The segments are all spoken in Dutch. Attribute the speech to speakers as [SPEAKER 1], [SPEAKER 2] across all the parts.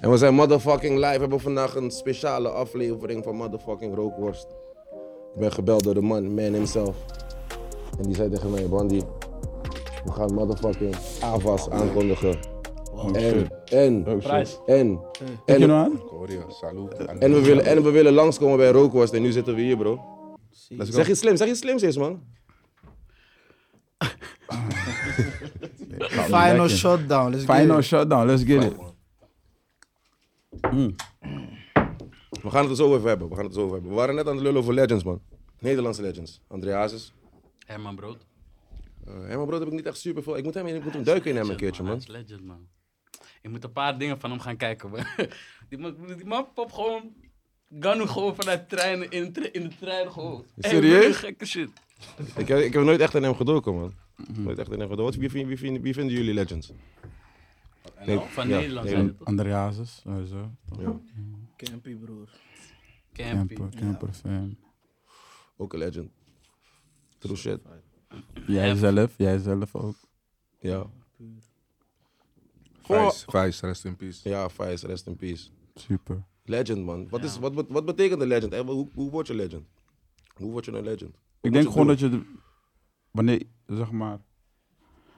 [SPEAKER 1] En we zijn motherfucking live. We hebben vandaag een speciale aflevering van motherfucking Rookworst. Ik ben gebeld door de man, man himself. En die zei tegen mij, Bandy, we gaan motherfucking Avas aankondigen. en, en,
[SPEAKER 2] Prijs.
[SPEAKER 1] en,
[SPEAKER 2] Heb je
[SPEAKER 1] en,
[SPEAKER 2] nou aan?
[SPEAKER 3] Korea, salut.
[SPEAKER 1] en we willen, en we willen langskomen bij Rookworst en nu zitten we hier bro.
[SPEAKER 3] Let's go.
[SPEAKER 1] Zeg iets slims, zeg iets slims eens man.
[SPEAKER 4] Final shutdown. Let's get
[SPEAKER 2] Final
[SPEAKER 4] it.
[SPEAKER 2] shutdown, let's get it.
[SPEAKER 1] We gaan het er zo over hebben, we gaan het er zo over hebben. We waren net aan het lullen over legends man. Nederlandse legends. André Hazes.
[SPEAKER 5] Herman Brood.
[SPEAKER 1] Eh Herman Brood heb ik niet echt super veel. Ik moet hem, ik moet hem duiken in hem een
[SPEAKER 5] Legend,
[SPEAKER 1] keertje
[SPEAKER 5] Hij
[SPEAKER 1] man.
[SPEAKER 5] is legend, man. Je moet een paar dingen van hem gaan kijken. man. Die man, die man pop gewoon... Ganu gewoon vanuit treinen, in, de tre- in de trein gewoon. Hey,
[SPEAKER 2] Serieus?
[SPEAKER 5] wat een gekke shit.
[SPEAKER 1] Ik, heb- ik heb nooit echt aan hem gedoken, man. Nooit echt aan hem gedoken. Wat- Wie, vind- wie, vind- wie vinden jullie legends? Nee,
[SPEAKER 5] Van
[SPEAKER 1] ja,
[SPEAKER 5] Nederland zijn
[SPEAKER 1] Nederland.
[SPEAKER 5] het toch?
[SPEAKER 2] André Hazes, sowieso. Toch?
[SPEAKER 4] Campy, broer.
[SPEAKER 5] Campy.
[SPEAKER 2] Camper, camper fan.
[SPEAKER 1] Ook een legend. True shit.
[SPEAKER 2] Jijzelf, jijzelf ook.
[SPEAKER 1] Ja.
[SPEAKER 3] Vijs, Vijs, rest in peace.
[SPEAKER 1] Ja, Faiz, rest in peace.
[SPEAKER 2] Super.
[SPEAKER 1] Legend, man. Wat, is, wat, bet- wat betekent een legend? Eh, Hoe, hoe word je legend? Hoe word je een legend?
[SPEAKER 2] Ik denk
[SPEAKER 1] je
[SPEAKER 2] gewoon
[SPEAKER 1] doen?
[SPEAKER 2] dat je... de- Wanneer, zeg maar...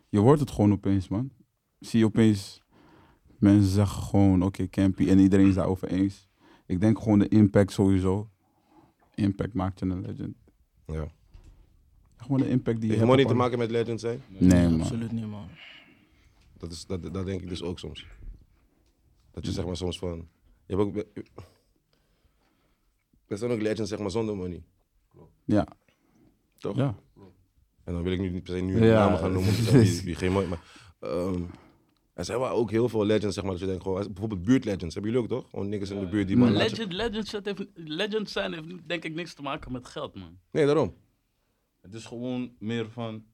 [SPEAKER 2] Je hoort het gewoon opeens, man. Zie je opeens... Mensen zeggen gewoon, oké, campy. En iedereen is daarover eens. Ik denk gewoon de impact sowieso. Impact maakt je een legend.
[SPEAKER 1] Ja.
[SPEAKER 2] Gewoon de impact die je
[SPEAKER 1] Heeft
[SPEAKER 2] hebt
[SPEAKER 1] money
[SPEAKER 2] op
[SPEAKER 1] te
[SPEAKER 2] andere-
[SPEAKER 1] maken met legend zijn?
[SPEAKER 2] Nee, man.
[SPEAKER 4] Absoluut niet, man.
[SPEAKER 1] Dat, is, dat, dat denk ik dus ook soms. Dat je zeg maar soms van... Je hebt ook... Er zijn ook legends zeg maar zonder money.
[SPEAKER 2] Ja.
[SPEAKER 1] Toch?
[SPEAKER 2] Ja.
[SPEAKER 1] En dan wil ik nu niet per se nu
[SPEAKER 2] Ja,
[SPEAKER 1] namen gaan noemen, om te zeggen
[SPEAKER 2] precies.
[SPEAKER 1] wie, wie geen mooi, maar ehm, er zijn wel ook heel veel legends, zeg maar, dat je denkt gewoon, bijvoorbeeld buurtlegends, hebben jullie ook toch? Gewoon niks in de buurt die man. laat je-
[SPEAKER 5] Legend, legend, dat heeft, legend zijn heeft denk ik niks te maken met geld, man.
[SPEAKER 1] Nee, daarom.
[SPEAKER 6] Het is gewoon meer van,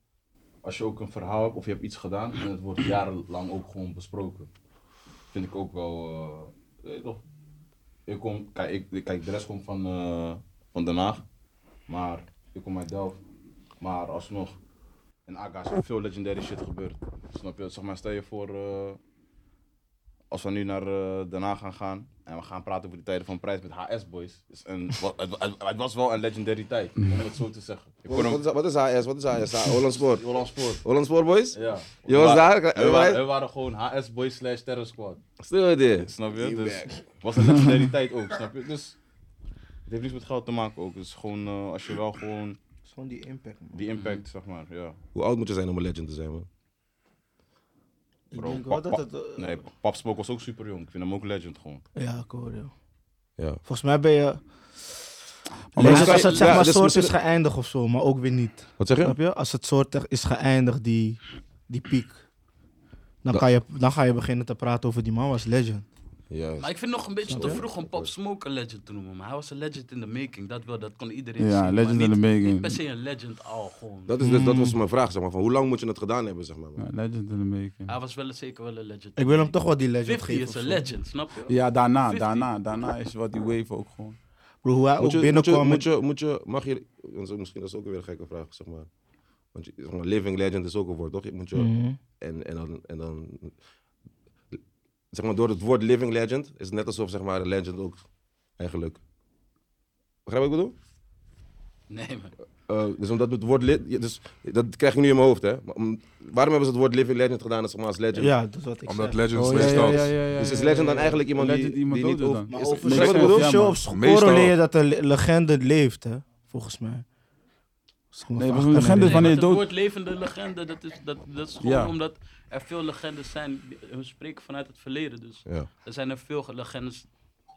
[SPEAKER 6] als je ook een verhaal hebt of je hebt iets gedaan en het wordt jarenlang ook gewoon besproken. Vind ik ook wel, eh, weet je toch? Ik kom, kijk, ik- ik, kijk de rest komt van, eh, van Den Haag, maar ik kom uit Delft. Maar alsnog, in Aga is veel legendary shit gebeurd. Snap je? Zeg maar, stel je voor, eh, als we nu naar eh, Den Haag gaan gaan en we gaan praten over de tijden van prijs met HS Boys. Is een, wa- het, wa- het- het was wel een legendary tijd, om het zo te zeggen. Ik kon
[SPEAKER 1] Wat,
[SPEAKER 6] hem-
[SPEAKER 1] wat is, wat is HS? Wat is HS? Holland Sport.
[SPEAKER 6] Holland Sport.
[SPEAKER 1] Holland Sport, boys?
[SPEAKER 6] Ja.
[SPEAKER 1] Je was
[SPEAKER 6] We
[SPEAKER 1] daar?
[SPEAKER 6] wa-
[SPEAKER 1] Je
[SPEAKER 6] We
[SPEAKER 1] was-
[SPEAKER 6] waren, we waren gewoon HS Boy slash Terror Squad.
[SPEAKER 1] Stil je dit.
[SPEAKER 6] Snap je? Dus het was een legendariteit ook, snap je? Dus het heeft niks met geld te maken ook. Het is gewoon eh, als je wel gewoon
[SPEAKER 4] Het is gewoon die impact, man.
[SPEAKER 6] die impact, zeg maar, ja.
[SPEAKER 1] Hoe oud moet je zijn om een legend te zijn, man?
[SPEAKER 4] Ik
[SPEAKER 6] Bro,
[SPEAKER 4] denk wel
[SPEAKER 6] pap-
[SPEAKER 4] dat het... eh,
[SPEAKER 6] Nee, Pap Smoke was ook super jong. Ik vind hem ook legend gewoon.
[SPEAKER 4] Ja, ik hoor je.
[SPEAKER 1] Ja.
[SPEAKER 4] Volgens mij ben je...
[SPEAKER 2] Maar
[SPEAKER 4] Legends
[SPEAKER 1] misschien-
[SPEAKER 4] als het zeg
[SPEAKER 1] ja,
[SPEAKER 4] maar
[SPEAKER 1] dus
[SPEAKER 4] soort is
[SPEAKER 1] misschien-
[SPEAKER 4] geëindigd of zo, maar ook weer niet.
[SPEAKER 1] Wat zeg je?
[SPEAKER 4] Snap je? Als het soort echt is geëindigd, die, die piek. Dan, kan je, dan ga je beginnen te praten over die man was legend.
[SPEAKER 1] Ja.
[SPEAKER 5] Maar ik vind het nog een beetje
[SPEAKER 1] Snap
[SPEAKER 5] te
[SPEAKER 1] je?
[SPEAKER 5] vroeg om Pop Smoke een legend te noemen. Maar hij was een legend in the making. Dat wel, dat kon iedereen zien.
[SPEAKER 2] Ja,
[SPEAKER 5] maar
[SPEAKER 2] legend in the
[SPEAKER 5] niet- Niet per
[SPEAKER 2] making.
[SPEAKER 5] se een legend al, gewoon.
[SPEAKER 1] Dat, is dus, dat was mijn vraag, zeg maar. Van hoe lang moet je het gedaan hebben, zeg maar? man?
[SPEAKER 2] Ja, legend in the making.
[SPEAKER 5] Hij was wel zeker wel een legend.
[SPEAKER 4] Ik wil hem toch wel die legend
[SPEAKER 5] 50
[SPEAKER 4] geven.
[SPEAKER 5] is
[SPEAKER 4] of
[SPEAKER 5] een
[SPEAKER 4] zo.
[SPEAKER 5] legend, snap je?
[SPEAKER 2] Ja, daarna,
[SPEAKER 5] 50.
[SPEAKER 2] daarna, daarna is wat die wave ook gewoon.
[SPEAKER 4] Bro, hoe hij
[SPEAKER 1] Moet
[SPEAKER 4] ook
[SPEAKER 1] je, moet je,
[SPEAKER 4] binnenkwam...
[SPEAKER 1] moet je, moet je, mag je, want zo- misschien dat is ook weer een gekke vraag, zeg maar. Want je- zeg maar, living legend is ook een woord, toch? Je moet je,
[SPEAKER 4] Mhm.
[SPEAKER 1] En, en, dan, en dan. Zeg maar, door het woord living legend is het net alsof zeg maar, een legend ook eigenlijk. Begrijp je wat ik bedoel?
[SPEAKER 5] Nee, man.
[SPEAKER 1] Eh, dus omdat het woord. li- ja, dus, dat krijg ik nu in mijn hoofd, hè? Maar om- waarom hebben ze het woord living legend gedaan zeg maar, als legend?
[SPEAKER 4] Ja, dat is wat ik
[SPEAKER 3] Omdat
[SPEAKER 4] zeg.
[SPEAKER 3] legends
[SPEAKER 2] Oh, ja, ja,
[SPEAKER 3] meestal...
[SPEAKER 2] ja, ja, ja,
[SPEAKER 1] Dus is
[SPEAKER 2] ja,
[SPEAKER 1] legend
[SPEAKER 2] ja,
[SPEAKER 1] dan
[SPEAKER 2] ja.
[SPEAKER 1] eigenlijk iemand die,
[SPEAKER 2] Legend
[SPEAKER 1] die
[SPEAKER 2] iemand
[SPEAKER 1] niet
[SPEAKER 2] dood
[SPEAKER 1] over...
[SPEAKER 2] dan.
[SPEAKER 4] Maar
[SPEAKER 1] is-
[SPEAKER 4] over
[SPEAKER 1] begrijp je wat ik
[SPEAKER 4] zoveel
[SPEAKER 1] bedoel?
[SPEAKER 2] ja, man.
[SPEAKER 4] shows
[SPEAKER 3] Meestal-
[SPEAKER 4] correleer je dat de le- legende leeft, hè? Volgens mij.
[SPEAKER 2] Nee, volgens mij legende- wanneer
[SPEAKER 5] Nee, want het
[SPEAKER 2] dood-
[SPEAKER 5] woord levende legende, dat is, dat, dat is gewoon
[SPEAKER 2] Ja.
[SPEAKER 5] omdat er veel legendes zijn. die- We spreken vanuit het verleden, dus
[SPEAKER 1] Ja.
[SPEAKER 5] er zijn er veel legendes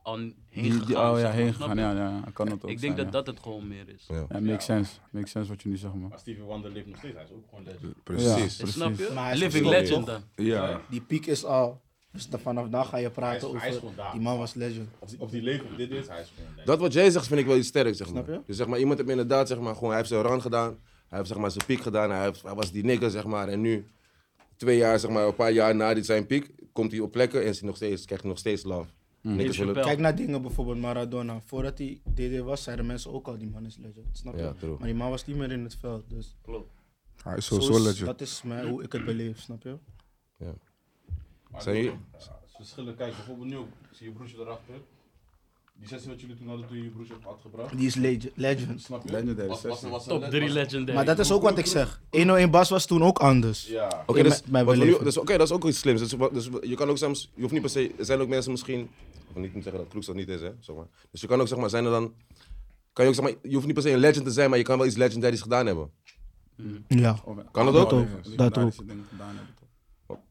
[SPEAKER 5] al heen
[SPEAKER 2] Die,
[SPEAKER 5] gegaan.
[SPEAKER 2] die, oh
[SPEAKER 5] zeg
[SPEAKER 2] ja,
[SPEAKER 5] maar,
[SPEAKER 2] heen
[SPEAKER 5] snap
[SPEAKER 2] gegaan.
[SPEAKER 5] je?
[SPEAKER 2] Ja, ja, ja, kan dat ook
[SPEAKER 5] Ik denk dat
[SPEAKER 2] zijn, ja.
[SPEAKER 5] dat het gewoon meer is.
[SPEAKER 2] Ja, makes sense. Makes sense wat je nu zegt, man.
[SPEAKER 6] Maar Stevie Wonder leeft nog steeds, hij is ook gewoon legend.
[SPEAKER 3] Precies.
[SPEAKER 2] Ja.
[SPEAKER 5] Dus Snap
[SPEAKER 2] precies.
[SPEAKER 5] je?
[SPEAKER 4] Maar hij is
[SPEAKER 5] Living
[SPEAKER 4] gestopt,
[SPEAKER 5] legend
[SPEAKER 4] toch?
[SPEAKER 5] dan.
[SPEAKER 3] Ja.
[SPEAKER 4] Die piek is al. Dus dan vanaf dan ga je
[SPEAKER 6] Hij is,
[SPEAKER 4] praten
[SPEAKER 6] hij is
[SPEAKER 4] over.
[SPEAKER 6] gewoon daar.
[SPEAKER 4] Die man was legend.
[SPEAKER 6] Of die, of die leeft of dit is, hij is gewoon legend.
[SPEAKER 1] Dat wat jij zegt vind ik wel iets sterks, zeg maar.
[SPEAKER 4] Snap je?
[SPEAKER 1] Dus zeg maar, iemand heeft inderdaad, zeg maar, gewoon, hij heeft zijn run gedaan. Hij heeft zeg maar, zijn piek gedaan. Hij, heeft- hij was die nigger, zeg maar. En nu, twee jaar, zeg maar, een paar jaar na dit zijn piek, komt hij op plekken en is hij nog steeds, krijgt hij nog steeds love. Niggers willen...
[SPEAKER 4] Kijk naar dingen bijvoorbeeld Maradona. Voordat hij DD was, zeiden mensen ook al: die man is legend. Snap je?
[SPEAKER 1] Ja, true.
[SPEAKER 4] maar die man was niet meer in het veld. Dus
[SPEAKER 3] Hij is
[SPEAKER 4] zo
[SPEAKER 3] sowieso
[SPEAKER 4] is-
[SPEAKER 3] legend.
[SPEAKER 4] dat is mij, hoe ik het beleef, snap je?
[SPEAKER 1] Zijn jullie...
[SPEAKER 6] verschillen. Kijk, bijvoorbeeld nu, ook, ik zie je broertje erachter. Die sessie wat jullie toen hadden toen je je broertje op had gebracht.
[SPEAKER 4] Die is leg- legend.
[SPEAKER 6] Snap je?
[SPEAKER 2] Legendary
[SPEAKER 6] Was- was-
[SPEAKER 2] sessie.
[SPEAKER 6] was een
[SPEAKER 5] Top
[SPEAKER 6] le-
[SPEAKER 5] 3
[SPEAKER 6] was-
[SPEAKER 5] legendary.
[SPEAKER 4] Maar dat is ook wat ik zeg. 101 Bas was toen ook anders.
[SPEAKER 6] Ja.
[SPEAKER 1] Oké,
[SPEAKER 4] In
[SPEAKER 1] dus,
[SPEAKER 4] mijn- mijn
[SPEAKER 1] wat we nu-
[SPEAKER 4] beleving.
[SPEAKER 1] dus, oké, dat is ook iets slims. Dus, wat- dus je kan ook soms, je hoeft niet per se, er zijn ook mensen misschien, ik wil niet zeggen dat Kloeks dat niet is, hè, zeg maar. Dus je kan ook zeg maar zijn er dan, kan je ook zeg maar, je hoeft niet per se een legend te zijn, maar je kan wel iets legendaries gedaan hebben.
[SPEAKER 4] Ja.
[SPEAKER 1] Kan dat ook?
[SPEAKER 4] ook, dat ook.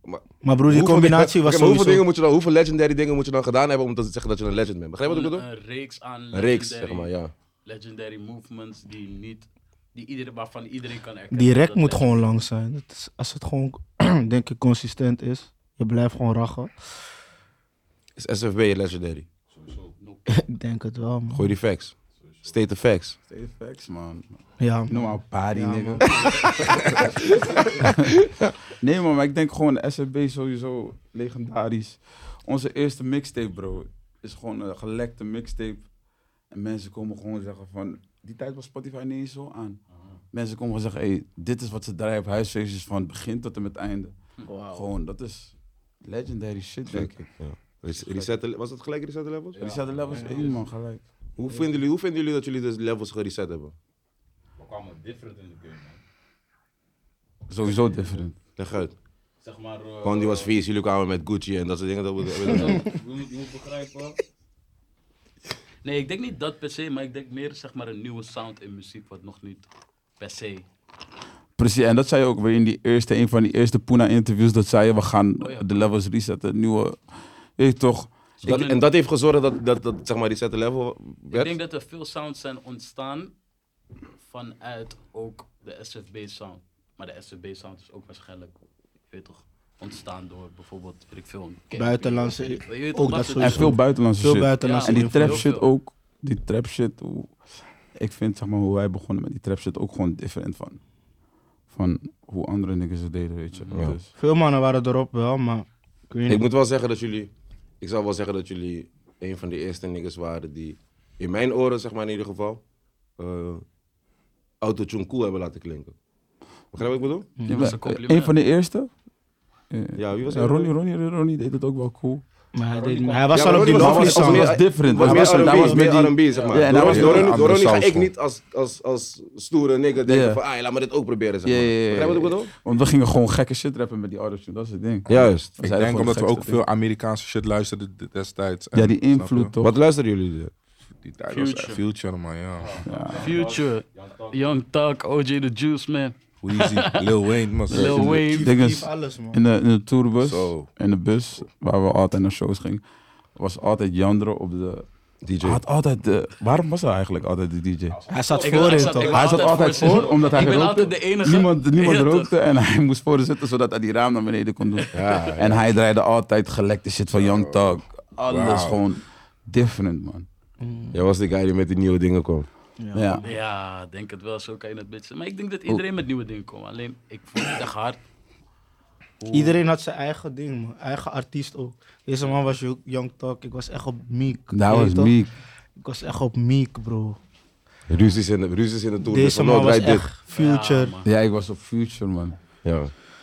[SPEAKER 1] Maar,
[SPEAKER 4] Maar broer, die
[SPEAKER 1] hoeveel
[SPEAKER 4] combinatie
[SPEAKER 1] dingen-
[SPEAKER 4] was
[SPEAKER 1] oké, maar hoeveel, dingen
[SPEAKER 4] sowieso...
[SPEAKER 1] moet je dan, hoeveel legendary dingen moet je dan gedaan hebben om te zeggen dat je een legend bent? Begrijp je wat ik
[SPEAKER 5] Gewoon
[SPEAKER 1] bedoel?
[SPEAKER 5] Een reeks aan
[SPEAKER 6] eh,
[SPEAKER 1] Een
[SPEAKER 5] legendary,
[SPEAKER 1] reeks, zeg maar, ja.
[SPEAKER 5] legendary movements die niet, die iedereen, waarvan iedereen kan erkennen.
[SPEAKER 4] Die rek
[SPEAKER 5] dat
[SPEAKER 4] moet
[SPEAKER 5] het-
[SPEAKER 4] gewoon lang zijn. Het is- als het gewoon, denk ik, consistent is. Je blijft gewoon rachen.
[SPEAKER 1] Is SFB een legendary?
[SPEAKER 4] ik denk het wel, man.
[SPEAKER 1] Gooi die facts. State the facts.
[SPEAKER 2] Steeds facts, man.
[SPEAKER 4] Ja,
[SPEAKER 2] You know my body,
[SPEAKER 4] Ja,
[SPEAKER 2] nigga. nee, man, maar ik denk gewoon de SFB is sowieso legendarisch. Onze eerste mixtape, bro, is gewoon een gelekte mixtape. En mensen komen gewoon zeggen van... Die tijd was Spotify niet eens zo aan. Mensen komen gewoon zeggen, hey, dit is wat ze draaien op huisfeestjes van het begin tot en met het einde. Gewoon, dat is legendary shit, denk ik.
[SPEAKER 1] Res- Resetten, was het gelijk resetten levels?
[SPEAKER 2] Die zaten levels één, man, gelijk.
[SPEAKER 1] Hoe, vinden jullie, hoe vinden jullie dat jullie de levels gereset hebben?
[SPEAKER 6] We kwamen different in de game, man.
[SPEAKER 2] Sowieso different.
[SPEAKER 1] Leg uit.
[SPEAKER 6] Zeg maar... eh,
[SPEAKER 1] Gewoon die was vies, jullie kwamen met Gucci en dat soort dingen. Dat we,
[SPEAKER 6] Je moet, je moet begrijpen.
[SPEAKER 5] Nee, ik denk niet dat per se, maar ik denk meer zeg maar een nieuwe sound in muziek wat nog niet per se.
[SPEAKER 2] Precies, en dat zei je ook weer in die eerste, een van die eerste Puna-interviews. Dat zei je, we gaan
[SPEAKER 5] Oh ja.
[SPEAKER 2] de levels resetten, nieuwe... Weet je toch?
[SPEAKER 1] dat, en dat heeft gezorgd dat, dat, dat zeg maar, die zette level
[SPEAKER 5] Ik
[SPEAKER 1] werd.
[SPEAKER 5] denk dat er veel sounds zijn ontstaan vanuit ook de SFB sound. Maar de SFB sound is ook waarschijnlijk, je weet toch, ontstaan door bijvoorbeeld, weet ik veel, een Campy.
[SPEAKER 4] Buitenlandse-
[SPEAKER 5] Weet ik- weet je
[SPEAKER 4] ook
[SPEAKER 5] toch,
[SPEAKER 4] dat
[SPEAKER 5] soort
[SPEAKER 2] En
[SPEAKER 4] soort
[SPEAKER 5] dingen.
[SPEAKER 4] Sowieso.
[SPEAKER 2] veel buitenlandse
[SPEAKER 4] veel
[SPEAKER 2] shit.
[SPEAKER 4] buitenlandse
[SPEAKER 2] en die
[SPEAKER 5] invloed.
[SPEAKER 2] trap
[SPEAKER 5] Heel
[SPEAKER 2] shit
[SPEAKER 5] veel.
[SPEAKER 2] ook. Die trap shit. hoe- ik vind zeg maar hoe wij begonnen met die trap shit ook gewoon different van. Van hoe andere niggas het deden, weet je.
[SPEAKER 1] Ja.
[SPEAKER 2] Dus,
[SPEAKER 4] Veel mannen waren erop wel, maar... Ik weet
[SPEAKER 1] Ik
[SPEAKER 4] niet.
[SPEAKER 1] moet wel zeggen dat jullie, ik zou wel zeggen dat jullie een van de eerste niggas waren die, in mijn oren zeg maar in ieder geval, eh autotune cool hebben laten klinken. Begrijp je wat ik bedoel?
[SPEAKER 2] Ja,
[SPEAKER 5] Dat is
[SPEAKER 2] maar,
[SPEAKER 5] een compliment.
[SPEAKER 2] eh, een van de eerste. Eh,
[SPEAKER 1] Ja, wie was
[SPEAKER 2] ja,
[SPEAKER 1] hij?
[SPEAKER 2] Ronnie, Ronnie, Ronnie, Ronnie deed het ook wel cool.
[SPEAKER 4] Maar hij, deed, hij was
[SPEAKER 1] Ja,
[SPEAKER 4] al
[SPEAKER 1] maar
[SPEAKER 4] op die
[SPEAKER 1] Ronnie
[SPEAKER 4] lovely
[SPEAKER 2] was- was
[SPEAKER 4] sound.
[SPEAKER 2] meer- different.
[SPEAKER 1] Was
[SPEAKER 2] Hij
[SPEAKER 1] meer
[SPEAKER 2] was-
[SPEAKER 1] R&B,
[SPEAKER 2] hij was
[SPEAKER 1] meer
[SPEAKER 2] meer die-
[SPEAKER 1] R&B, zeg maar.
[SPEAKER 2] Ja, en hij was
[SPEAKER 1] Door-
[SPEAKER 2] meer
[SPEAKER 1] door-
[SPEAKER 2] een
[SPEAKER 1] door
[SPEAKER 2] andere
[SPEAKER 1] Ronnie ga
[SPEAKER 2] saus
[SPEAKER 1] ik
[SPEAKER 2] van.
[SPEAKER 1] niet als, als, als stoere nigga denken
[SPEAKER 2] Ja.
[SPEAKER 1] van, ah, laat me dit ook proberen, zeg
[SPEAKER 2] Ja,
[SPEAKER 1] maar.
[SPEAKER 2] ja, ja, ja,
[SPEAKER 1] Begrijp je wat ik
[SPEAKER 2] ja.
[SPEAKER 1] bedoel?
[SPEAKER 2] Want we gingen gewoon gekke shit rappen met die autotune, dat is het ding.
[SPEAKER 1] Juist.
[SPEAKER 2] We
[SPEAKER 3] Ik
[SPEAKER 2] zeiden
[SPEAKER 3] denk
[SPEAKER 2] gewoon
[SPEAKER 3] omdat
[SPEAKER 2] de
[SPEAKER 3] we ook
[SPEAKER 2] gekste
[SPEAKER 3] veel Amerikaanse shit luisterden d- destijds.
[SPEAKER 2] dingen. Ja, die
[SPEAKER 3] En, snap
[SPEAKER 2] invloed
[SPEAKER 3] je?
[SPEAKER 2] toch.
[SPEAKER 1] Wat luisteren jullie? eh,
[SPEAKER 3] Die tijd was echt
[SPEAKER 5] Future.
[SPEAKER 3] Future, man, ja.
[SPEAKER 5] Future, Young Thug, OJ the Juice Man,
[SPEAKER 3] Weezy, Lil Wayne, man.
[SPEAKER 5] Lil Wayne.
[SPEAKER 2] Ding is,
[SPEAKER 4] alles, man.
[SPEAKER 2] in de, in de tourbus,
[SPEAKER 3] Zo.
[SPEAKER 2] in de bus, waar we altijd naar shows gingen, was altijd Jandro op de
[SPEAKER 1] DJ.
[SPEAKER 2] Hij had altijd de... Waarom was hij eigenlijk altijd de DJ?
[SPEAKER 4] Hij zat
[SPEAKER 5] Ik- ik
[SPEAKER 4] voorin,
[SPEAKER 5] zat- ik-
[SPEAKER 4] toch?
[SPEAKER 2] Hij zat altijd
[SPEAKER 5] voor zitten.
[SPEAKER 2] voor, omdat hij
[SPEAKER 5] Ik ben
[SPEAKER 2] rookte.
[SPEAKER 5] altijd de enige.
[SPEAKER 2] Niemand, niemand
[SPEAKER 5] Ja, toch?
[SPEAKER 2] rookte en hij moest voor zitten, zodat hij die raam naar beneden kon doen. En hij draaide altijd gelekte shit van Young Thug. Alles
[SPEAKER 3] Wauw.
[SPEAKER 2] gewoon different, man.
[SPEAKER 1] Jij was de guy die met die nieuwe dingen kwam.
[SPEAKER 2] Ja.
[SPEAKER 5] Ja, denk het wel. Zo kan je het beetje. Maar ik denk dat iedereen met nieuwe dingen komt. Alleen, ik vond het echt hard.
[SPEAKER 4] Iedereen had zijn eigen ding, man. Eigen artiest ook. Deze man was Yo- Young Talk. Ik was echt op Meek.
[SPEAKER 2] Dat
[SPEAKER 4] Weet
[SPEAKER 2] was
[SPEAKER 4] toch?
[SPEAKER 2] Meek.
[SPEAKER 4] Ik was echt op Meek, bro.
[SPEAKER 1] Ruzies in de, ruzies in de toer.
[SPEAKER 4] Deze man was
[SPEAKER 1] dit.
[SPEAKER 4] echt future.
[SPEAKER 5] Ja, man.
[SPEAKER 2] Ja, ik was op Future, man.
[SPEAKER 1] Ja.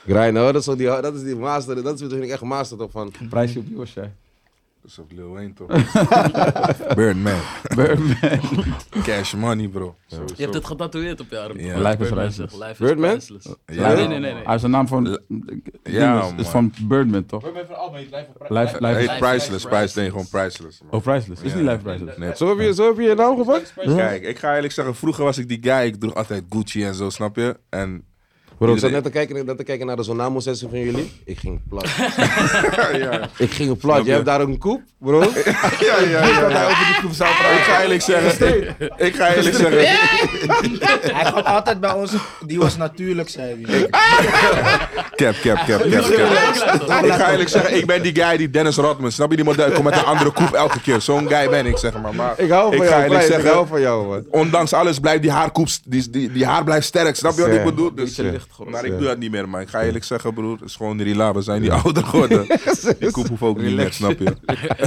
[SPEAKER 1] Grind, hoor, dat is, wel die, dat is die master. Dat is wat ik echt master toch van.
[SPEAKER 2] Prijsje op wie was jij?
[SPEAKER 3] Dat is ook Lil Wayne, toch? Birdman. Cash money, bro.
[SPEAKER 5] Je hebt het getatoeëerd op je arm.
[SPEAKER 3] Ja.
[SPEAKER 5] Life
[SPEAKER 2] Life is
[SPEAKER 5] priceless.
[SPEAKER 2] Priceless.
[SPEAKER 5] Life is
[SPEAKER 1] Birdman?
[SPEAKER 5] priceless.
[SPEAKER 3] Ja.
[SPEAKER 5] Nee, nee, nee. nee.
[SPEAKER 2] Hij is een naam van...
[SPEAKER 3] Ja,
[SPEAKER 2] is, is
[SPEAKER 3] man.
[SPEAKER 2] van Birdman, toch?
[SPEAKER 6] Hoor me even af, lijf op
[SPEAKER 2] Live,
[SPEAKER 3] Hij
[SPEAKER 2] live,
[SPEAKER 3] heet Priceless, Price. Nee, gewoon Priceless, man.
[SPEAKER 2] oh, Priceless. Is
[SPEAKER 3] Ja.
[SPEAKER 2] niet Live Priceless.
[SPEAKER 3] Nee,
[SPEAKER 1] Zo heb je zo heb je, je naam gepakt?
[SPEAKER 3] Kijk, ik ga eerlijk zeggen, vroeger was ik die guy, ik droeg altijd Gucci en zo, snap je? En
[SPEAKER 1] Bro, ik zat
[SPEAKER 3] Iedereen-
[SPEAKER 1] net te kijken, net te kijken naar de Zonamo-sessie van jullie. Ik ging plat.
[SPEAKER 3] ja.
[SPEAKER 1] ik ging plat.
[SPEAKER 3] je?
[SPEAKER 1] Jij hebt daar een koep, bro.
[SPEAKER 3] Ja, ja, ja. Ik ga eerlijk zeggen. Ik ga eerlijk zeggen.
[SPEAKER 4] Hij kwam altijd bij ons. Die was natuurlijk, zei hij.
[SPEAKER 3] Cap, cap, cap, cap, cap. Ik ga eerlijk zeggen, ik ben die guy die Dennis Rodman. Snap je die model? Ik kom met een andere koep elke keer. Zo'n guy ben ik, zeg maar. maar
[SPEAKER 1] Ik hou van
[SPEAKER 3] ga
[SPEAKER 1] jou,
[SPEAKER 3] eerlijk
[SPEAKER 1] Klein. Ik
[SPEAKER 3] zeggen,
[SPEAKER 1] hou van jou, man.
[SPEAKER 3] Ondanks alles blijft die haarkoep, st- die, die, die haar blijft sterk. Snap je wat ik
[SPEAKER 1] Ja.
[SPEAKER 3] bedoel? Dus,
[SPEAKER 2] Beetje lichtgroot.
[SPEAKER 3] maar
[SPEAKER 1] Ja.
[SPEAKER 3] ik doe dat niet meer, man. Ik ga eerlijk zeggen, broer. Het is gewoon rila. We zijn die ouder geworden. Die koep hoeft ook niet meer, snap je?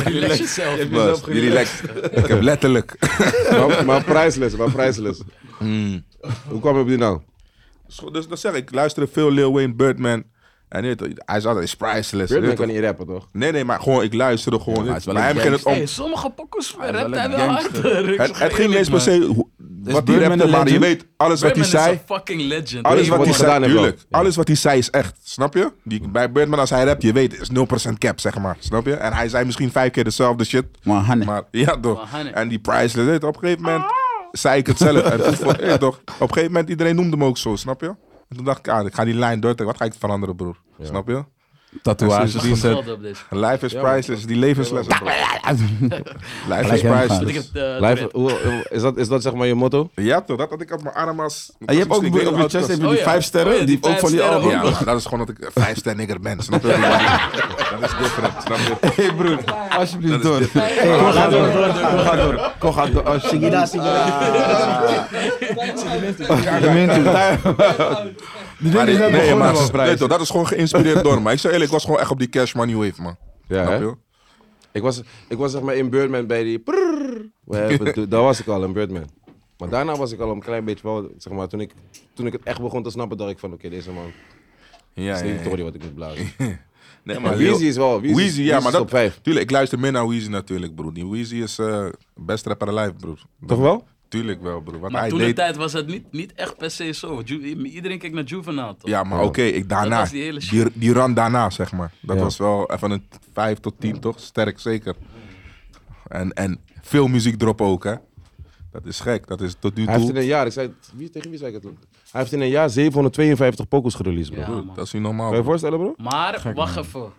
[SPEAKER 5] Relax jezelf.
[SPEAKER 3] Bas, die relaxed. Ik heb letterlijk...
[SPEAKER 1] Maar, maar priceless, maar priceless. Hoe kwam je op die nou?
[SPEAKER 3] Dus, dus dan zeg ik, ik luisterde veel Lil Wayne, Birdman. En nu, hij is altijd priceless. je
[SPEAKER 1] Birdman
[SPEAKER 3] weet
[SPEAKER 1] kan
[SPEAKER 3] toch?
[SPEAKER 1] niet rappen, toch?
[SPEAKER 3] Nee, nee, maar gewoon, ik luisterde gewoon.
[SPEAKER 2] maar hij
[SPEAKER 3] maar
[SPEAKER 2] is wel
[SPEAKER 3] hij
[SPEAKER 2] een
[SPEAKER 3] begint het om.
[SPEAKER 5] Hey, sommige pokkers
[SPEAKER 2] is
[SPEAKER 5] rapt
[SPEAKER 2] wel
[SPEAKER 5] hij
[SPEAKER 2] een
[SPEAKER 5] wel
[SPEAKER 2] gangster.
[SPEAKER 5] achter. Ik
[SPEAKER 3] Ah, Het,
[SPEAKER 5] zeg
[SPEAKER 3] het ging niet
[SPEAKER 5] eerlijk,
[SPEAKER 3] eens per
[SPEAKER 5] man.
[SPEAKER 3] se hoe- wat die
[SPEAKER 2] Birdman
[SPEAKER 3] rapte,
[SPEAKER 2] een
[SPEAKER 3] maar je
[SPEAKER 2] legend?
[SPEAKER 3] weet, alles wat hij
[SPEAKER 5] Birdman is
[SPEAKER 3] zei.
[SPEAKER 5] een fucking legend.
[SPEAKER 3] Alles
[SPEAKER 1] Weet
[SPEAKER 3] wat
[SPEAKER 1] wat hij
[SPEAKER 3] hij
[SPEAKER 1] gedaan
[SPEAKER 3] zei,
[SPEAKER 1] heeft
[SPEAKER 3] tuurlijk.
[SPEAKER 1] wel.
[SPEAKER 3] Alles wat hij zei is echt, snap je? Die, bij Birdman, als hij rapt, je weet, is 0% cap, zeg maar. Snap je? En hij zei misschien vijf keer dezelfde shit.
[SPEAKER 2] Maar Hanne.
[SPEAKER 3] Maar ja, toch.
[SPEAKER 5] Maar hij-
[SPEAKER 3] En die priceless, weet je, op een gegeven moment zei ik het zelf. En toen vond- weet je toch, op een gegeven moment, iedereen noemde hem ook zo, snap je? En toen dacht ik, ah, ik ga die lijn doortrekken. Wat ga ik veranderen, broer? Snap je?
[SPEAKER 2] Tatoeages
[SPEAKER 3] Precies.
[SPEAKER 2] gezet.
[SPEAKER 5] Hetzelfde op deze.
[SPEAKER 3] Life is priceless, die levenslessen. bro. Life is
[SPEAKER 2] Gelijk hem gaan.
[SPEAKER 5] Weet ik
[SPEAKER 3] priceless.
[SPEAKER 5] het, eh,
[SPEAKER 1] Live,
[SPEAKER 3] Ah,
[SPEAKER 1] hoe- is, dat, is dat zeg maar je motto?
[SPEAKER 3] Ja, toch, dat had ik op mijn arm als.
[SPEAKER 2] En je hebt ook
[SPEAKER 3] Ik
[SPEAKER 2] op
[SPEAKER 3] weet
[SPEAKER 2] je
[SPEAKER 3] het
[SPEAKER 2] chest heb je
[SPEAKER 5] Oh
[SPEAKER 2] die
[SPEAKER 5] ja.
[SPEAKER 2] vijf sterren,
[SPEAKER 5] Oh ja, die
[SPEAKER 2] die, ook
[SPEAKER 5] vijf
[SPEAKER 2] van die
[SPEAKER 5] sterren
[SPEAKER 2] album.
[SPEAKER 3] Ja, maar dat is gewoon dat ik een vijf ster nigger ben. Snap je? dat is different. Snap je?
[SPEAKER 2] Hé broer, alsjeblieft door.
[SPEAKER 4] Kom, ga door.
[SPEAKER 2] Kom ga door. Kom ga door. Oh, shit.
[SPEAKER 4] Sigida, Sigida.
[SPEAKER 2] Die
[SPEAKER 3] Maar
[SPEAKER 2] ding is net
[SPEAKER 3] ik- nee,
[SPEAKER 2] begonnen
[SPEAKER 3] maar
[SPEAKER 2] man,
[SPEAKER 3] nee,
[SPEAKER 2] prijs.
[SPEAKER 3] toch, dat is gewoon geïnspireerd door me. Ik zei eerlijk, ik was gewoon echt op die cash money wave, man.
[SPEAKER 1] Ja,
[SPEAKER 3] Snap
[SPEAKER 1] hè?
[SPEAKER 3] je?
[SPEAKER 1] Ik was, ik was zeg maar in Birdman bij die. prrrr. We hebben do- daar was ik al in Birdman. Maar daarna was ik al een klein beetje wel, zeg maar, toen ik, toen ik het echt begon te snappen, dacht ik van, oké, deze man
[SPEAKER 3] Ja,
[SPEAKER 1] is niet Tory wat ik moet blazen.
[SPEAKER 3] Nee, maar
[SPEAKER 1] Maar Weezy is wel, Weezy,
[SPEAKER 3] Weezy, ja, maar
[SPEAKER 1] is
[SPEAKER 3] dat...
[SPEAKER 1] top 5.
[SPEAKER 3] Tuurlijk, ik luister meer naar Weezy natuurlijk, broer. Die Weezy is eh best rapper alive, broer.
[SPEAKER 1] Toch wel?
[SPEAKER 3] Tuurlijk wel, broer. Want
[SPEAKER 5] Maar
[SPEAKER 3] hij
[SPEAKER 5] toen de
[SPEAKER 3] deed...
[SPEAKER 5] tijd was het niet, niet echt per se zo. Ju- iedereen keek naar Juvenile, toch?
[SPEAKER 3] Ja, maar oké, ik daarna.
[SPEAKER 5] Dat was die hele shit.
[SPEAKER 3] die, die rand daarna, zeg maar. Dat
[SPEAKER 1] Ja.
[SPEAKER 3] was wel even een 5 tot 10, toch? Sterk, zeker. En, en veel muziek drop ook, hè? Dat is gek. Dat is tot nu
[SPEAKER 1] Hij heeft in
[SPEAKER 3] toe.
[SPEAKER 1] een jaar, ik zei, het- wie, tegen wie zei ik het? toen? Hij heeft in een jaar 752 pokers gereleased, bro.
[SPEAKER 5] Ja, man.
[SPEAKER 3] Dat is niet normaal.
[SPEAKER 1] Kan je je
[SPEAKER 3] bro.
[SPEAKER 1] voorstellen, bro?
[SPEAKER 5] Maar, wacht even.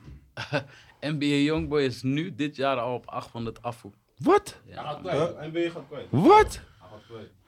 [SPEAKER 5] NBA Youngboy is nu dit jaar al op 800 afvoer.
[SPEAKER 1] Wat?
[SPEAKER 6] En ben je gaat kwijt.
[SPEAKER 1] Wat?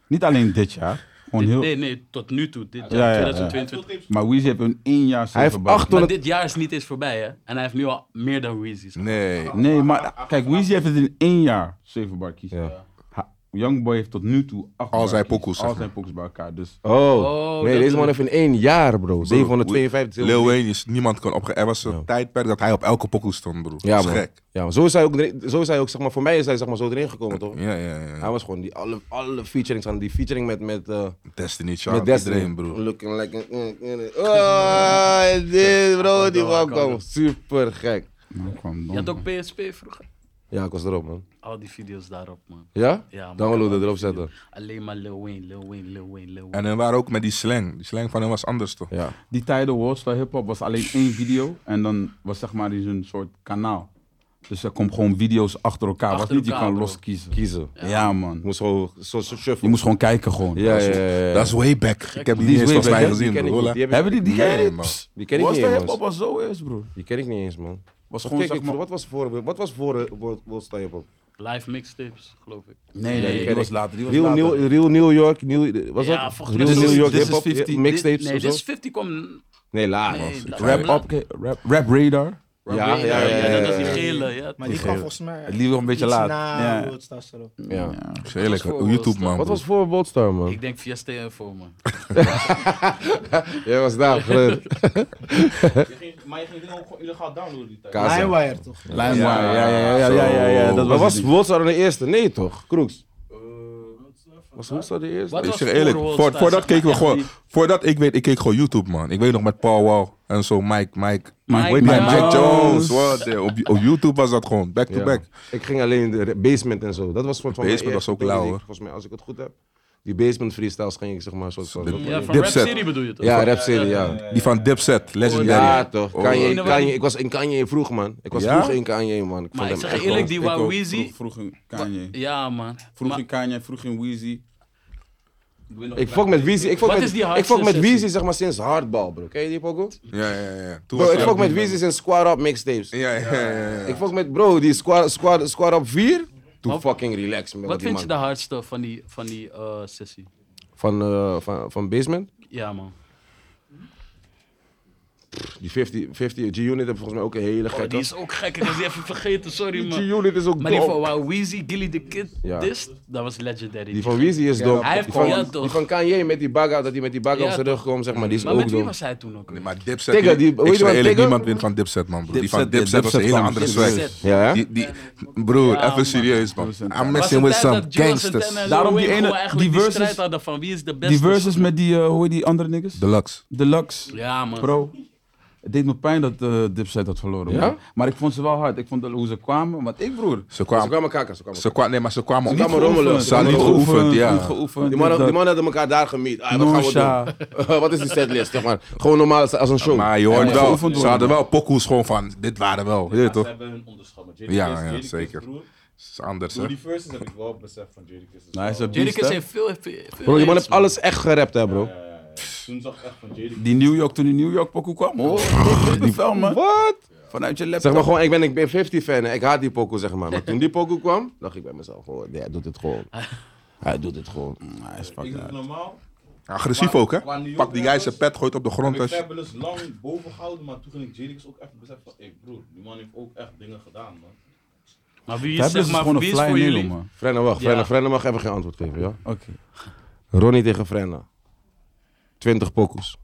[SPEAKER 2] Niet alleen dit jaar, gewoon
[SPEAKER 5] Dit-
[SPEAKER 2] heel...
[SPEAKER 5] Nee, nee, tot nu toe. Dit jaar,
[SPEAKER 2] ja, ja.
[SPEAKER 5] 2022.
[SPEAKER 2] Maar Weezy heeft een één jaar
[SPEAKER 1] Hij heeft
[SPEAKER 2] zilver
[SPEAKER 5] Maar
[SPEAKER 1] 800...
[SPEAKER 5] dit jaar is niet eens voorbij, hè? En hij heeft nu al meer dan Weezy's.
[SPEAKER 3] Nee.
[SPEAKER 2] bar.
[SPEAKER 1] Ah,
[SPEAKER 2] Nee, maar kijk, Weezy heeft het in één jaar zeven bar kiezen.
[SPEAKER 1] Ja.
[SPEAKER 2] Ha- Youngboy heeft tot nu toe acht
[SPEAKER 3] Al
[SPEAKER 2] bar
[SPEAKER 3] zijn
[SPEAKER 2] kiezen.
[SPEAKER 3] pokoes, zeg
[SPEAKER 2] Al
[SPEAKER 3] maar.
[SPEAKER 2] zijn pokoes bij elkaar, dus...
[SPEAKER 1] Oh,
[SPEAKER 5] Oh,
[SPEAKER 1] nee,
[SPEAKER 5] dat
[SPEAKER 1] deze man
[SPEAKER 5] bedoel
[SPEAKER 1] heeft in één jaar, bro. 752.
[SPEAKER 3] Lil Wayne is niemand kon opge. Er was een tijdperk dat hij op elke pokoe stond, broer.
[SPEAKER 1] Ja,
[SPEAKER 3] dat is
[SPEAKER 1] man.
[SPEAKER 3] gek.
[SPEAKER 1] Ja, maar zo is hij ook, erin- zo is hij ook zeg maar, voor mij is hij zeg maar, zo erin gekomen, toch?
[SPEAKER 3] Ja, ja, ja.
[SPEAKER 1] Hij was gewoon die alle, alle featurings aan. Die featuring met, met, eh,
[SPEAKER 3] Destiny
[SPEAKER 1] met
[SPEAKER 3] Child,
[SPEAKER 1] Destiny.
[SPEAKER 3] iedereen, broer.
[SPEAKER 1] Looking like a- mm, mm. Oh, dit bro, die man kwam super gek.
[SPEAKER 2] Nou, kwam
[SPEAKER 5] Je had
[SPEAKER 2] dan.
[SPEAKER 5] ook PSP vroeger.
[SPEAKER 1] Ja, ik was erop, man.
[SPEAKER 5] Al die video's daarop, man.
[SPEAKER 1] Ja?
[SPEAKER 5] Ja, man.
[SPEAKER 1] Downloaden, erop zetten.
[SPEAKER 5] Alleen maar Lil Wayne, Lil Wayne, Lil Wayne, Lil Wayne.
[SPEAKER 3] En dan waren ook met die slang. Die slang van hem was anders, toch?
[SPEAKER 1] Ja.
[SPEAKER 2] Die tijden Worldstar Hip Hop was alleen één video en dan was zeg maar eens een soort kanaal. Dus er komt gewoon video's achter elkaar,
[SPEAKER 5] Achter
[SPEAKER 2] was niet je
[SPEAKER 5] elkaar,
[SPEAKER 2] kan
[SPEAKER 5] bro.
[SPEAKER 2] loskiezen.
[SPEAKER 1] Kiezen.
[SPEAKER 2] Ja, man.
[SPEAKER 1] Ik moest gewoon zo, zo
[SPEAKER 2] Je
[SPEAKER 1] shuffle.
[SPEAKER 2] moest gewoon kijken gewoon.
[SPEAKER 1] Ja, ja, ja. ja.
[SPEAKER 3] Dat is way back. Ik heb die
[SPEAKER 2] is
[SPEAKER 3] niet eens
[SPEAKER 2] way
[SPEAKER 3] volgens
[SPEAKER 2] back,
[SPEAKER 3] mij
[SPEAKER 2] hè?
[SPEAKER 1] die
[SPEAKER 3] gezien,
[SPEAKER 1] ken ik
[SPEAKER 3] broer.
[SPEAKER 1] niet.
[SPEAKER 3] hoor.
[SPEAKER 1] Die, heb ik-
[SPEAKER 2] Hebben die die ken
[SPEAKER 3] Nee,
[SPEAKER 2] je?
[SPEAKER 3] man.
[SPEAKER 2] Psst,
[SPEAKER 1] die ken ik niet
[SPEAKER 2] Worldstar
[SPEAKER 1] eens,
[SPEAKER 2] Hip Hop
[SPEAKER 1] man.
[SPEAKER 2] was zo eerst, broer.
[SPEAKER 1] Die ken ik niet eens, man. Of
[SPEAKER 2] Was gewoon
[SPEAKER 1] Kijk,
[SPEAKER 2] zeg
[SPEAKER 1] ik,
[SPEAKER 2] maar...
[SPEAKER 1] wat was voor, wat was voor, eh, wat, wat sta je op?
[SPEAKER 5] Live mixtapes, geloof ik.
[SPEAKER 2] Nee, nee,
[SPEAKER 5] die
[SPEAKER 2] die
[SPEAKER 1] ken
[SPEAKER 2] was
[SPEAKER 1] ik.
[SPEAKER 2] later. Die was
[SPEAKER 1] Real
[SPEAKER 2] later.
[SPEAKER 1] New, Real New York, New, was
[SPEAKER 5] Ja,
[SPEAKER 1] dat?
[SPEAKER 5] volgens
[SPEAKER 1] Real
[SPEAKER 5] mij-
[SPEAKER 1] New
[SPEAKER 5] This
[SPEAKER 1] York
[SPEAKER 2] is- this is
[SPEAKER 1] hip-hop,
[SPEAKER 2] 50.
[SPEAKER 1] mixtapes
[SPEAKER 5] Nee,
[SPEAKER 1] of
[SPEAKER 5] dit
[SPEAKER 1] zo? Ah,
[SPEAKER 5] is 50 kwam...
[SPEAKER 1] Nee, laat.
[SPEAKER 5] Nee,
[SPEAKER 1] man.
[SPEAKER 5] laat-
[SPEAKER 2] Rap,
[SPEAKER 5] laat-
[SPEAKER 2] op, rap, rap Radar.
[SPEAKER 1] Ja, ja, ja, ja,
[SPEAKER 5] dat was die
[SPEAKER 1] ja.
[SPEAKER 5] gele, ja.
[SPEAKER 4] Maar die kwam volgens mij.
[SPEAKER 2] Het liep nog een beetje
[SPEAKER 4] iets
[SPEAKER 2] laat.
[SPEAKER 4] Na
[SPEAKER 2] Ja.
[SPEAKER 4] Roadstar zelf.
[SPEAKER 1] Ja.
[SPEAKER 3] Ik zeg Eerlijk,
[SPEAKER 5] Wat was voor
[SPEAKER 3] YouTube, man.
[SPEAKER 1] Wat
[SPEAKER 3] broer.
[SPEAKER 1] was voor Boldstar, man?
[SPEAKER 5] Ik denk via STF voor me.
[SPEAKER 1] Jij was daar, groot.
[SPEAKER 6] Maar je ging dingen ook gewoon illegaal downloaden die tijd.
[SPEAKER 1] Kaas, hè?
[SPEAKER 4] Limewire toch?
[SPEAKER 2] Limewire, ja, ja, ja, ja, ja, ja, ja, dat
[SPEAKER 1] Maar
[SPEAKER 2] was
[SPEAKER 1] was
[SPEAKER 2] het.
[SPEAKER 1] Boldstar de eerste? Nee, toch? Kroeks? Was Boldstar de
[SPEAKER 5] Eh, Wat
[SPEAKER 1] eerste?
[SPEAKER 5] was
[SPEAKER 3] Ik zeg
[SPEAKER 5] voor
[SPEAKER 3] eerlijk,
[SPEAKER 5] Worldstar,
[SPEAKER 3] voor, voordat
[SPEAKER 5] zeg maar,
[SPEAKER 3] keken we
[SPEAKER 5] echt
[SPEAKER 3] gewoon...
[SPEAKER 5] die-
[SPEAKER 3] Voordat ik weet, ik keek gewoon YouTube, man. Ik weet nog met Paul Wall en zo Mike, Mike...
[SPEAKER 5] Mike
[SPEAKER 2] Mike
[SPEAKER 3] Mike, Mike
[SPEAKER 5] Jones.
[SPEAKER 3] Jones, what the- op, op YouTube was dat gewoon, back to
[SPEAKER 1] Ja.
[SPEAKER 3] back.
[SPEAKER 1] Ik ging alleen de basement en zo. Dat was soort van mijn
[SPEAKER 3] Basement was
[SPEAKER 1] eerste
[SPEAKER 3] ook
[SPEAKER 1] dingen
[SPEAKER 3] lauw,
[SPEAKER 1] die ik-
[SPEAKER 3] hoor.
[SPEAKER 1] Volgens mij, als ik het goed heb. Die basement freestyles ging ik zeg maar soort van.
[SPEAKER 3] Dit-
[SPEAKER 5] Ja, van Rap
[SPEAKER 3] Dipset.
[SPEAKER 5] City bedoel je toch?
[SPEAKER 1] Ja, rap serie, ja.
[SPEAKER 3] Die van Dipset, legendary.
[SPEAKER 1] Ja, toch.
[SPEAKER 3] Oh.
[SPEAKER 1] Kanye,
[SPEAKER 5] Oh.
[SPEAKER 1] Kanye- ik was in Kanye vroeg, man. Ik was
[SPEAKER 3] Ja?
[SPEAKER 1] vroeg in Kanye, man. Ik
[SPEAKER 5] Maar ik
[SPEAKER 1] vond hem
[SPEAKER 5] zeg
[SPEAKER 1] echt
[SPEAKER 5] eerlijk,
[SPEAKER 1] wel-
[SPEAKER 5] die
[SPEAKER 2] Ik ook.
[SPEAKER 5] Wawizi...
[SPEAKER 2] Vroeg- Vroeg in Kanye.
[SPEAKER 5] Ja, man.
[SPEAKER 2] Vroeg
[SPEAKER 5] Maar-
[SPEAKER 2] in Kanye, vroeg in Weezy.
[SPEAKER 1] Ik fuck met Weezy. Ik fuck
[SPEAKER 5] Wat
[SPEAKER 1] met,
[SPEAKER 5] is die
[SPEAKER 1] ik fuck met
[SPEAKER 5] hardste
[SPEAKER 1] Weezy
[SPEAKER 5] sessie?
[SPEAKER 1] zeg maar sinds Hardball, bro. Ken je die pokoe?
[SPEAKER 3] Ja, ja, ja. Toen
[SPEAKER 1] Bro,
[SPEAKER 3] was
[SPEAKER 1] ik
[SPEAKER 3] hij
[SPEAKER 1] fuck
[SPEAKER 3] ook-
[SPEAKER 1] met Weezy sinds Squad Up mixtapes.
[SPEAKER 3] Ja, ja, ja, ja, ja.
[SPEAKER 1] Ik fuck met bro, die Squad, squad, squad Up 4. Toen fucking relax man.
[SPEAKER 5] Wat
[SPEAKER 1] die
[SPEAKER 5] vind je de
[SPEAKER 1] man.
[SPEAKER 5] hardste van die, van die eh, sessie?
[SPEAKER 1] Van, eh, van, van Basement?
[SPEAKER 5] Ja, man.
[SPEAKER 1] Die 50, 50 G-Unit heeft volgens mij ook een hele gekke.
[SPEAKER 5] Oh, die is ook gek. Ik was die even vergeten, sorry,
[SPEAKER 1] Die
[SPEAKER 5] man.
[SPEAKER 1] G-Unit is ook
[SPEAKER 5] Maar die
[SPEAKER 1] dom.
[SPEAKER 5] van Wawizi, Gilly the Kid,
[SPEAKER 1] Ja.
[SPEAKER 5] dist, dat was legendary.
[SPEAKER 1] Die van Weezy is dom.
[SPEAKER 5] Hij heeft
[SPEAKER 1] Die van,
[SPEAKER 5] gewoon- ja,
[SPEAKER 1] die
[SPEAKER 5] toch.
[SPEAKER 1] van Kanye met die bagger, dat hij met die bagger
[SPEAKER 5] Ja,
[SPEAKER 1] op zijn rug komt, zeg maar, die is
[SPEAKER 5] Maar
[SPEAKER 1] ook
[SPEAKER 5] met wie
[SPEAKER 1] dom.
[SPEAKER 5] was hij toen ook?
[SPEAKER 3] Nee,
[SPEAKER 5] weer?
[SPEAKER 3] maar Dipset...
[SPEAKER 1] Tigger, die- hoe
[SPEAKER 3] ik
[SPEAKER 1] heet die
[SPEAKER 3] zeg
[SPEAKER 1] man,
[SPEAKER 3] eerlijk,
[SPEAKER 1] Tigger?
[SPEAKER 3] niemand wint van Dipset, man. Broer. Die van
[SPEAKER 2] Dipset-
[SPEAKER 3] Dipset was een
[SPEAKER 2] Dipset
[SPEAKER 3] hele
[SPEAKER 2] kwam-
[SPEAKER 3] andere
[SPEAKER 2] Dipset.
[SPEAKER 3] swag.
[SPEAKER 1] Ja, hè?
[SPEAKER 3] Die, die, broer,
[SPEAKER 5] Ja, man.
[SPEAKER 3] even serieus, man. I'm
[SPEAKER 5] Was
[SPEAKER 3] messing
[SPEAKER 5] een
[SPEAKER 3] with
[SPEAKER 5] tijd
[SPEAKER 3] some
[SPEAKER 5] dat Joel Santana en
[SPEAKER 3] gangsters.
[SPEAKER 5] Lil
[SPEAKER 2] Daarom die
[SPEAKER 5] Wayne
[SPEAKER 2] ene-
[SPEAKER 5] gewoon
[SPEAKER 2] die
[SPEAKER 5] eigenlijk die
[SPEAKER 2] verses-
[SPEAKER 5] strijd hadden van wie is de beste.
[SPEAKER 2] Die verses met die, eh, hoe heet die andere niggas?
[SPEAKER 3] Deluxe.
[SPEAKER 2] Deluxe,
[SPEAKER 5] Ja, man.
[SPEAKER 2] Pro. Het deed me pijn dat eh Dipset had verloren.
[SPEAKER 1] Ja?
[SPEAKER 2] man. Maar ik vond ze wel hard. Ik vond dat- hoe ze kwamen. Want ik, broer.
[SPEAKER 3] Ze
[SPEAKER 1] Ze
[SPEAKER 3] kwamen,
[SPEAKER 1] kwamen kakken, ze kwamen
[SPEAKER 3] ze kwamen, nee, maar ze kwamen
[SPEAKER 1] kwamen
[SPEAKER 3] op.
[SPEAKER 1] rommelen.
[SPEAKER 2] geoefend.
[SPEAKER 1] Ze hadden
[SPEAKER 3] niet
[SPEAKER 2] Niet
[SPEAKER 3] geoefend, ja.
[SPEAKER 2] Niet geoefend.
[SPEAKER 1] Die mannen,
[SPEAKER 2] dit,
[SPEAKER 1] die
[SPEAKER 2] dat.
[SPEAKER 1] mannen hadden elkaar daar gemiet. Ah, wat gaan we doen? wat is die setlist, zeg maar? Gewoon normaal als- als een show.
[SPEAKER 3] Maar je hoort
[SPEAKER 2] Ja,
[SPEAKER 3] wel,
[SPEAKER 2] Oh. geoefend
[SPEAKER 3] ze
[SPEAKER 2] worden.
[SPEAKER 3] hadden wel pokoes gewoon van, dit waren wel. Je weet
[SPEAKER 6] Ze
[SPEAKER 3] toch?
[SPEAKER 6] hebben hun onderschat. maar
[SPEAKER 3] Ja,
[SPEAKER 6] Jadakiss-
[SPEAKER 3] ja,
[SPEAKER 6] Jadakiss,
[SPEAKER 3] zeker.
[SPEAKER 6] broer,
[SPEAKER 3] Het is anders, hè.
[SPEAKER 6] Door die verses heb ik wel besef van Jadakiss. is
[SPEAKER 2] Nou, hij is
[SPEAKER 6] wel-
[SPEAKER 2] een beast,
[SPEAKER 5] Jurikis
[SPEAKER 2] hè.
[SPEAKER 5] heeft veel... veel, veel
[SPEAKER 1] Bro, die man
[SPEAKER 5] hits,
[SPEAKER 1] heeft alles echt gerapt, hè, bro.
[SPEAKER 6] Ja, ja, ja. Toen zag ik echt van Jadakiss.
[SPEAKER 2] Die New York, toen die New York pokoe kwam. Oh, die vel, man.
[SPEAKER 1] Wat?
[SPEAKER 2] Vanuit je laptop.
[SPEAKER 1] Zeg maar gewoon, ik ben, ik ben 50 fan, hè. ik haat die pokoe, zeg maar. Maar toen die pokoe kwam, dacht ik bij mezelf, oh, nee, hij doet het gewoon. Hij doet het gewoon.
[SPEAKER 2] Mm, hij is
[SPEAKER 6] Ik
[SPEAKER 2] fucking
[SPEAKER 6] doe
[SPEAKER 2] hard.
[SPEAKER 6] normaal.
[SPEAKER 3] Agressief
[SPEAKER 6] Qua-
[SPEAKER 3] ook, hè.
[SPEAKER 6] qua New York
[SPEAKER 3] Pak die guy
[SPEAKER 6] rappers
[SPEAKER 3] zijn pet, gooit op de
[SPEAKER 6] Heb
[SPEAKER 3] grond.
[SPEAKER 6] ik
[SPEAKER 3] Als je-
[SPEAKER 6] Fabulous lang boven gehouden, maar toen ging ik Jadakiss ook echt beseffen van, hey broer, die man heeft ook echt dingen gedaan, man.
[SPEAKER 5] Maar wie is,
[SPEAKER 2] Fabulous
[SPEAKER 5] zeg
[SPEAKER 2] is gewoon
[SPEAKER 5] maar,
[SPEAKER 2] een
[SPEAKER 5] wie is
[SPEAKER 2] fly
[SPEAKER 5] voor
[SPEAKER 2] nigger,
[SPEAKER 5] jullie?
[SPEAKER 2] man.
[SPEAKER 1] Frenna, wacht.
[SPEAKER 5] Ja.
[SPEAKER 1] Frenna, Frenna mag even geen antwoord geven, ja?
[SPEAKER 2] Oké.
[SPEAKER 1] Ronnie tegen Frenna. 20 pokoes.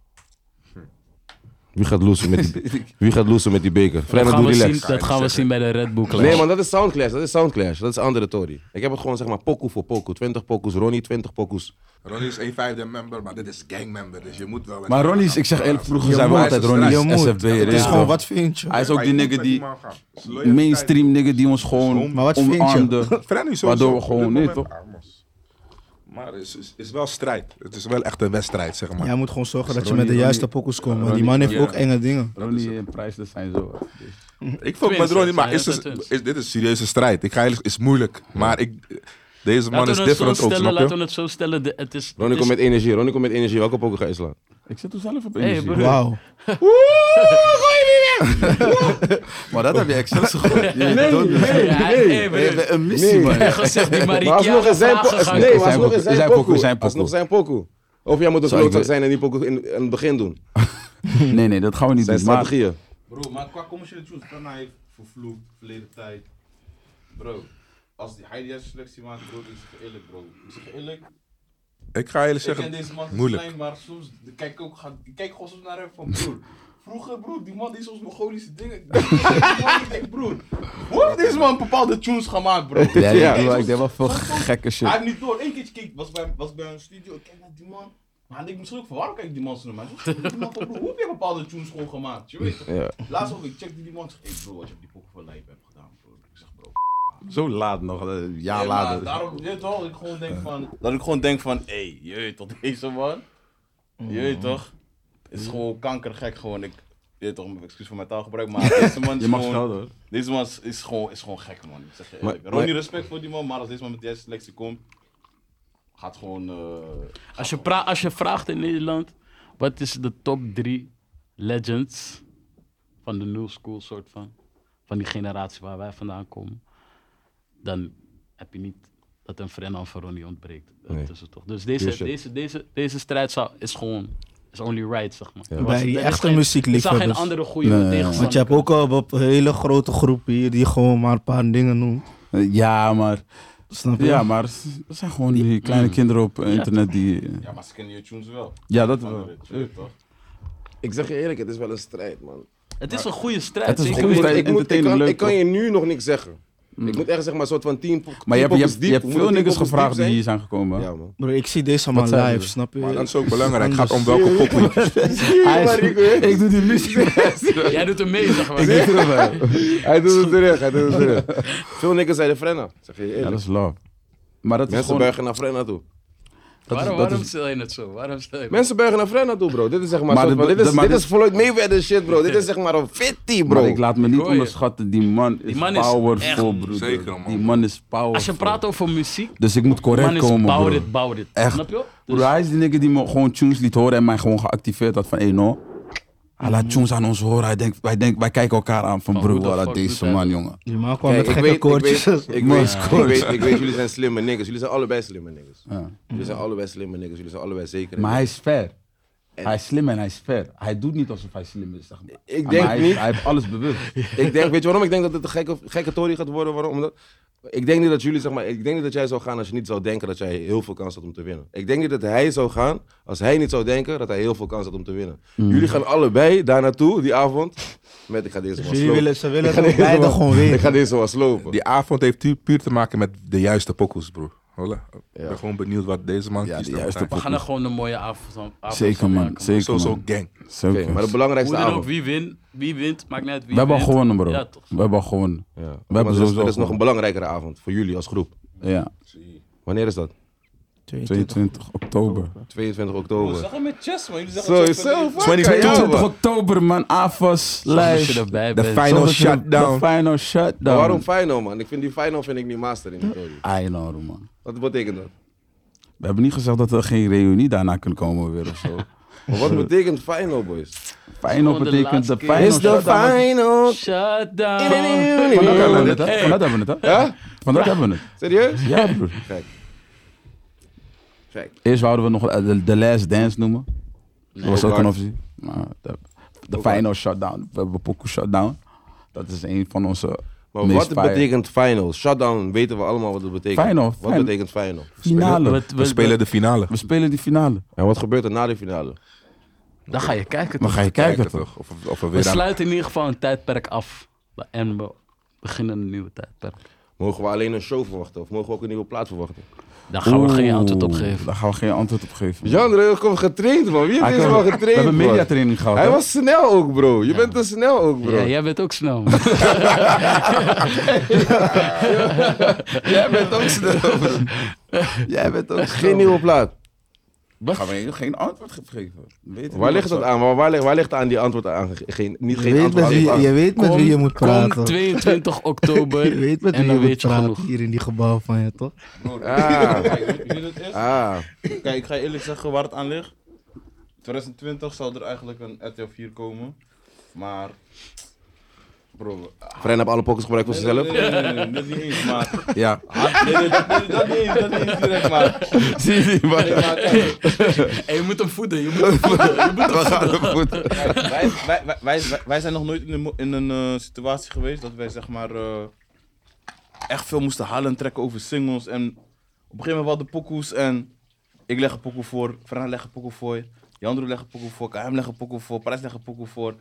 [SPEAKER 1] Wie gaat losen met die, be- wie gaat losen met die beker?
[SPEAKER 5] Dat
[SPEAKER 1] Frenna,
[SPEAKER 5] gaan,
[SPEAKER 1] doe
[SPEAKER 5] we zien,
[SPEAKER 1] relax.
[SPEAKER 5] dat gaan we zien bij de Red Bull Clash.
[SPEAKER 1] Nee, man, dat is Soundclash. Dat is Soundclash. Dat is een andere Tory. Ik heb het gewoon, zeg maar, pokoe voor pokoe. 20 pokoes, Ronnie 20 pokoes.
[SPEAKER 3] Ronnie is een vijfde member, maar dit is gangmember, dus je moet wel...
[SPEAKER 2] Maar Ronnie is, ik zeg eerlijk, vroeger
[SPEAKER 4] Je
[SPEAKER 2] zijn we
[SPEAKER 4] moet.
[SPEAKER 2] altijd
[SPEAKER 4] Je
[SPEAKER 2] Ronnie
[SPEAKER 4] moet.
[SPEAKER 2] is SFB'er.
[SPEAKER 4] Het
[SPEAKER 2] weet
[SPEAKER 4] is
[SPEAKER 2] je
[SPEAKER 4] gewoon,
[SPEAKER 2] toch?
[SPEAKER 4] wat vind je?
[SPEAKER 2] Hij is ook die nigger die, mainstream nigger die ons gewoon
[SPEAKER 4] Maar wat vind je?
[SPEAKER 2] omarmde.
[SPEAKER 3] Frenny sowieso.
[SPEAKER 2] Waardoor we
[SPEAKER 3] Op
[SPEAKER 2] gewoon,
[SPEAKER 3] dit
[SPEAKER 2] nee
[SPEAKER 3] moment-
[SPEAKER 2] toch?
[SPEAKER 3] Ah, mos. Maar het is, is, is wel strijd. Het is wel echt een wedstrijd, zeg maar.
[SPEAKER 4] Jij moet gewoon zorgen dat je
[SPEAKER 2] Ronnie-
[SPEAKER 4] met de juiste
[SPEAKER 2] Ronnie-
[SPEAKER 4] pokkels komt. want Die
[SPEAKER 2] Ronnie-
[SPEAKER 4] man heeft
[SPEAKER 2] ja.
[SPEAKER 4] ook enge dingen.
[SPEAKER 2] Ronnie en Prijs, dat zijn zo.
[SPEAKER 3] ik vond
[SPEAKER 5] Twins,
[SPEAKER 3] met Ronnie, maar
[SPEAKER 5] ja,
[SPEAKER 3] is,
[SPEAKER 5] dat
[SPEAKER 3] dus-
[SPEAKER 5] zijn twins.
[SPEAKER 3] is- dit is een serieuze strijd. Ik ga eigenlijk, is moeilijk. Maar ik, deze man
[SPEAKER 5] Laten
[SPEAKER 3] is
[SPEAKER 5] we het zo
[SPEAKER 3] different ook,
[SPEAKER 5] stellen,
[SPEAKER 3] snap
[SPEAKER 5] laten
[SPEAKER 3] je?
[SPEAKER 5] we het zo stellen. de- Het is,
[SPEAKER 1] Ronnie
[SPEAKER 5] het
[SPEAKER 1] komt
[SPEAKER 5] is,
[SPEAKER 1] met energie. Ronnie komt met energie. Welke pokoe ga je slaan?
[SPEAKER 2] Ik zit er zelf op
[SPEAKER 5] Hey,
[SPEAKER 2] energie.
[SPEAKER 5] broer.
[SPEAKER 4] Wauw.
[SPEAKER 2] maar dat heb je excels gegooid. Je weet het ook niet.
[SPEAKER 5] Ja, hey,
[SPEAKER 2] We hebben een missie,
[SPEAKER 1] Nee.
[SPEAKER 2] man.
[SPEAKER 5] broer. Gezegd, die
[SPEAKER 1] Maar alsnog
[SPEAKER 5] Marikiana
[SPEAKER 1] is zijn
[SPEAKER 5] vragen
[SPEAKER 1] pokoe.
[SPEAKER 5] gaan
[SPEAKER 1] Nee,
[SPEAKER 5] komen.
[SPEAKER 1] maar alsnog
[SPEAKER 2] pokoe.
[SPEAKER 1] is zijn
[SPEAKER 2] Zijn pokoe, zijn
[SPEAKER 1] pokoe.
[SPEAKER 2] pokoe.
[SPEAKER 1] Alsnog zijn pokoe. Of jij moet een
[SPEAKER 2] Zou ik
[SPEAKER 1] klootzak
[SPEAKER 2] de-
[SPEAKER 1] zijn en die pokoe in, in het begin doen.
[SPEAKER 2] Nee, nee, dat gaan we niet
[SPEAKER 1] Zijn
[SPEAKER 2] doen. Maar
[SPEAKER 1] strategieën.
[SPEAKER 6] Bro, maar qua commerciële tunes, Panna heeft vervloekt, verleden tijd. Bro, als die, hij die juiste selectie maakt, bro, ik zeg je eerlijk, bro. Ik zeg je eerlijk,
[SPEAKER 3] Ik ga eerlijk
[SPEAKER 6] ik ken
[SPEAKER 3] zeggen,
[SPEAKER 6] deze man sinds
[SPEAKER 3] moeilijk.
[SPEAKER 6] klein, maar soms ik kijk ook, ga, ik kijk gewoon soms naar hem van, broer. Vroeger, broer, die man die soms Mongolische dingen. Ik denk, broer, hoe heeft deze man bepaalde tunes gemaakt, bro?
[SPEAKER 2] ja,
[SPEAKER 1] Ja.
[SPEAKER 2] ja, broer, ik deed wel veel gekke
[SPEAKER 6] Hij
[SPEAKER 2] shit.
[SPEAKER 6] heeft niet door. Eén keertje keek, was bij, was bij een studio. Ik kijk naar die man. Maar ik denk misschien ook van waarom kijk ik die man zo naar mij? Hoe die man van, broer, hoe heb je bepaalde tunes gewoon gemaakt? Je weet toch?
[SPEAKER 1] Ja.
[SPEAKER 6] Laatst ook, ik checkte die man. Ik zeg, hey bro, wat je op die pokken van Lijp hebt gedaan, bro. Ik zeg, bro.
[SPEAKER 2] Zo laat nog,
[SPEAKER 6] eh,
[SPEAKER 2] een jaar
[SPEAKER 6] Ja, maar
[SPEAKER 2] later.
[SPEAKER 6] Daarom, je weet toch, dat ik gewoon denk van... Dat ik gewoon denk van, hé, hey, je weet toch, deze man. Je weet toch. Is gewoon kankergek gewoon. Ik, je weet toch, excuus voor mijn taalgebruik, maar deze man is
[SPEAKER 2] Je mag
[SPEAKER 6] gewoon-
[SPEAKER 2] snel hoor.
[SPEAKER 6] Deze man is, is gewoon, is gewoon gek, man. Ik zeg je
[SPEAKER 1] Maar-
[SPEAKER 6] eerlijk. Ronnie,
[SPEAKER 1] maar-
[SPEAKER 6] respect voor die man, maar als deze man met die selectie komt... Gaat gewoon... eh,
[SPEAKER 5] Als je, pra- als je vraagt in Nederland, wat is de top drie legends van de new school soort van, van die generatie waar wij vandaan komen, dan heb je niet dat een Frenna of een Ronnie ontbreekt. eh,
[SPEAKER 1] Nee.
[SPEAKER 5] Tussen toch. Dus deze,
[SPEAKER 1] Pure shit.
[SPEAKER 5] deze, deze, deze strijd zou, is gewoon is only right, zeg maar. Er was-
[SPEAKER 4] Bij die
[SPEAKER 5] er
[SPEAKER 4] echte
[SPEAKER 5] is geen- Ik zag geen
[SPEAKER 4] muziekliefhebbers.
[SPEAKER 5] andere goede
[SPEAKER 2] Nee,
[SPEAKER 5] tegenstander.
[SPEAKER 4] Want je hebt ook al een hele grote groep hier die gewoon maar een paar dingen noemt.
[SPEAKER 2] Eh, Ja, maar.
[SPEAKER 4] Snap je?
[SPEAKER 2] Ja, maar dat zijn gewoon die kleine kinderen op eh, internet die. eh,
[SPEAKER 6] ja, maar ze kennen je tunes wel.
[SPEAKER 2] Ja, dat
[SPEAKER 6] Andere,
[SPEAKER 2] wel.
[SPEAKER 6] je weet toch?
[SPEAKER 1] Ik zeg je eerlijk, het is wel een strijd, man.
[SPEAKER 5] Het is een goede strijd.
[SPEAKER 2] Het is een
[SPEAKER 5] zeker
[SPEAKER 1] Ik,
[SPEAKER 2] goede
[SPEAKER 5] weten.
[SPEAKER 1] moet,
[SPEAKER 2] strijd,
[SPEAKER 1] ik, moet, ik, kan,
[SPEAKER 2] entertainend, leuk,
[SPEAKER 1] ik kan
[SPEAKER 2] toch? Hmm.
[SPEAKER 1] je nu nog niks zeggen. Ik moet echt zeg maar een soort van team.
[SPEAKER 2] Maar je hebt, je hebt, je hebt veel niggas gevraagd die hier zijn gekomen.
[SPEAKER 1] Ja, man.
[SPEAKER 4] Bro, ik zie deze man
[SPEAKER 2] zijn
[SPEAKER 4] live,
[SPEAKER 2] we?
[SPEAKER 4] snap je?
[SPEAKER 3] Maar dat is ook belangrijk. Het gaat om welke pokoe.
[SPEAKER 2] Hij is-
[SPEAKER 1] Marico, hè?
[SPEAKER 2] ik doe die missie.
[SPEAKER 5] Jij doet hem mee, zeg maar.
[SPEAKER 2] Ik doe het wel.
[SPEAKER 1] Hij doet het terug, hij doet het terug. Veel niggas zeiden Frenna. Zeg je eerlijk.
[SPEAKER 2] Ja, dat is love. Maar dat is
[SPEAKER 1] Mensen
[SPEAKER 2] gewoon...
[SPEAKER 1] buigen naar Frenna toe.
[SPEAKER 2] Dat is,
[SPEAKER 5] waarom
[SPEAKER 2] dat
[SPEAKER 5] waarom
[SPEAKER 2] is,
[SPEAKER 5] stel je het zo? Waarom stel je
[SPEAKER 1] Mensen buigen naar Frenna toe, bro. Dit is zeg maar,
[SPEAKER 2] Maar
[SPEAKER 1] soort
[SPEAKER 2] dit-
[SPEAKER 1] van- dit,
[SPEAKER 2] dit-
[SPEAKER 1] is,
[SPEAKER 2] maar
[SPEAKER 1] dit
[SPEAKER 2] dit-
[SPEAKER 1] is Floyd Mayweather shit, bro. Dit is zeg maar een fitty, bro.
[SPEAKER 2] maar ik laat me niet
[SPEAKER 5] hoor je.
[SPEAKER 2] onderschatten. Die man is,
[SPEAKER 5] Die man is
[SPEAKER 2] powerful,
[SPEAKER 5] echt-
[SPEAKER 2] broer.
[SPEAKER 3] Zeker, man.
[SPEAKER 2] Die man is powerful.
[SPEAKER 5] Als je praat over muziek,
[SPEAKER 2] Dus ik moet correct
[SPEAKER 5] man is
[SPEAKER 2] komen,
[SPEAKER 5] bouw
[SPEAKER 2] broer.
[SPEAKER 5] dit, bouw dit.
[SPEAKER 2] Echt.
[SPEAKER 5] Snap je? Dus
[SPEAKER 2] Broer, hij is die nigger die me gewoon tunes liet horen en mij gewoon geactiveerd had van, hé, no. Hij laat tunes aan ons horen. Hij denkt, wij, denken, wij kijken elkaar aan van,
[SPEAKER 5] Van,
[SPEAKER 2] broer,
[SPEAKER 5] hoe de
[SPEAKER 2] voilà,
[SPEAKER 5] fuck doet
[SPEAKER 2] deze
[SPEAKER 5] hij
[SPEAKER 2] man,
[SPEAKER 5] dat?
[SPEAKER 2] jongen.
[SPEAKER 4] Die man kwam
[SPEAKER 1] Kijk,
[SPEAKER 4] met
[SPEAKER 1] ik
[SPEAKER 4] gekke
[SPEAKER 1] weet, ik weet,
[SPEAKER 4] koortjes.
[SPEAKER 1] ik weet, ik weet,
[SPEAKER 2] Mooi
[SPEAKER 1] ik weet, jullie zijn slimme niggas. Jullie zijn allebei slimme niggas. Jullie zijn allebei slimme niggas. Jullie zijn allebei zeker.
[SPEAKER 2] Maar hij is fair. Hij is slim en hij is fair. Hij doet niet alsof hij slim is, zeg maar.
[SPEAKER 1] Ik
[SPEAKER 2] Maar
[SPEAKER 1] denk
[SPEAKER 2] hij, is-
[SPEAKER 1] niet.
[SPEAKER 2] Hij heeft alles bewust.
[SPEAKER 1] Ik denk, weet je waarom? Ik denk dat het een gekke, gekke tory gaat worden. Waarom? Omdat, ik denk niet dat jullie, zeg maar, ik denk niet dat jij zou gaan als je niet zou denken dat jij heel veel kans had om te winnen. Ik denk niet dat hij zou gaan als hij niet zou denken dat hij heel veel kans had om te winnen.
[SPEAKER 4] Hmm.
[SPEAKER 1] Jullie gaan allebei daar naartoe die avond met ik ga deze man
[SPEAKER 4] Jullie
[SPEAKER 1] slopen.
[SPEAKER 4] willen, ze willen
[SPEAKER 1] Ik ga
[SPEAKER 4] het
[SPEAKER 1] deze
[SPEAKER 4] beide
[SPEAKER 1] man-
[SPEAKER 4] gewoon
[SPEAKER 1] Ik
[SPEAKER 4] weten.
[SPEAKER 1] ga deze man slopen.
[SPEAKER 3] Die avond heeft pu- puur te maken met de juiste pokoes, broer. Hola. Ik ben gewoon benieuwd wat deze man
[SPEAKER 1] Ja,
[SPEAKER 3] kiest.
[SPEAKER 1] de
[SPEAKER 3] en wat
[SPEAKER 1] juiste
[SPEAKER 3] hij-
[SPEAKER 5] We gaan er gewoon een mooie avond avond
[SPEAKER 2] Zeker
[SPEAKER 5] van
[SPEAKER 2] man,
[SPEAKER 5] maken.
[SPEAKER 2] zeker
[SPEAKER 3] Sowieso
[SPEAKER 2] man.
[SPEAKER 3] gang.
[SPEAKER 1] Oké,
[SPEAKER 2] Zeker.
[SPEAKER 1] maar de
[SPEAKER 5] Hoe
[SPEAKER 1] belangrijkste
[SPEAKER 5] dan ook,
[SPEAKER 1] avond.
[SPEAKER 5] wie wint, wie wint, maakt niet uit wie
[SPEAKER 2] We hebben al
[SPEAKER 5] wint.
[SPEAKER 2] gewonnen bro.
[SPEAKER 5] Ja, toch.
[SPEAKER 2] We hebben al gewonnen.
[SPEAKER 1] Ja. Maar
[SPEAKER 2] hebben
[SPEAKER 1] dat is-
[SPEAKER 2] sowieso
[SPEAKER 1] dat is nog
[SPEAKER 2] gewonnen.
[SPEAKER 1] een belangrijkere avond voor jullie als groep.
[SPEAKER 2] Ja,
[SPEAKER 1] Wanneer is dat?
[SPEAKER 2] 22 oktober.
[SPEAKER 1] 22
[SPEAKER 6] We
[SPEAKER 1] oktober.
[SPEAKER 6] zeggen met chess, man. Jullie zeggen chess.
[SPEAKER 1] Sowieso, fuck
[SPEAKER 2] 22
[SPEAKER 1] man.
[SPEAKER 2] oktober man, AFAS,
[SPEAKER 5] Als je
[SPEAKER 2] lijst.
[SPEAKER 5] erbij
[SPEAKER 3] De
[SPEAKER 5] bent.
[SPEAKER 3] final
[SPEAKER 2] Zonder dat je-
[SPEAKER 3] shutdown.
[SPEAKER 2] De final shutdown.
[SPEAKER 1] Waarom final, man? Ik vind die final vind ik niet master in Victoria.
[SPEAKER 2] I know man.
[SPEAKER 1] Wat betekent dat?
[SPEAKER 2] We hebben niet gezegd dat er geen reunie daarna kan komen weer of zo.
[SPEAKER 1] Maar wat betekent final, boys?
[SPEAKER 2] Final
[SPEAKER 5] Gewoon de
[SPEAKER 2] betekent de
[SPEAKER 5] laatste
[SPEAKER 2] final
[SPEAKER 5] keer.
[SPEAKER 2] shutdown.
[SPEAKER 1] final.
[SPEAKER 5] Shut down.
[SPEAKER 2] Vandaag hebben we het, hè? Vandaag hebben we het, hè?
[SPEAKER 1] Ja?
[SPEAKER 2] Vandaag hebben we het.
[SPEAKER 1] Serieus?
[SPEAKER 2] Ja, broer.
[SPEAKER 1] Kijk.
[SPEAKER 2] Eerst zouden we nog eh, de, de Last Dance noemen. dat was
[SPEAKER 1] ook
[SPEAKER 2] ook een
[SPEAKER 1] hard.
[SPEAKER 2] optie. Maar de, de
[SPEAKER 1] Ook
[SPEAKER 2] Final Shutdown. We hebben Poku Shutdown. Dat is een van onze
[SPEAKER 1] Maar
[SPEAKER 2] meest
[SPEAKER 1] wat
[SPEAKER 2] fire-
[SPEAKER 1] betekent final? Shutdown weten we allemaal wat het betekent.
[SPEAKER 2] Final,
[SPEAKER 1] Wat
[SPEAKER 2] final.
[SPEAKER 1] betekent final?
[SPEAKER 2] finale.
[SPEAKER 5] Wat-
[SPEAKER 3] We
[SPEAKER 5] wat-
[SPEAKER 3] spelen de finale.
[SPEAKER 2] We spelen die finale.
[SPEAKER 1] En wat gebeurt er na de finale?
[SPEAKER 5] Dan ga je kijken.
[SPEAKER 2] Maar
[SPEAKER 5] toch?
[SPEAKER 2] ga je kijken toch?
[SPEAKER 3] toch? Of, of we
[SPEAKER 5] We
[SPEAKER 3] weer aan...
[SPEAKER 5] sluiten in ieder geval een tijdperk af. En we beginnen een nieuwe tijdperk.
[SPEAKER 1] Mogen we alleen een show verwachten of mogen we ook een nieuwe plaat verwachten?
[SPEAKER 5] Daar gaan we geen
[SPEAKER 2] Oeh,
[SPEAKER 5] antwoord op geven.
[SPEAKER 2] Daar gaan we geen antwoord op geven.
[SPEAKER 1] Jan, kom getraind man. Wie heeft
[SPEAKER 2] Hij
[SPEAKER 1] deze
[SPEAKER 2] kan-
[SPEAKER 1] man
[SPEAKER 2] we
[SPEAKER 1] getraind?
[SPEAKER 2] hebben
[SPEAKER 1] man?
[SPEAKER 2] mediatraining gehad.
[SPEAKER 1] Hij
[SPEAKER 2] hè?
[SPEAKER 1] was snel ook, bro. Je bent te snel ook, bro.
[SPEAKER 5] Ja, jij bent ook snel.
[SPEAKER 1] Jij bent ook snel, bro.
[SPEAKER 2] Jij bent ook
[SPEAKER 1] Geen nieuwe plaat.
[SPEAKER 2] Wat? Gaan we geen antwoord geven? Weet
[SPEAKER 1] Waar ligt dat aan? Waar, waar, ligt, waar ligt aan die antwoord aan? Geen, niet
[SPEAKER 4] Je
[SPEAKER 1] geen
[SPEAKER 4] weet, met
[SPEAKER 1] antwoord
[SPEAKER 4] wie,
[SPEAKER 1] aan.
[SPEAKER 4] je weet met wie je moet praten.
[SPEAKER 5] Kom 22 oktober.
[SPEAKER 4] Je weet met
[SPEAKER 5] en
[SPEAKER 4] wie
[SPEAKER 5] dan
[SPEAKER 4] je moet
[SPEAKER 5] weet je
[SPEAKER 4] praten
[SPEAKER 5] genoeg.
[SPEAKER 4] hier in die gebouw van je, toch?
[SPEAKER 1] Ah,
[SPEAKER 6] Kijk, weet- weet je wat het is?
[SPEAKER 1] ah.
[SPEAKER 6] Kijk, ik ga je eerlijk zeggen waar het aan ligt. 2020 zou er eigenlijk een RTL 4 komen. Maar. Bro.
[SPEAKER 1] Fren heb alle pockets gebruikt voor zichzelf.
[SPEAKER 6] Nee, nee, nee, nee, dat niet eens, maar.
[SPEAKER 2] Ja.
[SPEAKER 6] Nee, nee, dat, nee, dat niet eens, dat niet eens direct, maar.
[SPEAKER 2] Zie je niet,
[SPEAKER 6] Nee, maar kijk,
[SPEAKER 5] En je moet hem voeden. Je moet
[SPEAKER 6] kijk, wij, wij, wij, wij, wij zijn nog nooit in een, mo- in een eh, situatie geweest dat wij zeg maar. eh, echt veel moesten halen en trekken over singles. En op een gegeven moment hadden pokoes en. Ik leg een pokoe voor, Fran legt een pokoe voor, Jandro legt een pokoe voor, KM legt een pokoe voor, Parijs legt een pokoe voor.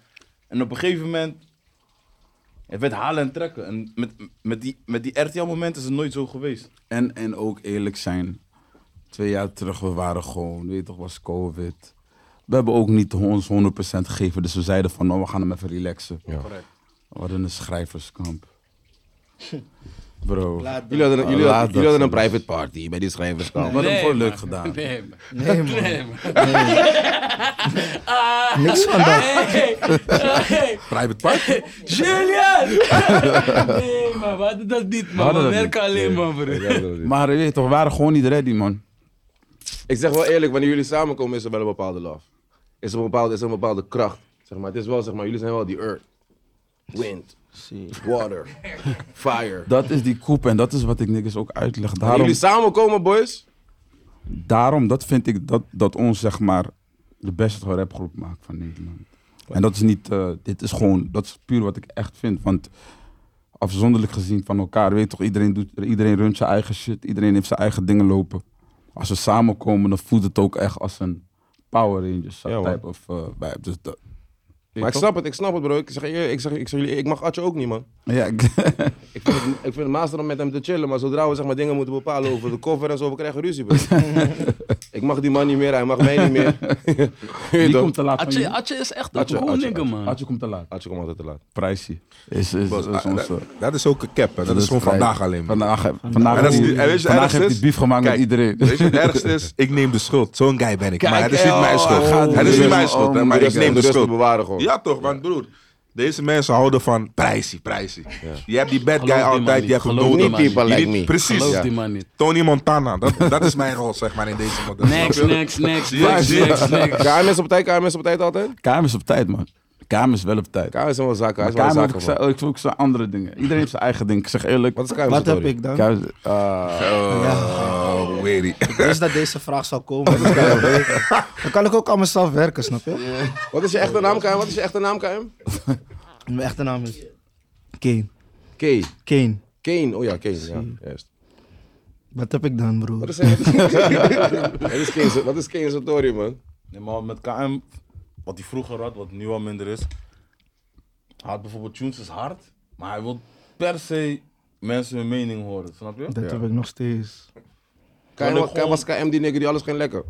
[SPEAKER 6] En op een gegeven moment. Het werd halen en trekken. En met, met die, met die RTL-moment is het nooit zo geweest.
[SPEAKER 2] En, en ook eerlijk zijn. Twee jaar terug, we waren gewoon, weet je toch, was COVID. We hebben ook niet ons 100% gegeven, dus we zeiden van, nou, we gaan hem even relaxen.
[SPEAKER 6] Correct.
[SPEAKER 2] We hadden een schrijverskamp. Bro. We
[SPEAKER 1] Jullie hadden, jullie,
[SPEAKER 2] Laat
[SPEAKER 1] hadden,
[SPEAKER 2] dat
[SPEAKER 1] jullie hadden een
[SPEAKER 2] gerust.
[SPEAKER 1] private party bij die schrijverskamp.
[SPEAKER 2] hadden hem
[SPEAKER 5] Nee,
[SPEAKER 2] gewoon leuk
[SPEAKER 5] maar-
[SPEAKER 2] gedaan.
[SPEAKER 5] Nee, maar.
[SPEAKER 4] Nee, man.
[SPEAKER 5] Nee, Ah. maar.
[SPEAKER 4] Niks van dat.
[SPEAKER 5] Hey, hey,
[SPEAKER 2] Private party?
[SPEAKER 5] Julian! Nee, man, we hadden dat niet,
[SPEAKER 2] We
[SPEAKER 5] man. We,
[SPEAKER 2] hadden dat
[SPEAKER 5] werken
[SPEAKER 2] niet.
[SPEAKER 5] alleen, man, broer.
[SPEAKER 2] Maar je weet toch, we waren gewoon niet ready, man.
[SPEAKER 1] Ik zeg wel eerlijk, wanneer jullie samenkomen is er wel een bepaalde love. Is er een bepaalde, is er een bepaalde kracht. Zeg maar. Het is wel, zeg maar, jullie zijn wel die earth. Wind, water, fire.
[SPEAKER 2] Dat is die koep en dat is wat ik niks ook uitleg.
[SPEAKER 1] Wanneer
[SPEAKER 2] Daarom,
[SPEAKER 1] jullie samenkomen, boys.
[SPEAKER 2] daarom dat vind ik dat, dat ons, zeg maar, de beste rapgroep maakt van Nederland. En dat is niet, eh, dit is gewoon, dat is puur wat ik echt vind. Want afzonderlijk gezien van elkaar, weet je toch, iedereen, doet, iedereen runt zijn eigen shit, iedereen heeft zijn eigen dingen lopen. Als we samenkomen, dan voelt het ook echt als een Power Rangers
[SPEAKER 1] Ja, man.
[SPEAKER 2] type of eh, vibe. Dus dat,
[SPEAKER 1] Maar ik snap het, ik snap het, bro. Ik zeg, je- ik zeg, ik zeg jullie, ik mag Atje ook niet, man.
[SPEAKER 2] Ja, ik-
[SPEAKER 1] Ik vind, het, ik vind het master om met hem te chillen, maar zodra we zeg maar, dingen moeten bepalen over de cover en zo, we krijgen ruzie. Bro. ik mag die man niet meer, hij mag mij niet meer. Weet je
[SPEAKER 2] die
[SPEAKER 1] toch?
[SPEAKER 2] komt te laat. van
[SPEAKER 5] Atje,
[SPEAKER 2] jullie?
[SPEAKER 5] Atje is echt een
[SPEAKER 1] Atje,
[SPEAKER 5] cool
[SPEAKER 1] Atje,
[SPEAKER 5] nigga,
[SPEAKER 1] Atje.
[SPEAKER 5] man.
[SPEAKER 2] Atje komt te laat.
[SPEAKER 1] Atje komt altijd te laat.
[SPEAKER 2] Prijsie. Is, is, is,
[SPEAKER 3] Ah,
[SPEAKER 2] is onze...
[SPEAKER 3] dat, dat is ook een cap, hè. Dat, is gewoon
[SPEAKER 2] eh. vrij-
[SPEAKER 3] vandaag alleen maar.
[SPEAKER 2] Vandaag, vandaag,
[SPEAKER 3] En dat is
[SPEAKER 2] heeft
[SPEAKER 3] nu- en
[SPEAKER 2] hij-
[SPEAKER 3] weet je,
[SPEAKER 2] vandaag
[SPEAKER 3] ergens
[SPEAKER 2] heeft
[SPEAKER 3] is-
[SPEAKER 2] hij bief gemaakt met
[SPEAKER 3] Kijk,
[SPEAKER 2] iedereen.
[SPEAKER 3] Weet je, het ergste is, ik neem de schuld. Zo'n guy ben ik. maar het is
[SPEAKER 2] eh,
[SPEAKER 3] niet mijn
[SPEAKER 2] oh,
[SPEAKER 3] schuld.
[SPEAKER 2] hij gaat
[SPEAKER 3] het is
[SPEAKER 2] weer.
[SPEAKER 3] niet mijn schuld, hè,
[SPEAKER 2] Oh
[SPEAKER 3] maar
[SPEAKER 2] my
[SPEAKER 3] ik
[SPEAKER 2] God.
[SPEAKER 3] neem de
[SPEAKER 1] rust te
[SPEAKER 3] schuld.
[SPEAKER 1] bewaren gewoon.
[SPEAKER 3] Ja toch, want broer, deze mensen houden van prijsie, prijsie. Je hebt die bad guy
[SPEAKER 5] Geloof die man
[SPEAKER 3] altijd,
[SPEAKER 5] niet.
[SPEAKER 3] je hebt hem
[SPEAKER 5] Geloof die
[SPEAKER 3] nodig.
[SPEAKER 5] man niet.
[SPEAKER 1] People like
[SPEAKER 3] Je
[SPEAKER 1] me.
[SPEAKER 3] niet- Precies.
[SPEAKER 5] Geloof
[SPEAKER 3] ja.
[SPEAKER 5] die man niet.
[SPEAKER 3] Tony Montana, dat, dat is mijn rol zeg maar in deze model.
[SPEAKER 5] Next,
[SPEAKER 3] Snap je?
[SPEAKER 5] next, next,
[SPEAKER 3] Zie je?
[SPEAKER 5] next,
[SPEAKER 3] Zie je?
[SPEAKER 5] next, next.
[SPEAKER 1] KMS op tijd, KMS op tijd altijd?
[SPEAKER 2] Kamer is op tijd, man. Kamer is wel op tijd.
[SPEAKER 1] KMS is wel zaken, hij
[SPEAKER 2] Maar
[SPEAKER 1] is wel
[SPEAKER 2] Kamer, ik,
[SPEAKER 1] zaken.
[SPEAKER 2] zei,
[SPEAKER 1] man.
[SPEAKER 2] ik voel ook zo andere dingen. Iedereen heeft zijn eigen ding. Ik zeg eerlijk.
[SPEAKER 1] Wat is KMS
[SPEAKER 4] Wat heb ik dan?
[SPEAKER 2] Kamer is-
[SPEAKER 3] Oh, weerie.
[SPEAKER 4] Ik wist dat deze vraag zou komen. dus kan ik weten. Dan kan ik ook aan mezelf werken, snap je?
[SPEAKER 1] Wat is je echte naam, KM? Wat is je echte naam, KM?
[SPEAKER 4] Mijn echte naam is Kane.
[SPEAKER 1] Kane.
[SPEAKER 4] Kane.
[SPEAKER 1] Kane, oh ja, Kane. Ja, juist.
[SPEAKER 4] Wat heb ik dan,
[SPEAKER 1] Wat
[SPEAKER 4] broer?
[SPEAKER 1] is, wat is, wat is Kane- wat is Kane Satori, man?
[SPEAKER 6] Nee, maar met KM, wat hij vroeger had, wat nu al minder is. Hij had bijvoorbeeld tunes is hard, maar hij wil per se mensen hun mening horen, snap je?
[SPEAKER 4] Dat heb ik nog steeds.
[SPEAKER 1] Kai
[SPEAKER 6] ik
[SPEAKER 1] wa- Kai
[SPEAKER 6] gewoon-
[SPEAKER 1] was KM die nigger die alles ging lekker.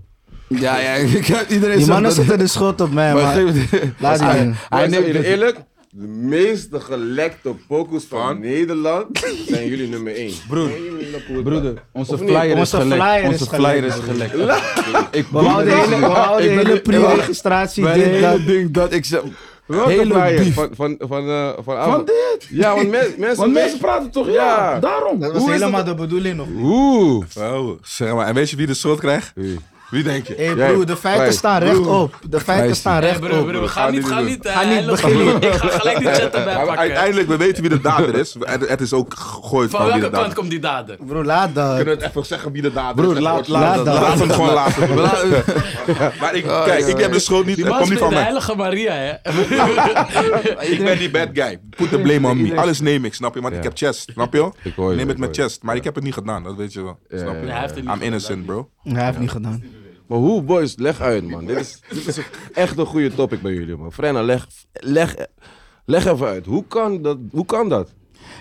[SPEAKER 2] Ja, ja, ik heb iedereen
[SPEAKER 4] Die
[SPEAKER 2] zegt
[SPEAKER 4] mannen
[SPEAKER 2] dat-
[SPEAKER 4] zitten de schuld op mij,
[SPEAKER 2] Maar
[SPEAKER 4] maar
[SPEAKER 2] geef het-
[SPEAKER 4] laat die
[SPEAKER 1] Hij,
[SPEAKER 4] man.
[SPEAKER 1] hij neemt
[SPEAKER 2] Sorry.
[SPEAKER 1] eerlijk, de meeste gelekte pokus van,
[SPEAKER 3] Van?
[SPEAKER 1] Nederland zijn jullie nummer 1.
[SPEAKER 2] Broer, broeder, onze
[SPEAKER 1] Of niet?
[SPEAKER 2] flyer is
[SPEAKER 4] Onze flyer
[SPEAKER 2] gelekt.
[SPEAKER 4] is
[SPEAKER 2] Onze
[SPEAKER 4] gelekt,
[SPEAKER 2] flyer is gelekt. Ik
[SPEAKER 4] We houden de hele- we houden de
[SPEAKER 1] Ik ben-
[SPEAKER 4] hele
[SPEAKER 1] ik ben-
[SPEAKER 4] pre-registratie.
[SPEAKER 2] Mijn
[SPEAKER 4] dit, dat.
[SPEAKER 2] hele ding dat ik ze...
[SPEAKER 1] Hele
[SPEAKER 2] Hele beef.
[SPEAKER 1] Van, van, van, eh, van,
[SPEAKER 2] Van
[SPEAKER 1] Avon.
[SPEAKER 2] dit.
[SPEAKER 1] Ja, want men- mensen...
[SPEAKER 2] Want mensen praten toch, ja,
[SPEAKER 1] Ja.
[SPEAKER 2] daarom.
[SPEAKER 4] Dat was
[SPEAKER 2] Hoe is
[SPEAKER 4] helemaal de bedoeling nog.
[SPEAKER 2] Oeh.
[SPEAKER 3] Oh, zeg maar. En weet je wie de schuld krijgt?
[SPEAKER 1] Wie?
[SPEAKER 3] Wie denk je?
[SPEAKER 4] Hé
[SPEAKER 1] Jij-
[SPEAKER 4] broer, de feiten
[SPEAKER 1] Wij-
[SPEAKER 4] staan rechtop. De feiten staan
[SPEAKER 5] Hey, broer, broer,
[SPEAKER 4] rechtop.
[SPEAKER 5] we gaan niet, ga niet. eh,
[SPEAKER 4] Ga niet
[SPEAKER 5] hij loopt
[SPEAKER 4] beginnen.
[SPEAKER 5] voor- Ik ga gelijk die chat erbij
[SPEAKER 3] Ja, maar
[SPEAKER 5] pakken.
[SPEAKER 3] uiteindelijk, we weten wie de dader is. En het is ook gegooid van,
[SPEAKER 5] Van
[SPEAKER 3] wie de
[SPEAKER 5] welke
[SPEAKER 3] dader
[SPEAKER 5] kant
[SPEAKER 3] is.
[SPEAKER 5] komt die dader?
[SPEAKER 4] Broer, laat dat.
[SPEAKER 3] Kunnen we het even zeggen wie de dader
[SPEAKER 2] Broer,
[SPEAKER 3] is?
[SPEAKER 2] laat,
[SPEAKER 3] Even-
[SPEAKER 2] laat, laat,
[SPEAKER 4] Laat dat.
[SPEAKER 3] Laten we het gewoon laten.
[SPEAKER 2] We laten-
[SPEAKER 3] Maar ik, kijk, ik heb de schuld niet.
[SPEAKER 5] Die
[SPEAKER 3] Het
[SPEAKER 5] man
[SPEAKER 3] komt
[SPEAKER 5] speelt
[SPEAKER 3] niet van
[SPEAKER 5] de
[SPEAKER 3] mij.
[SPEAKER 5] heilige Maria, hè?
[SPEAKER 3] Ik ben die bad guy. Put the blame on me. Alles neem ik, snap je? Want ik heb chest, snap je?
[SPEAKER 1] Ik hoor je,
[SPEAKER 3] Neem
[SPEAKER 1] ik
[SPEAKER 3] het met
[SPEAKER 1] hoor je.
[SPEAKER 3] chest. Maar ik heb het niet gedaan, dat weet je wel. Snap
[SPEAKER 5] Nee, hij heeft
[SPEAKER 3] je?
[SPEAKER 5] het niet
[SPEAKER 3] I'm innocent, bro.
[SPEAKER 4] Hij heeft niet gedaan.
[SPEAKER 1] Maar hoe, boys, leg uit, man. Dit is, dit is echt een goede topic bij jullie, man. Frenna, leg, leg, leg even uit. Hoe kan dat? Hoe kan dat?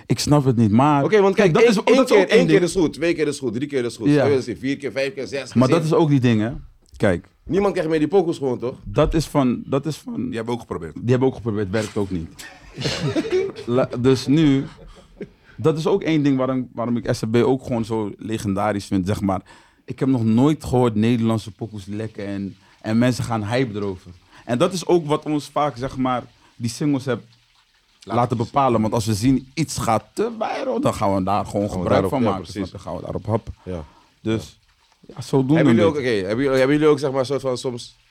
[SPEAKER 2] Ik snap het niet, maar...
[SPEAKER 1] Oké, want kijk,
[SPEAKER 2] dat
[SPEAKER 1] één,
[SPEAKER 2] is-
[SPEAKER 1] één
[SPEAKER 2] dat is ook
[SPEAKER 1] keer,
[SPEAKER 2] een
[SPEAKER 1] één keer
[SPEAKER 2] ding.
[SPEAKER 1] is goed, twee keer is goed, drie keer is goed,
[SPEAKER 2] Ja.
[SPEAKER 1] twee is vier keer, vijf keer, zes keer,
[SPEAKER 2] Maar dat
[SPEAKER 1] zeven.
[SPEAKER 2] is ook die ding, hè. Kijk,
[SPEAKER 1] Niemand krijgt meer die pokus gewoon, toch?
[SPEAKER 2] dat is van... Dat is van
[SPEAKER 3] Die hebben we ook geprobeerd.
[SPEAKER 2] Die hebben ook geprobeerd, werkt ook niet. La- dus nu, dat is ook één ding waarom, waarom ik SFB ook gewoon zo legendarisch vind, zeg maar. Ik heb nog nooit gehoord Nederlandse pokoes lekken en, en mensen gaan hype erover. En dat is ook wat ons vaak, zeg maar, die singles heb laten bepalen. Want als we zien iets gaat te viral, dan gaan we daar gewoon gebruik
[SPEAKER 1] daarop-
[SPEAKER 2] van
[SPEAKER 1] ja,
[SPEAKER 2] maken.
[SPEAKER 1] precies.
[SPEAKER 2] snap je? Dan gaan we daarop happen.
[SPEAKER 1] Ja.
[SPEAKER 2] Dus, ja, zo doen we
[SPEAKER 1] Hebben jullie, ook,
[SPEAKER 2] dit.
[SPEAKER 1] oké, hebben, jullie, hebben jullie ook, zeg maar, soort van soms...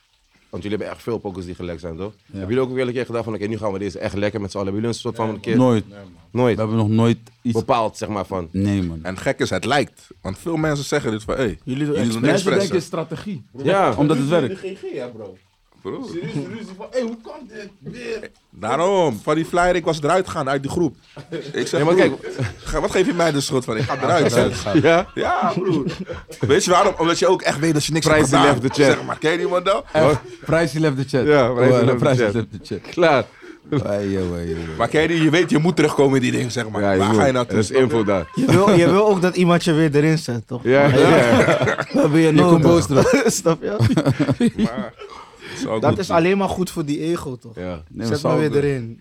[SPEAKER 1] Want jullie hebben echt veel pokus die gelekt zijn, toch? Hebben jullie ook wel een keer gedacht van, oké, nu gaan we deze echt lekker met z'n allen. Hebben jullie een soort van een keer...
[SPEAKER 2] Nooit. We
[SPEAKER 1] Nooit.
[SPEAKER 2] hebben nog nooit iets...
[SPEAKER 1] Bepaald, zeg maar, van...
[SPEAKER 2] Nee, man.
[SPEAKER 3] En gek is, het lijkt. Want veel mensen zeggen dit van, hé, hey, jullie doen, niks
[SPEAKER 2] Mensen denken
[SPEAKER 3] pressen.
[SPEAKER 2] strategie.
[SPEAKER 1] Ja,
[SPEAKER 2] Omdat het werkt.
[SPEAKER 3] Broer.
[SPEAKER 6] Serieus, ruzie van, hé, hoe kan dit weer?
[SPEAKER 3] Daarom, van die flyer, ik was eruit gegaan uit die groep. Ik zeg,
[SPEAKER 1] Ja, maar
[SPEAKER 3] broer, ga- wat geef je mij de schuld van? Ik ga eruit. zeg.
[SPEAKER 1] ja.
[SPEAKER 3] Ja, broer. Weet je waarom? Omdat je ook echt weet dat je niks
[SPEAKER 1] Prijs die
[SPEAKER 3] hebt gedaan.
[SPEAKER 1] left the chat.
[SPEAKER 3] Zeg maar, ken je die man dan?
[SPEAKER 2] Prijsje left the chat.
[SPEAKER 1] Ja, Prijsje left the chat.
[SPEAKER 2] left the chat.
[SPEAKER 1] Klaar.
[SPEAKER 2] Ai, joh, ai, joh.
[SPEAKER 3] Maar ken je die? Je weet, je moet terugkomen in die ding, zeg maar.
[SPEAKER 1] Ja,
[SPEAKER 3] Waar
[SPEAKER 1] moet.
[SPEAKER 3] ga je naartoe?
[SPEAKER 1] Er is info daar.
[SPEAKER 4] Je wil, je wil ook dat iemand je weer erin zet, toch?
[SPEAKER 1] Ja, ja.
[SPEAKER 4] Dat ben je
[SPEAKER 2] komt boos
[SPEAKER 4] nodig. Snap je?
[SPEAKER 3] Zo
[SPEAKER 4] Dat
[SPEAKER 3] goed.
[SPEAKER 4] is alleen maar goed voor die ego, toch?
[SPEAKER 1] ja.
[SPEAKER 2] Nee, maar
[SPEAKER 4] Zet me
[SPEAKER 2] zou-
[SPEAKER 4] weer erin.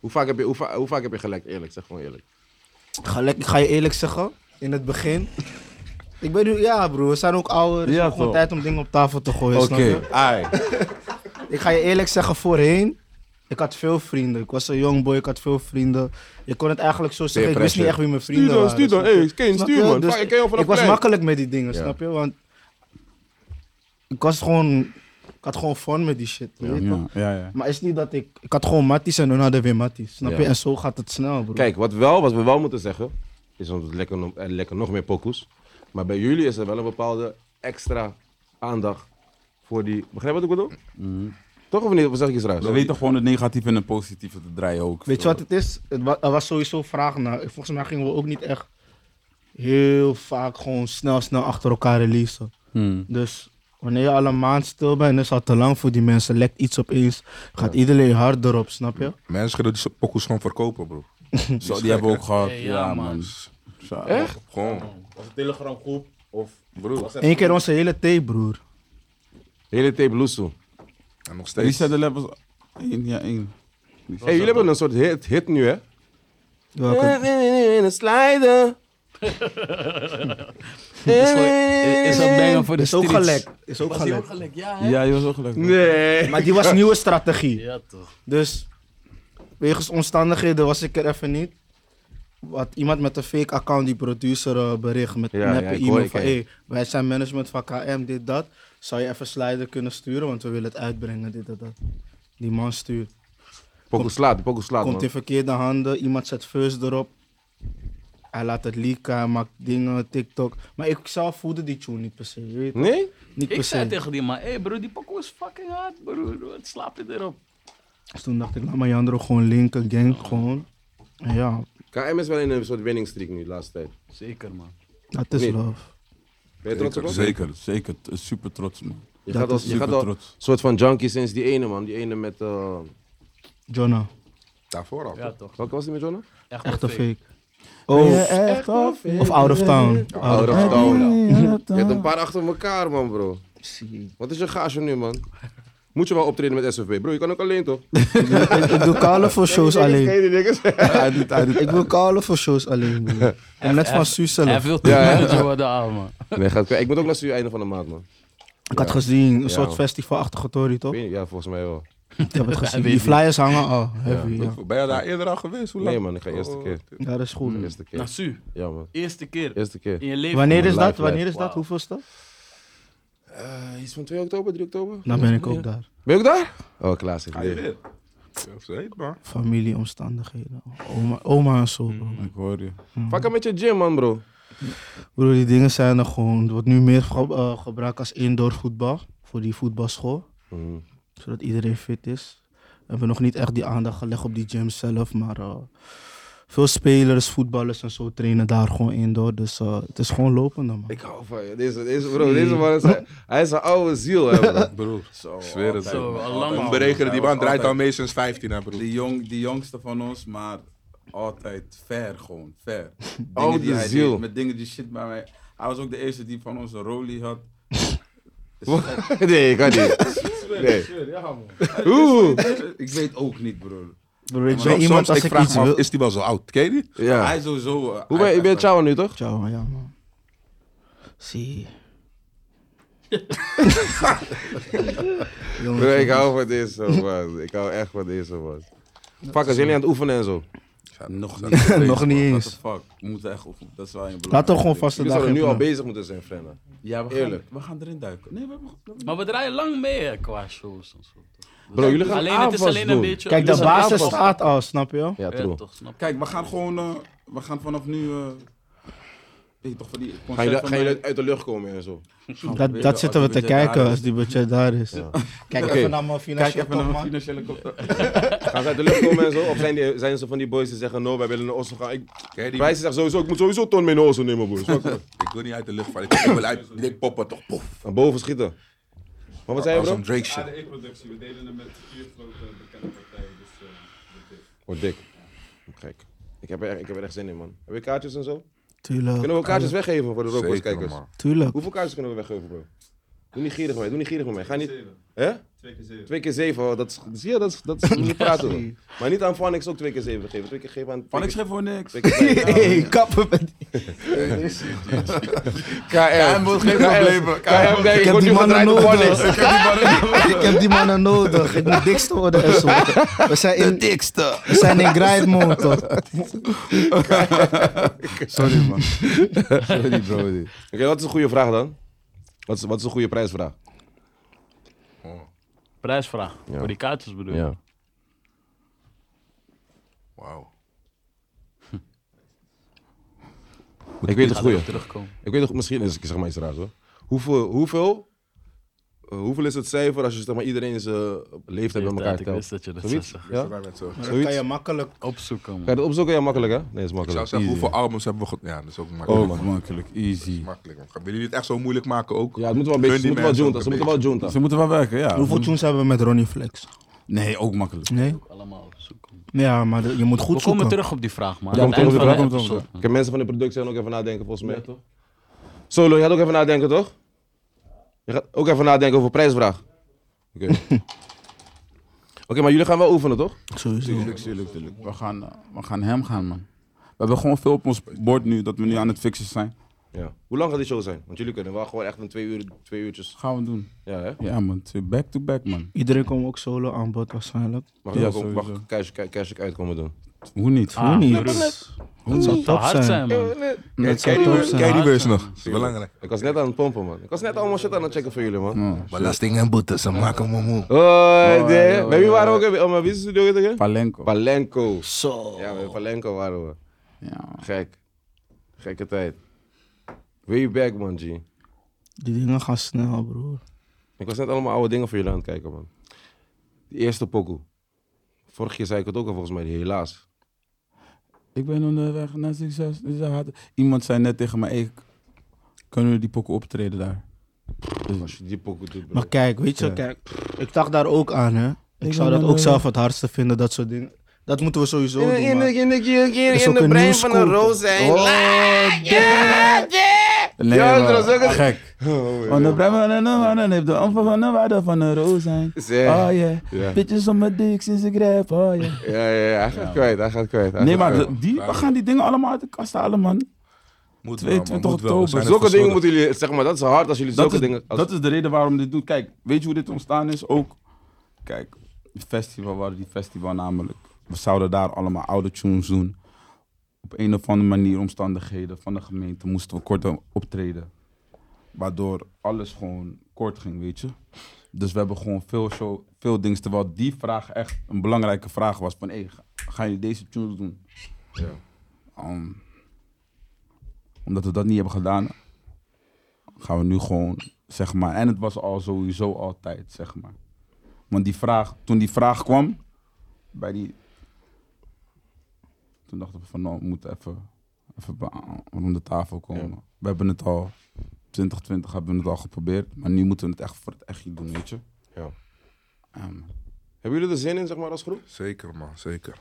[SPEAKER 1] Hoe, vaak heb je, hoe, va- hoe vaak heb je gelekt? Eerlijk, zeg gewoon eerlijk.
[SPEAKER 4] Ga, lek- ik ga je eerlijk zeggen, in het begin. Ik ben nu, ja broer, we zijn ook ouder. Dus
[SPEAKER 2] Ja,
[SPEAKER 4] ja, gewoon
[SPEAKER 2] toch.
[SPEAKER 4] tijd om dingen op tafel te gooien.
[SPEAKER 2] Oké,
[SPEAKER 4] snap je?
[SPEAKER 1] Ah,
[SPEAKER 2] ai.
[SPEAKER 4] Ik ga je eerlijk zeggen, voorheen, ik had veel vrienden. Ik was een young boy, ik had veel vrienden. Je kon het eigenlijk zo zeggen, ik wist
[SPEAKER 1] pressure.
[SPEAKER 4] niet echt wie mijn vrienden waren. snap je?
[SPEAKER 1] Kane,
[SPEAKER 4] Snap je? Dus ik was makkelijk met die dingen,
[SPEAKER 1] Ja.
[SPEAKER 4] snap je? Want ik was gewoon, ik had gewoon fun met die shit. je weet toch?
[SPEAKER 2] Ja, ja, ja.
[SPEAKER 4] Maar is niet dat ik, ik had gewoon matties en hun hadden weer matties, snap
[SPEAKER 1] Ja.
[SPEAKER 4] je? En zo gaat het snel, broer.
[SPEAKER 1] Kijk, wat, wel, wat we wel moeten zeggen, is want het lekker, no- er lekker nog meer pokoes. Maar bij jullie is er wel een bepaalde extra aandacht voor die... Begrijp je wat ik bedoel? Toch of niet? Of zeg ik iets raars?
[SPEAKER 2] We weten gewoon het negatieve en het positieve te draaien ook.
[SPEAKER 4] Weet je wat het is? Het wa- er was sowieso vraag naar. Volgens mij gingen we ook niet echt heel vaak gewoon snel, snel achter elkaar releasen.
[SPEAKER 2] Hmm.
[SPEAKER 4] Dus wanneer je al een maand stil bent, is het al te lang voor die mensen. Lekt iets opeens, gaat iedereen hard erop, snap je?
[SPEAKER 3] Mensen gaan die pokoes gewoon verkopen, bro.
[SPEAKER 2] Zo, die hebben we ook gehad.
[SPEAKER 5] Ja,
[SPEAKER 2] ja,
[SPEAKER 5] man.
[SPEAKER 2] man.
[SPEAKER 1] Echt?
[SPEAKER 3] Gewoon.
[SPEAKER 6] Was een Telegram groep of...
[SPEAKER 3] Broer.
[SPEAKER 4] Eén keer onze hele thee, broer.
[SPEAKER 1] Hele tape loes toe.
[SPEAKER 3] En nog
[SPEAKER 2] Die
[SPEAKER 3] steeds.
[SPEAKER 2] zetten levels. één, ja, één.
[SPEAKER 1] hey, jullie hebben een soort hit, hit nu, hè?
[SPEAKER 4] Welke?
[SPEAKER 1] Eh, In een slider.
[SPEAKER 5] Is dat banger voor de
[SPEAKER 4] Is ook
[SPEAKER 5] streets?
[SPEAKER 4] gelekt. Is ook
[SPEAKER 5] Was die ook
[SPEAKER 4] gelekt.
[SPEAKER 5] gelijk? Ja, hè?
[SPEAKER 2] Ja, je was ook gelukkig.
[SPEAKER 1] Nee.
[SPEAKER 4] Maar die was nieuwe strategie.
[SPEAKER 5] Ja, toch.
[SPEAKER 4] Dus wegens omstandigheden was ik er even niet. Had iemand met een fake account die producer eh, bericht met
[SPEAKER 1] Ja,
[SPEAKER 4] een
[SPEAKER 1] ja,
[SPEAKER 4] neppe
[SPEAKER 1] ik hoor
[SPEAKER 4] e-mail
[SPEAKER 1] je,
[SPEAKER 4] van
[SPEAKER 1] ik-
[SPEAKER 4] hey, wij zijn management van KM, dit dat. Zou je even slider kunnen sturen, want we willen het uitbrengen, dit dat. dat. Die man stuurt.
[SPEAKER 1] Pokoe slaat, die pokoe slaat,
[SPEAKER 4] Komt in
[SPEAKER 1] man.
[SPEAKER 4] verkeerde handen, iemand zet first erop. Hij laat het leaken, hij maakt dingen, TikTok. Maar ik zelf voelde die tune niet per se, je weet toch?
[SPEAKER 1] Nee?
[SPEAKER 4] Niet
[SPEAKER 5] Ik
[SPEAKER 4] per
[SPEAKER 5] zei
[SPEAKER 4] se.
[SPEAKER 5] tegen die man, hé hey bro, die pokoe is fucking hard, bro. Wat slaap je erop?
[SPEAKER 4] Dus toen dacht ik, laat maar Jandro gewoon linken, gang gewoon. En ja,
[SPEAKER 1] KM is wel in een soort winning streak nu, de laatste tijd.
[SPEAKER 5] Zeker, man.
[SPEAKER 4] dat Nou, is
[SPEAKER 1] Nee.
[SPEAKER 4] love.
[SPEAKER 1] Ben je trots op ons?
[SPEAKER 2] Zeker, zeker. T- Super trots, man.
[SPEAKER 1] Je
[SPEAKER 4] Dat
[SPEAKER 1] gaat al,
[SPEAKER 4] is
[SPEAKER 1] je
[SPEAKER 2] Super
[SPEAKER 1] gaat al een
[SPEAKER 2] trots.
[SPEAKER 1] soort van junkie sinds die ene, man. Die ene met... eh
[SPEAKER 4] Jonna,
[SPEAKER 3] Daarvoor al.
[SPEAKER 5] Ja, toch.
[SPEAKER 1] welke was die met Jonah?
[SPEAKER 4] Oh,
[SPEAKER 5] Echt,
[SPEAKER 4] echte fake. Oh,
[SPEAKER 2] echt of?
[SPEAKER 4] of Out of Town.
[SPEAKER 1] Out of Town. Je hebt een paar achter elkaar, man, bro.
[SPEAKER 4] eh, Zie.
[SPEAKER 1] Wat is je gage nu, man? Moet je wel optreden met SFB? Bro, je kan ook alleen, toch?
[SPEAKER 4] Ik, ik doe kale voor shows alleen.
[SPEAKER 1] Nee, die dingen zijn-
[SPEAKER 2] Hij doet, hij doet-
[SPEAKER 4] Ik doe kale voor shows alleen, broer. En net van Suus zelf.
[SPEAKER 5] Hij wil toch
[SPEAKER 1] Ja, ja.
[SPEAKER 5] manager worden, ouwe.
[SPEAKER 1] Nee, gaat, ik moet ook naar het einde van de maand, man.
[SPEAKER 4] Ik had gezien, een
[SPEAKER 1] Ja,
[SPEAKER 4] soort
[SPEAKER 1] man.
[SPEAKER 4] festivalachtige tory, toch?
[SPEAKER 1] Weet je- Ja, volgens mij wel.
[SPEAKER 4] Ik heb het gezien.
[SPEAKER 5] weet
[SPEAKER 4] Die
[SPEAKER 5] niet.
[SPEAKER 4] flyers hangen al. Heavy, ja.
[SPEAKER 3] Ben je daar eerder al geweest? Hoe lang?
[SPEAKER 1] Nee, man, ik ga eerste keer.
[SPEAKER 4] Ja, dat is goed.
[SPEAKER 1] Eerste
[SPEAKER 5] Naar
[SPEAKER 1] keer.
[SPEAKER 5] Su,
[SPEAKER 1] Ja, man.
[SPEAKER 5] eerste keer
[SPEAKER 1] Eerste keer.
[SPEAKER 5] in je leven.
[SPEAKER 4] Wanneer is
[SPEAKER 1] Live,
[SPEAKER 4] dat?
[SPEAKER 1] live.
[SPEAKER 4] Wanneer is dat?
[SPEAKER 5] Wauw.
[SPEAKER 4] Hoeveel is dat?
[SPEAKER 1] Eh, iets van 2 oktober, 3 oktober?
[SPEAKER 4] Dan ben ik
[SPEAKER 1] Ja.
[SPEAKER 4] ook daar.
[SPEAKER 1] Ben je ook daar? Oh, klaar zit
[SPEAKER 3] Ga je weer? Ja, zeker, man.
[SPEAKER 4] Familieomstandigheden. Oma, oma en zo, bro.
[SPEAKER 5] Mm.
[SPEAKER 2] ik hoor je.
[SPEAKER 4] Mm.
[SPEAKER 1] Pak hem met je gym, man, bro.
[SPEAKER 4] Broer, die dingen zijn er gewoon. Het wordt nu meer ge- eh, gebruikt als indoor voetbal. Voor die voetbalschool.
[SPEAKER 1] Mhm.
[SPEAKER 4] Zodat iedereen fit is. We hebben nog niet echt die aandacht gelegd op die gym zelf. Maar eh, veel spelers, voetballers en zo trainen daar gewoon indoor. Dus eh, het is gewoon lopende, man.
[SPEAKER 1] Ik hou van je. Deze, deze, bro, deze man is, hij is een oude ziel, hè, bro.
[SPEAKER 2] Broer.
[SPEAKER 1] Zo.
[SPEAKER 3] Zweer het.
[SPEAKER 5] Zo, al lang
[SPEAKER 3] Een
[SPEAKER 5] al.
[SPEAKER 3] berekenen, die man draait
[SPEAKER 2] Altijd.
[SPEAKER 3] al mee sinds 15, hè, broer.
[SPEAKER 2] Die, jong, die jongste van ons, maar altijd ver gewoon, ver. Dingen
[SPEAKER 1] Oude
[SPEAKER 2] die hij
[SPEAKER 1] ziel.
[SPEAKER 2] deed, met dingen die shit bij mij. Hij was ook de eerste die van ons een rolie had. Is gek.
[SPEAKER 1] Nee, ik kan niet. Nee.
[SPEAKER 2] Ja, man.
[SPEAKER 1] Oeh.
[SPEAKER 2] Ik weet ook niet, broer.
[SPEAKER 4] Broer, ik
[SPEAKER 3] Soms-
[SPEAKER 4] ben iemand
[SPEAKER 3] Soms,
[SPEAKER 4] als
[SPEAKER 3] ik
[SPEAKER 4] ik
[SPEAKER 3] vraag
[SPEAKER 4] iets
[SPEAKER 3] me af,
[SPEAKER 4] wil.
[SPEAKER 3] is die wel zo oud? Ken je die?
[SPEAKER 1] Ja.
[SPEAKER 2] Hij sowieso... eh,
[SPEAKER 1] Hoe
[SPEAKER 2] hij-
[SPEAKER 1] ben je? bent
[SPEAKER 2] hij-
[SPEAKER 1] Chao nu, toch?
[SPEAKER 4] Ciao, ja, man. Zie. Jongens,
[SPEAKER 1] Bro, ik hou van deze, man. Ik hou echt van deze, man. Pak, als jullie aan het oefenen en zo.
[SPEAKER 2] Nog niet.
[SPEAKER 4] Nog niet
[SPEAKER 2] What
[SPEAKER 4] eens.
[SPEAKER 2] the fuck? We moeten echt oefenen. Dat is wel een belangrijk.
[SPEAKER 4] Laten we gewoon vaste
[SPEAKER 1] Jullie zouden
[SPEAKER 4] dagen
[SPEAKER 1] nu al
[SPEAKER 4] hebben.
[SPEAKER 1] bezig moeten zijn, Frenna.
[SPEAKER 2] Ja, we
[SPEAKER 1] Eerlijk.
[SPEAKER 2] gaan, we gaan erin duiken. Nee, we hebben...
[SPEAKER 5] Maar we draaien lang mee hè, qua shows en zo.
[SPEAKER 1] Bro, jullie gaan
[SPEAKER 5] Alleen het is alleen een beetje.
[SPEAKER 4] Kijk, de
[SPEAKER 5] jullie zijn
[SPEAKER 4] basis
[SPEAKER 5] aanvast-
[SPEAKER 4] staat al, snap je?
[SPEAKER 1] Ja,
[SPEAKER 5] Ja,
[SPEAKER 1] true.
[SPEAKER 5] toch, snap
[SPEAKER 2] Kijk, we gaan gewoon... eh, we gaan vanaf nu... eh, weet je toch, van die concert
[SPEAKER 1] Gaan jullie,
[SPEAKER 2] van
[SPEAKER 1] gaan jullie
[SPEAKER 2] mij-
[SPEAKER 1] uit de lucht komen en zo?
[SPEAKER 4] Dat, dat zitten we te kijken als die budget daar is. Kijk
[SPEAKER 1] Oké.
[SPEAKER 4] even naar mijn
[SPEAKER 2] Kijk
[SPEAKER 4] financiële
[SPEAKER 2] even naar
[SPEAKER 4] top,
[SPEAKER 2] mijn
[SPEAKER 4] man.
[SPEAKER 2] financiële kop.
[SPEAKER 1] Gaan ze uit de lucht komen en zo? Of zijn, die, zijn ze van die boys die zeggen, no, wij willen naar Oslo gaan? Ik,
[SPEAKER 3] Ken je die?
[SPEAKER 1] Prijs zegt sowieso, ik moet sowieso ton mee naar Oslo nemen, broer. Snap je?
[SPEAKER 3] Ik wil niet uit de lucht vallen. Ik wil uit die dik poppen, toch? Poef.
[SPEAKER 1] Naar boven schieten. Maar wat zei je,
[SPEAKER 3] Als
[SPEAKER 1] bro?
[SPEAKER 3] een Drake shit.
[SPEAKER 7] productie We delen hem met vier grote bekende partijen. Dus, eh,
[SPEAKER 1] Wordt dik. Kijk, ik heb, er, ik heb er echt zin in, man. Heb je kaartjes en zo? Kunnen
[SPEAKER 4] Tuurlijk.
[SPEAKER 1] we kaartjes weggeven voor de Rockboys
[SPEAKER 3] Zeker,
[SPEAKER 1] kijkers?
[SPEAKER 3] man.
[SPEAKER 4] Tuurlijk.
[SPEAKER 1] Hoeveel kaartjes kunnen we weggeven, bro? Doe niet gierig met mij, doe niet gierig met mij. Ga niet... Hè?
[SPEAKER 7] twee keer zeven.
[SPEAKER 1] Twee keer zeven, oh, dat is... Zie je, dat is... Dat is moet je praten, hoor. Maar niet aan Vanix ook twee keer zeven geven. Twee keer geven aan...
[SPEAKER 2] Van ik schrijf voor niks.
[SPEAKER 1] Twee keer vijf.
[SPEAKER 4] Hey, kappen met die.
[SPEAKER 1] KM wil geen problemen. KM, nee,
[SPEAKER 4] Ik
[SPEAKER 1] ik
[SPEAKER 4] heb
[SPEAKER 1] word
[SPEAKER 4] die
[SPEAKER 1] nu
[SPEAKER 4] mannen
[SPEAKER 1] gedraaid door Vanix.
[SPEAKER 4] nodig. Ik heb die mannen nodig. Ik moet dikste worden en zo. We zijn in, dikste. We zijn in grind mode, toch?
[SPEAKER 2] Sorry, man.
[SPEAKER 1] Sorry, bro. Oké, wat is een goede vraag dan? Wat is, wat is een goede prijsvraag?
[SPEAKER 5] Prijsvraag.
[SPEAKER 1] Ja.
[SPEAKER 5] Voor die kaartjes bedoel je?
[SPEAKER 3] Wauw.
[SPEAKER 1] Ik weet het
[SPEAKER 5] Gaat
[SPEAKER 1] goede.
[SPEAKER 5] erop terugkomen.
[SPEAKER 1] Ik weet nog, misschien is ik zeg maar iets raars hoor. Hoeveel, hoeveel, eh, hoeveel is het cijfer als je zeg maar iedereen zijn eh, leeftijd bij elkaar
[SPEAKER 5] Ik
[SPEAKER 1] telt?
[SPEAKER 5] wist dat je dat zou
[SPEAKER 1] Zoiets?
[SPEAKER 5] zeggen.
[SPEAKER 1] Ja?
[SPEAKER 3] Wij met zo. Ik
[SPEAKER 4] Dat kan je makkelijk.
[SPEAKER 5] Opzoeken, man.
[SPEAKER 1] Kan je dat opzoeken? Ja, makkelijk hè? Nee, is
[SPEAKER 3] zou
[SPEAKER 1] makkelijk.
[SPEAKER 3] zeggen,
[SPEAKER 2] Easy.
[SPEAKER 3] hoeveel albums hebben we... ge- Ja, dat is ook makkelijk.
[SPEAKER 2] Oh, makkelijk. Easy.
[SPEAKER 3] Makkelijk, man. Willen jullie het echt zo moeilijk maken ook?
[SPEAKER 1] Ja, het moet wel een beetje, ze
[SPEAKER 3] Hun die
[SPEAKER 1] moeten wel
[SPEAKER 3] mensen
[SPEAKER 1] junta, ze
[SPEAKER 3] ook
[SPEAKER 1] moeten
[SPEAKER 3] een
[SPEAKER 1] wel junta.
[SPEAKER 2] Ze moeten wel werken, ja.
[SPEAKER 4] Hoeveel tunes hebben we met Ronnie Flex?
[SPEAKER 2] Nee, ook makkelijk.
[SPEAKER 4] Nee?
[SPEAKER 5] Allemaal opzoeken.
[SPEAKER 4] Ja, maar de- je moet
[SPEAKER 5] We
[SPEAKER 4] goed
[SPEAKER 5] komen
[SPEAKER 4] zoeken.
[SPEAKER 5] terug op die vraag, man.
[SPEAKER 1] Ja,
[SPEAKER 5] Aan
[SPEAKER 1] komt
[SPEAKER 5] het eind
[SPEAKER 1] terug,
[SPEAKER 5] van de
[SPEAKER 2] komt terug.
[SPEAKER 5] episode.
[SPEAKER 1] Ik heb mensen van de productie gaan ook even nadenken volgens mij. toch? Solo, je gaat ook even nadenken toch? Je gaat ook even nadenken over prijsvraag. Oké. Oké, maar jullie gaan wel oefenen toch?
[SPEAKER 4] Sowieso.
[SPEAKER 2] Tuurlijk, tuurlijk, tuurlijk. We gaan, eh, we gaan hem gaan, man. We hebben gewoon veel op ons bord nu, dat we nu aan het fixen zijn.
[SPEAKER 1] Ja. Hoe lang gaat die show zijn? Want jullie kunnen wel gewoon echt een twee, uur, twee uurtjes.
[SPEAKER 2] Gaan we doen.
[SPEAKER 1] Ja, hè?
[SPEAKER 2] Ja, man. Twee Back-to-back, man.
[SPEAKER 4] Iedereen komt ook solo aan bod waarschijnlijk.
[SPEAKER 1] Mag,
[SPEAKER 2] Ja,
[SPEAKER 1] ja, ook, mag
[SPEAKER 2] sowieso.
[SPEAKER 1] Cash- Cash- Cash uitkomen doen?
[SPEAKER 2] Hoe niet?
[SPEAKER 5] Ah,
[SPEAKER 4] niet.
[SPEAKER 5] broer.
[SPEAKER 4] Dat zou
[SPEAKER 5] Zou
[SPEAKER 4] top zijn.
[SPEAKER 5] hard zijn, man.
[SPEAKER 4] Dat
[SPEAKER 3] Ken
[SPEAKER 4] zou
[SPEAKER 3] je
[SPEAKER 4] top
[SPEAKER 3] die- ken je
[SPEAKER 4] zijn.
[SPEAKER 3] die beurs nog? Dat is belangrijk.
[SPEAKER 1] Ik was net aan het pompen, man. Ik was net allemaal shit aan het checken voor jullie, man.
[SPEAKER 2] Ja.
[SPEAKER 3] Belasting en boete, ze maken me moe.
[SPEAKER 1] Oh,
[SPEAKER 2] ja,
[SPEAKER 1] de.
[SPEAKER 2] ja,
[SPEAKER 1] Bij
[SPEAKER 2] ja.
[SPEAKER 1] wie waren we ook? Oh, maar wie is de studio tegen?
[SPEAKER 2] Palenko.
[SPEAKER 1] Palenko.
[SPEAKER 4] Zo.
[SPEAKER 1] Ja, bij Palenko waren we.
[SPEAKER 2] Ja, man.
[SPEAKER 1] Gek. Gekke tijd. Way back, man, G.
[SPEAKER 4] Die dingen gaan snel, broer.
[SPEAKER 1] Ik was net allemaal oude dingen voor jullie aan het kijken, man. Die eerste pokoe. Vorig jaar zei ik het ook al, volgens mij. Helaas.
[SPEAKER 2] Ik ben onderweg naar succes. Dus hij had- Iemand zei net tegen mij, hey, kunnen we die pokken optreden daar? Dus-
[SPEAKER 1] Als je die pokoe doet, bro.
[SPEAKER 4] Maar kijk, weet je,
[SPEAKER 2] Ja.
[SPEAKER 4] kijk, ik dacht daar ook aan, hè. Ik,
[SPEAKER 2] Ik
[SPEAKER 4] zou
[SPEAKER 2] ben
[SPEAKER 4] dat
[SPEAKER 2] wel,
[SPEAKER 4] ook
[SPEAKER 2] eh,
[SPEAKER 4] zelf het hardste vinden, dat soort dingen. Dat moeten we sowieso doen.
[SPEAKER 1] in,
[SPEAKER 4] maar-
[SPEAKER 1] de- in, de- in, de-
[SPEAKER 4] is
[SPEAKER 1] in
[SPEAKER 4] ook
[SPEAKER 1] de
[SPEAKER 4] een
[SPEAKER 1] brein
[SPEAKER 4] nieuw
[SPEAKER 1] van een
[SPEAKER 4] scoop.
[SPEAKER 1] roos zijn. Ah,
[SPEAKER 2] Oh, damn. Oh, Nee,
[SPEAKER 1] Ja, Oh, dat
[SPEAKER 2] maar-
[SPEAKER 1] was ook een-
[SPEAKER 2] gek. Want de brein van een man heeft de amper van een waarde van een roos zijn.
[SPEAKER 1] Zeg.
[SPEAKER 2] Oh
[SPEAKER 1] Ja.
[SPEAKER 2] yeah, bitches om mijn dik sinds ik rap, oh yeah.
[SPEAKER 1] Ja, ja, ja, hij gaat kwijt, hij gaat kwijt. hij
[SPEAKER 2] Nee,
[SPEAKER 1] gaat
[SPEAKER 2] maar
[SPEAKER 1] kwijt.
[SPEAKER 2] de- die, we gaan die dingen allemaal uit de kast halen, man.
[SPEAKER 3] Moet
[SPEAKER 2] 22
[SPEAKER 3] moet wel. We
[SPEAKER 2] oktober.
[SPEAKER 3] zijn het
[SPEAKER 1] Zulke dingen
[SPEAKER 3] verschuldigd.
[SPEAKER 1] moeten jullie, zeg maar, dat is hard als jullie
[SPEAKER 2] Dat
[SPEAKER 1] zulke
[SPEAKER 2] is,
[SPEAKER 1] dingen... als-
[SPEAKER 2] dat is de reden waarom we dit doen. Kijk, weet je hoe dit ontstaan is? Ook, kijk, het festival, we hadden die festival namelijk. We zouden daar allemaal oude tunes doen. Op een of andere manier, omstandigheden van de gemeente, moesten we kort optreden. Waardoor alles gewoon kort ging, weet je. Dus we hebben gewoon veel, show, veel dingen. Terwijl die vraag echt een belangrijke vraag was. Van, hé, hey, ga- gaan jullie deze tunes doen? Ehm, omdat we dat niet hebben gedaan, gaan we nu gewoon, zeg maar. En het was al sowieso altijd, zeg maar. Want die vraag, toen die vraag kwam, bij die. Toen dachten we van, nou, we moeten even, even be- rond de tafel komen. We hebben het al, 2020 hebben we het al geprobeerd, maar nu moeten we het echt voor het echt doen, weet je.
[SPEAKER 1] Ja.
[SPEAKER 2] Ehm,
[SPEAKER 1] Hebben jullie er zin in, zeg maar, als groep?
[SPEAKER 3] Zeker, man, zeker.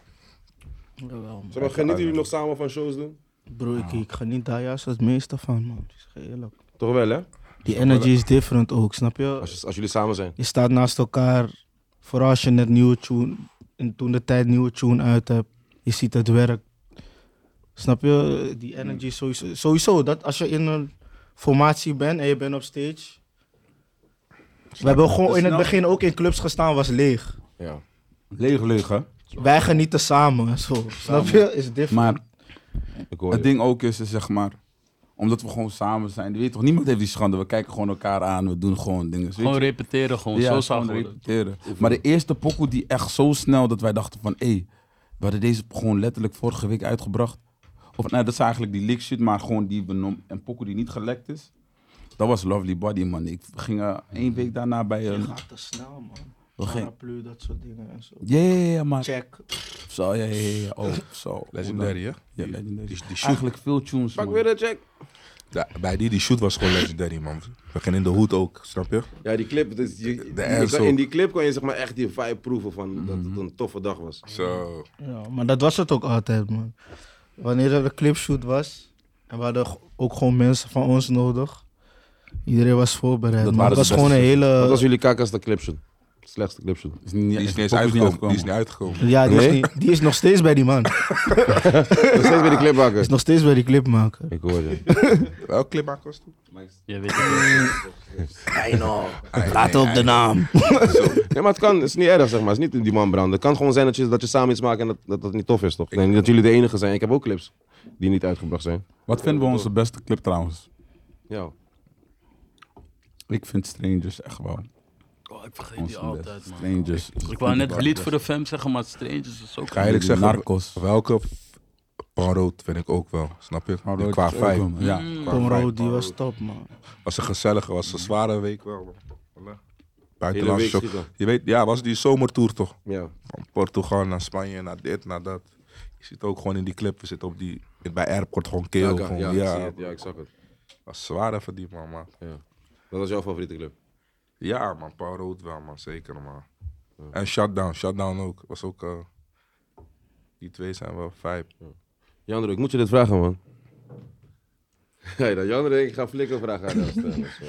[SPEAKER 4] Jawel, man.
[SPEAKER 1] Zeg maar, genieten jullie nog samen van shows doen?
[SPEAKER 4] Bro, ik, ik geniet daar juist het meeste van, man. Ik zeg je eerlijk.
[SPEAKER 1] Toch wel, hè?
[SPEAKER 4] Die energy is different ook, snap je?
[SPEAKER 1] Als, je- als jullie samen zijn.
[SPEAKER 4] Je staat naast elkaar. Vooral als je net nieuwe tune. En toen de tijd nieuwe tune uit hebt. Je ziet het werk. Snap je? Die energy is sowieso. Sowieso, dat als je in een formatie bent en je bent op stage. We hebben gewoon in het begin ook in clubs gestaan, was leeg.
[SPEAKER 1] Ja.
[SPEAKER 2] leeg, leeg, hè?
[SPEAKER 4] Wij genieten samen en zo. Snap je? Is different.
[SPEAKER 2] Maar
[SPEAKER 1] Ik hoor
[SPEAKER 2] Het
[SPEAKER 1] je.
[SPEAKER 2] ding ook is, is zeg maar, omdat we gewoon samen zijn. Je weet toch, niemand heeft die schande. We kijken gewoon elkaar aan, we doen gewoon dingen. weet
[SPEAKER 5] Gewoon
[SPEAKER 2] je?
[SPEAKER 5] repeteren, gewoon
[SPEAKER 2] Ja,
[SPEAKER 5] zo zou
[SPEAKER 2] gewoon
[SPEAKER 5] het worden.
[SPEAKER 2] repeteren. Maar de eerste pokoe die echt zo snel dat wij dachten van, hé, we hadden deze gewoon letterlijk vorige week uitgebracht. Of nou, dat is eigenlijk die leak shit, maar gewoon die benom en pokoe die niet gelekt is. Dat was Lovely Body, man. Ik ging eh, één week daarna bij
[SPEAKER 4] Je
[SPEAKER 2] een...
[SPEAKER 4] gaat te snel, man.
[SPEAKER 2] eh, We gingen-
[SPEAKER 4] Paraplu, dat soort dingen en zo.
[SPEAKER 2] Ja, ja, ja, ja, maar...
[SPEAKER 4] Check.
[SPEAKER 2] Zo, ja, ja, ja, ja. Oh, zo.
[SPEAKER 3] Legendary, hè?
[SPEAKER 2] Ja, legendary.
[SPEAKER 3] Die, die shoot,
[SPEAKER 2] Eigenlijk veel tunes,
[SPEAKER 1] Pak
[SPEAKER 2] man.
[SPEAKER 1] weer de check.
[SPEAKER 3] Ja, bij die, die shoot was gewoon legendary, man. We gingen in de hoed ook, snap je?
[SPEAKER 1] Ja, die clip, dus je- je
[SPEAKER 3] ass
[SPEAKER 1] kan-
[SPEAKER 3] ook.
[SPEAKER 1] in die clip kon je zeg maar echt die vibe proeven van dat het een toffe dag was.
[SPEAKER 3] Zo.
[SPEAKER 4] Ja, maar dat was het ook altijd, man. Wanneer er een clipshoot was, en we hadden g- ook gewoon mensen van ons nodig. Iedereen was voorbereid.
[SPEAKER 2] Dat
[SPEAKER 4] maar het
[SPEAKER 2] waren
[SPEAKER 4] was
[SPEAKER 2] de
[SPEAKER 4] gewoon een
[SPEAKER 2] beste.
[SPEAKER 1] Wat was
[SPEAKER 4] hele.
[SPEAKER 1] jullie kakas de clipshoot? Slechtste clipshoot.
[SPEAKER 2] Is niet-
[SPEAKER 3] Die is niet eens
[SPEAKER 2] pokoe
[SPEAKER 3] uitgekomen. Die is niet uitgekomen.
[SPEAKER 4] Ja, die,
[SPEAKER 1] Nee?
[SPEAKER 4] is niet- die is nog steeds bij die man. Die
[SPEAKER 1] Nog steeds weer die clip maken.
[SPEAKER 4] is nog steeds bij die clipmaker.
[SPEAKER 1] Ik hoor je.
[SPEAKER 3] Welke clip was toen?
[SPEAKER 5] Je weet het.
[SPEAKER 4] Laat op de naam.
[SPEAKER 1] Nee, maar het kan, het is niet erg zeg maar. Het is niet in die man branden. Het kan gewoon zijn dat je, dat je samen iets maakt en dat dat, dat niet tof is toch? Nee, niet dat jullie de enige zijn. Ik heb ook clips die niet uitgebracht zijn.
[SPEAKER 2] Wat vinden we onze beste clip trouwens?
[SPEAKER 1] Ja.
[SPEAKER 2] Ik vind Strangers echt wel.
[SPEAKER 5] Oh, ik vergeet die
[SPEAKER 2] Onze beste.
[SPEAKER 5] altijd, man.
[SPEAKER 2] Strangers. is
[SPEAKER 5] Ik wou
[SPEAKER 2] de
[SPEAKER 5] net
[SPEAKER 2] beste.
[SPEAKER 5] lied voor de fam zeggen, maar Strangers is ook...
[SPEAKER 3] Ga eerlijk zeggen,
[SPEAKER 2] Narcos.
[SPEAKER 3] welke f- Panrood vind ik ook wel, snap je?
[SPEAKER 2] Panrood
[SPEAKER 3] qua
[SPEAKER 2] is ook wel,
[SPEAKER 3] vibe.
[SPEAKER 2] man. Ja.
[SPEAKER 3] Qua vibe.
[SPEAKER 4] Comro, die was top, man.
[SPEAKER 3] Was een gezellige, was een zware week wel. man. Voilà.
[SPEAKER 1] Hele
[SPEAKER 3] Buitenlandse
[SPEAKER 1] week
[SPEAKER 3] show.
[SPEAKER 1] schieten.
[SPEAKER 3] Je weet, ja, was die zomertour toch?
[SPEAKER 1] Ja.
[SPEAKER 3] Van Portugal naar Spanje, naar dit, naar dat. Je zit ook gewoon in die clip, we zitten op die, bij Airport Honkeel.
[SPEAKER 1] Ja,
[SPEAKER 3] gewoon,
[SPEAKER 1] ja,
[SPEAKER 3] ja,
[SPEAKER 1] ik zie het. ja, ik zag het.
[SPEAKER 3] was zwaar even die man, maar...
[SPEAKER 1] Dat was jouw favoriete clip.
[SPEAKER 3] Ja, man, Paul Rood wel, man, zeker, man. En Shutdown, Shutdown ook. Was ook. eh, die twee zijn wel vijf.
[SPEAKER 1] Jandro, ik moet je dit vragen, man. Hey, dan Jandro, ik ga flikken vragen aan jou stellen. zo.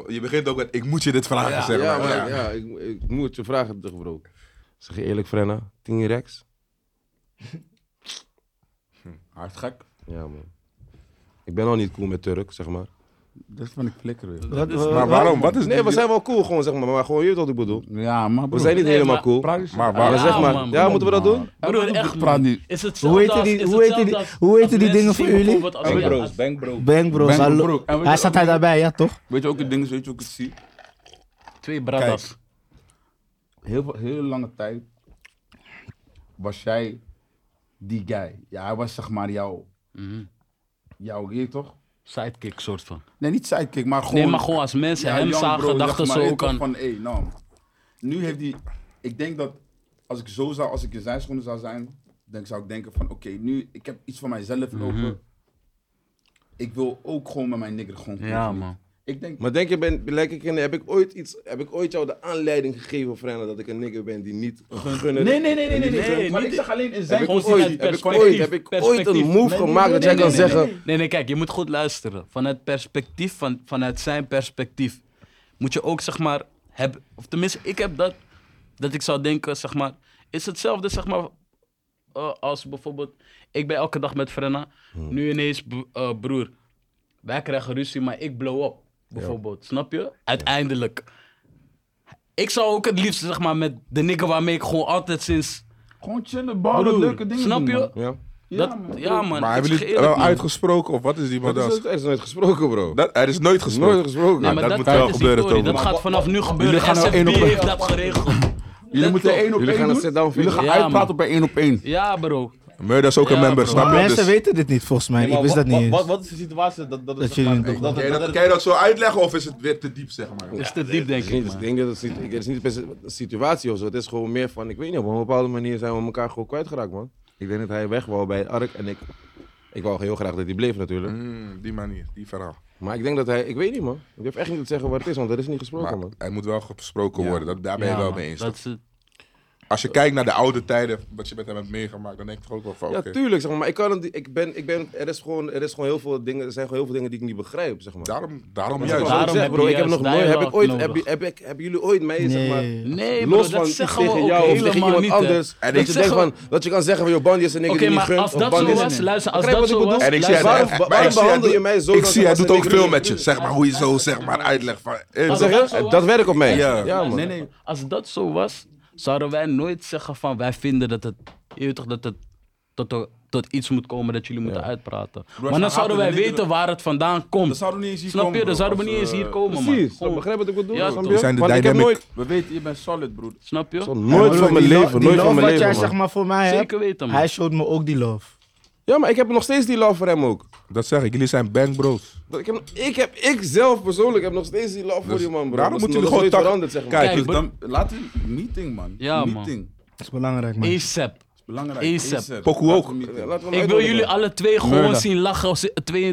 [SPEAKER 3] Oh, Je begint ook met: ik moet je dit vragen, zeg
[SPEAKER 1] ja,
[SPEAKER 3] maar.
[SPEAKER 1] maar
[SPEAKER 3] Ja.
[SPEAKER 1] ik- ja, ik, ik moet je vragen toch, bro. Zeg je eerlijk, Frenna? 10 rex?
[SPEAKER 2] Hartgek.
[SPEAKER 1] Ja, man. Ik ben al niet cool met Turk, zeg maar.
[SPEAKER 2] Dat vind ik flikker.
[SPEAKER 4] Wat- wat-
[SPEAKER 3] Maar waarom? Wat is
[SPEAKER 1] Nee, we
[SPEAKER 3] die-
[SPEAKER 1] zijn wel cool gewoon, zeg maar. Maar gewoon, je weet wat ik bedoel.
[SPEAKER 2] Ja, maar
[SPEAKER 1] We zijn niet
[SPEAKER 5] Nee,
[SPEAKER 1] helemaal
[SPEAKER 5] maar-
[SPEAKER 1] cool.
[SPEAKER 3] Maar
[SPEAKER 1] Maar
[SPEAKER 3] waarom?
[SPEAKER 1] zeg maar,
[SPEAKER 5] man,
[SPEAKER 1] ja, moeten we dat doen?
[SPEAKER 5] Broer, echt,
[SPEAKER 2] praat
[SPEAKER 5] man.
[SPEAKER 2] niet.
[SPEAKER 5] Is het
[SPEAKER 4] Hoe
[SPEAKER 5] hoe
[SPEAKER 4] heet
[SPEAKER 5] als,
[SPEAKER 4] die-
[SPEAKER 5] is
[SPEAKER 4] hoe
[SPEAKER 5] hetzelfde
[SPEAKER 4] heet die-
[SPEAKER 5] als-
[SPEAKER 4] hoe heet
[SPEAKER 5] als
[SPEAKER 4] die
[SPEAKER 5] mensen
[SPEAKER 4] dingen voor
[SPEAKER 5] zien
[SPEAKER 4] jullie?
[SPEAKER 5] bijvoorbeeld als-
[SPEAKER 6] Bankbro's,
[SPEAKER 5] als-
[SPEAKER 6] bankbro's.
[SPEAKER 4] Bang, bro.
[SPEAKER 2] Bang,
[SPEAKER 4] hallo.
[SPEAKER 2] bro. En weet je
[SPEAKER 4] Hij zat
[SPEAKER 2] wat-
[SPEAKER 4] hij daarbij, ja toch?
[SPEAKER 2] Weet je ook het ding, is, weet je ook het zie?
[SPEAKER 5] Twee bradas.
[SPEAKER 2] Heel, veel- heel lange tijd was jij die guy. Ja, hij was zeg maar jouw,
[SPEAKER 5] Mhm.
[SPEAKER 2] jouw je weet toch?
[SPEAKER 5] Sidekick soort van.
[SPEAKER 2] Nee, niet sidekick, maar gewoon...
[SPEAKER 5] Nee, maar gewoon als mensen
[SPEAKER 2] Ja,
[SPEAKER 5] hem
[SPEAKER 2] young bro,
[SPEAKER 5] zagen, dachten
[SPEAKER 2] zeg
[SPEAKER 5] ze
[SPEAKER 2] maar,
[SPEAKER 5] ook
[SPEAKER 2] weet
[SPEAKER 5] aan...
[SPEAKER 2] toch, van, hey, nou, nu heeft hij... Ik denk dat als ik zo zou, als ik in zijn schoenen zou zijn, denk, zou ik denken van, oké, nu, ik
[SPEAKER 5] Mhm.
[SPEAKER 2] heb iets van mijzelf lopen. Ik wil ook gewoon met mijn nigger gewoon...
[SPEAKER 5] Ja, man.
[SPEAKER 6] Ik denk,
[SPEAKER 1] Maar denk je, ben, lijk ik in, heb, ik ooit iets, heb ik ooit jou de aanleiding gegeven, Frenna, dat ik een nigger ben die niet gunnen?
[SPEAKER 6] nee, nee, nee, nee, nee, nee,
[SPEAKER 5] Nee,
[SPEAKER 6] Maar
[SPEAKER 5] niet-
[SPEAKER 6] ik zeg alleen in
[SPEAKER 1] Heb
[SPEAKER 6] zijn
[SPEAKER 1] ik
[SPEAKER 5] Gewoon
[SPEAKER 1] ooit,
[SPEAKER 5] zien uit
[SPEAKER 1] heb ik
[SPEAKER 5] perspectief.
[SPEAKER 1] ooit, heb ik ooit een
[SPEAKER 5] Perspectief.
[SPEAKER 1] move
[SPEAKER 6] nee,
[SPEAKER 1] gemaakt
[SPEAKER 6] nee,
[SPEAKER 1] dat jij
[SPEAKER 6] nee,
[SPEAKER 1] kan
[SPEAKER 6] nee,
[SPEAKER 1] zeggen...
[SPEAKER 5] Nee, nee, kijk, je moet goed luisteren. Vanuit perspectief, van, vanuit zijn perspectief, moet je ook zeg maar hebben. Of tenminste, ik heb dat, dat ik zou denken, zeg maar, is hetzelfde zeg maar eh, als bijvoorbeeld, ik ben elke dag met Frenna, nu ineens bro- eh, broer, wij krijgen ruzie, maar ik blow up, bijvoorbeeld, snap je? Uiteindelijk. Ik zou ook het liefst zeg maar met de nigger waarmee ik gewoon altijd sinds.
[SPEAKER 2] Gewoon chillen, ballen,
[SPEAKER 5] Broer,
[SPEAKER 2] leuke dingen doen,
[SPEAKER 5] snap je?
[SPEAKER 2] man.
[SPEAKER 1] Ja.
[SPEAKER 5] dat,
[SPEAKER 2] man.
[SPEAKER 5] ja, man.
[SPEAKER 3] Maar
[SPEAKER 5] ik
[SPEAKER 3] hebben
[SPEAKER 5] zeg
[SPEAKER 3] jullie
[SPEAKER 5] eerlijk,
[SPEAKER 3] wel
[SPEAKER 5] man.
[SPEAKER 3] uitgesproken of wat is die
[SPEAKER 1] Dat is,
[SPEAKER 3] modas?
[SPEAKER 1] nooit- er is nooit gesproken, bro.
[SPEAKER 3] Dat, er is nooit gesproken.
[SPEAKER 1] Nooit gesproken.
[SPEAKER 5] Nee,
[SPEAKER 1] Ja,
[SPEAKER 5] maar
[SPEAKER 3] dat
[SPEAKER 5] dat,
[SPEAKER 3] moet
[SPEAKER 5] dat
[SPEAKER 3] wel
[SPEAKER 5] is
[SPEAKER 3] gebeuren,
[SPEAKER 5] historie.
[SPEAKER 3] toch?
[SPEAKER 5] Dat gaat vanaf nu gebeuren.
[SPEAKER 2] jullie gaan nou
[SPEAKER 5] SFB
[SPEAKER 2] één op één.
[SPEAKER 5] heeft dat geregeld.
[SPEAKER 2] Jullie
[SPEAKER 5] Let
[SPEAKER 2] moeten
[SPEAKER 5] op.
[SPEAKER 2] één op
[SPEAKER 1] Jullie
[SPEAKER 2] één
[SPEAKER 1] gaan een
[SPEAKER 2] doen.
[SPEAKER 1] sit-down
[SPEAKER 2] Jullie gaan
[SPEAKER 5] vinden. Ja,
[SPEAKER 2] uitpraten bij één op één.
[SPEAKER 5] Ja, bro.
[SPEAKER 3] Murder is ook
[SPEAKER 5] Ja,
[SPEAKER 3] een member,
[SPEAKER 5] bro.
[SPEAKER 3] snap je?
[SPEAKER 4] Mensen
[SPEAKER 3] Dus-
[SPEAKER 4] weten dit niet, volgens mij.
[SPEAKER 7] Nee, maar
[SPEAKER 4] ik wist
[SPEAKER 7] wat-
[SPEAKER 4] dat niet
[SPEAKER 7] wat-
[SPEAKER 4] eens.
[SPEAKER 7] Wat, wat is de situatie dat, dat,
[SPEAKER 4] Dat
[SPEAKER 7] zeg maar-
[SPEAKER 4] jullie het
[SPEAKER 3] Kan je
[SPEAKER 7] dat-
[SPEAKER 3] dat- kan je dat zo uitleggen of is het weer te diep, zeg maar?
[SPEAKER 5] Dat is te diep, denk
[SPEAKER 1] Ik denk-
[SPEAKER 5] ik.
[SPEAKER 1] Ik
[SPEAKER 5] man.
[SPEAKER 1] denk dat het niet, ik- het is niet per se een situatie of zo. Het is gewoon meer van, ik weet niet, op een bepaalde manier zijn we elkaar gewoon kwijtgeraakt, man. Ik denk dat hij weg wou bij Ark en ik. Ik wou heel graag dat hij bleef natuurlijk.
[SPEAKER 3] Mm, die manier, die verhaal.
[SPEAKER 1] Maar ik denk dat hij, ik weet niet, man. Ik durf echt niet te zeggen wat het is, want er is niet gesproken,
[SPEAKER 3] Maar
[SPEAKER 1] man.
[SPEAKER 3] hij moet wel gesproken worden, dat, daar ben je
[SPEAKER 5] Ja,
[SPEAKER 3] wel
[SPEAKER 5] man.
[SPEAKER 3] mee eens.
[SPEAKER 5] Dat is het.
[SPEAKER 3] Als je kijkt naar de oude tijden, wat je met hem hebt meegemaakt, dan denk ik toch ook wel van, oké.
[SPEAKER 1] Ja, tuurlijk, zeg maar. Maar ik kan het, niet- ik ben, ik ben, er, is gewoon, er, is gewoon heel veel dingen, er zijn gewoon heel veel dingen die ik niet begrijp, zeg maar.
[SPEAKER 3] daarom, daarom
[SPEAKER 1] Dat is
[SPEAKER 3] juist.
[SPEAKER 1] wat ik
[SPEAKER 5] Daarom
[SPEAKER 1] zeg,
[SPEAKER 5] heb
[SPEAKER 1] bro.
[SPEAKER 5] je
[SPEAKER 1] Ik heb
[SPEAKER 5] juist
[SPEAKER 1] nog nooit, heb ik
[SPEAKER 5] dialogue
[SPEAKER 1] ooit, heb,
[SPEAKER 5] nodig.
[SPEAKER 1] heb, heb, hebben jullie ooit mee, zeg maar,
[SPEAKER 4] Nee.
[SPEAKER 5] Nee, bro,
[SPEAKER 1] Los van
[SPEAKER 5] dat
[SPEAKER 1] iets
[SPEAKER 5] zeggen we
[SPEAKER 1] tegen
[SPEAKER 5] ook
[SPEAKER 1] jou of tegen
[SPEAKER 5] helemaal
[SPEAKER 1] iemand
[SPEAKER 5] niet. hè.
[SPEAKER 1] anders.
[SPEAKER 3] En
[SPEAKER 1] dat,
[SPEAKER 3] ik
[SPEAKER 1] je
[SPEAKER 5] zeg
[SPEAKER 1] denkt
[SPEAKER 5] gewoon-
[SPEAKER 1] van, dat je kan zeggen van, joh, Bandy is een nigger
[SPEAKER 5] Oké,
[SPEAKER 1] die niet
[SPEAKER 5] maar
[SPEAKER 1] gunt.
[SPEAKER 5] als
[SPEAKER 1] of
[SPEAKER 5] dat
[SPEAKER 1] Bandy
[SPEAKER 5] zo
[SPEAKER 1] is-
[SPEAKER 5] was, luister, als
[SPEAKER 1] Begrijp
[SPEAKER 5] dat
[SPEAKER 1] je
[SPEAKER 5] zo
[SPEAKER 1] wat ik
[SPEAKER 5] was...
[SPEAKER 1] bedoel?
[SPEAKER 3] En ik
[SPEAKER 5] luister,
[SPEAKER 3] zie,
[SPEAKER 1] waarom-
[SPEAKER 3] hij,
[SPEAKER 1] waarom
[SPEAKER 3] maar ik zie, hij
[SPEAKER 1] behandel je
[SPEAKER 3] doet-
[SPEAKER 1] mij zo
[SPEAKER 3] ik
[SPEAKER 1] dan
[SPEAKER 3] zie, hij
[SPEAKER 1] als
[SPEAKER 3] doet
[SPEAKER 1] een
[SPEAKER 3] ook
[SPEAKER 1] negere
[SPEAKER 3] veel met je,
[SPEAKER 1] broeder?
[SPEAKER 3] zeg maar, hoe je zo, zeg maar, uitlegt van... eh,
[SPEAKER 5] Als
[SPEAKER 1] Zeg
[SPEAKER 5] dat
[SPEAKER 1] je?
[SPEAKER 5] zo was-
[SPEAKER 1] Dat werkt op mij.
[SPEAKER 3] Ja.
[SPEAKER 1] Ja, man.
[SPEAKER 5] Nee, nee, als dat zo was, zouden wij nooit zeggen van wij vinden dat het, je weet toch, dat het tot, tot- tot iets moet komen dat jullie moeten uitpraten. maar dan
[SPEAKER 7] haten
[SPEAKER 5] zouden wij
[SPEAKER 7] de liederen.
[SPEAKER 5] weten waar het vandaan komt.
[SPEAKER 7] Dat zouden we niet eens hier
[SPEAKER 5] Snap
[SPEAKER 7] komen,
[SPEAKER 5] je? Dan
[SPEAKER 7] bro,
[SPEAKER 5] zouden we
[SPEAKER 7] als,
[SPEAKER 5] niet eens hier
[SPEAKER 7] eh,
[SPEAKER 5] komen,
[SPEAKER 1] Precies,
[SPEAKER 5] man.
[SPEAKER 1] dan begrijp je wat ik bedoel?
[SPEAKER 5] Ja,
[SPEAKER 1] snap
[SPEAKER 5] toch.
[SPEAKER 1] je?
[SPEAKER 3] Zijn de
[SPEAKER 1] Want ik heb
[SPEAKER 3] dynamic-
[SPEAKER 1] nooit,
[SPEAKER 2] We weten, je bent solid, broer.
[SPEAKER 5] Snap je?
[SPEAKER 1] nooit van mijn
[SPEAKER 4] Die lo-
[SPEAKER 1] leven,
[SPEAKER 4] die
[SPEAKER 1] nooit
[SPEAKER 4] love
[SPEAKER 1] van mijn
[SPEAKER 4] wat jij
[SPEAKER 1] leven,
[SPEAKER 4] zeg
[SPEAKER 1] man.
[SPEAKER 4] maar voor mij hebt,
[SPEAKER 5] Zeker weten, man.
[SPEAKER 4] hij showed me ook die love.
[SPEAKER 1] Ja, maar ik heb nog steeds die love voor hem ook.
[SPEAKER 3] Dat zeg ik, jullie zijn bang bros.
[SPEAKER 1] Dat Ik, heb, ik, heb, ik zelf persoonlijk heb nog steeds die love voor die man, bro.
[SPEAKER 3] daarom
[SPEAKER 1] Dat is
[SPEAKER 3] moeten
[SPEAKER 1] nog
[SPEAKER 3] jullie
[SPEAKER 1] nooit
[SPEAKER 3] gewoon
[SPEAKER 1] veranderd, zeg maar.
[SPEAKER 3] Kijk,
[SPEAKER 5] Kijk,
[SPEAKER 2] Dus
[SPEAKER 5] bro-
[SPEAKER 2] dan, laat een meeting, man.
[SPEAKER 5] Ja, man.
[SPEAKER 2] meeting.
[SPEAKER 4] Dat is belangrijk, man.
[SPEAKER 5] ASAP.
[SPEAKER 2] is belangrijk.
[SPEAKER 5] ASAP.
[SPEAKER 2] ASAP.
[SPEAKER 3] Poku
[SPEAKER 2] Laat
[SPEAKER 3] ook.
[SPEAKER 2] een meeting.
[SPEAKER 1] Laten we hem
[SPEAKER 5] Ik wil
[SPEAKER 1] uitnodigen.
[SPEAKER 5] jullie alle twee gewoon
[SPEAKER 2] Murder.
[SPEAKER 5] zien lachen als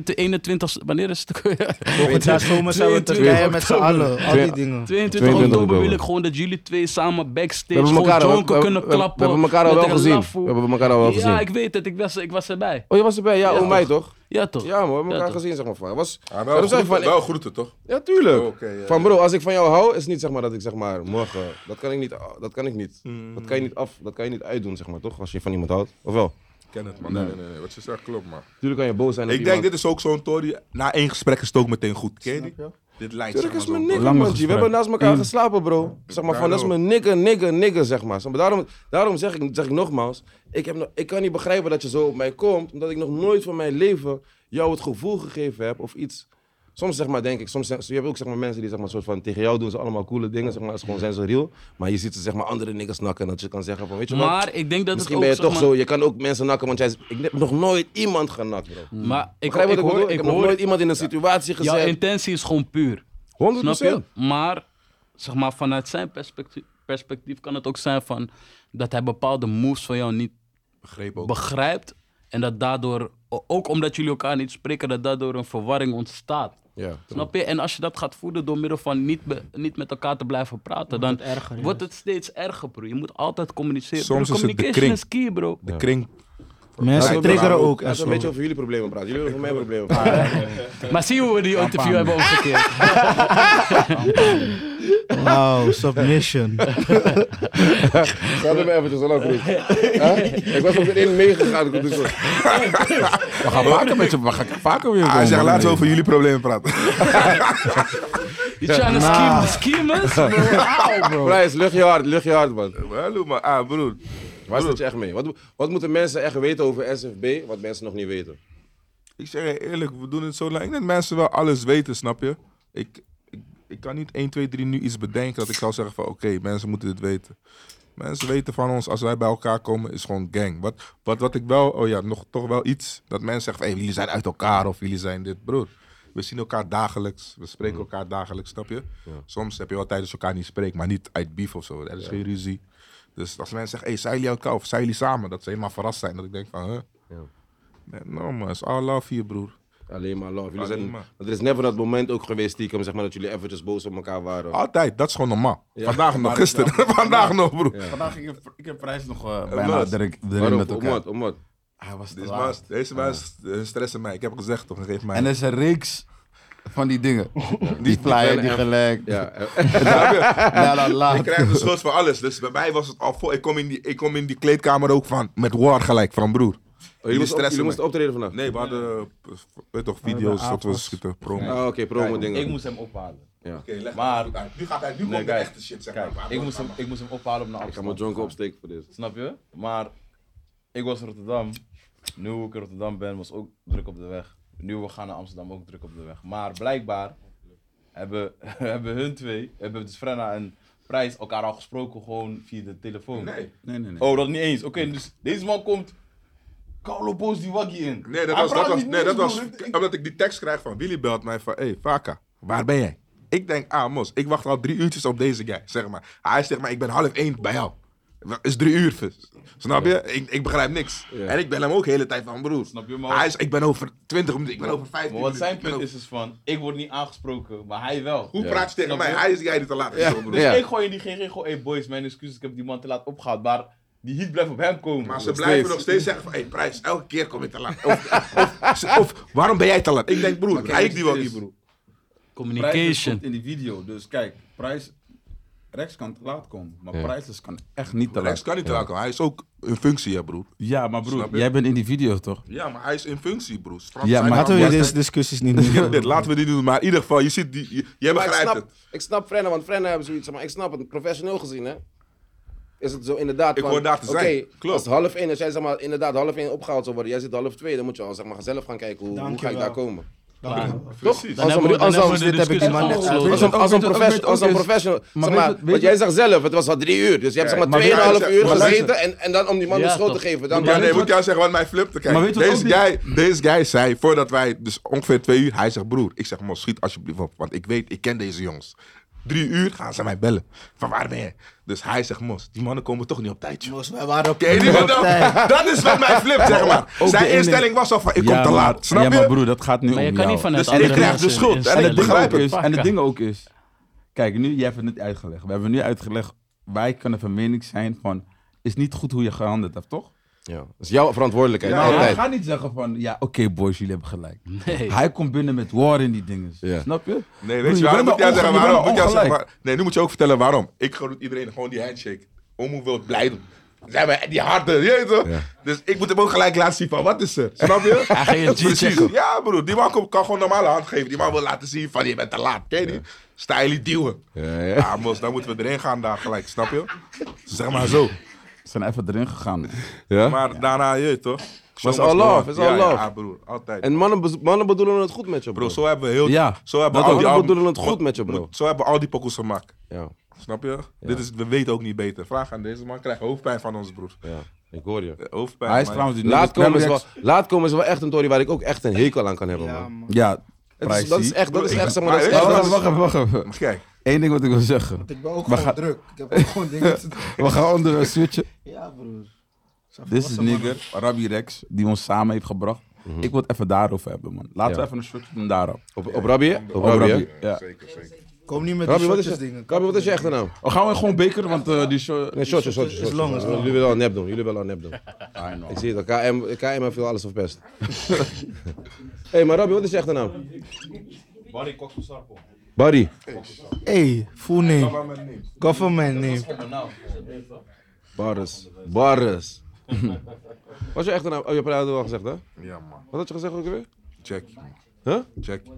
[SPEAKER 5] 21, wanneer is het?
[SPEAKER 4] Volgend jaar zomer zijn we in
[SPEAKER 5] 22
[SPEAKER 4] Turkije met z'n allen. Al die
[SPEAKER 1] Twee-
[SPEAKER 4] dingen.
[SPEAKER 5] 22 oktober
[SPEAKER 1] oktober.
[SPEAKER 5] wil ik gewoon dat jullie twee samen
[SPEAKER 1] We
[SPEAKER 5] backstage
[SPEAKER 1] hebben elkaar,
[SPEAKER 5] gewoon
[SPEAKER 1] we,
[SPEAKER 5] jonken
[SPEAKER 1] we-
[SPEAKER 5] kunnen
[SPEAKER 1] we- we
[SPEAKER 5] klappen.
[SPEAKER 1] hebben elkaar al
[SPEAKER 5] met
[SPEAKER 1] wel
[SPEAKER 5] een
[SPEAKER 1] gezien.
[SPEAKER 5] laffe.
[SPEAKER 1] We hebben elkaar al wel gezien.
[SPEAKER 5] Ja, ik weet het. Ik was, ik was erbij.
[SPEAKER 1] Oh, je was erbij? Ja,
[SPEAKER 5] Ja,
[SPEAKER 1] om mij
[SPEAKER 5] toch.
[SPEAKER 1] toch?
[SPEAKER 5] Ja, toch?
[SPEAKER 1] Ja, man, we hebben
[SPEAKER 5] Ja,
[SPEAKER 1] elkaar
[SPEAKER 5] toch.
[SPEAKER 1] gezien, zeg maar. Van. Was,
[SPEAKER 3] Ah,
[SPEAKER 1] Ja,
[SPEAKER 3] wel,
[SPEAKER 1] dat zei
[SPEAKER 3] groeten,
[SPEAKER 1] van-
[SPEAKER 3] wel groeten, toch?
[SPEAKER 1] ja, tuurlijk.
[SPEAKER 3] Oké, ja,
[SPEAKER 1] van
[SPEAKER 3] ja.
[SPEAKER 1] bro, als ik van jou hou, is niet zeg maar dat ik zeg maar morgen. Dat kan ik niet. Dat kan ik niet.
[SPEAKER 3] Mm.
[SPEAKER 1] Dat kan je niet af. Dat kan je niet uitdoen, zeg maar, toch? Als je van iemand houdt. Of wel?
[SPEAKER 3] Ik ken het, man. Nee, nee, nee. nee, Wat je zegt klopt, man.
[SPEAKER 1] Tuurlijk kan je boos zijn. op
[SPEAKER 3] Ik denk,
[SPEAKER 1] iemand.
[SPEAKER 3] dit is ook zo'n tory. Na één gesprek is het ook meteen goed. Ken je die? Dit lijkt
[SPEAKER 1] Tuurlijk is
[SPEAKER 3] zeg maar,
[SPEAKER 1] mijn
[SPEAKER 3] zo.
[SPEAKER 1] nigger,
[SPEAKER 2] Lange
[SPEAKER 1] man. G. We
[SPEAKER 2] gesprek.
[SPEAKER 1] hebben naast elkaar geslapen, bro. Zeg maar van, dat is
[SPEAKER 3] Daarom.
[SPEAKER 1] mijn nigger, nigger, nigger, zeg maar. Snap je? Daarom, daarom zeg, ik, zeg ik nogmaals, ik, heb, nog- ik kan niet begrijpen dat je zo op mij komt, omdat ik nog nooit van mijn leven jou het gevoel gegeven heb of iets. Soms zeg maar, denk ik, soms zeg- je hebt ook zeg maar, mensen die zeg maar, soort van, tegen jou doen ze allemaal coole dingen, zeg maar, is gewoon zijn ze real. Maar je ziet ze zeg maar, andere niggers nakken en dat je kan zeggen van, weet je wat,
[SPEAKER 5] Maar ik denk dat
[SPEAKER 1] misschien
[SPEAKER 5] het
[SPEAKER 1] ben
[SPEAKER 5] ook,
[SPEAKER 1] je
[SPEAKER 5] zeg
[SPEAKER 1] toch
[SPEAKER 5] maar,
[SPEAKER 1] zo, je kan ook mensen nakken, want jij, is- ik heb nog nooit iemand genakt, bro.
[SPEAKER 5] Maar ik,
[SPEAKER 1] Begrijp
[SPEAKER 5] ik,
[SPEAKER 1] wat ik,
[SPEAKER 5] hoor,
[SPEAKER 1] bedoel?
[SPEAKER 5] ik
[SPEAKER 1] heb nog
[SPEAKER 5] hoor,
[SPEAKER 1] nooit iemand in een situatie
[SPEAKER 5] jouw
[SPEAKER 1] gezet.
[SPEAKER 5] intentie is gewoon puur.
[SPEAKER 1] 100%.
[SPEAKER 5] Snap je? Maar, zeg maar, vanuit zijn perspectief, perspectief kan het ook zijn van dat hij bepaalde moves van jou niet
[SPEAKER 3] Begreep ook.
[SPEAKER 5] begrijpt. En dat daardoor, o- ook omdat jullie elkaar niet spreken, dat daardoor een verwarring ontstaat.
[SPEAKER 1] Ja.
[SPEAKER 5] Snap je? En als je dat gaat voeden door middel van niet, be- niet met elkaar te blijven praten, dan wordt het steeds erger, bro. Je moet altijd communiceren.
[SPEAKER 3] Soms
[SPEAKER 5] bro,
[SPEAKER 3] is het de
[SPEAKER 5] communication
[SPEAKER 3] kring.
[SPEAKER 5] is key, bro.
[SPEAKER 3] De kring.
[SPEAKER 1] Nou,
[SPEAKER 4] Mensen
[SPEAKER 3] Laten we-
[SPEAKER 4] triggeren
[SPEAKER 1] Laten
[SPEAKER 4] ook.
[SPEAKER 1] we een
[SPEAKER 4] echt
[SPEAKER 1] beetje
[SPEAKER 4] zo.
[SPEAKER 1] over jullie problemen praten. Jullie over mijn problemen praten.
[SPEAKER 5] Maar zie je hoe we die interview hebben omgekeerd.
[SPEAKER 4] Wauw, Nou, submission.
[SPEAKER 1] Ga er maar eventjes zo lang goed. Ik was op het in meegegaan. ik was dus-
[SPEAKER 2] We gaan vaker met je, we gaan vaker weer
[SPEAKER 3] Hij
[SPEAKER 2] komen,
[SPEAKER 3] zegt,
[SPEAKER 2] man.
[SPEAKER 3] laten we over jullie problemen praten.
[SPEAKER 5] Die China
[SPEAKER 4] Nou.
[SPEAKER 5] schemers? Wauw, bro.
[SPEAKER 1] Prijs, lucht je hart, lucht je hart, man.
[SPEAKER 3] Hallo, maar ah, broer.
[SPEAKER 1] Waar zit je echt mee? Wat, wat moeten mensen echt weten over SFB, wat mensen nog niet weten?
[SPEAKER 3] Ik zeg je eerlijk, we doen het zo lang. Ik denk dat mensen wel alles weten, snap je? Ik, ik, ik kan niet 1, 2, 3 nu iets bedenken dat ik zou zeggen van oké, mensen moeten dit weten. Mensen weten van ons, als wij bij elkaar komen, is gewoon gang. Wat, wat, wat ik wel, oh ja, nog toch wel iets. Dat mensen zeggen van hey, jullie zijn uit elkaar of jullie zijn dit, broer. We zien elkaar dagelijks, we spreken elkaar dagelijks, snap je? Soms heb je wel tijdens elkaar niet spreekt, maar niet uit beef of zo. Er is geen ruzie. Dus als mensen zeggen, hey, zijn jullie elkaar of zijn jullie samen? Dat ze helemaal verrast zijn. Dat ik denk van, huh? Nee, No man, is all love hier, broer.
[SPEAKER 1] Alleen maar love. Jullie
[SPEAKER 3] Alleen
[SPEAKER 1] zijn,
[SPEAKER 3] maar.
[SPEAKER 1] want er is never dat moment ook geweest, stiekem, zeg maar, dat jullie eventjes boos op elkaar waren.
[SPEAKER 3] Altijd, dat is gewoon normaal.
[SPEAKER 1] Ja.
[SPEAKER 3] Vandaag nog, gisteren. Vandaag nog, broer.
[SPEAKER 1] Ja.
[SPEAKER 2] Vandaag ging ik, ik heb prijs nog eh,
[SPEAKER 3] Wat
[SPEAKER 2] bijna
[SPEAKER 3] was?
[SPEAKER 2] erin erin
[SPEAKER 1] Waarom?
[SPEAKER 2] met
[SPEAKER 1] Om
[SPEAKER 2] elkaar.
[SPEAKER 1] wat? Om wat?
[SPEAKER 2] Hij was te
[SPEAKER 3] Deze
[SPEAKER 2] laat.
[SPEAKER 3] maas, deze maas eh, stressen mij. Ik heb gezegd toch, geef mij.
[SPEAKER 2] En er is een reeks van die dingen. Die
[SPEAKER 1] kleine
[SPEAKER 2] flyer, die
[SPEAKER 1] F.
[SPEAKER 2] gelijk.
[SPEAKER 1] Ja. eh,
[SPEAKER 2] Ja, dan
[SPEAKER 3] Ik
[SPEAKER 2] laat.
[SPEAKER 3] krijg de schuld voor alles. Dus bij mij was het al vol. Ik kom in die, ik kom in die kleedkamer ook van, met war gelijk, van broer.
[SPEAKER 1] Oh, jullie moesten op-
[SPEAKER 3] stressen
[SPEAKER 1] jullie moesten
[SPEAKER 3] me.
[SPEAKER 1] optreden vandaag?
[SPEAKER 3] Nee, we hadden eh, weet toch, video's dat we schieten, promo.
[SPEAKER 1] Ah, oké, promo dingen.
[SPEAKER 6] Ik moest hem ophalen.
[SPEAKER 3] Oké, leg
[SPEAKER 6] Maar-
[SPEAKER 3] het uit. nu gaat hij, nu komt de
[SPEAKER 6] kijk.
[SPEAKER 3] echte shit, zeg maar.
[SPEAKER 6] Kijk,
[SPEAKER 3] Maar
[SPEAKER 6] ik
[SPEAKER 3] door,
[SPEAKER 6] moest,
[SPEAKER 3] ga
[SPEAKER 6] hem,
[SPEAKER 3] maar.
[SPEAKER 6] ik moest hem ophalen om naar
[SPEAKER 1] Ik ga mijn
[SPEAKER 6] Amsterdam.
[SPEAKER 1] junk
[SPEAKER 6] te gaan.
[SPEAKER 1] opsteken voor dit.
[SPEAKER 6] Snap je? Maar ik was in Rotterdam. Nu hoe ik in Rotterdam ben, was ook druk op de weg. Nu we gaan naar Amsterdam, ook druk op de weg. Maar blijkbaar hebben, hebben hun twee, hebben dus Frenna en Prijs elkaar al gesproken gewoon via de telefoon.
[SPEAKER 3] Nee.
[SPEAKER 2] Nee, nee, nee.
[SPEAKER 6] Oh, dat niet eens. Oké, dus deze man komt Carlo Boos die waggie in.
[SPEAKER 3] Nee, dat
[SPEAKER 6] Hij
[SPEAKER 3] was,
[SPEAKER 6] praat
[SPEAKER 3] dat was,
[SPEAKER 6] niet
[SPEAKER 3] nee, dat
[SPEAKER 6] eens,
[SPEAKER 3] was
[SPEAKER 6] broer. Ik- ik-
[SPEAKER 3] omdat ik die tekst krijg van Willy belt mij van, hey, Vaka, waar ben jij? Ik denk, ah, Mos, ik wacht al drie uurtjes op deze guy, zeg maar. Hij zegt, maar ik ben half één bij jou. Wat Is drie uur, vis. snap je? Ik, ik begrijp niks.
[SPEAKER 1] Ja.
[SPEAKER 3] En ik ben hem ook de hele tijd van, broer.
[SPEAKER 6] Snap je, maar-
[SPEAKER 3] Hij is, ik ben over twintig minuten, ik ben over vijftien
[SPEAKER 6] Maar
[SPEAKER 3] minuten.
[SPEAKER 6] wat zijn
[SPEAKER 3] ik ben
[SPEAKER 6] punt is
[SPEAKER 3] over-
[SPEAKER 6] dus van, ik word niet aangesproken, maar hij wel.
[SPEAKER 3] Hoe praat je tegen
[SPEAKER 6] Snap
[SPEAKER 3] mij?
[SPEAKER 6] je?
[SPEAKER 3] Hij is die guy die te laat is, broer.
[SPEAKER 6] Dus
[SPEAKER 1] Ja.
[SPEAKER 6] ik gooi in die GG, gooi, hey boys, mijn excuses, ik heb die man te laat opgehaald. Maar die heat blijft op hem komen.
[SPEAKER 3] Maar ze
[SPEAKER 6] Nog
[SPEAKER 3] blijven
[SPEAKER 6] steeds.
[SPEAKER 3] nog steeds zeggen van, hey, prijs, elke keer kom ik te laat. Of, of, of, waarom ben jij te laat? Ik denk, broer, hij is die wel niet, broer.
[SPEAKER 2] Prijs
[SPEAKER 5] Communication.
[SPEAKER 2] komt in die video. Dus kijk, prijs. Rex kan te laat komen, maar
[SPEAKER 1] Ja.
[SPEAKER 2] Prijs kan echt niet te
[SPEAKER 3] Rex
[SPEAKER 2] laat.
[SPEAKER 3] kan niet te laat komen. Hij is ook in functie, hè, broer.
[SPEAKER 2] Ja, maar
[SPEAKER 3] Snap
[SPEAKER 2] broer,
[SPEAKER 3] je?
[SPEAKER 2] jij bent in die video toch?
[SPEAKER 3] Ja, maar hij is in functie, broer. Straks
[SPEAKER 2] Ja,
[SPEAKER 3] zijn
[SPEAKER 2] maar
[SPEAKER 3] we
[SPEAKER 4] Laten we
[SPEAKER 3] aan-
[SPEAKER 4] deze discussies niet
[SPEAKER 3] Ik heb dit,
[SPEAKER 4] doen.
[SPEAKER 3] laten we die doen. Maar in ieder geval, je ziet die, je- jij
[SPEAKER 1] Maar ik
[SPEAKER 3] begrijpt
[SPEAKER 1] snap,
[SPEAKER 3] het.
[SPEAKER 1] ik snap Frenna, want Frenna hebben zoiets, maar ik snap het. Professioneel gezien, hè? Is het zo inderdaad
[SPEAKER 3] Ik
[SPEAKER 1] van,
[SPEAKER 3] hoor daar te
[SPEAKER 1] oké,
[SPEAKER 3] zijn. Klopt.
[SPEAKER 1] Als half één, als jij zeg maar, inderdaad half één opgehaald zou worden, jij zit half twee, dan moet je al zeg maar zelf gaan kijken hoe, hoe ga ik
[SPEAKER 4] Dankjewel.
[SPEAKER 1] daar komen.
[SPEAKER 3] Precies.
[SPEAKER 5] Dan
[SPEAKER 1] Als
[SPEAKER 5] hebben we-
[SPEAKER 1] een-
[SPEAKER 5] dan
[SPEAKER 1] als
[SPEAKER 5] hebben we
[SPEAKER 1] een-
[SPEAKER 5] de
[SPEAKER 4] dit heb ik die
[SPEAKER 5] discussie
[SPEAKER 4] man net
[SPEAKER 5] afgesloten.
[SPEAKER 1] Als een,
[SPEAKER 2] ook
[SPEAKER 1] als een,
[SPEAKER 2] is het- ook
[SPEAKER 1] profes-
[SPEAKER 2] is-
[SPEAKER 1] als
[SPEAKER 2] ook
[SPEAKER 1] een
[SPEAKER 2] is-
[SPEAKER 1] professional, zeg
[SPEAKER 2] maar weet
[SPEAKER 1] maar,
[SPEAKER 2] het- weet
[SPEAKER 1] want jij
[SPEAKER 2] het-
[SPEAKER 1] zegt zelf, het was al drie uur, dus je hebt zeg
[SPEAKER 3] Ja,
[SPEAKER 1] maar
[SPEAKER 2] maar weet het-
[SPEAKER 1] tweeënhalf uur
[SPEAKER 3] maar luister.
[SPEAKER 1] gezeten en, en dan om die man de
[SPEAKER 5] Ja,
[SPEAKER 1] schuld te
[SPEAKER 5] toch.
[SPEAKER 1] geven. Dan
[SPEAKER 2] Maar
[SPEAKER 3] Ja, nee,
[SPEAKER 2] weet
[SPEAKER 3] moet
[SPEAKER 2] je
[SPEAKER 3] jij zeggen wat mijn flip te
[SPEAKER 2] Maar
[SPEAKER 3] kijken.
[SPEAKER 2] weet je wat
[SPEAKER 3] Deze
[SPEAKER 2] ook
[SPEAKER 3] guy, deze guy zei, voordat wij, dus ongeveer twee uur, hij zegt broer, ik zeg man, schiet alsjeblieft op, want ik weet, ik ken deze jongens. Drie uur gaan ze mij bellen. Van waar ben je? Dus hij zegt, Mos, die mannen komen toch niet op tijd. joh."
[SPEAKER 4] Volgens mij waren op
[SPEAKER 3] Ken je die
[SPEAKER 4] op
[SPEAKER 3] wat dan?
[SPEAKER 4] tijd.
[SPEAKER 3] Dat is wat mij flip, zeg maar.
[SPEAKER 2] ook de
[SPEAKER 3] Zijn
[SPEAKER 2] ene-
[SPEAKER 3] instelling was al van, ik
[SPEAKER 2] Ja,
[SPEAKER 3] kom te
[SPEAKER 2] maar-
[SPEAKER 3] laat. Snap
[SPEAKER 2] ja,
[SPEAKER 3] je?
[SPEAKER 2] maar broer, dat gaat nu
[SPEAKER 5] Maar
[SPEAKER 2] om
[SPEAKER 5] je kan niet
[SPEAKER 2] jou.
[SPEAKER 5] vanuit
[SPEAKER 3] Dus
[SPEAKER 5] andere
[SPEAKER 3] ik krijg de
[SPEAKER 5] mensen
[SPEAKER 3] schuld.
[SPEAKER 5] in
[SPEAKER 3] En ik
[SPEAKER 5] stelling
[SPEAKER 2] En het, ding
[SPEAKER 3] begrijp
[SPEAKER 2] ook
[SPEAKER 5] te
[SPEAKER 3] het.
[SPEAKER 2] is, en het
[SPEAKER 5] pakken.
[SPEAKER 2] ding ook is, kijk, nu, jij hebt het net uitgelegd. We hebben nu uitgelegd, wij kunnen van mening zijn van, is niet goed hoe je gehandeld hebt, toch?
[SPEAKER 1] Ja, dat is jouw verantwoordelijkheid.
[SPEAKER 2] Ja,
[SPEAKER 1] altijd.
[SPEAKER 2] Ga niet zeggen van, ja, oké boys, jullie hebben gelijk.
[SPEAKER 5] Nee.
[SPEAKER 2] Hij komt binnen met war in die dingen,
[SPEAKER 1] Ja.
[SPEAKER 2] snap je?
[SPEAKER 3] Nee,
[SPEAKER 2] Broer,
[SPEAKER 3] weet je
[SPEAKER 2] je
[SPEAKER 3] waarom?
[SPEAKER 2] bent
[SPEAKER 3] Moet jij
[SPEAKER 2] wel
[SPEAKER 3] zeggen
[SPEAKER 2] onge- je
[SPEAKER 3] waarom?
[SPEAKER 2] bent
[SPEAKER 3] Moet
[SPEAKER 2] wel
[SPEAKER 3] jij
[SPEAKER 2] ongelijk.
[SPEAKER 3] zeggen waar- Nee, nu moet je ook vertellen waarom. Ik gun iedereen gewoon die handshake. Om wil ik blij doen. Zijn we die harde, je weet toch?
[SPEAKER 1] Ja.
[SPEAKER 3] Dus ik moet hem ook gelijk laten zien van wat is er, snap je?
[SPEAKER 5] Hij ging je G-checken.
[SPEAKER 3] Ja broer, die man kan- kan gewoon normale hand geven. Die man wil laten zien van je bent te laat, ken je die? Sta jullie duwen.
[SPEAKER 1] Ja, ja.
[SPEAKER 3] Ja mos, dan moeten we erin gaan daar gelijk, snap je? Zeg maar zo.
[SPEAKER 2] Ze zijn even erin gegaan.
[SPEAKER 1] Ja?
[SPEAKER 3] Maar daarna, je weet toch? Show
[SPEAKER 1] all
[SPEAKER 3] must go
[SPEAKER 1] love,
[SPEAKER 3] on.
[SPEAKER 1] it's all
[SPEAKER 3] Ja,
[SPEAKER 1] love.
[SPEAKER 3] Ja broer, altijd.
[SPEAKER 1] En mannen, bez- mannen bedoelen het goed met je, bro.
[SPEAKER 3] Bro, zo hebben we heel...
[SPEAKER 2] Ja,
[SPEAKER 3] zo hebben we
[SPEAKER 1] dat
[SPEAKER 3] al die
[SPEAKER 1] ook.
[SPEAKER 3] album-
[SPEAKER 1] We doen het goed met je, bro.
[SPEAKER 3] Moet- Zo hebben we al die pokkels gemaakt.
[SPEAKER 1] Ja,
[SPEAKER 3] Snap je? Dit is, we weten ook niet beter. Vraag aan deze man, krijg hoofdpijn van ons broer.
[SPEAKER 1] ja, ik hoor je.
[SPEAKER 3] Hoofdpijn.
[SPEAKER 2] Hij is
[SPEAKER 3] man.
[SPEAKER 2] trouwens... die
[SPEAKER 1] Laat komen, is
[SPEAKER 2] Rex-
[SPEAKER 1] wel, laat komen is wel echt een tory waar ik ook echt een hekel aan kan hebben,
[SPEAKER 4] Ja,
[SPEAKER 1] man.
[SPEAKER 4] man.
[SPEAKER 2] Ja,
[SPEAKER 1] Het is-
[SPEAKER 2] prijs
[SPEAKER 1] dat is
[SPEAKER 2] zie.
[SPEAKER 1] echt, dat is echt, zeg maar,
[SPEAKER 3] Maar
[SPEAKER 1] dat is
[SPEAKER 3] weet
[SPEAKER 1] echt...
[SPEAKER 3] je
[SPEAKER 2] Wacht
[SPEAKER 1] dat
[SPEAKER 2] even,
[SPEAKER 1] is-
[SPEAKER 2] wacht even, wacht even.
[SPEAKER 3] Maar Kijk,
[SPEAKER 2] Eén ding wat ik wil zeggen.
[SPEAKER 4] Ik ben ook
[SPEAKER 2] We
[SPEAKER 4] gewoon
[SPEAKER 2] gaan-
[SPEAKER 4] druk. Ik heb ook gewoon dingen te doen.
[SPEAKER 2] We gaan onder een switchen.
[SPEAKER 4] Ja, broer.
[SPEAKER 2] Dit is nigger, Rabbi Rex, die ons samen heeft gebracht. Ik wil het even daarover hebben, man. Laten we even een switch doen daarop.
[SPEAKER 1] Op, op Rabbi, hè? Op
[SPEAKER 2] Oh,
[SPEAKER 1] Rabbi, hè?
[SPEAKER 2] Rabbi, ja.
[SPEAKER 4] Kom niet met die
[SPEAKER 1] Rabbi, wat is
[SPEAKER 4] shotjes
[SPEAKER 1] je,
[SPEAKER 4] dingen.
[SPEAKER 1] Rabbi, wat is je echte naam?
[SPEAKER 2] Oh, gaan we gewoon bekeren, want eh, die show...
[SPEAKER 1] Nee, shotjes, shotjes.
[SPEAKER 4] Is
[SPEAKER 1] shotjes.
[SPEAKER 4] lang, is lang.
[SPEAKER 1] Jullie willen al nep doen, jullie willen al nep doen.
[SPEAKER 2] Ah, no.
[SPEAKER 1] Ik zie het, al. KM, KM heeft wel alles verpest. Hé, hey, maar Rabbi, wat is je echte naam?
[SPEAKER 6] Barry Koksosarpo.
[SPEAKER 1] Barry.
[SPEAKER 4] Hey, full name. Government name.
[SPEAKER 6] Kom maar nou.
[SPEAKER 1] Barres. Barres. Wat is je echte naam? Oh, je hebt het al gezegd, hè?
[SPEAKER 3] ja man.
[SPEAKER 1] Wat had je gezegd ook weer?
[SPEAKER 3] Jackie man.
[SPEAKER 1] Huh?
[SPEAKER 3] Jackie.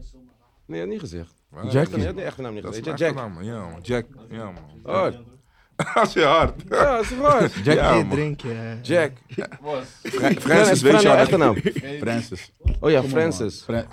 [SPEAKER 1] Nee, je had niet gezegd.
[SPEAKER 2] Jack,
[SPEAKER 1] Je had de echte naam niet
[SPEAKER 3] Dat is
[SPEAKER 1] gezegd. Je
[SPEAKER 3] mijn echte
[SPEAKER 1] Jack.
[SPEAKER 3] naam, man. Ja man. Jack. Ja man.
[SPEAKER 1] Hard.
[SPEAKER 3] Als je hart.
[SPEAKER 1] Oh, Ja, dat is hard.
[SPEAKER 2] Jack
[SPEAKER 3] Ja,
[SPEAKER 4] Hey,
[SPEAKER 3] man.
[SPEAKER 4] drink je.
[SPEAKER 1] Jack.
[SPEAKER 6] Was.
[SPEAKER 3] Francis, weet
[SPEAKER 1] Fran-
[SPEAKER 3] je
[SPEAKER 1] Fran-
[SPEAKER 3] al-
[SPEAKER 1] echte naam?
[SPEAKER 2] Francis.
[SPEAKER 1] Oh ja, Francis.
[SPEAKER 2] Fra-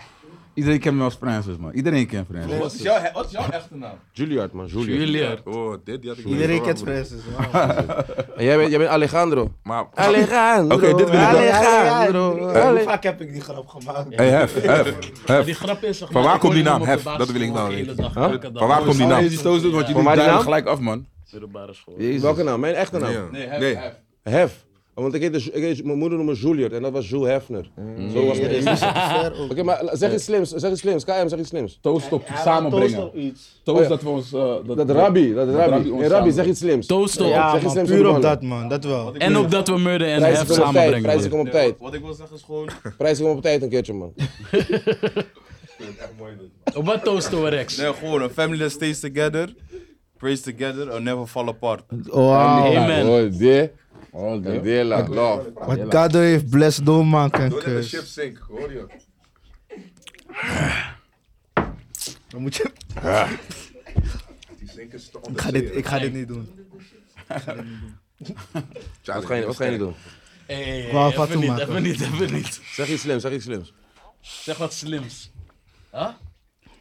[SPEAKER 2] Iedereen kent me als Francis, man. Iedereen kent Francis.
[SPEAKER 6] Wat is jouw, wat is jouw echte naam?
[SPEAKER 1] Juilliard, man. Juilliard.
[SPEAKER 5] Julia.
[SPEAKER 3] Oh, dit die had ik niet
[SPEAKER 4] Iedereen
[SPEAKER 3] verwacht,
[SPEAKER 4] kent
[SPEAKER 3] broer.
[SPEAKER 4] Francis. wauw.
[SPEAKER 1] En jij bent, jij bent Alejandro.
[SPEAKER 3] Maar...
[SPEAKER 1] Alejandro.
[SPEAKER 3] Oké, dit wil ik wel-
[SPEAKER 1] Alejandro.
[SPEAKER 4] Hoe
[SPEAKER 1] Ale-
[SPEAKER 4] vaak heb ik die grap gemaakt?
[SPEAKER 3] Hey, hef, hef,
[SPEAKER 5] Die
[SPEAKER 3] hef.
[SPEAKER 5] grap is... zeg
[SPEAKER 3] Van
[SPEAKER 5] maar,
[SPEAKER 3] waar
[SPEAKER 5] ik
[SPEAKER 3] komt die
[SPEAKER 5] hoor
[SPEAKER 3] naam?
[SPEAKER 5] iemand op
[SPEAKER 3] Hef,
[SPEAKER 5] de
[SPEAKER 3] dat
[SPEAKER 5] basisschool
[SPEAKER 3] wil ik wel
[SPEAKER 5] de hele
[SPEAKER 3] weten.
[SPEAKER 5] dag,
[SPEAKER 1] Huh?
[SPEAKER 5] elke dag.
[SPEAKER 3] Van waar komt die
[SPEAKER 2] Als
[SPEAKER 3] naam?
[SPEAKER 2] je die stoot doet, want
[SPEAKER 1] Van
[SPEAKER 2] jullie
[SPEAKER 1] waar die
[SPEAKER 2] duiken
[SPEAKER 1] naam?
[SPEAKER 2] gelijk af, man.
[SPEAKER 5] Middelbare school.
[SPEAKER 2] Jezus.
[SPEAKER 1] Welke naam? Mijn echte naam.
[SPEAKER 3] Nee.
[SPEAKER 6] Hef,
[SPEAKER 3] Nee.
[SPEAKER 6] Hef.
[SPEAKER 1] Hef. Want ik heette, ik heette- mijn moeder noemde me Juliet en dat was Jules Hefner. Zo was de eerste. Oké, maar la- zeg iets slims, zeg iets slims. KM, zeg iets slims.
[SPEAKER 2] Toast op
[SPEAKER 4] Toast
[SPEAKER 2] samenbrengen.
[SPEAKER 4] op iets.
[SPEAKER 1] Oh
[SPEAKER 2] Toast
[SPEAKER 1] ja.
[SPEAKER 2] dat we ons... eh,
[SPEAKER 1] Dat Rabbi, dat Rabbi.
[SPEAKER 2] Rabbi ons
[SPEAKER 1] Nee, Rabbi,
[SPEAKER 2] samen-
[SPEAKER 1] zeg iets slims.
[SPEAKER 5] Toast op.
[SPEAKER 4] Ja,
[SPEAKER 1] zeg
[SPEAKER 4] man,
[SPEAKER 1] eens
[SPEAKER 4] puur
[SPEAKER 1] even
[SPEAKER 4] op
[SPEAKER 1] mannen.
[SPEAKER 4] dat man, dat wel.
[SPEAKER 5] En op dat we murder en
[SPEAKER 1] Prijzen
[SPEAKER 5] hef
[SPEAKER 1] komen op tijd,
[SPEAKER 5] samenbrengen.
[SPEAKER 1] prijzen
[SPEAKER 5] broer.
[SPEAKER 1] komen op tijd.
[SPEAKER 6] Wat ik wil zeggen is gewoon...
[SPEAKER 1] Prijzen komen op tijd een keertje, man.
[SPEAKER 5] Op wat toasten we Rex?
[SPEAKER 6] Nee, gewoon een family that stays together. Prays together or never fall apart.
[SPEAKER 4] Wow.
[SPEAKER 5] Amen.
[SPEAKER 1] Oh, die. Oh, de dela. Love.
[SPEAKER 4] Wat Kado heeft blessed doormaken en
[SPEAKER 3] Doe net de
[SPEAKER 4] kus.
[SPEAKER 3] chips zink, hoor je.
[SPEAKER 4] Dan moet je...
[SPEAKER 3] Die zink is te
[SPEAKER 4] Ik ga dit, ik ga dit niet doen.
[SPEAKER 1] Wat ga je- wat ga je doen?
[SPEAKER 5] Hey, hey, hey,
[SPEAKER 4] Wou
[SPEAKER 5] even
[SPEAKER 4] Fatou
[SPEAKER 5] niet,
[SPEAKER 4] maken.
[SPEAKER 5] even niet, even niet.
[SPEAKER 1] Zeg iets slims, zeg iets slims.
[SPEAKER 5] Zeg wat slims. Huh?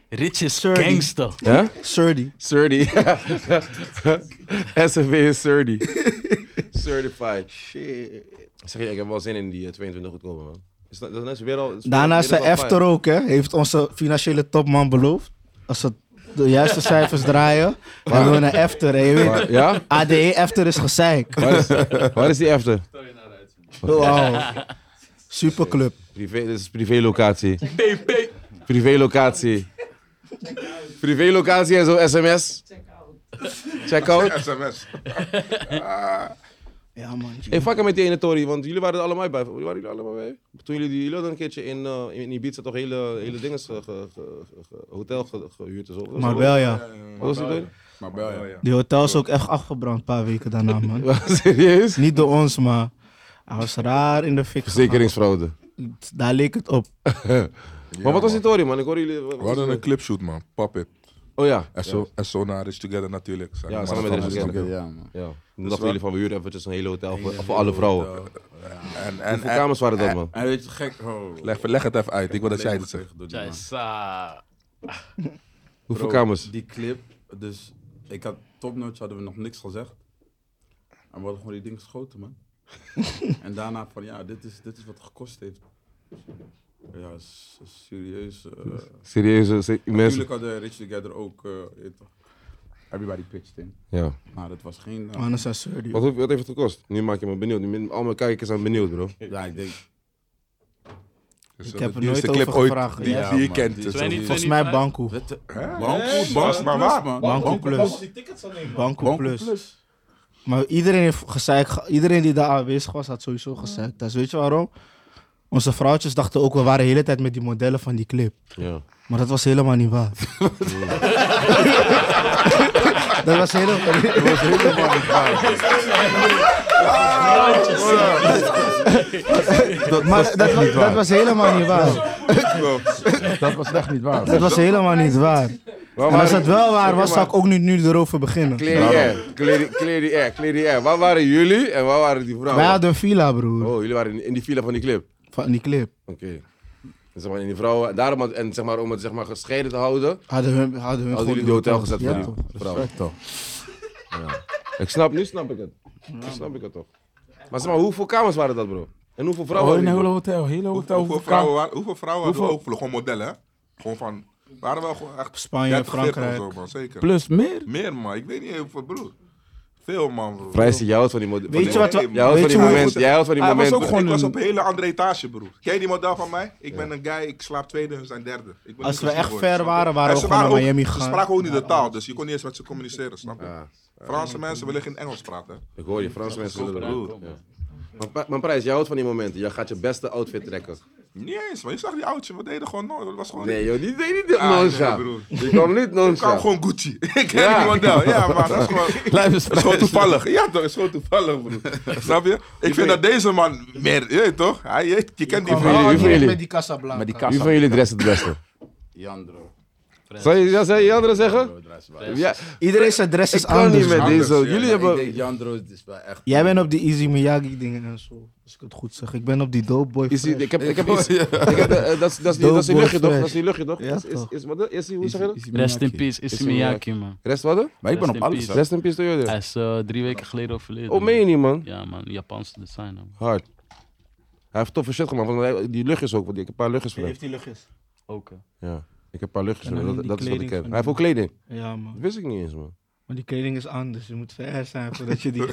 [SPEAKER 5] Rich is
[SPEAKER 4] Sorry.
[SPEAKER 5] gangster.
[SPEAKER 1] Hè?
[SPEAKER 4] Surdy.
[SPEAKER 1] Surdy. SFB is Surdy. Certified.
[SPEAKER 4] Shit.
[SPEAKER 1] Zeg je, ik heb wel zin in die eh, 22 goedkomen, man. Is dat, dat is weer al... is
[SPEAKER 4] Daarna is
[SPEAKER 1] weer
[SPEAKER 4] de
[SPEAKER 1] al fijn.
[SPEAKER 4] Efter ook, hè. Heeft onze financiële topman beloofd. Als ze de juiste cijfers draaien, dan doen we naar Efter. hè, je weet.
[SPEAKER 1] Maar- Ja?
[SPEAKER 4] ADE Efter E is gezeik.
[SPEAKER 1] Waar is, waar is die Efter?
[SPEAKER 4] Wow. Superclub.
[SPEAKER 1] Privé, dit is privélocatie. Privélocatie. Privélocatie en zo sms. Check-out. Check
[SPEAKER 3] SMS.
[SPEAKER 4] Ja, man.
[SPEAKER 1] hey, fuck hem met die ene Tory, want jullie waren er allemaal bij. Jullie waren jullie allemaal bij? Toen jullie, die- jullie hadden een keertje in, eh, in Ibiza toch hele, hele dingen, eh, ge, ge- ge- ge- hotel ge- gehuurd en zo.
[SPEAKER 4] Maar wel, ja.
[SPEAKER 1] Wat was die Tory?
[SPEAKER 2] Maar bel
[SPEAKER 3] Oh,
[SPEAKER 2] je.
[SPEAKER 4] Die hotel is ook echt afgebrand een paar weken daarna, man.
[SPEAKER 1] Serieus?
[SPEAKER 4] Niet door ons, maar hij was raar in de fik. gegaan.
[SPEAKER 1] Verzekeringsfraude.
[SPEAKER 4] Daar leek het op.
[SPEAKER 1] maar wat was die Tory, man? Ik hoor jullie...
[SPEAKER 3] We hadden een clipshoot, man. Pop it.
[SPEAKER 1] Oh ja.
[SPEAKER 3] En zo, en zo naar Rich Together natuurlijk. Zijn
[SPEAKER 1] Ja,
[SPEAKER 3] we
[SPEAKER 1] samen
[SPEAKER 3] maar
[SPEAKER 1] met
[SPEAKER 3] van-
[SPEAKER 1] Rich Together.
[SPEAKER 2] Ja, man.
[SPEAKER 1] ja. Toen
[SPEAKER 3] waar.
[SPEAKER 1] dachten jullie van, we huren eventjes een hele hotel voor, voor alle vrouwen.
[SPEAKER 3] En, en, eh,
[SPEAKER 1] Hoeveel
[SPEAKER 3] en-
[SPEAKER 1] kamers waren dat, man?
[SPEAKER 2] En weet je, gek... Oh.
[SPEAKER 3] leg, leg het even uit. Ik wil dat jij het zegt.
[SPEAKER 5] Jij sa.
[SPEAKER 1] Hoeveel
[SPEAKER 2] Bro,
[SPEAKER 1] kamers?
[SPEAKER 2] Die clip, dus ik had topnotch hadden we nog niks gezegd. En we hadden gewoon die ding geschoten, man. en daarna van ja, dit is, dit is wat het gekost heeft. Ja, s- serieus. eh,
[SPEAKER 1] Serieuze se- mensen.
[SPEAKER 2] natuurlijk hadden Rich Together ook. eh, je weet toch, everybody pitched in.
[SPEAKER 1] Ja.
[SPEAKER 2] Maar dat was geen. eh,
[SPEAKER 4] Anders is hij
[SPEAKER 1] Wat, hoe- wat heeft het gekost? Nu maak je me benieuwd. Nu, ben- al mijn kijkers zijn benieuwd, bro.
[SPEAKER 2] ja, ik denk.
[SPEAKER 3] Dus
[SPEAKER 4] Ik
[SPEAKER 3] dat
[SPEAKER 4] heb
[SPEAKER 3] is
[SPEAKER 4] er
[SPEAKER 3] de duurste
[SPEAKER 4] nooit over
[SPEAKER 3] clip ooit
[SPEAKER 4] gevraagd.
[SPEAKER 3] Die,
[SPEAKER 4] Ja,
[SPEAKER 3] die je
[SPEAKER 2] man.
[SPEAKER 3] kent. Dus
[SPEAKER 5] Twenty-
[SPEAKER 3] dat-
[SPEAKER 4] Volgens mij Banco.
[SPEAKER 2] Wat de-
[SPEAKER 3] Hè?
[SPEAKER 2] Banco, Banco,
[SPEAKER 3] maar
[SPEAKER 2] Plus,
[SPEAKER 3] waar?
[SPEAKER 2] man.
[SPEAKER 4] Banco Plus. Banco
[SPEAKER 2] Banco
[SPEAKER 4] Plus.
[SPEAKER 2] Plus.
[SPEAKER 4] Maar iedereen heeft gezeik. ge- Iedereen die daar aanwezig was, had sowieso gezeik. Dus weet je waarom? Onze vrouwtjes dachten ook, we waren de hele tijd met die modellen van die clip.
[SPEAKER 1] Ja.
[SPEAKER 4] Maar dat was helemaal niet waar. dat was helemaal niet Dat was helemaal niet waar. Maar dat,
[SPEAKER 2] Dat
[SPEAKER 4] wa- dat was helemaal niet waar.
[SPEAKER 2] was echt niet waar.
[SPEAKER 4] Dat was helemaal niet waar.
[SPEAKER 1] Waar
[SPEAKER 4] En als
[SPEAKER 1] waren...
[SPEAKER 4] dat wel waar was, zou ik ook niet nu erover beginnen.
[SPEAKER 1] Clear the air, clear the- clear the air, clear the air. Waar waren jullie en waar waren die vrouwen?
[SPEAKER 4] Wij hadden een villa, broer.
[SPEAKER 1] Oh, jullie waren in, in die villa van die clip.
[SPEAKER 4] Van die clip.
[SPEAKER 1] Oké. Dus Zeg maar, in die vrouwen, daarom, had- en zeg maar, om het zeg maar, gescheiden te houden,
[SPEAKER 4] Hadden hun, hadden hun
[SPEAKER 1] hadden
[SPEAKER 4] gewoon
[SPEAKER 1] jullie die hotel gezet
[SPEAKER 4] Ja,
[SPEAKER 1] voor
[SPEAKER 4] toch.
[SPEAKER 1] die vrouwen. Ja. Ik snap, nu snap ik het. Nu snap ik het toch. Maar zeg maar, hoeveel kamers waren dat, bro? En hoeveel vrouwen?
[SPEAKER 2] Oh, een hele
[SPEAKER 1] hadden
[SPEAKER 2] hotel, hele hotel.
[SPEAKER 3] Hoeveel vrouwen, waren- hoeveel vrouwen hadden we
[SPEAKER 2] Hoeveel-
[SPEAKER 3] ook vlogen? Gewoon modellen, hè? Gewoon van... Waren wel gewoon echt...
[SPEAKER 4] Spanje,
[SPEAKER 3] 30, 40
[SPEAKER 4] Frankrijk.
[SPEAKER 3] of zo, man. Zeker.
[SPEAKER 2] Plus meer?
[SPEAKER 3] Meer, man. Ik weet niet hoeveel, broer. Veel, man, broer.
[SPEAKER 1] jullie? Prijs die jij houdt van die model.
[SPEAKER 4] Weet je wat we... Ah,
[SPEAKER 3] Nee,
[SPEAKER 1] Jij houdt van
[SPEAKER 4] Weet je
[SPEAKER 1] die
[SPEAKER 4] hoe-
[SPEAKER 1] momenten. Jij houdt van die
[SPEAKER 2] Hij was
[SPEAKER 1] momenten.
[SPEAKER 2] ook gewoon
[SPEAKER 3] ik was
[SPEAKER 2] een-
[SPEAKER 3] op een hele andere etage, broer. Ken je die model van mij? Ik ben een guy, ik slaap tweede en zijn derde. Ik ben
[SPEAKER 4] Als
[SPEAKER 3] niet
[SPEAKER 4] we
[SPEAKER 3] gezien
[SPEAKER 4] echt
[SPEAKER 3] worden,
[SPEAKER 4] ver
[SPEAKER 3] snap je?
[SPEAKER 4] waren, waren
[SPEAKER 3] En
[SPEAKER 4] we
[SPEAKER 3] ze
[SPEAKER 4] gewoon naar
[SPEAKER 3] waren ook-
[SPEAKER 4] Miami
[SPEAKER 3] Ze
[SPEAKER 4] gegaan.
[SPEAKER 3] spraken ook niet de taal, dus je kon niet eens met ze communiceren, snap je? Franse mensen willen geen Engels praten.
[SPEAKER 1] Ik hoor je, Franse mensen willen
[SPEAKER 5] Broer.
[SPEAKER 1] roeren. Ja. Maar, pa- maar Prijs, jij houdt van die momenten. Jij gaat je beste outfit trekken.
[SPEAKER 3] Niet eens, man. Je zag die oudje, we deden gewoon nooit. Dat was gewoon...
[SPEAKER 1] Nee joh, die deed niet dit
[SPEAKER 3] Ah, nee,
[SPEAKER 1] nonchalant.
[SPEAKER 3] broer.
[SPEAKER 1] Je kan niet
[SPEAKER 3] ik kwam
[SPEAKER 1] nonchalant.
[SPEAKER 3] gewoon Gucci. ik ken
[SPEAKER 1] Ja.
[SPEAKER 3] die model. Ja, maar dat is gewoon... Dat is gewoon toevallig. Ja, toch, is gewoon toevallig, broer. Snap je? Ik vind dat deze man meer, je weet toch? Hij, je, je kent die
[SPEAKER 1] Wie van
[SPEAKER 3] verhaal.
[SPEAKER 1] jullie? Wie van
[SPEAKER 4] Met
[SPEAKER 1] jullie?
[SPEAKER 4] die Casablanca.
[SPEAKER 2] Met die
[SPEAKER 1] Wie
[SPEAKER 2] kassa.
[SPEAKER 1] van jullie dress het beste?
[SPEAKER 2] Jandro.
[SPEAKER 1] Zal je dat zou je die anderen zeggen? Ja,
[SPEAKER 4] Iedereen zijn dress
[SPEAKER 1] ik
[SPEAKER 4] is
[SPEAKER 1] kan
[SPEAKER 4] anders.
[SPEAKER 1] niet met
[SPEAKER 3] Anders,
[SPEAKER 1] deze.
[SPEAKER 3] ja.
[SPEAKER 1] Jullie
[SPEAKER 2] Ik
[SPEAKER 1] hebben
[SPEAKER 2] denk Jandro is wel echt...
[SPEAKER 4] Jij bent op die Easy Miyagi dingen en zo. Als ik het goed zeg. Ik ben op die dope boy
[SPEAKER 1] Is die-
[SPEAKER 4] fresh.
[SPEAKER 1] ik heb, ik heb iets. ik heb, eh, dat is- dat is die- dat is die
[SPEAKER 4] Dope
[SPEAKER 1] luchtje toch?
[SPEAKER 4] boy
[SPEAKER 1] Dat is die luchtje toch?
[SPEAKER 4] fresh.
[SPEAKER 1] Is- is-
[SPEAKER 4] Ja,
[SPEAKER 1] is- wat- is die- Hoe zeg je dat?
[SPEAKER 5] Rest in peace, is Miyake, man.
[SPEAKER 1] Rest wat? hè?
[SPEAKER 2] Maar ik ben
[SPEAKER 5] Rest
[SPEAKER 2] op
[SPEAKER 5] in
[SPEAKER 2] alles.
[SPEAKER 5] peace.
[SPEAKER 2] hè.
[SPEAKER 1] Rest in peace to
[SPEAKER 5] Hij
[SPEAKER 1] you.
[SPEAKER 5] is eh, drie weken geleden overleden.
[SPEAKER 1] Oh, meen je niet man?
[SPEAKER 5] Ja, man. Japanse designer. man.
[SPEAKER 1] Hard. Hij heeft toffe shit gemaakt. want hij- Die luchtjes ook. want Ik heb een paar luchtjes van hem.
[SPEAKER 4] die luchtjes?
[SPEAKER 5] Ook. hè.
[SPEAKER 1] Ja. Ik heb een paar luchtjes
[SPEAKER 4] En
[SPEAKER 1] van
[SPEAKER 4] dan
[SPEAKER 1] hem. Dat,
[SPEAKER 4] die
[SPEAKER 1] dat is wat ik
[SPEAKER 4] kleding
[SPEAKER 1] heb.
[SPEAKER 4] van
[SPEAKER 1] Hij heeft ook kleding.
[SPEAKER 4] Ja,
[SPEAKER 1] Dat
[SPEAKER 4] man.
[SPEAKER 1] wist ik niet eens man.
[SPEAKER 4] Maar die kleding is anders. Je moet ver zijn voordat je die...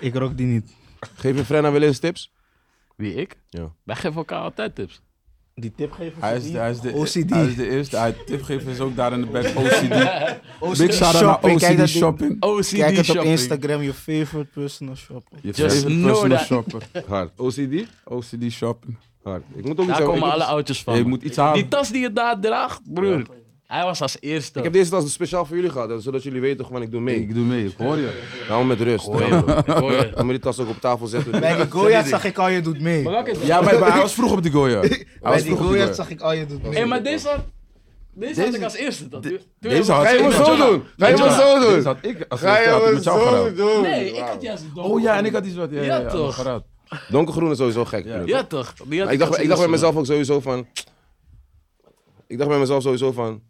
[SPEAKER 4] ik rook die niet.
[SPEAKER 1] Geef je Frenna wel eens tips?
[SPEAKER 5] Wie ik?
[SPEAKER 1] Ja.
[SPEAKER 5] Wij geven elkaar altijd tips.
[SPEAKER 4] Die tipgever
[SPEAKER 2] Hij is, hij is de,
[SPEAKER 4] OCD.
[SPEAKER 2] Hij is de eerste. Hij tipgever is ook daar in de back. OCD.
[SPEAKER 4] OCD
[SPEAKER 2] Big shout out naar
[SPEAKER 4] shopping, kijk
[SPEAKER 2] OCD
[SPEAKER 4] dat ding-
[SPEAKER 2] Shopping.
[SPEAKER 5] OCD
[SPEAKER 4] Kijk het op
[SPEAKER 5] shopping.
[SPEAKER 4] Instagram, je favorite personal shopper.
[SPEAKER 2] Je
[SPEAKER 5] Just
[SPEAKER 2] favorite
[SPEAKER 5] know
[SPEAKER 2] personal
[SPEAKER 5] that.
[SPEAKER 2] shopper.
[SPEAKER 1] Hard. OCD?
[SPEAKER 2] OCD Shopping.
[SPEAKER 1] Hard. Ik dus- moet ook iets hebben.
[SPEAKER 5] Daar
[SPEAKER 1] Ik,
[SPEAKER 5] komen
[SPEAKER 1] moet-
[SPEAKER 5] alle oudjes van.
[SPEAKER 2] je
[SPEAKER 5] man.
[SPEAKER 2] moet iets halen.
[SPEAKER 5] Die tas die je daar draagt, broer. Hij was als eerste.
[SPEAKER 1] ik heb deze tas speciaal voor jullie gehad, zodat jullie weten gewoon ik doe mee.
[SPEAKER 2] Ik doe mee, ik hoor je.
[SPEAKER 1] Nou, met rust.
[SPEAKER 5] Hoor je,
[SPEAKER 1] Laat
[SPEAKER 5] bro. Hoor je.
[SPEAKER 1] me die tas ook op tafel zetten.
[SPEAKER 4] Bij die Goya zag ik al je doet mee.
[SPEAKER 5] Maar welke-
[SPEAKER 2] Ja, maar, maar hij was vroeg op die Goya. Hij
[SPEAKER 4] Bij
[SPEAKER 2] was
[SPEAKER 4] die
[SPEAKER 2] vroeg op die
[SPEAKER 4] Goya
[SPEAKER 2] Goya.
[SPEAKER 4] zag ik al je doet mee.
[SPEAKER 5] Hé, maar deze had... Deze, had ik als eerste. Dat,
[SPEAKER 2] Deze had
[SPEAKER 1] Ga je me
[SPEAKER 2] ik
[SPEAKER 1] zo doen? Ga je me zo
[SPEAKER 2] Deze
[SPEAKER 1] doen?
[SPEAKER 2] had ik als
[SPEAKER 1] Ga
[SPEAKER 2] eerste had ik
[SPEAKER 1] je me
[SPEAKER 2] met jou
[SPEAKER 1] zo
[SPEAKER 2] geraakt.
[SPEAKER 1] doen?
[SPEAKER 5] Nee, ik had juist donker.
[SPEAKER 2] Oh ja, en ik had iets wat. Ja,
[SPEAKER 5] Ja,
[SPEAKER 2] ja, ja,
[SPEAKER 5] toch?
[SPEAKER 2] geraakt.
[SPEAKER 1] Donkergroen is sowieso gek.
[SPEAKER 2] Ja.
[SPEAKER 1] broer.
[SPEAKER 5] Ja, toch? Die had
[SPEAKER 1] Maar ik, dacht,
[SPEAKER 5] als
[SPEAKER 1] ik dacht bij
[SPEAKER 5] eerste.
[SPEAKER 1] mezelf ook sowieso van. Ik dacht bij mezelf sowieso van.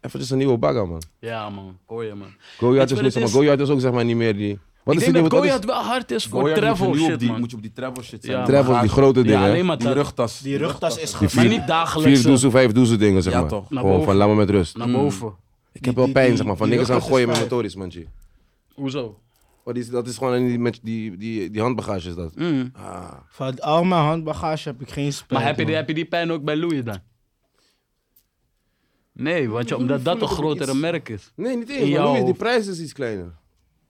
[SPEAKER 1] Eventjes een nieuwe bagger, man.
[SPEAKER 5] Ja, man. Hoor je, man.
[SPEAKER 1] Goyard is
[SPEAKER 5] Weet je
[SPEAKER 1] niet, zeg
[SPEAKER 5] wat het
[SPEAKER 1] maar
[SPEAKER 5] is?
[SPEAKER 1] Goyard is ook zeg maar niet meer die. Wat
[SPEAKER 5] Ik
[SPEAKER 1] is die
[SPEAKER 5] denk dat
[SPEAKER 1] nieuwe? Wat is
[SPEAKER 5] Goyard wel hard is voor
[SPEAKER 2] Goya
[SPEAKER 5] travel
[SPEAKER 2] moet je nu op
[SPEAKER 5] shit,
[SPEAKER 2] die-
[SPEAKER 5] man.
[SPEAKER 2] Moet je op die travel shit
[SPEAKER 5] Ja,
[SPEAKER 2] zijn.
[SPEAKER 5] man.
[SPEAKER 1] travel, die grote dingen.
[SPEAKER 5] Ja,
[SPEAKER 1] hè?
[SPEAKER 5] alleen maar
[SPEAKER 2] Die
[SPEAKER 5] dat.
[SPEAKER 2] rugtas.
[SPEAKER 4] Die rugtas is
[SPEAKER 1] Die
[SPEAKER 4] ge-
[SPEAKER 5] Maar
[SPEAKER 1] vier,
[SPEAKER 5] niet dagelijks.
[SPEAKER 1] vier doezel, vijf doezel dingen, zeg
[SPEAKER 2] Ja,
[SPEAKER 1] maar.
[SPEAKER 2] toch.
[SPEAKER 5] Naar
[SPEAKER 1] Gewoon van
[SPEAKER 5] boven.
[SPEAKER 1] laat me met rust. Mm.
[SPEAKER 5] Naar
[SPEAKER 2] Hmm.
[SPEAKER 5] boven.
[SPEAKER 1] Ik heb wel
[SPEAKER 4] die-
[SPEAKER 1] pijn,
[SPEAKER 4] die-
[SPEAKER 1] zeg maar. Van
[SPEAKER 4] die
[SPEAKER 1] niks aan
[SPEAKER 4] rugtas
[SPEAKER 1] gooien
[SPEAKER 4] is
[SPEAKER 1] met
[SPEAKER 4] vijf.
[SPEAKER 1] motorisch, man. G.
[SPEAKER 5] Hoezo?
[SPEAKER 1] Oh, die, is- dat is gewoon een- die, met die, die, die handbagage is
[SPEAKER 5] Mm.
[SPEAKER 1] dat. Ah.
[SPEAKER 4] Van al mijn handbagage heb ik geen spijt.
[SPEAKER 5] Maar heb je,
[SPEAKER 4] man.
[SPEAKER 5] die, heb je die pijn ook bij Louis dan? Nee, want je, omdat dat een grotere merk is.
[SPEAKER 1] Nee, niet eens.
[SPEAKER 5] In
[SPEAKER 1] maar
[SPEAKER 5] jouw
[SPEAKER 1] Louis, die
[SPEAKER 5] hoofd.
[SPEAKER 1] prijs is iets kleiner.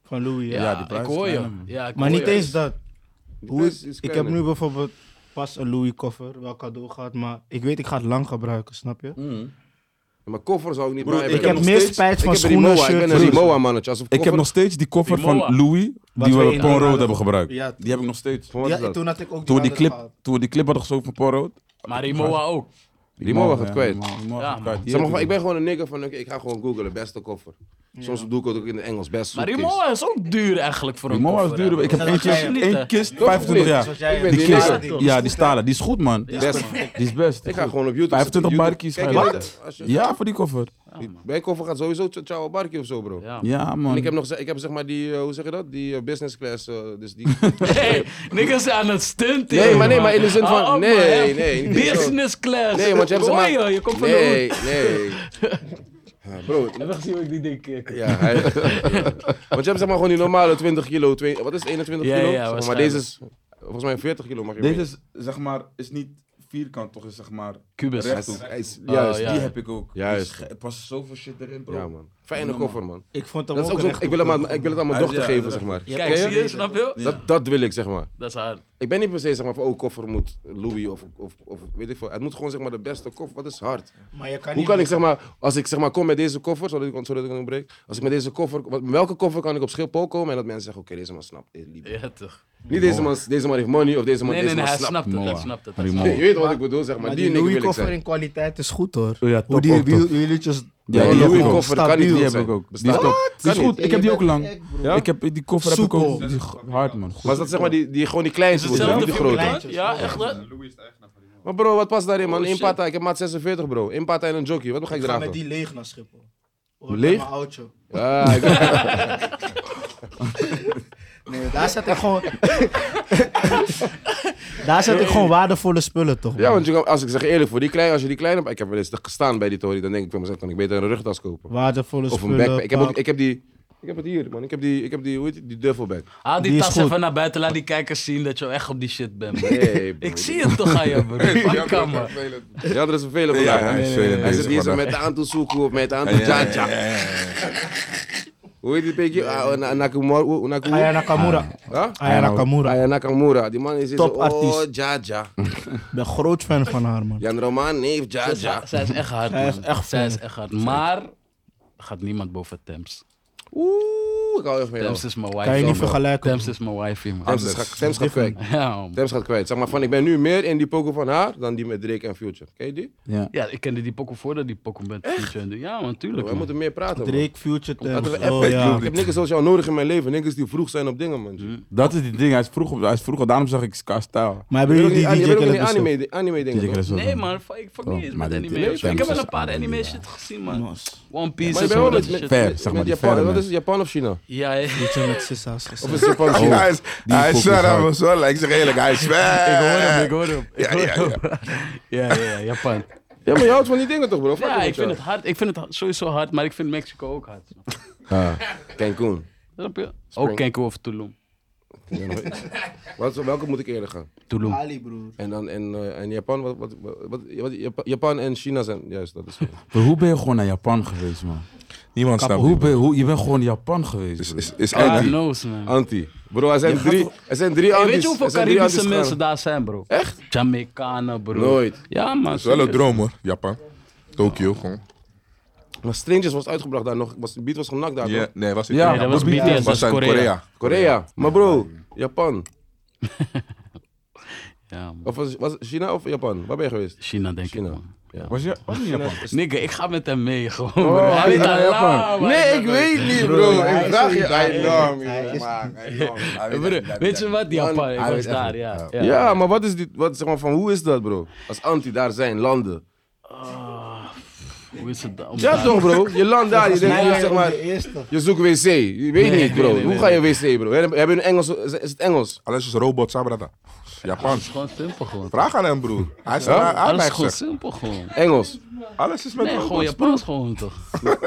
[SPEAKER 4] Van Louis, ja.
[SPEAKER 5] Ja,
[SPEAKER 2] die prijs
[SPEAKER 5] ik
[SPEAKER 2] is
[SPEAKER 5] hoor
[SPEAKER 2] kleiner,
[SPEAKER 5] je.
[SPEAKER 2] man.
[SPEAKER 5] Ja, ik
[SPEAKER 4] Maar
[SPEAKER 5] hoor
[SPEAKER 4] niet
[SPEAKER 5] je.
[SPEAKER 4] eens dat.
[SPEAKER 1] Die
[SPEAKER 4] Hoe
[SPEAKER 1] prijs
[SPEAKER 4] ik-
[SPEAKER 1] is
[SPEAKER 4] ik heb
[SPEAKER 1] kleiner.
[SPEAKER 4] nu bijvoorbeeld pas een Louis koffer, wel cadeau gehad, maar ik weet ik ga het lang gebruiken, snap je?
[SPEAKER 1] Mm. Mijn koffer zou ik niet
[SPEAKER 2] Broer,
[SPEAKER 1] bij
[SPEAKER 2] ik
[SPEAKER 1] hebben.
[SPEAKER 4] ik heb
[SPEAKER 2] nog
[SPEAKER 4] meer
[SPEAKER 2] steeds-
[SPEAKER 4] spijt
[SPEAKER 1] Ik
[SPEAKER 4] van
[SPEAKER 1] heb een
[SPEAKER 4] schoenen,
[SPEAKER 1] Rimowa, ik ben een
[SPEAKER 4] shirts.
[SPEAKER 2] Broer,
[SPEAKER 1] Rimowa mannetje. Alsof
[SPEAKER 2] Ik heb nog steeds die koffer
[SPEAKER 5] Die
[SPEAKER 2] van
[SPEAKER 5] Moa.
[SPEAKER 2] Louis,
[SPEAKER 4] Wat
[SPEAKER 2] die
[SPEAKER 4] we
[SPEAKER 2] we
[SPEAKER 4] in
[SPEAKER 2] op Paul Road
[SPEAKER 4] Orlando-
[SPEAKER 2] hebben gebruikt.
[SPEAKER 4] Ja.
[SPEAKER 2] Die heb ik nog steeds.
[SPEAKER 1] Wat
[SPEAKER 4] Ja,
[SPEAKER 1] is dat?
[SPEAKER 4] toen had ik ook die
[SPEAKER 2] Toen we die
[SPEAKER 4] andere
[SPEAKER 2] clip,
[SPEAKER 4] gehad.
[SPEAKER 2] toen we die clip hadden gezogen van Paul Road.
[SPEAKER 5] Maar Rimowa ook.
[SPEAKER 1] Die mogen gaat kwijt.
[SPEAKER 5] Ja, man.
[SPEAKER 1] Zeg maar, van, ik ben gewoon een nigger van, oké, ik ga gewoon googlen, beste koffer. Soms doe ik het ook in het Engels, best
[SPEAKER 5] Maar
[SPEAKER 1] suitcase.
[SPEAKER 5] Rimowa is ook duur eigenlijk voor een
[SPEAKER 2] Moa is
[SPEAKER 5] koffer,
[SPEAKER 2] duur.
[SPEAKER 5] hè,
[SPEAKER 2] Ik heb
[SPEAKER 5] bro.
[SPEAKER 2] één
[SPEAKER 5] Dat is
[SPEAKER 2] kist,
[SPEAKER 5] niet,
[SPEAKER 2] één
[SPEAKER 1] eh?
[SPEAKER 5] hè.
[SPEAKER 2] kist 25 jaar.
[SPEAKER 1] Zoals jij- Ik ben
[SPEAKER 2] Die
[SPEAKER 1] die
[SPEAKER 2] kist,
[SPEAKER 1] stalen,
[SPEAKER 2] ja, die stalen. Die is goed, man. Die
[SPEAKER 1] Best.
[SPEAKER 2] is best.
[SPEAKER 1] Ik ga gewoon op YouTube.
[SPEAKER 2] 25
[SPEAKER 1] zetten.
[SPEAKER 2] barkies
[SPEAKER 1] Kijk,
[SPEAKER 2] gaan.
[SPEAKER 1] dit, als je-
[SPEAKER 2] Ja, voor die koffer.
[SPEAKER 1] Mijn koffer gaat sowieso ch- ciao barkie of zo, bro.
[SPEAKER 5] Ja, man.
[SPEAKER 2] Ja, man.
[SPEAKER 1] En ik heb nog, ze- ik heb zeg maar die, eh, hoe zeg je dat? Die eh, business class, eh, dus die...
[SPEAKER 5] Hey, niggas aan het stunten.
[SPEAKER 1] Nee,
[SPEAKER 5] joh,
[SPEAKER 1] maar nee, maar in de zin
[SPEAKER 5] Hou
[SPEAKER 1] van-
[SPEAKER 5] op, man,
[SPEAKER 1] nee,
[SPEAKER 5] hè.
[SPEAKER 1] nee, niet zo.
[SPEAKER 5] Business class.
[SPEAKER 1] Nee, want je hebt zeg
[SPEAKER 5] Hoor
[SPEAKER 1] maar...
[SPEAKER 5] je, je komt van de
[SPEAKER 1] Nee,
[SPEAKER 5] hoek.
[SPEAKER 1] nee. Ja, bro,
[SPEAKER 5] Heb je gezien hoe ik die ding eh, keer?
[SPEAKER 1] ja, hij... Want je hebt zeg maar gewoon die normale 20 kilo, twee- wat is het, 21
[SPEAKER 5] Ja,
[SPEAKER 1] kilo?
[SPEAKER 5] ja,
[SPEAKER 1] Zeg maar, maar
[SPEAKER 5] waarschijnlijk.
[SPEAKER 1] deze is, volgens mij 40 kilo mag je
[SPEAKER 2] Deze
[SPEAKER 1] meenemen.
[SPEAKER 2] is, zeg maar, is niet vierkant, toch? Is zeg maar
[SPEAKER 5] Kubus.
[SPEAKER 2] rechthoek.
[SPEAKER 1] Hij is-
[SPEAKER 5] Oh,
[SPEAKER 1] Juist,
[SPEAKER 5] ja.
[SPEAKER 2] Die heb ik ook.
[SPEAKER 1] Oh, Juist.
[SPEAKER 2] Dus Er past zoveel shit erin, bro.
[SPEAKER 1] ja man. Fijne
[SPEAKER 2] Normaal.
[SPEAKER 1] koffer, man.
[SPEAKER 4] Ik vond hem
[SPEAKER 1] Dat is
[SPEAKER 4] ook
[SPEAKER 1] ook zo,
[SPEAKER 4] recht
[SPEAKER 1] ik, wil
[SPEAKER 4] op
[SPEAKER 1] hem
[SPEAKER 4] de
[SPEAKER 1] aan, ik wil het aan mijn
[SPEAKER 2] Hij-
[SPEAKER 1] dochter
[SPEAKER 2] ja,
[SPEAKER 1] geven,
[SPEAKER 2] ja.
[SPEAKER 1] zeg maar.
[SPEAKER 2] Ja.
[SPEAKER 5] Kijk, zie je? Snap je?
[SPEAKER 2] Ja.
[SPEAKER 1] Dat, dat wil ik, zeg maar.
[SPEAKER 5] Dat is hard.
[SPEAKER 1] Ik ben niet per se zeg maar, van, oh, koffer moet Louis of, of, of weet ik veel. Het moet gewoon zeg maar, de beste koffer, wat is hard.
[SPEAKER 4] Maar je kan
[SPEAKER 1] Hoe
[SPEAKER 4] niet
[SPEAKER 1] kan ik zeg maar, als ik zeg maar kom met deze koffer, zodat ik, zodat ik hem breek. Als ik met deze koffer, wat- welke koffer kan ik op Schiphol komen en dat mensen zeggen, oké, deze man snapt, deze lief.
[SPEAKER 5] Ja, toch.
[SPEAKER 1] Niet deze man, deze man heeft money of deze man,
[SPEAKER 5] Nee,
[SPEAKER 1] deze
[SPEAKER 5] nee,
[SPEAKER 1] man
[SPEAKER 5] nee, hij
[SPEAKER 1] snapt.
[SPEAKER 5] snapt het. Hij
[SPEAKER 2] Moa.
[SPEAKER 5] snapt het.
[SPEAKER 2] Rimowa.
[SPEAKER 1] Je weet wat ik bedoel, zeg maar.
[SPEAKER 4] Maar
[SPEAKER 1] die
[SPEAKER 4] die
[SPEAKER 1] nigger
[SPEAKER 4] Louis
[SPEAKER 1] wil ik
[SPEAKER 4] koffer
[SPEAKER 1] zijn.
[SPEAKER 4] in kwaliteit is goed hoor.
[SPEAKER 2] Oh ja, top,
[SPEAKER 4] Hoe die
[SPEAKER 2] top, top.
[SPEAKER 4] wieltjes...
[SPEAKER 2] Ja, die
[SPEAKER 1] Een
[SPEAKER 2] heb ik
[SPEAKER 1] Louis
[SPEAKER 2] ook.
[SPEAKER 1] koffer kan niet
[SPEAKER 4] Stabiel.
[SPEAKER 1] goed
[SPEAKER 2] Die heb
[SPEAKER 1] zijn.
[SPEAKER 2] ik ook. Die
[SPEAKER 1] Bestaat
[SPEAKER 2] is,
[SPEAKER 1] niet.
[SPEAKER 2] top. Die is
[SPEAKER 1] Kan
[SPEAKER 2] goed.
[SPEAKER 1] niet.
[SPEAKER 2] Ik heb die ook lang.
[SPEAKER 4] Echt, bro.
[SPEAKER 1] Ja?
[SPEAKER 2] Ik heb die koffer heb ik
[SPEAKER 4] Soepel.
[SPEAKER 2] ook. Die is g- hard man. Goed.
[SPEAKER 1] Maar is dat zeg maar die, die, gewoon die kleinste,
[SPEAKER 5] Is
[SPEAKER 1] moet zijn, niet
[SPEAKER 5] hetzelfde
[SPEAKER 1] de
[SPEAKER 5] voor
[SPEAKER 1] grote.
[SPEAKER 5] klein? Ja, echt hè?
[SPEAKER 7] Louis is de eigenaar van die man.
[SPEAKER 1] Maar bro, wat past daarin man?
[SPEAKER 5] Oh,
[SPEAKER 1] Eén
[SPEAKER 5] shit.
[SPEAKER 1] pata, ik heb maat 46 bro. Eén pata en een jockey, wat ga ik
[SPEAKER 4] Ik ga
[SPEAKER 1] dragen?
[SPEAKER 4] met die leeg naar Schiphol. Hoor,
[SPEAKER 1] Leeg?
[SPEAKER 4] met mijn oudje.
[SPEAKER 1] Ah, ik-
[SPEAKER 4] Nee, daar zet ik gewoon... daar zet ik gewoon waardevolle spullen toch.
[SPEAKER 1] Ja, want je kan- als ik zeg eerlijk, voor die kleine, als je die kleine hebt, ik heb wel eens gestaan bij die Tory, dan denk ik van mezelf, kan ik beter een rugtas kopen.
[SPEAKER 4] Waardevolle
[SPEAKER 1] Of een
[SPEAKER 4] spullen.
[SPEAKER 1] backpack. Ik heb, ook,
[SPEAKER 4] pak.
[SPEAKER 1] ik heb die, ik heb het hier man, ik heb die, ik heb die, hoe heet die, die duffelback.
[SPEAKER 5] Haal die,
[SPEAKER 4] Die is
[SPEAKER 5] tas
[SPEAKER 4] goed.
[SPEAKER 5] even naar buiten. Laat die kijkers zien dat je echt op die shit bent. man.
[SPEAKER 1] Nee, bro.
[SPEAKER 5] Ik zie het toch aan je, broer. Pak hem, man.
[SPEAKER 1] Ja, dat is vervelend
[SPEAKER 3] Ja,
[SPEAKER 1] vandaag.
[SPEAKER 3] hij is
[SPEAKER 1] hè?
[SPEAKER 3] vervelend
[SPEAKER 1] Hij zit
[SPEAKER 3] bezig
[SPEAKER 1] hier zo
[SPEAKER 3] vandaag.
[SPEAKER 1] met de aantal zoeken of met de aantal jaja. Hoe heet die peekje? Ah, na- Nakamura. hoe- Nakamura?
[SPEAKER 4] Aya Ah, Nakamura.
[SPEAKER 1] Huh?
[SPEAKER 4] Aya Nakamura.
[SPEAKER 1] Ah, ja, Nakamura. Die man is hier zo,
[SPEAKER 4] Top
[SPEAKER 1] oh
[SPEAKER 4] artiest.
[SPEAKER 1] jaja.
[SPEAKER 4] Ik ben groot fan van haar man.
[SPEAKER 1] Jan Roman, nee, jaja.
[SPEAKER 5] Zij- Zij is echt hard,
[SPEAKER 4] Zij is
[SPEAKER 5] man.
[SPEAKER 4] echt
[SPEAKER 5] Zij is
[SPEAKER 4] fijn.
[SPEAKER 5] echt hard. Maar gaat niemand boven Thames.
[SPEAKER 1] Oeh, ik hou echt van jou.
[SPEAKER 5] Thames is mijn
[SPEAKER 4] Kan je niet
[SPEAKER 5] wife.
[SPEAKER 4] vergelijken.
[SPEAKER 5] Thames is mijn wife, man.
[SPEAKER 1] Thames is ga- Thames gaat kwijt.
[SPEAKER 4] Different.
[SPEAKER 5] Ja, man.
[SPEAKER 1] Thames gaat kwijt. Zeg maar van, ik ben nu meer in die poker van haar dan die met Drake en Future. Ken je die?
[SPEAKER 2] Ja.
[SPEAKER 5] Ja, ik kende die pokken voordat die pokken met Future en de- Ja, man, tuurlijk.
[SPEAKER 1] Wij
[SPEAKER 5] man.
[SPEAKER 1] moeten meer praten. man.
[SPEAKER 4] Drake, Future,
[SPEAKER 1] Laten we
[SPEAKER 4] Thames.
[SPEAKER 1] even-
[SPEAKER 4] Oh ja.
[SPEAKER 1] Ik heb niks zoals jou nodig in mijn leven. Niks die vroeg zijn op dingen,
[SPEAKER 3] Mm.
[SPEAKER 1] man.
[SPEAKER 2] Dat is die ding. Hij is vroeg. op- Hij is vroeg. al, Daarom zag ik Scar Style.
[SPEAKER 4] Maar
[SPEAKER 1] Je
[SPEAKER 4] hebben
[SPEAKER 1] bent ook
[SPEAKER 4] jullie
[SPEAKER 1] niet
[SPEAKER 4] die
[SPEAKER 1] je
[SPEAKER 4] DJ
[SPEAKER 1] bent ook niet
[SPEAKER 4] Khaled
[SPEAKER 1] anime, anime
[SPEAKER 2] Die
[SPEAKER 1] dingen.
[SPEAKER 2] ik
[SPEAKER 1] toch?
[SPEAKER 2] er zo
[SPEAKER 5] Nee,
[SPEAKER 2] van-
[SPEAKER 5] man, fuck- ik fuck
[SPEAKER 2] Oh,
[SPEAKER 5] niet eens
[SPEAKER 2] maar
[SPEAKER 5] met
[SPEAKER 2] die-
[SPEAKER 5] anime.
[SPEAKER 2] die-
[SPEAKER 5] of zo. Ik heb
[SPEAKER 2] Thames
[SPEAKER 5] wel
[SPEAKER 2] is
[SPEAKER 5] een paar
[SPEAKER 2] anime,
[SPEAKER 5] anime
[SPEAKER 2] ja.
[SPEAKER 5] shit gezien,
[SPEAKER 4] besteld?
[SPEAKER 5] man.
[SPEAKER 4] Nos.
[SPEAKER 5] One
[SPEAKER 1] Maar
[SPEAKER 5] Piece
[SPEAKER 1] je
[SPEAKER 5] en
[SPEAKER 1] bent
[SPEAKER 5] zo,
[SPEAKER 1] wel
[SPEAKER 5] dat
[SPEAKER 1] met, met,
[SPEAKER 5] shit.
[SPEAKER 2] Ver,
[SPEAKER 1] met-
[SPEAKER 2] zeg
[SPEAKER 1] met
[SPEAKER 2] maar, die
[SPEAKER 1] Japan.
[SPEAKER 2] verre
[SPEAKER 1] Wat
[SPEAKER 2] man.
[SPEAKER 1] is het, Japan of China?
[SPEAKER 5] Ja, ja.
[SPEAKER 4] Future met Sissa's
[SPEAKER 1] Of is
[SPEAKER 4] gezien.
[SPEAKER 1] het Japan of China?
[SPEAKER 3] Hij is,
[SPEAKER 2] Oh, Die
[SPEAKER 3] hij is
[SPEAKER 2] koffer is
[SPEAKER 3] zwaar aan
[SPEAKER 2] hard.
[SPEAKER 3] mijn zwallen. Ik zeg eerlijk, hij is zwaar.
[SPEAKER 5] Ik hoor hem, ik hoor hem. ik
[SPEAKER 3] Ja,
[SPEAKER 5] hoor
[SPEAKER 3] ja, ja.
[SPEAKER 5] hem. Ja, ja, ja, Japan.
[SPEAKER 1] Ja, maar je houdt van die dingen toch, bro? Fuck
[SPEAKER 5] Ja,
[SPEAKER 1] met
[SPEAKER 5] ik vind
[SPEAKER 1] jou.
[SPEAKER 5] het hard. Ik vind het hard- sowieso hard, maar ik vind Mexico ook hard.
[SPEAKER 1] Cancun.
[SPEAKER 5] Snap je? Ook Cancun of Tulum.
[SPEAKER 1] Ja, nog- wat, welke moet ik eerder gaan?
[SPEAKER 5] Tulum.
[SPEAKER 4] Ali, broer.
[SPEAKER 1] En, dan, en, eh, en Japan, wat, wat, wat, wat- Jap- Japan en China zijn. Juist, dat is.
[SPEAKER 2] Maar hoe ben je gewoon naar Japan geweest, man?
[SPEAKER 3] Niemand snapt
[SPEAKER 2] Hoe
[SPEAKER 3] het.
[SPEAKER 2] ben, hoe, je bent gewoon naar Japan geweest.
[SPEAKER 3] Is,
[SPEAKER 2] broer.
[SPEAKER 3] is, is
[SPEAKER 5] God
[SPEAKER 3] anti.
[SPEAKER 5] knows, man.
[SPEAKER 1] Anti. Bro, er zijn
[SPEAKER 5] Je gaat
[SPEAKER 1] drie.
[SPEAKER 5] toch-
[SPEAKER 1] Er zijn drie
[SPEAKER 5] Hey,
[SPEAKER 1] anti's.
[SPEAKER 5] weet je hoeveel
[SPEAKER 1] Er zijn drie
[SPEAKER 5] Caribische
[SPEAKER 1] anti's
[SPEAKER 5] mensen
[SPEAKER 1] gegaan.
[SPEAKER 5] daar zijn, bro? Echt? Jamaicanen, bro.
[SPEAKER 1] Nooit.
[SPEAKER 5] Ja, man.
[SPEAKER 3] Dat is wel een
[SPEAKER 5] serieus.
[SPEAKER 3] droom hoor, Japan. Tokio gewoon.
[SPEAKER 1] Maar Strangers was uitgebracht daar nog. Was, de beat was genakt daar.
[SPEAKER 3] Ja,
[SPEAKER 1] toch?
[SPEAKER 3] nee, was niet.
[SPEAKER 2] Ja,
[SPEAKER 3] in
[SPEAKER 2] dat
[SPEAKER 3] Japan.
[SPEAKER 5] was BTS, dat
[SPEAKER 3] was
[SPEAKER 5] is
[SPEAKER 3] in
[SPEAKER 5] Korea.
[SPEAKER 3] Korea.
[SPEAKER 1] Korea. Maar bro, Japan.
[SPEAKER 5] Ja, man.
[SPEAKER 1] Of was, was het China of Japan? Waar ben je geweest?
[SPEAKER 5] China, denk
[SPEAKER 1] China.
[SPEAKER 5] ik, man.
[SPEAKER 2] Was je was je in Japan? Oh,
[SPEAKER 5] Nigga, ik ga met hem mee, gewoon. bro. Hij weet
[SPEAKER 2] ja,
[SPEAKER 5] al
[SPEAKER 2] Japan.
[SPEAKER 5] lang, man.
[SPEAKER 1] Oh, Nee, ik weet niet, bro. Ik vraag je.
[SPEAKER 5] Broer, Weet je wat? Japan, ik was daar, ja.
[SPEAKER 1] Ja, maar wat is dit? Wat, zeg maar, van hoe is dat, bro? Als anti daar zijn, landen.
[SPEAKER 5] Hoe is het dan? om
[SPEAKER 1] Ja,
[SPEAKER 5] daar-
[SPEAKER 1] toch, bro? Je land daar, je denkt,
[SPEAKER 4] Nee,
[SPEAKER 1] zeg maar,
[SPEAKER 4] de eerste.
[SPEAKER 1] je zoekt wc. Je weet
[SPEAKER 5] Nee,
[SPEAKER 1] niet, bro.
[SPEAKER 5] nee, nee,
[SPEAKER 1] hoe
[SPEAKER 5] nee,
[SPEAKER 1] ga je wc, bro? Hebben hebben een Engels? Is is het Engels?
[SPEAKER 3] Alles is robot, Sabrata. Japan.
[SPEAKER 5] Het is gewoon simpel, gewoon.
[SPEAKER 3] Vraag aan hem, broer. Hij is aan aan
[SPEAKER 5] Alles
[SPEAKER 3] mij
[SPEAKER 5] is gewoon
[SPEAKER 3] gezegd.
[SPEAKER 5] simpel, gewoon.
[SPEAKER 1] Engels.
[SPEAKER 3] Alles is met
[SPEAKER 5] Nee, gewoon
[SPEAKER 3] robots.
[SPEAKER 5] Japans, gewoon, toch?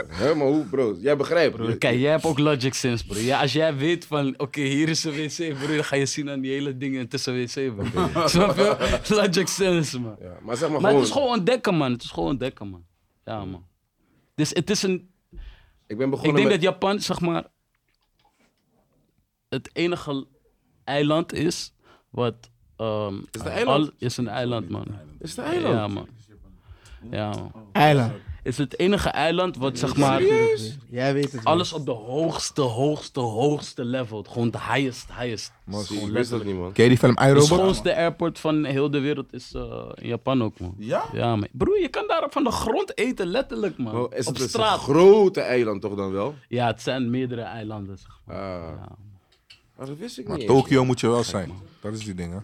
[SPEAKER 1] Hè, maar hoe, bro? Jij begrijpt,
[SPEAKER 5] Broer, kijk, jij hebt ook logic sense, broer. Ja, als jij weet van, oké, hier is een wc, broer, dan ga je zien aan die hele dingen tussen wc, broer. Snap je? Logic sense, man.
[SPEAKER 1] Ja, maar zeg maar,
[SPEAKER 5] Maar het
[SPEAKER 1] gewoon,
[SPEAKER 5] is gewoon ontdekken, man. Het is gewoon ontdekken, man. Ja, man. Dus het is een...
[SPEAKER 1] Ik ben
[SPEAKER 5] Ik
[SPEAKER 1] begonnen
[SPEAKER 5] denk
[SPEAKER 1] met...
[SPEAKER 5] dat Japan, zeg maar... het enige eiland is wat... ehm,
[SPEAKER 1] het een eiland?
[SPEAKER 5] al- is een eiland, man.
[SPEAKER 1] Is het een eiland?
[SPEAKER 5] Ja, man. Ja, man.
[SPEAKER 4] Eiland.
[SPEAKER 5] is het enige eiland wat zeg maar
[SPEAKER 4] Jij weet het.
[SPEAKER 5] alles op de hoogste, hoogste, hoogste level. Gewoon de highest, highest.
[SPEAKER 1] Man,
[SPEAKER 5] Gewoon
[SPEAKER 1] ik wist dat
[SPEAKER 5] letterlijk.
[SPEAKER 1] niet, man.
[SPEAKER 3] Ken je die film
[SPEAKER 5] De
[SPEAKER 3] iRobot?
[SPEAKER 5] schoonste airport van heel de wereld is eh, in Japan ook, man.
[SPEAKER 2] Ja?
[SPEAKER 5] Ja, man. Broer, je kan daar van de grond eten, letterlijk, man.
[SPEAKER 1] Oh, is
[SPEAKER 5] op
[SPEAKER 1] het een
[SPEAKER 5] straat.
[SPEAKER 1] grote eiland toch dan wel?
[SPEAKER 5] Ja, het zijn meerdere eilanden, zeg maar.
[SPEAKER 1] Ah, Ah, dat wist ik
[SPEAKER 3] Maar
[SPEAKER 1] niet.
[SPEAKER 3] Tokio moet je wel zijn. Dat is die ding, hè.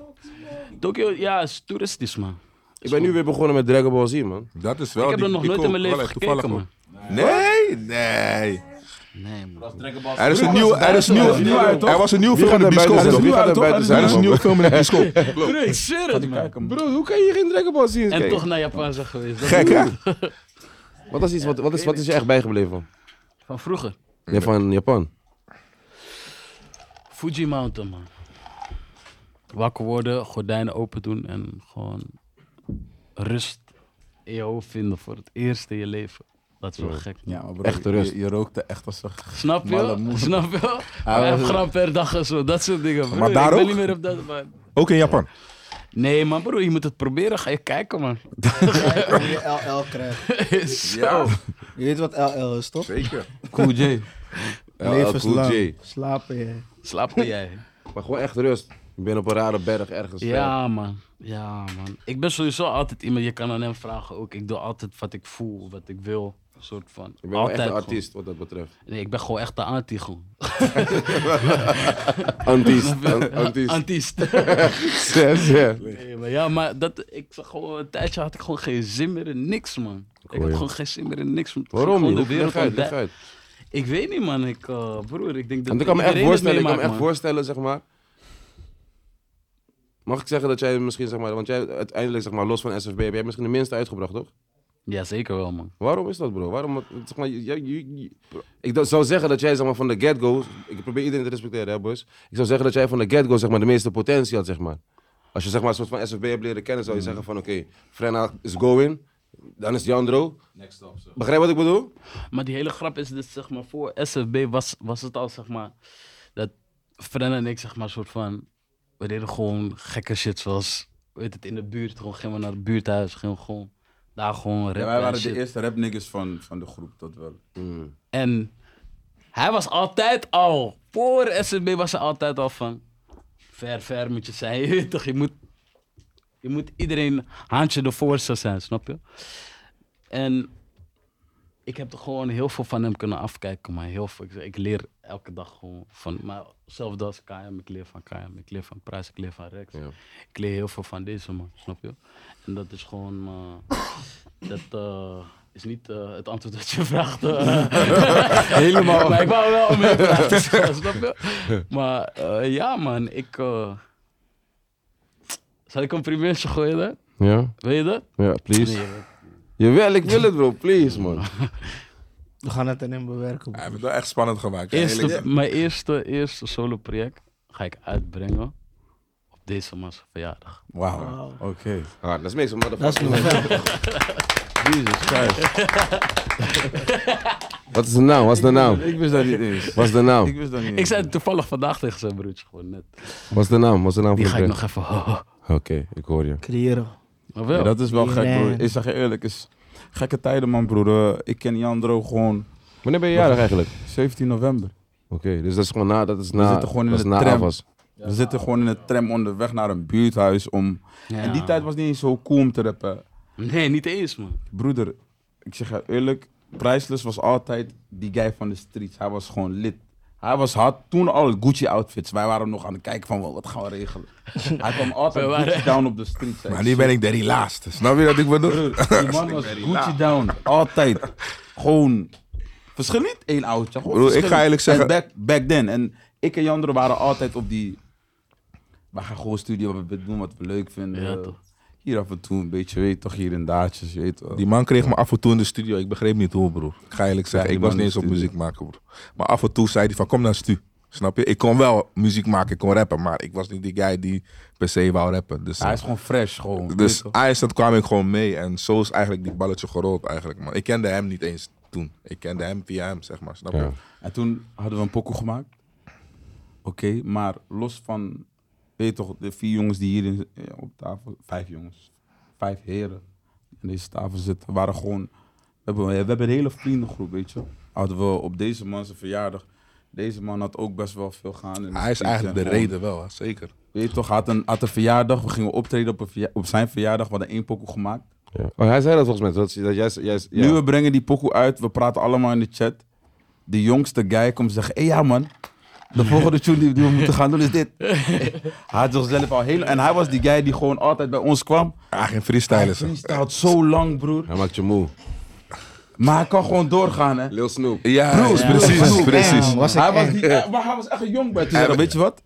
[SPEAKER 5] Tokio, ja, is toeristisch, man.
[SPEAKER 1] Ik ben nu weer begonnen met Dragon Ball Z, man.
[SPEAKER 3] Dat is wel
[SPEAKER 5] Ik heb
[SPEAKER 3] die-
[SPEAKER 5] er nog
[SPEAKER 3] die
[SPEAKER 5] nooit in mijn
[SPEAKER 3] kook.
[SPEAKER 5] leven
[SPEAKER 3] Wel, toevallig
[SPEAKER 5] gekeken, man.
[SPEAKER 3] ook. Nee, nee.
[SPEAKER 5] Nee, man.
[SPEAKER 3] Er is een nieuw, er is een nieuw,
[SPEAKER 2] nieuw uit, toch?
[SPEAKER 3] er was een nieuw
[SPEAKER 1] Wie
[SPEAKER 3] film in
[SPEAKER 1] gaat
[SPEAKER 3] de
[SPEAKER 1] er buiten
[SPEAKER 3] bioscoop.
[SPEAKER 1] zijn? Wie
[SPEAKER 3] toch?
[SPEAKER 1] gaat er
[SPEAKER 2] toch?
[SPEAKER 1] buiten
[SPEAKER 3] Er
[SPEAKER 1] zijn?
[SPEAKER 3] is een nieuwe film in de bioscoop.
[SPEAKER 5] Broer, ik zweer het, man.
[SPEAKER 1] Bro, hoe kan je geen Dragon Ball Z eens
[SPEAKER 5] En
[SPEAKER 1] kijken?
[SPEAKER 5] toch naar Japan zijn geweest. Dat
[SPEAKER 3] Gek,
[SPEAKER 5] is-
[SPEAKER 3] hè?
[SPEAKER 1] Wat is, iets, wat, wat, is, wat is je echt bijgebleven van?
[SPEAKER 5] Van vroeger.
[SPEAKER 1] Ja, van Japan.
[SPEAKER 5] Fuji Mountain, man. Wakker worden, gordijnen open doen en gewoon rust in je hoofd vinden voor het eerst in je leven. Dat is wel gek. man.
[SPEAKER 2] Ja, maar bro,
[SPEAKER 1] Echte rust.
[SPEAKER 2] Je, je rookte echt als een...
[SPEAKER 5] Snap
[SPEAKER 2] Malle
[SPEAKER 5] je?
[SPEAKER 2] moe.
[SPEAKER 5] Snap je?
[SPEAKER 2] Ah,
[SPEAKER 5] Vijf
[SPEAKER 2] maar-
[SPEAKER 5] gram per dag en zo, dat soort dingen. broer.
[SPEAKER 3] daar
[SPEAKER 5] ik ben
[SPEAKER 3] ook?
[SPEAKER 5] niet meer op dat, man.
[SPEAKER 3] Ook in Japan.
[SPEAKER 5] Nee, man, broer, je moet het proberen. Ga je kijken, man.
[SPEAKER 4] Hoe je LL krijgt.
[SPEAKER 5] Zo.
[SPEAKER 4] Je weet wat LL is, toch?
[SPEAKER 3] Zeker.
[SPEAKER 2] Cool J.
[SPEAKER 4] Levenslang.
[SPEAKER 1] J.
[SPEAKER 4] Slapen, jij.
[SPEAKER 5] Slaapte jij?
[SPEAKER 1] Maar gewoon echt rust. Ik ben op een rare berg ergens. eh,
[SPEAKER 5] Ja, man. Ja, man. Ik ben sowieso altijd iemand, je kan aan hem vragen ook. Ik doe altijd wat ik voel, wat ik wil. Een soort van.
[SPEAKER 1] Ik ben wel echt een
[SPEAKER 5] gewoon.
[SPEAKER 1] artiest wat dat betreft.
[SPEAKER 5] Nee, ik ben gewoon echt de anti gewoon.
[SPEAKER 1] Antiest. an- Antiest.
[SPEAKER 5] Antiest.
[SPEAKER 1] Yes, yeah.
[SPEAKER 5] Nee, maar ja, maar dat, ik zag gewoon, een tijdje had ik gewoon geen zin meer in niks, man. Ik
[SPEAKER 1] hoor
[SPEAKER 5] had
[SPEAKER 1] je.
[SPEAKER 5] gewoon geen zin meer in niks. want ik ging
[SPEAKER 1] Waarom
[SPEAKER 5] gewoon
[SPEAKER 1] niet?
[SPEAKER 5] de
[SPEAKER 1] Hoe-
[SPEAKER 5] wereld
[SPEAKER 1] Leg uit, leg
[SPEAKER 5] ontdek-
[SPEAKER 1] uit.
[SPEAKER 5] Ik weet niet, man. Ik, eh, broer, ik denk dat
[SPEAKER 1] Want ik kan me echt
[SPEAKER 5] iedereen het
[SPEAKER 1] voorstellen, ik kan me echt
[SPEAKER 5] meemaakt, man.
[SPEAKER 1] voorstellen, zeg maar. Mag ik zeggen dat jij misschien, zeg maar, want jij uiteindelijk, zeg maar, los van SFB, heb jij misschien de minste uitgebracht, toch?
[SPEAKER 5] Ja, zeker wel, man.
[SPEAKER 1] Waarom is dat, bro? Waarom, zeg maar, jij- jij- jij- ik dat- zou zeggen dat jij, zeg maar, van de get-go, ik probeer iedereen te respecteren, hè, boys. Ik zou zeggen dat jij van de get-go, zeg maar, de meeste potentie had, zeg maar. Als je, zeg maar, een soort van SFB hebt leren kennen, zou je zeggen van, oké, Frenna is going, dan is Jandro.
[SPEAKER 6] Next stop, zo.
[SPEAKER 1] Begrijp wat ik bedoel?
[SPEAKER 5] Maar die hele grap is dus, zeg maar, voor SFB was, was het al, zeg maar, dat Frenna en ik, zeg maar, soort van, we deden gewoon gekke shit zoals, weet het, in de buurt, gewoon gingen we naar het buurthuis, gingen we gewoon, daar gewoon rappen
[SPEAKER 2] Ja, wij
[SPEAKER 5] en
[SPEAKER 2] waren
[SPEAKER 5] shit.
[SPEAKER 2] de eerste rap niggas van, van de groep, dat wel.
[SPEAKER 5] En hij was altijd al, voor SFB was hij altijd al van, ver, ver moet je zijn, je weet toch, je moet, je moet iedereen handje de voorste zijn, snap je? En ik heb er gewoon heel veel van hem kunnen afkijken, maar heel veel, ik, ik leer elke dag gewoon van, maar zelfs als KM, ik leer van KM, ik leer van Prijs, ik leer van Rex,
[SPEAKER 1] Ja.
[SPEAKER 5] ik leer heel veel van deze man, snap je? En dat is gewoon, eh, dat eh, is niet eh, het antwoord dat je vraagt. eh. Helemaal. Maar ik wou wel mee praten, snap je? Maar eh, ja, man, ik. eh, Zal ik een primeurtje gooien, hè?
[SPEAKER 1] Ja,
[SPEAKER 5] Wil je dat?
[SPEAKER 1] ja, please.
[SPEAKER 5] Nee, joh.
[SPEAKER 1] Jawel, ik wil het, bro, please, man.
[SPEAKER 4] We gaan het erin bewerken.
[SPEAKER 3] Hij
[SPEAKER 4] broer.
[SPEAKER 3] heeft het wel echt spannend gemaakt. hè,
[SPEAKER 5] Eerste,
[SPEAKER 3] eerlijk.
[SPEAKER 5] mijn eerste, eerste solo project ga ik uitbrengen op deze man's verjaardag.
[SPEAKER 2] Wauw. Oké.
[SPEAKER 1] Ah, let's make some
[SPEAKER 4] Dat is
[SPEAKER 1] motherfucking
[SPEAKER 4] nog.
[SPEAKER 2] Jesus Christ.
[SPEAKER 1] Wat is de naam? Wat is de naam?
[SPEAKER 2] Ik wist dat niet eens.
[SPEAKER 1] Wat is de
[SPEAKER 2] Ik
[SPEAKER 1] naam?
[SPEAKER 2] wist dat niet
[SPEAKER 5] Ik zei het toevallig vandaag tegen zijn broertje gewoon net.
[SPEAKER 1] Wat is de naam? Wat is de naam
[SPEAKER 5] Die
[SPEAKER 1] van
[SPEAKER 5] ga
[SPEAKER 1] de
[SPEAKER 5] ik
[SPEAKER 1] band?
[SPEAKER 5] nog even.
[SPEAKER 1] Oké, ik hoor je.
[SPEAKER 4] Creëren.
[SPEAKER 5] Maar
[SPEAKER 2] Ja,
[SPEAKER 5] wel.
[SPEAKER 2] dat is wel
[SPEAKER 4] Die
[SPEAKER 2] gek, broer.
[SPEAKER 4] man.
[SPEAKER 2] Ik zeg je eerlijk, is gekke tijden, man, broer. Eh, Ik ken Jandro gewoon
[SPEAKER 1] Wanneer ben je jarig eigenlijk?
[SPEAKER 2] 17 november.
[SPEAKER 1] Oké, dus dat is gewoon na, dat is na,
[SPEAKER 2] zitten gewoon in
[SPEAKER 1] dat is
[SPEAKER 2] de
[SPEAKER 1] na
[SPEAKER 2] tram.
[SPEAKER 1] Avas.
[SPEAKER 2] We zitten gewoon in de tram onderweg naar een buurthuis om...
[SPEAKER 5] Ja.
[SPEAKER 2] En die tijd was niet eens zo cool om te rappen.
[SPEAKER 5] Nee, niet eens, man.
[SPEAKER 2] Broeder, ik zeg je eerlijk, Priceless was altijd die guy van de streets. Hij was gewoon lid. Hij was had toen al Gucci-outfits. Wij waren nog aan het kijken van, wel, wat gaan we regelen? Hij kwam altijd
[SPEAKER 5] We waren-
[SPEAKER 2] Gucci down op de streets.
[SPEAKER 3] Maar nu ben ik de relaxed. Snap je wat ik bedoel?
[SPEAKER 2] Die man was Gucci down. Altijd. Gewoon. Verschil niet één oudje. Gewoon
[SPEAKER 3] Broer, ik
[SPEAKER 2] verschil.
[SPEAKER 3] ga eerlijk
[SPEAKER 2] En
[SPEAKER 3] zeggen-
[SPEAKER 2] Back, back then. En ik en Jandro waren altijd op die. We gaan gewoon studio wat we doen, wat we leuk vinden.
[SPEAKER 5] Ja, toch.
[SPEAKER 2] Hier af en toe een beetje, weet je toch, hier en daadjes, je weet wel.
[SPEAKER 3] Die man kreeg me af en toe in de studio. Ik begreep niet hoe, broer. Ik ga eerlijk zeggen,
[SPEAKER 2] Ja, die
[SPEAKER 3] ik was
[SPEAKER 2] man in
[SPEAKER 3] niet eens
[SPEAKER 2] de
[SPEAKER 3] op
[SPEAKER 2] studio.
[SPEAKER 3] muziek maken, broer. Maar af en toe zei hij van, kom naar Stu. Snap je? Ik kon wel muziek maken, ik kon rappen. Maar ik was niet die guy die per se wou rappen. Dus,
[SPEAKER 2] Hij is gewoon fresh, gewoon. weet je
[SPEAKER 3] dus
[SPEAKER 2] toch.
[SPEAKER 3] IJsland kwam ik gewoon mee. En zo is eigenlijk die balletje gerold eigenlijk, man. Ik kende hem niet eens toen. Ik kende hem via hem, zeg maar. Snap je?
[SPEAKER 1] Ja.
[SPEAKER 2] En toen hadden we een pokoe gemaakt. Oké, maar los van, weet je toch, de vier jongens die hier in- eh, op tafel, vijf jongens, vijf heren die aan deze tafel zitten, waren gewoon, we hebben, we hebben een hele vriendengroep, weet je. Hadden we op deze man zijn verjaardag, deze man had ook best wel veel gaan. in de
[SPEAKER 3] Hij is
[SPEAKER 2] streets
[SPEAKER 3] eigenlijk
[SPEAKER 2] en
[SPEAKER 3] de
[SPEAKER 2] gewoon-
[SPEAKER 3] reden wel, hè. zeker.
[SPEAKER 2] Weet je toch, had een, had een verjaardag, we gingen optreden op, een verja- op zijn verjaardag, we hadden één pokoe gemaakt.
[SPEAKER 1] Ja. Oh, hij zei dat volgens mij. Dat, dat, jij, jij, ja.
[SPEAKER 2] Nu we brengen die pokoe uit, we praten allemaal in de chat. De jongste guy komt zeggen, hé hey, ja man, de volgende tune die, die we moeten gaan doen is dit. hij had zichzelf al heel... En hij was die guy die gewoon altijd bij ons kwam.
[SPEAKER 3] Ah, geen
[SPEAKER 2] Hij
[SPEAKER 3] freestylers. hè.
[SPEAKER 2] freestylt zo lang broer,
[SPEAKER 1] Hij maakt je moe.
[SPEAKER 2] maar hij kan gewoon doorgaan hè.
[SPEAKER 1] Lil Snoop.
[SPEAKER 3] Ja, ja,
[SPEAKER 2] broer,
[SPEAKER 3] precies,
[SPEAKER 2] broer.
[SPEAKER 3] precies.
[SPEAKER 4] Damn, was ik
[SPEAKER 2] Hij was,
[SPEAKER 4] echt.
[SPEAKER 2] die, eh, maar hij was echt een jong bij toen zei hij, weet je wat?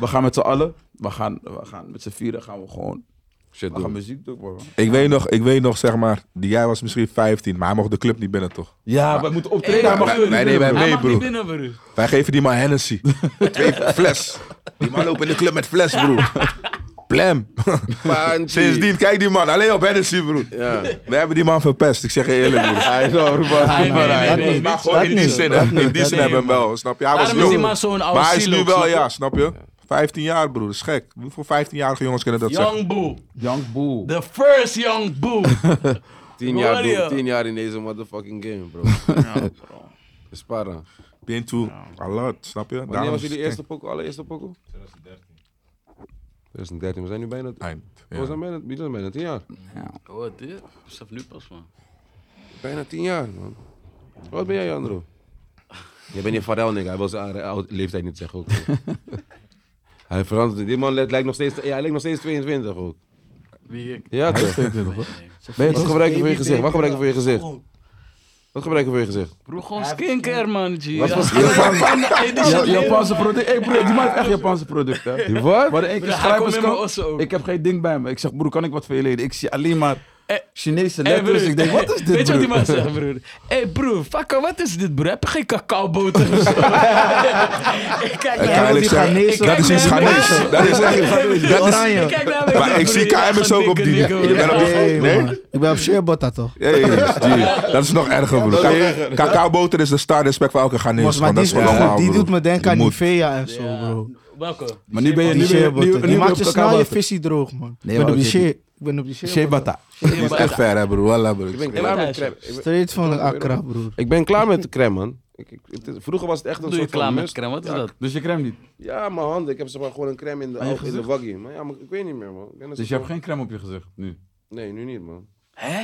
[SPEAKER 2] We gaan met z'n allen, we gaan, we gaan met z'n vieren gaan we gewoon,
[SPEAKER 1] Shit,
[SPEAKER 2] we
[SPEAKER 1] doen.
[SPEAKER 2] gaan muziek doen bro.
[SPEAKER 3] Ik weet, nog, ik weet nog, zeg maar, die jij was misschien 15, maar hij mocht de club niet binnen, toch?
[SPEAKER 2] Ja, we moeten optreden.
[SPEAKER 5] Hey,
[SPEAKER 2] hij mag-
[SPEAKER 5] wij- wij
[SPEAKER 2] hij
[SPEAKER 3] nemen hem
[SPEAKER 2] mag-
[SPEAKER 5] Hij
[SPEAKER 3] Nee,
[SPEAKER 5] mag
[SPEAKER 3] broer.
[SPEAKER 5] niet binnen, broer.
[SPEAKER 3] Wij geven die man Hennessy. Twee fles. Die man loopt in de club met fles, broer. Plem.
[SPEAKER 1] Panty.
[SPEAKER 3] Sindsdien, kijk die man. Alleen op Hennessy, broer.
[SPEAKER 1] Ja.
[SPEAKER 3] We hebben die man verpest. Ik zeg je eerlijk, broer.
[SPEAKER 1] Hij is wel roepen.
[SPEAKER 5] Hij- nee, nee,
[SPEAKER 3] Maar
[SPEAKER 5] nee, nee.
[SPEAKER 3] maar gewoon
[SPEAKER 4] dat
[SPEAKER 3] in die
[SPEAKER 4] niet,
[SPEAKER 3] zin,
[SPEAKER 4] dat
[SPEAKER 3] hè.
[SPEAKER 4] niet,
[SPEAKER 3] In die
[SPEAKER 4] dat
[SPEAKER 3] zin
[SPEAKER 5] niet,
[SPEAKER 3] hebben we hem wel, snap je? Hij was
[SPEAKER 5] Daarom is die
[SPEAKER 3] jong.
[SPEAKER 5] man zo'n oude
[SPEAKER 3] Maar hij is nu
[SPEAKER 5] ziel ook,
[SPEAKER 3] wel,
[SPEAKER 5] snap
[SPEAKER 3] ja,
[SPEAKER 5] je?
[SPEAKER 3] snap je? 15 jaar, broer. Dat is gek. Hoeveel 15-jarige jongens kunnen dat zeggen?
[SPEAKER 5] Young Boo.
[SPEAKER 2] Young Boo.
[SPEAKER 5] The first Young Boo.
[SPEAKER 1] Tien jaar,
[SPEAKER 5] Hoor je?
[SPEAKER 1] doen, tien jaar in deze motherfucking game, bro. Spara.
[SPEAKER 3] Been to a lot, snap je?
[SPEAKER 1] Wanneer was
[SPEAKER 3] is
[SPEAKER 1] jullie
[SPEAKER 3] het
[SPEAKER 1] eerste poko, allereerste poko? 2013. 2013, we zijn nu bijna...
[SPEAKER 3] eind. Ja.
[SPEAKER 1] We zijn bijna, we zijn bijna tien jaar.
[SPEAKER 5] Wat dit? Besef nu pas, man.
[SPEAKER 1] Bijna tien jaar, man. Wat ben jij, Andro? Je bent niet Farel, nigga. Hij wil zijn oude- oude leeftijd niet zeggen ook. hij verandert. Die man lijkt lijkt nog steeds, ja, hij lijkt nog steeds 22 ook.
[SPEAKER 5] Wie ik?
[SPEAKER 1] Ja, toch? Wat gebruik je voor je gezicht? Wat gebruik je voor je gezicht? Wat gebruik je voor je gezicht?
[SPEAKER 5] Broer, gewoon skincare, man. G.
[SPEAKER 1] Wat
[SPEAKER 5] Ja.
[SPEAKER 1] voor
[SPEAKER 5] Hey, dit is
[SPEAKER 2] Ja,
[SPEAKER 5] het hele-
[SPEAKER 2] Japanse producten. Hey broer, die man heeft echt Japanse producten. hè.
[SPEAKER 1] Wat?
[SPEAKER 2] Maar één keer
[SPEAKER 5] Hij komt met mijn
[SPEAKER 2] schrijverskamp.
[SPEAKER 5] ossen ook.
[SPEAKER 2] Ik heb geen ding bij me. Ik zeg, broer, kan ik wat voor je leden? Ik zie alleen maar
[SPEAKER 5] Eh,
[SPEAKER 2] Chinese
[SPEAKER 5] Hey,
[SPEAKER 2] letters. ik denk, wat is dit,
[SPEAKER 5] Weet je wat die
[SPEAKER 2] broer?
[SPEAKER 5] man zegt, broer? Hé hey, broer, fakka, wat is dit, broer? Heb je geen cacaoboter of zo? ik kijk
[SPEAKER 3] Ik
[SPEAKER 5] naar
[SPEAKER 3] ga
[SPEAKER 4] wil
[SPEAKER 5] hem.
[SPEAKER 3] eerlijk
[SPEAKER 4] die
[SPEAKER 3] zeggen,
[SPEAKER 4] Ghanese-
[SPEAKER 3] dat is
[SPEAKER 5] Ik
[SPEAKER 3] iets
[SPEAKER 5] kijk naar
[SPEAKER 3] Ghanese.
[SPEAKER 5] hem.
[SPEAKER 3] Dat is echt... Dat is,
[SPEAKER 4] Oranje.
[SPEAKER 5] Ik kijk naar hem.
[SPEAKER 3] Maar ik zie KMS ook op die-
[SPEAKER 5] Ik
[SPEAKER 3] Je bent op-
[SPEAKER 4] Nee,
[SPEAKER 3] Nee?
[SPEAKER 4] man. Ik ben op Sheerbotta toch?
[SPEAKER 3] Hey, die- dat is nog erger, broer. Ka- Cacaoboter is de star respect voor elke Ghanese.
[SPEAKER 4] Volgens
[SPEAKER 3] man.
[SPEAKER 4] mij
[SPEAKER 3] Dat
[SPEAKER 4] die,
[SPEAKER 3] is
[SPEAKER 4] is wel
[SPEAKER 3] wel normaal,
[SPEAKER 4] goed. die
[SPEAKER 3] broer.
[SPEAKER 4] doet me denken
[SPEAKER 3] Je
[SPEAKER 4] aan
[SPEAKER 3] moet-
[SPEAKER 4] Nivea en zo, bro.
[SPEAKER 5] Welke?
[SPEAKER 2] Maar nu ben je
[SPEAKER 4] Die
[SPEAKER 2] nu ben- nu-
[SPEAKER 4] Sheerbotta.
[SPEAKER 2] nu
[SPEAKER 4] Die
[SPEAKER 2] ben
[SPEAKER 4] maakt je snel je
[SPEAKER 2] je
[SPEAKER 4] visie droog, man.
[SPEAKER 2] Nee,
[SPEAKER 4] Ik ben
[SPEAKER 2] maar
[SPEAKER 4] op die
[SPEAKER 2] oké,
[SPEAKER 4] Shea- ik ben op die Sheerbotta.
[SPEAKER 2] Shebata.
[SPEAKER 3] Je moet echt ver, hè, broer. Wallah, broer.
[SPEAKER 1] Ik ben
[SPEAKER 5] Ja,
[SPEAKER 1] klaar met
[SPEAKER 5] thuis.
[SPEAKER 1] crème. Ik ben-
[SPEAKER 4] Straight van de Accra, broer.
[SPEAKER 1] Ik ben klaar met de crème, man. Ik, ik- het is- vroeger was het echt een
[SPEAKER 5] Doe je
[SPEAKER 1] soort
[SPEAKER 5] klaar
[SPEAKER 1] van
[SPEAKER 5] met
[SPEAKER 1] must.
[SPEAKER 5] crème? Wat is
[SPEAKER 1] Ja,
[SPEAKER 5] dat?
[SPEAKER 2] Dus je crème niet.
[SPEAKER 1] Ja, mijn handen. Ik heb zeg maar gewoon een crème in de,
[SPEAKER 2] je
[SPEAKER 1] oog- in de
[SPEAKER 2] gezicht?
[SPEAKER 1] waggie. Maar ja, maar ik weet niet meer, man. Ik ben een
[SPEAKER 2] Dus je
[SPEAKER 1] soort
[SPEAKER 2] hebt geen crème op je gezicht nu.
[SPEAKER 1] van- Nee, nu niet, man.
[SPEAKER 5] Hè?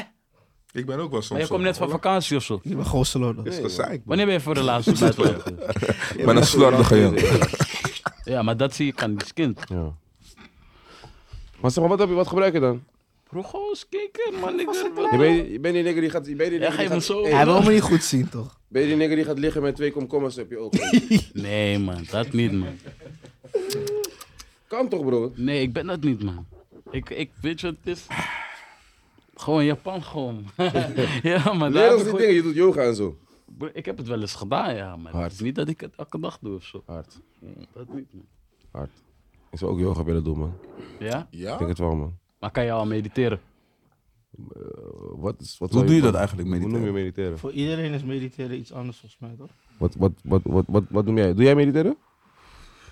[SPEAKER 3] Ik ben ook wel soms.
[SPEAKER 5] Maar je komt net van vakantie of zo.
[SPEAKER 4] Ik ben gewoon slordig.
[SPEAKER 3] Dat is gezeik, man.
[SPEAKER 5] Wanneer ben je voor de laatste buitenland geweest?
[SPEAKER 3] Ik ben een slordige jongen.
[SPEAKER 5] Ja, maar dat zie ik aan die skin.
[SPEAKER 1] Ja. Maar zeg maar, wat, heb je, wat gebruik je dan?
[SPEAKER 5] Broer, gewoon skincare, man. Ik
[SPEAKER 1] Je bent, je bent die nigger die gaat... Je bent die
[SPEAKER 5] Ja,
[SPEAKER 1] nigger die
[SPEAKER 5] geef me
[SPEAKER 1] gaat,
[SPEAKER 5] zo.
[SPEAKER 1] Hey,
[SPEAKER 4] Hij wil me niet goed zien, toch?
[SPEAKER 1] ben je die nigger die gaat liggen met twee komkommers op je ogen?
[SPEAKER 5] Nee, man. Dat niet, man.
[SPEAKER 1] kan toch, bro?
[SPEAKER 5] Nee, ik ben dat niet, man. Ik, ik weet je wat het is. Gewoon Japan, gewoon. ja, maar daar
[SPEAKER 1] Leer ons
[SPEAKER 5] heb ik
[SPEAKER 1] die
[SPEAKER 5] gewoon-
[SPEAKER 1] dingen. Je doet yoga en zo.
[SPEAKER 5] Broer, Ik heb het wel eens gedaan, ja, maar
[SPEAKER 1] Hard.
[SPEAKER 5] het is niet dat ik het elke dag doe of zo.
[SPEAKER 1] Hard.
[SPEAKER 5] Dat niet, man.
[SPEAKER 1] Hard. Ik zou ook yoga willen doen, man.
[SPEAKER 5] Ja?
[SPEAKER 1] Ik
[SPEAKER 3] Ja?
[SPEAKER 1] denk het wel, man.
[SPEAKER 5] Maar kan je al mediteren?
[SPEAKER 1] Eh, Wat is, wat
[SPEAKER 2] Hoe
[SPEAKER 1] zou
[SPEAKER 2] doe je dat eigenlijk,
[SPEAKER 1] Hoe
[SPEAKER 2] mediteren?
[SPEAKER 1] noem je mediteren?
[SPEAKER 4] Voor iedereen is mediteren iets anders volgens mij, toch?
[SPEAKER 1] Wat, wat, wat, wat, wat, wat noem jij? Doe jij mediteren?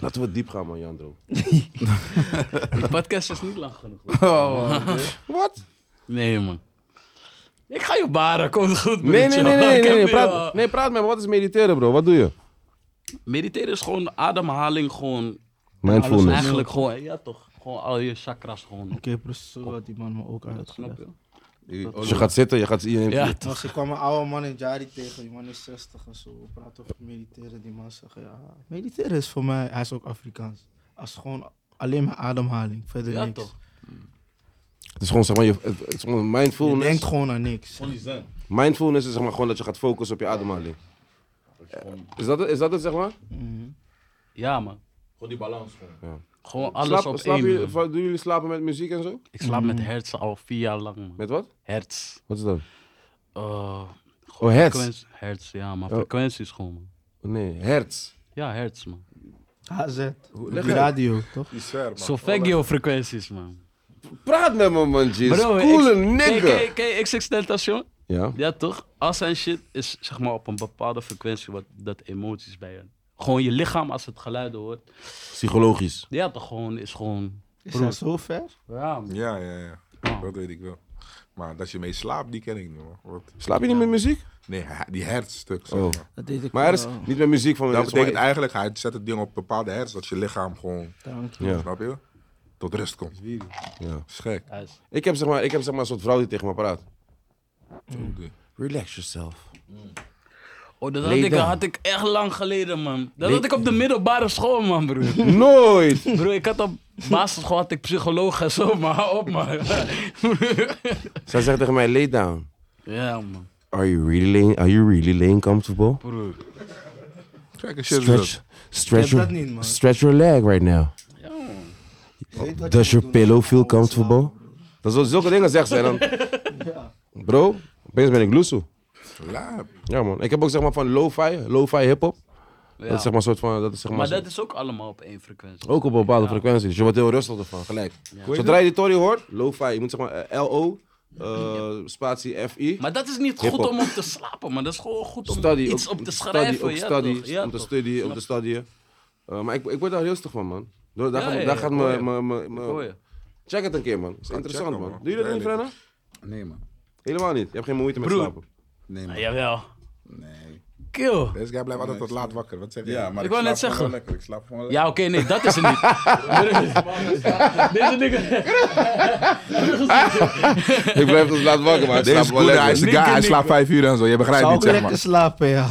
[SPEAKER 1] Laten we diep gaan, man, Jandro.
[SPEAKER 5] De podcast is niet lang genoeg.
[SPEAKER 1] Wat?
[SPEAKER 5] Nee, man. Ik ga je baren, komt goed.
[SPEAKER 1] Nee, nee,
[SPEAKER 5] broertje.
[SPEAKER 1] nee, nee, nee,
[SPEAKER 5] Ik
[SPEAKER 1] nee,
[SPEAKER 5] heb
[SPEAKER 1] nee,
[SPEAKER 5] je
[SPEAKER 1] praat,
[SPEAKER 5] al.
[SPEAKER 1] nee, praat met me. Wat is mediteren, bro? Wat doe je?
[SPEAKER 5] Mediteren is gewoon ademhaling, gewoon. Alles
[SPEAKER 1] Mindfulness.
[SPEAKER 5] eigenlijk gewoon, ja toch. Gewoon al je chakras gewoon.
[SPEAKER 4] Oké, precies zo had die man me ook
[SPEAKER 5] Snap
[SPEAKER 4] uitgelegd.
[SPEAKER 5] je?
[SPEAKER 1] Als Dus je gaat zitten, je gaat... Je neemt-
[SPEAKER 5] Ja,
[SPEAKER 4] Als ik kwam een oude man in Jari tegen, die man is 60 en zo. We praten over mediteren. Die man zegt: Ja, mediteren is voor mij, hij is ook Afrikaans. Als gewoon alleen maar ademhaling, verder
[SPEAKER 5] Ja,
[SPEAKER 4] niks.
[SPEAKER 5] toch.
[SPEAKER 1] Het is gewoon, zeg maar, je, het het is gewoon
[SPEAKER 4] Je
[SPEAKER 1] mindfulness.
[SPEAKER 4] denkt gewoon aan niks.
[SPEAKER 6] Gewoon die zen.
[SPEAKER 1] Mindfulness is zeg maar gewoon dat je gaat focussen op je ademhaling.
[SPEAKER 6] Dat je Gewoon,
[SPEAKER 1] Is dat, het- is dat het, zeg maar?
[SPEAKER 4] Mhm.
[SPEAKER 5] ja man.
[SPEAKER 6] gewoon die balans. Gewoon.
[SPEAKER 5] Gewoon alles
[SPEAKER 1] Slaap-
[SPEAKER 5] op
[SPEAKER 1] slaap
[SPEAKER 5] één.
[SPEAKER 1] jullie-
[SPEAKER 5] man.
[SPEAKER 1] va- doen jullie slapen met muziek en zo?
[SPEAKER 5] Ik slaap met hertz al vier jaar lang. Man.
[SPEAKER 1] Met wat?
[SPEAKER 5] Hertz.
[SPEAKER 1] Wat is dat?
[SPEAKER 5] Eh,
[SPEAKER 1] Oh, hertz.
[SPEAKER 5] frequentie- hertz, ja man.
[SPEAKER 1] Oh.
[SPEAKER 5] Frequenties gewoon. Man.
[SPEAKER 1] Nee, hertz.
[SPEAKER 5] Ja, hertz man.
[SPEAKER 4] HZ, op
[SPEAKER 1] leg
[SPEAKER 4] de
[SPEAKER 1] uit.
[SPEAKER 4] radio, toch?
[SPEAKER 3] Is ver, man.
[SPEAKER 5] Solfeggio frequenties man.
[SPEAKER 1] Praat met me, man, Jeez.
[SPEAKER 5] Bro,
[SPEAKER 1] Coole
[SPEAKER 5] ik- Kijk,
[SPEAKER 1] nigger.
[SPEAKER 5] kijk, kijk, XX Tentation.
[SPEAKER 1] Ja,
[SPEAKER 5] Ja, toch? As en shit is zeg maar op een bepaalde frequentie wat dat emoties bij je. Gewoon je lichaam als het geluiden hoort.
[SPEAKER 1] psychologisch.
[SPEAKER 5] Ja, toch gewoon is gewoon.
[SPEAKER 4] Is dat zo ver?
[SPEAKER 5] Ja, man.
[SPEAKER 3] Ja, ja, ja.
[SPEAKER 5] Ja.
[SPEAKER 3] Dat weet ik wel. Maar dat je mee slaapt, die ken ik niet, man. Wat?
[SPEAKER 1] Slaap je niet met muziek?
[SPEAKER 3] Nee, hij- die hertstuk, zeg
[SPEAKER 1] Oh.
[SPEAKER 3] maar.
[SPEAKER 4] Dat deed ik
[SPEAKER 1] Maar er is
[SPEAKER 4] wel.
[SPEAKER 1] niet met muziek van...
[SPEAKER 3] Dat
[SPEAKER 1] zeg maar,
[SPEAKER 3] betekent eigenlijk, hij zet het ding op bepaalde hersen, dat je lichaam gewoon,
[SPEAKER 4] Dank je.
[SPEAKER 1] Ja.
[SPEAKER 3] snap je? Tot rust komt.
[SPEAKER 1] Ja.
[SPEAKER 3] is gek.
[SPEAKER 5] Hij is-
[SPEAKER 1] Ik heb, zeg maar, ik heb zeg maar een soort vrouw die tegen me praat.
[SPEAKER 3] Oké.
[SPEAKER 1] Relax yourself.
[SPEAKER 5] Oh, dat had
[SPEAKER 1] Lay
[SPEAKER 5] ik,
[SPEAKER 1] down.
[SPEAKER 5] had ik echt lang geleden, man. Dat had ik op de middelbare school, man, broer.
[SPEAKER 1] Nooit!
[SPEAKER 5] Broer, ik had op basisschool had ik psycholoog en zo, maar hou op, man.
[SPEAKER 1] Zij zegt tegen mij, lay down.
[SPEAKER 5] ja, man.
[SPEAKER 1] Are you really laying, are you really laying comfortable?
[SPEAKER 5] Broer.
[SPEAKER 3] Kijk, een shit is dat.
[SPEAKER 1] Stretch, stretch,
[SPEAKER 4] Ik heb
[SPEAKER 1] your,
[SPEAKER 4] dat niet, man.
[SPEAKER 1] stretch your leg right now.
[SPEAKER 4] Je weet wat je
[SPEAKER 1] Does
[SPEAKER 4] moet
[SPEAKER 1] your
[SPEAKER 4] doen.
[SPEAKER 1] pillow feel comfortable? Dat is zulke dingen zegt ze. En dan, bro, opeens ben ik loesoe.
[SPEAKER 3] Laap.
[SPEAKER 1] Ja man, ik heb ook zeg maar van lo-fi, lo-fi hip-hop. Dat
[SPEAKER 5] Ja.
[SPEAKER 1] is zeg maar soort van, dat is zeg maar,
[SPEAKER 5] Maar
[SPEAKER 1] zo-
[SPEAKER 5] dat is ook allemaal op één frequentie.
[SPEAKER 1] ook op een bepaalde
[SPEAKER 5] Ja.
[SPEAKER 1] frequentie. Dus je wordt heel rustig ervan, gelijk.
[SPEAKER 3] Hoe heet
[SPEAKER 1] Zodra je die tory hoort, lo-fi, je moet zeg maar eh, LO, eh, spatie FI.
[SPEAKER 5] Maar dat is niet
[SPEAKER 1] Hiphop.
[SPEAKER 5] goed om op te slapen, man. Dat is gewoon goed om
[SPEAKER 1] Study,
[SPEAKER 5] iets
[SPEAKER 1] ook-
[SPEAKER 5] op te
[SPEAKER 1] study,
[SPEAKER 5] schrijven.
[SPEAKER 1] ook
[SPEAKER 5] ja,
[SPEAKER 1] study,
[SPEAKER 5] toch? Ja,
[SPEAKER 1] om te
[SPEAKER 5] toch?
[SPEAKER 1] studie, om te studieën. Eh, maar ik, ik word daar rustig van man. Daar, daar
[SPEAKER 5] Ja,
[SPEAKER 1] gaat-
[SPEAKER 5] ja,
[SPEAKER 1] daar
[SPEAKER 5] ja,
[SPEAKER 1] gaat
[SPEAKER 5] ik
[SPEAKER 1] me-
[SPEAKER 5] hoor je.
[SPEAKER 1] me- me- me-
[SPEAKER 5] Hoor je?
[SPEAKER 1] Check het een keer man, is interessant
[SPEAKER 3] checken,
[SPEAKER 1] man.
[SPEAKER 3] man.
[SPEAKER 1] Doe je dat niet
[SPEAKER 3] Duidelijk.
[SPEAKER 1] Frenna?
[SPEAKER 2] Nee, man.
[SPEAKER 1] Helemaal niet, je hebt geen moeite met
[SPEAKER 5] Broer.
[SPEAKER 1] slapen.
[SPEAKER 2] Nee,
[SPEAKER 5] Ah,
[SPEAKER 2] man.
[SPEAKER 5] jawel.
[SPEAKER 2] Nee.
[SPEAKER 5] Kill.
[SPEAKER 3] Deze guy blijft altijd tot laat wakker. Wat zeg je?
[SPEAKER 2] Ja, maar
[SPEAKER 5] Ik
[SPEAKER 2] ik,
[SPEAKER 5] wou net
[SPEAKER 2] slaap gewoon
[SPEAKER 5] zeggen.
[SPEAKER 2] lekker. Ik slaap gewoon lekker.
[SPEAKER 5] Ja, oké, nee, dat is het niet. Deze dingen.
[SPEAKER 1] Ik blijf dus laat wakker, maar ik
[SPEAKER 3] Deze
[SPEAKER 1] slaap
[SPEAKER 3] is
[SPEAKER 1] wel
[SPEAKER 3] goed, hij is
[SPEAKER 1] lekker.
[SPEAKER 3] de guy, hij slaapt vijf uur en zo. Je begrijpt
[SPEAKER 4] Zou
[SPEAKER 3] niet,
[SPEAKER 4] ook
[SPEAKER 3] zeg
[SPEAKER 4] lekker
[SPEAKER 3] maar.
[SPEAKER 4] slapen, ja.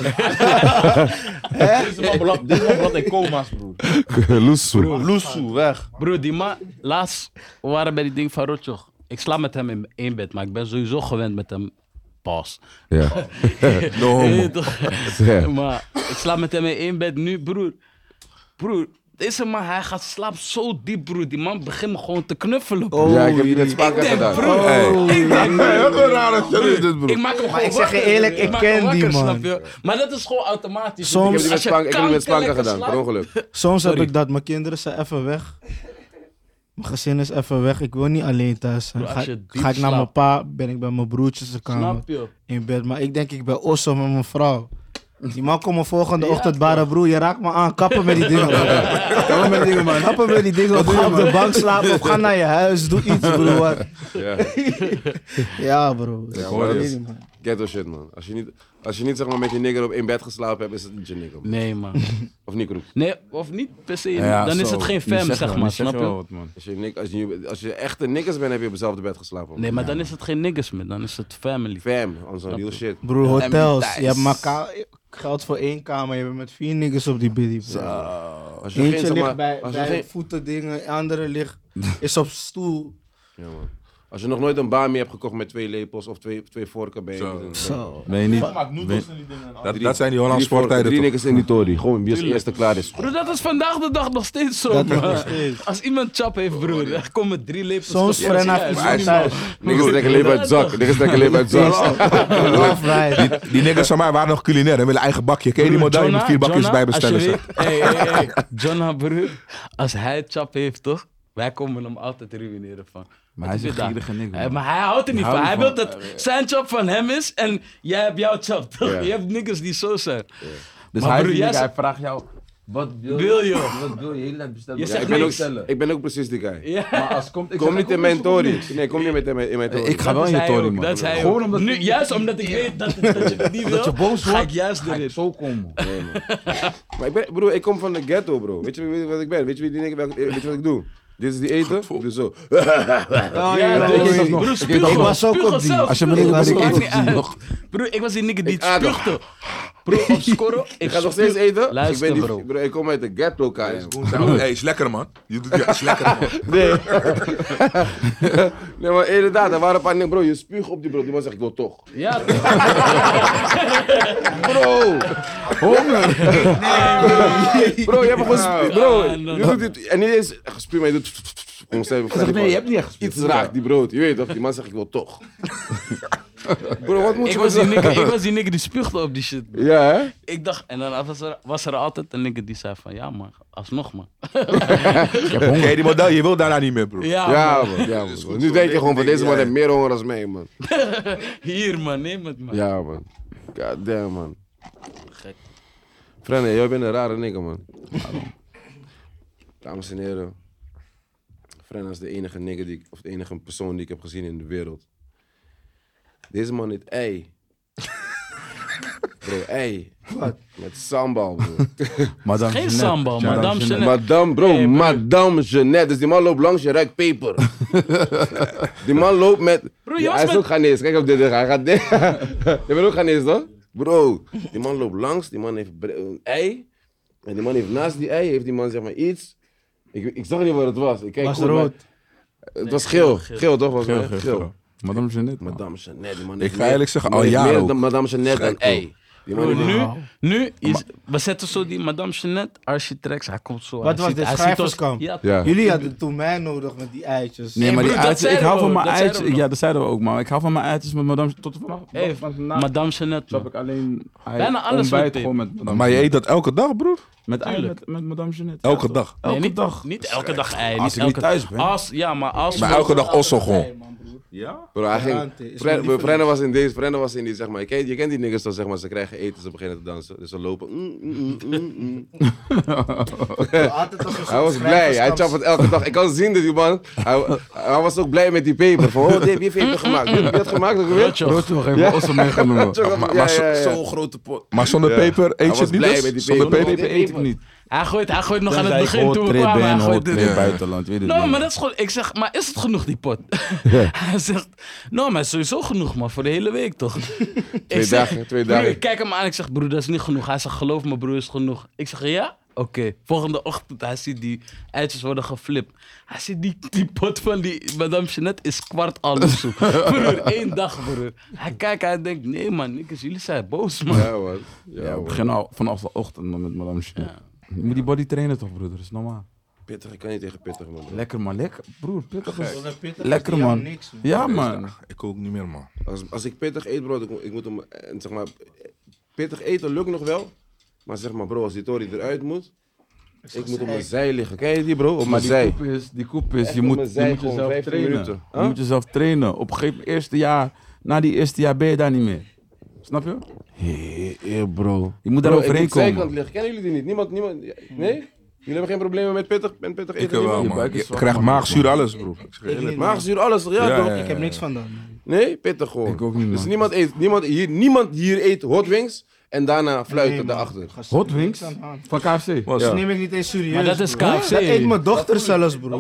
[SPEAKER 6] Deze man belandt deze man belandt in coma's, broer.
[SPEAKER 1] Loesoe.
[SPEAKER 6] Loesoe, weg.
[SPEAKER 5] Broer, die man, laatst we waren bij die ding van Rotjoch. Ik slaap met hem in één bed, maar ik ben sowieso gewend met hem. Pas.
[SPEAKER 1] Ja.
[SPEAKER 3] No homo.
[SPEAKER 5] Nee, toch?
[SPEAKER 1] Ja.
[SPEAKER 5] maar ik slaap met hem in één bed nu, broer. Broer, deze man, hij gaat slapen zo diep, broer. Die man begint me gewoon te knuffelen. broer.
[SPEAKER 1] ja, ik heb hier net vaker
[SPEAKER 5] denk,
[SPEAKER 1] gedaan.
[SPEAKER 5] broer.
[SPEAKER 3] Hey.
[SPEAKER 5] Ik denk,
[SPEAKER 3] Hey, wat een rare shit is dit,
[SPEAKER 5] Ik
[SPEAKER 3] broer.
[SPEAKER 5] maak hem
[SPEAKER 4] Oh.
[SPEAKER 5] gewoon
[SPEAKER 4] Maar ik zeg je
[SPEAKER 5] wakker,
[SPEAKER 4] eerlijk,
[SPEAKER 5] broer.
[SPEAKER 4] ik
[SPEAKER 5] maak hem
[SPEAKER 4] ken die
[SPEAKER 5] wakker,
[SPEAKER 4] man.
[SPEAKER 5] snap je? Maar dat is gewoon automatisch.
[SPEAKER 1] Ik heb
[SPEAKER 4] Soms-
[SPEAKER 1] die met
[SPEAKER 5] Als je
[SPEAKER 1] Spanka, ik heb die met Spanka
[SPEAKER 5] kankerlekker
[SPEAKER 1] gedaan, per
[SPEAKER 5] slaapt-
[SPEAKER 1] ongeluk.
[SPEAKER 4] Soms heb
[SPEAKER 5] Sorry.
[SPEAKER 4] ik dat. Mijn kinderen zijn even weg. Mijn gezin is even weg. Ik wil niet alleen thuis zijn.
[SPEAKER 5] Bro,
[SPEAKER 4] Ga,
[SPEAKER 5] als je diep
[SPEAKER 4] ga ik naar mijn
[SPEAKER 5] slaapt.
[SPEAKER 4] pa, ben ik bij mijn broertjes de kamer
[SPEAKER 5] Snap je?
[SPEAKER 4] in bed. Maar ik denk ik ben osso met mijn vrouw. Die man komt me volgende
[SPEAKER 5] Ja,
[SPEAKER 4] ochtend bare broer. Je raakt me aan. Kappen met die dingen. bro. Kappen met die dingen, man. Kappen met die dingen. Of ga op de bank slapen of ga naar je huis. Doe iets, broer. Wat.
[SPEAKER 1] Ja.
[SPEAKER 4] Ja, bro. Ik
[SPEAKER 1] hoor
[SPEAKER 4] weet
[SPEAKER 1] je.
[SPEAKER 4] niet, man.
[SPEAKER 1] Ghetto shit, man. Als je niet, als je niet zeg maar, met je nigger op in bed geslapen hebt, is het niet je nigger. man.
[SPEAKER 5] Nee, man.
[SPEAKER 1] Of niet, Kroek?
[SPEAKER 5] Nee, of niet per se.
[SPEAKER 2] Ja,
[SPEAKER 5] dan is
[SPEAKER 2] zo.
[SPEAKER 5] het geen
[SPEAKER 2] Nu
[SPEAKER 5] fam,
[SPEAKER 2] je
[SPEAKER 5] zeg,
[SPEAKER 2] wel, nu
[SPEAKER 5] maar.
[SPEAKER 2] zeg
[SPEAKER 5] Snap je?
[SPEAKER 2] wel wat, man.
[SPEAKER 1] Als je, nik- als, je, als je echte niggers bent, heb je op hetzelfde bed geslapen. man.
[SPEAKER 5] Nee, maar dan is het geen niggas meer. Dan is het family.
[SPEAKER 1] Fam, on some real shit.
[SPEAKER 4] Broer, hotels. Je hebt maar ka- geld voor één kamer. Je bent met vier niggas op die biddy. bro.
[SPEAKER 1] Als je
[SPEAKER 4] Eentje
[SPEAKER 1] geen, zeg
[SPEAKER 4] ligt
[SPEAKER 1] maar,
[SPEAKER 4] bij,
[SPEAKER 1] als je
[SPEAKER 4] bij
[SPEAKER 1] geen-
[SPEAKER 4] voeten dingen, andere ligt is op stoel.
[SPEAKER 1] Ja, man. Als je nog nooit een bami hebt gekocht met twee lepels of twee, twee vorken, ben je niet een-
[SPEAKER 4] Zo.
[SPEAKER 2] Ben je niet...
[SPEAKER 6] Maak noedels en die dingen.
[SPEAKER 3] Dat, dat zijn die Hollandse
[SPEAKER 1] Drie voor-
[SPEAKER 3] sporttijden
[SPEAKER 1] Drie
[SPEAKER 3] toch?
[SPEAKER 1] niggers in die tory. Gewoon wie als eerste klaar is.
[SPEAKER 5] Broer, dat is vandaag de dag nog steeds zo.
[SPEAKER 4] is
[SPEAKER 5] man.
[SPEAKER 4] nog steeds.
[SPEAKER 5] Als iemand chap heeft, broer, dan komen drie lepels.
[SPEAKER 4] Soms
[SPEAKER 5] toch juist
[SPEAKER 4] Frenna
[SPEAKER 5] uit.
[SPEAKER 4] is
[SPEAKER 5] Maar
[SPEAKER 4] niet thuis.
[SPEAKER 1] Niggers trekken leven uit het zak. Niggers trekken leven uit het zak.
[SPEAKER 4] Love ride.
[SPEAKER 3] Die niggers van mij waren nog culinair en willen eigen bakje. Ken je die
[SPEAKER 5] broer,
[SPEAKER 3] model? Je moet
[SPEAKER 5] Jonah,
[SPEAKER 3] vier bakjes
[SPEAKER 5] Jonah,
[SPEAKER 3] bij bestellen.
[SPEAKER 5] als je
[SPEAKER 3] zeg.
[SPEAKER 5] weet- Hey, hey, hey. Jonah, broer, als hij chap heeft, toch? Wij komen hem altijd ruïneren van.
[SPEAKER 2] Maar hij is een
[SPEAKER 5] Wat vind je
[SPEAKER 2] gierige nigger,
[SPEAKER 5] daar? Eh,
[SPEAKER 2] man.
[SPEAKER 5] Maar hij houdt er niet
[SPEAKER 2] Hij
[SPEAKER 5] van. Hij
[SPEAKER 2] houdt
[SPEAKER 5] wil
[SPEAKER 2] van-
[SPEAKER 5] dat zijn chap van hem is en jij hebt jouw chap, toch?
[SPEAKER 1] Ja.
[SPEAKER 5] Je hebt niggers die zo zijn.
[SPEAKER 2] Dus
[SPEAKER 5] Maar
[SPEAKER 2] hij, is die
[SPEAKER 5] broer, jij
[SPEAKER 2] nigger,
[SPEAKER 5] zegt-
[SPEAKER 2] hij vraagt jou, wat wil,
[SPEAKER 5] Wil je?
[SPEAKER 2] Wat wil je? Heel erg bestellen.
[SPEAKER 5] Je
[SPEAKER 2] Ja,
[SPEAKER 5] zegt
[SPEAKER 1] Ik
[SPEAKER 2] wil
[SPEAKER 1] ben, ook,
[SPEAKER 5] niks.
[SPEAKER 2] bestellen.
[SPEAKER 1] ik ben ook precies die guy.
[SPEAKER 5] Ja.
[SPEAKER 2] Maar als komt, ik
[SPEAKER 1] Kom
[SPEAKER 2] zeg,
[SPEAKER 1] niet
[SPEAKER 2] kom
[SPEAKER 1] in mijn
[SPEAKER 2] eens, kom
[SPEAKER 1] tory.
[SPEAKER 2] niet.
[SPEAKER 1] Nee, kom niet met in mijn, in mijn tory.
[SPEAKER 2] Ik ga
[SPEAKER 5] Dat
[SPEAKER 2] wel
[SPEAKER 5] is
[SPEAKER 2] in je
[SPEAKER 5] hij
[SPEAKER 2] tory,
[SPEAKER 5] ook,
[SPEAKER 2] man.
[SPEAKER 5] Dat is hij
[SPEAKER 2] Gewoon
[SPEAKER 5] ook.
[SPEAKER 2] omdat
[SPEAKER 5] nu,
[SPEAKER 2] ik-
[SPEAKER 5] juist omdat ik weet dat, dat je het niet wil,
[SPEAKER 2] Dat je boos
[SPEAKER 5] ga ik
[SPEAKER 2] wordt,
[SPEAKER 5] juist
[SPEAKER 2] ga ik
[SPEAKER 5] erin.
[SPEAKER 2] zo komen.
[SPEAKER 1] Nee, man. maar ik ben, broer, ik kom van de ghetto, bro. Weet je, weet je wat ik ben? Weet je, wie die nigger- welke- weet je wat ik doe? Dit is die eten, ik doe zo.
[SPEAKER 4] Oh,
[SPEAKER 5] Ja,
[SPEAKER 4] ja,
[SPEAKER 5] broer,
[SPEAKER 4] ja, ja.
[SPEAKER 5] Broer,
[SPEAKER 4] Ik
[SPEAKER 5] spuug
[SPEAKER 4] was ook op die.
[SPEAKER 2] Als je me
[SPEAKER 5] niet
[SPEAKER 2] niet laat zien,
[SPEAKER 5] maakt
[SPEAKER 2] ik
[SPEAKER 5] niet
[SPEAKER 2] ook die.
[SPEAKER 5] uit. Broer, ik was die nigger die
[SPEAKER 1] Ik adem.
[SPEAKER 5] spuugde. Broer, op scoren.
[SPEAKER 1] Ik ga nog steeds eten.
[SPEAKER 5] Luister,
[SPEAKER 1] ik ben
[SPEAKER 5] bro.
[SPEAKER 1] niet, bro. Ik kom uit de ghetto, guys.
[SPEAKER 3] Hey, is lekker man. Je doet- ja, is lekker man.
[SPEAKER 1] Nee. nee, maar inderdaad, er waren een paar dingen, bro. Je spuugt op die bro. Die man zegt, ik wil toch.
[SPEAKER 5] Ja,
[SPEAKER 1] Bro!
[SPEAKER 2] Honger!
[SPEAKER 1] Bro, je hebt gewoon spuug. Bro,
[SPEAKER 5] Ah, no,
[SPEAKER 1] je doet dit. En niet eens echt spuug, maar je doet... Om te zeggen,
[SPEAKER 2] Nee, je hebt niet echt gespeeld.
[SPEAKER 1] Iets raakt die brood. Je weet toch, die man zegt, ik wil toch. Bro, wat moet
[SPEAKER 5] ik
[SPEAKER 1] je
[SPEAKER 5] was,
[SPEAKER 1] met
[SPEAKER 5] die
[SPEAKER 1] zeggen?
[SPEAKER 5] nigger, ik was die nigger die spuugde op die shit.
[SPEAKER 1] Ja, hè?
[SPEAKER 5] Ik dacht, en dan was er, was er altijd een nigger die zei van, ja man, alsnog man.
[SPEAKER 3] Ken je die model? Je wil daarna niet meer, bro.
[SPEAKER 5] Ja,
[SPEAKER 1] Ja,
[SPEAKER 5] man.
[SPEAKER 1] man. Ja, man.
[SPEAKER 3] is goed
[SPEAKER 1] nu
[SPEAKER 3] zo.
[SPEAKER 1] denk je gewoon
[SPEAKER 3] Ik
[SPEAKER 1] van
[SPEAKER 3] denk
[SPEAKER 1] deze man
[SPEAKER 3] jij.
[SPEAKER 1] heeft meer honger dan mij, man.
[SPEAKER 5] Hier man, neem het man.
[SPEAKER 1] Ja, man. God damn, man.
[SPEAKER 5] Gek.
[SPEAKER 1] Frenny, jij bent een rare nigger, man. Dames en heren. Frenny is de enige nigger die ik, of de enige persoon die ik heb gezien in de wereld. Deze man heet ei. Bro, ei. Met sambal, bro.
[SPEAKER 2] Madame
[SPEAKER 5] Geen
[SPEAKER 2] Jeanette.
[SPEAKER 5] sambal,
[SPEAKER 2] Madame
[SPEAKER 5] madame
[SPEAKER 2] Jeanette.
[SPEAKER 5] Jeanette.
[SPEAKER 1] Madame, bro,
[SPEAKER 5] Hey, bro.
[SPEAKER 1] Madame Jeannette. Dus die man loopt langs, je ruikt peper. die man loopt met...
[SPEAKER 5] Bro, je
[SPEAKER 1] Ja,
[SPEAKER 5] was
[SPEAKER 1] hij is
[SPEAKER 5] met-
[SPEAKER 1] ook Ghanese. Kijk op dit, hij gaat dit. je bent ook Ghanese, toch? Bro, die man loopt langs, die man heeft bre- een ei. En die man heeft naast die ei, heeft die man zeg maar iets. Ik, ik zag niet wat het was. Ik kijk
[SPEAKER 4] Was
[SPEAKER 1] goed,
[SPEAKER 4] rood.
[SPEAKER 1] maar- Het was geel.
[SPEAKER 5] geel.
[SPEAKER 1] Geel, toch? Was
[SPEAKER 2] Geel,
[SPEAKER 1] het?
[SPEAKER 2] geel, geel. Madame Jeanette. man.
[SPEAKER 1] Madame Jeannette, die man
[SPEAKER 3] Ik
[SPEAKER 1] heeft
[SPEAKER 3] ga
[SPEAKER 1] meer-
[SPEAKER 3] eerlijk zeggen,
[SPEAKER 1] die man
[SPEAKER 3] al
[SPEAKER 1] heeft
[SPEAKER 3] jaren
[SPEAKER 1] meer
[SPEAKER 3] ook.
[SPEAKER 1] dan Madame Jeannette dan
[SPEAKER 3] Schrik,
[SPEAKER 1] ei. Die
[SPEAKER 2] Oh,
[SPEAKER 1] man
[SPEAKER 5] Broer,
[SPEAKER 1] heeft-
[SPEAKER 5] nu, nu is, we zetten zo die Madame Jeanette, Architrax, hij komt zo.
[SPEAKER 4] Wat
[SPEAKER 5] hij
[SPEAKER 4] was
[SPEAKER 5] ziet-
[SPEAKER 4] dit,
[SPEAKER 5] hij ziet ons-
[SPEAKER 4] schrijverskamp?
[SPEAKER 5] Ja,
[SPEAKER 1] Ja.
[SPEAKER 4] Jullie hadden toen mij nodig met die eitjes.
[SPEAKER 2] Nee, maar
[SPEAKER 5] broer,
[SPEAKER 2] die
[SPEAKER 5] dat
[SPEAKER 2] uitjes, ik
[SPEAKER 5] zeiden
[SPEAKER 2] hou
[SPEAKER 5] we
[SPEAKER 2] van
[SPEAKER 5] ook,
[SPEAKER 2] mijn
[SPEAKER 5] dat
[SPEAKER 2] uitjes.
[SPEAKER 5] zeiden we
[SPEAKER 2] Ja, dat zeiden we ook, maar ik hou van mijn uitjes met madame tot vanaf.
[SPEAKER 5] Hey,
[SPEAKER 2] vanaf vandaag
[SPEAKER 5] Madame Jeanette.
[SPEAKER 2] heb
[SPEAKER 5] man.
[SPEAKER 2] ik alleen ei-
[SPEAKER 5] Bijna alles
[SPEAKER 2] ontbijt
[SPEAKER 5] met
[SPEAKER 2] gewoon met madame.
[SPEAKER 3] Maar je eet
[SPEAKER 2] Jeanette.
[SPEAKER 3] dat elke dag, broer?
[SPEAKER 2] met ei,
[SPEAKER 5] Tuurlijk.
[SPEAKER 2] met, met madame Jeanette.
[SPEAKER 3] Elke
[SPEAKER 2] Ja,
[SPEAKER 3] dag.
[SPEAKER 5] Nee,
[SPEAKER 2] Elke
[SPEAKER 5] niet,
[SPEAKER 2] dag.
[SPEAKER 5] Niet elke dag ei.
[SPEAKER 2] Als ik
[SPEAKER 5] elke
[SPEAKER 2] niet thuis ben.
[SPEAKER 5] Als, ja, maar als.
[SPEAKER 3] Maar elke dag ossel gewoon.
[SPEAKER 1] Bro, hij ging,
[SPEAKER 4] Raante is
[SPEAKER 1] Fren-
[SPEAKER 4] mijn
[SPEAKER 1] Frenna was in deze, Frenna was in die, zeg maar. Je kent, je kent die niggas dan, zeg maar, ze krijgen eten, ze beginnen te dansen. Dus ze lopen. mm, mm, mm, mm, mm.
[SPEAKER 4] Altijd als een
[SPEAKER 1] Hij was
[SPEAKER 4] schrijverskamp.
[SPEAKER 1] blij, hij chapt het elke dag. Ik kan zien dat die man, hij, hij was ook blij met die peper. Van, oh, dit, wie heeft peper gemaakt? Wie heeft dat gemaakt ook weer?
[SPEAKER 2] Broodje nog even ossel meegenomen.
[SPEAKER 3] Maar,
[SPEAKER 1] Ja,
[SPEAKER 3] maar zo-
[SPEAKER 1] ja, ja.
[SPEAKER 3] zo'n grote pot. Maar zonder
[SPEAKER 1] Ja.
[SPEAKER 3] peper
[SPEAKER 1] Hij
[SPEAKER 3] eet je
[SPEAKER 1] was
[SPEAKER 3] het niet
[SPEAKER 1] blij met die
[SPEAKER 3] dus? Zonder
[SPEAKER 1] peper.
[SPEAKER 3] peper?
[SPEAKER 2] Peper eet ik niet.
[SPEAKER 5] Hij gooit, hij gooit nog aan het
[SPEAKER 2] Tenzij ik
[SPEAKER 5] begin toen we
[SPEAKER 2] roadtrip
[SPEAKER 5] kwamen.
[SPEAKER 2] ben,
[SPEAKER 5] Hij gooit
[SPEAKER 2] roadtrip
[SPEAKER 5] dit.
[SPEAKER 2] buitenland, weet ik
[SPEAKER 5] Nou,
[SPEAKER 2] niet.
[SPEAKER 5] maar dat is gewoon. Ik zeg, maar is het genoeg die pot? hij zegt, nou, maar sowieso genoeg, man, voor de hele week toch?
[SPEAKER 1] Twee dagen, twee
[SPEAKER 5] broer,
[SPEAKER 1] dagen.
[SPEAKER 5] ik kijk hem aan. Ik zeg, broer, dat is niet genoeg. Hij zegt, geloof me, broer, is genoeg. Ik zeg, ja? Oké. Volgende ochtend, hij ziet die eitjes worden geflipt. Hij ziet die, die pot van die Madame Jeanette is kwart alles zoek. broer, één dag, broer. Hij kijkt, hij denkt, nee, man, niks, jullie zijn boos, man.
[SPEAKER 1] Ja, man. Ja,
[SPEAKER 2] Ja, we
[SPEAKER 1] man.
[SPEAKER 2] beginnen al vanaf de ochtend man, met madame Jeanette. Je moet die body trainen toch, broeder? Dat is normaal.
[SPEAKER 1] Pittig, ik kan niet tegen pittig, man. bro.
[SPEAKER 2] Lekker man, lekker. Broer, pittig is...
[SPEAKER 4] Zonder pittig
[SPEAKER 2] Lekker
[SPEAKER 4] is die
[SPEAKER 2] man.
[SPEAKER 4] jou niks, man.
[SPEAKER 2] Ja man.
[SPEAKER 3] Ik ook niet meer, man.
[SPEAKER 1] Als, als ik pittig eet, bro, ik, moet- ik moet hem, eh, zeg maar, pittig eten lukt nog wel. Maar zeg maar, bro, als die tori eruit moet, ik moet op mijn zij liggen. Ken je die, bro? Op
[SPEAKER 2] Maar
[SPEAKER 1] mijn
[SPEAKER 2] die
[SPEAKER 1] zij.
[SPEAKER 2] koep is, die koep is,
[SPEAKER 1] Echt
[SPEAKER 2] je
[SPEAKER 1] op
[SPEAKER 2] moet,
[SPEAKER 1] mijn
[SPEAKER 2] je
[SPEAKER 1] zij
[SPEAKER 2] moet
[SPEAKER 1] gewoon
[SPEAKER 2] jezelf
[SPEAKER 1] 15
[SPEAKER 2] trainen.
[SPEAKER 1] minuten.
[SPEAKER 2] Je
[SPEAKER 1] Huh?
[SPEAKER 2] moet jezelf trainen. Op een gegeven moment, eerste jaar, na die eerste jaar ben je daar niet meer. Snap je?
[SPEAKER 1] Hé, hé, Eh, bro.
[SPEAKER 2] Je moet daar
[SPEAKER 1] Bro, ik
[SPEAKER 2] overheen
[SPEAKER 1] moet zijkant
[SPEAKER 2] komen.
[SPEAKER 1] liggen. Kennen jullie die niet? Niemand, niemand. ja, Nee? Jullie hebben geen problemen met pittig, met pittig
[SPEAKER 3] Hmm. Ik
[SPEAKER 1] eten?
[SPEAKER 3] wel,
[SPEAKER 1] niemand?
[SPEAKER 2] Je
[SPEAKER 3] man.
[SPEAKER 2] buik is
[SPEAKER 3] Ik
[SPEAKER 2] zwak,
[SPEAKER 3] krijg
[SPEAKER 2] man.
[SPEAKER 3] maagzuur alles, broer. Ik zeg je
[SPEAKER 4] Ik
[SPEAKER 3] eerlijk.
[SPEAKER 4] niet, man.
[SPEAKER 1] Maagzuur, alles. Ja,
[SPEAKER 3] Ja,
[SPEAKER 1] toch?
[SPEAKER 3] ja, ja.
[SPEAKER 4] Ik heb niks van dat. man.
[SPEAKER 1] Nee, pittig gewoon.
[SPEAKER 2] Ik ook niet,
[SPEAKER 1] Dus
[SPEAKER 2] man.
[SPEAKER 1] niemand eet, niemand hier, niemand hier eet hot wings en daarna fluiten
[SPEAKER 4] Nee, man.
[SPEAKER 1] daarachter.
[SPEAKER 4] Gast,
[SPEAKER 2] Hot
[SPEAKER 4] niks
[SPEAKER 2] Wings
[SPEAKER 4] aan de hand.
[SPEAKER 2] van KFC.
[SPEAKER 3] Was-
[SPEAKER 4] Dat neem ik niet eens serieus.
[SPEAKER 5] Maar dat is
[SPEAKER 4] broer.
[SPEAKER 5] KFC.
[SPEAKER 4] Dat eet mijn dochter zelfs, broer.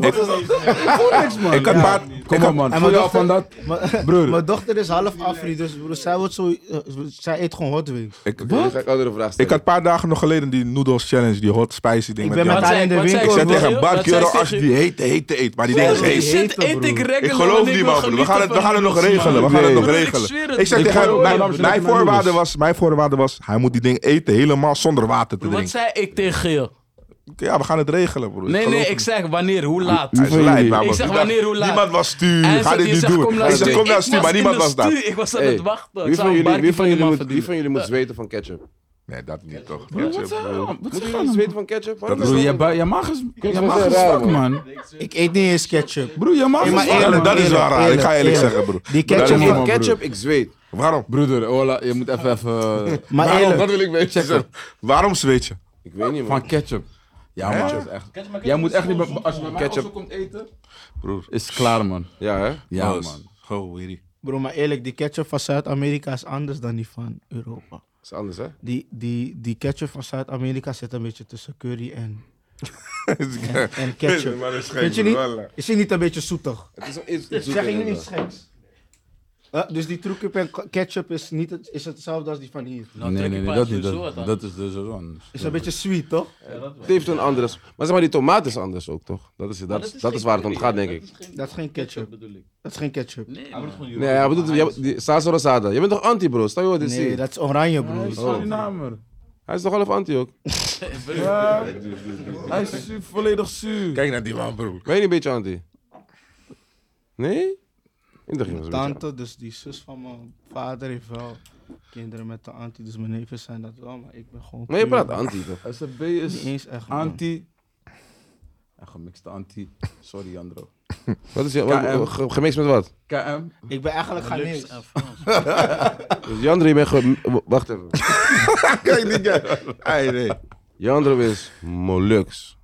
[SPEAKER 3] Ik had paar...
[SPEAKER 2] Kom op man,
[SPEAKER 4] En
[SPEAKER 2] voel je
[SPEAKER 4] mijn
[SPEAKER 2] al van
[SPEAKER 4] dochter-
[SPEAKER 2] dat?
[SPEAKER 4] Mijn-
[SPEAKER 2] Broer.
[SPEAKER 4] Mijn dochter is half Afri, dus broer, zij, wordt zo, eh, zij eet gewoon hot wings.
[SPEAKER 3] Ik,
[SPEAKER 1] Dan ga ik andere vraag
[SPEAKER 3] ik
[SPEAKER 1] stellen.
[SPEAKER 3] had een paar dagen nog geleden die noodles challenge, die hot spicy ding.
[SPEAKER 4] Ik
[SPEAKER 3] met
[SPEAKER 4] ben met
[SPEAKER 3] die
[SPEAKER 5] Wat
[SPEAKER 3] ham.
[SPEAKER 4] haar in de
[SPEAKER 5] zei- wat zei
[SPEAKER 3] Ik
[SPEAKER 4] winkel.
[SPEAKER 3] zei
[SPEAKER 5] Wat
[SPEAKER 3] tegen
[SPEAKER 5] zei-
[SPEAKER 3] Barkje,
[SPEAKER 5] wat zei-
[SPEAKER 3] als die heet, heet, heet. Maar die ding is
[SPEAKER 5] Zelfs die
[SPEAKER 3] heet.
[SPEAKER 5] shit
[SPEAKER 4] Heet,
[SPEAKER 5] eet ik
[SPEAKER 4] broer.
[SPEAKER 5] regular,
[SPEAKER 3] Ik geloof
[SPEAKER 5] want ik
[SPEAKER 3] niet,
[SPEAKER 5] wil
[SPEAKER 3] man, broer. We
[SPEAKER 5] genieten
[SPEAKER 3] gaan het, we
[SPEAKER 5] van
[SPEAKER 3] gaan het nog
[SPEAKER 5] alles,
[SPEAKER 3] regelen. We
[SPEAKER 5] man.
[SPEAKER 3] gaan het nog
[SPEAKER 5] Broer, ik
[SPEAKER 3] regelen.
[SPEAKER 5] zweer broer.
[SPEAKER 3] Ik zeg tegen
[SPEAKER 2] Ik
[SPEAKER 3] hem,
[SPEAKER 2] geloof
[SPEAKER 3] mijn,
[SPEAKER 2] Amsterdam
[SPEAKER 3] mijn
[SPEAKER 2] niet, man.
[SPEAKER 3] voorwaarde was, mijn voorwaarde was, Hij moet die ding eten helemaal zonder water te
[SPEAKER 5] Wat
[SPEAKER 3] drinken.
[SPEAKER 5] zei ik tegen je?
[SPEAKER 3] Ja, we gaan het regelen, broer.
[SPEAKER 5] Nee,
[SPEAKER 3] geloof
[SPEAKER 5] nee,
[SPEAKER 3] het
[SPEAKER 5] ik
[SPEAKER 3] niet.
[SPEAKER 5] zeg wanneer, hoe laat.
[SPEAKER 3] Hij is lijp, maar
[SPEAKER 5] Ik
[SPEAKER 3] broer.
[SPEAKER 5] zeg
[SPEAKER 3] Niemand-
[SPEAKER 5] wanneer, hoe laat.
[SPEAKER 3] Niemand was stuur.
[SPEAKER 5] Hij
[SPEAKER 3] Ga
[SPEAKER 5] zegt,
[SPEAKER 3] dit
[SPEAKER 5] je
[SPEAKER 3] nu
[SPEAKER 5] zegt,
[SPEAKER 3] doen.
[SPEAKER 5] kom
[SPEAKER 3] Hij
[SPEAKER 5] luisteren.
[SPEAKER 3] zegt, kom
[SPEAKER 5] Ik
[SPEAKER 3] naar stuur,
[SPEAKER 5] was
[SPEAKER 3] maar
[SPEAKER 5] in
[SPEAKER 3] niemand
[SPEAKER 5] de
[SPEAKER 3] was daar.
[SPEAKER 5] stuur, Ik was aan
[SPEAKER 1] Hey,
[SPEAKER 5] het wachten.
[SPEAKER 1] Wie
[SPEAKER 5] Ik zou
[SPEAKER 1] van
[SPEAKER 5] een
[SPEAKER 1] jullie, wie
[SPEAKER 5] barkie
[SPEAKER 1] van
[SPEAKER 5] van die
[SPEAKER 1] jullie,
[SPEAKER 5] man
[SPEAKER 1] moet, wie van
[SPEAKER 5] verdienen.
[SPEAKER 1] jullie moet zweten van ketchup?
[SPEAKER 3] Nee, dat niet toch.
[SPEAKER 2] Broer, wat zijn-
[SPEAKER 3] broer.
[SPEAKER 2] wat
[SPEAKER 1] Moet
[SPEAKER 2] zijn-
[SPEAKER 1] jullie zweten van ketchup? Waarom
[SPEAKER 2] Broer,
[SPEAKER 1] is
[SPEAKER 2] je,
[SPEAKER 1] dat-
[SPEAKER 2] ba- je mag eens... Je
[SPEAKER 1] dat
[SPEAKER 2] mag
[SPEAKER 1] is
[SPEAKER 2] eens
[SPEAKER 1] raar,
[SPEAKER 2] fucken, man.
[SPEAKER 4] Ik eet niet eens ketchup.
[SPEAKER 2] Broer, je mag
[SPEAKER 4] Nee,
[SPEAKER 2] eens
[SPEAKER 4] maar
[SPEAKER 2] fucken,
[SPEAKER 4] eerlijk,
[SPEAKER 2] man.
[SPEAKER 3] Dat is wel raar. Ik ga eerlijk
[SPEAKER 4] eerlijk.
[SPEAKER 3] zeggen, broer.
[SPEAKER 4] Die
[SPEAKER 3] Dat
[SPEAKER 1] Zweten
[SPEAKER 3] is
[SPEAKER 4] ketchup
[SPEAKER 3] niet
[SPEAKER 1] van
[SPEAKER 3] normaal,
[SPEAKER 1] ketchup, ik zweet.
[SPEAKER 3] Waarom?
[SPEAKER 2] Broeder, hola, je moet even... even
[SPEAKER 4] Maar
[SPEAKER 3] Waarom?
[SPEAKER 4] eerlijk,
[SPEAKER 3] Dat eh, wil ik weten. Zeg, Waarom zweet je?
[SPEAKER 1] Ik weet niet, man.
[SPEAKER 2] van ketchup. Ja,
[SPEAKER 3] Hè?
[SPEAKER 2] man. dat is echt... Jij moet echt niet... be- Als je bij mij
[SPEAKER 1] Ketchup.
[SPEAKER 2] ketchup komt eten,
[SPEAKER 3] Broer.
[SPEAKER 2] is klaar, man.
[SPEAKER 1] Ja, hè?
[SPEAKER 2] Ja,
[SPEAKER 3] Alles.
[SPEAKER 2] man.
[SPEAKER 3] Goh, weerie.
[SPEAKER 4] bro, maar eerlijk, die ketchup van Zuid-Amerika is anders dan die van Europa.
[SPEAKER 1] is anders, hè?
[SPEAKER 4] Die, die, die ketchup van Zuid-Amerika zit een beetje tussen curry en, en, en ketchup.
[SPEAKER 3] Maar dat is gek,
[SPEAKER 4] Vind je
[SPEAKER 3] broer.
[SPEAKER 4] niet? Is die niet een beetje zoetig?
[SPEAKER 1] Het is een iets
[SPEAKER 4] Zeg ik nu iets geks? Huh? dus die trucje en k- ketchup is, niet het, is hetzelfde als die van hier.
[SPEAKER 5] Nou,
[SPEAKER 2] nee,
[SPEAKER 5] trek
[SPEAKER 2] nee,
[SPEAKER 5] je
[SPEAKER 2] nee,
[SPEAKER 5] pas
[SPEAKER 2] dat niet.
[SPEAKER 5] sowieso
[SPEAKER 2] Dat,
[SPEAKER 5] wat aan.
[SPEAKER 2] dat is dus zo anders.
[SPEAKER 4] Is een beetje sweet, toch?
[SPEAKER 1] Het heeft een andere... Maar zeg maar, die tomaat is anders ook, toch? Dat is, dat is, dat is waar het om gaat, denk ik.
[SPEAKER 4] Dat is geen ketchup.
[SPEAKER 5] bedoel ik.
[SPEAKER 4] Dat is geen ketchup.
[SPEAKER 5] Nee, man.
[SPEAKER 1] Nee, ja, bedoel, je, die, salsa rosada. Je bent toch anti, bro? Stel je wat dit
[SPEAKER 4] Nee,
[SPEAKER 1] ziet.
[SPEAKER 4] dat is oranje, broer.
[SPEAKER 2] Surinamer.
[SPEAKER 1] Hij is toch half anti ook?
[SPEAKER 2] Hij is su- volledig zuur.
[SPEAKER 3] Kijk naar die man, broer.
[SPEAKER 1] Ben je niet een beetje anti? Nee? In de ging
[SPEAKER 4] Tante, dus die zus van mijn vader heeft wel kinderen met de anti, dus mijn neven zijn dat wel, maar ik ben gewoon...
[SPEAKER 1] Maar je
[SPEAKER 4] puur
[SPEAKER 1] praat anti, toch?
[SPEAKER 2] SFB
[SPEAKER 4] Niet
[SPEAKER 2] is
[SPEAKER 4] eens echt, man.
[SPEAKER 2] anti... Een gemixte anti. Sorry, Andro.
[SPEAKER 1] Wat is je... wat- ge- Gemixt met wat?
[SPEAKER 2] KM.
[SPEAKER 4] Ik ben eigenlijk Ghanese.
[SPEAKER 5] Lux en Frans.
[SPEAKER 1] Dus Jandro, je bent ge- Wacht even.
[SPEAKER 3] Kijk die guy. Hey, nee.
[SPEAKER 1] Jandro is Molux.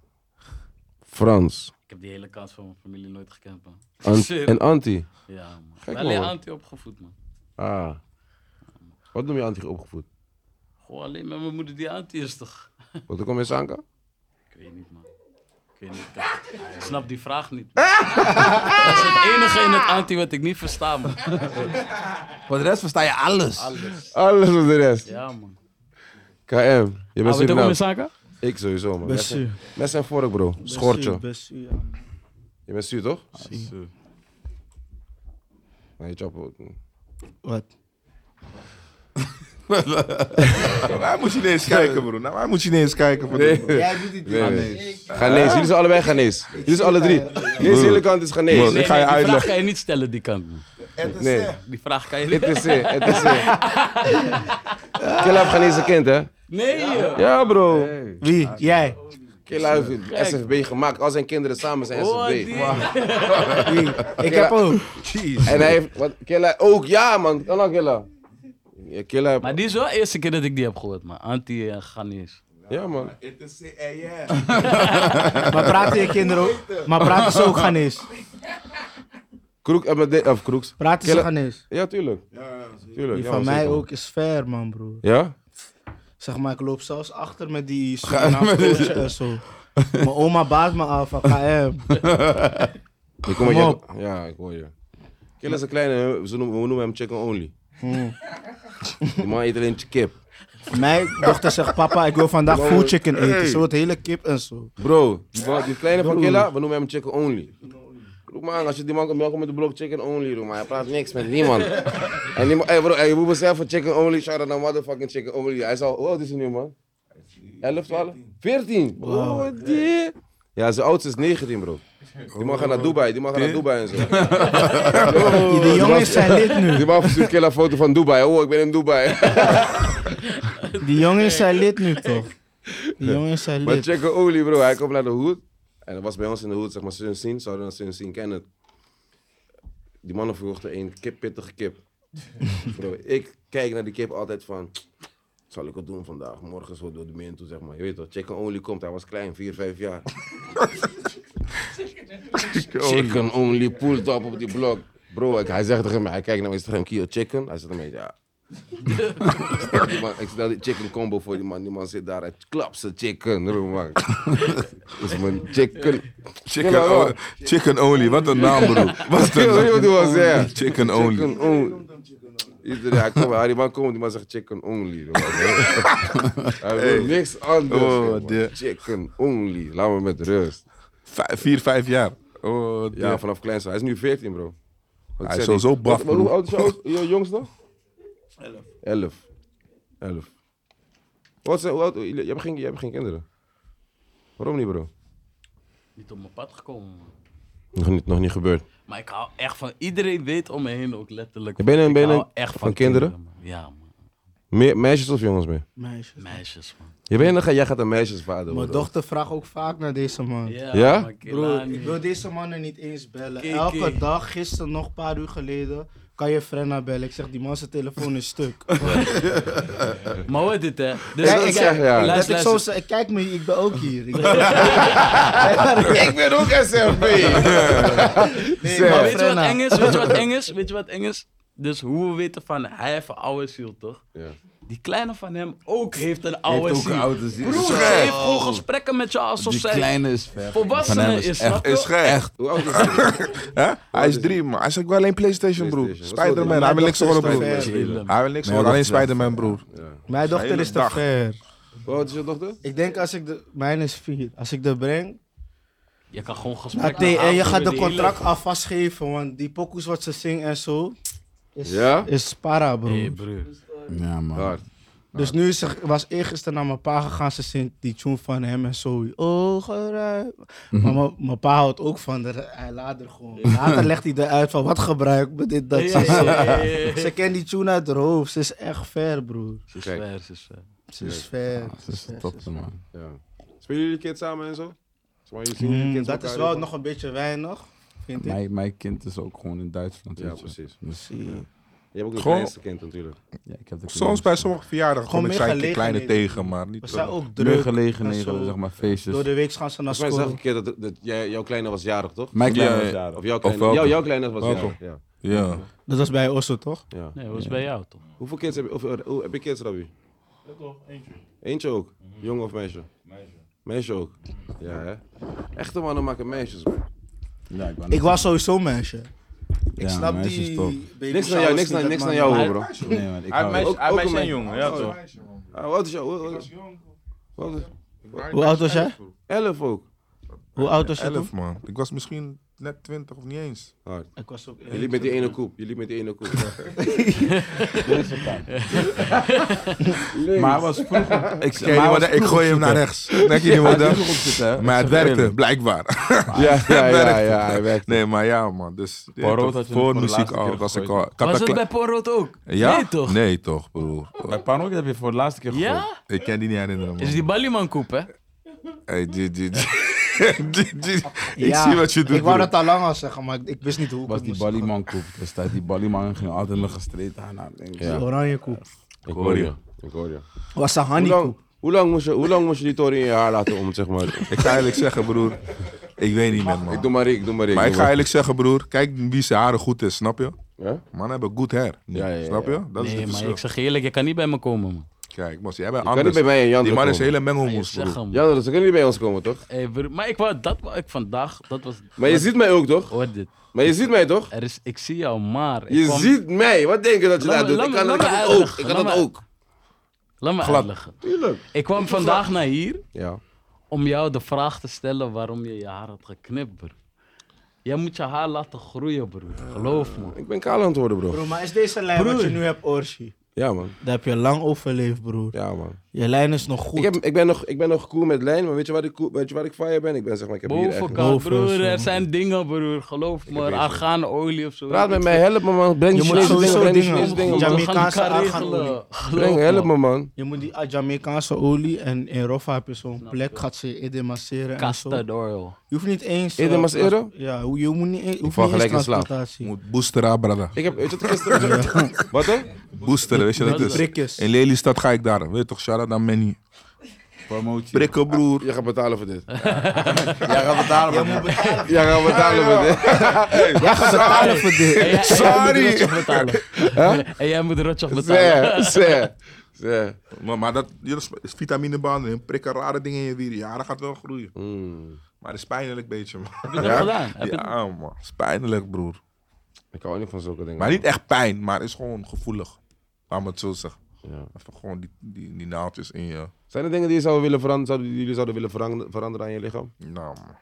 [SPEAKER 1] Frans.
[SPEAKER 5] Ik heb die hele kant van mijn familie nooit gekend, man.
[SPEAKER 1] An-
[SPEAKER 5] Serieus?
[SPEAKER 1] en anti.
[SPEAKER 5] Ja, man. Ik
[SPEAKER 1] Gek,
[SPEAKER 5] ben alleen
[SPEAKER 1] man.
[SPEAKER 5] anti-opgevoed, man.
[SPEAKER 1] Ah. Wat noem je anti opgevoed?
[SPEAKER 5] Gewoon alleen met mijn moeder die anti is, toch?
[SPEAKER 1] Wat kom je Sanka?
[SPEAKER 5] Ik weet niet, man. Ik weet niet. Ik snap die vraag niet. man. Dat is het enige in het anti wat ik niet versta, man.
[SPEAKER 2] Voor de rest versta je alles.
[SPEAKER 1] Alles op de rest.
[SPEAKER 5] Ja, man.
[SPEAKER 1] KM. Je bent
[SPEAKER 5] Gaan Ah, we het ook
[SPEAKER 1] Surinaam.
[SPEAKER 5] met zaken?
[SPEAKER 1] nou. Ik sowieso, man.
[SPEAKER 4] Best
[SPEAKER 1] Mes-
[SPEAKER 4] zuur.
[SPEAKER 1] Mes en vork, bro.
[SPEAKER 4] Best
[SPEAKER 1] Schortje.
[SPEAKER 4] zuur, best zuur, ja.
[SPEAKER 1] Je bent zuur, toch?
[SPEAKER 2] Zuur.
[SPEAKER 1] Nee, chop. ook.
[SPEAKER 4] Wat?
[SPEAKER 3] Naar Waar moet je niet eens kijken, broer? Naar Waar moet je niet eens kijken? Voor dit, broer?
[SPEAKER 4] Jij doet die
[SPEAKER 1] Nee, nee. Ghanese. Jullie zijn allebei Ghanese. Jullie zijn alle drie. Deze hele kant is
[SPEAKER 3] Broer,
[SPEAKER 1] Ghanese.
[SPEAKER 3] ik ga je
[SPEAKER 5] die vraag
[SPEAKER 3] uitleggen.
[SPEAKER 5] kan je niet stellen, die kant, man.
[SPEAKER 1] Nee.
[SPEAKER 5] Die vraag kan je niet...
[SPEAKER 1] ETC, ETC. Killa heeft Ghanese kind, hè?
[SPEAKER 5] Nee, joh.
[SPEAKER 1] Ja, bro.
[SPEAKER 4] Wie? Jij?
[SPEAKER 1] Killa heeft SFB gemaakt. Al zijn kinderen samen zijn
[SPEAKER 5] Oh,
[SPEAKER 1] SFB.
[SPEAKER 5] die-
[SPEAKER 4] Wie? Ik heb ook.
[SPEAKER 1] En hij heeft... Wat, Killa ook, ja, man. Kan ook Killa. Ja, Killa heeft-
[SPEAKER 5] Maar die is wel de eerste keer dat ik die heb gehoord, man. Anti en Ghanese.
[SPEAKER 1] Ja, man.
[SPEAKER 4] Maar praten je kinderen ook? Maar praten ze ook Ghanese?
[SPEAKER 1] Kroek, eh, maar dit- of Kroeks.
[SPEAKER 4] Praten ze
[SPEAKER 1] Killa-
[SPEAKER 4] Ghanese?
[SPEAKER 1] Ja, tuurlijk. tuurlijk.
[SPEAKER 4] Die
[SPEAKER 1] ja,
[SPEAKER 4] van
[SPEAKER 1] man,
[SPEAKER 4] mij
[SPEAKER 1] zeker.
[SPEAKER 4] ook is ver, man, broer.
[SPEAKER 1] Ja?
[SPEAKER 4] Zeg maar, ik loop zelfs achter met die Surinaamse coach en zo. Mijn oma baat me af van KM.
[SPEAKER 1] Ik kom met
[SPEAKER 4] Kom
[SPEAKER 1] je- Ja, ik hoor je. Killa is een kleine, we noemen, we noemen hem chicken only.
[SPEAKER 4] Hmm.
[SPEAKER 1] Die man eet alleen kip.
[SPEAKER 4] Mijn dochter zegt, papa, ik wil vandaag
[SPEAKER 1] Wow.
[SPEAKER 4] full chicken eten. Zo het hele kip en
[SPEAKER 1] Oh,
[SPEAKER 4] zo.
[SPEAKER 1] Bro, die, man- die kleine van Killa, we noemen hem chicken only. Roep maar aan, als je die man komt, welkom met de blok chicken only, roep maar. Hij praat niks met niemand. en die man, hey bro, hey, je moet beseffen, chicken only, shout out naar motherfucking chicken only. Hij is al, hoe oud is hij nu man? 11, 12? 14? Oh, die. Ja, zijn oudste is 19 bro. Die man gaat naar Dubai, die man gaat naar Dubai en zo.
[SPEAKER 4] Die jongens zijn lid nu.
[SPEAKER 1] Die man verstuurt Killa een foto van Dubai. Oh, ik ben in Dubai.
[SPEAKER 4] Die jongens zijn lid nu, toch? Die jongens zijn
[SPEAKER 1] Maar
[SPEAKER 4] lid.
[SPEAKER 1] checken olie, bro. Hij komt naar de hoed. En dat was bij ons in de hoed, zeg maar, Sunsin. Zouden we Sunsin kennen. Die mannen verkochten een kip, pittige kip. bro, ik kijk naar die kip altijd van... Zal ik het doen vandaag? Morgen zo door de min toe, zeg maar. Je weet toch, chicken only komt. Hij was klein, 4, 5 jaar. chicken only, pull top op die blok. Bro, ik- hij zegt tegen mij, hij kijkt naar mij, hij zegt tegen hem, "Kiel chicken? Hij zegt tegen mij, ja. Ik stel die man- ik stel die chicken combo voor die man. Die man zit daar. Hij klapt zijn chicken. roep maar. Dus mijn chicken.
[SPEAKER 3] Chicken, o- chicken only. Wat een naam, broer. Wat een
[SPEAKER 1] Weet je wat hij
[SPEAKER 3] naam.
[SPEAKER 1] was, ja.
[SPEAKER 3] Chicken only.
[SPEAKER 1] Chicken only. Iedereen, hij komt, hij- die man komt, die man zegt chicken only. roep maar. Hij wil niks anders.
[SPEAKER 3] Oh,
[SPEAKER 1] roep maar.
[SPEAKER 3] dear.
[SPEAKER 1] Chicken only. Laat me met rust.
[SPEAKER 3] Vijf- Vier, vijf jaar. Oh,
[SPEAKER 1] Ja,
[SPEAKER 3] ja.
[SPEAKER 1] vanaf klein. zijn. Hij is nu 14, bro. Wat
[SPEAKER 3] Hij is
[SPEAKER 1] zeg ik?
[SPEAKER 3] sowieso
[SPEAKER 1] Wat-
[SPEAKER 3] baf,
[SPEAKER 1] wat- Hoe
[SPEAKER 3] broer.
[SPEAKER 1] oud is jouw oud- jouw jongste? 11. 11. 11. Wat zijn, wat, jij, hebt geen, jij hebt geen kinderen. Waarom niet, bro?
[SPEAKER 5] Niet op mijn pad gekomen, man.
[SPEAKER 1] Nog niet, nog niet gebeurd.
[SPEAKER 5] Maar ik hou echt van... Iedereen weet om me heen ook letterlijk.
[SPEAKER 1] Ben je-
[SPEAKER 5] ik
[SPEAKER 1] ben je
[SPEAKER 5] hou
[SPEAKER 1] een-
[SPEAKER 5] echt van,
[SPEAKER 1] van kinderen?
[SPEAKER 5] man. Ja, man.
[SPEAKER 1] Meer meisjes of jongens meer?
[SPEAKER 4] Meisjes.
[SPEAKER 5] Meisjes, man.
[SPEAKER 1] Je bent, nog- jij gaat een meisjesvader
[SPEAKER 4] Mijn
[SPEAKER 1] worden.
[SPEAKER 4] dochter vraagt ook vaak naar deze man.
[SPEAKER 1] Ja?
[SPEAKER 5] man,
[SPEAKER 4] Bro,
[SPEAKER 5] Kelani.
[SPEAKER 4] ik wil deze mannen niet eens bellen.
[SPEAKER 5] Kiki.
[SPEAKER 4] Elke dag, gisteren nog een paar uur geleden, kan je Frenna bellen. Ik zeg, die man zijn telefoon is stuk.
[SPEAKER 5] Maar hoor dit, hè. Dus
[SPEAKER 1] Ja, ik zeg, ja.
[SPEAKER 5] Luister,
[SPEAKER 4] Dat ik zo
[SPEAKER 5] luister.
[SPEAKER 4] zei, kijk me, ik ben ook hier. Ik ben-
[SPEAKER 1] Ik ben ook SFB.
[SPEAKER 4] nee,
[SPEAKER 1] Zeg.
[SPEAKER 5] Maar
[SPEAKER 4] maar
[SPEAKER 5] weet je wat
[SPEAKER 4] Frenna.
[SPEAKER 5] eng is? Weet je wat eng is? Weet je wat eng is? Dus hoe we weten van hij heeft een oude ziel, toch?
[SPEAKER 1] Ja.
[SPEAKER 5] Die kleine van hem ook heeft een oude
[SPEAKER 2] Heeft ook
[SPEAKER 5] ziel.
[SPEAKER 2] een oude ziel.
[SPEAKER 5] Broer,
[SPEAKER 2] Zo.
[SPEAKER 5] ze heeft gewoon gesprekken met jou alsof
[SPEAKER 2] Die
[SPEAKER 5] zij
[SPEAKER 2] kleine is ver.
[SPEAKER 5] volwassene
[SPEAKER 2] Van hem
[SPEAKER 5] is, snap
[SPEAKER 2] echt,
[SPEAKER 5] je?
[SPEAKER 3] Is gek.
[SPEAKER 2] echt.
[SPEAKER 1] Hoe oud is hij?
[SPEAKER 3] Hè? Hij is drie, maar hij zegt wel alleen dus- PlayStation, broer.
[SPEAKER 1] PlayStation. Wat wil
[SPEAKER 3] Spider-Man,
[SPEAKER 1] die?
[SPEAKER 3] hij wil niks
[SPEAKER 4] Mijn
[SPEAKER 3] horen,
[SPEAKER 4] dochter is
[SPEAKER 3] broer.
[SPEAKER 4] te
[SPEAKER 5] ver.
[SPEAKER 3] Hij wil niks
[SPEAKER 2] Mijn
[SPEAKER 3] horen,
[SPEAKER 2] dochter
[SPEAKER 3] alleen
[SPEAKER 2] is te
[SPEAKER 3] Spider-Man, broer.
[SPEAKER 4] Mijn dochter
[SPEAKER 3] Hele
[SPEAKER 4] is te
[SPEAKER 3] dag.
[SPEAKER 4] ver.
[SPEAKER 1] Hoe oud is je dochter?
[SPEAKER 4] Ik denk als ik de... Mijn is vier. Als ik de breng...
[SPEAKER 5] Je kan gewoon gesprekken
[SPEAKER 4] Maar nee, en je
[SPEAKER 5] aangaan
[SPEAKER 4] gaat
[SPEAKER 5] met
[SPEAKER 4] de
[SPEAKER 5] die
[SPEAKER 4] contract
[SPEAKER 5] hele-
[SPEAKER 4] alvast geven, want die pokoes wat ze zingt en zo... Is,
[SPEAKER 1] Ja?
[SPEAKER 4] is para, bro.
[SPEAKER 5] Hey, broer.
[SPEAKER 2] Ja, man.
[SPEAKER 1] Hard.
[SPEAKER 4] Dus nu is er, was eergisteren naar mijn pa gegaan. Ze zingt die tune van hem en zo. Ogen ruim. Maar mijn- mijn pa houdt ook van de, Hij laat er gewoon. Later legt hij eruit van wat gebruik me dit, dat.
[SPEAKER 5] Ja,
[SPEAKER 4] zo,
[SPEAKER 5] ja,
[SPEAKER 4] zo.
[SPEAKER 5] ja, ja, ja.
[SPEAKER 4] Ze kent die tune uit haar hoofd. Ze is echt ver, broer.
[SPEAKER 5] Ze is
[SPEAKER 1] Kijk.
[SPEAKER 5] ver, ze is ver.
[SPEAKER 4] Ah, Ze is ver.
[SPEAKER 2] Dat is het topste, man.
[SPEAKER 1] Ja. Spelen jullie kids samen en zo? Zeg maar, jullie zien jullie
[SPEAKER 4] Mm,
[SPEAKER 1] kids
[SPEAKER 4] dat is
[SPEAKER 1] elkaar
[SPEAKER 4] wel
[SPEAKER 1] ook?
[SPEAKER 4] nog een beetje weinig, vind ik.
[SPEAKER 2] Mijn, mijn kind is ook gewoon in Duitsland.
[SPEAKER 1] Ja,
[SPEAKER 2] weet je.
[SPEAKER 1] precies.
[SPEAKER 2] Dus,
[SPEAKER 1] Je hebt ook een
[SPEAKER 3] Gewoon-
[SPEAKER 1] kleinste kind natuurlijk.
[SPEAKER 2] ja, ik heb de
[SPEAKER 3] Soms bij sommige verjaardagen
[SPEAKER 4] Gewoon
[SPEAKER 3] kom ik
[SPEAKER 4] meer
[SPEAKER 3] zijn kleine
[SPEAKER 4] gelegenheden.
[SPEAKER 3] tegen, maar niet...
[SPEAKER 4] We zijn ook
[SPEAKER 2] meer
[SPEAKER 4] druk. en
[SPEAKER 2] gelegenheden,
[SPEAKER 4] zo.
[SPEAKER 2] zeg maar, feestjes.
[SPEAKER 4] Door de week gaan ze naar
[SPEAKER 1] Volgens mij zag ik
[SPEAKER 4] school.
[SPEAKER 1] een keer dat, dat, jij, jouw kleine was jarig, toch?
[SPEAKER 2] Mijn kleine
[SPEAKER 3] Ja,
[SPEAKER 2] was jarig.
[SPEAKER 1] Of jouw kleine,
[SPEAKER 3] welke?
[SPEAKER 1] jou, jouw kleine was
[SPEAKER 3] Welke?
[SPEAKER 1] jarig. Ja.
[SPEAKER 3] Ja.
[SPEAKER 4] Dat was bij Osso, toch?
[SPEAKER 1] Ja.
[SPEAKER 5] Nee, hoe is het bij jou, toch?
[SPEAKER 1] Hoeveel kids heb je? Of, eh, hoe- heb je kids, Rabbi?
[SPEAKER 7] Dat toch, eentje. Mhm.
[SPEAKER 1] Eentje ook? Jong of meisje?
[SPEAKER 7] Meisje.
[SPEAKER 1] Meisje ook? Ja, hè? Echte mannen maken meisjes, man.
[SPEAKER 2] Ja, ik, wou net
[SPEAKER 4] Ik was sowieso meisje. Ik
[SPEAKER 2] Ja,
[SPEAKER 4] snap
[SPEAKER 2] meisjes
[SPEAKER 4] die
[SPEAKER 2] top.
[SPEAKER 4] baby
[SPEAKER 1] Niks naar jou,
[SPEAKER 4] showers
[SPEAKER 1] niks
[SPEAKER 4] niet,
[SPEAKER 1] naar,
[SPEAKER 4] dat
[SPEAKER 1] niks naar
[SPEAKER 4] maakt
[SPEAKER 1] jou,
[SPEAKER 4] niet
[SPEAKER 1] hoor,
[SPEAKER 4] uit.
[SPEAKER 1] bro.
[SPEAKER 2] zeggen. Nee, man. Ik
[SPEAKER 7] Hij
[SPEAKER 2] hou-
[SPEAKER 1] ook-
[SPEAKER 7] meisje, hij
[SPEAKER 1] ook
[SPEAKER 7] meisje
[SPEAKER 1] een
[SPEAKER 7] en
[SPEAKER 1] meisje.
[SPEAKER 7] jongen, ja toch?
[SPEAKER 3] meisje, man.
[SPEAKER 1] Ah, wat is jou? Hoe-
[SPEAKER 7] Ik
[SPEAKER 1] hoe-
[SPEAKER 7] was jong. bro.
[SPEAKER 1] wat is-
[SPEAKER 7] Ik wou
[SPEAKER 4] Hoe oud was jij?
[SPEAKER 7] meisje, bro.
[SPEAKER 1] Elf ook.
[SPEAKER 4] Hoe oud was je toen?
[SPEAKER 3] Elf, man. Ik was misschien net twintig of niet eens.
[SPEAKER 1] Hard.
[SPEAKER 4] Ik was ook
[SPEAKER 1] Jullie met die ene koep. Jullie met die ene koep.
[SPEAKER 2] Maar hij was vroeger... ik,
[SPEAKER 3] Ken je die model? Ik gooi hem naar rechts. Nek je die model? Maar het werkte, blijkbaar.
[SPEAKER 1] ja, ja, ja,
[SPEAKER 3] werkt.
[SPEAKER 1] ja, hij werkt.
[SPEAKER 3] Nee, maar ja, man. Dus ja,
[SPEAKER 2] Porro
[SPEAKER 3] toch,
[SPEAKER 2] had je voor
[SPEAKER 3] voor
[SPEAKER 2] de
[SPEAKER 3] muziek
[SPEAKER 2] laatste
[SPEAKER 3] al
[SPEAKER 2] keer
[SPEAKER 3] was ik al.
[SPEAKER 2] gegooid.
[SPEAKER 3] ik had
[SPEAKER 5] Was
[SPEAKER 3] een
[SPEAKER 5] dat bij
[SPEAKER 3] klein-
[SPEAKER 5] Porrot ook?
[SPEAKER 3] Ja?
[SPEAKER 5] Nee, toch?
[SPEAKER 3] Nee, toch, broer.
[SPEAKER 2] Bij Panok heb je voor de laatste keer gegooid.
[SPEAKER 5] Ja?
[SPEAKER 3] Ik kan die niet herinneren, man.
[SPEAKER 5] Is die Ballyman koep, hè?
[SPEAKER 3] Hey, die, die, die- die- die- Ik
[SPEAKER 4] Ja,
[SPEAKER 3] zie wat je doet,
[SPEAKER 4] Ik wou
[SPEAKER 3] broer.
[SPEAKER 4] dat al lang al zeggen, maar ik- ik wist niet hoe. ik
[SPEAKER 2] was
[SPEAKER 4] het
[SPEAKER 2] die
[SPEAKER 4] moest
[SPEAKER 2] Ballyman koep. Dus dat die Ballyman ging altijd nog gestreed aan. haar. Ik
[SPEAKER 4] zeggen.
[SPEAKER 2] zo,
[SPEAKER 4] Die oranje koep.
[SPEAKER 1] Ik hoor je. Ik hoor je.
[SPEAKER 4] Was een
[SPEAKER 1] Hoe
[SPEAKER 4] honey
[SPEAKER 1] lang,
[SPEAKER 4] koep.
[SPEAKER 1] hoe, lang moest je, hoe lang moest je die toren in je haar laten om, zeg maar?
[SPEAKER 3] Ik ga eerlijk zeggen, broer. Ik weet niet meer,
[SPEAKER 1] Ik
[SPEAKER 3] man.
[SPEAKER 1] doe maar ik, doe maar ik.
[SPEAKER 3] Maar ik
[SPEAKER 1] doe
[SPEAKER 3] ga eerlijk zeggen, broer. Kijk wie zijn haren goed is, snap je?
[SPEAKER 1] Ja?
[SPEAKER 3] Mannen hebben goed hair.
[SPEAKER 1] Ja, ja, ja,
[SPEAKER 3] Snap je? Dat is
[SPEAKER 5] Nee,
[SPEAKER 3] het
[SPEAKER 5] maar
[SPEAKER 3] verschil.
[SPEAKER 5] ik zeg je eerlijk, je kan niet bij me komen, man.
[SPEAKER 3] Kijk, Mos, jij bent
[SPEAKER 1] kan niet
[SPEAKER 3] anders.
[SPEAKER 1] bij mij en Jan
[SPEAKER 3] Die man is
[SPEAKER 1] komen.
[SPEAKER 3] een hele
[SPEAKER 5] Kan je
[SPEAKER 3] mengelmoes, broer.
[SPEAKER 5] zeggen, man.
[SPEAKER 1] Ja, ze kunnen niet bij ons komen, toch?
[SPEAKER 5] Hey, broer, maar ik wou, dat wou ik vandaag, dat was...
[SPEAKER 1] Maar je ziet mij ook, toch?
[SPEAKER 5] Hoor dit.
[SPEAKER 1] Maar je ziet mij, toch?
[SPEAKER 5] Er is, ik zie jou, maar... ik
[SPEAKER 1] Je
[SPEAKER 5] kwam-
[SPEAKER 1] ziet mij. Wat denk je dat je
[SPEAKER 5] Laat
[SPEAKER 1] daar
[SPEAKER 5] me-
[SPEAKER 1] doet?
[SPEAKER 5] laat
[SPEAKER 1] Ik
[SPEAKER 5] me-
[SPEAKER 1] kan
[SPEAKER 5] laat
[SPEAKER 1] dat ik
[SPEAKER 5] me
[SPEAKER 1] kan dat ook.
[SPEAKER 5] uitleggen,
[SPEAKER 1] Ik kan
[SPEAKER 5] laat
[SPEAKER 1] dat
[SPEAKER 5] me-
[SPEAKER 1] ook.
[SPEAKER 5] Laat me
[SPEAKER 3] Glad.
[SPEAKER 5] uitleggen.
[SPEAKER 1] Tuurlijk.
[SPEAKER 5] Ik kwam vandaag naar hier
[SPEAKER 1] Ja.
[SPEAKER 5] om jou de vraag te stellen waarom je je haar had geknipt, broer. Jij moet je haar laten groeien, broer. Geloof me.
[SPEAKER 1] Ik ben kaal aan het worden, bro.
[SPEAKER 4] Bro, maar is deze lijn wat je nu hebt, Orsi?
[SPEAKER 1] Ja, man.
[SPEAKER 4] Daar heb je lang overleefd, broer.
[SPEAKER 1] Ja, man.
[SPEAKER 4] Je lijn is nog goed.
[SPEAKER 1] Ik, heb, ik, ben nog, ik ben nog cool met lijn, maar weet je waar ik, cool, weet je waar ik fire ben? Ik ben zeg maar, ik heb hier echt...
[SPEAKER 5] Bovenkant,
[SPEAKER 4] Boven,
[SPEAKER 5] broer.
[SPEAKER 4] zo,
[SPEAKER 5] Er
[SPEAKER 4] man.
[SPEAKER 5] zijn dingen, broer. Geloof me. Argaanolie of zo.
[SPEAKER 1] Praat met mij, help me, man. Breng
[SPEAKER 4] Je
[SPEAKER 1] die
[SPEAKER 4] moet
[SPEAKER 1] Chinese dingen,
[SPEAKER 4] sowieso
[SPEAKER 1] breng die
[SPEAKER 4] dingen-
[SPEAKER 1] Chinese dingen.
[SPEAKER 4] Ja,
[SPEAKER 1] man.
[SPEAKER 4] maar- Jamaicaanse argaanolie.
[SPEAKER 1] Breng, help me, man.
[SPEAKER 4] Je moet die Jamaicaanse olie en in Roffa heb je zo'n plek, gaat ze eten masseren en zo.
[SPEAKER 5] Custard oil.
[SPEAKER 4] Je hoeft niet eens... eh,
[SPEAKER 1] Eten masseren?
[SPEAKER 4] Ja, hoe- je moet niet, e- je hoeft
[SPEAKER 1] val
[SPEAKER 4] niet
[SPEAKER 1] gelijk in
[SPEAKER 4] eens
[SPEAKER 1] slaap.
[SPEAKER 4] transplantatie.
[SPEAKER 3] Moet boosteren, ah, brother.
[SPEAKER 1] Ik heb, weet je wat ik gisteren... Wat, hè?
[SPEAKER 3] Boosteren, weet je wat
[SPEAKER 5] Met
[SPEAKER 3] het is?
[SPEAKER 4] prikjes.
[SPEAKER 3] In Lelystad ga ik daar. Weet je toch, shout-out naar Manny.
[SPEAKER 2] Promotie.
[SPEAKER 3] Prikken, broer.
[SPEAKER 1] Je gaat betalen voor dit.
[SPEAKER 2] Jij gaat betalen. man.
[SPEAKER 1] Jij gaat betalen voor dit.
[SPEAKER 4] Jij gaat betalen voor dit.
[SPEAKER 5] Sorry. En jij moet rotjoch betalen.
[SPEAKER 1] Zeg, zeg, zeg.
[SPEAKER 3] Maar, maar dat je dat is vitaminebanden en prikken rare dingen in je wieren. Ja, dat gaat wel groeien.
[SPEAKER 1] Mm.
[SPEAKER 3] Maar dat is pijnlijk beetje, man.
[SPEAKER 5] Heb je dat gedaan? Heb je-
[SPEAKER 3] Ja, man. Het is pijnlijk, broer.
[SPEAKER 1] Ik hou niet van zulke dingen.
[SPEAKER 3] Maar niet echt pijn, maar het is gewoon gevoelig. Laat me het zo zeggen.
[SPEAKER 1] Ja.
[SPEAKER 3] Even gewoon die, die, die naaldjes in je...
[SPEAKER 1] Zijn er dingen die, je zou willen veranderen, zouden, die jullie zouden willen verang- veranderen aan je lichaam?
[SPEAKER 3] Nou, man.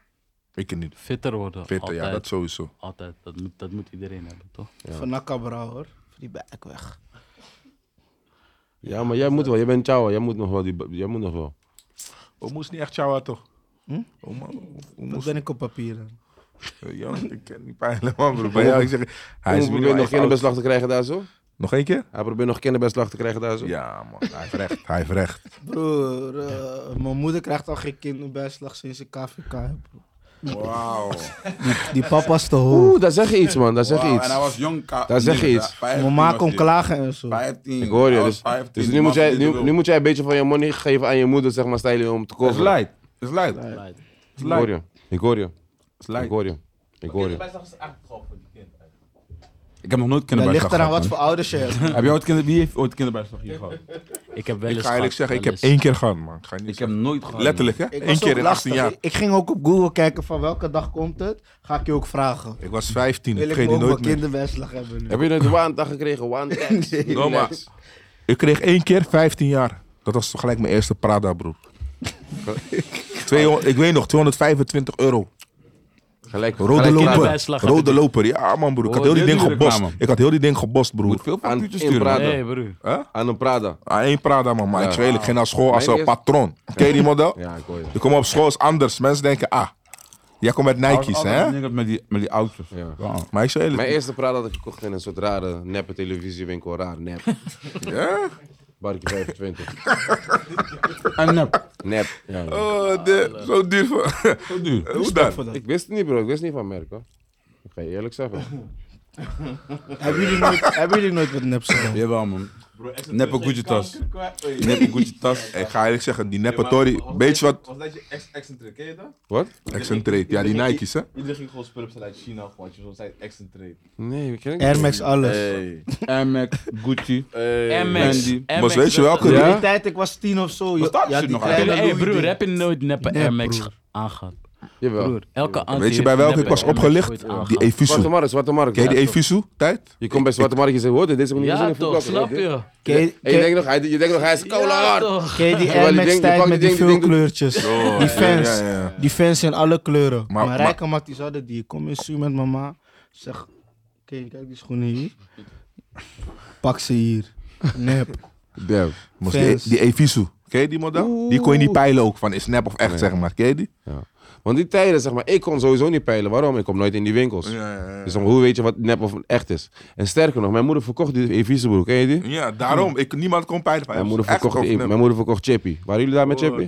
[SPEAKER 3] Ik het niet.
[SPEAKER 5] Fitter worden.
[SPEAKER 3] Fitter, ja,
[SPEAKER 5] altijd.
[SPEAKER 3] dat sowieso.
[SPEAKER 5] Altijd, dat moet, dat moet iedereen hebben, toch?
[SPEAKER 4] Van Nakabra, hoor. Voor die bek weg.
[SPEAKER 1] Ja, maar jij moet wel. Jij bent Chawa. Jij moet nog wel. Die, jij moet nog wel.
[SPEAKER 3] We moest niet echt Chawa toch?
[SPEAKER 4] Hm?
[SPEAKER 3] Oh man,
[SPEAKER 4] Dat
[SPEAKER 3] moest...
[SPEAKER 4] ben ik op papier. dan.
[SPEAKER 3] Ja, eh, ik ken die pijn helemaal, broer. Maar ja, ik zeg, hij is
[SPEAKER 1] Hij probeert
[SPEAKER 3] minimaal
[SPEAKER 1] nog
[SPEAKER 3] even oud.
[SPEAKER 1] kinderbeslag te krijgen daar zo.
[SPEAKER 3] Nog één keer?
[SPEAKER 1] Hij probeert nog kinderbeslag te krijgen daar zo.
[SPEAKER 3] Ja man, hij heeft recht, hij heeft recht.
[SPEAKER 4] Broer, eh, mijn moeder krijgt al geen kinderbijslag sinds ik KVK heb. broer.
[SPEAKER 3] Wauw.
[SPEAKER 4] Die papa is te hoog.
[SPEAKER 1] Oeh, daar zeg je iets, man. Daar zeg je
[SPEAKER 2] Wauw,
[SPEAKER 1] iets.
[SPEAKER 2] En hij was jong. ka-
[SPEAKER 1] Daar zeg je
[SPEAKER 2] nigga,
[SPEAKER 1] iets.
[SPEAKER 2] ja, 15
[SPEAKER 4] Mijn ma
[SPEAKER 2] was
[SPEAKER 4] kon
[SPEAKER 2] hij.
[SPEAKER 4] klagen en zo.
[SPEAKER 2] 15.
[SPEAKER 1] Ik hoor je.
[SPEAKER 2] Hij was
[SPEAKER 1] Dus,
[SPEAKER 2] 15,
[SPEAKER 1] dus nu,
[SPEAKER 2] die
[SPEAKER 1] moet
[SPEAKER 2] man
[SPEAKER 1] jij,
[SPEAKER 2] deed het
[SPEAKER 1] nu,
[SPEAKER 2] wel.
[SPEAKER 1] nu moet jij een beetje van je money geven aan je moeder, zeg maar, stijlen om te
[SPEAKER 2] Het is
[SPEAKER 1] kopen.
[SPEAKER 2] light. Het is light. Het
[SPEAKER 5] Right.
[SPEAKER 2] is
[SPEAKER 1] Ik hoor
[SPEAKER 2] light.
[SPEAKER 1] je. Ik hoor je.
[SPEAKER 2] Het is
[SPEAKER 1] Ik
[SPEAKER 2] light.
[SPEAKER 1] hoor je. Ik hoor je.
[SPEAKER 6] Kinderbijslag is eigenlijk gewoon voor die kind. eigenlijk.
[SPEAKER 2] Ik heb nog nooit
[SPEAKER 4] Dat
[SPEAKER 2] kinderbijslag
[SPEAKER 4] ligt eraan
[SPEAKER 2] gehad,
[SPEAKER 4] wat voor ouders je hebt.
[SPEAKER 2] man. Heb jij ooit kinder... Wie heeft ooit kinderbijslag hier gehad?
[SPEAKER 5] Ik heb wel
[SPEAKER 3] Ik
[SPEAKER 5] eens
[SPEAKER 3] ga
[SPEAKER 5] gehad,
[SPEAKER 3] eerlijk zeggen, ik
[SPEAKER 5] wel
[SPEAKER 3] heb
[SPEAKER 5] eens.
[SPEAKER 3] één keer gehad man. Ik ga niet
[SPEAKER 2] Ik heb nooit gehad.
[SPEAKER 3] Letterlijk hè?
[SPEAKER 4] Ik
[SPEAKER 3] Eén
[SPEAKER 4] was
[SPEAKER 3] keer
[SPEAKER 4] ook
[SPEAKER 3] in 18
[SPEAKER 4] lastig.
[SPEAKER 3] jaar.
[SPEAKER 4] Ik- Ik ging ook op Google kijken van welke dag komt het. Ga ik je ook vragen.
[SPEAKER 3] Ik was 15,
[SPEAKER 4] Wil
[SPEAKER 3] ik
[SPEAKER 4] ik
[SPEAKER 3] kreeg die
[SPEAKER 4] ook mijn
[SPEAKER 3] nooit meer.
[SPEAKER 4] kinderbijslag hebben nu?
[SPEAKER 1] Heb je net waantag gekregen? Waantag?
[SPEAKER 3] No, maar ik kreeg één keer 15 jaar. Dat was gelijk mijn eerste Prada, broer. 200, ik weet nog, 225 euro.
[SPEAKER 1] Gelijk.
[SPEAKER 3] Rode
[SPEAKER 5] Gelijk
[SPEAKER 3] loper.
[SPEAKER 5] kinderbijslag heb
[SPEAKER 3] Rode
[SPEAKER 5] je.
[SPEAKER 3] loper, ja man broer. Ik had heel
[SPEAKER 2] Oh,
[SPEAKER 3] die
[SPEAKER 2] dit
[SPEAKER 3] ding
[SPEAKER 2] is reclame.
[SPEAKER 3] gebost. Ik had heel die ding gebost,
[SPEAKER 2] Moet
[SPEAKER 3] broer.
[SPEAKER 2] veel
[SPEAKER 1] Aan-
[SPEAKER 2] factuurtjes
[SPEAKER 1] in
[SPEAKER 2] sturen. man.
[SPEAKER 1] Prada.
[SPEAKER 5] Nee, broer.
[SPEAKER 1] Aan een Prada.
[SPEAKER 3] Ah, één Prada man, maar ik
[SPEAKER 1] Ja.
[SPEAKER 3] zweer, ik ging naar school als
[SPEAKER 1] Mijn
[SPEAKER 3] een
[SPEAKER 1] eerste-
[SPEAKER 3] patroon. Ken je die model?
[SPEAKER 1] Ja, ik hoor je.
[SPEAKER 3] Je komt op school is anders. Mensen denken, ah, jij komt met Nike's
[SPEAKER 2] Altijd
[SPEAKER 3] hè?
[SPEAKER 2] niggas Met die, met die auto's.
[SPEAKER 1] Ja.
[SPEAKER 2] Wauw.
[SPEAKER 3] Maar ik zweer,
[SPEAKER 1] Mijn
[SPEAKER 3] eerlijk,
[SPEAKER 1] eerste Prada had ik gekocht in een soort rare neppe televisiewinkel. Raar, nep.
[SPEAKER 3] ja?
[SPEAKER 1] Barkie 25.
[SPEAKER 2] En nep.
[SPEAKER 1] Nep. Ja, man.
[SPEAKER 3] Oh, de, zo duur voor...
[SPEAKER 2] Zo duur.
[SPEAKER 3] Hoe dan?
[SPEAKER 4] Voor dat.
[SPEAKER 1] Oh, Ik wist het niet, bro. Ik wist niet van merk, hoor. Ik ga je eerlijk zeggen.
[SPEAKER 4] Hebben jullie nooit, hebben jullie nooit wat neps gedaan?
[SPEAKER 2] Jawel man.
[SPEAKER 6] Bro, echt een
[SPEAKER 2] Neppe
[SPEAKER 6] plus één
[SPEAKER 2] Gucci tas.
[SPEAKER 6] kanker kwijt. Oei.
[SPEAKER 2] Neppe Gucci tas.
[SPEAKER 3] Ik ga eerlijk zeggen, die
[SPEAKER 6] Nee, maar
[SPEAKER 3] neppatori,
[SPEAKER 6] was
[SPEAKER 3] weet je
[SPEAKER 6] dat-
[SPEAKER 3] wat?
[SPEAKER 6] Was dat je ex- excentric, ken je dat?
[SPEAKER 1] Wat?
[SPEAKER 3] Excentric, ja die
[SPEAKER 6] Iedereen-
[SPEAKER 3] Nike's hè?
[SPEAKER 6] Iedereen ging gewoon spullen bestellen uit China, gewoon. Je zo'n zei excentric.
[SPEAKER 1] Nee, we kennen
[SPEAKER 4] Air Max alles.
[SPEAKER 2] Air Max, Gucci.
[SPEAKER 6] Hey.
[SPEAKER 5] MX.
[SPEAKER 2] Mandy.
[SPEAKER 5] MX,
[SPEAKER 3] Maar weet je welke?
[SPEAKER 4] In die
[SPEAKER 1] Ja?
[SPEAKER 4] tijd, ik was tien of zo. joh.
[SPEAKER 2] Bestaat die
[SPEAKER 4] Ja,
[SPEAKER 2] shit
[SPEAKER 4] die
[SPEAKER 2] nog
[SPEAKER 4] kleine
[SPEAKER 2] eigenlijk?
[SPEAKER 5] Hey
[SPEAKER 4] Louis
[SPEAKER 5] broer,
[SPEAKER 4] ding.
[SPEAKER 5] heb je nooit neppe
[SPEAKER 4] Nee,
[SPEAKER 5] Air Max
[SPEAKER 4] broer.
[SPEAKER 5] aangehad?
[SPEAKER 1] Jawel.
[SPEAKER 5] Broer, elke anti
[SPEAKER 3] Weet je
[SPEAKER 5] heeft
[SPEAKER 3] bij welke ik
[SPEAKER 5] neppe
[SPEAKER 3] was
[SPEAKER 5] Air Max
[SPEAKER 3] opgelicht?
[SPEAKER 5] ooit aangehad.
[SPEAKER 3] Die Evisu.
[SPEAKER 1] Zwarte markt, zwarte markt.
[SPEAKER 3] Ken je die
[SPEAKER 1] Ja,
[SPEAKER 3] Evisu tijd?
[SPEAKER 1] Je komt bij zwarte markt en je zegt, hoor, dit is niet gezien
[SPEAKER 5] Ja
[SPEAKER 1] in
[SPEAKER 5] toch,
[SPEAKER 1] voetbal.
[SPEAKER 5] snap je?
[SPEAKER 4] Ken je-
[SPEAKER 1] En je
[SPEAKER 4] ken-
[SPEAKER 1] denkt nog, hij, je denkt nog, hij is koude
[SPEAKER 5] Ja
[SPEAKER 1] hard.
[SPEAKER 5] toch.
[SPEAKER 4] Ken je die
[SPEAKER 1] Terwijl
[SPEAKER 4] Air
[SPEAKER 1] die
[SPEAKER 4] Max
[SPEAKER 1] ding- die
[SPEAKER 4] tijd
[SPEAKER 1] pak
[SPEAKER 4] met
[SPEAKER 1] die
[SPEAKER 4] die
[SPEAKER 1] ding- die
[SPEAKER 4] veel
[SPEAKER 1] ding-
[SPEAKER 4] kleurtjes? Die fans.
[SPEAKER 3] Oh, Ja, ja, ja.
[SPEAKER 4] Die fans in alle kleuren.
[SPEAKER 3] Maar-
[SPEAKER 4] Maar,
[SPEAKER 3] maar-
[SPEAKER 4] rijke matties hadden die. Ik kom in Su met mama. Zeg, kijk, kijk die schoenen hier. Pak ze hier. Nep.
[SPEAKER 1] Damn.
[SPEAKER 3] Moest die,
[SPEAKER 4] Fans.
[SPEAKER 3] die Evisu. Ken je die model? Die kon je niet peilen ook, van is nep of echt zeg maar. Ken je die?
[SPEAKER 1] Want die tijden, zeg maar, ik kon sowieso niet peilen. Waarom? Ik kom nooit in die winkels. Dus dan, hoe weet je wat nep of echt is? En sterker nog, mijn moeder verkocht die Evisenbroek, ken je die?
[SPEAKER 3] Ja, daarom. Ik, niemand kon peilen van
[SPEAKER 1] Mijn
[SPEAKER 3] hem.
[SPEAKER 1] moeder, verkocht, die- mijn moeder verkocht Chippy. Waren jullie daar met Chippy?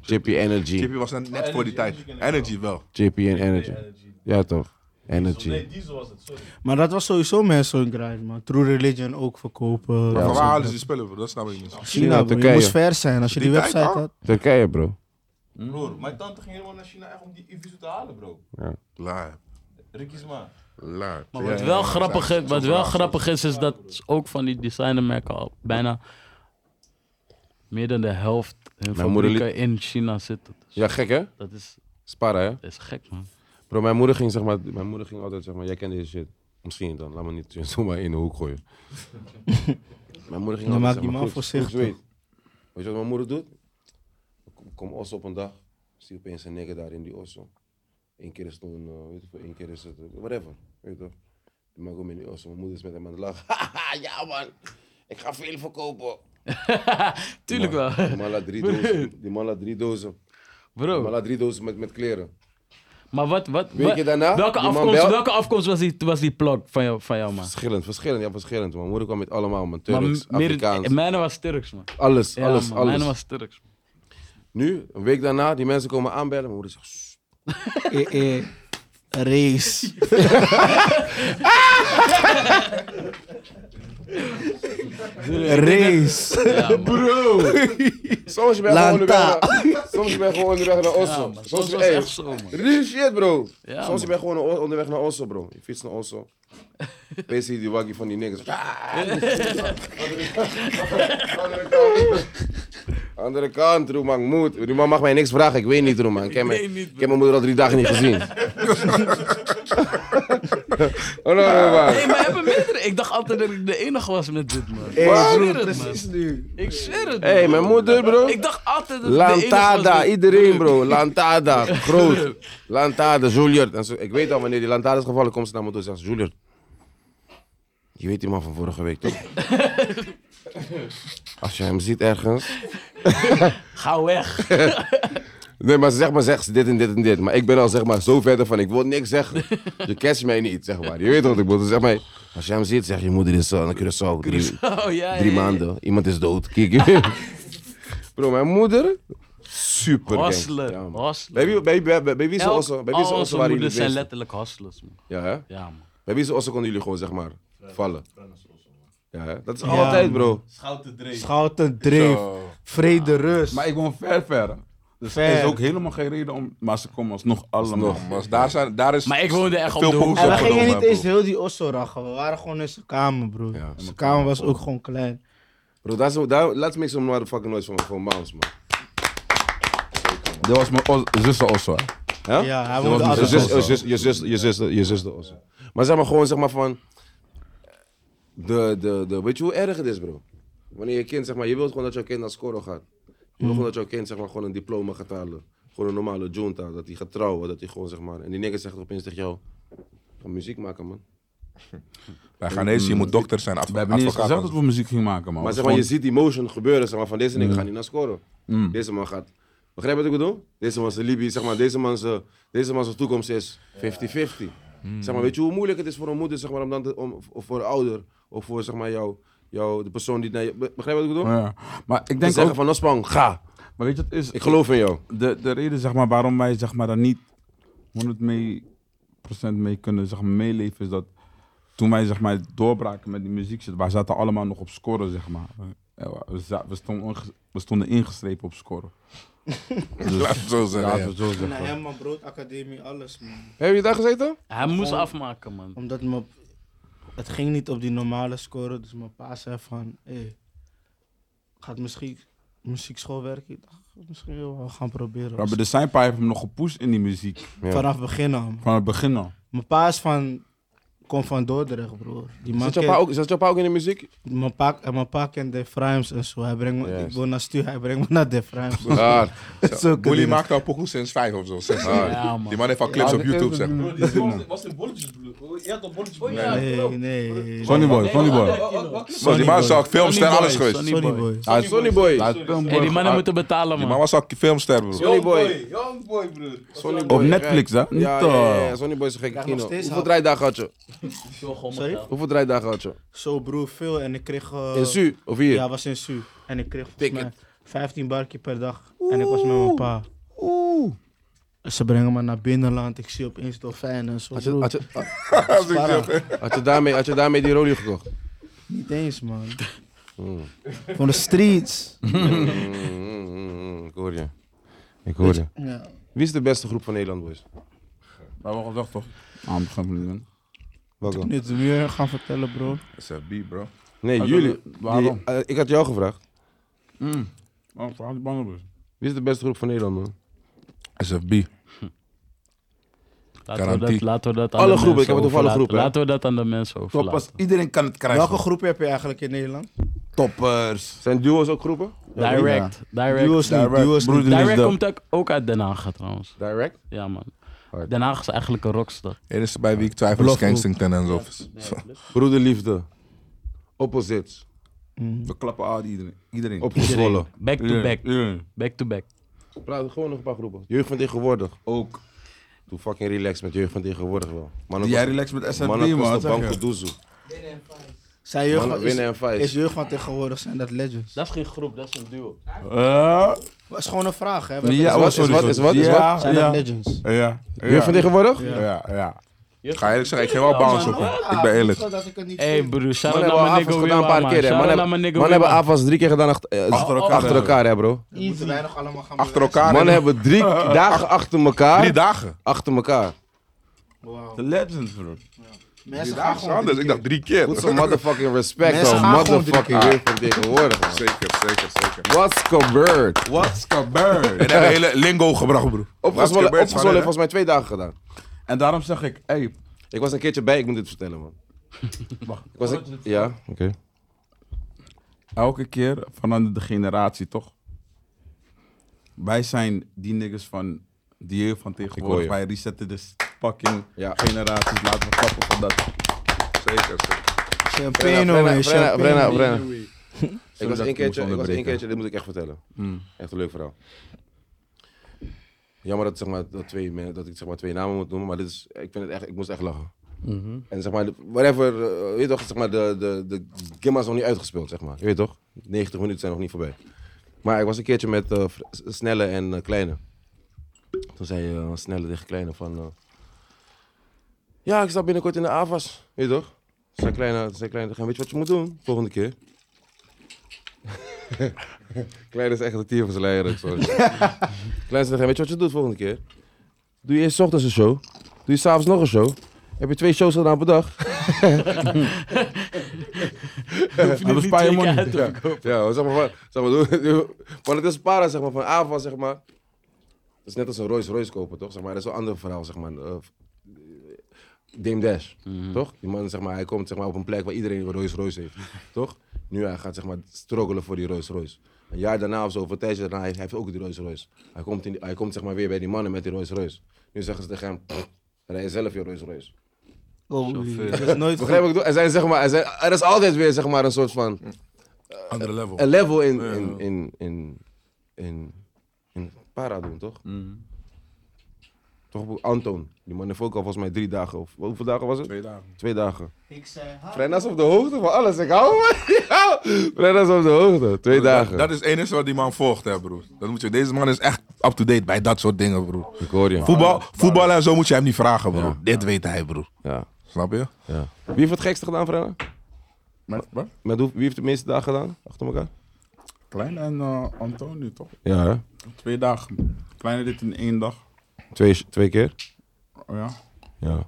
[SPEAKER 1] Chippy Energy.
[SPEAKER 3] Oh, Chippy was net net voor die tijd. Energy wel.
[SPEAKER 1] Chippy en Energy. Ja toch? Energy.
[SPEAKER 6] Nee, diesel was het, sorry. Maar
[SPEAKER 4] Maar dat was sowieso mensen zo'n grind, man. True Religion ook verkopen.
[SPEAKER 3] Maar
[SPEAKER 4] Dat
[SPEAKER 3] van waar
[SPEAKER 4] was-
[SPEAKER 3] halen ze die spullen? bro? Dat snap ik niet.
[SPEAKER 1] China,
[SPEAKER 4] China, bro. Je
[SPEAKER 1] Turkije.
[SPEAKER 4] moest ver zijn als je
[SPEAKER 3] Die
[SPEAKER 4] die
[SPEAKER 3] tijd
[SPEAKER 4] website
[SPEAKER 3] al?
[SPEAKER 4] had.
[SPEAKER 1] Turkije, bro.
[SPEAKER 6] Broer, mijn tante ging helemaal naar China echt om die Ibiza te halen, bro.
[SPEAKER 3] Laat.
[SPEAKER 6] Ricky's ma.
[SPEAKER 3] Laat.
[SPEAKER 5] Maar wat wel grappig is, wat wel grappig is, is dat ook van die designermerken al bijna meer dan de helft hun
[SPEAKER 1] Mijn moeder
[SPEAKER 5] fabrieken in China zitten. Dus
[SPEAKER 1] Ja, gek hè?
[SPEAKER 5] dat, is,
[SPEAKER 1] Spara, hè?
[SPEAKER 5] dat is gek man.
[SPEAKER 1] Bro, mijn moeder ging, zeg maar, mijn moeder ging altijd, zeg maar, jij kent deze shit. Misschien dan, laat me niet zomaar in de hoek gooien. mijn moeder ging
[SPEAKER 4] Dan
[SPEAKER 1] altijd,
[SPEAKER 4] maak
[SPEAKER 1] zeg
[SPEAKER 4] die
[SPEAKER 1] maar,
[SPEAKER 4] man
[SPEAKER 1] goed,
[SPEAKER 4] voorzichtig.
[SPEAKER 1] goed Weet. weet je wat mijn moeder doet? Ik kom- kom os op een dag, zie opeens een nigger daar in die osso. Eén keer is het een, eh, weet je wel, één keer is het, eh, whatever, weet je toch? Die man komt in die osso, mijn moeder is met hem aan de lach. Haha, ja man, ik ga veel verkopen.
[SPEAKER 5] Tuurlijk
[SPEAKER 1] Die man-
[SPEAKER 5] wel.
[SPEAKER 1] Die man laat drie dozen, die man laat drie dozen. Die man
[SPEAKER 5] Bro,
[SPEAKER 1] laat drie dozen met, met kleren.
[SPEAKER 5] maar wat, wat,
[SPEAKER 1] Weet je daarna?
[SPEAKER 5] welke,
[SPEAKER 1] Die man
[SPEAKER 5] afkomst,
[SPEAKER 1] belt.
[SPEAKER 5] welke afkomst was die, was die plug van jou, van jou man?
[SPEAKER 1] Verschillend, verschillend, ja verschillend. Mijn moeder kwam met allemaal, man.
[SPEAKER 5] Maar
[SPEAKER 1] Turks,
[SPEAKER 5] meer- eh,
[SPEAKER 1] Afrikaans,
[SPEAKER 5] Mijne was Turks man.
[SPEAKER 1] alles,
[SPEAKER 5] Ja,
[SPEAKER 1] alles,
[SPEAKER 5] man,
[SPEAKER 1] alles.
[SPEAKER 5] Mijne was Turks man.
[SPEAKER 1] Nu, een week daarna, die mensen komen aanbellen. Mijn moeder zegt, "Sst."
[SPEAKER 4] Eh, eh. Race. Race.
[SPEAKER 1] soms ben je gewoon
[SPEAKER 4] Lanta.
[SPEAKER 1] onderweg, soms ben je gewoon onderweg naar
[SPEAKER 5] Ja,
[SPEAKER 1] Oslo.
[SPEAKER 5] man. Soms
[SPEAKER 1] soms
[SPEAKER 5] was
[SPEAKER 1] hey,
[SPEAKER 5] echt zo man.
[SPEAKER 1] real shit bro.
[SPEAKER 5] Ja,
[SPEAKER 1] soms
[SPEAKER 5] man.
[SPEAKER 1] ben je gewoon o- onderweg naar Oslo bro. Je fietst naar Oslo. Opeens zie je die waggie van die niggas. Ah! Andere kant. Andere kant, Roemang, moet. Roemang mag mij niks vragen, ik weet niet, Roemang. Ik, ken mijn- ik heb mijn moeder al drie dagen niet gezien. Hallo, Roemang.
[SPEAKER 5] Nee, maar hebben meerdere. Ik dacht altijd dat ik de enige was met dit man. Ik
[SPEAKER 4] Hey,
[SPEAKER 5] zweer
[SPEAKER 4] broer,
[SPEAKER 5] het,
[SPEAKER 4] precies nu.
[SPEAKER 5] man. Ik zweer het.
[SPEAKER 1] Hé, hey,
[SPEAKER 5] man.
[SPEAKER 1] mijn moeder, bro.
[SPEAKER 5] Ik dacht altijd dat ik de enige was
[SPEAKER 1] Lantada,
[SPEAKER 5] met-
[SPEAKER 1] iedereen, bro. Lantada, groot. Lantada, Juliard. En zo, ik weet al, wanneer die Lantada is gevallen, komt ze naar me toe en zegt: Juliard. Je weet die man van vorige week toch? Als je hem ziet ergens.
[SPEAKER 5] Ga weg.
[SPEAKER 1] Nee, maar zeg maar, zeg dit en dit en dit. Maar ik ben al zeg maar zo verder van, ik wil niks zeggen. Je kent mij niet, zeg maar. Je weet wat ik bedoel. Dus Zeg maar, als je hem ziet, zeg je moeder is zo, dan kun je zo. Drie,
[SPEAKER 5] Oh ja.
[SPEAKER 1] drie
[SPEAKER 5] ja, ja.
[SPEAKER 1] maanden, iemand is dood. Kijk. Bro, mijn moeder, super gang.
[SPEAKER 5] Hasselen.
[SPEAKER 1] Ja, man.
[SPEAKER 5] Hasselen.
[SPEAKER 1] Bij wie, bij, bij, bij, bij wie ze
[SPEAKER 5] Elk-
[SPEAKER 1] ossen, bij wie ze ossen
[SPEAKER 5] al onze
[SPEAKER 1] waren jullie
[SPEAKER 5] moeders
[SPEAKER 1] het
[SPEAKER 5] zijn
[SPEAKER 1] meest?
[SPEAKER 5] letterlijk hustlers, man.
[SPEAKER 1] Ja, hè?
[SPEAKER 5] Ja, man.
[SPEAKER 1] Bij wie ze ossen konden jullie gewoon, zeg maar, vallen? Ja, hè? Dat is altijd, bro.
[SPEAKER 6] Schouten dreef.
[SPEAKER 4] Schouten, dreef, vrede, rust.
[SPEAKER 2] Maar ik woon ver ver. Dus er is
[SPEAKER 4] Ver.
[SPEAKER 2] ook helemaal geen reden om. Maar ze komen alsnog allemaal.
[SPEAKER 3] Nog, maar daar, zijn, daar is
[SPEAKER 5] Maar ik woonde echt op
[SPEAKER 3] veel
[SPEAKER 5] de hoek.
[SPEAKER 3] positief
[SPEAKER 4] En we gingen
[SPEAKER 3] genomen,
[SPEAKER 4] niet eens
[SPEAKER 3] bro.
[SPEAKER 4] heel die osso rachen. We waren gewoon in zijn kamer, bro.
[SPEAKER 1] Ja.
[SPEAKER 4] zijn kamer was ook gewoon klein.
[SPEAKER 1] Bro, dat is, daar, let's make some motherfucking noise voor, voor Mouse, man.
[SPEAKER 2] Dat was mijn os- zussen Osso. hè.
[SPEAKER 1] Hè?
[SPEAKER 4] Ja, hij
[SPEAKER 2] was
[SPEAKER 4] woonde
[SPEAKER 2] niet
[SPEAKER 1] Je
[SPEAKER 4] altijd
[SPEAKER 2] zo
[SPEAKER 1] zus,
[SPEAKER 2] zo.
[SPEAKER 1] je zus, je zus, je zus, je zus de ossen. Maar zeg maar gewoon, zeg maar van. De, de, de, weet je hoe erg het is, bro? Wanneer je kind, zeg maar, je wilt gewoon dat jouw kind naar Scoro gaat. Je wilt gewoon dat jouw kind, zeg maar, gewoon een diploma gaat halen. Gewoon een normale junta, dat hij gaat trouwen, dat hij gewoon, zeg maar. En die nigger zegt opeens tegen jou: ga muziek maken, man.
[SPEAKER 3] Bij Ghanese, je moet dokter zijn, adv-
[SPEAKER 2] We hebben niet eens
[SPEAKER 3] advocaat.
[SPEAKER 2] gezegd dat we muziek gingen maken, man.
[SPEAKER 1] Maar
[SPEAKER 2] Het
[SPEAKER 1] zeg
[SPEAKER 2] was
[SPEAKER 1] maar, je
[SPEAKER 2] gewoon- Mm.
[SPEAKER 1] ziet die motion gebeuren, zeg maar, van deze nigger gaat niet naar Scoro. Deze man gaat. Begrijp je wat ik bedoel? Deze man zijn Libië, zeg maar, deze man zijn, deze man zijn toekomst is 50-50.
[SPEAKER 2] Mm.
[SPEAKER 1] Zeg maar, weet je hoe moeilijk het is voor een moeder, zeg maar, om dan te- om, of voor een ouder, of voor zeg maar, jou, jou, de persoon die naar je. be- Begrijp je wat ik bedoel?
[SPEAKER 2] Ja. Maar ik
[SPEAKER 1] Te
[SPEAKER 2] denk
[SPEAKER 1] zeggen
[SPEAKER 2] ook.
[SPEAKER 1] van Nospang, ga.
[SPEAKER 2] Maar weet je, het is.
[SPEAKER 1] Ik geloof in jou.
[SPEAKER 2] de, de reden zeg maar, waarom wij zeg maar, daar niet 100% mee, procent mee kunnen zeg maar, meeleven is dat toen wij zeg maar, doorbraken met die muziek, wij zaten allemaal nog op scoren. Zeg maar. Eh, we, za- we, stonden, onge- we stonden ingestrepen op scoren.
[SPEAKER 3] Laat het zo zeggen.
[SPEAKER 2] Laten we
[SPEAKER 3] ja.
[SPEAKER 2] het zo
[SPEAKER 4] Naar
[SPEAKER 2] zeggen.
[SPEAKER 4] hem, man, brood, academie, alles, man.
[SPEAKER 1] Heb je daar gezeten?
[SPEAKER 5] Hij moest afmaken, man.
[SPEAKER 4] Omdat mijn, het ging niet op die normale score, dus mijn pa zei van, hé, gaat misschien muziekschool werken? Ik dacht, misschien wel, we gaan proberen.
[SPEAKER 2] Rabbi de Seinpa heeft hem nog gepusht in die muziek.
[SPEAKER 4] Vanaf begin al. man.
[SPEAKER 2] Van het begin al.
[SPEAKER 4] Mijn pa is van, komt van Dordrecht, broer. Die man
[SPEAKER 1] Zat jouw
[SPEAKER 4] kent-
[SPEAKER 1] pa ook, zat jouw pa ook in de muziek?
[SPEAKER 4] Mijn pa, en mijn pa kent de Frames en zo. Hij brengt me,
[SPEAKER 1] Juist.
[SPEAKER 4] ik wil naar stuur, hij brengt me naar de Frames.
[SPEAKER 1] Ja.
[SPEAKER 4] Zulke
[SPEAKER 3] Bully
[SPEAKER 4] dingen.
[SPEAKER 3] maakt al pokoe sinds vijf of zo, zes jaar.
[SPEAKER 5] Ja, man.
[SPEAKER 3] Die man heeft al clips
[SPEAKER 2] Ja,
[SPEAKER 3] op
[SPEAKER 2] dat
[SPEAKER 3] YouTube,
[SPEAKER 2] is-
[SPEAKER 3] zeg maar.
[SPEAKER 7] Was in bordjes, broer. Je had al bordjes,
[SPEAKER 4] Nee, nee. nee.
[SPEAKER 2] Sonny Boy, Sonny Boy.
[SPEAKER 3] Bro, Die man is al filmster,
[SPEAKER 5] Sonny
[SPEAKER 3] alles
[SPEAKER 5] Boy,
[SPEAKER 3] geweest.
[SPEAKER 5] Sonny Boy.
[SPEAKER 4] Boy.
[SPEAKER 2] Hij is-
[SPEAKER 1] Sonny Boy.
[SPEAKER 2] hij is filmboy
[SPEAKER 5] Hey, die mannen
[SPEAKER 2] geaard.
[SPEAKER 5] moeten betalen,
[SPEAKER 3] Die man
[SPEAKER 5] man.
[SPEAKER 3] was al filmster, bro.
[SPEAKER 1] Sonny Boy.
[SPEAKER 7] Young boy, broer.
[SPEAKER 1] Sonny Boy.
[SPEAKER 2] Op Netflix, hè? Niet,
[SPEAKER 1] Ja, ja, ja,
[SPEAKER 2] eh,
[SPEAKER 1] ja, Sonny Boy is een gekke
[SPEAKER 4] nog
[SPEAKER 1] kino.
[SPEAKER 4] steeds
[SPEAKER 1] Hoeveel
[SPEAKER 4] hap.
[SPEAKER 1] draaidagen had je?
[SPEAKER 4] Sorry?
[SPEAKER 1] Hoeveel draaidagen had je?
[SPEAKER 4] Zo broer, veel en ik kreeg... eh,
[SPEAKER 1] In Su of hier?
[SPEAKER 4] Ja, was in Su. En ik kreeg volgens
[SPEAKER 1] Ticket.
[SPEAKER 4] mij 15 barkie per dag. En ik was met mijn pa.
[SPEAKER 1] Oeh.
[SPEAKER 4] Ze brengen me naar binnenland. Ik zie opeens dolfijnen en zo.
[SPEAKER 1] Had je,
[SPEAKER 4] broer.
[SPEAKER 1] had, je,
[SPEAKER 4] Para.
[SPEAKER 1] had, je daarmee, had je daarmee die rolie gekocht?
[SPEAKER 4] Niet eens, man. Van de streets.
[SPEAKER 1] Ik hoor je. Ik hoor je.
[SPEAKER 4] Ja.
[SPEAKER 1] Wie is de beste groep van Nederland, boys?
[SPEAKER 2] We hebben al gezegd, toch? Ah, ik begrijp het niet, man.
[SPEAKER 1] Welke?
[SPEAKER 4] Nu het weer gaan vertellen, bro.
[SPEAKER 3] SFB, bro.
[SPEAKER 1] Nee,
[SPEAKER 2] Ah,
[SPEAKER 1] jullie.
[SPEAKER 2] dat- waarom?
[SPEAKER 1] Die- eh, ik had jou gevraagd.
[SPEAKER 2] Mm. Oh, ik verhaal die banden dus.
[SPEAKER 1] Wie is de beste groep van Nederland, man?
[SPEAKER 3] SFB.
[SPEAKER 5] Laten we dat,
[SPEAKER 3] Garantie.
[SPEAKER 5] laten we dat aan
[SPEAKER 1] Alle
[SPEAKER 5] de
[SPEAKER 1] groepen,
[SPEAKER 5] mensen
[SPEAKER 1] ik heb het over alle
[SPEAKER 5] overlaten.
[SPEAKER 1] groepen, hè?
[SPEAKER 5] Laten we dat aan de mensen
[SPEAKER 2] Toppers,
[SPEAKER 5] overlaten.
[SPEAKER 2] iedereen kan het krijgen.
[SPEAKER 4] Welke groepen heb je eigenlijk in Nederland?
[SPEAKER 2] Toppers.
[SPEAKER 1] Zijn duo's ook groepen?
[SPEAKER 5] Direct, direct.
[SPEAKER 4] Duo's niet,
[SPEAKER 2] Direct.
[SPEAKER 4] duo's niet.
[SPEAKER 2] Broeder is
[SPEAKER 5] Direct
[SPEAKER 2] de-
[SPEAKER 5] komt ook- ook uit Den Haag, trouwens.
[SPEAKER 1] Direct?
[SPEAKER 5] Ja, man.
[SPEAKER 1] Hard.
[SPEAKER 5] Den Haag is eigenlijk een rockstad.
[SPEAKER 3] Eén is bij wie ik twijfel, is
[SPEAKER 4] Belofte.
[SPEAKER 3] Kensington en zo. Zo.
[SPEAKER 1] Broederliefde. Opposites.
[SPEAKER 2] We klappen aan iedereen. iedereen.
[SPEAKER 1] Opgezwollen.
[SPEAKER 5] Back to
[SPEAKER 2] Iedereen.
[SPEAKER 5] back.
[SPEAKER 2] Iedereen.
[SPEAKER 5] Back to back.
[SPEAKER 1] Praat gewoon nog een paar groepen. Jeugd van tegenwoordig.
[SPEAKER 2] Ook.
[SPEAKER 1] Doe fucking relax met jeugd van tegenwoordig wel. Mannen
[SPEAKER 2] Jij
[SPEAKER 1] kost-
[SPEAKER 2] relaxed met SNP, man.
[SPEAKER 1] Mannen kost de
[SPEAKER 2] zeg je?
[SPEAKER 1] bank doezoe.
[SPEAKER 4] Zijn jeugd
[SPEAKER 1] Mannen
[SPEAKER 4] van,
[SPEAKER 1] winnen en
[SPEAKER 4] is, is
[SPEAKER 1] vijf.
[SPEAKER 4] jeugd van tegenwoordig, zijn dat legends?
[SPEAKER 5] Dat is geen groep, dat is een duo.
[SPEAKER 2] Eh,
[SPEAKER 4] Dat is gewoon een vraag, hè? We hebben-
[SPEAKER 2] Ja,
[SPEAKER 1] wat,
[SPEAKER 2] oh,
[SPEAKER 1] is
[SPEAKER 2] sorry,
[SPEAKER 1] wat, is wat,
[SPEAKER 2] sorry.
[SPEAKER 1] is
[SPEAKER 2] Ja,
[SPEAKER 4] Zijn
[SPEAKER 2] ja.
[SPEAKER 4] dat legends?
[SPEAKER 2] Ja.
[SPEAKER 1] Jeugd van tegenwoordig?
[SPEAKER 2] Ja, ja, ja.
[SPEAKER 3] Ik ga eerlijk zeggen, ik geef wel bounce op hem. Ik ben eerlijk.
[SPEAKER 4] Ah, Dat ik het niet
[SPEAKER 5] Hé hey broer, shout
[SPEAKER 1] Man
[SPEAKER 5] out
[SPEAKER 1] hebben
[SPEAKER 5] naar mijn
[SPEAKER 1] AFAS
[SPEAKER 5] nigga
[SPEAKER 1] gedaan een
[SPEAKER 5] Wilma,
[SPEAKER 1] paar
[SPEAKER 5] man.
[SPEAKER 1] keer, hè. Man
[SPEAKER 5] Shout out naar
[SPEAKER 1] hebben-
[SPEAKER 5] mijn nigga
[SPEAKER 1] Man hebben
[SPEAKER 5] Wilma.
[SPEAKER 1] AFAS drie keer gedaan achter, eh,
[SPEAKER 2] Achter elkaar.
[SPEAKER 1] achter elkaar, hè, bro.
[SPEAKER 4] moeten wij nog allemaal gaan
[SPEAKER 3] Achter
[SPEAKER 4] bewijzen.
[SPEAKER 3] elkaar.
[SPEAKER 1] Man
[SPEAKER 3] in
[SPEAKER 1] hebben drie dagen achter
[SPEAKER 3] Drie
[SPEAKER 1] elkaar.
[SPEAKER 3] dagen.
[SPEAKER 1] Achter elkaar.
[SPEAKER 4] Wauw.
[SPEAKER 2] De legends, bro.
[SPEAKER 4] Mensen gaan
[SPEAKER 3] Dat is
[SPEAKER 4] gewoon
[SPEAKER 3] anders. Ik dacht drie keer.
[SPEAKER 1] Put some motherfucking respect
[SPEAKER 4] Mensen
[SPEAKER 1] on
[SPEAKER 4] gaan gewoon drie
[SPEAKER 1] motherfucking weer van tegenwoordig, man.
[SPEAKER 3] Zeker, zeker, zeker.
[SPEAKER 1] What's gebeurd?
[SPEAKER 2] What's gebeurd?
[SPEAKER 3] En hebben hele lingo gebracht, broer.
[SPEAKER 1] Opgezwollen opgezwollen
[SPEAKER 3] gebeurd,
[SPEAKER 1] heeft
[SPEAKER 3] Spanel,
[SPEAKER 1] volgens mij twee dagen gedaan.
[SPEAKER 2] en daarom zeg ik, hey,
[SPEAKER 1] Ik was een keertje bij, ik moet dit vertellen, man. Ik was een- Ja, oké.
[SPEAKER 2] elke keer van de generatie, toch? Wij zijn die niggas van die jeugd van
[SPEAKER 1] hoor
[SPEAKER 2] tegenwoordig.
[SPEAKER 1] je.
[SPEAKER 2] Wij resetten de fucking
[SPEAKER 1] Ja.
[SPEAKER 2] generaties. Laten we klappen van dat.
[SPEAKER 3] hè? Zeker, zeker.
[SPEAKER 4] Champagne, oh
[SPEAKER 1] Brenna,
[SPEAKER 4] man.
[SPEAKER 1] Brenna,
[SPEAKER 4] champagne.
[SPEAKER 1] Brenna.
[SPEAKER 7] Anyway.
[SPEAKER 1] Ik was
[SPEAKER 2] dat
[SPEAKER 1] één
[SPEAKER 2] ik moest
[SPEAKER 1] keertje, ik was één
[SPEAKER 2] onderbreken.
[SPEAKER 1] keertje, dit moet ik echt vertellen. Echt een leuk verhaal. Jammer dat, zeg maar, dat, twee, men- dat ik zeg maar, twee namen moet noemen, maar dit is, ik, vind het echt, ik moest echt lachen. En zeg maar, de- whatever, eh, weet je toch, zeg maar, de, de, de Gimma is nog niet uitgespeeld, zeg maar. Je weet toch? 90 minuten zijn nog niet voorbij. Maar ik was een keertje met eh, Fr- S- Snelle en eh, Kleine. Toen zei eh, Snelle tegen Kleine van... eh, ja, ik sta binnenkort in de AVAS, weet je toch? Toen zei Kleine, toen zei Kleine tegen hem, weet je wat je moet doen volgende keer? Kleine is echt een tier van zijn leier. ook, sorry. Kleine zegt, weet je wat je doet volgende keer? Doe je eerst 's ochtends een show. Doe je s'avonds nog een show. Heb je twee shows gedaan per dag.
[SPEAKER 2] En we sparen je money.
[SPEAKER 1] Ja, ja, zeg maar van, zeg maar, doe- doe- maar het is sparen, zeg maar, van aanval, zeg maar. Het is net als een Rolls Royce kopen, toch? Zeg maar, dat is een ander verhaal, zeg maar. eh, Dame Dash, toch? Die man, zeg maar, hij komt zeg maar, op een plek waar iedereen een Rolls Royce heeft, toch? Nu hij gaat, zeg maar, struggelen voor die Rolls Royce. Een jaar daarna of zo, of een tijdje daarna, hij heeft ook die Rolls Royce. Hij komt, in die- hij komt zeg maar, weer bij die mannen met die Rolls Royce. Nu zeggen ze tegen hem, "Pff, rij zelf je Rolls Royce.
[SPEAKER 4] Oh, dat is nooit
[SPEAKER 1] Begrijp wat ik bedoel? Er, zijn, zeg maar, er, zijn, er is altijd weer, zeg maar, een soort van...
[SPEAKER 3] Andere level.
[SPEAKER 1] een level in,
[SPEAKER 3] Ja,
[SPEAKER 1] in,
[SPEAKER 3] ja.
[SPEAKER 1] in, in, in, in para doen, toch?
[SPEAKER 3] Mhm.
[SPEAKER 1] Toch Anton. Die man heeft ook al volgens mij drie dagen. Of, hoeveel dagen was het?
[SPEAKER 3] Twee dagen.
[SPEAKER 1] Twee dagen.
[SPEAKER 4] Ik zei,
[SPEAKER 1] Frenna is op de hoogte van alles. Ik hou me. Ja, Frenna is op de hoogte. Twee dagen.
[SPEAKER 3] Dat, dat is het enige wat die man volgt, hè, broer. Dat moet je, deze man is echt up-to-date bij dat soort dingen, broer.
[SPEAKER 1] ik hoor je.
[SPEAKER 3] Voetbal, voetbal en zo moet je hem niet vragen, broer. Dit weet hij, broer.
[SPEAKER 1] Ja,
[SPEAKER 3] Snap je?
[SPEAKER 1] ja. Wie heeft het gekste gedaan, Frenna?
[SPEAKER 2] Wat?
[SPEAKER 1] Met hoe, wie heeft de meeste dagen gedaan? Achter elkaar?
[SPEAKER 2] Klein en eh Antonio toch?
[SPEAKER 1] Ja, hè?
[SPEAKER 2] Twee dagen. Kleine dit in één dag.
[SPEAKER 1] Twee, twee keer?
[SPEAKER 2] Oh ja.
[SPEAKER 1] Ah, Ja.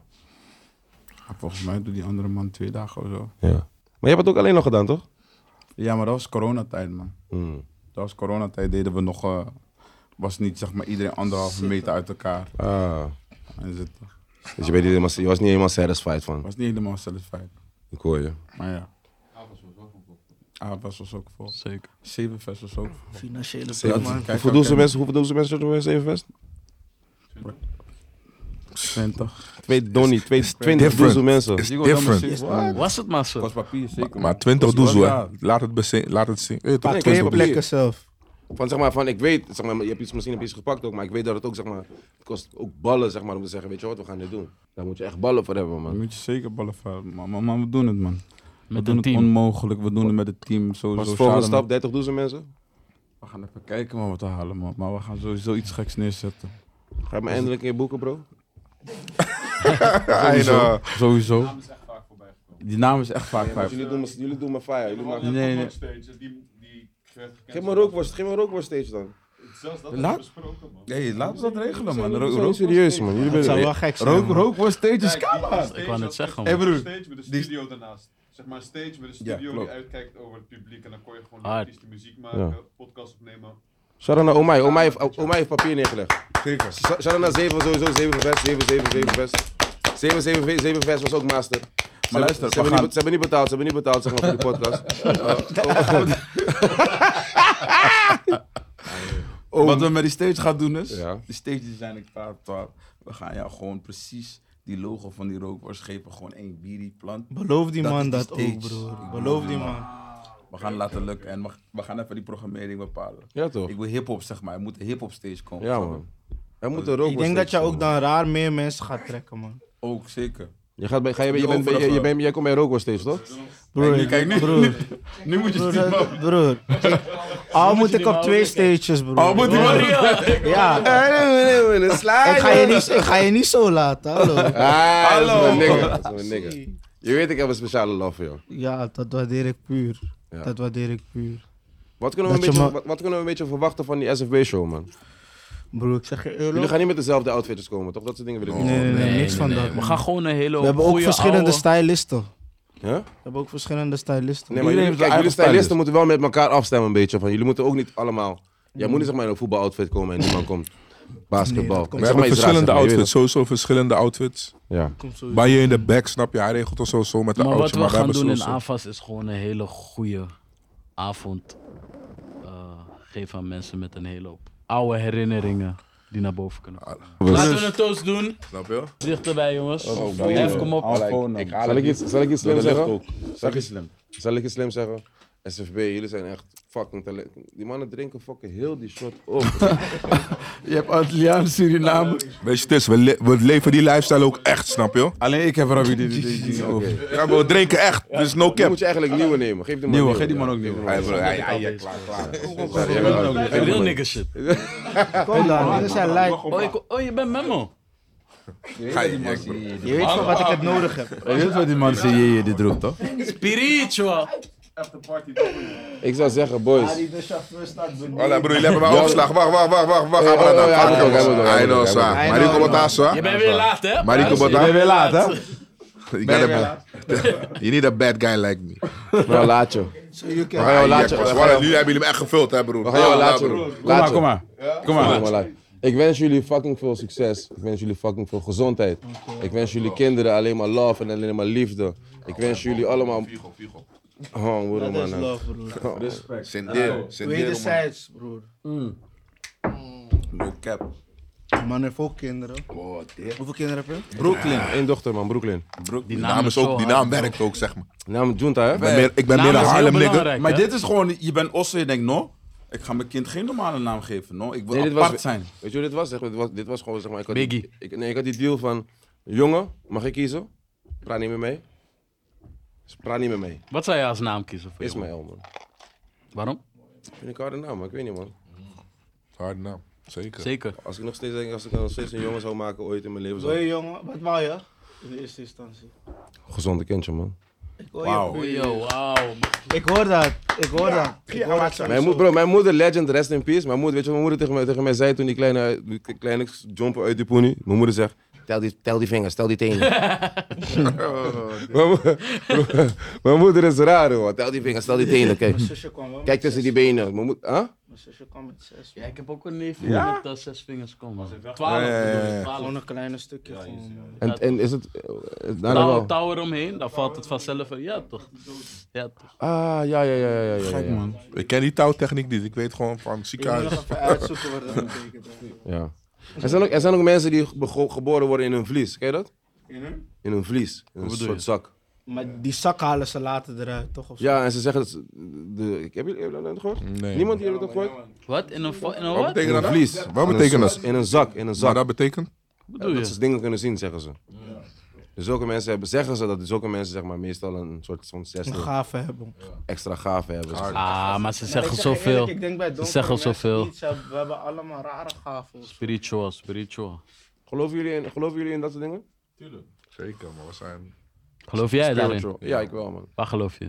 [SPEAKER 2] Volgens mij doet die andere man twee dagen of zo.
[SPEAKER 1] ja. Maar je hebt het ook alleen nog gedaan, toch?
[SPEAKER 2] Ja, maar dat was coronatijd, man.
[SPEAKER 1] Hmm.
[SPEAKER 2] Dat was coronatijd, deden we nog... eh, was niet, zeg maar, iedereen anderhalve meter uit elkaar.
[SPEAKER 1] Ah.
[SPEAKER 2] En zitten.
[SPEAKER 1] Dus je, bent niet helemaal, je was niet helemaal satisfied van.
[SPEAKER 2] Was niet helemaal satisfied.
[SPEAKER 1] Ik hoor je.
[SPEAKER 2] Maar ja. Avas was ook vol.
[SPEAKER 5] Zeker.
[SPEAKER 2] Zevenvest was ook vol.
[SPEAKER 4] financiële
[SPEAKER 1] Zeven-
[SPEAKER 4] plek, man.
[SPEAKER 2] Kijk,
[SPEAKER 1] Hoeveel
[SPEAKER 2] ook
[SPEAKER 1] doen ze
[SPEAKER 2] in-
[SPEAKER 1] mensen? Hoeveel doen ze mensen? Hoeveel mensen? Even vast?
[SPEAKER 2] 20.
[SPEAKER 1] Twee donnie, twee, twintig
[SPEAKER 3] different.
[SPEAKER 1] doezel mensen.
[SPEAKER 3] It's different.
[SPEAKER 5] Was het maar zo?
[SPEAKER 2] Kost papier, zeker.
[SPEAKER 3] Maar 20
[SPEAKER 2] Kost wel,
[SPEAKER 3] doezoe, hè.
[SPEAKER 2] ja.
[SPEAKER 3] Laat het, bese- laat het zien. Eh, toch?
[SPEAKER 1] Nee, ik
[SPEAKER 4] Twee
[SPEAKER 1] heb
[SPEAKER 3] Twintig
[SPEAKER 4] plekken zelf.
[SPEAKER 1] Van zeg maar, van ik weet, zeg maar, je hebt iets, misschien heb je iets gepakt ook, maar ik weet dat het ook zeg maar, het kost ook ballen zeg maar om te zeggen, weet je wat, we gaan dit doen. Daar moet je echt ballen voor hebben
[SPEAKER 2] Daar
[SPEAKER 1] man.
[SPEAKER 2] moet je zeker ballen van. Maar, maar, maar we doen het, man. we
[SPEAKER 5] Met
[SPEAKER 2] doen
[SPEAKER 5] een
[SPEAKER 2] het
[SPEAKER 5] team.
[SPEAKER 2] onmogelijk. We doen het met het team. Sowieso.
[SPEAKER 1] Wat is de volgende
[SPEAKER 2] Shout-out,
[SPEAKER 1] stap? 30 doezel mensen?
[SPEAKER 2] man. We gaan even kijken man, wat we halen, man. Maar we gaan sowieso iets geks neerzetten.
[SPEAKER 1] Ga je me eindelijk een keer boeken bro?
[SPEAKER 3] plekken. En, eh,
[SPEAKER 2] Sowieso. Die naam is echt vaak
[SPEAKER 1] Want
[SPEAKER 2] vijf.
[SPEAKER 1] Jullie doen, me- jullie doen me fire. Jullie maken...
[SPEAKER 7] Nee,
[SPEAKER 2] nee.
[SPEAKER 7] nee. Backstage, die, die werd gecanceld.
[SPEAKER 1] Geef me een rookworst, geef me een rookworst steeds dan.
[SPEAKER 7] Zelfs dat
[SPEAKER 2] Laat-
[SPEAKER 7] hebben besproken, man.
[SPEAKER 2] Nee, laten we dat regelen,
[SPEAKER 1] Zijn
[SPEAKER 2] man.
[SPEAKER 1] jullie
[SPEAKER 2] Rook,
[SPEAKER 1] zo
[SPEAKER 2] rook,
[SPEAKER 1] serieus man. Jullie
[SPEAKER 4] Dat zou
[SPEAKER 1] willen...
[SPEAKER 4] wel gek zijn.
[SPEAKER 2] rook,
[SPEAKER 4] man.
[SPEAKER 2] rook was steeds
[SPEAKER 7] Kijk,
[SPEAKER 2] een
[SPEAKER 7] die was
[SPEAKER 2] scala.
[SPEAKER 7] stage,
[SPEAKER 5] Ik wou net
[SPEAKER 7] was
[SPEAKER 5] zeggen,
[SPEAKER 7] echt
[SPEAKER 2] man. Hey,
[SPEAKER 7] een
[SPEAKER 2] broer.
[SPEAKER 7] stage met een
[SPEAKER 2] Die-
[SPEAKER 7] studio daarnaast. Zeg maar een stage met een
[SPEAKER 2] Ja,
[SPEAKER 7] studio
[SPEAKER 2] klopt.
[SPEAKER 7] die uitkijkt over het publiek. En dan kon je gewoon de
[SPEAKER 5] Hard.
[SPEAKER 7] artiesten muziek maken, podcast opnemen.
[SPEAKER 1] Shout-out naar Omai. Omai heeft, Omai heeft papier neergelegd.
[SPEAKER 2] Zeker.
[SPEAKER 1] Sh- Shout-out naar 7 sowieso, 7 vest, 7, 7, 7 vest. 7, 7, 7 vest was ook master.
[SPEAKER 2] Maar
[SPEAKER 1] Ze-
[SPEAKER 2] luister,
[SPEAKER 1] ze,
[SPEAKER 2] we
[SPEAKER 1] hebben
[SPEAKER 2] gaan-
[SPEAKER 1] niet, be- ze hebben niet betaald, ze hebben niet betaald zeg maar, voor de podcast. Eh,
[SPEAKER 2] Wat we met die stage gaan doen is,
[SPEAKER 1] Ja.
[SPEAKER 2] die stages zijn ik klaar klaar. We gaan jou gewoon precies die logo van die rookworst geven. Gewoon één bierie plant.
[SPEAKER 4] Beloof die
[SPEAKER 2] Dat
[SPEAKER 4] man
[SPEAKER 2] is de
[SPEAKER 4] dat ook,
[SPEAKER 2] stage.
[SPEAKER 4] broer. Beloof die man.
[SPEAKER 2] We gaan laten lukken en we, we gaan even die programmering bepalen.
[SPEAKER 1] Ja, toch?
[SPEAKER 2] Ik wil hip-hop, zeg maar. Er moet een hip-hop stage komen.
[SPEAKER 1] Ja,
[SPEAKER 2] snap je?
[SPEAKER 1] man. Er moet een rook
[SPEAKER 4] Ik denk dat jij ook dan raar meer mensen gaat trekken, man.
[SPEAKER 2] Ook zeker.
[SPEAKER 1] Je gaat bij, ga je, bij- je
[SPEAKER 2] Die
[SPEAKER 1] bent, bij- je,
[SPEAKER 2] overige-
[SPEAKER 1] je bent, jij komt bij Rookworst steeds, toch?
[SPEAKER 4] Broer,
[SPEAKER 2] nu, kijk nu.
[SPEAKER 4] Broer,
[SPEAKER 2] Nu moet je
[SPEAKER 4] broer,
[SPEAKER 2] het
[SPEAKER 4] dat- broer. Ik- Al moet ik op twee stages, broer.
[SPEAKER 2] Oh, moet die man niet-
[SPEAKER 4] Ja. Ik ga je niet, ik ga je niet zo laten, hallo.
[SPEAKER 1] Hallo!
[SPEAKER 2] Hallo.
[SPEAKER 1] Ah, Dat is mijn nigger, dat is mijn nigger. Je weet, ik heb een speciale love voor jou.
[SPEAKER 4] Ja, dat waardeer ik puur.
[SPEAKER 1] Ja.
[SPEAKER 4] Dat waardeer ik puur.
[SPEAKER 1] Wat kunnen, we een
[SPEAKER 4] Dat je
[SPEAKER 1] beetje,
[SPEAKER 4] ma-
[SPEAKER 1] wat, wat kunnen we een beetje verwachten van die SFB-show, man?
[SPEAKER 4] Broer, ik zeg je
[SPEAKER 1] Jullie
[SPEAKER 4] eerlijk.
[SPEAKER 1] gaan niet met dezelfde outfits komen, toch? Dat soort dingen wil ik niet.
[SPEAKER 4] Nee, nee, nee,
[SPEAKER 5] Oh, Nee,
[SPEAKER 4] niks van
[SPEAKER 5] nee,
[SPEAKER 4] dat.
[SPEAKER 5] We
[SPEAKER 4] man.
[SPEAKER 5] gaan gewoon een hele
[SPEAKER 4] We hebben ook
[SPEAKER 5] goeie
[SPEAKER 4] verschillende
[SPEAKER 5] oude-
[SPEAKER 4] stylisten.
[SPEAKER 1] Ja?
[SPEAKER 4] We hebben ook verschillende stylisten.
[SPEAKER 1] Nee, maar jullie,
[SPEAKER 2] heeft zijn
[SPEAKER 1] kijk, jullie
[SPEAKER 2] eigen
[SPEAKER 1] stylisten
[SPEAKER 2] stylist.
[SPEAKER 1] moeten wel met elkaar afstemmen een beetje. Van. Jullie moeten ook niet allemaal... Jij moet niet zeg maar in een voetbaloutfit komen en iemand komt basketbal.
[SPEAKER 4] dat komt-
[SPEAKER 3] We
[SPEAKER 1] Zeg
[SPEAKER 3] hebben
[SPEAKER 1] maar iets raars,
[SPEAKER 3] verschillende
[SPEAKER 1] zeg maar, je weet
[SPEAKER 3] outfits, sowieso verschillende outfits.
[SPEAKER 1] het. Ja.
[SPEAKER 4] Komt sowieso.
[SPEAKER 3] Bij je in de back, snap je? Hij regelt ons sowieso met de
[SPEAKER 5] Maar wat
[SPEAKER 3] outfit.
[SPEAKER 5] we gaan
[SPEAKER 3] wij
[SPEAKER 5] doen in
[SPEAKER 2] eh,
[SPEAKER 3] hebben sowieso-
[SPEAKER 5] AFAS is gewoon een hele goede eh, avond eh, geven aan mensen met een hele hoop oude herinneringen. die naar boven kunnen. Laten we
[SPEAKER 2] was.
[SPEAKER 5] een toast doen.
[SPEAKER 3] Snap je?
[SPEAKER 5] Dichterbij, jongens.
[SPEAKER 1] Oh, dank je
[SPEAKER 5] Hef,
[SPEAKER 1] wel.
[SPEAKER 5] kom op.
[SPEAKER 1] Ik haal zal, ik iets, zal ik iets
[SPEAKER 6] Door
[SPEAKER 1] slim
[SPEAKER 6] de lucht
[SPEAKER 1] zeggen?
[SPEAKER 6] ook. Zeg eens slim.
[SPEAKER 1] Zal ik iets slim zeggen? SFB, jullie zijn echt fucking talent. Die mannen drinken fucking heel die shot op.
[SPEAKER 2] Je hebt Antilliaan, Suriname.
[SPEAKER 3] Weet je, het is, we, le- we leven die lifestyle ook echt, snap je? Oh.
[SPEAKER 2] Alleen ik heb Rabbi die- die- die die over.
[SPEAKER 3] Ja, maar we drinken echt, dus no
[SPEAKER 1] Dan
[SPEAKER 3] cap.
[SPEAKER 1] moet je eigenlijk nieuwe nemen. Geef die man
[SPEAKER 2] Nieuwe,
[SPEAKER 1] nieuwe.
[SPEAKER 2] geef die man ook nieuwe.
[SPEAKER 3] Hij bro, hij- hij- hij- klaar, klaar.
[SPEAKER 5] Real nigga shit.
[SPEAKER 4] Kom dan, dit zijn lijp.
[SPEAKER 5] Oh, ik- oh, je bent Memo.
[SPEAKER 3] Ga je, je-
[SPEAKER 4] Je weet van wat ik het nodig heb.
[SPEAKER 2] Dit is wat die man zei, je dit roept toch?
[SPEAKER 5] Spiritual.
[SPEAKER 1] Ik zou zeggen, boys.
[SPEAKER 4] de chauffeur staat
[SPEAKER 3] Voilà, broer, jullie hebben mij opgeslagen. Wacht, wacht, wacht, wacht, wacht. Ga
[SPEAKER 1] Hey,
[SPEAKER 3] maar
[SPEAKER 1] oh,
[SPEAKER 3] dan,
[SPEAKER 1] ja,
[SPEAKER 3] ga
[SPEAKER 1] hij moet
[SPEAKER 3] maar
[SPEAKER 1] ook, hij moet ook,
[SPEAKER 3] dan.
[SPEAKER 1] hij
[SPEAKER 3] I
[SPEAKER 1] moet ook,
[SPEAKER 4] hij
[SPEAKER 3] know, sa. Marico
[SPEAKER 4] moet ook.
[SPEAKER 3] Botassa.
[SPEAKER 5] Je bent weer laat, hè?
[SPEAKER 3] Marico
[SPEAKER 5] Luister, je
[SPEAKER 3] Botassa.
[SPEAKER 5] bent
[SPEAKER 2] weer laat, hè?
[SPEAKER 3] You gotta be- You need a bad guy like me.
[SPEAKER 1] Nou, laat je. We gaan jou
[SPEAKER 3] Ah,
[SPEAKER 1] laat
[SPEAKER 3] ja,
[SPEAKER 1] je.
[SPEAKER 3] pas.
[SPEAKER 1] We
[SPEAKER 3] Voilà,
[SPEAKER 1] gaan jou-
[SPEAKER 3] Nu hebben jullie hem echt gevuld, hè, broer.
[SPEAKER 1] we gaan jou
[SPEAKER 3] Ja,
[SPEAKER 1] laat je.
[SPEAKER 3] broer.
[SPEAKER 2] Kom maar,
[SPEAKER 1] Laat
[SPEAKER 2] kom
[SPEAKER 1] je.
[SPEAKER 2] maar. Kom maar.
[SPEAKER 1] Kom maar live. Ik wens jullie fucking veel succes. Ik wens jullie fucking veel gezondheid. Ik wens jullie kinderen alleen maar love en alleen maar liefde. Ik wens jullie allemaal... Oh, broer,
[SPEAKER 4] Dat is
[SPEAKER 1] man. Oh.
[SPEAKER 4] love, broer.
[SPEAKER 3] Sendero, sendero, man.
[SPEAKER 4] Wederzijds, broer.
[SPEAKER 2] dus-
[SPEAKER 3] No cap.
[SPEAKER 4] Die Man heeft ook kinderen.
[SPEAKER 3] Oh, damn.
[SPEAKER 4] Hoeveel kinderen heb je?
[SPEAKER 1] Brooklyn. Eén dochter, man. Brooklyn. Nou,
[SPEAKER 3] Broek,
[SPEAKER 5] Die
[SPEAKER 3] Die
[SPEAKER 5] naam
[SPEAKER 3] naam
[SPEAKER 5] is
[SPEAKER 3] is ook,
[SPEAKER 5] zo
[SPEAKER 3] die
[SPEAKER 5] hard,
[SPEAKER 3] naam werkt ook, zeg maar.
[SPEAKER 1] Naam Junta, hè?
[SPEAKER 3] Ik ben meer- Ik ben
[SPEAKER 5] Naam
[SPEAKER 3] meer een
[SPEAKER 5] is heel
[SPEAKER 3] Harlem nigger.
[SPEAKER 5] belangrijk,
[SPEAKER 2] Maar
[SPEAKER 5] hè?
[SPEAKER 2] dit is gewoon, je bent osse, je denkt, no, ik ga mijn kind geen normale naam geven, no. Ik wil
[SPEAKER 1] Nee, dit
[SPEAKER 2] apart
[SPEAKER 1] was-
[SPEAKER 2] zijn.
[SPEAKER 1] Weet je hoe dit was? Zeg maar, dit was, dit was gewoon, zeg maar... Ik had
[SPEAKER 5] Biggie.
[SPEAKER 1] Die, ik, nee, ik had die deal van... Jongen, mag ik kiezen? Praat niet meer mee. Dus praat niet meer mee.
[SPEAKER 5] Wat zou je als naam kiezen voor jou?
[SPEAKER 1] Ismaël, man.
[SPEAKER 5] Waarom?
[SPEAKER 1] Vind ik een harde naam, maar ik weet niet, man.
[SPEAKER 3] Harde naam, zeker.
[SPEAKER 5] Zeker.
[SPEAKER 1] Als ik nog steeds, denk, als ik nog steeds een jongen zou maken ooit in mijn leven...
[SPEAKER 4] Hoi
[SPEAKER 1] Zou...
[SPEAKER 4] jongen, wat wou je? In de eerste instantie.
[SPEAKER 1] Gezonde kindje, man.
[SPEAKER 4] Ik hoor,
[SPEAKER 2] Wauw.
[SPEAKER 4] je,
[SPEAKER 5] Yo, wauw.
[SPEAKER 4] ik hoor dat, ik hoor dat. Ik hoor dat
[SPEAKER 1] Mijn,
[SPEAKER 4] sowieso.
[SPEAKER 1] moeder, bro, mijn moeder, legend, rest in peace. Mijn moeder, weet je wat mijn moeder tegen mij, tegen mij zei toen die kleine, die kleine jumper uit die pony? Mijn moeder zegt, tel die, tel die vingers, tel die tenen. mijn, mo- bro, mijn moeder is raar, hoor. Tel die vingers, tel die tenen. Kijk,
[SPEAKER 4] Mijn zusje kwam wel. met
[SPEAKER 1] kijk tussen die benen. Mijn moeder, huh?
[SPEAKER 4] zes. Mijn zusje kwam met zes.
[SPEAKER 5] Ja, ik heb ook een neef die met eh, zes vingers komt, man. Twaalf.
[SPEAKER 3] Ja, ja, ja, ja.
[SPEAKER 5] bedoel ik, twaalf.
[SPEAKER 4] Gewoon een kleine stukje. gewoon.
[SPEAKER 1] En, en is het... eh, eh, daarna
[SPEAKER 5] Touw,
[SPEAKER 1] wel.
[SPEAKER 5] touw eromheen, dan valt het vanzelf. in. Ja, toch? Ja, toch?
[SPEAKER 1] Ah, ja, ja, ja, ja, ja. ja, ja.
[SPEAKER 3] Ik ken die touwtechniek niet. Ik weet gewoon van
[SPEAKER 4] Ik moet nog
[SPEAKER 3] ziekenhuis.
[SPEAKER 4] even uitzoeken wat dat betekent.
[SPEAKER 1] Ja. Er, zijn ook, er zijn ook mensen die bego- geboren worden in een vlies. Ken je dat? In een vlies. In een
[SPEAKER 5] bedoel
[SPEAKER 1] soort
[SPEAKER 5] je?
[SPEAKER 1] zak.
[SPEAKER 4] Maar die zak halen ze later eruit, toch? Of zo?
[SPEAKER 1] Ja, en ze zeggen... dat ze- De, ik- hebben jullie dat gehoord?
[SPEAKER 3] Nee.
[SPEAKER 1] Niemand hier heeft dat gehoord?
[SPEAKER 5] Wat? In een, vo- in een
[SPEAKER 3] Wat
[SPEAKER 5] wat?
[SPEAKER 3] betekent
[SPEAKER 1] In
[SPEAKER 3] dat?
[SPEAKER 1] een vlies.
[SPEAKER 3] Wat
[SPEAKER 1] In een
[SPEAKER 3] betekent
[SPEAKER 1] zak-
[SPEAKER 3] dat?
[SPEAKER 1] In een zak, in een
[SPEAKER 3] Maar
[SPEAKER 1] zak.
[SPEAKER 3] dat betekent?
[SPEAKER 5] Wat
[SPEAKER 1] Ja,
[SPEAKER 5] bedoel
[SPEAKER 1] dat ze
[SPEAKER 5] je?
[SPEAKER 1] dingen kunnen zien, zeggen ze. Dus zulke mensen hebben, zeggen ze dat zulke mensen zeg maar, meestal een soort van
[SPEAKER 4] Een
[SPEAKER 1] 60
[SPEAKER 4] gave hebben.
[SPEAKER 1] extra gave hebben.
[SPEAKER 5] Ah, maar ze
[SPEAKER 4] Ik
[SPEAKER 5] zeggen
[SPEAKER 4] zeg je
[SPEAKER 5] zoveel.
[SPEAKER 4] eerlijk, Ik denk bij donkere
[SPEAKER 5] zeggen
[SPEAKER 4] mensen
[SPEAKER 5] zoveel.
[SPEAKER 4] niet, ze- We hebben allemaal rare gaven.
[SPEAKER 5] Spiritual, spiritual.
[SPEAKER 1] Geloven, jullie in, geloven jullie in dat soort dingen?
[SPEAKER 3] Zeker, maar we zijn...
[SPEAKER 5] Geloof jij daarin?
[SPEAKER 1] Spiritual. Ja, ik wel man.
[SPEAKER 5] Waar geloof je?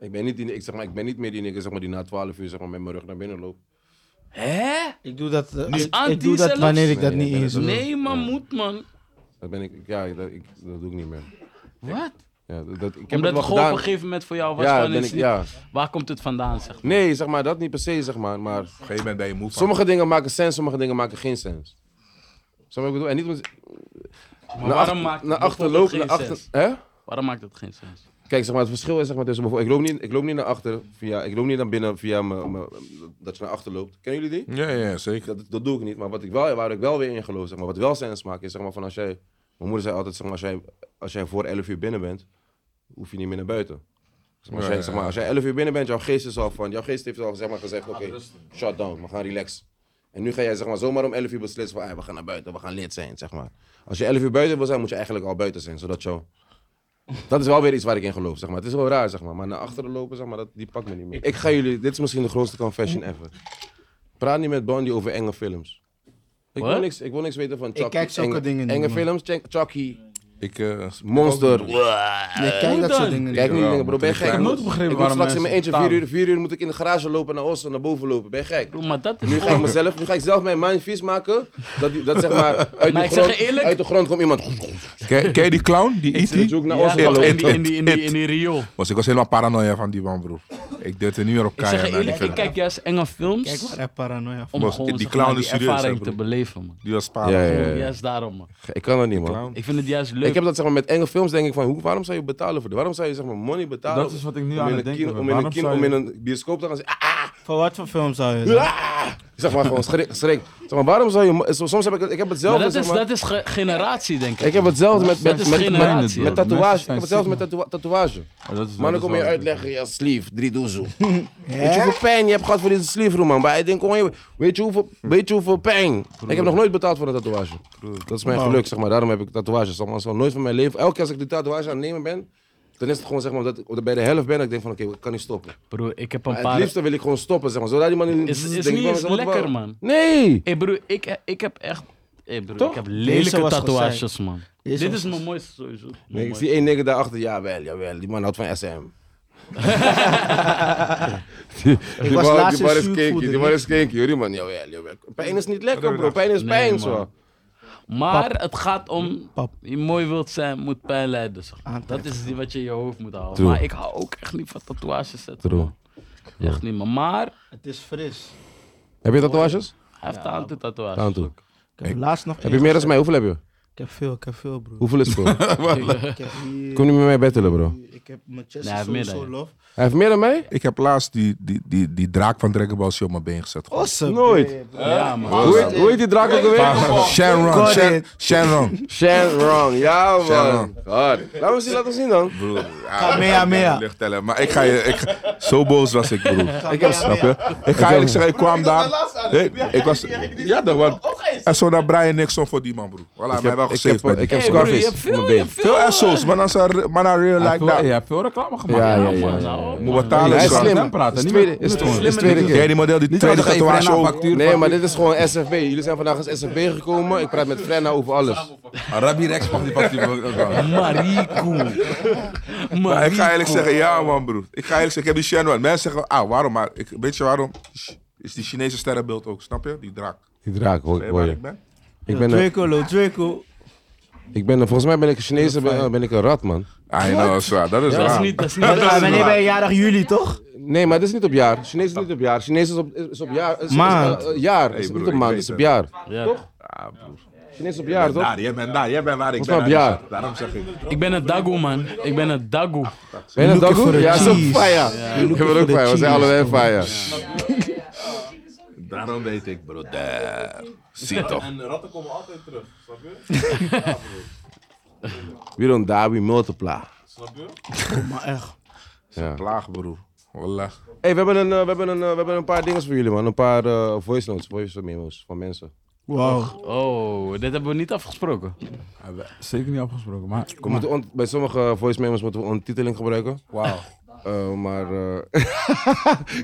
[SPEAKER 1] Ik ben niet, die, ik zeg maar, ik ben niet meer die nigger zeg maar, die na 12 uur zeg maar, met mijn rug naar binnen loopt.
[SPEAKER 5] Hè?
[SPEAKER 4] Ik doe dat, eh,
[SPEAKER 5] Nu
[SPEAKER 4] ik,
[SPEAKER 5] anti
[SPEAKER 4] ik doe dat
[SPEAKER 5] Ah, zelfs?
[SPEAKER 4] wanneer ik dat
[SPEAKER 1] Nee,
[SPEAKER 4] niet
[SPEAKER 1] nee,
[SPEAKER 4] eens
[SPEAKER 1] dat-
[SPEAKER 4] doe.
[SPEAKER 5] Nee, maar moet man.
[SPEAKER 1] Dat ben ik, ja, dat, ik, dat doe ik niet meer.
[SPEAKER 5] Wat?
[SPEAKER 1] Ja, dat, dat- ik heb
[SPEAKER 5] Omdat
[SPEAKER 1] het wel
[SPEAKER 5] het gewoon op
[SPEAKER 1] gedaan.
[SPEAKER 5] een gegeven moment voor jou was
[SPEAKER 1] Ja,
[SPEAKER 5] gewoon
[SPEAKER 1] ben
[SPEAKER 5] iets
[SPEAKER 1] ik,
[SPEAKER 5] niet-
[SPEAKER 1] ja.
[SPEAKER 5] Waar komt het vandaan, zeg maar?
[SPEAKER 1] Nee, zeg maar, dat niet per se, zeg maar. maar
[SPEAKER 3] Op een gegeven moment ben je moe van.
[SPEAKER 1] Sommige dingen maken sens, sommige dingen maken geen sens. Snap je wat ik bedoel? En niet om...
[SPEAKER 5] Maar
[SPEAKER 1] naar
[SPEAKER 5] waarom
[SPEAKER 1] achter-
[SPEAKER 5] maakt het
[SPEAKER 1] naar achter
[SPEAKER 5] bijvoorbeeld
[SPEAKER 1] lopen, naar
[SPEAKER 5] geen
[SPEAKER 1] achter...
[SPEAKER 5] sens?
[SPEAKER 1] Hè?
[SPEAKER 5] Waarom maakt het geen sens?
[SPEAKER 1] Kijk, zeg maar, het verschil is zeg maar, tussen bijvoorbeeld, ik loop niet, ik loop niet naar achter via, ik loop niet naar binnen via mijn- mijn- dat je naar achter loopt. Kennen jullie die?
[SPEAKER 3] Ja, ja, zeker.
[SPEAKER 1] Dat, dat doe ik niet, maar wat ik wel, waar ik wel weer in geloof, zeg maar, wat wel sens maakt, is zeg maar van als jij, mijn moeder zei altijd, zeg maar, als jij, als jij voor 11 uur binnen bent, hoef je niet meer naar buiten. Zeg maar, als,
[SPEAKER 3] Ja,
[SPEAKER 1] jij,
[SPEAKER 3] ja,
[SPEAKER 1] zeg maar, als jij 11 uur binnen bent, jouw geest is al van, jouw geest heeft al zeg maar, gezegd, oké, shut down, we gaan relaxen. En nu ga jij zeg maar, zomaar om 11 uur beslissen van, "Ah, we gaan naar buiten, we gaan lid zijn, zeg maar. Als je 11 uur buiten wil zijn, moet je eigenlijk al buiten zijn, zodat jou... Dat is wel weer iets waar ik in geloof, zeg maar. Het is wel raar, zeg maar. Maar naar achteren lopen, zeg maar, dat, die pakt me niet meer. Ik ga jullie... Dit is misschien de grootste confession ever. Praat niet met Bondi over enge films. Ik wil,
[SPEAKER 5] Wat?
[SPEAKER 1] niks, ik wil niks weten van Chucky.
[SPEAKER 4] kijk zulke
[SPEAKER 1] enge,
[SPEAKER 4] dingen niet,
[SPEAKER 1] Enge
[SPEAKER 4] man.
[SPEAKER 1] films, Chuck- Chucky,
[SPEAKER 3] Ik, eh,
[SPEAKER 1] Monster.
[SPEAKER 4] Je kijkt dat soort
[SPEAKER 5] dan?
[SPEAKER 4] dingen niet.
[SPEAKER 1] Kijk niet,
[SPEAKER 3] Ja,
[SPEAKER 1] dingen, bro.
[SPEAKER 3] moet
[SPEAKER 1] Ben je
[SPEAKER 3] ik
[SPEAKER 1] gek?
[SPEAKER 3] nooit
[SPEAKER 2] begrepen
[SPEAKER 1] ik moet
[SPEAKER 2] waarom
[SPEAKER 1] straks in
[SPEAKER 2] mensen
[SPEAKER 1] mijn eentje
[SPEAKER 2] betalen.
[SPEAKER 1] vier uur, vier uur moet ik in de garage lopen naar Oosten, naar boven lopen. Ben je gek?
[SPEAKER 5] Bro, maar dat is
[SPEAKER 1] Nu ga ik mezelf, nu ga ik zelf mijn mind vies maken. Dat, die- dat zeg maar, uit,
[SPEAKER 5] Maar
[SPEAKER 1] die
[SPEAKER 5] ik zeg je
[SPEAKER 1] grond-
[SPEAKER 5] eerlijk-
[SPEAKER 1] uit de grond komt iemand.
[SPEAKER 3] ken, ken je die clown? Die
[SPEAKER 1] Die
[SPEAKER 3] E.T.?
[SPEAKER 1] zoekt naar
[SPEAKER 5] Ja,
[SPEAKER 1] Oosten.
[SPEAKER 5] toch,
[SPEAKER 1] lopen.
[SPEAKER 5] in die, in die, in die, in die riool.
[SPEAKER 3] Was, ik was helemaal paranoia van die man, broer. Ik deed er nu weer op
[SPEAKER 5] Ik zeg
[SPEAKER 3] keihard
[SPEAKER 5] je
[SPEAKER 3] naar die
[SPEAKER 5] eerlijk, ik
[SPEAKER 3] film.
[SPEAKER 5] kijk juist enge
[SPEAKER 4] Kijk,
[SPEAKER 5] films
[SPEAKER 4] waar heb paranoia van.
[SPEAKER 5] om
[SPEAKER 3] Maar
[SPEAKER 5] gewoon
[SPEAKER 3] die
[SPEAKER 5] zeg
[SPEAKER 3] clown
[SPEAKER 5] maar,
[SPEAKER 3] is
[SPEAKER 5] die
[SPEAKER 3] serieus, hè,
[SPEAKER 5] ervaring te
[SPEAKER 3] broer.
[SPEAKER 5] beleven, man.
[SPEAKER 3] Die was
[SPEAKER 1] Ja, ja,
[SPEAKER 3] paranoia.
[SPEAKER 1] ja, ja.
[SPEAKER 5] Juist daarom, man.
[SPEAKER 1] Ik kan dat niet, man.
[SPEAKER 3] Clown.
[SPEAKER 5] Ik vind het juist
[SPEAKER 2] Dus-
[SPEAKER 5] leuk.
[SPEAKER 1] Ik heb dat zeg maar, met enge films denk ik van, hoe, waarom zou je betalen voor dit? Waarom zou je zeg maar, money betalen
[SPEAKER 2] Dat is wat ik nu
[SPEAKER 1] om
[SPEAKER 2] aan
[SPEAKER 1] in
[SPEAKER 2] het
[SPEAKER 1] een kino-
[SPEAKER 2] denken ben.
[SPEAKER 1] om in een
[SPEAKER 2] Waarom
[SPEAKER 1] kino-
[SPEAKER 2] zou
[SPEAKER 1] om in
[SPEAKER 2] je-
[SPEAKER 1] een bioscoop te gaan zeggen,
[SPEAKER 4] Voor wat voor film zou je dat?
[SPEAKER 1] Ah, Zeg maar gewoon schrik. schrik. Zeg maar, waarom zou je. mo- Soms heb ik, het- ik heb
[SPEAKER 5] Maar
[SPEAKER 1] hetzelfde.
[SPEAKER 5] dat,
[SPEAKER 1] zeg
[SPEAKER 5] is,
[SPEAKER 1] maar-
[SPEAKER 5] dat is ge- generatie, denk ik.
[SPEAKER 1] Ik heb hetzelfde met, met,
[SPEAKER 5] Dat is
[SPEAKER 1] met, met,
[SPEAKER 5] generatie,
[SPEAKER 1] met
[SPEAKER 5] hoor. Mensen
[SPEAKER 2] zijn
[SPEAKER 1] tatoeage. Ik heb hetzelfde
[SPEAKER 2] stigma.
[SPEAKER 1] met tattoo- tatoeage.
[SPEAKER 2] Maar dat is-
[SPEAKER 1] Maar dan
[SPEAKER 2] dat is
[SPEAKER 1] kom je
[SPEAKER 2] wel-
[SPEAKER 1] uitleggen, ja, sleeve, drie doezel. Weet je hoeveel pijn je hebt gehad voor deze sleeve, room, man? Maar ik denk, gewoon, weet, je hoeveel, weet je hoeveel pijn? Ik heb nog nooit betaald voor een tatoeage. Dat is mijn geluk, zeg maar. Daarom heb ik tatoeages. zeg maar. Het zal nooit van mijn leven. Elke keer als ik die tatoeage aan het nemen ben, dan is het gewoon, zeg maar, dat ik bij de helft ben. Dat ik denk van, oké, ik kan niet stoppen.
[SPEAKER 5] Broer, ik heb een
[SPEAKER 1] Maar
[SPEAKER 5] paar...
[SPEAKER 1] het liefste wil ik gewoon stoppen, zeg maar. Zodat die man niet...
[SPEAKER 5] Is- is
[SPEAKER 1] denk
[SPEAKER 5] niet
[SPEAKER 1] ik bij
[SPEAKER 5] eens
[SPEAKER 1] mezelf, wat-
[SPEAKER 5] lekker, man.
[SPEAKER 1] Nee!
[SPEAKER 5] Hé broer, ik, ik heb echt... Hé broer,
[SPEAKER 1] Toch?
[SPEAKER 5] ik heb
[SPEAKER 4] Deze
[SPEAKER 5] lelijke
[SPEAKER 4] was
[SPEAKER 5] tatoeages, man.
[SPEAKER 4] Deze
[SPEAKER 5] Dit
[SPEAKER 4] was
[SPEAKER 5] is mijn mooiste sowieso. Mijn
[SPEAKER 1] Nee, ik
[SPEAKER 5] mooiste.
[SPEAKER 1] zie één nigger daarachter, jawel, jawel, die man houdt van SM. die, die
[SPEAKER 4] was
[SPEAKER 1] man,
[SPEAKER 4] laatst
[SPEAKER 1] die man
[SPEAKER 4] in
[SPEAKER 1] is kinky,
[SPEAKER 4] zuurvoeder,
[SPEAKER 1] die man is kinky, hoor, die man, jawel, jawel. Pijn is niet lekker, bro, pijn is
[SPEAKER 5] Nee,
[SPEAKER 1] pijn,
[SPEAKER 5] man.
[SPEAKER 1] zo.
[SPEAKER 5] Maar het gaat om...
[SPEAKER 4] Pap.
[SPEAKER 5] Je mooi wilt zijn, moet pijn lijden. zeg.
[SPEAKER 4] Aantrekken.
[SPEAKER 5] Dat is die wat je in je hoofd moet houden.
[SPEAKER 1] True.
[SPEAKER 5] Maar ik hou ook echt niet van tatoeages zetten.
[SPEAKER 1] True.
[SPEAKER 5] man. Echt niet, man. Maar
[SPEAKER 4] Het is fris.
[SPEAKER 1] Heb je tatoeages?
[SPEAKER 5] hij heeft aan toe tatoeages.
[SPEAKER 1] Aan toe.
[SPEAKER 4] Ik heb laatst nog
[SPEAKER 1] Heb je
[SPEAKER 4] één
[SPEAKER 1] meer dan
[SPEAKER 4] gezet.
[SPEAKER 1] mij? Hoeveel heb je?
[SPEAKER 4] Ik heb veel, ik heb veel, broer.
[SPEAKER 1] Hoeveel is het, bro?
[SPEAKER 4] Ik heb hier...
[SPEAKER 1] Kom niet met mij bettelen, bro.
[SPEAKER 4] Ik heb mijn chest
[SPEAKER 5] Nee, hij
[SPEAKER 4] is
[SPEAKER 5] heeft meer
[SPEAKER 4] sowieso
[SPEAKER 5] dan je.
[SPEAKER 4] lof.
[SPEAKER 1] Hij heeft meer dan mij?
[SPEAKER 3] Ik heb laatst die, die, die, die draak van Dragon Ball Z op mijn been gezet. gewoon.
[SPEAKER 4] Awesome.
[SPEAKER 1] Nooit.
[SPEAKER 5] Ja, man.
[SPEAKER 1] Hoe heet, hoe heet die draak ook alweer?
[SPEAKER 3] Shenron,
[SPEAKER 4] God,
[SPEAKER 3] Shen,
[SPEAKER 4] dit.
[SPEAKER 3] Shenron.
[SPEAKER 1] Shenron, ja man.
[SPEAKER 3] Shenron.
[SPEAKER 1] God. Laat me zien, laat me zien dan.
[SPEAKER 4] Kamehameha.
[SPEAKER 3] Licht tellen, Maar ik ga je, ik, ga- zo boos was ik broer.
[SPEAKER 4] Ik heb
[SPEAKER 3] Snap je? Ik ga eerlijk zeggen, ik kwam daar. Nee, ik was, ja, dat was. En zo naar Brian Nixon voor die man broer. Voilà, mij wel
[SPEAKER 1] ik heb,
[SPEAKER 3] gezegd.
[SPEAKER 1] ik heb
[SPEAKER 5] Hey, broer, je
[SPEAKER 1] Scarface
[SPEAKER 5] hebt
[SPEAKER 1] op
[SPEAKER 5] veel,
[SPEAKER 1] mijn
[SPEAKER 5] je
[SPEAKER 1] been.
[SPEAKER 5] hebt
[SPEAKER 3] Veel
[SPEAKER 5] eh,
[SPEAKER 3] asshols, maar dan zijn- maar dan real
[SPEAKER 2] Hij heeft
[SPEAKER 3] like
[SPEAKER 2] veel-
[SPEAKER 3] that.
[SPEAKER 2] hij heeft veel reclame gemaakt.
[SPEAKER 1] Ja, ja,
[SPEAKER 5] man,
[SPEAKER 1] ja, ja.
[SPEAKER 5] nou,
[SPEAKER 3] Moet
[SPEAKER 5] man.
[SPEAKER 3] betalen,
[SPEAKER 1] Hij is
[SPEAKER 3] zo.
[SPEAKER 1] slim.
[SPEAKER 2] Slim praten,
[SPEAKER 1] Is
[SPEAKER 2] niet
[SPEAKER 1] tweede-
[SPEAKER 2] met-
[SPEAKER 1] Is
[SPEAKER 2] met
[SPEAKER 1] tweede-
[SPEAKER 5] slimme
[SPEAKER 1] is tweede
[SPEAKER 5] dingen.
[SPEAKER 1] keer.
[SPEAKER 3] Jij die model, die
[SPEAKER 2] Niet
[SPEAKER 3] tweede
[SPEAKER 2] dat hij
[SPEAKER 3] tatoeage
[SPEAKER 2] Frenna
[SPEAKER 3] ook.
[SPEAKER 2] factuur
[SPEAKER 1] Nee,
[SPEAKER 2] van-
[SPEAKER 1] maar dit is gewoon SFB. Jullie zijn vandaag als SFB gekomen. Ik praat met Frenna over alles.
[SPEAKER 2] Arabi Rex mag die factuur ook ook wel.
[SPEAKER 5] Marico.
[SPEAKER 3] Maar ik
[SPEAKER 5] Marico.
[SPEAKER 3] ga eerlijk zeggen, ja man broer. Ik ga eerlijk zeggen, ik heb die Shenron. Mensen zeggen, ah waarom? Maar ik, weet je waarom? Is die Chinese sterrenbeeld ook, snap je? Die draak.
[SPEAKER 1] Die draak, hoor,
[SPEAKER 3] Weet je
[SPEAKER 1] hoor
[SPEAKER 3] waar
[SPEAKER 1] je.
[SPEAKER 3] ik ben?
[SPEAKER 1] Ik ben, een,
[SPEAKER 4] Draco, Lil Draco.
[SPEAKER 1] ik ben een- volgens mij ben ik een Chinees, ben, eh, ben ik een rat, man.
[SPEAKER 3] Ah, nou, dat is waar. Dat is
[SPEAKER 5] Dat is
[SPEAKER 3] waar.
[SPEAKER 5] niet... Dat is
[SPEAKER 4] Maar
[SPEAKER 5] niet
[SPEAKER 4] Wanneer ben je jarig? Juli, toch?
[SPEAKER 1] Nee, maar dit is niet op jaar. Chinees is niet op jaar. Chinees is op, is op jaar. Is, is-
[SPEAKER 4] Maand.
[SPEAKER 1] eh, eh, jaar,
[SPEAKER 3] Hey,
[SPEAKER 1] is niet
[SPEAKER 3] broer,
[SPEAKER 1] op
[SPEAKER 3] ik
[SPEAKER 1] maand,
[SPEAKER 3] weet
[SPEAKER 1] is op
[SPEAKER 3] het.
[SPEAKER 1] jaar.
[SPEAKER 5] Ja.
[SPEAKER 3] Ah, broer.
[SPEAKER 1] Chinees is op jaar, toch?
[SPEAKER 3] Daar, jij bent daar. Jij bent waar ik
[SPEAKER 1] Volgens mij
[SPEAKER 3] ben.
[SPEAKER 1] op jaar.
[SPEAKER 3] Anisha. Daarom zeg ik.
[SPEAKER 5] Ik ben een dagoe, man. Ik ben een dagoe.
[SPEAKER 1] Ben je een
[SPEAKER 4] looking
[SPEAKER 1] dagoe?
[SPEAKER 4] for a
[SPEAKER 1] Ja, is op
[SPEAKER 4] cheese.
[SPEAKER 1] fire. Ik ben
[SPEAKER 4] for
[SPEAKER 1] ook
[SPEAKER 4] the
[SPEAKER 1] fire, we zijn
[SPEAKER 4] cheese.
[SPEAKER 1] allebei fire.
[SPEAKER 3] Daarom weet ik, bro. Daar. Zie toch.
[SPEAKER 7] En ratten komen altijd terug, snap je?
[SPEAKER 1] We don't die, we multiply.
[SPEAKER 7] Snap je?
[SPEAKER 4] Maar echt.
[SPEAKER 1] Ja.
[SPEAKER 3] Plaag, broer. Wallah.
[SPEAKER 1] Hey, we hebben, een, eh, we, hebben een, eh, we hebben een paar dingen voor jullie, man. Een paar eh, voice notes, voice memos van mensen.
[SPEAKER 4] Wauw.
[SPEAKER 5] Oh, dit hebben we niet afgesproken.
[SPEAKER 2] Zeker niet afgesproken, maar...
[SPEAKER 1] We moeten ont- bij sommige voice memos moeten we ondertiteling gebruiken. Wauw. maar. eh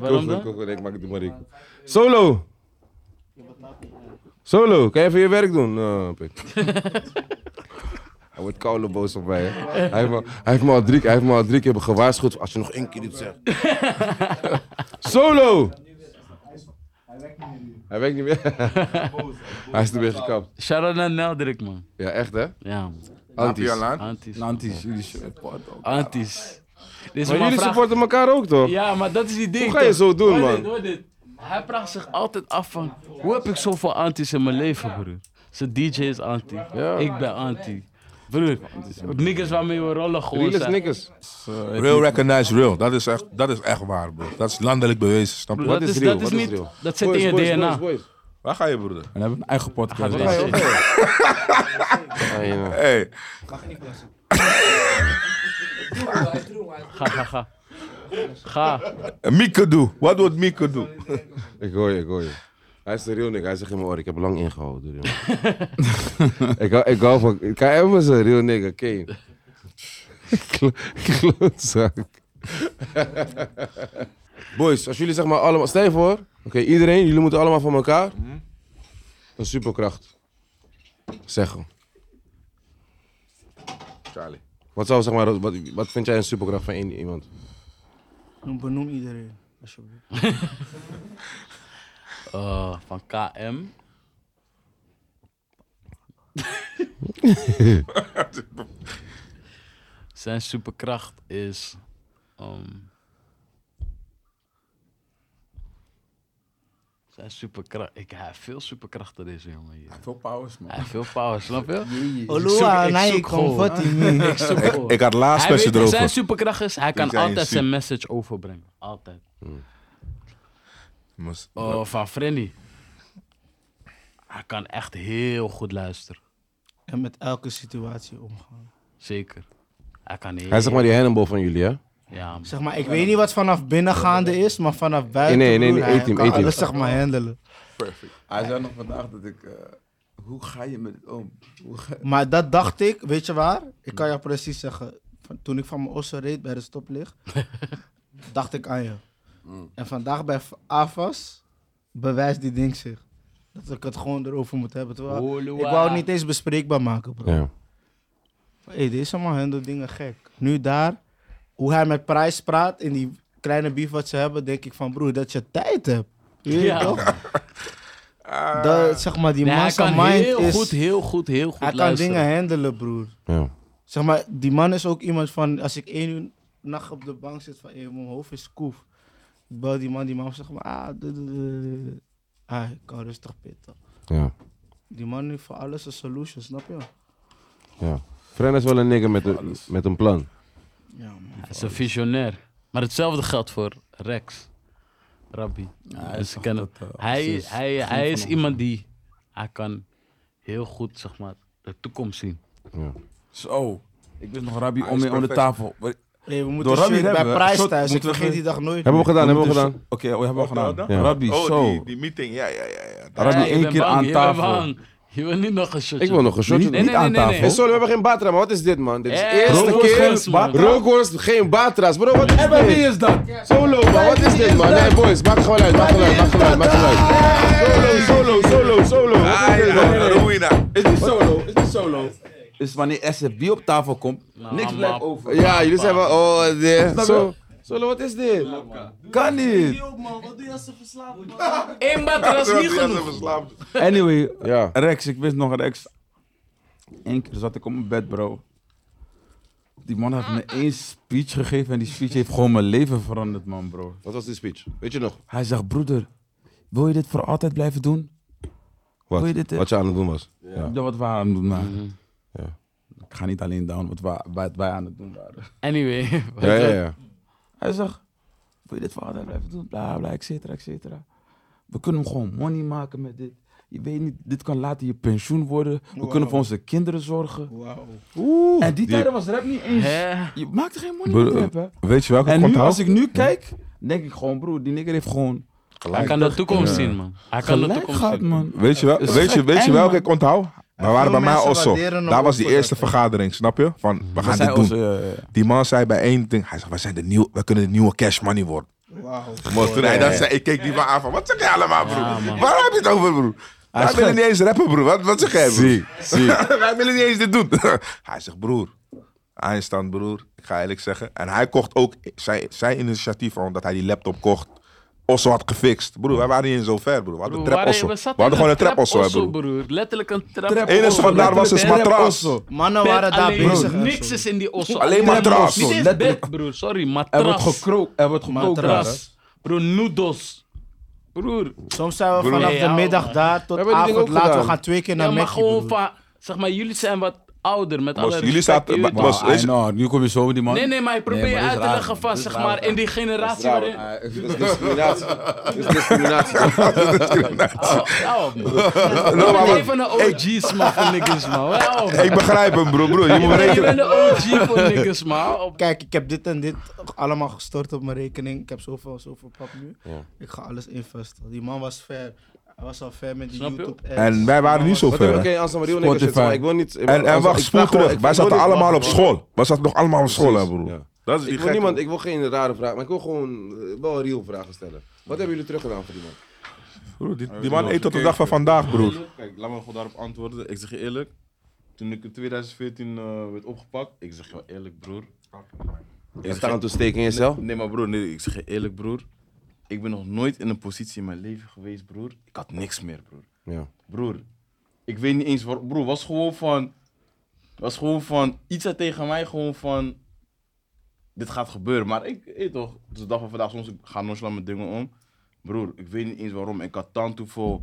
[SPEAKER 5] Waarom dan?
[SPEAKER 1] Ik, ik maak het maar ik. Solo! Solo, kan je even je werk doen? Eh, pik. Hij wordt koude boos op mij. Hè. Hij, heeft me, hij, heeft me al drie, hij heeft me al drie keer gewaarschuwd. Als je nog één keer dit zegt. Solo! Hij werkt niet meer. hij is er weer gekapt.
[SPEAKER 5] Shout-out naar Neldrik, man.
[SPEAKER 1] Ja, echt hè?
[SPEAKER 5] Ja, man.
[SPEAKER 1] Anties.
[SPEAKER 3] Apialaan.
[SPEAKER 5] Antis.
[SPEAKER 2] Nantis, jullie shit, pot ook.
[SPEAKER 5] Antis. Dit
[SPEAKER 1] Nou, Maar
[SPEAKER 5] is mijn
[SPEAKER 1] jullie
[SPEAKER 5] vraag-
[SPEAKER 1] supporten elkaar ook toch?
[SPEAKER 5] Ja, maar dat is die ding.
[SPEAKER 1] Hoe ga je
[SPEAKER 5] toch?
[SPEAKER 1] zo doen,
[SPEAKER 5] Hoor
[SPEAKER 1] man?
[SPEAKER 5] dit, hoor dit. Hij vraagt zich altijd af van, hoe heb ik zoveel antis in mijn leven, broer? Zijn DJ is anti,
[SPEAKER 1] Ja.
[SPEAKER 5] ik ben anti. Broer, niggas waarmee we rollen gewoon
[SPEAKER 1] Realist
[SPEAKER 5] zijn.
[SPEAKER 1] nikkers.
[SPEAKER 3] Real recognize real. Dat is echt, dat is echt waar, bro. Dat is landelijk bewezen, snap
[SPEAKER 5] Broer,
[SPEAKER 3] je?
[SPEAKER 1] Wat
[SPEAKER 5] dat
[SPEAKER 1] is
[SPEAKER 5] is,
[SPEAKER 1] real?
[SPEAKER 5] dat is
[SPEAKER 1] Wat is
[SPEAKER 5] niet,
[SPEAKER 1] real?
[SPEAKER 5] dat zit in je DNA.
[SPEAKER 3] Waar ga je, broeder?
[SPEAKER 2] En hebben een eigen podcast.
[SPEAKER 5] Gaat deze.
[SPEAKER 1] Oh,
[SPEAKER 3] Hey.
[SPEAKER 5] Ga, ga, ga. Ga.
[SPEAKER 3] eh, Mieke doe. Wat wordt Mieke doen?
[SPEAKER 1] Ik hoor je, ik hoor je. Hij is de real nigger. Hij zegt in mijn oor, ik heb lang ingehouden. door die man. ik, hou, ik hou van... KM is een real nigger, Kane. Klo- Klootzak. Boys, als jullie zeg maar allemaal... Stel je voor, oké, iedereen, jullie moeten allemaal van elkaar een superkracht zeggen.
[SPEAKER 3] Charlie.
[SPEAKER 1] Wat zou zeg maar... Wat, wat vind jij een superkracht van één iemand?
[SPEAKER 4] Dan Benoem iedereen, alsjeblieft.
[SPEAKER 5] Eh, van KM. Zijn superkracht is. ehm, zijn superkracht. Ik heb veel superkrachten deze jongen hier.
[SPEAKER 2] Veel powers, man.
[SPEAKER 5] Hij heeft veel power, snap je?
[SPEAKER 4] Olua,
[SPEAKER 5] ik
[SPEAKER 4] eh, nee,
[SPEAKER 5] zoek
[SPEAKER 4] ik
[SPEAKER 5] gewoon.
[SPEAKER 4] kom wat in me.
[SPEAKER 5] Ik zoek gewoon.
[SPEAKER 3] Ik had laatst
[SPEAKER 5] Hij
[SPEAKER 3] met je
[SPEAKER 5] weet, zijn
[SPEAKER 3] erover.
[SPEAKER 5] superkracht is, hij
[SPEAKER 3] Ik
[SPEAKER 5] kan
[SPEAKER 3] zei,
[SPEAKER 5] altijd
[SPEAKER 3] zie-
[SPEAKER 5] zijn message overbrengen. Altijd.
[SPEAKER 3] Moest-
[SPEAKER 5] Oh, van Frenny. Hij kan echt heel goed luisteren.
[SPEAKER 4] En met elke situatie omgaan.
[SPEAKER 5] Zeker. Hij kan heel...
[SPEAKER 1] Hij is zeg maar die Hannibal van jullie, hè?
[SPEAKER 5] Ja, man.
[SPEAKER 4] Zeg maar, ik weet niet wat vanaf binnen gaande is, maar vanaf buiten.
[SPEAKER 1] Nee, nee, nee,
[SPEAKER 4] broer, hij
[SPEAKER 1] A-team,
[SPEAKER 4] kan
[SPEAKER 1] A-team.
[SPEAKER 4] alles zeg maar handelen.
[SPEAKER 2] Hij zei nog vandaag dat ik... eh, hoe ga je met het om? Hoe ga-
[SPEAKER 4] Maar dat dacht ik, weet je waar? Ik kan je precies zeggen. van- toen ik van mijn ossen reed bij de stoplicht, dacht ik aan je.
[SPEAKER 5] Mm.
[SPEAKER 4] En vandaag bij F- AFAS bewijst die ding zich. Dat ik het gewoon erover moet hebben. Terwijl,
[SPEAKER 5] Oeh,
[SPEAKER 4] ik wou het niet eens bespreekbaar maken, bro.
[SPEAKER 1] Ja.
[SPEAKER 4] Hey, deze man handelt dingen gek. Nu daar, hoe hij met prijs praat in die kleine beef wat ze hebben, denk ik van broer, dat je tijd hebt. Je weet
[SPEAKER 5] Ja.
[SPEAKER 4] toch? Dat, zeg maar, die
[SPEAKER 5] Nee, hij
[SPEAKER 4] massa
[SPEAKER 5] kan
[SPEAKER 4] mind
[SPEAKER 5] heel
[SPEAKER 4] is...
[SPEAKER 5] goed, heel goed, heel goed
[SPEAKER 4] hij kan
[SPEAKER 5] luisteren.
[SPEAKER 4] dingen handelen, broer.
[SPEAKER 1] ja.
[SPEAKER 4] Zeg maar, die man is ook iemand van, als ik één uur nacht op de bank zit van, hey, mijn hoofd is koef. Ik bel die man, die man zegt maar, ah, du- du- du- du- du. ah, ik kan rustig pitten.
[SPEAKER 1] Ja.
[SPEAKER 4] Die man heeft voor alles een solution, snap je?
[SPEAKER 1] ja. Fren is wel een nigger met, een- met een plan.
[SPEAKER 4] Ja, man.
[SPEAKER 5] Hij is een visionair. Maar hetzelfde geldt voor Rex. Rabbi.
[SPEAKER 2] dus
[SPEAKER 5] En ze kennen-
[SPEAKER 4] oh,
[SPEAKER 5] hij, hij, hij is iemand die... Hij kan heel goed, zeg maar, de toekomst zien.
[SPEAKER 2] Zo. Ik wist nog Rabbi
[SPEAKER 3] Hij
[SPEAKER 2] om,
[SPEAKER 3] is
[SPEAKER 2] om de
[SPEAKER 3] perfect.
[SPEAKER 2] tafel. We-
[SPEAKER 4] Hey, we moeten
[SPEAKER 2] Door Rami
[SPEAKER 4] shirt bij
[SPEAKER 2] hebben we-
[SPEAKER 4] Prijs
[SPEAKER 2] shot
[SPEAKER 4] thuis, ik
[SPEAKER 2] moeten we
[SPEAKER 4] vergeet die
[SPEAKER 2] geen-
[SPEAKER 4] dag nooit.
[SPEAKER 1] Hebben we gedaan, hebben we
[SPEAKER 2] moeten
[SPEAKER 1] gedaan.
[SPEAKER 2] zo- Dus- Oké, oh, we hebben we
[SPEAKER 3] Wat
[SPEAKER 2] gedaan.
[SPEAKER 3] dan?
[SPEAKER 1] Ja.
[SPEAKER 2] Rabbi,
[SPEAKER 3] Oh,
[SPEAKER 2] zo.
[SPEAKER 3] Die, die meeting, ja, ja, ja. ja.
[SPEAKER 2] Rabbi
[SPEAKER 5] Hey, je
[SPEAKER 2] één
[SPEAKER 5] bent
[SPEAKER 2] keer
[SPEAKER 5] bang,
[SPEAKER 2] aan
[SPEAKER 5] je
[SPEAKER 2] tafel.
[SPEAKER 5] bent bang. Je wil niet nog een shotje.
[SPEAKER 1] Ik wil nog een shotje doen.
[SPEAKER 2] Niet,
[SPEAKER 5] nee,
[SPEAKER 2] niet
[SPEAKER 5] nee,
[SPEAKER 2] aan
[SPEAKER 5] nee, nee.
[SPEAKER 2] tafel.
[SPEAKER 1] Hey, sorry, we hebben geen Batra, maar wat is dit, man? Dit is de
[SPEAKER 5] Eh,
[SPEAKER 1] eerste
[SPEAKER 5] rookworst,
[SPEAKER 1] keer.
[SPEAKER 5] man.
[SPEAKER 1] Rookworst, geen Batra's, bro. Wat is
[SPEAKER 2] En bij wie
[SPEAKER 1] dit?
[SPEAKER 2] is dat?
[SPEAKER 1] Solo, man. Wat is dit, man? Nee, boys, maak geluid, maak geluid, maak geluid, maak geluid. Solo, solo, solo, solo. Wat is
[SPEAKER 3] Ah,
[SPEAKER 1] dit, man?
[SPEAKER 3] ja, Ruina.
[SPEAKER 2] Is die solo? Is die solo? Is wanneer SFB op tafel komt, niks
[SPEAKER 5] Nou, maar-
[SPEAKER 2] blijft over.
[SPEAKER 1] Ja, jullie zijn wel. Oh, dit.
[SPEAKER 2] Snap je?
[SPEAKER 1] Zo. Solo, wat is dit?
[SPEAKER 2] Kan niet.
[SPEAKER 5] Eén matras
[SPEAKER 3] Terwijl
[SPEAKER 5] niet
[SPEAKER 3] die
[SPEAKER 5] genoeg.
[SPEAKER 3] mensen verslaafd.
[SPEAKER 2] Anyway,
[SPEAKER 1] Ja.
[SPEAKER 2] Rex, ik wist nog Rex. Eén keer zat ik op mijn bed, bro. Die man heeft me één speech gegeven en die speech heeft gewoon mijn leven veranderd, man, bro.
[SPEAKER 1] Wat was die speech? Weet je nog?
[SPEAKER 2] Hij zegt, broeder, wil je dit voor altijd blijven doen? Wil je
[SPEAKER 1] Wat,
[SPEAKER 2] dit, eh?
[SPEAKER 1] wat je aan het doen was?
[SPEAKER 2] Ja. wat we aan het doen waren.
[SPEAKER 1] Ja.
[SPEAKER 2] Ik ga niet alleen down wat, wa- wat wij aan het doen waren.
[SPEAKER 5] Anyway.
[SPEAKER 1] Ja, ja, ja.
[SPEAKER 2] Hij zegt, wil je dit voor altijd blijven doen? Bla, bla, et cetera, et cetera. We kunnen hem gewoon money maken met dit. Je weet niet, dit kan later je pensioen worden. We kunnen voor onze kinderen zorgen.
[SPEAKER 4] Wauw.
[SPEAKER 2] en die tijden was rap niet eens.
[SPEAKER 5] Hè?
[SPEAKER 2] Je maakte geen money
[SPEAKER 3] Broer,
[SPEAKER 2] met rap, hè.
[SPEAKER 3] Weet je welke
[SPEAKER 2] En nu, als
[SPEAKER 3] ik
[SPEAKER 2] ik nu kijk, denk ik gewoon, broer, die nigger heeft gewoon
[SPEAKER 5] Hij kan de toekomst
[SPEAKER 3] Ja.
[SPEAKER 5] zien, man. Hij kan de
[SPEAKER 2] gelijk
[SPEAKER 5] toekomst
[SPEAKER 2] gehad,
[SPEAKER 5] zien.
[SPEAKER 2] man.
[SPEAKER 3] Weet je, wel,
[SPEAKER 2] Is
[SPEAKER 3] weet je,
[SPEAKER 2] gek
[SPEAKER 3] weet je
[SPEAKER 2] eng,
[SPEAKER 3] welke
[SPEAKER 2] man.
[SPEAKER 3] ik onthoud? We waren
[SPEAKER 4] veel
[SPEAKER 3] bij mij
[SPEAKER 4] mensen
[SPEAKER 3] Osso.
[SPEAKER 4] waarderen hem
[SPEAKER 3] Daar
[SPEAKER 4] ook
[SPEAKER 3] was die
[SPEAKER 4] voor
[SPEAKER 3] eerste
[SPEAKER 4] dat, hè.
[SPEAKER 3] vergadering, snap je? Van, we gaan
[SPEAKER 2] Zij
[SPEAKER 3] dit doen.
[SPEAKER 2] was, eh,
[SPEAKER 3] Die man zei bij één ding, hij zei, we, zijn de nieuwe, we kunnen de nieuwe cash money worden.
[SPEAKER 4] Wauw.
[SPEAKER 3] Maar toen hij dat zei, ik keek die van aan van, wat zeg jij allemaal, broer? Waar heb je het over, broer?
[SPEAKER 2] is
[SPEAKER 3] Wij willen
[SPEAKER 2] gek.
[SPEAKER 3] niet eens rappen, broer. Wat, wat zeg jij, broer? Wij willen niet eens dit doen. hij zegt, broer, Einstein, broer, ik ga eerlijk zeggen. En hij kocht ook zij- zijn initiatief, omdat hij die laptop kocht. Osso had gefixt. Broer, wij waren niet eens zo ver, broer. We hadden
[SPEAKER 5] Broer,
[SPEAKER 3] trap
[SPEAKER 5] waren-
[SPEAKER 3] Osso.
[SPEAKER 5] we
[SPEAKER 3] We
[SPEAKER 5] zaten
[SPEAKER 3] hadden
[SPEAKER 5] in
[SPEAKER 3] gewoon een trap Osso, hè,
[SPEAKER 5] osso,
[SPEAKER 3] broer.
[SPEAKER 5] Letterlijk een trap
[SPEAKER 2] Trap
[SPEAKER 3] Enige
[SPEAKER 2] Osso,
[SPEAKER 3] wat daar was is
[SPEAKER 2] letterlijk
[SPEAKER 3] matras.
[SPEAKER 2] Osso.
[SPEAKER 4] Mannen waren daar
[SPEAKER 5] alleen,
[SPEAKER 4] bezig. en
[SPEAKER 5] Niks
[SPEAKER 4] zo.
[SPEAKER 5] is in die osso.
[SPEAKER 3] Alleen
[SPEAKER 5] maar
[SPEAKER 3] matras.
[SPEAKER 5] Niet eens
[SPEAKER 2] Letterlijk.
[SPEAKER 5] bed, broer. Sorry,
[SPEAKER 2] Er wordt
[SPEAKER 5] matras.
[SPEAKER 2] gekrookt, er wordt gekookt. daar,
[SPEAKER 5] Matras. Broer, noedos. Broer.
[SPEAKER 4] Soms zijn we
[SPEAKER 3] Broer.
[SPEAKER 4] vanaf
[SPEAKER 5] Nee,
[SPEAKER 4] de
[SPEAKER 5] ja,
[SPEAKER 4] middag
[SPEAKER 5] man.
[SPEAKER 4] daar tot
[SPEAKER 1] We hebben die
[SPEAKER 4] avond
[SPEAKER 1] ding ook
[SPEAKER 4] laat. We
[SPEAKER 1] gedaan.
[SPEAKER 4] gaan twee keer naar
[SPEAKER 5] Ja,
[SPEAKER 4] ja,
[SPEAKER 5] maar gewoon van... Zeg maar, jullie zijn wat ouder met alle
[SPEAKER 3] Mos, jullie
[SPEAKER 5] respect,
[SPEAKER 3] zaten-
[SPEAKER 2] hè.
[SPEAKER 3] maar- Was-
[SPEAKER 2] Wow, Ah, I
[SPEAKER 3] is-
[SPEAKER 2] know, nu kom je zo met die man.
[SPEAKER 5] Nee, nee, maar ik probeer
[SPEAKER 2] Nee,
[SPEAKER 5] je
[SPEAKER 2] maar dit
[SPEAKER 5] uit
[SPEAKER 2] is
[SPEAKER 5] te
[SPEAKER 2] raar,
[SPEAKER 5] leggen
[SPEAKER 2] man.
[SPEAKER 5] van,
[SPEAKER 2] Dit is
[SPEAKER 5] zeg
[SPEAKER 2] raar,
[SPEAKER 5] maar, in die generatie waarin...
[SPEAKER 2] Ah,
[SPEAKER 1] Dit is discriminatie. Dit is discriminatie.
[SPEAKER 5] Oh,
[SPEAKER 3] maar
[SPEAKER 5] oh,
[SPEAKER 3] wat-
[SPEAKER 5] even een OG's, man, voor niggas, man. Wel, oh, man.
[SPEAKER 3] Ik begrijp hem, broer. broer. Je moet
[SPEAKER 5] Je
[SPEAKER 3] rekenen.
[SPEAKER 5] bent een OG voor niggas, man. Op-
[SPEAKER 4] Oh, Kijk, ik heb dit en dit allemaal gestort op mijn rekening. Ik heb zoveel, zoveel pap nu. Ik ga alles investen. Die man was ver. Hij was al ver met die
[SPEAKER 5] Snap je?
[SPEAKER 4] YouTube ads.
[SPEAKER 3] En wij waren niet zo
[SPEAKER 1] Wat heb
[SPEAKER 3] ver.
[SPEAKER 1] ik
[SPEAKER 3] hè.
[SPEAKER 1] geen Anson Mario niks shit,
[SPEAKER 2] Spotify.
[SPEAKER 1] maar ik wil niet... ik wil-
[SPEAKER 3] En, en
[SPEAKER 1] Anson-
[SPEAKER 3] wacht,
[SPEAKER 1] ik
[SPEAKER 3] spoel
[SPEAKER 1] vraag gewoon-
[SPEAKER 3] terug.
[SPEAKER 1] ik-
[SPEAKER 3] Wij
[SPEAKER 1] ik wil
[SPEAKER 3] zaten
[SPEAKER 1] niet-
[SPEAKER 3] allemaal op
[SPEAKER 1] wacht,
[SPEAKER 3] school. Wij zaten nog allemaal op school, hè, broer.
[SPEAKER 1] Ja.
[SPEAKER 3] Dat is
[SPEAKER 1] Ik wil,
[SPEAKER 3] gekke.
[SPEAKER 1] niemand, ik wil geen rare vraag, maar ik wil gewoon eh, wel real vragen stellen. Wat hebben jullie teruggedaan voor die man?
[SPEAKER 3] Broer, die, die man eet tot de dag van vandaag, broer.
[SPEAKER 6] Eerlijk, Kijk, laat me gewoon daarop antwoorden. Ik zeg je eerlijk. Toen ik in 2014 eh, werd opgepakt, ik zeg je wel eerlijk, broer.
[SPEAKER 1] Je
[SPEAKER 6] zeg
[SPEAKER 1] staat
[SPEAKER 6] je-
[SPEAKER 1] aan te steken in
[SPEAKER 6] Nee,
[SPEAKER 1] jezelf?
[SPEAKER 6] nee, maar broer, nee, ik zeg je eerlijk, broer. Ik ben nog nooit in een positie in mijn leven geweest, broer. Ik had niks meer, broer.
[SPEAKER 1] Ja.
[SPEAKER 6] Broer, ik weet niet eens waar. Broer, was gewoon van. Was gewoon van. Iets had tegen mij gewoon van. Dit gaat gebeuren. Maar ik, weet toch, het is de dag van vandaag, soms gaan nonchalant met dingen om. Broer, ik weet niet eens waarom. Ik had tante voor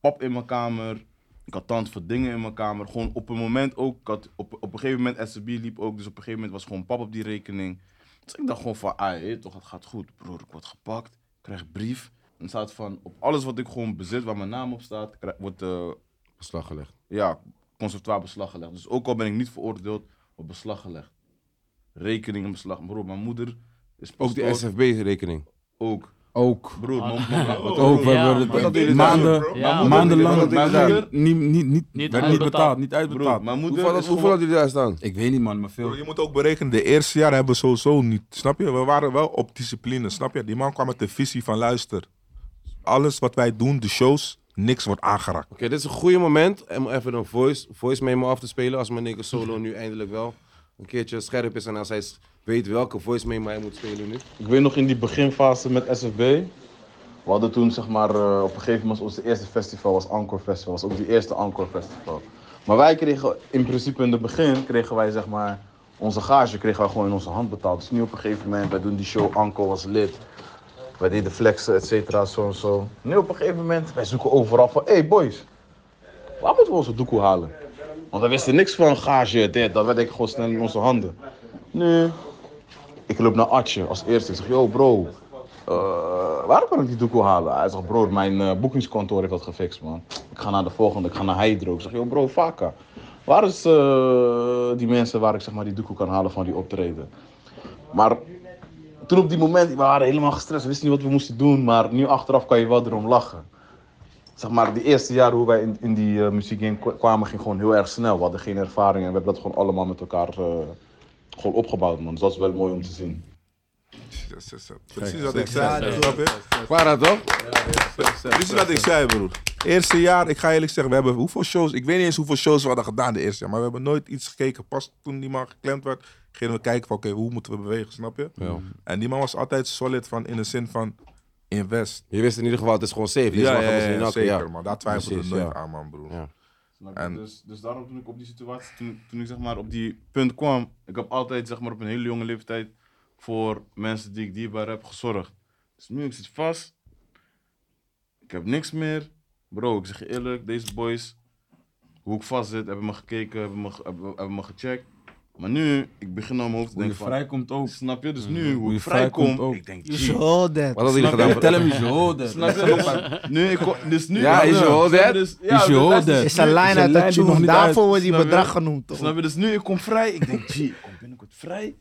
[SPEAKER 6] pap in mijn kamer. Ik had tante voor dingen in mijn kamer. Gewoon op een moment ook. Ik had, op, op een gegeven moment, SCB liep ook. Dus op een gegeven moment was gewoon pap op die rekening. Dus ik dacht gewoon van, ah, je weet toch, het gaat goed. Broer, ik word gepakt. Ik krijg brief. in staat van op alles wat ik gewoon bezit, waar mijn naam op staat, krij- wordt eh,
[SPEAKER 1] Beslag gelegd.
[SPEAKER 6] ja, conservatoire beslag gelegd. Dus ook al ben ik niet veroordeeld, wordt beslag gelegd. Rekening in beslag. Broer, mijn moeder is
[SPEAKER 1] Ook die
[SPEAKER 6] pastoor.
[SPEAKER 1] SFB-rekening.
[SPEAKER 6] Ook.
[SPEAKER 2] Ook.
[SPEAKER 6] Broer,
[SPEAKER 5] Ah.
[SPEAKER 6] mijn- mijn-
[SPEAKER 2] Wat
[SPEAKER 5] Oh,
[SPEAKER 2] ook, we
[SPEAKER 5] ja,
[SPEAKER 2] hebben
[SPEAKER 5] maar
[SPEAKER 2] het-
[SPEAKER 5] dat
[SPEAKER 2] eh,
[SPEAKER 3] jullie daar
[SPEAKER 2] maanden,
[SPEAKER 3] doen, bro.
[SPEAKER 5] Ja,
[SPEAKER 2] ja, maandenlang
[SPEAKER 6] dat jullie dat
[SPEAKER 2] werd niet, niet, niet, niet, werd
[SPEAKER 5] Niet
[SPEAKER 2] niet
[SPEAKER 5] uitbetaald.
[SPEAKER 2] betaald, niet uitbetaald.
[SPEAKER 6] broer, mijn moeder
[SPEAKER 1] Hoeveel,
[SPEAKER 6] is
[SPEAKER 1] hoeveel
[SPEAKER 6] gewoon-
[SPEAKER 1] hadden jullie daar staan?
[SPEAKER 2] ik weet niet man, maar veel.
[SPEAKER 3] Bro, je moet ook berekenen, de eerste jaar hebben we sowieso niet. Snap je? We waren wel op discipline, snap je? Die man kwam met de visie van luister. Alles wat wij doen, de shows, niks wordt aangeraakt.
[SPEAKER 1] Oké, dit is een goede moment om even een voice, voice memo af te spelen. Als mijn nigga solo nu eindelijk wel een keertje scherp is en als hij s- weet welke voice memo hij moet spelen nu.
[SPEAKER 6] Ik weet nog in die beginfase met SFB. We hadden toen zeg maar eh, op een gegeven moment ons eerste festival was Encore Festival. Was ook die eerste Encore Festival. Maar wij kregen in principe in het begin kregen wij zeg maar onze gage kregen wij gewoon in onze hand betaald. Dus nu op een gegeven moment wij doen die show Encore was lid. Wij deden flexen et cetera zo en zo. Nu op een gegeven moment wij zoeken overal van hey boys, waar moeten we onze doekoe halen? Want we wisten niks van gage dit. Dat werd ik gewoon snel in onze handen. Nu ik loop naar Atje als eerste. Ik zeg, yo bro, eh, waar kan ik die doekoe halen? Hij zegt, bro, mijn eh, boekingskantoor heeft dat gefixt, man. Ik ga naar de volgende, ik ga naar Hydro. Ik zeg, yo bro, Vaka, waar is eh, die mensen waar ik zeg maar die doekoe kan halen van die optreden? Maar toen op die moment, we waren helemaal gestrest, we wisten niet wat we moesten doen. Maar nu achteraf kan je wel erom lachen. Zeg maar, die eerste jaren hoe wij in, in die eh, muziekgame kwa- kwamen, ging gewoon heel erg snel. We hadden geen ervaring en we hebben dat gewoon allemaal met elkaar eh, gewoon opgebouwd, man. Dus dat is wel mooi om te zien.
[SPEAKER 3] Precies wat ik zei, snap je?
[SPEAKER 1] Clara toch?
[SPEAKER 3] Dit is wat ik zei, broer. Eerste jaar, ik ga eerlijk zeggen, we hebben hoeveel shows. Ik weet niet eens hoeveel shows we hadden gedaan de eerste jaar. Maar we hebben nooit iets gekeken. Pas toen die man geklemd werd, gingen we kijken van oké, hoe moeten we bewegen, snap je? En die man was altijd solid van in de zin van invest.
[SPEAKER 1] Je wist in ieder geval, het is gewoon safe. Deze
[SPEAKER 3] Ja,
[SPEAKER 1] man
[SPEAKER 3] ja,
[SPEAKER 1] gaan we ze niet
[SPEAKER 3] ja,
[SPEAKER 1] nakken,
[SPEAKER 3] zeker
[SPEAKER 1] ja.
[SPEAKER 3] man. Daar twijfelde we
[SPEAKER 1] Precies,
[SPEAKER 3] nooit
[SPEAKER 1] ja.
[SPEAKER 3] aan man, broer.
[SPEAKER 1] Ja.
[SPEAKER 6] Snap je?
[SPEAKER 3] En-
[SPEAKER 6] dus, dus daarom toen ik op die situatie, toen, toen ik zeg maar op die punt kwam, ik heb altijd zeg maar op een hele jonge leeftijd voor mensen die ik dierbaar heb gezorgd. Dus nu ik zit vast, ik heb niks meer. Bro, ik zeg je eerlijk, deze boys, hoe ik vast zit, hebben me gekeken, hebben me, ge- hebben, hebben me gecheckt. Maar nu, ik begin aan mijn hoofd te
[SPEAKER 2] Hoe je
[SPEAKER 6] denken van,
[SPEAKER 2] vrijkomt ook.
[SPEAKER 6] snap je? Dus nu, hoe
[SPEAKER 2] Hoe
[SPEAKER 6] ik
[SPEAKER 2] je
[SPEAKER 6] vrijkom,
[SPEAKER 2] vrijkomt ook.
[SPEAKER 6] ik denk,
[SPEAKER 4] You
[SPEAKER 6] "Jeez."
[SPEAKER 4] should that.
[SPEAKER 1] Wat hadden jullie gedaan?
[SPEAKER 2] Snap je?
[SPEAKER 1] voor-
[SPEAKER 2] Tell him is your holder.
[SPEAKER 6] Snap je? Dus nu, ik, kom- dus nu,
[SPEAKER 1] Ja, is je hoor
[SPEAKER 6] Snap je?
[SPEAKER 1] dat?
[SPEAKER 6] Dus- ja,
[SPEAKER 2] Is je
[SPEAKER 6] dus dat
[SPEAKER 2] holder.
[SPEAKER 4] Eh, Is een lijn uit
[SPEAKER 2] lijn
[SPEAKER 4] de
[SPEAKER 2] die nog
[SPEAKER 4] tune.
[SPEAKER 2] niet
[SPEAKER 4] Daarvoor wordt die
[SPEAKER 6] Snap je?
[SPEAKER 4] bedrag genoemd. toch?
[SPEAKER 6] Snap je? Dus nu ik kom vrij. Ik denk, gee, ik kom binnenkort vrij.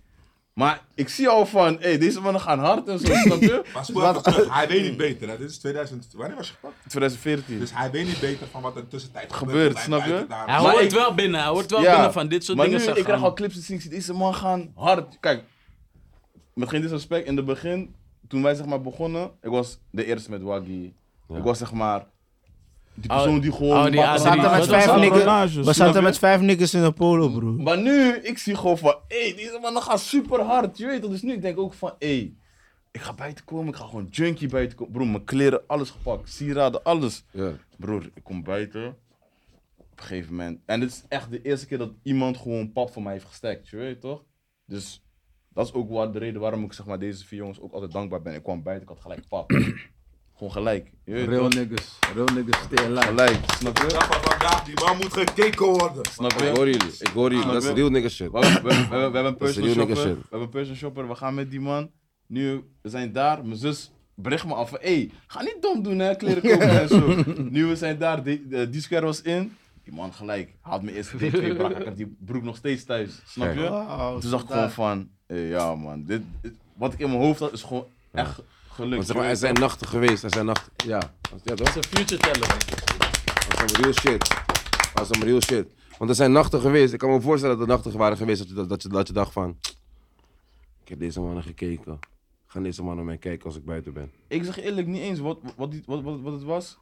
[SPEAKER 6] Maar ik zie al van, hé, deze mannen gaan hard en zo, snap je?
[SPEAKER 3] Maar spoel even terug, hij weet niet beter. Hè. Dit is 2000. Wanneer was je gepakt?
[SPEAKER 6] 2014.
[SPEAKER 3] Dus hij weet niet beter van wat er tussentijd
[SPEAKER 6] Gebeurt,
[SPEAKER 3] gebeurt. Wij
[SPEAKER 6] snap je?
[SPEAKER 3] buiten daar.
[SPEAKER 5] Hij
[SPEAKER 6] Maar
[SPEAKER 5] hoort
[SPEAKER 6] ik-
[SPEAKER 5] wel binnen, hij hoort wel
[SPEAKER 6] Ja,
[SPEAKER 5] binnen van dit soort
[SPEAKER 6] maar
[SPEAKER 5] dingen
[SPEAKER 6] nu,
[SPEAKER 5] zeggen.
[SPEAKER 6] ik krijg al clips te zien, ik zie deze man gaan hard. Kijk, met geen disrespect, in het begin, toen wij zeg maar begonnen, ik was de eerste met Waggy. Ik was zeg maar die
[SPEAKER 5] Oh,
[SPEAKER 6] persoon die gewoon...
[SPEAKER 5] oh, die
[SPEAKER 6] wakker
[SPEAKER 5] A3.
[SPEAKER 4] We zaten met
[SPEAKER 6] maakt.
[SPEAKER 5] Dat was
[SPEAKER 4] vijf
[SPEAKER 5] wel
[SPEAKER 4] niggers.
[SPEAKER 2] rollages,
[SPEAKER 4] We
[SPEAKER 2] snap
[SPEAKER 4] zaten met vijf niggers in een polo, bro.
[SPEAKER 6] Maar nu, ik zie gewoon van, hé, deze mannen gaan super hard, je weet toch? Dus nu denk ik ook van, hé, ik ga buiten komen, ik ga gewoon junkie buiten komen. Broer, mijn kleren, alles gepakt, sieraden, alles.
[SPEAKER 1] Ja.
[SPEAKER 6] Broer, ik kom buiten. Op een gegeven moment. En dit is echt de eerste keer dat iemand gewoon pap voor mij heeft gestekt, je weet toch? Dus dat is ook waar de reden waarom ik zeg maar deze vier jongens ook altijd dankbaar ben. Ik kwam buiten, ik had gelijk pap. gewoon gelijk, je weet
[SPEAKER 2] Real
[SPEAKER 6] toch?
[SPEAKER 2] niggas. Real niggas stay alive.
[SPEAKER 6] Gelijk, snap je?
[SPEAKER 3] Dag van vandaag, die man moet gekeken worden.
[SPEAKER 6] Snap je?
[SPEAKER 1] Ik hoor jullie, ik hoor jullie. Dat is real nigga shit.
[SPEAKER 6] We, hebben- we, hebben- we hebben- we hebben een
[SPEAKER 1] Dat is
[SPEAKER 6] personal
[SPEAKER 1] een heel
[SPEAKER 6] shopper.
[SPEAKER 1] nigga
[SPEAKER 6] We
[SPEAKER 1] shit.
[SPEAKER 6] hebben een personal shopper. We gaan met die man. Nu, we zijn daar. Mijn zus bericht me af van... Hé, ga niet dom doen hè, kleren kopen en zo. Nu, we zijn daar. De, de, die square was in. Die man gelijk. Haalt me eerst die twee brak. Ik heb die broek nog steeds thuis. Snap je?
[SPEAKER 3] Ah.
[SPEAKER 4] Wauw,
[SPEAKER 6] Toen dacht ik gewoon
[SPEAKER 4] daar.
[SPEAKER 6] van... eh, ja man, dit, dit- wat ik in mijn hoofd had is gewoon echt gelukt.
[SPEAKER 1] Want zeg maar, er zijn nachten geweest, er zijn nachten. Ja, ja toch?
[SPEAKER 5] Het is een future teller.
[SPEAKER 1] Dat is some real shit. Dat is some real shit. Want er zijn nachten geweest. Ik kan me voorstellen dat er nachten waren geweest dat je, dat, dat je, dat je dacht van... Ik heb deze mannen gekeken. Gaan deze mannen mij kijken als ik buiten ben.
[SPEAKER 6] Ik zeg eerlijk niet eens wat, wat, die- wat, wat, wat het was.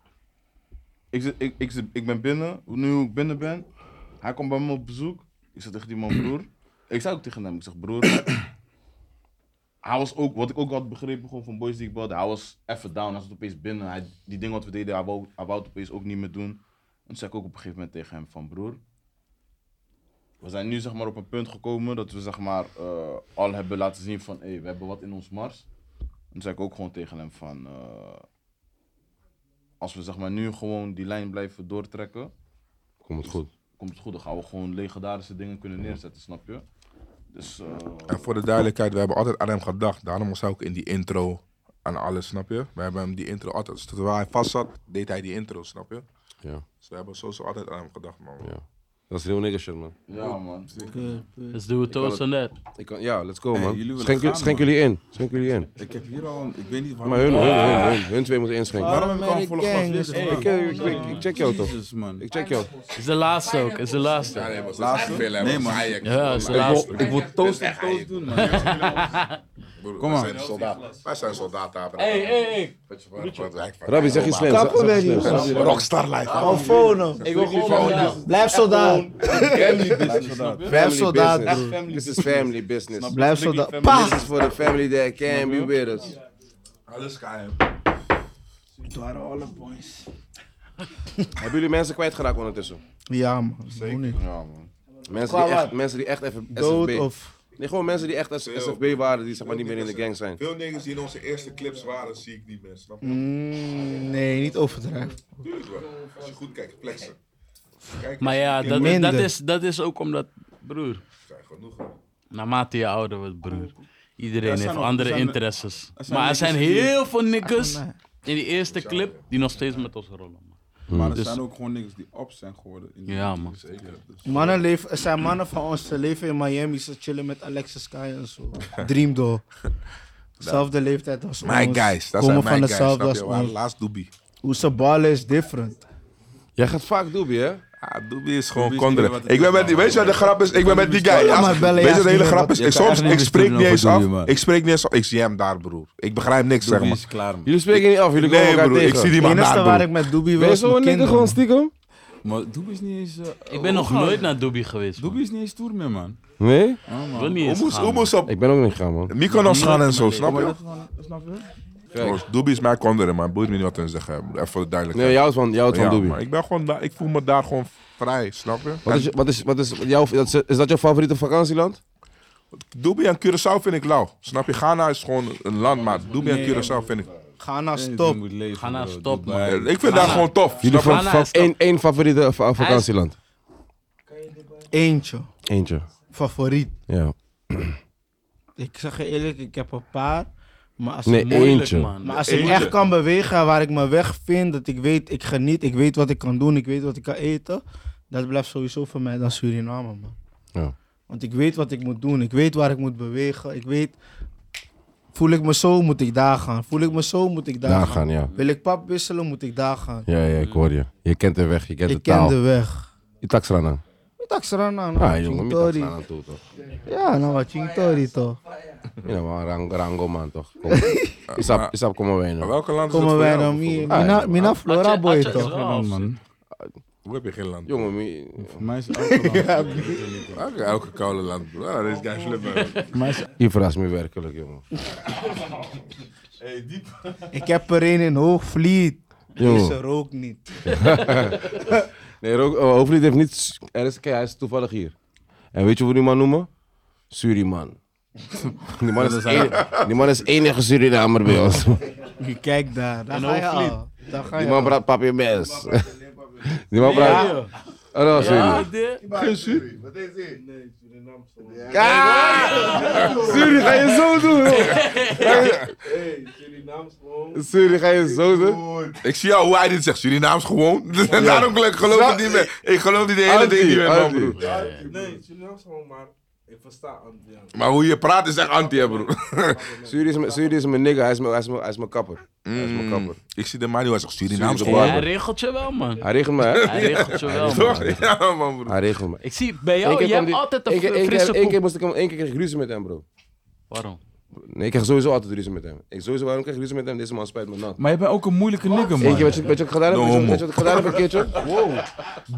[SPEAKER 6] Ik, zit, ik, ik, zit- ik ben binnen, nu hoe ik binnen ben. Hij komt bij me op bezoek. Ik zeg tegen die man, broer. Ik zei ook tegen hem, ik zeg broer. hij was ook, wat ik ook had begrepen gewoon van boys die ik belde. Hij was even down, hij zat opeens binnen. Hij, die dingen wat we deden, hij wou, hij wou het opeens ook niet meer doen. En toen zei ik ook op een gegeven moment tegen hem van broer. We zijn nu zeg maar op een punt gekomen dat we zeg maar eh, al hebben laten zien van hey, we hebben wat in ons mars. Toen zei ik ook gewoon tegen hem van... eh, als we zeg maar nu gewoon die lijn blijven doortrekken...
[SPEAKER 1] Komt het goed.
[SPEAKER 6] Komt het goed, dan gaan we gewoon legendarische dingen kunnen neerzetten, snap je? Dus... eh,
[SPEAKER 3] En voor de duidelijkheid, we hebben altijd aan hem gedacht. Daarom was hij ook in die intro aan alles, snap je? We hebben hem die intro altijd, dus terwijl hij vast zat, deed hij die intro, snap je?
[SPEAKER 1] Ja,
[SPEAKER 3] Dus we hebben sowieso altijd aan hem gedacht, man.
[SPEAKER 1] ja. Dat is real nigga shit, man.
[SPEAKER 6] Ja, man.
[SPEAKER 5] Let's do it
[SPEAKER 1] kan
[SPEAKER 5] toast on that.
[SPEAKER 1] Ik kan, ja, let's go,
[SPEAKER 2] Hey,
[SPEAKER 1] man.
[SPEAKER 2] jullie willen
[SPEAKER 1] schenk
[SPEAKER 2] gaan,
[SPEAKER 1] schenk
[SPEAKER 2] man.
[SPEAKER 1] jullie in. Schenk jullie in.
[SPEAKER 2] Ik heb hier al, een- ik weet niet waarom.
[SPEAKER 1] Maar hun, hun, hun, hun, hun twee moeten inschenken.
[SPEAKER 2] Waarom heb ik al een volle glas weer?
[SPEAKER 1] Ik, ik, ik, ik check jou toch?
[SPEAKER 2] Jezus, man.
[SPEAKER 1] Ik check jou.
[SPEAKER 5] Is de laatste ook, is de laatste.
[SPEAKER 3] nee, maar
[SPEAKER 2] Laatste? veel, hè, Nee, man. man. Ajax.
[SPEAKER 5] Ja, is de laatste.
[SPEAKER 6] Ik wil toast en toast doen, man.
[SPEAKER 2] Kom maar.
[SPEAKER 3] Wij zijn soldaten, hè, bro.
[SPEAKER 5] Hey, hey, hey.
[SPEAKER 1] Rabbi, zeg je slim.
[SPEAKER 4] Kappen
[SPEAKER 1] Zeg
[SPEAKER 4] met
[SPEAKER 1] je
[SPEAKER 4] die
[SPEAKER 1] slim.
[SPEAKER 4] gast.
[SPEAKER 3] Rockstar life. hè.
[SPEAKER 4] Alfono.
[SPEAKER 5] Ik wil gewoon een
[SPEAKER 4] Blijf soldaat. Blijf soldaat,
[SPEAKER 1] business.
[SPEAKER 4] broer.
[SPEAKER 1] This is family business.
[SPEAKER 4] Blijf soldaat. Pa!
[SPEAKER 1] This is for the family that can be with us.
[SPEAKER 3] Alles geheim.
[SPEAKER 4] Het waren alle boys.
[SPEAKER 1] Hebben jullie mensen kwijtgeraakt ondertussen?
[SPEAKER 4] Ja, man. Zeker.
[SPEAKER 6] Ja, man.
[SPEAKER 1] Mensen
[SPEAKER 4] Qua
[SPEAKER 1] die echt,
[SPEAKER 4] wat?
[SPEAKER 1] mensen die echt even
[SPEAKER 4] Dood
[SPEAKER 1] SFB.
[SPEAKER 4] of...
[SPEAKER 1] Nee, gewoon mensen die echt SFB waren, die zeg maar niet meer in de gang zijn.
[SPEAKER 3] Veel niggas die in onze eerste clips waren, zie ik niet meer, snap je?
[SPEAKER 4] Mm, nee, niet overdrijven.
[SPEAKER 3] Tuurlijk wel. Als je goed kijkt, flexen. Kijk,
[SPEAKER 5] Maar ja, dat,
[SPEAKER 4] Minder.
[SPEAKER 5] dat, is, dat is ook omdat, broer,
[SPEAKER 3] zijn genoeg. hè.
[SPEAKER 5] naarmate je ouder wordt, broer, iedereen
[SPEAKER 2] zijn
[SPEAKER 5] heeft
[SPEAKER 2] nog-
[SPEAKER 5] andere
[SPEAKER 2] er zijn-
[SPEAKER 5] interesses.
[SPEAKER 2] er zijn
[SPEAKER 5] Maar er
[SPEAKER 2] niks
[SPEAKER 5] zijn
[SPEAKER 2] die-
[SPEAKER 5] heel veel niggas
[SPEAKER 1] Ah,
[SPEAKER 4] nee.
[SPEAKER 5] in die eerste clip die nog steeds met ons rollen. man.
[SPEAKER 1] Hmm.
[SPEAKER 2] Maar er
[SPEAKER 5] Dus-
[SPEAKER 2] zijn ook gewoon niks die op zijn geworden. In Dus
[SPEAKER 5] Ja, man.
[SPEAKER 4] Mannen leven, er zijn mannen van ons te leven in Miami. Ze chillen met Alexis Sky en zo. Dream door. Zelfde leeftijd als
[SPEAKER 3] My
[SPEAKER 4] ons.
[SPEAKER 3] guys, dat
[SPEAKER 4] Komen van
[SPEAKER 3] zijn mijn guys, snap
[SPEAKER 4] hetzelfde
[SPEAKER 3] je?
[SPEAKER 4] als
[SPEAKER 3] We waren
[SPEAKER 4] ons.
[SPEAKER 3] Laatst Doobie.
[SPEAKER 4] Hoe ze ballen is different.
[SPEAKER 1] Jij gaat vaak doobie, hè?
[SPEAKER 3] Ah, Doobie is gewoon
[SPEAKER 2] Doobie is
[SPEAKER 3] Kondre.
[SPEAKER 2] niet wat het
[SPEAKER 3] Ik ben
[SPEAKER 2] is,
[SPEAKER 3] met die,
[SPEAKER 2] man.
[SPEAKER 3] weet je wat de grap is? Ik ben met die guy.
[SPEAKER 4] Ja, maar
[SPEAKER 3] Als-
[SPEAKER 4] bellen,
[SPEAKER 3] Weet
[SPEAKER 4] ja,
[SPEAKER 3] je wat de hele
[SPEAKER 4] is niet
[SPEAKER 3] grap is?
[SPEAKER 2] wat-
[SPEAKER 3] Ik,
[SPEAKER 2] Je kan
[SPEAKER 3] soms,
[SPEAKER 2] echt niet
[SPEAKER 3] ik spreek niet
[SPEAKER 2] bespreken
[SPEAKER 3] eens
[SPEAKER 2] over
[SPEAKER 3] af.
[SPEAKER 2] Doobie, man.
[SPEAKER 3] Ik spreek niet eens af. Ik jam daar, broer. Ik begrijp niks, zeg
[SPEAKER 2] Doobie
[SPEAKER 3] maar.
[SPEAKER 2] is klaar, man.
[SPEAKER 1] Jullie spreken niet af, jullie komen
[SPEAKER 3] Nee,
[SPEAKER 1] elkaar
[SPEAKER 3] broer. Ik
[SPEAKER 1] tegen.
[SPEAKER 3] zie die
[SPEAKER 4] Het
[SPEAKER 3] man
[SPEAKER 4] enige
[SPEAKER 3] daar,
[SPEAKER 4] waar
[SPEAKER 3] broer.
[SPEAKER 4] ik met Doobie
[SPEAKER 1] Ben
[SPEAKER 4] wil
[SPEAKER 1] je
[SPEAKER 4] is
[SPEAKER 1] zo'n
[SPEAKER 4] mijn
[SPEAKER 1] nigger
[SPEAKER 4] kinderen.
[SPEAKER 1] gewoon
[SPEAKER 4] man.
[SPEAKER 1] stiekem?
[SPEAKER 2] Maar Doobie is niet eens... eh,
[SPEAKER 5] Ik ben nog
[SPEAKER 2] opgehouden.
[SPEAKER 5] nooit naar Doobie geweest. man.
[SPEAKER 2] Doobie is niet eens toer meer, man.
[SPEAKER 1] Nee?
[SPEAKER 2] Ja,
[SPEAKER 5] Ik
[SPEAKER 2] man.
[SPEAKER 5] wil niet eens
[SPEAKER 3] Oemoes,
[SPEAKER 5] gaan, man.
[SPEAKER 3] oemoes op.
[SPEAKER 1] Ik ben ook niet gaan, man.
[SPEAKER 3] Mykonos gaan en zo, snap
[SPEAKER 2] Maar
[SPEAKER 3] je?
[SPEAKER 2] dat is gewoon- Snap je?
[SPEAKER 3] Broers, Doobie is mijn Kondre, man. Boeit me niet wat hun zeggen. broer. Even voor de
[SPEAKER 1] Nee,
[SPEAKER 3] duidelijkheid.
[SPEAKER 1] jou is van, jou is van
[SPEAKER 3] Ja,
[SPEAKER 1] doobie.
[SPEAKER 3] maar ik ben gewoon daar- ik voel me daar gewoon vrij, snap je?
[SPEAKER 1] Wat is, wat is, wat is, jouw, is is dat jouw favoriete vakantieland?
[SPEAKER 3] Dubai en Curaçao vind ik lauw. Snap je? Ghana is gewoon een land, maar Dubai en Curaçao vind ik...
[SPEAKER 4] Ghana,
[SPEAKER 2] Je
[SPEAKER 4] stop.
[SPEAKER 2] moet leven,
[SPEAKER 5] Ghana,
[SPEAKER 2] bro.
[SPEAKER 5] nou stop, man.
[SPEAKER 2] Dubai.
[SPEAKER 3] Ik vind daar gewoon tof.
[SPEAKER 1] Jullie
[SPEAKER 3] Snap je?
[SPEAKER 1] van,
[SPEAKER 5] Ghana
[SPEAKER 1] van
[SPEAKER 5] is top.
[SPEAKER 1] één, één favoriete va- vakantieland?
[SPEAKER 4] Eentje.
[SPEAKER 1] Eentje.
[SPEAKER 4] Favoriet.
[SPEAKER 1] Ja.
[SPEAKER 4] Ik zeg je eerlijk, ik heb een paar. Maar als,
[SPEAKER 1] Nee,
[SPEAKER 4] ik,
[SPEAKER 5] Moeilijk,
[SPEAKER 1] eentje.
[SPEAKER 5] man.
[SPEAKER 4] maar als ik
[SPEAKER 3] Eentje.
[SPEAKER 4] echt kan bewegen waar ik me weg vind, dat ik weet, ik geniet, ik weet wat ik kan doen, ik weet wat ik kan eten, dat blijft sowieso voor mij dan Suriname, man.
[SPEAKER 1] Ja.
[SPEAKER 4] Want ik weet wat ik moet doen, ik weet waar ik moet bewegen, ik weet, voel ik me zo, moet ik daar gaan. Voel ik me zo, moet ik daar,
[SPEAKER 1] Daar
[SPEAKER 4] gaan.
[SPEAKER 1] gaan, ja.
[SPEAKER 4] Wil ik pap wisselen, moet ik daar gaan.
[SPEAKER 1] Ja, ja, ik hoor je. Je kent de weg, je kent de
[SPEAKER 4] ik
[SPEAKER 1] taal.
[SPEAKER 4] ken de weg.
[SPEAKER 1] Je taxrana.
[SPEAKER 4] Taxrana, nou,
[SPEAKER 1] Ah, jongen, je
[SPEAKER 4] Chintori.
[SPEAKER 1] taxrana toe toch.
[SPEAKER 4] Ja, nou, wat Chintori toch.
[SPEAKER 1] Ja, maar rang, rango man toch. Kom. Isap, isap, kom maar bij
[SPEAKER 3] Maar
[SPEAKER 1] nou.
[SPEAKER 3] welke land is
[SPEAKER 4] Komen
[SPEAKER 3] het
[SPEAKER 4] wij
[SPEAKER 3] voor jou
[SPEAKER 4] dan hier. Mina,
[SPEAKER 3] bijvoorbeeld?
[SPEAKER 4] Mina Flora
[SPEAKER 5] Atje-
[SPEAKER 4] boy
[SPEAKER 5] Atje is
[SPEAKER 4] toch.
[SPEAKER 5] wel
[SPEAKER 2] Ja, man.
[SPEAKER 3] Hoe heb je geen land?
[SPEAKER 1] Jongen, mi-
[SPEAKER 2] Voor mij is het elke land.
[SPEAKER 3] Elke, elke koude land, bro. Ah, dat is geen slim, man.
[SPEAKER 2] Voor mij is
[SPEAKER 1] je verrast me werkelijk, jongen.
[SPEAKER 4] Ik heb er een in Hoogvliet.
[SPEAKER 1] E
[SPEAKER 4] Deze
[SPEAKER 1] Jongen.
[SPEAKER 4] rook niet.
[SPEAKER 1] Nee, Ro- eh, Hoofdlied heeft niet... s- Er is, kijk, hij is toevallig hier. En weet je hoe die man noemen? Suriman. Die man is, enige, die man is enige Surinamer bij ons.
[SPEAKER 4] Je kijkt daar. Daar
[SPEAKER 5] In
[SPEAKER 4] ga je
[SPEAKER 5] Hoogvliet.
[SPEAKER 4] al. Daar ga
[SPEAKER 1] Die
[SPEAKER 4] je
[SPEAKER 1] man
[SPEAKER 4] al.
[SPEAKER 1] praat papier mes. Die man praat... Oh, dat was
[SPEAKER 5] Ja,
[SPEAKER 1] jullie.
[SPEAKER 5] dit.
[SPEAKER 1] Suri, ga je zo doen, Hey, Suri, ga je zo doen?
[SPEAKER 3] Ik zie jou hoe hij dit zegt. Surinaams gewoon. Daarom geloof ik geloof het niet meer. Ik geloof die de hele
[SPEAKER 1] Anti,
[SPEAKER 3] ding niet meer, man,
[SPEAKER 1] anti.
[SPEAKER 3] broer.
[SPEAKER 7] Nee, Surinaams gewoon, maar ik versta Antiaan.
[SPEAKER 3] Maar hoe je praat is echt anti, hè, broer.
[SPEAKER 1] Suri is, mijn- Suri is mijn nigga, hij is mijn, hij is mijn, hij is mijn kapper. Hij is mijn kapper.
[SPEAKER 3] Ik zie de man die was echt Surinaams
[SPEAKER 1] Suriname.
[SPEAKER 3] gewoon.
[SPEAKER 5] Hij regelt je wel, man.
[SPEAKER 1] Hij regelt me, hè?
[SPEAKER 5] Hij regelt je wel, man.
[SPEAKER 3] Toch? Ja, man, broer.
[SPEAKER 1] Hij regelt me.
[SPEAKER 5] Ik zie bij
[SPEAKER 1] Eén
[SPEAKER 5] jou,
[SPEAKER 1] keer
[SPEAKER 5] je
[SPEAKER 1] kwam
[SPEAKER 5] hebt
[SPEAKER 1] die-
[SPEAKER 5] altijd
[SPEAKER 1] één
[SPEAKER 5] een
[SPEAKER 1] keer- één keer-
[SPEAKER 5] frisse
[SPEAKER 1] één keer
[SPEAKER 5] poep.
[SPEAKER 1] moest ik hem, één keer kreeg ik ruzie met hem, bro.
[SPEAKER 5] Waarom?
[SPEAKER 1] Nee, ik kreeg sowieso altijd ruzie met hem. Ik sowieso, waarom kreeg ik ruzie met hem? Deze man spijt me nat.
[SPEAKER 2] Maar je bent ook een moeilijke nigger, man.
[SPEAKER 1] Eén keer, weet je, weet je wat ik gedaan heb?
[SPEAKER 3] No
[SPEAKER 1] Weet je-
[SPEAKER 3] homo.
[SPEAKER 1] Weet je wat ik gedaan heb een keertje?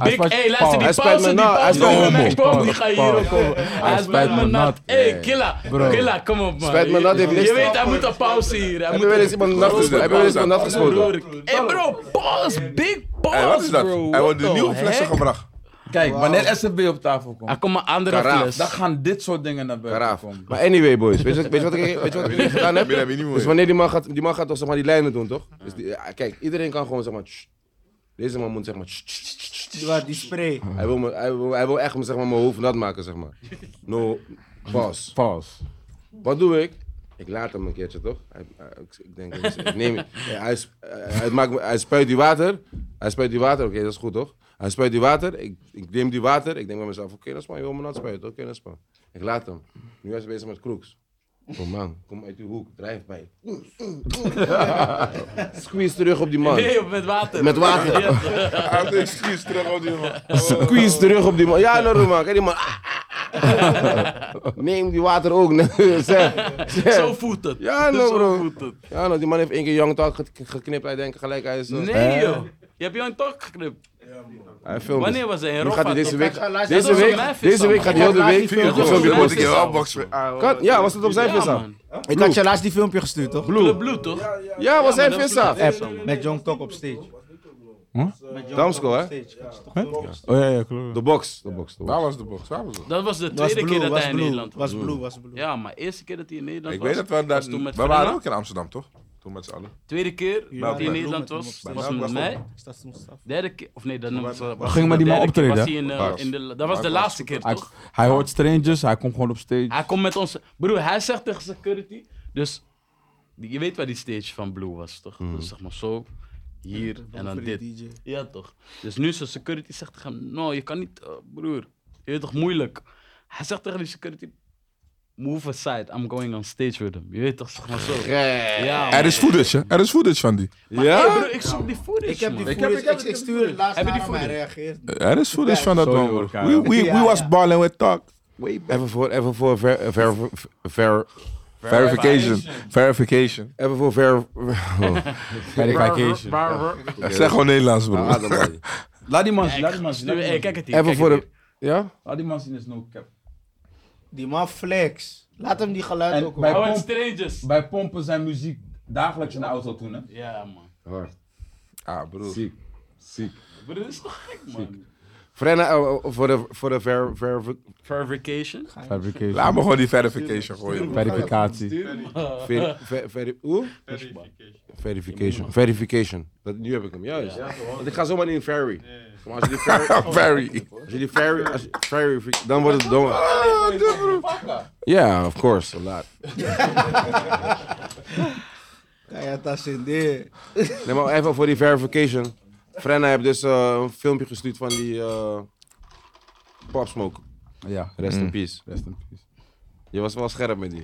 [SPEAKER 5] Big,
[SPEAKER 2] spijt-
[SPEAKER 5] hey, luister, die
[SPEAKER 1] Hij spijt me
[SPEAKER 5] pauze, die
[SPEAKER 1] na, hij
[SPEAKER 5] pauze,
[SPEAKER 1] spijt me nou. na.
[SPEAKER 5] die pauze, pauze, die ga je hier ook over. Hij spijt me nat. Hey, killa, killa, kom op, man.
[SPEAKER 1] Spijt me nat, heeft niks
[SPEAKER 5] Je
[SPEAKER 1] te-
[SPEAKER 5] weet, hij moet een pauze hier.
[SPEAKER 1] Heb
[SPEAKER 5] Hij
[SPEAKER 1] je
[SPEAKER 5] moet
[SPEAKER 1] wel eens iemand nat geschoten? Heb je wel eens iemand nat geschoten?
[SPEAKER 5] Broer, hey bro, pause, big
[SPEAKER 3] Hey, wat is
[SPEAKER 5] pause,
[SPEAKER 3] dat?
[SPEAKER 5] bro.
[SPEAKER 3] Hij wordt de
[SPEAKER 5] What
[SPEAKER 3] nieuwe
[SPEAKER 5] the
[SPEAKER 3] flessen
[SPEAKER 5] heck?
[SPEAKER 3] gebracht.
[SPEAKER 2] Kijk, wanneer SFB op tafel
[SPEAKER 5] Er
[SPEAKER 2] komt,
[SPEAKER 5] komt een andere
[SPEAKER 1] Karaaf,
[SPEAKER 5] fles.
[SPEAKER 2] dan gaan dit soort dingen naar buiten
[SPEAKER 1] Karaaf.
[SPEAKER 2] komen.
[SPEAKER 1] Maar anyway, boys, weet je, wat- weet je wat ik, weet je wat ik gedaan heb?
[SPEAKER 3] Meer heb je niet,
[SPEAKER 1] Dus
[SPEAKER 3] meer.
[SPEAKER 1] wanneer die man gaat, die man gaat toch zeg maar die lijnen doen, toch? Dus die, ja, kijk, iedereen kan gewoon zeg maar. tss. Deze man moet zeg maar. tss, tss, tss, tss.
[SPEAKER 4] Die waar die spray.
[SPEAKER 1] Hij wil, me, hij wil, hij wil echt zeg maar, mijn hoofd nat maken, zeg maar. No, pas.
[SPEAKER 2] Vals.
[SPEAKER 1] Wat doe ik? Ik laat hem een keertje, toch? Hij, hij- ik- ik denk, ik ik neem ja, hij, sp- eh, hij, maakt, me- hij spuit die water. Hij spuit die water, oké, dat is goed, toch? Hij spuit die water, ik, ik neem die water. Ik denk bij mezelf, oké, dat is maar, je wil me nat spuiten. Oké, dat is maar. Ik laat hem. Nu is hij bezig met kroeks. Kom man, kom uit die hoek, drijf bij. Squeeze terug op die man.
[SPEAKER 5] Nee, op met water.
[SPEAKER 1] Met water.
[SPEAKER 3] Hij heeft een excuus terug op die man.
[SPEAKER 1] Squeeze terug op die man. Ja, Norman, man. Kijk die man. Ah, ah, ah. Neem die water ook. nee, Zeg. zeg.
[SPEAKER 5] Zo voelt het.
[SPEAKER 1] Ja, nou,
[SPEAKER 5] Zo
[SPEAKER 1] bro.
[SPEAKER 5] voelt het.
[SPEAKER 1] Ja, nou, die man heeft één keer Young Talk ge- geknipt. Hij denkt gelijk, hij is... eh,
[SPEAKER 5] Nee, joh. Je hebt jou een talk geknipt.
[SPEAKER 1] Hij filmt.
[SPEAKER 5] Wanneer was hij in
[SPEAKER 1] Nu gaat hij
[SPEAKER 5] Rafa?
[SPEAKER 1] deze
[SPEAKER 5] toch?
[SPEAKER 1] week...
[SPEAKER 4] Kijk, luister, dat
[SPEAKER 1] Deze
[SPEAKER 5] was
[SPEAKER 1] week,
[SPEAKER 5] op mijn
[SPEAKER 1] deze
[SPEAKER 5] vis,
[SPEAKER 1] week
[SPEAKER 5] man.
[SPEAKER 1] gaat hij heel de
[SPEAKER 4] Laat die
[SPEAKER 1] week...
[SPEAKER 4] film
[SPEAKER 1] filmpje
[SPEAKER 5] doen.
[SPEAKER 1] filmpje
[SPEAKER 3] Dan moet ik
[SPEAKER 1] posten.
[SPEAKER 3] je
[SPEAKER 5] Ja,
[SPEAKER 3] wel Ah, box
[SPEAKER 1] Kan- Ja, was het op zijn
[SPEAKER 5] Ja,
[SPEAKER 1] vissa?
[SPEAKER 5] man.
[SPEAKER 4] Ik had je laatst die filmpje gestuurd, toch?
[SPEAKER 5] Club Blue, toch?
[SPEAKER 1] Ja, was
[SPEAKER 5] maar
[SPEAKER 1] zijn
[SPEAKER 5] dat is
[SPEAKER 1] vissa.
[SPEAKER 5] niet-
[SPEAKER 4] App, met Young Talk op stage. Met Young
[SPEAKER 1] Damsko, hè?
[SPEAKER 4] Talk op stage. Had je toch
[SPEAKER 2] Hè?
[SPEAKER 4] filmpje?
[SPEAKER 2] Oh ja, ja, klopt.
[SPEAKER 1] De box. De box. de box.
[SPEAKER 3] Waar was de box? Waar was het?
[SPEAKER 5] Dat was de
[SPEAKER 4] Was
[SPEAKER 5] tweede
[SPEAKER 4] blue,
[SPEAKER 5] keer dat
[SPEAKER 4] was
[SPEAKER 5] hij in
[SPEAKER 4] blue,
[SPEAKER 5] Nederland was.
[SPEAKER 4] Was blue, was blue.
[SPEAKER 5] Ja, maar eerste keer dat hij in Nederland
[SPEAKER 3] Ik
[SPEAKER 5] was.
[SPEAKER 3] weet dat we daar...
[SPEAKER 5] was toen met
[SPEAKER 3] We waren
[SPEAKER 5] Fernando.
[SPEAKER 3] ook in Amsterdam, toch? Toen met z'n allen.
[SPEAKER 5] Tweede keer dat hij
[SPEAKER 3] bij
[SPEAKER 5] in Nederland
[SPEAKER 4] Bloem
[SPEAKER 5] was,
[SPEAKER 4] met hem
[SPEAKER 5] was
[SPEAKER 3] opstaan.
[SPEAKER 5] met
[SPEAKER 3] Ja,
[SPEAKER 5] mij.
[SPEAKER 4] Ik sta toen staf.
[SPEAKER 5] Derde keer, of nee, dat was, was
[SPEAKER 2] ging maar
[SPEAKER 5] de
[SPEAKER 2] die man
[SPEAKER 5] derde
[SPEAKER 2] optreden,
[SPEAKER 5] keer was
[SPEAKER 2] hè?
[SPEAKER 5] hij in, eh,
[SPEAKER 3] Baas.
[SPEAKER 5] in de, dat was de
[SPEAKER 3] Baas.
[SPEAKER 5] laatste keer,
[SPEAKER 2] Hij,
[SPEAKER 5] toch?
[SPEAKER 2] hij hoort strangers, hij komt gewoon op stage.
[SPEAKER 5] Hij komt met ons. Broer, hij zegt tegen security. Dus die- je weet waar die stage van Blue was, toch? Dus zeg maar zo, hier en dan
[SPEAKER 4] Voor die
[SPEAKER 5] dit.
[SPEAKER 4] DJ.
[SPEAKER 5] Ja, toch? Dus nu zijn security zegt tegen hem: Nou, je kan niet, eh, broer. Je weet toch moeilijk? Hij zegt tegen die security: Move aside, I'm going on stage with him. Je weet toch, zeg maar zo. Ja, man.
[SPEAKER 3] Er is footage, hè? Er is footage van die.
[SPEAKER 5] Maar, hey,
[SPEAKER 1] eh?
[SPEAKER 5] broer, ik zoek die footage.
[SPEAKER 4] Ik heb die
[SPEAKER 5] man.
[SPEAKER 4] footage, ik- ik stuur het laatst
[SPEAKER 5] Heb je die
[SPEAKER 4] naar hem, hij
[SPEAKER 5] footage?
[SPEAKER 4] reageert. niet.
[SPEAKER 3] Eh, Er is footage van dat
[SPEAKER 2] Sorry,
[SPEAKER 3] man.
[SPEAKER 2] hoor,
[SPEAKER 3] bro.
[SPEAKER 2] Karel.
[SPEAKER 3] We, we, we
[SPEAKER 4] Ja,
[SPEAKER 3] was
[SPEAKER 4] ja.
[SPEAKER 3] balling with talk. Way back.
[SPEAKER 1] Even voor... Even voor... Ver, ver, ver,
[SPEAKER 3] Verification. Verification.
[SPEAKER 1] even voor... Ver, Oh.
[SPEAKER 2] Verification.
[SPEAKER 3] Zeg gewoon Nederlands, bro.
[SPEAKER 1] Adem, man.
[SPEAKER 2] Laat die man
[SPEAKER 5] Hey,
[SPEAKER 2] zien, laat die man zien. laat
[SPEAKER 5] stuur-
[SPEAKER 2] die
[SPEAKER 5] hey,
[SPEAKER 2] man
[SPEAKER 5] Kijk
[SPEAKER 2] zien.
[SPEAKER 5] het hier.
[SPEAKER 1] Even
[SPEAKER 5] kijk
[SPEAKER 1] voor
[SPEAKER 5] het
[SPEAKER 1] de... Ja?
[SPEAKER 2] Laat die man zien is no cap.
[SPEAKER 4] Die man flex. Laat hem die geluid
[SPEAKER 2] En
[SPEAKER 4] ook
[SPEAKER 2] bij-
[SPEAKER 5] hier.
[SPEAKER 4] horen.
[SPEAKER 5] Oh, en strangers.
[SPEAKER 2] Bij pompen zijn muziek dagelijks in de auto toen, hè?
[SPEAKER 5] Ja, man.
[SPEAKER 1] Hard.
[SPEAKER 3] Ah, bro.
[SPEAKER 1] Ziek. Ziek.
[SPEAKER 5] Broer, dit is toch gek, man.
[SPEAKER 1] Frenna, eh, eh, voor de, voor de ver, ver,
[SPEAKER 5] Verification.
[SPEAKER 2] Verification.
[SPEAKER 3] Laat me gewoon die verification gooien.
[SPEAKER 2] Verificatie.
[SPEAKER 1] ver, ver, ver- hoe? Verification. Verification. Dat, nu heb ik hem, juist. Want ik ga zomaar niet in ferry. Maar als je die ferry...
[SPEAKER 3] Very.
[SPEAKER 1] Als je die ferry... Als je ferry dan wordt het dom. Ah, Ja, of course. A lot.
[SPEAKER 4] Kaya Tassinde.
[SPEAKER 1] Nee, maar even voor die verification. Frenna heeft dus eh, een filmpje gestuurd van die... eh Pop Smoke.
[SPEAKER 2] Ja,
[SPEAKER 1] Rest
[SPEAKER 5] Mm.
[SPEAKER 1] in peace.
[SPEAKER 2] rest in peace.
[SPEAKER 1] Je was wel scherp met die.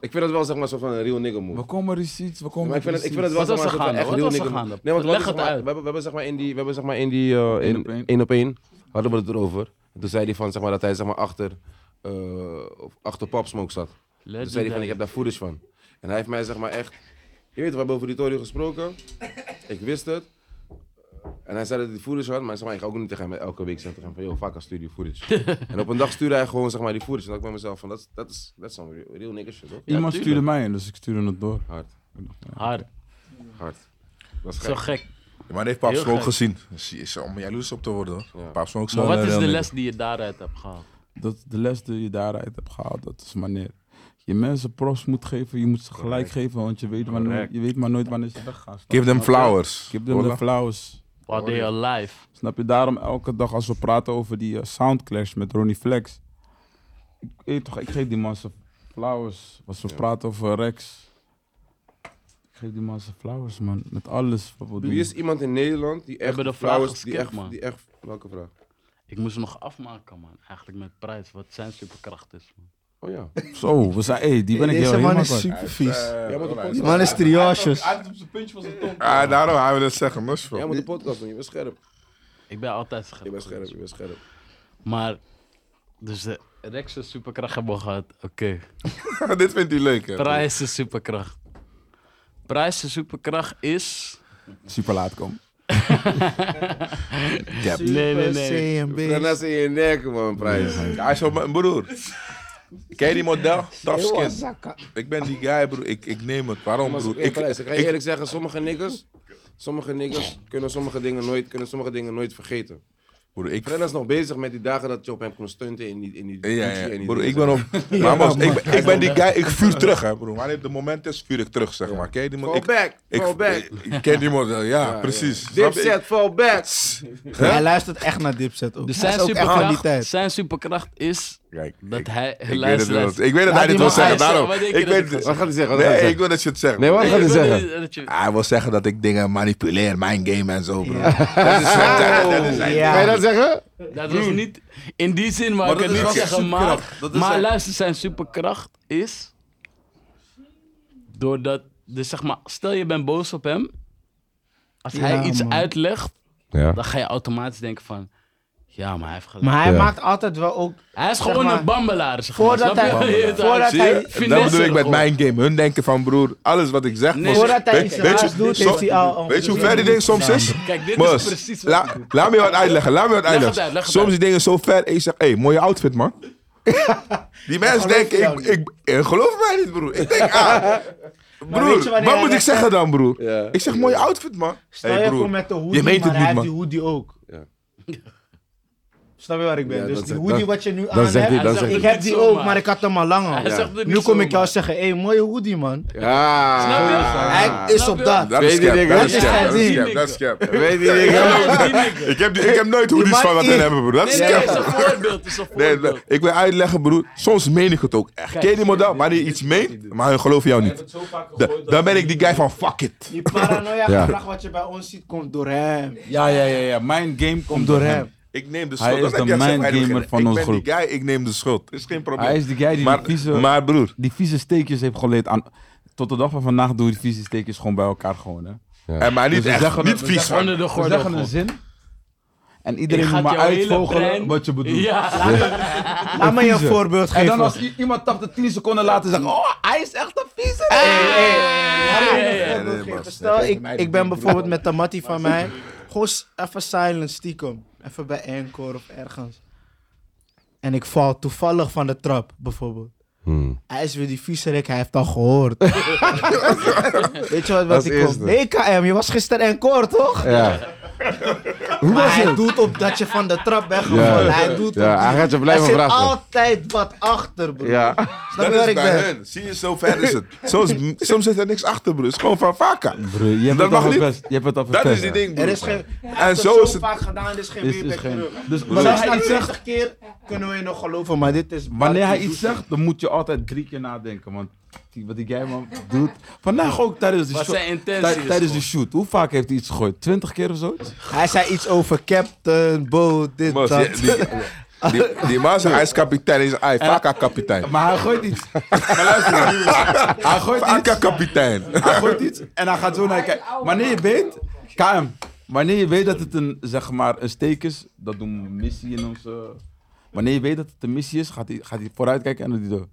[SPEAKER 1] Ik vind dat wel zeg maar zo van een real nigga move.
[SPEAKER 2] We komen receipts, we
[SPEAKER 1] Ja,
[SPEAKER 2] komen
[SPEAKER 1] Maar ik vind het, ik vind het wel
[SPEAKER 5] Wat was
[SPEAKER 1] zeg maar,
[SPEAKER 5] er
[SPEAKER 1] een soort van
[SPEAKER 5] gaande?
[SPEAKER 1] echt
[SPEAKER 5] Wat
[SPEAKER 1] heel niks- Nee,
[SPEAKER 5] was er gaande?
[SPEAKER 1] want wat
[SPEAKER 5] Leg
[SPEAKER 1] was
[SPEAKER 5] het
[SPEAKER 1] er gaande?
[SPEAKER 5] uit.
[SPEAKER 1] We hebben, we hebben zeg maar in die, we hebben zeg maar in die eh, in,
[SPEAKER 2] op één.
[SPEAKER 1] één op één hadden we het erover. En toen zei hij van zeg maar dat hij zeg maar achter eh achter Pop Smoke zat. Toen zei hij Dus van ik heb daar footage van. En hij heeft mij zeg maar echt, je weet we hebben over die Torio gesproken. Ik wist het. En hij zei dat hij die footage had, maar zeg maar, ik ga ook niet tegen hem elke week zeggen tegen hem van, joh, vaker stuur die footage. en op een dag stuurde hij gewoon zeg maar die footage. En dan dacht ik bij mezelf van, dat is- dat is, dat is some real, real nigga shit, hoor.
[SPEAKER 2] Iemand
[SPEAKER 5] tuurlijk.
[SPEAKER 2] stuurde mij in, dus ik stuurde het door.
[SPEAKER 1] Hard,
[SPEAKER 5] Hard.
[SPEAKER 1] hard. Dat is
[SPEAKER 5] Zo
[SPEAKER 1] gek.
[SPEAKER 5] gek.
[SPEAKER 3] Ja, maar hij heeft Paap
[SPEAKER 5] Heel
[SPEAKER 3] Smoke
[SPEAKER 5] gek.
[SPEAKER 3] gezien. Dus hij is om jaloers op te worden hoor.
[SPEAKER 1] Ja.
[SPEAKER 3] Paap Smoke
[SPEAKER 5] Maar
[SPEAKER 3] wel
[SPEAKER 5] wat
[SPEAKER 3] een
[SPEAKER 5] is de
[SPEAKER 3] real
[SPEAKER 5] les die je daaruit hebt gehaald?
[SPEAKER 2] Dat de les die je daaruit hebt gehaald, dat is wanneer je mensen props moet geven, je moet ze gelijk geven, want je weet, wanneer,
[SPEAKER 1] Correct.
[SPEAKER 2] je weet maar nooit wanneer ze weggaan.
[SPEAKER 3] nigga. Give them flowers.
[SPEAKER 2] Give them
[SPEAKER 3] Hola.
[SPEAKER 2] the flowers.
[SPEAKER 5] While they are alive.
[SPEAKER 2] Snap je? Daarom elke dag als we praten over die eh, soundclash met Ronnie Flex. Ik, weet toch, ik geef die man zijn flowers. Als we praten over Rex. Ik geef die man zijn flowers, man. Met alles wat we doen.
[SPEAKER 1] Wie is iemand in Nederland die echt
[SPEAKER 5] hebben de
[SPEAKER 1] flauw
[SPEAKER 5] vraag
[SPEAKER 1] is,
[SPEAKER 5] geskipt,
[SPEAKER 1] die echt,
[SPEAKER 5] man.
[SPEAKER 1] die echt, welke vraag?
[SPEAKER 5] Ik moest hem nog afmaken, man. Eigenlijk met prijs. Wat zijn superkracht is, man.
[SPEAKER 1] Oh ja.
[SPEAKER 2] Zo, we zijn, hey, die ben ik
[SPEAKER 4] Deze
[SPEAKER 2] heel
[SPEAKER 4] man
[SPEAKER 2] helemaal
[SPEAKER 4] is
[SPEAKER 2] kwijt.
[SPEAKER 4] super vies.
[SPEAKER 1] Jij
[SPEAKER 3] Eh,
[SPEAKER 1] moet een
[SPEAKER 3] alright.
[SPEAKER 1] podcast,
[SPEAKER 4] Man is triosjes.
[SPEAKER 6] op zijn puntje van zijn tong.
[SPEAKER 3] Ah, daarom gaan we dat zeggen, no
[SPEAKER 1] jij
[SPEAKER 3] shit.
[SPEAKER 1] moet een podcast doen, je bent scherp.
[SPEAKER 5] Ik ben altijd scherp.
[SPEAKER 1] Je bent scherp, je bent scherp.
[SPEAKER 5] Maar, dus de Rex is superkracht hebben we gehad. Oké.
[SPEAKER 3] Dit vindt hij leuk, hè?
[SPEAKER 5] Prijs is superkracht. Prijs is superkracht is...
[SPEAKER 2] Super laat komen.
[SPEAKER 5] Nee, nee, nee.
[SPEAKER 1] Daarna zie je in nek, man, prijs.
[SPEAKER 3] Hij is op mijn broer. Ken je die model? Tough skin. Ik ben die guy, broer. Ik, ik neem het. Waarom,
[SPEAKER 1] Maar
[SPEAKER 3] broer?
[SPEAKER 1] ik,
[SPEAKER 3] Ik,
[SPEAKER 1] prijs. Ik ga je
[SPEAKER 3] ik-
[SPEAKER 1] eerlijk zeggen, sommige niggas, sommige niggas kunnen sommige dingen nooit, kunnen sommige dingen nooit vergeten.
[SPEAKER 3] broer, ik,
[SPEAKER 1] Brenna is nog bezig met die dagen dat je op hem kon stunten in die, in die
[SPEAKER 3] ja,
[SPEAKER 1] Gucci
[SPEAKER 3] ja,
[SPEAKER 1] en die
[SPEAKER 3] broer, ik
[SPEAKER 1] dingen.
[SPEAKER 3] ben op. Maar mos, ik, ben- ik ben die guy, ik vuur terug, hè, broer. Wanneer de moment is, vuur ik terug, zeg maar. Ken je die model?
[SPEAKER 1] Fall
[SPEAKER 3] Ik,
[SPEAKER 1] back,
[SPEAKER 3] ik,
[SPEAKER 1] fall back.
[SPEAKER 3] ik- ik ken die model, ja, precies. Snap je?
[SPEAKER 1] Dipset, fall back.
[SPEAKER 4] Hij luistert echt naar Dipset ook.
[SPEAKER 5] Dus
[SPEAKER 4] Hij
[SPEAKER 5] zijn
[SPEAKER 4] is ook echt van die
[SPEAKER 5] superkracht,
[SPEAKER 4] tijd.
[SPEAKER 5] zijn superkracht is
[SPEAKER 3] Kijk,
[SPEAKER 5] Dat
[SPEAKER 3] ik,
[SPEAKER 5] hij
[SPEAKER 3] ik weet het
[SPEAKER 5] luistert.
[SPEAKER 3] wel. Ik weet dat
[SPEAKER 5] Laat
[SPEAKER 3] hij
[SPEAKER 5] die man
[SPEAKER 3] dit wil zeggen,
[SPEAKER 5] hij
[SPEAKER 3] daarom.
[SPEAKER 5] Wat denk je
[SPEAKER 3] Ik
[SPEAKER 5] dat
[SPEAKER 3] weet
[SPEAKER 5] het is?
[SPEAKER 1] Wat gaat hij zeggen? Wat gaat hij
[SPEAKER 3] Nee,
[SPEAKER 1] zeggen?
[SPEAKER 3] ik wil dat je het zegt.
[SPEAKER 1] Nee, wat
[SPEAKER 5] Nee,
[SPEAKER 1] gaat hij
[SPEAKER 5] ik wil
[SPEAKER 1] zeggen?
[SPEAKER 5] niet dat je-
[SPEAKER 3] Hij wil zeggen dat ik dingen manipuleer, mijn game en zo, bro. Dat is wat hij- dat is hij-
[SPEAKER 1] Ga je dat zeggen?
[SPEAKER 5] Dat
[SPEAKER 3] hmm.
[SPEAKER 5] was niet in die zin, maar,
[SPEAKER 6] Maar
[SPEAKER 5] ik
[SPEAKER 6] dat
[SPEAKER 5] kan niet
[SPEAKER 6] is wel zijn
[SPEAKER 5] zeggen. Maar,
[SPEAKER 6] superkracht. Dat is
[SPEAKER 5] maar
[SPEAKER 6] zijn-
[SPEAKER 5] luister, zijn superkracht is. Doordat, dus zeg maar, stel je bent boos op hem. Als hij
[SPEAKER 4] Ja,
[SPEAKER 5] iets
[SPEAKER 4] man.
[SPEAKER 5] uitlegt,
[SPEAKER 1] Ja.
[SPEAKER 5] dan ga je automatisch denken van. Ja, maar hij heeft gelijk.
[SPEAKER 4] Maar hij
[SPEAKER 1] Ja.
[SPEAKER 4] maakt altijd wel ook...
[SPEAKER 5] hij is
[SPEAKER 4] zeg
[SPEAKER 5] gewoon
[SPEAKER 4] maar,
[SPEAKER 5] een bambelaar. Zeg maar,
[SPEAKER 4] Voordat
[SPEAKER 5] snap je?
[SPEAKER 4] hij,
[SPEAKER 5] Het
[SPEAKER 4] voordat
[SPEAKER 5] uit-
[SPEAKER 3] Zie
[SPEAKER 4] hij,
[SPEAKER 3] je? Dat bedoel ik met
[SPEAKER 5] Finesse,
[SPEAKER 3] mijn game. Hun denken van broer, alles wat ik zeg.
[SPEAKER 5] Nee,
[SPEAKER 3] moet-
[SPEAKER 4] voordat hij
[SPEAKER 3] Weet-
[SPEAKER 4] iets
[SPEAKER 3] weet je-
[SPEAKER 4] raars doet,
[SPEAKER 3] zo-
[SPEAKER 4] heeft hij al...
[SPEAKER 3] Weet je hoe ver die ding soms is?
[SPEAKER 5] Kijk, dit
[SPEAKER 3] Bas,
[SPEAKER 5] is precies wat ik
[SPEAKER 3] La,
[SPEAKER 5] doe.
[SPEAKER 3] laat me je wat uitleggen. Laat me je wat
[SPEAKER 5] het
[SPEAKER 3] uitleggen.
[SPEAKER 5] uit, leg het
[SPEAKER 3] Soms
[SPEAKER 5] uit.
[SPEAKER 3] die dingen zo ver. En je zegt, hé, hey, mooie outfit, man. Die mensen denken,
[SPEAKER 4] jou
[SPEAKER 3] ik, ik, eh, geloof mij niet, broer. Ik denk, ah,
[SPEAKER 4] weet je
[SPEAKER 3] broer,
[SPEAKER 4] wanneer
[SPEAKER 3] wat
[SPEAKER 4] hij
[SPEAKER 3] moet ik
[SPEAKER 4] dat-
[SPEAKER 3] zeggen dan, broer?
[SPEAKER 1] Ja.
[SPEAKER 3] Ik zeg, mooie outfit, man.
[SPEAKER 4] Stel
[SPEAKER 3] hey,
[SPEAKER 4] je
[SPEAKER 3] broer,
[SPEAKER 4] voor met de
[SPEAKER 3] je
[SPEAKER 4] hoodie,
[SPEAKER 3] weet
[SPEAKER 4] maar
[SPEAKER 3] het
[SPEAKER 4] hij
[SPEAKER 3] niet,
[SPEAKER 4] heeft die
[SPEAKER 3] man.
[SPEAKER 4] hoodie ook.
[SPEAKER 1] Ja.
[SPEAKER 4] Snap je waar ik ben?
[SPEAKER 1] Ja,
[SPEAKER 4] dus
[SPEAKER 1] dat
[SPEAKER 4] die
[SPEAKER 1] zegt-
[SPEAKER 4] hoodie
[SPEAKER 1] dat-
[SPEAKER 4] wat je nu
[SPEAKER 1] dat
[SPEAKER 4] aan
[SPEAKER 1] zegt hij, dat
[SPEAKER 5] Hij
[SPEAKER 4] hebt,
[SPEAKER 5] zegt
[SPEAKER 1] zegt
[SPEAKER 4] ik
[SPEAKER 5] het
[SPEAKER 4] heb
[SPEAKER 5] niet
[SPEAKER 4] die ook,
[SPEAKER 5] zomaar.
[SPEAKER 4] maar ik had hem al lang
[SPEAKER 5] Hij
[SPEAKER 4] al.
[SPEAKER 5] zegt het
[SPEAKER 4] Nu
[SPEAKER 5] niet
[SPEAKER 4] kom ik jou
[SPEAKER 5] zomaar.
[SPEAKER 4] zeggen, hé, mooie hoodie man.
[SPEAKER 1] Ja.
[SPEAKER 5] Snap je?
[SPEAKER 4] Hij is
[SPEAKER 5] Snap
[SPEAKER 4] op
[SPEAKER 5] je?
[SPEAKER 4] dat.
[SPEAKER 3] Dat is
[SPEAKER 1] Weet je
[SPEAKER 3] scam,
[SPEAKER 1] die
[SPEAKER 3] dat
[SPEAKER 1] dingen?
[SPEAKER 3] is scam, dat is scam, dat is scam.
[SPEAKER 1] Weet je die dingen?
[SPEAKER 3] Ik heb, die- ik heb nooit
[SPEAKER 4] Die
[SPEAKER 3] hoodies
[SPEAKER 4] man
[SPEAKER 3] van wat hun
[SPEAKER 4] is-
[SPEAKER 3] hebben, broer. Dat is
[SPEAKER 5] Nee, nee, het is
[SPEAKER 3] scam.
[SPEAKER 5] een voorbeeld. het is een
[SPEAKER 3] Nee,
[SPEAKER 5] voorbeeld.
[SPEAKER 3] nee, ik wil uitleggen, broer. Soms meen ik het ook echt. Ken je die model? Wanneer je iets meent, maar hun geloven jou niet.
[SPEAKER 7] zo vaak
[SPEAKER 3] Da- Dan ben ik die guy van fuck it.
[SPEAKER 4] Die paranoia
[SPEAKER 1] Ja.
[SPEAKER 4] gedrag wat je bij ons ziet, komt door hem.
[SPEAKER 2] Ja, ja, ja, ja. Mijn game komt
[SPEAKER 4] Komt door hem.
[SPEAKER 3] Ik neem de
[SPEAKER 2] Hij
[SPEAKER 3] schuld.
[SPEAKER 2] is
[SPEAKER 3] Dat heb
[SPEAKER 2] de
[SPEAKER 3] jij gezegd,
[SPEAKER 2] mind
[SPEAKER 3] Heilige.
[SPEAKER 2] gamer van
[SPEAKER 3] ik
[SPEAKER 2] onze
[SPEAKER 3] ben
[SPEAKER 2] groep.
[SPEAKER 3] die guy, ik neem de schuld. Is geen probleem.
[SPEAKER 2] Hij is de guy die die, vieze,
[SPEAKER 3] maar, maar broer,
[SPEAKER 2] die vieze steekjes heeft geleerd aan... Tot de dag van vandaag doen we die vieze steekjes gewoon bij elkaar gewoon, hè.
[SPEAKER 3] en eh, maar niet
[SPEAKER 2] Dus we
[SPEAKER 3] echt,
[SPEAKER 2] zeggen-
[SPEAKER 3] niet
[SPEAKER 2] we
[SPEAKER 3] vies.
[SPEAKER 2] zeggen-
[SPEAKER 3] man.
[SPEAKER 5] Onder de
[SPEAKER 2] We
[SPEAKER 5] gordel.
[SPEAKER 2] zeggen
[SPEAKER 5] gewoon.
[SPEAKER 2] een zin. En
[SPEAKER 5] Ik
[SPEAKER 2] iedereen
[SPEAKER 5] ga
[SPEAKER 2] moet maar
[SPEAKER 5] jouw hele
[SPEAKER 2] uitvogelen
[SPEAKER 5] brein-
[SPEAKER 2] wat je bedoelt.
[SPEAKER 5] Ja,
[SPEAKER 4] Laat me je een
[SPEAKER 2] Kiezen.
[SPEAKER 4] voorbeeld
[SPEAKER 2] En
[SPEAKER 4] geven.
[SPEAKER 2] dan als i- iemand 80, 10 seconden later zeggen... Oh, hij is echt een vieze.
[SPEAKER 4] Laat me je een
[SPEAKER 5] Ja, ja, ja,
[SPEAKER 4] voorbeeld
[SPEAKER 3] nee,
[SPEAKER 4] geven.
[SPEAKER 3] maar-
[SPEAKER 4] Stel, Oh, ik, ik ben bijvoorbeeld met de mattie van mij. Gewoon s- even silent, stiekem. Even bij Encore of ergens. En ik val toevallig van de trap, bijvoorbeeld.
[SPEAKER 1] Hmm.
[SPEAKER 4] Hij is weer die viezerik, hij heeft al gehoord. Weet je wat, wat
[SPEAKER 1] Als
[SPEAKER 4] ik
[SPEAKER 1] eerste.
[SPEAKER 4] kom? Nee, KM, je was gisteren encore, toch?
[SPEAKER 1] Ja. Hoe
[SPEAKER 4] Maar
[SPEAKER 1] was
[SPEAKER 4] hij
[SPEAKER 1] het?
[SPEAKER 4] doet op dat je van de trap bent gevallen.
[SPEAKER 1] Ja.
[SPEAKER 4] Hij doet
[SPEAKER 1] Ja,
[SPEAKER 4] op
[SPEAKER 1] hij
[SPEAKER 4] die-
[SPEAKER 1] gaat je blijven
[SPEAKER 4] er zit
[SPEAKER 1] vragen.
[SPEAKER 4] altijd wat achter, broer.
[SPEAKER 1] Ja.
[SPEAKER 4] Snap
[SPEAKER 3] Dat
[SPEAKER 4] je waar
[SPEAKER 3] is
[SPEAKER 4] ik
[SPEAKER 3] bij
[SPEAKER 4] ben?
[SPEAKER 3] hen. Zie je, zo ver is het. Zo is- Soms zit er niks achter, broer. Het is gewoon van vaka.
[SPEAKER 2] Bro, je hebt
[SPEAKER 3] Dat
[SPEAKER 2] het al
[SPEAKER 3] mag niet.
[SPEAKER 2] verpest. Je hebt het al
[SPEAKER 3] Dat is
[SPEAKER 2] verpest.
[SPEAKER 3] die ding, broer.
[SPEAKER 4] Er is geen, hij
[SPEAKER 3] En
[SPEAKER 4] heeft
[SPEAKER 3] zo
[SPEAKER 4] het
[SPEAKER 3] is
[SPEAKER 4] zo
[SPEAKER 3] het-
[SPEAKER 4] vaak gedaan, er is geen
[SPEAKER 2] Is- is
[SPEAKER 4] weerback
[SPEAKER 2] geen-
[SPEAKER 4] terug.
[SPEAKER 2] Dus wanneer
[SPEAKER 4] Zelfs
[SPEAKER 2] hij
[SPEAKER 4] na
[SPEAKER 2] iets zegt,
[SPEAKER 4] 20 keer kunnen we je nog geloven, maar dit is...
[SPEAKER 2] wanneer hij iets zegt, dan moet je altijd drie keer nadenken. Want die- wat die guy man doet... Vandaag ook tijdens de
[SPEAKER 5] Wat
[SPEAKER 2] shoot.
[SPEAKER 5] zijn intenties
[SPEAKER 2] tij- Tijdens de
[SPEAKER 5] gewoon?
[SPEAKER 2] shoot. Hoe vaak heeft hij iets gegooid? 20 keer of zoiets?
[SPEAKER 4] Hij zei iets over Captain Bo, dit,
[SPEAKER 3] Maar
[SPEAKER 4] dat.
[SPEAKER 3] die- die- Die, die man zegt, hij is kapitein. Hij is hij Vaka-kapitein.
[SPEAKER 2] Maar hij gooit iets. Maar luister. hij gooit iets.
[SPEAKER 3] Vaka-kapitein.
[SPEAKER 2] Hij gooit iets en hij gaat zo naar je kijken. Wanneer je weet, KM, wanneer je weet dat het een, zeg maar, een steek is, dat doen we missie in onze... Wanneer je weet dat het een missie is, gaat hij, gaat hij vooruit kijken en dan doet hij zo.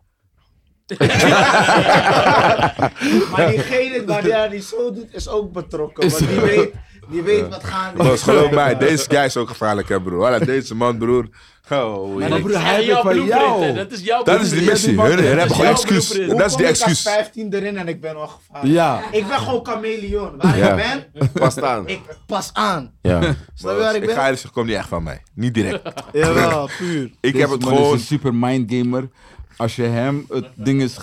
[SPEAKER 4] Maar diegene die die zo doet, is ook betrokken. Want die weet, die weet wat gaande
[SPEAKER 3] Bas, geloof mij, deze guy is ook gevaarlijk, hè, broer. Voilà, Deze man, broer. Oh,
[SPEAKER 2] Maar
[SPEAKER 3] jee.
[SPEAKER 2] broer, hij
[SPEAKER 5] En
[SPEAKER 2] heeft
[SPEAKER 5] jouw
[SPEAKER 2] van
[SPEAKER 5] blueprint,
[SPEAKER 2] jou.
[SPEAKER 5] hè, Dat is jouw
[SPEAKER 3] Dat is die
[SPEAKER 5] blueprint.
[SPEAKER 3] missie.
[SPEAKER 2] die man-
[SPEAKER 3] Hun hun hebben gewoon
[SPEAKER 5] Ja,
[SPEAKER 3] excuus.
[SPEAKER 5] broer, broer.
[SPEAKER 3] Dat is die
[SPEAKER 4] Ik
[SPEAKER 3] excuus.
[SPEAKER 4] 15 erin en ik ben al gevaarlijk.
[SPEAKER 2] Ja.
[SPEAKER 4] Ik ben gewoon chameleon. Waar
[SPEAKER 1] Ja.
[SPEAKER 4] ik ben,
[SPEAKER 1] Pas staan.
[SPEAKER 4] ik pas aan.
[SPEAKER 1] Ja.
[SPEAKER 4] Snap je waar ik
[SPEAKER 3] Ik
[SPEAKER 4] ben?
[SPEAKER 3] ga eerlijk zeggen, komt niet echt van mij. Niet direct.
[SPEAKER 4] Jawel, puur.
[SPEAKER 3] Ik
[SPEAKER 2] Deze
[SPEAKER 3] heb het
[SPEAKER 2] man is
[SPEAKER 3] gewoon...
[SPEAKER 2] een super mindgamer. Als je hem het ding is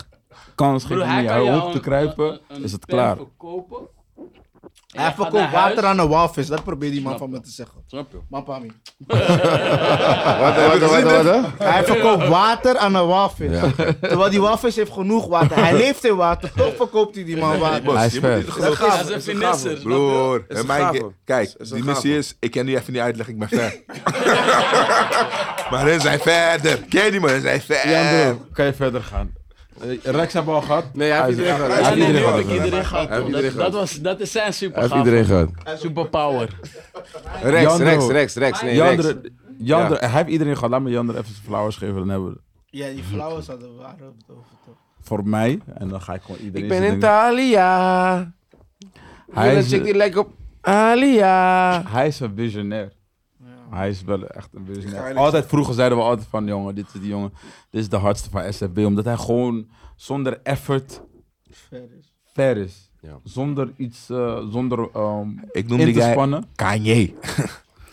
[SPEAKER 2] kans geeft
[SPEAKER 5] Broer,
[SPEAKER 2] om
[SPEAKER 5] hij
[SPEAKER 2] in
[SPEAKER 5] kan
[SPEAKER 2] jou
[SPEAKER 5] jou
[SPEAKER 2] op te
[SPEAKER 5] een-
[SPEAKER 2] kruipen,
[SPEAKER 5] een- een
[SPEAKER 2] is het
[SPEAKER 5] pen
[SPEAKER 2] klaar.
[SPEAKER 5] verkopen. En
[SPEAKER 4] Hij
[SPEAKER 5] jij gaat
[SPEAKER 4] verkoopt
[SPEAKER 5] naar
[SPEAKER 4] water
[SPEAKER 5] huis.
[SPEAKER 4] aan een walvis. Dat probeert die man
[SPEAKER 5] Snap
[SPEAKER 4] van me
[SPEAKER 5] ik.
[SPEAKER 4] te zeggen.
[SPEAKER 5] Snap je?
[SPEAKER 4] Papa, mie.
[SPEAKER 1] Wat, wat, wat, wat, wat?
[SPEAKER 4] Hij verkoopt water aan een walvis. Terwijl die walvis heeft genoeg water. Hij leeft in water. Toch verkoopt hij die man water.
[SPEAKER 2] Hij is
[SPEAKER 3] Je moet
[SPEAKER 2] ver.
[SPEAKER 3] niet
[SPEAKER 4] Dat
[SPEAKER 3] geloven.
[SPEAKER 5] Dat
[SPEAKER 4] gaat.
[SPEAKER 5] is een finesser. snap je?
[SPEAKER 3] Broer,
[SPEAKER 1] Is een
[SPEAKER 3] mijn
[SPEAKER 1] gave.
[SPEAKER 3] ge- kijk,
[SPEAKER 1] Is een
[SPEAKER 3] die
[SPEAKER 1] gave.
[SPEAKER 3] missie is, ik ken nu even niet uitleggen, ik ben ver. maar hun zijn verder. Ken je die man, hun zijn
[SPEAKER 2] Ja,
[SPEAKER 3] verder.
[SPEAKER 2] bro, kan je verder gaan. Eh, Rex hebben we al gehad.
[SPEAKER 1] Nee, hij heeft
[SPEAKER 2] Hij-
[SPEAKER 1] iedereen
[SPEAKER 2] hij-
[SPEAKER 5] Ja,
[SPEAKER 1] gehad.
[SPEAKER 5] nee, nu
[SPEAKER 2] iedereen
[SPEAKER 5] heb
[SPEAKER 2] gehad.
[SPEAKER 5] ik iedereen gehad.
[SPEAKER 1] Hij heeft
[SPEAKER 5] man.
[SPEAKER 1] iedereen
[SPEAKER 5] Dat-
[SPEAKER 1] gehad.
[SPEAKER 5] Dat was- Dat is zijn
[SPEAKER 1] Hij heeft iedereen
[SPEAKER 5] supergaaf.
[SPEAKER 1] gehad.
[SPEAKER 5] Superpower.
[SPEAKER 1] Rex,
[SPEAKER 2] Jandro.
[SPEAKER 1] Rex, Rex, Rex. Nee, Rex.
[SPEAKER 2] Jander, Jander, hij heeft iedereen gehad. Laat me Jander even zijn flowers geven. Dan hebben we
[SPEAKER 4] Ja, die flowers hadden waren op het over. toch?
[SPEAKER 2] voor mij. En dan ga ik gewoon iedereen
[SPEAKER 1] Ik ben
[SPEAKER 2] zijn
[SPEAKER 1] in
[SPEAKER 2] dingen-
[SPEAKER 1] Thalia.
[SPEAKER 2] Hij
[SPEAKER 1] Hij
[SPEAKER 2] is,
[SPEAKER 1] check die lekker op Alia.
[SPEAKER 2] hij is een visionair. Hij is wel echt een visionair. Altijd vroeger zeiden we altijd van jongen, dit is die jongen. Dit is de hardste van SFB. Omdat hij gewoon zonder effort
[SPEAKER 4] Ver is.
[SPEAKER 2] ver is.
[SPEAKER 1] Ja.
[SPEAKER 2] Zonder iets, eh, zonder ehm
[SPEAKER 3] Ik noem
[SPEAKER 2] in
[SPEAKER 3] die
[SPEAKER 2] te
[SPEAKER 3] guy
[SPEAKER 2] spannen.
[SPEAKER 3] Kanye.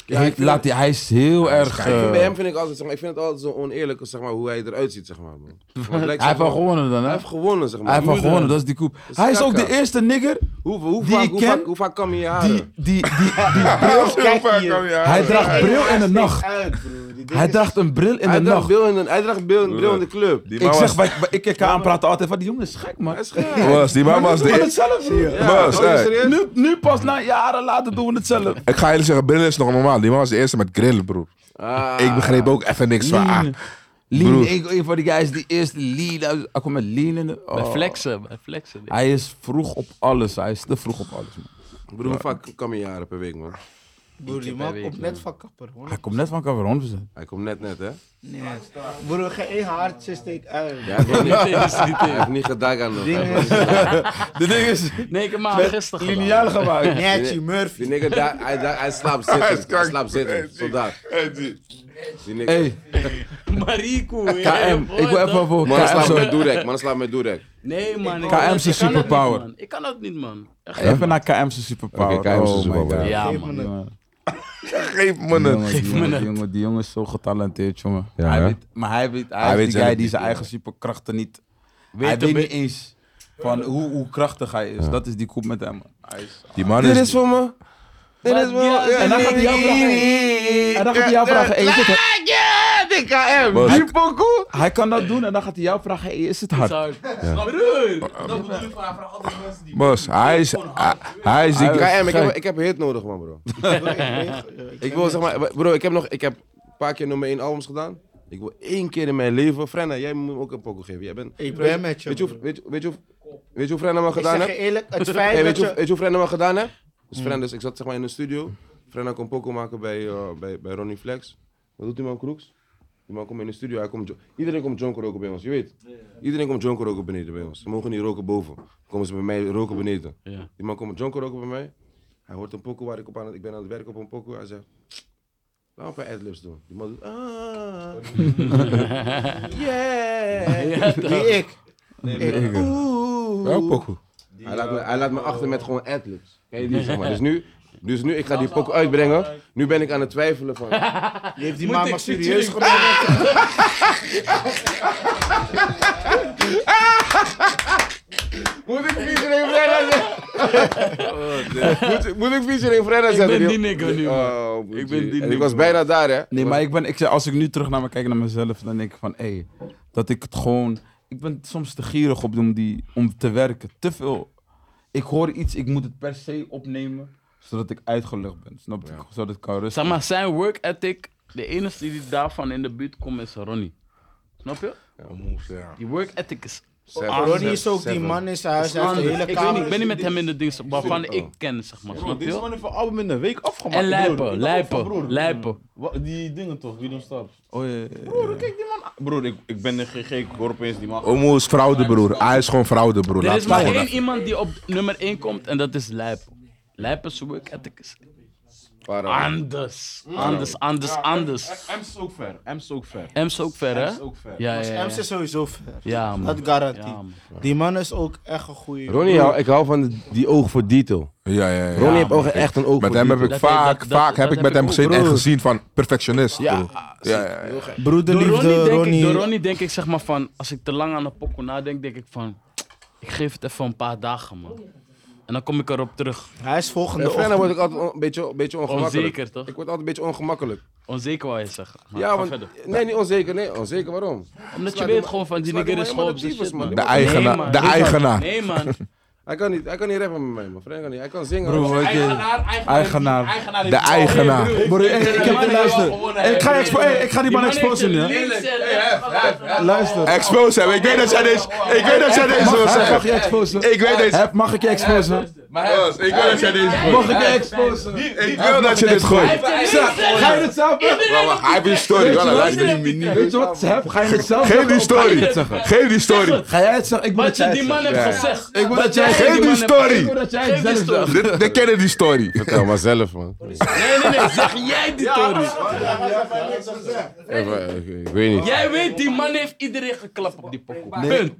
[SPEAKER 2] hij,
[SPEAKER 1] ik vind-
[SPEAKER 2] laat, hij is heel erg...
[SPEAKER 1] Ik vind-
[SPEAKER 2] eh,
[SPEAKER 1] bij hem vind ik altijd, zeg maar, ik vind het altijd zo oneerlijk zeg maar, hoe hij eruit ziet, zeg maar. bro. Want het lijkt,
[SPEAKER 2] hij
[SPEAKER 1] zeg
[SPEAKER 2] heeft
[SPEAKER 1] maar,
[SPEAKER 2] al gewonnen dan, hè?
[SPEAKER 1] Hij heeft gewonnen, zeg maar.
[SPEAKER 2] Hij heeft al
[SPEAKER 1] Hoe-
[SPEAKER 2] gewonnen, dat is die koep. Hij is ook de
[SPEAKER 1] kaka.
[SPEAKER 2] eerste nigger
[SPEAKER 1] Hoe, hoe,
[SPEAKER 2] die
[SPEAKER 1] vaak,
[SPEAKER 2] ik
[SPEAKER 1] hoe,
[SPEAKER 2] ken,
[SPEAKER 1] vaak, hoe vaak kam je je haren?
[SPEAKER 2] die... die, die
[SPEAKER 3] Heel ver kwam je
[SPEAKER 2] hij
[SPEAKER 3] aan.
[SPEAKER 2] draagt bril in de nacht. Hij draagt een bril in de
[SPEAKER 1] hij, draagt
[SPEAKER 2] nacht.
[SPEAKER 1] bril in de, hij draagt bril, bril in de club.
[SPEAKER 3] Die
[SPEAKER 2] Ik
[SPEAKER 3] man
[SPEAKER 2] zeg,
[SPEAKER 3] was-
[SPEAKER 2] wij- wij- ik kijk haar aanpraten altijd van die jongen is gek, man.
[SPEAKER 1] Hij is gek.
[SPEAKER 3] was- Die man was
[SPEAKER 2] We doen
[SPEAKER 3] de
[SPEAKER 2] het zelf, broer.
[SPEAKER 1] Ja,
[SPEAKER 3] Bas,
[SPEAKER 1] oh,
[SPEAKER 3] hey.
[SPEAKER 1] serieus?
[SPEAKER 2] Nu, nu pas na jaren later doen we het zelf.
[SPEAKER 3] Ik ga jullie zeggen, Brill is nog normaal. Die man was de eerste met grillen, broer.
[SPEAKER 1] Ah.
[SPEAKER 3] Ik begreep ook even niks van. ah,
[SPEAKER 2] Lean. Lean,
[SPEAKER 3] broer.
[SPEAKER 2] een, een van die guys, die eerste lean. Hij komt met lean in de...
[SPEAKER 5] Bij
[SPEAKER 2] oh.
[SPEAKER 5] flexen, bij flexen.
[SPEAKER 2] Hij is vroeg op alles. Hij is te vroeg op alles, man.
[SPEAKER 1] Broer, hoe vaak kam je je haren per week, man?
[SPEAKER 4] Broer, die man
[SPEAKER 5] weet
[SPEAKER 4] komt net van kapper. hoor.
[SPEAKER 2] Hij komt net van Cameroon. 100%.
[SPEAKER 1] Hij komt net net, hè?
[SPEAKER 4] Nee. Broer, geen één haartje steekt uit.
[SPEAKER 1] Ja, hij heeft niet, hij heeft niet gedaan nog.
[SPEAKER 4] Dingen.
[SPEAKER 2] De ding is...
[SPEAKER 5] Nee, ik heb maar gisteren gedaan.
[SPEAKER 2] gemaakt.
[SPEAKER 4] Netty Murphy.
[SPEAKER 1] Die nigger, daar- hij, daar- hij slaapt zitten. Hij, slaapt zitten, soldaat. Die nigger.
[SPEAKER 2] Hey,
[SPEAKER 5] Mariko.
[SPEAKER 2] KM. Ik wil even voor
[SPEAKER 1] Mannen
[SPEAKER 2] KM
[SPEAKER 1] slaat
[SPEAKER 2] zo...
[SPEAKER 1] met Durek, mannen slaat met Durek.
[SPEAKER 5] Nee, man. ik
[SPEAKER 2] KM
[SPEAKER 5] kan
[SPEAKER 2] zijn
[SPEAKER 5] dat- ik kan dat niet,
[SPEAKER 2] superpower.
[SPEAKER 5] man. Ik kan dat niet, man. Echt niet,
[SPEAKER 2] Even
[SPEAKER 5] man.
[SPEAKER 2] naar KM's superpower.
[SPEAKER 1] Oké, KM's
[SPEAKER 2] Oh my
[SPEAKER 1] superpower,
[SPEAKER 2] God.
[SPEAKER 5] Ja,
[SPEAKER 4] Geef
[SPEAKER 5] man.
[SPEAKER 4] me het.
[SPEAKER 2] Jongen,
[SPEAKER 3] Geef me
[SPEAKER 2] die jongen, die jongen,
[SPEAKER 3] een.
[SPEAKER 2] die jongen, die jongen is zo getalenteerd, jongen.
[SPEAKER 1] Ja,
[SPEAKER 2] hij
[SPEAKER 1] hè?
[SPEAKER 2] weet, maar hij weet, hij,
[SPEAKER 3] Hij
[SPEAKER 2] is
[SPEAKER 3] weet
[SPEAKER 2] die
[SPEAKER 3] zelf
[SPEAKER 2] guy die
[SPEAKER 3] niet,
[SPEAKER 2] zijn
[SPEAKER 3] ja.
[SPEAKER 2] eigen superkrachten niet... hij
[SPEAKER 5] Weet
[SPEAKER 2] weet
[SPEAKER 5] een
[SPEAKER 2] niet
[SPEAKER 5] beetje.
[SPEAKER 2] eens van hoe, hoe krachtig hij is. Dat is die koep met hem. man. Hij is...
[SPEAKER 3] Die man
[SPEAKER 1] Dit
[SPEAKER 3] is...
[SPEAKER 1] is voor me. Dit is voor
[SPEAKER 5] Ja,
[SPEAKER 1] me.
[SPEAKER 5] en dan
[SPEAKER 2] gaat hij jou
[SPEAKER 1] vragen.
[SPEAKER 2] En dan gaat hij jou vragen, hey, is het-
[SPEAKER 3] Bas,
[SPEAKER 2] Hij kan dat doen en dan gaat hij jou vragen, hey, is het hard?
[SPEAKER 5] Zou- Broer. dat-
[SPEAKER 3] Bas, hij is... hij- Hij is die...
[SPEAKER 1] KM, ik heb, ik heb een hit nodig, man, bro. Ik wil zeg maar, bro, ik heb nog, ik heb een paar keer nummer 1 albums gedaan. Ik wil één keer in mijn leven, Frenna, jij moet me ook een pokoe geven. Jij bent,
[SPEAKER 4] Ik ben met je.
[SPEAKER 1] weet je hoe,
[SPEAKER 4] broer.
[SPEAKER 1] weet je, weet je hoe, weet je hoe Frenna me
[SPEAKER 4] Ik
[SPEAKER 1] gedaan
[SPEAKER 4] zeg je
[SPEAKER 1] heeft?
[SPEAKER 4] eerlijk, het
[SPEAKER 1] Hey,
[SPEAKER 4] feit
[SPEAKER 1] weet,
[SPEAKER 4] dat Hmm.
[SPEAKER 1] je, hoe-
[SPEAKER 4] je...
[SPEAKER 1] weet je hoe Frenna me gedaan heeft? Dus Frenna, dus ik zat zeg maar in een studio. Frenna kon pokoe maken bij, eh, bij, bij Ronnie Flex. Wat doet die man Kroeks? Die man komt in de studio, hij komt, jo- iedereen komt jonker roken bij ons, je weet. Iedereen komt jonker roken beneden bij ons. Ze mogen niet roken boven. Dan komen ze bij mij roken beneden.
[SPEAKER 5] Ja.
[SPEAKER 1] Die man komt met jonker roken bij mij. Hij hoort een pokoe waar ik op aan het, ik ben aan het werken op een pokoe. Hij zegt, laat me een paar adlibs doen. Die man doet, ah, yeah.
[SPEAKER 4] Eh, Die ik.
[SPEAKER 3] Welk pokoe?
[SPEAKER 1] Hij laat, me, hij laat me achter met gewoon adlibs. Kijk die, zeg maar. Dus nu, dus nu ik ga die pokoe uitbrengen. Nu ben ik aan het twijfelen van...
[SPEAKER 4] Die heeft die
[SPEAKER 5] Moet
[SPEAKER 4] mama
[SPEAKER 5] ik
[SPEAKER 4] serieus
[SPEAKER 5] zitten?
[SPEAKER 4] genomen.
[SPEAKER 1] Moet ik featuring Fredda zetten?
[SPEAKER 5] Oh,
[SPEAKER 1] moet, moet ik featuring Fredda zetten?
[SPEAKER 5] ben
[SPEAKER 1] joh?
[SPEAKER 5] die nigger nu, man.
[SPEAKER 1] Oh, boetie.
[SPEAKER 5] ben die
[SPEAKER 1] En ik
[SPEAKER 5] nigger,
[SPEAKER 1] was
[SPEAKER 5] man.
[SPEAKER 1] bijna daar, hè?
[SPEAKER 2] Nee, maar ik ben, ik, zeg, als ik nu terug naar me kijk naar mezelf, dan denk ik van, hé, dat ik het gewoon... Ik ben soms te gierig op om, die, om te werken. Te veel. Ik hoor iets, ik moet het per se opnemen, zodat ik uitgelucht ben. Snap je? Zodat ik kan rusten.
[SPEAKER 5] Dus Zeg maar, zijn work ethic, de enige die daarvan in de buurt komt is Ronnie. Snap je? Die work ethic is
[SPEAKER 1] Seven,
[SPEAKER 4] Ronnie is
[SPEAKER 1] seven,
[SPEAKER 4] ook die
[SPEAKER 1] seven.
[SPEAKER 4] man in zijn huis. Hij heeft de
[SPEAKER 5] anders.
[SPEAKER 4] hele
[SPEAKER 5] Ik, weet niet,
[SPEAKER 4] kamer.
[SPEAKER 5] ik ben niet met hem in de dingen waarvan ik ken, zeg maar. Snap
[SPEAKER 6] Deze
[SPEAKER 5] je?
[SPEAKER 6] man heeft een album in een week afgemaakt.
[SPEAKER 5] En
[SPEAKER 6] broer.
[SPEAKER 5] lijpen,
[SPEAKER 6] Ik dacht van,
[SPEAKER 5] lijpen,
[SPEAKER 6] broer,
[SPEAKER 5] lijpen.
[SPEAKER 6] wa- Die dingen toch, wie dan stapt.
[SPEAKER 2] Oh, ja, ja, ja.
[SPEAKER 6] Broer, kijk die man. aan. Broer, ik, ik ben een GG, ik hoor opeens die man.
[SPEAKER 3] Omo is fraude, broer. Hij is gewoon fraude, broer.
[SPEAKER 5] Er
[SPEAKER 3] Laat
[SPEAKER 5] is
[SPEAKER 3] het
[SPEAKER 5] maar
[SPEAKER 3] gewoon.
[SPEAKER 5] één iemand die op nummer 1 komt en dat is lijpen. Lijpen's work ethic is
[SPEAKER 1] Para.
[SPEAKER 5] Ah, anders. Anders, anders, anders.
[SPEAKER 6] Ems is ook ver, Ems is ook ver.
[SPEAKER 5] Ems ook ver, hè?
[SPEAKER 6] Ems is ook ver.
[SPEAKER 5] Ja, ja, ja.
[SPEAKER 4] Ems is sowieso ver.
[SPEAKER 5] Ja, man.
[SPEAKER 4] Dat
[SPEAKER 5] Ja, man.
[SPEAKER 4] garantie. Die man is ook echt een goeie.
[SPEAKER 1] Ronnie, hou- ik hou van die oog voor detail.
[SPEAKER 3] Ja, ja, ja.
[SPEAKER 1] Ronnie heeft ook echt een oog
[SPEAKER 3] Met
[SPEAKER 1] voor
[SPEAKER 3] hem heb
[SPEAKER 1] detail.
[SPEAKER 3] ik
[SPEAKER 5] Dat-
[SPEAKER 3] vaak,
[SPEAKER 5] dat- dat-
[SPEAKER 3] vaak heb
[SPEAKER 5] dat
[SPEAKER 3] ik met
[SPEAKER 5] heb
[SPEAKER 3] hem
[SPEAKER 5] ik
[SPEAKER 3] gezeten en
[SPEAKER 4] ook.
[SPEAKER 3] gezien van perfectionist. Ja, ja, ja, ja.
[SPEAKER 5] Door Ronnie,
[SPEAKER 4] Broederliefde,
[SPEAKER 5] denk Ik, door
[SPEAKER 4] Ronnie.
[SPEAKER 5] Ronnie denk ik zeg maar van, als ik te lang aan een pokoe nadenk, denk ik van, ik geef het even een paar dagen man. En dan kom ik erop terug.
[SPEAKER 4] Hij is volgende
[SPEAKER 1] Met Frenna
[SPEAKER 4] ochtend.
[SPEAKER 1] word ik altijd on- een beetje, een beetje ongemakkelijk.
[SPEAKER 5] Onzeker toch?
[SPEAKER 1] Ik word altijd een beetje ongemakkelijk.
[SPEAKER 5] Onzeker wou je zeggen. Maar
[SPEAKER 1] ja,
[SPEAKER 5] ga
[SPEAKER 1] want...
[SPEAKER 5] verder.
[SPEAKER 1] Nee, niet onzeker. Nee, onzeker. Waarom?
[SPEAKER 5] Omdat je
[SPEAKER 1] Slaat
[SPEAKER 5] weet
[SPEAKER 1] die
[SPEAKER 5] gewoon van die
[SPEAKER 1] slaat
[SPEAKER 5] nigger
[SPEAKER 1] die
[SPEAKER 5] is
[SPEAKER 1] man
[SPEAKER 5] gewoon op
[SPEAKER 1] helemaal de tyfus,
[SPEAKER 5] zijn shit, man.
[SPEAKER 1] man.
[SPEAKER 3] De
[SPEAKER 1] Nee,
[SPEAKER 3] eigenaar.
[SPEAKER 5] man.
[SPEAKER 3] De
[SPEAKER 5] Nee, man.
[SPEAKER 3] eigenaar.
[SPEAKER 5] Nee man.
[SPEAKER 1] Hij kan niet, hij kan niet rappen met mij, man. Frenna kan niet. Hij kan zingen.
[SPEAKER 2] Broer,
[SPEAKER 1] hoor.
[SPEAKER 2] weet je... Eigenaar.
[SPEAKER 6] Eigenaar
[SPEAKER 3] De eigenaar.
[SPEAKER 2] Broer, hey, ik heb te luisteren. Hey, ik, ga je expo- hey, ik ga die man exposen, hè? Luister.
[SPEAKER 3] Expose hem. Ik weet dat jij deze. Ik weet dat jij deze wil
[SPEAKER 2] Mag, mag
[SPEAKER 3] zeggen.
[SPEAKER 2] je exposen?
[SPEAKER 3] Ik weet deze.
[SPEAKER 2] Heb- Mag ik je exposen?
[SPEAKER 3] Bas, Ik wil dat jij deze
[SPEAKER 2] Mag
[SPEAKER 3] gooit.
[SPEAKER 2] ik je exposen?
[SPEAKER 3] Ik wil dat je dit gooit.
[SPEAKER 2] Ga je het zelf doen?
[SPEAKER 3] Wacht, wacht, Hij heeft een story. Voilà, luister die mini.
[SPEAKER 2] Weet je wat ze hebben? Ga je het zelf
[SPEAKER 3] Geef
[SPEAKER 2] zeggen
[SPEAKER 3] die
[SPEAKER 2] of ga je het
[SPEAKER 3] story.
[SPEAKER 2] zeggen?
[SPEAKER 3] Geef die story.
[SPEAKER 2] Ga jij het zeggen? Ik wil
[SPEAKER 5] Wat
[SPEAKER 2] dat jij
[SPEAKER 5] je
[SPEAKER 2] het
[SPEAKER 5] die man
[SPEAKER 2] zegt.
[SPEAKER 5] hebt gezegd.
[SPEAKER 2] Ik wil
[SPEAKER 5] Wat
[SPEAKER 2] dat jij-
[SPEAKER 5] tegen
[SPEAKER 3] Geef die
[SPEAKER 5] man hebt-
[SPEAKER 2] Ik wil
[SPEAKER 3] story.
[SPEAKER 2] dat jij het
[SPEAKER 5] Geef die
[SPEAKER 2] zelf
[SPEAKER 5] story.
[SPEAKER 2] zegt.
[SPEAKER 3] Dit- De Kennedy story.
[SPEAKER 1] Vertel maar zelf, man.
[SPEAKER 5] Nee, nee, nee. Zeg jij die story.
[SPEAKER 1] Even, eh, ik- ik weet niet.
[SPEAKER 5] Jij weet, die man heeft iedereen geklapt op die pokoe.
[SPEAKER 2] Nee.
[SPEAKER 5] Punt.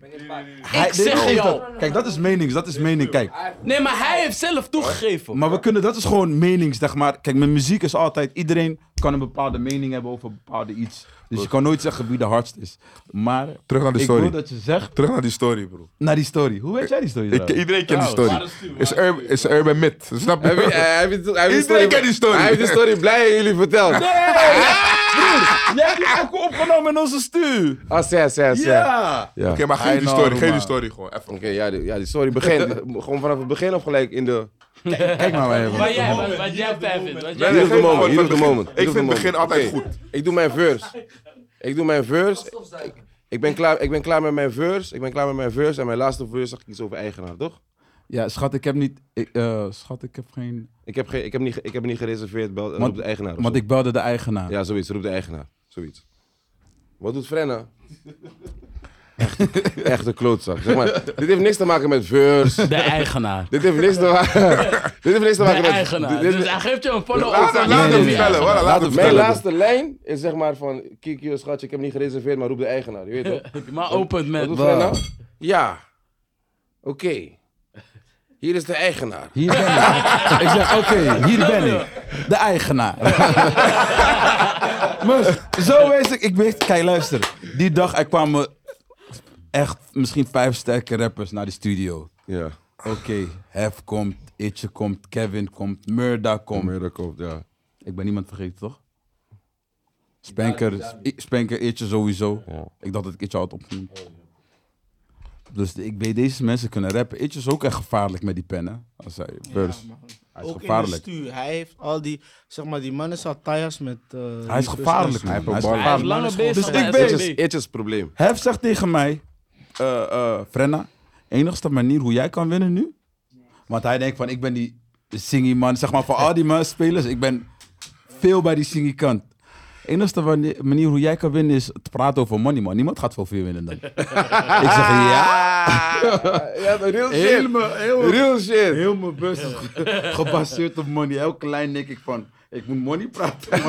[SPEAKER 2] Hij-
[SPEAKER 5] Ik zeg
[SPEAKER 2] nee,
[SPEAKER 5] jou.
[SPEAKER 2] dat- Kijk, dat is menings, dat is mening. Kijk,
[SPEAKER 5] Nee, maar hij heeft zelf toegegeven.
[SPEAKER 2] Maar we kunnen, dat is gewoon menings, zeg maar. Kijk, met muziek is altijd, iedereen kan een bepaalde mening hebben over een bepaalde iets. Dus je kan nooit zeggen wie de hardst is. Maar
[SPEAKER 3] Terug naar die
[SPEAKER 2] ik
[SPEAKER 3] story.
[SPEAKER 2] wil dat je zegt,
[SPEAKER 3] Terug naar die story, bro.
[SPEAKER 2] naar die story. Hoe weet jij die story
[SPEAKER 3] Ik,
[SPEAKER 2] trouwens?
[SPEAKER 3] iedereen kent die
[SPEAKER 5] Trouwens,
[SPEAKER 3] story. Is, ur, is een urban myth. Snap
[SPEAKER 1] Heb je- eh,
[SPEAKER 3] je?
[SPEAKER 1] heb je- heb je de
[SPEAKER 3] Iedereen kent die story.
[SPEAKER 1] Hij heeft de story blij aan jullie verteld.
[SPEAKER 2] Jij hebt die elke opgenomen in onze stuur.
[SPEAKER 1] Ah, zes, zes, zes.
[SPEAKER 2] Ja.
[SPEAKER 1] Ja.
[SPEAKER 3] Oké, maar geef die
[SPEAKER 2] I know,
[SPEAKER 3] story. Geef
[SPEAKER 2] maar.
[SPEAKER 3] die story gewoon. Even.
[SPEAKER 1] Oké, ja, die- ja, die story begint gewoon vanaf het begin of gelijk in de...
[SPEAKER 2] Kijk maar wij
[SPEAKER 5] Maar
[SPEAKER 2] hebben.
[SPEAKER 5] jij, wat, wat jij fijn vindt. Wat
[SPEAKER 1] Hier
[SPEAKER 5] jij
[SPEAKER 1] op de
[SPEAKER 3] geef
[SPEAKER 1] moment, hier op
[SPEAKER 3] maar
[SPEAKER 1] de
[SPEAKER 3] het begin.
[SPEAKER 1] moment.
[SPEAKER 3] Ik
[SPEAKER 1] hier op de
[SPEAKER 3] vind
[SPEAKER 1] moment.
[SPEAKER 3] het begin altijd
[SPEAKER 1] Oké,
[SPEAKER 3] goed.
[SPEAKER 1] Ik doe mijn verse. Ik doe mijn verse. Ik ben, klaar, ik ben klaar met mijn verse. Ik ben klaar met mijn verse. En mijn laatste verse zag ik iets over eigenaar, toch?
[SPEAKER 2] Ja, schat, ik heb niet, ik, eh, schat, ik heb geen...
[SPEAKER 1] Ik heb, geen, ik heb, niet, ge- ik heb niet gereserveerd. Bel,
[SPEAKER 2] Want-
[SPEAKER 1] roep de eigenaar. of
[SPEAKER 2] Want
[SPEAKER 1] zo.
[SPEAKER 2] ik belde de eigenaar.
[SPEAKER 1] Ja, zoiets. Roep de eigenaar. Zoiets. Wat doet Frenna? Echt, echt een klootzak. Zeg maar, dit heeft niks te maken met verse.
[SPEAKER 5] De eigenaar.
[SPEAKER 1] Dit heeft niks te maken, dit heeft niks te
[SPEAKER 5] De
[SPEAKER 1] maken met...
[SPEAKER 5] eigenaar.
[SPEAKER 1] dit-
[SPEAKER 5] Dus hij geeft je een follow-up.
[SPEAKER 3] Laat hem,
[SPEAKER 5] van-
[SPEAKER 3] laat
[SPEAKER 5] Nee,
[SPEAKER 3] hem
[SPEAKER 5] nee,
[SPEAKER 3] vertellen.
[SPEAKER 5] nee.
[SPEAKER 3] voilà, Laat hem
[SPEAKER 1] Mijn
[SPEAKER 3] vertellen.
[SPEAKER 1] laatste lijn is zeg maar van... Kikio, schatje, ik heb niet gereserveerd, maar roep de eigenaar. Je weet toch?
[SPEAKER 5] Maar opent met...
[SPEAKER 1] Wat doet Frenna? Ja. Oké. Hier is de eigenaar.
[SPEAKER 2] Hier ben ik. ik zeg, oké, hier ben ik. De eigenaar. maar zo wees ik. Ik weet, kijk, luister. Die dag er kwamen echt misschien vijf sterke rappers naar de studio.
[SPEAKER 1] Ja.
[SPEAKER 2] Oké, Hef komt, Itje komt, Kevin komt, Murda komt.
[SPEAKER 1] komt, ja.
[SPEAKER 2] Ik ben niemand vergeten, toch? Spanker, I- Spanker Itje sowieso. Ik dacht dat ik Itje had opgenoemd. Dus de- ik weet, deze mensen kunnen rappen. Itje is ook echt gevaarlijk met die pennen. Als hij, vers. hij is
[SPEAKER 4] Ook in de
[SPEAKER 2] gevaarlijk.
[SPEAKER 4] stuur. Hij heeft al die, zeg maar, die man is al taaiers met... eh,
[SPEAKER 2] Hij is
[SPEAKER 4] die
[SPEAKER 2] gevaarlijk,
[SPEAKER 4] verstand.
[SPEAKER 2] man. Hij is
[SPEAKER 5] Hij is
[SPEAKER 2] gevaarlijk.
[SPEAKER 5] langer bezig
[SPEAKER 2] Dus
[SPEAKER 5] dan
[SPEAKER 2] ik
[SPEAKER 5] hij
[SPEAKER 2] weet-
[SPEAKER 5] is.
[SPEAKER 1] Itches, Itches probleem.
[SPEAKER 2] Hef zegt tegen mij, eh eh Frenna, enigste manier hoe jij kan winnen nu. Want hij denkt van, ik ben die singy man, zeg maar van al die man spelers, ik ben veel bij die singy kant. Enigste wani- manier hoe jij kan winnen is te praten over money man. Niemand gaat veel veel winnen dan. ik zeg ja.
[SPEAKER 1] Ja, real shit. Real shit.
[SPEAKER 2] Heel mijn bus is gebaseerd op money. Heel klein denk ik van, ik moet money praten.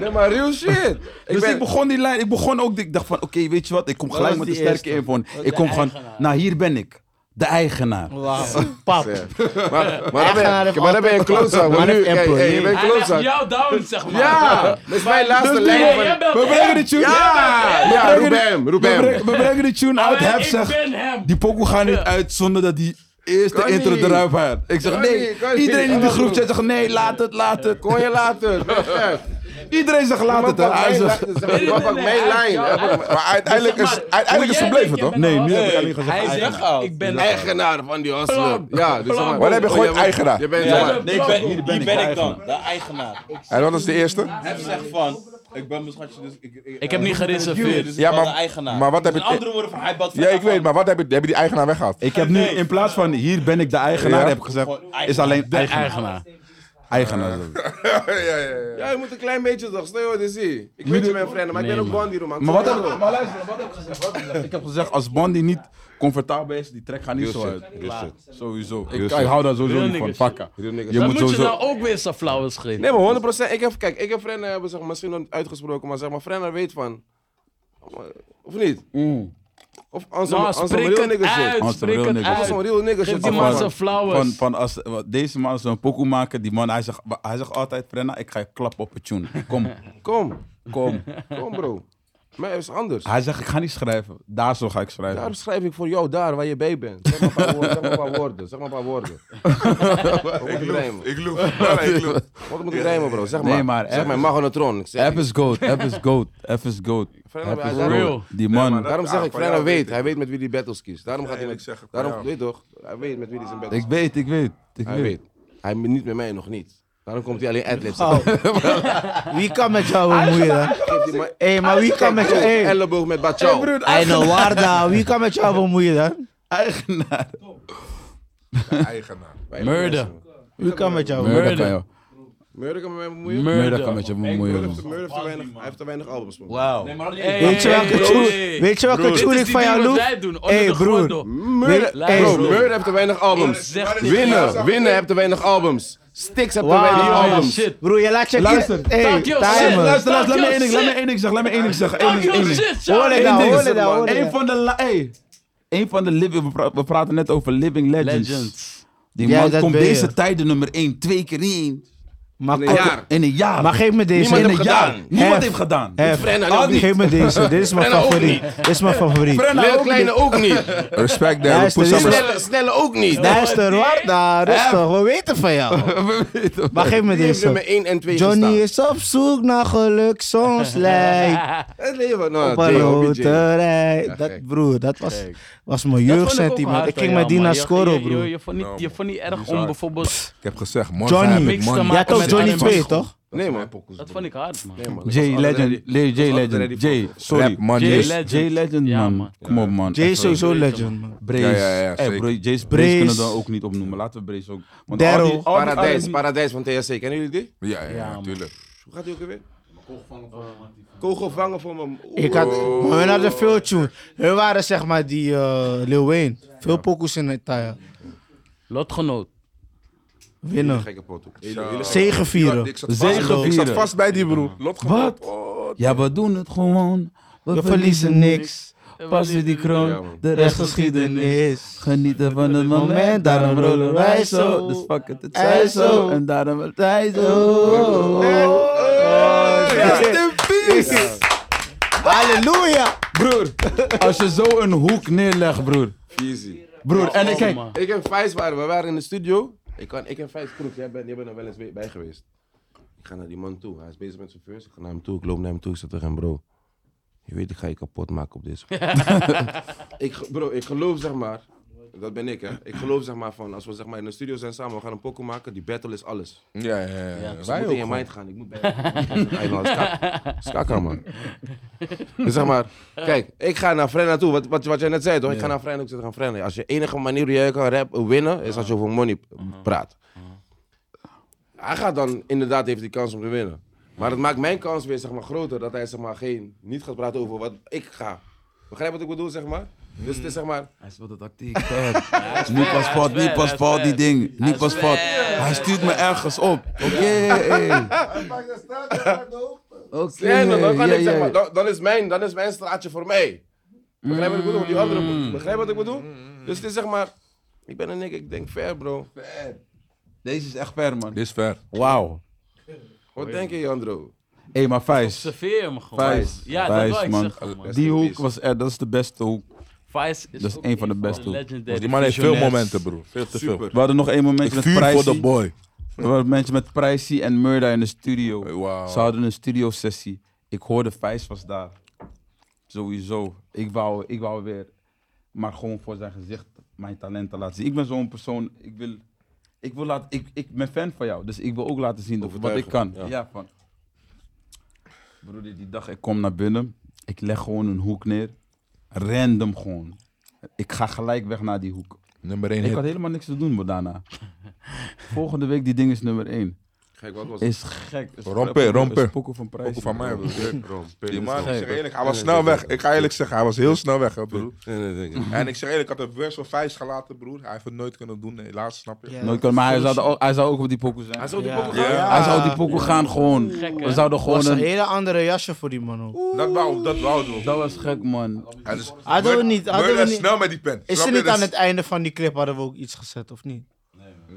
[SPEAKER 1] Nee, maar real shit.
[SPEAKER 2] dus
[SPEAKER 1] ben-
[SPEAKER 2] ik begon die lijn, ik begon ook, ik dacht van, oké, weet je wat, ik kom gelijk
[SPEAKER 4] was
[SPEAKER 2] met de
[SPEAKER 4] die
[SPEAKER 2] sterke
[SPEAKER 4] eerste?
[SPEAKER 2] inval. Ik kom gewoon, nou hier ben ik, de eigenaar.
[SPEAKER 4] Wauw. Pap.
[SPEAKER 1] Maar, maar, dan ben,
[SPEAKER 4] Eigenaar heeft
[SPEAKER 1] je- maar dan ben je een
[SPEAKER 4] altijd-
[SPEAKER 1] klootzak. want
[SPEAKER 4] Maar
[SPEAKER 1] nu,
[SPEAKER 4] heeft
[SPEAKER 1] kijk,
[SPEAKER 4] Apple,
[SPEAKER 1] hey, je
[SPEAKER 4] nee.
[SPEAKER 1] bent een
[SPEAKER 5] Hij legt
[SPEAKER 1] klootzak.
[SPEAKER 5] jou down, zeg maar.
[SPEAKER 1] Ja, dat is mijn laatste
[SPEAKER 2] Dus
[SPEAKER 1] lijn.
[SPEAKER 2] nee,
[SPEAKER 1] van-
[SPEAKER 5] jij bent-
[SPEAKER 2] We brengen de tune
[SPEAKER 1] Ja,
[SPEAKER 2] uit.
[SPEAKER 1] ja,
[SPEAKER 2] We
[SPEAKER 1] roep
[SPEAKER 2] brengen de-
[SPEAKER 1] hem, roep
[SPEAKER 2] we
[SPEAKER 1] hem.
[SPEAKER 2] brengen- We brengen de tune uit.
[SPEAKER 5] Maar
[SPEAKER 2] Heb
[SPEAKER 5] ik
[SPEAKER 2] zegt,
[SPEAKER 5] ben hem.
[SPEAKER 2] die pokoe gaat niet uit zonder dat die eerste
[SPEAKER 1] Kan
[SPEAKER 2] intro
[SPEAKER 1] niet.
[SPEAKER 2] eruit gaat. Ik zeg
[SPEAKER 1] Kan
[SPEAKER 2] nee.
[SPEAKER 1] niet, kan niet.
[SPEAKER 2] Iedereen in de
[SPEAKER 1] Kan
[SPEAKER 2] groep
[SPEAKER 1] niet.
[SPEAKER 2] zegt zeg, nee, laat het, laat het.
[SPEAKER 1] Kon je later.
[SPEAKER 2] Iedereen zegt laat het. hè. Hij zegt,
[SPEAKER 1] Wat pak mijn lijn? Hij pakt mijn-
[SPEAKER 3] Maar uiteindelijk is, uiteindelijk is ze
[SPEAKER 5] bleef
[SPEAKER 3] bleven, toch?
[SPEAKER 2] Nee, nu heb ik alleen gezegd
[SPEAKER 5] Hij
[SPEAKER 2] eigenaar.
[SPEAKER 5] zegt, ik ben
[SPEAKER 1] Eigenaar van die hustler.
[SPEAKER 5] Plan.
[SPEAKER 1] Ja, dus
[SPEAKER 5] Plan.
[SPEAKER 1] zeg
[SPEAKER 3] Wanneer heb je
[SPEAKER 1] Oh,
[SPEAKER 3] gewoon
[SPEAKER 1] jij bent-
[SPEAKER 3] eigenaar?
[SPEAKER 1] Je bent
[SPEAKER 6] Ja,
[SPEAKER 1] zeg maar-
[SPEAKER 6] nee, ik ben,
[SPEAKER 2] hier
[SPEAKER 6] wie
[SPEAKER 2] ben
[SPEAKER 6] ben
[SPEAKER 2] ik
[SPEAKER 6] ik,
[SPEAKER 2] de
[SPEAKER 6] dan? De eigenaar.
[SPEAKER 3] En wat is de eerste?
[SPEAKER 6] Hij zegt van, ik ben mijn schatje, dus ik... Ik,
[SPEAKER 5] Ik heb niet gereserveerd.
[SPEAKER 6] Dus
[SPEAKER 3] Ja,
[SPEAKER 6] ja, maar, de
[SPEAKER 3] maar-
[SPEAKER 6] eigenaar.
[SPEAKER 3] maar wat heb
[SPEAKER 6] Dus
[SPEAKER 3] ik-
[SPEAKER 6] In andere woorden, van, hij bad
[SPEAKER 3] Ja, ik weet, maar wat heb je, heb je die eigenaar weggehaald?
[SPEAKER 2] Ik heb nu in plaats van hier ben ik de eigenaar,
[SPEAKER 3] Ja.
[SPEAKER 2] heb ik gezegd, is alleen
[SPEAKER 5] de
[SPEAKER 2] eigenaar.
[SPEAKER 5] eigenaar.
[SPEAKER 2] eigenaar.
[SPEAKER 3] ja, ja, ja.
[SPEAKER 1] Ja, je moet een klein beetje toch. Stel je wat je ziet. Ik weet je mijn vrienden, maar ik ben
[SPEAKER 5] Nee,
[SPEAKER 1] ook
[SPEAKER 5] man.
[SPEAKER 1] Bondi, man.
[SPEAKER 2] Maar wat heb, maar luister, wat heb ik gezegd? Wat heb ik gezegd? Ik heb gezegd, als Bondi niet comfortabel is, die trek gaat niet zo uit. Sowieso. Ik, ik hou daar sowieso
[SPEAKER 5] Real
[SPEAKER 2] niet van.
[SPEAKER 5] niggas.
[SPEAKER 2] Fakka.
[SPEAKER 1] Real niggas.
[SPEAKER 2] Je
[SPEAKER 5] Dan
[SPEAKER 2] moet
[SPEAKER 5] moet je
[SPEAKER 2] sowieso...
[SPEAKER 5] nou ook weer zijn flauwes geven.
[SPEAKER 1] Nee, maar 100 Ik heb, kijk, ik heb vrienden hebben zeg, maar, misschien nog niet uitgesproken, maar zeg maar, vrienden weet van. Of niet?
[SPEAKER 2] Mm.
[SPEAKER 1] Of als
[SPEAKER 5] Nou,
[SPEAKER 1] een
[SPEAKER 5] spreek
[SPEAKER 1] real
[SPEAKER 5] het
[SPEAKER 1] nigga shit.
[SPEAKER 5] uit,
[SPEAKER 2] Als een
[SPEAKER 5] spreek
[SPEAKER 2] real
[SPEAKER 5] het
[SPEAKER 2] nigga
[SPEAKER 1] Als
[SPEAKER 5] uit.
[SPEAKER 1] zo'n real nigga
[SPEAKER 5] Geef
[SPEAKER 1] shit.
[SPEAKER 5] die
[SPEAKER 1] zeg
[SPEAKER 5] man
[SPEAKER 1] maar.
[SPEAKER 5] zijn
[SPEAKER 2] Van,
[SPEAKER 5] flowers.
[SPEAKER 2] van als wat deze man zo'n pokoe maken, die man, hij zegt, hij zegt altijd, Frenna, ik ga je klappen op het tune. Kom,
[SPEAKER 1] Kom,
[SPEAKER 2] kom.
[SPEAKER 1] kom bro. Maar het is anders.
[SPEAKER 2] Hij zegt, ik ga niet schrijven. Daar zo ga ik schrijven.
[SPEAKER 1] Daarom schrijf ik voor jou daar waar je bij bent. Zeg maar een paar woorden. Zeg maar een paar woorden. Zeg maar een paar woorden. Wat moet ik rijmen?
[SPEAKER 3] Ik loop. Ja, ik loop.
[SPEAKER 1] Wat moet ik rijmen, bro? Zeg maar.
[SPEAKER 2] Nee, maar
[SPEAKER 1] zeg
[SPEAKER 2] F-
[SPEAKER 1] maar magnetron. Ik zeg,
[SPEAKER 2] F is goat, F is goat, F is goat.
[SPEAKER 1] Frenna,
[SPEAKER 2] F is
[SPEAKER 1] hij-
[SPEAKER 2] goat. Die man,
[SPEAKER 1] daarom zeg
[SPEAKER 3] Ah,
[SPEAKER 1] ik,
[SPEAKER 3] van
[SPEAKER 1] Frenna
[SPEAKER 3] jou weet
[SPEAKER 1] weet. Hij weet met wie die battles kiest. Daarom gaat hij
[SPEAKER 3] eerlijk
[SPEAKER 1] met...
[SPEAKER 3] zeggen, van
[SPEAKER 1] daarom,
[SPEAKER 3] jou.
[SPEAKER 1] weet toch? Hij weet met wie hij zijn battles
[SPEAKER 2] ik weet, ik weet. Ik
[SPEAKER 1] Hij
[SPEAKER 2] weet.
[SPEAKER 1] weet. Hij me- niet met mij nog niet. Daarom komt hij alleen adlibs.
[SPEAKER 4] Gauw. Wie kan met jou bemoeien, hè? Hé, maar wie kan met jou...
[SPEAKER 1] Hey.
[SPEAKER 4] Hé,
[SPEAKER 1] Elleboog met Bachau.
[SPEAKER 4] Einde Warda, wie kan met jou bemoeien, dan?
[SPEAKER 2] Eigenaar.
[SPEAKER 3] Eigenaar.
[SPEAKER 5] Murder.
[SPEAKER 4] Wie kan met jou bemoeien?
[SPEAKER 2] Murder kan jou.
[SPEAKER 1] Murder kan met mij bemoeien.
[SPEAKER 2] Murder kan met je bemoeien. man.
[SPEAKER 1] Murder heeft te weinig- hij heeft te weinig albums. man.
[SPEAKER 2] Wauw.
[SPEAKER 4] Weet je welke tune- weet je welke tune ik van jou doe? Hey, broer.
[SPEAKER 1] Murder,
[SPEAKER 4] Weet- hey,
[SPEAKER 1] bro,
[SPEAKER 4] bro.
[SPEAKER 1] Murder heeft te weinig albums.
[SPEAKER 5] zeg dit.
[SPEAKER 1] Winnen, winnen heeft te weinig albums. Sticks heeft te
[SPEAKER 4] Wauw.
[SPEAKER 1] weinig
[SPEAKER 4] Ja,
[SPEAKER 1] albums.
[SPEAKER 5] shit.
[SPEAKER 4] Broer, je laat je...
[SPEAKER 2] Luister.
[SPEAKER 4] Hé,
[SPEAKER 5] Dank je,
[SPEAKER 2] Hey,
[SPEAKER 5] shit.
[SPEAKER 4] timer.
[SPEAKER 2] luister, luister, laat
[SPEAKER 5] Dank
[SPEAKER 2] me
[SPEAKER 5] je,
[SPEAKER 2] één ding, laat me
[SPEAKER 5] shit.
[SPEAKER 2] één ding zeggen, laat me één ding zeggen. één
[SPEAKER 5] Dank
[SPEAKER 2] ding,
[SPEAKER 5] je,
[SPEAKER 2] één ding.
[SPEAKER 5] shit,
[SPEAKER 4] Hoor
[SPEAKER 5] Charlie.
[SPEAKER 4] ik nou,
[SPEAKER 2] Eén
[SPEAKER 4] hoor
[SPEAKER 2] ding
[SPEAKER 4] ik nou, hoor ik
[SPEAKER 2] Eén
[SPEAKER 4] nou.
[SPEAKER 2] van de, la- hey, één van de, li- we, pra- we praten net over living legends.
[SPEAKER 5] Legends.
[SPEAKER 2] Die
[SPEAKER 4] Ja,
[SPEAKER 2] man
[SPEAKER 4] dat
[SPEAKER 2] komt
[SPEAKER 4] ben je.
[SPEAKER 2] deze tijden nummer 1 twee keer in.
[SPEAKER 4] Maar,
[SPEAKER 1] Nee,
[SPEAKER 4] kom-
[SPEAKER 1] ja.
[SPEAKER 2] In een jaar.
[SPEAKER 4] maar geef me deze.
[SPEAKER 2] in
[SPEAKER 1] Niemand
[SPEAKER 2] een
[SPEAKER 1] heeft
[SPEAKER 2] jaar.
[SPEAKER 1] gedaan.
[SPEAKER 2] Niemand
[SPEAKER 4] Hef.
[SPEAKER 2] heeft gedaan.
[SPEAKER 4] Hef.
[SPEAKER 1] Frenna ook niet.
[SPEAKER 4] Geef me deze. Dit is mijn
[SPEAKER 1] Frenna ook
[SPEAKER 4] favoriet. Dit is mijn favoriet.
[SPEAKER 2] Frenna
[SPEAKER 1] Lil
[SPEAKER 2] ook
[SPEAKER 1] Kleine
[SPEAKER 2] niet.
[SPEAKER 1] ook niet.
[SPEAKER 3] Respect
[SPEAKER 4] Ja,
[SPEAKER 3] daar.
[SPEAKER 4] is de
[SPEAKER 3] Poes
[SPEAKER 4] liefde.
[SPEAKER 1] Snelle, snelle ook niet.
[SPEAKER 4] Luister, wacht daar. Rustig, we weten van jou.
[SPEAKER 2] We weten het.
[SPEAKER 4] Maar geef me
[SPEAKER 1] Die heeft nummer
[SPEAKER 4] deze.
[SPEAKER 1] 1 en 2
[SPEAKER 4] Johnny
[SPEAKER 1] gestaan.
[SPEAKER 4] is op zoek naar geluk, soms lijkt
[SPEAKER 1] Het leven,
[SPEAKER 4] op een
[SPEAKER 1] nou,
[SPEAKER 4] rode
[SPEAKER 1] J.O.B.J.
[SPEAKER 4] rij. dat,
[SPEAKER 1] gek.
[SPEAKER 4] broer, dat was,
[SPEAKER 5] Gek.
[SPEAKER 4] was mijn jeugdsentiment. Ik ging met die naar Scoro,
[SPEAKER 5] Je, je,
[SPEAKER 4] broer.
[SPEAKER 5] je, vond niet, je vond niet erg om
[SPEAKER 3] Bizar.
[SPEAKER 5] bijvoorbeeld...
[SPEAKER 3] Ik heb gezegd, morgen
[SPEAKER 4] Johnny.
[SPEAKER 3] heb ik
[SPEAKER 5] Mix te
[SPEAKER 3] money.
[SPEAKER 5] maken.
[SPEAKER 4] Jij had ook
[SPEAKER 5] met
[SPEAKER 4] Johnny
[SPEAKER 5] Animals.
[SPEAKER 4] 2, toch?
[SPEAKER 1] Nee, man.
[SPEAKER 5] Dat vond ik hard, man.
[SPEAKER 1] Nee, man. Dat
[SPEAKER 2] Jay
[SPEAKER 1] was
[SPEAKER 2] Legend.
[SPEAKER 1] already-
[SPEAKER 2] Jay Jay
[SPEAKER 1] was
[SPEAKER 2] Legend.
[SPEAKER 1] already
[SPEAKER 2] Jay, sorry.
[SPEAKER 3] Rap money.
[SPEAKER 5] Jay
[SPEAKER 2] Jay
[SPEAKER 3] is-
[SPEAKER 5] Legend.
[SPEAKER 2] Jay Legend,
[SPEAKER 5] Ja,
[SPEAKER 2] man.
[SPEAKER 5] man.
[SPEAKER 2] Kom op, man.
[SPEAKER 4] Jay is sowieso
[SPEAKER 5] Weten,
[SPEAKER 4] legend, man.
[SPEAKER 2] Brace.
[SPEAKER 3] Ja, ja, ja,
[SPEAKER 2] Eh,
[SPEAKER 3] zeker.
[SPEAKER 2] bro, Jay's Brace,
[SPEAKER 4] Brace.
[SPEAKER 2] kunnen we dan ook niet opnoemen. Laten we Brace ook. Want al
[SPEAKER 4] Daryl.
[SPEAKER 2] die- al die
[SPEAKER 1] Paradijs,
[SPEAKER 2] R&B
[SPEAKER 1] Paradijs van TSC. Kennen jullie die?
[SPEAKER 3] Ja, ja,
[SPEAKER 5] Ja,
[SPEAKER 3] ja,
[SPEAKER 5] man.
[SPEAKER 3] tuurlijk.
[SPEAKER 1] Hoe gaat die ook alweer? Kogel vangen voor mijn... Oeh.
[SPEAKER 4] Ik had, maar we hadden veel tune. We waren zeg maar die eh, Lil Wayne. Veel pokus in het tire.
[SPEAKER 5] Lotgenoot.
[SPEAKER 4] Winnen.
[SPEAKER 1] Gekke poten.
[SPEAKER 4] Zegevieren.
[SPEAKER 3] Ik zat, vast,
[SPEAKER 2] Zegenvieren.
[SPEAKER 3] ik zat vast bij die broer. Lot
[SPEAKER 2] Wat? Ja, we doen het gewoon. We,
[SPEAKER 4] We verliezen niks.
[SPEAKER 2] Passen die
[SPEAKER 1] Ja,
[SPEAKER 2] kroon.
[SPEAKER 1] man.
[SPEAKER 2] De rest geschiedenis.
[SPEAKER 4] Restgeschiedenis.
[SPEAKER 2] Genieten van het moment, daarom rollen wij zo. Dus fuck het, het zij zo. En daarom het zij zo.
[SPEAKER 4] Halleluja!
[SPEAKER 2] Broer, als je zo een hoek neerlegt, broer.
[SPEAKER 1] Easy.
[SPEAKER 2] Broer, en ik kijk.
[SPEAKER 5] man.
[SPEAKER 1] Ik en Vijs waren, we waren in de studio. Ik, kan, ik en Vijs Kroek, jij bent, jij bent er wel eens bij- bij geweest. Ik ga naar die man toe. Hij is bezig met zijn first. Ik ga naar hem toe. Ik loop naar hem toe. Ik zeg tegen hem, bro. Je weet, ik ga je kapot maken op deze. ik, ge- bro, ik geloof zeg maar. Dat ben ik, hè. Ik geloof zeg maar van, als we zeg maar in de studio zijn samen, we gaan een pokken maken. Die battle is alles.
[SPEAKER 3] Ja, ja, ja.
[SPEAKER 5] Ja,
[SPEAKER 3] ja.
[SPEAKER 5] dus
[SPEAKER 1] Ik
[SPEAKER 3] Wij
[SPEAKER 1] moet
[SPEAKER 3] ook.
[SPEAKER 1] in je mind gaan. Ik moet bij. Hij was kak- is kakker, man. Dus zeg maar, kijk, ik ga naar Frenna toe. Wat, wat, wat jij net zei, toch? Ik ga naar Frenna. Ik zeg gaan Frenna. Als je enige manier die jij kan rap winnen, is als je over money praat. Hij gaat dan inderdaad heeft die kans om te winnen. Maar dat maakt mijn kans weer zeg maar, groter dat hij zeg maar, geen, niet gaat praten over wat ik ga. Begrijp wat ik bedoel, zeg maar? Dus het is zeg maar.
[SPEAKER 2] Hij speelt de tactiek. Nu pas fout, nu pas fout, die ding. Nu pas fout. Hij stuurt me ergens op. Oké. Oké.
[SPEAKER 1] Nee, dan, dan kan
[SPEAKER 2] ja,
[SPEAKER 1] ik zeg
[SPEAKER 2] ja. Mm.
[SPEAKER 1] maar, dan, dan is mijn, dan is mijn straatje voor mij. Begrijp wat ik bedoel? Die andere moet. Begrijp wat ik bedoel? Dus het is zeg maar, ik ben een nek, ik denk ver bro.
[SPEAKER 2] Deze is echt ver, man.
[SPEAKER 3] Dit is ver.
[SPEAKER 2] Wauw.
[SPEAKER 1] Wat denk je Jandro?
[SPEAKER 2] Hé, maar Vijs.
[SPEAKER 5] Serveer hem gewoon.
[SPEAKER 2] Vijs.
[SPEAKER 5] Ja,
[SPEAKER 2] Vijs,
[SPEAKER 5] dat wil ik
[SPEAKER 2] man.
[SPEAKER 5] zeggen, man.
[SPEAKER 2] Die hoek was er, dat is de beste hoek.
[SPEAKER 5] Vijs is
[SPEAKER 2] Dat is
[SPEAKER 5] ook
[SPEAKER 2] een van de beste, hoor.
[SPEAKER 5] legendary
[SPEAKER 3] Die man heeft veel
[SPEAKER 5] visionairs.
[SPEAKER 3] momenten, broer. Veel te veel.
[SPEAKER 1] Super.
[SPEAKER 2] We hadden nog één
[SPEAKER 3] Ik
[SPEAKER 2] momentje met
[SPEAKER 3] vuur voor
[SPEAKER 2] Pricey.
[SPEAKER 3] de boy.
[SPEAKER 2] Er waren mensen met Pricey en Murda in de studio.
[SPEAKER 3] Wauw.
[SPEAKER 2] Ze hadden een studiosessie. Ik hoorde Vijs was daar. Sowieso. Ik wou, ik wou weer, maar gewoon voor zijn gezicht, mijn talenten laten zien. Ik ben zo'n persoon, ik wil, ik wil laten, ik, ik ben fan van jou. Dus ik wil ook laten zien wat ik kan. Ja. van. Broeder, die dag, ik kom naar binnen. Ik leg gewoon een hoek neer. Random gewoon. Ik ga gelijk weg naar die hoek.
[SPEAKER 3] Nummer 1
[SPEAKER 2] Ik had
[SPEAKER 3] hit.
[SPEAKER 2] helemaal niks te doen bro, daarna. Volgende week, die ding is nummer 1.
[SPEAKER 1] Gek, wat was het?
[SPEAKER 2] Is gek. Is
[SPEAKER 3] Rompe,
[SPEAKER 2] grappig, bro.
[SPEAKER 3] rompe.
[SPEAKER 2] Is pokoe van prijs.
[SPEAKER 3] Ook van mij, broer. Die man, ik
[SPEAKER 2] gek.
[SPEAKER 3] zeg eerlijk, hij was snel weg. Ik ga eerlijk zeggen, hij was heel snel weg, hè, broer.
[SPEAKER 1] Broer.
[SPEAKER 3] En ik zeg eerlijk, ik had het worst van vijf gelaten, broer. Hij heeft het nooit kunnen doen, helaas, snap je?
[SPEAKER 2] Nooit kan, maar hij zou, er ook- hij zou ook op die pokoe zijn.
[SPEAKER 1] Hij
[SPEAKER 2] Hij
[SPEAKER 1] zou die
[SPEAKER 4] Ja.
[SPEAKER 1] poppen
[SPEAKER 3] Ja.
[SPEAKER 1] gaan.
[SPEAKER 2] zou op die pokoe gaan gewoon.
[SPEAKER 5] Gek,
[SPEAKER 2] We
[SPEAKER 5] hè?
[SPEAKER 2] zouden
[SPEAKER 4] was
[SPEAKER 2] gewoon
[SPEAKER 4] een
[SPEAKER 2] een...
[SPEAKER 4] hele andere jasje voor die man ook.
[SPEAKER 3] Dat wou, dat wouden we.
[SPEAKER 2] Dat was gek, man.
[SPEAKER 3] Hij dus,
[SPEAKER 4] Hadden we
[SPEAKER 3] Murda-
[SPEAKER 4] niet- hadden
[SPEAKER 3] Murda
[SPEAKER 4] we niet-
[SPEAKER 3] snel met die pen.
[SPEAKER 4] Is
[SPEAKER 3] Snap
[SPEAKER 4] er
[SPEAKER 3] je?
[SPEAKER 4] niet
[SPEAKER 3] Dus-
[SPEAKER 4] aan het einde van die clip hadden we ook iets gezet, of niet?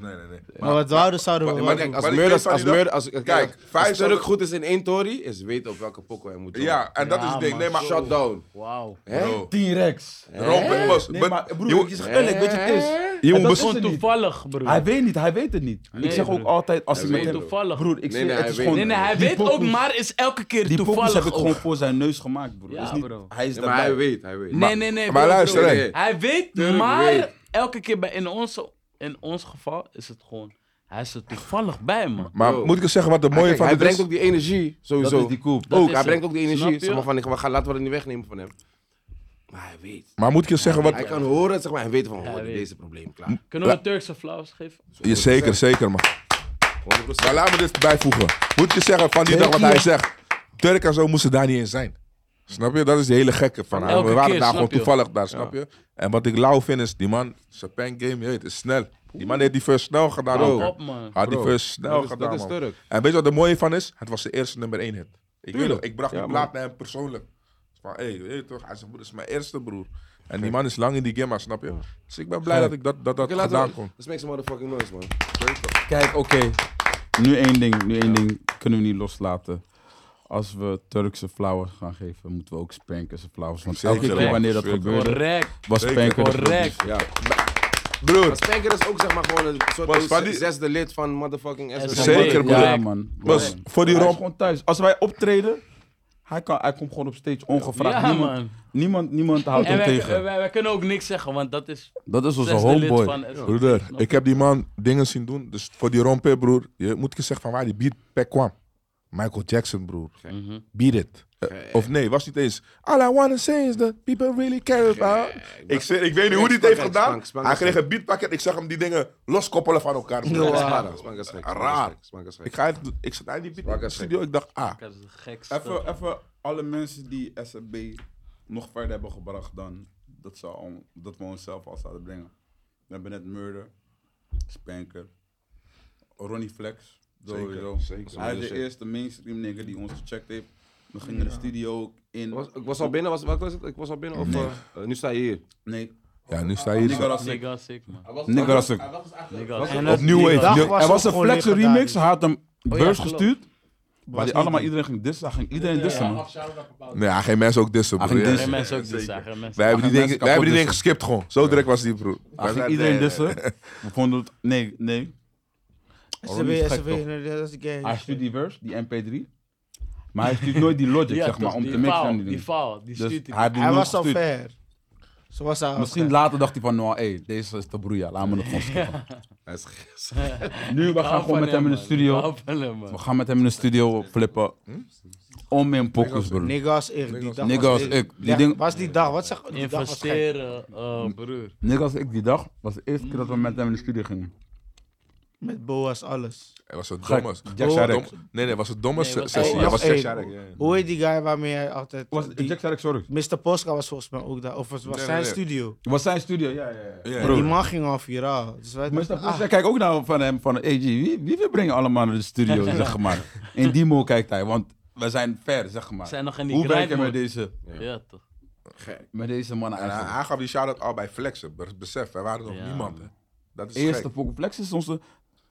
[SPEAKER 3] Nee, nee, nee.
[SPEAKER 4] Maar wat zouden, zouden we
[SPEAKER 3] maar-
[SPEAKER 4] wel
[SPEAKER 3] maar-
[SPEAKER 4] doen.
[SPEAKER 1] Als
[SPEAKER 3] ik
[SPEAKER 1] Murder,
[SPEAKER 3] weet van
[SPEAKER 1] als
[SPEAKER 3] die
[SPEAKER 1] Murder,
[SPEAKER 3] dag-
[SPEAKER 1] als, kijk,
[SPEAKER 3] Kijk, vijf
[SPEAKER 1] als Turk
[SPEAKER 3] hadden-
[SPEAKER 1] goed is in één tory, is weten op welke pokkel hij moet doen.
[SPEAKER 3] Ja, en dat is het ding. Nee, maar...
[SPEAKER 1] Shut down.
[SPEAKER 5] Wauw.
[SPEAKER 1] Hè?
[SPEAKER 3] Bro,
[SPEAKER 2] 10 rex.
[SPEAKER 3] Rompen was...
[SPEAKER 2] Nee,
[SPEAKER 3] but-
[SPEAKER 2] maar
[SPEAKER 3] Jongen,
[SPEAKER 2] broer, je zegt eerlijk, weet je wat het is?
[SPEAKER 3] jongen,
[SPEAKER 2] En dat
[SPEAKER 3] bes-
[SPEAKER 2] is
[SPEAKER 5] Gewoon
[SPEAKER 2] het niet.
[SPEAKER 5] toevallig, broer.
[SPEAKER 2] Hij weet niet, hij weet het niet. Ik
[SPEAKER 5] Nee,
[SPEAKER 2] zeg ook
[SPEAKER 5] broer.
[SPEAKER 2] altijd als
[SPEAKER 1] Hij
[SPEAKER 2] ik met
[SPEAKER 1] weet
[SPEAKER 2] hem...
[SPEAKER 1] het.
[SPEAKER 5] toevallig.
[SPEAKER 2] Broer, ik
[SPEAKER 1] Nee,
[SPEAKER 2] zeg
[SPEAKER 1] nee,
[SPEAKER 2] het
[SPEAKER 1] hij
[SPEAKER 2] is
[SPEAKER 1] weet
[SPEAKER 2] gewoon...
[SPEAKER 5] Nee, nee, hij
[SPEAKER 2] die
[SPEAKER 5] weet
[SPEAKER 2] pokoes-
[SPEAKER 5] ook, maar is elke keer
[SPEAKER 2] Die pokoes
[SPEAKER 5] toevallig
[SPEAKER 2] heb ik gewoon
[SPEAKER 5] ook.
[SPEAKER 2] voor zijn neus gemaakt, broer.
[SPEAKER 5] Ja,
[SPEAKER 2] Is niet-
[SPEAKER 5] bro.
[SPEAKER 2] Hij is
[SPEAKER 1] Ja, maar hij
[SPEAKER 2] daarbij.
[SPEAKER 1] weet, hij weet.
[SPEAKER 5] Nee, nee, nee.
[SPEAKER 3] Maar
[SPEAKER 5] broer,
[SPEAKER 3] luister,
[SPEAKER 5] broer.
[SPEAKER 3] hè.
[SPEAKER 5] Hij weet,
[SPEAKER 1] Tuurlijk
[SPEAKER 5] maar
[SPEAKER 1] weet.
[SPEAKER 5] elke keer bij, in, onze, in ons geval is het gewoon... Hij is er toevallig bij, man.
[SPEAKER 3] Maar
[SPEAKER 1] Bro.
[SPEAKER 3] moet ik je zeggen wat de mooie
[SPEAKER 1] Kijk,
[SPEAKER 3] van
[SPEAKER 1] hij
[SPEAKER 3] het
[SPEAKER 1] brengt
[SPEAKER 3] is?
[SPEAKER 1] ook die energie, sowieso.
[SPEAKER 2] dus- Dat is die koep.
[SPEAKER 5] Dat
[SPEAKER 1] ook,
[SPEAKER 5] is
[SPEAKER 1] hij
[SPEAKER 5] het.
[SPEAKER 1] brengt ook die
[SPEAKER 5] Snap je?
[SPEAKER 1] energie. Zeg maar van, ik, we gaan, laten we het niet wegnemen van hem. Maar hij weet.
[SPEAKER 3] Maar moet ik je zeggen
[SPEAKER 1] Hij
[SPEAKER 3] wat...
[SPEAKER 1] kan horen, zeg maar, hij weet van, hoor,
[SPEAKER 5] hij weet.
[SPEAKER 1] deze probleem, klaar.
[SPEAKER 5] Kunnen we Turkse flauws geven?
[SPEAKER 3] Ja, zeker, zeker, man.
[SPEAKER 1] 100%.
[SPEAKER 3] Maar laat me dit bijvoegen. Moet je zeggen van die dag wat hij zegt. Turk en zo moesten daar niet in zijn. Snap je? Dat is de hele gekke van hem.
[SPEAKER 5] Elke
[SPEAKER 3] We waren
[SPEAKER 5] keer,
[SPEAKER 3] daar
[SPEAKER 5] snap
[SPEAKER 3] gewoon
[SPEAKER 5] je.
[SPEAKER 3] toevallig daar, snap je? En wat ik lauw vind is, die man, zijn game, je weet, is snel. Die man heeft die first snel gedaan
[SPEAKER 5] Hou
[SPEAKER 3] ook.
[SPEAKER 5] op, man.
[SPEAKER 3] Had die
[SPEAKER 1] Bro,
[SPEAKER 3] first snel
[SPEAKER 1] dat is-
[SPEAKER 3] gedaan,
[SPEAKER 1] dat is
[SPEAKER 3] man.
[SPEAKER 1] Turk.
[SPEAKER 3] En weet je wat de mooie van is? Het was zijn eerste nummer 1 hit. Ik, weet
[SPEAKER 1] Tuurlijk.
[SPEAKER 3] nog, ik bracht
[SPEAKER 1] Ja,
[SPEAKER 3] die
[SPEAKER 1] man.
[SPEAKER 3] plaat naar hem persoonlijk. Van, hé, hey, weet je toch? Hij zegt, broer, dat is mijn eerste broer. En die man is lang in die game, maar snap je? Dus ik ben blij
[SPEAKER 2] Gek.
[SPEAKER 3] dat ik dat, dat, dat
[SPEAKER 1] Oké, laten
[SPEAKER 3] gedaan
[SPEAKER 1] we...
[SPEAKER 3] kon.
[SPEAKER 1] Let's make some motherfucking noise, man.
[SPEAKER 2] Kijk, oké. Nu één ding, nu één ding kunnen we niet loslaten. Als we Turkse flowers gaan geven, moeten we ook spanken ze flowers. Want
[SPEAKER 3] Zeker,
[SPEAKER 2] elke keer
[SPEAKER 5] man.
[SPEAKER 2] wanneer dat
[SPEAKER 3] Zeker.
[SPEAKER 2] gebeurde,
[SPEAKER 5] Correct.
[SPEAKER 2] was
[SPEAKER 3] Zeker.
[SPEAKER 2] spanken de
[SPEAKER 5] Correct.
[SPEAKER 2] producer.
[SPEAKER 1] Maar
[SPEAKER 3] Broer,
[SPEAKER 1] Spanker is ook zeg maar gewoon een soort
[SPEAKER 3] Was van
[SPEAKER 1] van
[SPEAKER 3] die-
[SPEAKER 1] zesde lid van motherfucking SNL.
[SPEAKER 3] Zeker,
[SPEAKER 5] Zeker,
[SPEAKER 3] broer.
[SPEAKER 2] Ja,
[SPEAKER 5] correct.
[SPEAKER 2] man.
[SPEAKER 3] Was
[SPEAKER 2] Ja, man.
[SPEAKER 3] voor die
[SPEAKER 2] Hij is
[SPEAKER 3] ramp.
[SPEAKER 2] gewoon thuis. Als wij optreden, hij, kan, hij komt gewoon op stage ongevraagd.
[SPEAKER 5] Ja,
[SPEAKER 2] niemand,
[SPEAKER 5] man.
[SPEAKER 2] niemand, niemand houdt
[SPEAKER 5] En
[SPEAKER 2] hem
[SPEAKER 5] wij,
[SPEAKER 2] tegen.
[SPEAKER 5] wij, wij kunnen ook niks zeggen, want dat is
[SPEAKER 2] dat is onze
[SPEAKER 5] zesde lid
[SPEAKER 2] homeboy.
[SPEAKER 5] van SNL.
[SPEAKER 3] Broeder,
[SPEAKER 5] Snap je?
[SPEAKER 3] ik heb die man dingen zien doen. Dus voor die romper, broer, je moet ik zeggen van waar die beatpack kwam. Michael Jackson, broer.
[SPEAKER 5] Mhm.
[SPEAKER 3] Beat it. Eh, of nee, was niet eens. All I wanna say is that people really care about. Ik, zeg- ik weet niet hoe die het heeft
[SPEAKER 1] Spank,
[SPEAKER 3] gedaan.
[SPEAKER 1] spank, spank,
[SPEAKER 3] Hij
[SPEAKER 1] spank.
[SPEAKER 3] kreeg een beatpakket. Ik zag hem die dingen loskoppelen van elkaar. broer.
[SPEAKER 1] Spank
[SPEAKER 3] Dat
[SPEAKER 1] is
[SPEAKER 3] is
[SPEAKER 1] raar.
[SPEAKER 3] waar.
[SPEAKER 1] Spank is gek.
[SPEAKER 3] Raar.
[SPEAKER 1] Spank is
[SPEAKER 3] Ik,
[SPEAKER 1] gek.
[SPEAKER 3] ga even- ik zat aan die
[SPEAKER 1] Spank
[SPEAKER 3] beat
[SPEAKER 1] is
[SPEAKER 3] studio. Ik dacht, ah.
[SPEAKER 5] Dat is de gekste.
[SPEAKER 2] Even, even alle mensen die SFB nog verder hebben gebracht dan dat, ze al, dat we onszelf al zouden brengen. We hebben net Murder, Spanker, Ronnie Flex. sowieso.
[SPEAKER 3] zeker.
[SPEAKER 2] Hij is de eerste mainstream nigger die ons gecheckt heeft. We gingen de studio ook in.
[SPEAKER 1] Ik was, ik was al binnen, was, wat was het? Ik was al binnen of... eh, eh, nu sta je hier.
[SPEAKER 2] Nee,
[SPEAKER 3] Ja, nu sta je
[SPEAKER 2] Nigga
[SPEAKER 3] hier.
[SPEAKER 2] was ik.
[SPEAKER 5] Nigga sick, man.
[SPEAKER 2] Nigga was ik.
[SPEAKER 5] Nigga sick.
[SPEAKER 4] En
[SPEAKER 3] Op
[SPEAKER 4] het-
[SPEAKER 3] New
[SPEAKER 4] die
[SPEAKER 3] Wave.
[SPEAKER 4] dag
[SPEAKER 3] Er
[SPEAKER 2] Er was
[SPEAKER 4] het
[SPEAKER 2] een
[SPEAKER 4] gewoon
[SPEAKER 2] Flex
[SPEAKER 4] legendarisch.
[SPEAKER 2] remix, hij had hem beurs
[SPEAKER 5] klopt.
[SPEAKER 2] gestuurd.
[SPEAKER 4] Was
[SPEAKER 2] Waar die
[SPEAKER 4] niet
[SPEAKER 2] allemaal
[SPEAKER 4] die.
[SPEAKER 2] iedereen ging dissen, hij ging iedereen dissen man.
[SPEAKER 3] Nee, hij geen mensen ook dissen,
[SPEAKER 2] Hij
[SPEAKER 3] broer.
[SPEAKER 2] ging
[SPEAKER 3] Ja.
[SPEAKER 2] dissen.
[SPEAKER 5] Geen mensen ook dit zeggen. mensen-
[SPEAKER 3] Wij hebben die
[SPEAKER 2] Hij ging
[SPEAKER 3] dingen-
[SPEAKER 2] mensen
[SPEAKER 3] wij hebben
[SPEAKER 2] kapot
[SPEAKER 3] die dingen geskipt gewoon. Zo direct was die, broer.
[SPEAKER 2] Hij
[SPEAKER 3] Wij
[SPEAKER 2] ging
[SPEAKER 3] zeiden,
[SPEAKER 2] iedereen
[SPEAKER 3] nee,
[SPEAKER 2] dissen. We vonden het, nee, nee. Ronnie is
[SPEAKER 4] SCW,
[SPEAKER 2] gek,
[SPEAKER 4] SCW,
[SPEAKER 2] toch?
[SPEAKER 4] nee, dat is de
[SPEAKER 2] Hij
[SPEAKER 4] game.
[SPEAKER 2] stuurt die verse, die MP3. Maar hij stuurt nooit die logic,
[SPEAKER 5] Ja,
[SPEAKER 2] zeg maar,
[SPEAKER 5] toch,
[SPEAKER 2] om
[SPEAKER 5] die
[SPEAKER 2] te mixen
[SPEAKER 5] faal,
[SPEAKER 2] en die
[SPEAKER 5] Die
[SPEAKER 2] dingen.
[SPEAKER 5] faal, die
[SPEAKER 2] Dus
[SPEAKER 5] stuurt
[SPEAKER 2] hij heeft die
[SPEAKER 4] Hij
[SPEAKER 2] nooit
[SPEAKER 4] was al
[SPEAKER 2] gestuurd.
[SPEAKER 4] ver. Zo was hij al
[SPEAKER 2] Misschien
[SPEAKER 4] ver.
[SPEAKER 2] later dacht hij van, nou, hé, deze is de broeia, laat me het gewoon skippen.
[SPEAKER 1] Hij is gek.
[SPEAKER 2] Nu, we gaan gewoon met hem in de studio.
[SPEAKER 5] Hou van hem,
[SPEAKER 2] We
[SPEAKER 5] man.
[SPEAKER 2] gaan met hem in de studio flippen.
[SPEAKER 4] Hm?
[SPEAKER 2] Om in pokus, broer.
[SPEAKER 4] Niggas ik, die dag
[SPEAKER 2] Nigga was
[SPEAKER 4] ik.
[SPEAKER 2] ik. Die
[SPEAKER 4] Ja,
[SPEAKER 2] ding-
[SPEAKER 4] Was die dag, wat zeg die dag was gek.
[SPEAKER 5] Investeren, eh, broer.
[SPEAKER 2] Nick als ik die dag, was de eerste keer dat we met hem in de studio gingen.
[SPEAKER 4] Met Boas, alles.
[SPEAKER 3] Hij was het
[SPEAKER 2] Gek.
[SPEAKER 3] domme.
[SPEAKER 2] Jack
[SPEAKER 3] Oh,
[SPEAKER 2] Sharek.
[SPEAKER 3] dom- Nee, nee, was het domme
[SPEAKER 5] Nee,
[SPEAKER 3] se-
[SPEAKER 5] was-
[SPEAKER 3] sessie.
[SPEAKER 4] Oh,
[SPEAKER 3] Ja, was
[SPEAKER 4] was
[SPEAKER 3] Jack
[SPEAKER 4] één.
[SPEAKER 3] Sharek. ja, ja.
[SPEAKER 4] Hoe heet die guy waarmee hij altijd...
[SPEAKER 2] Was,
[SPEAKER 4] die-
[SPEAKER 2] Jack Sharek, sorry.
[SPEAKER 4] Mr. Posca was volgens mij ook daar. Of het was
[SPEAKER 3] Nee,
[SPEAKER 4] zijn
[SPEAKER 3] nee, nee.
[SPEAKER 4] studio.
[SPEAKER 2] Was zijn studio, ja, ja, ja.
[SPEAKER 3] Ja, ja.
[SPEAKER 4] Die man ging al viraal. Dus wij
[SPEAKER 2] Maar
[SPEAKER 4] dachten, ah,
[SPEAKER 2] Hij kijkt ook nou van hem van, hey G, wie, wie we brengen allemaal naar de studio, zeg maar. In die mol kijkt hij, want we zijn ver, zeg maar.
[SPEAKER 5] We zijn nog in die
[SPEAKER 2] Hoe werken we met
[SPEAKER 5] grind,
[SPEAKER 2] deze,
[SPEAKER 5] man. Ja, toch.
[SPEAKER 2] met deze mannen
[SPEAKER 3] En hij,
[SPEAKER 2] eigenlijk?
[SPEAKER 3] hij gaf die shout-out al bij Flexen. Be- Besef, wij waren nog
[SPEAKER 5] Ja,
[SPEAKER 3] niemand.
[SPEAKER 5] man.
[SPEAKER 3] Hè. Dat is
[SPEAKER 2] eerste
[SPEAKER 3] Eerste
[SPEAKER 2] Pokémon Flex is onze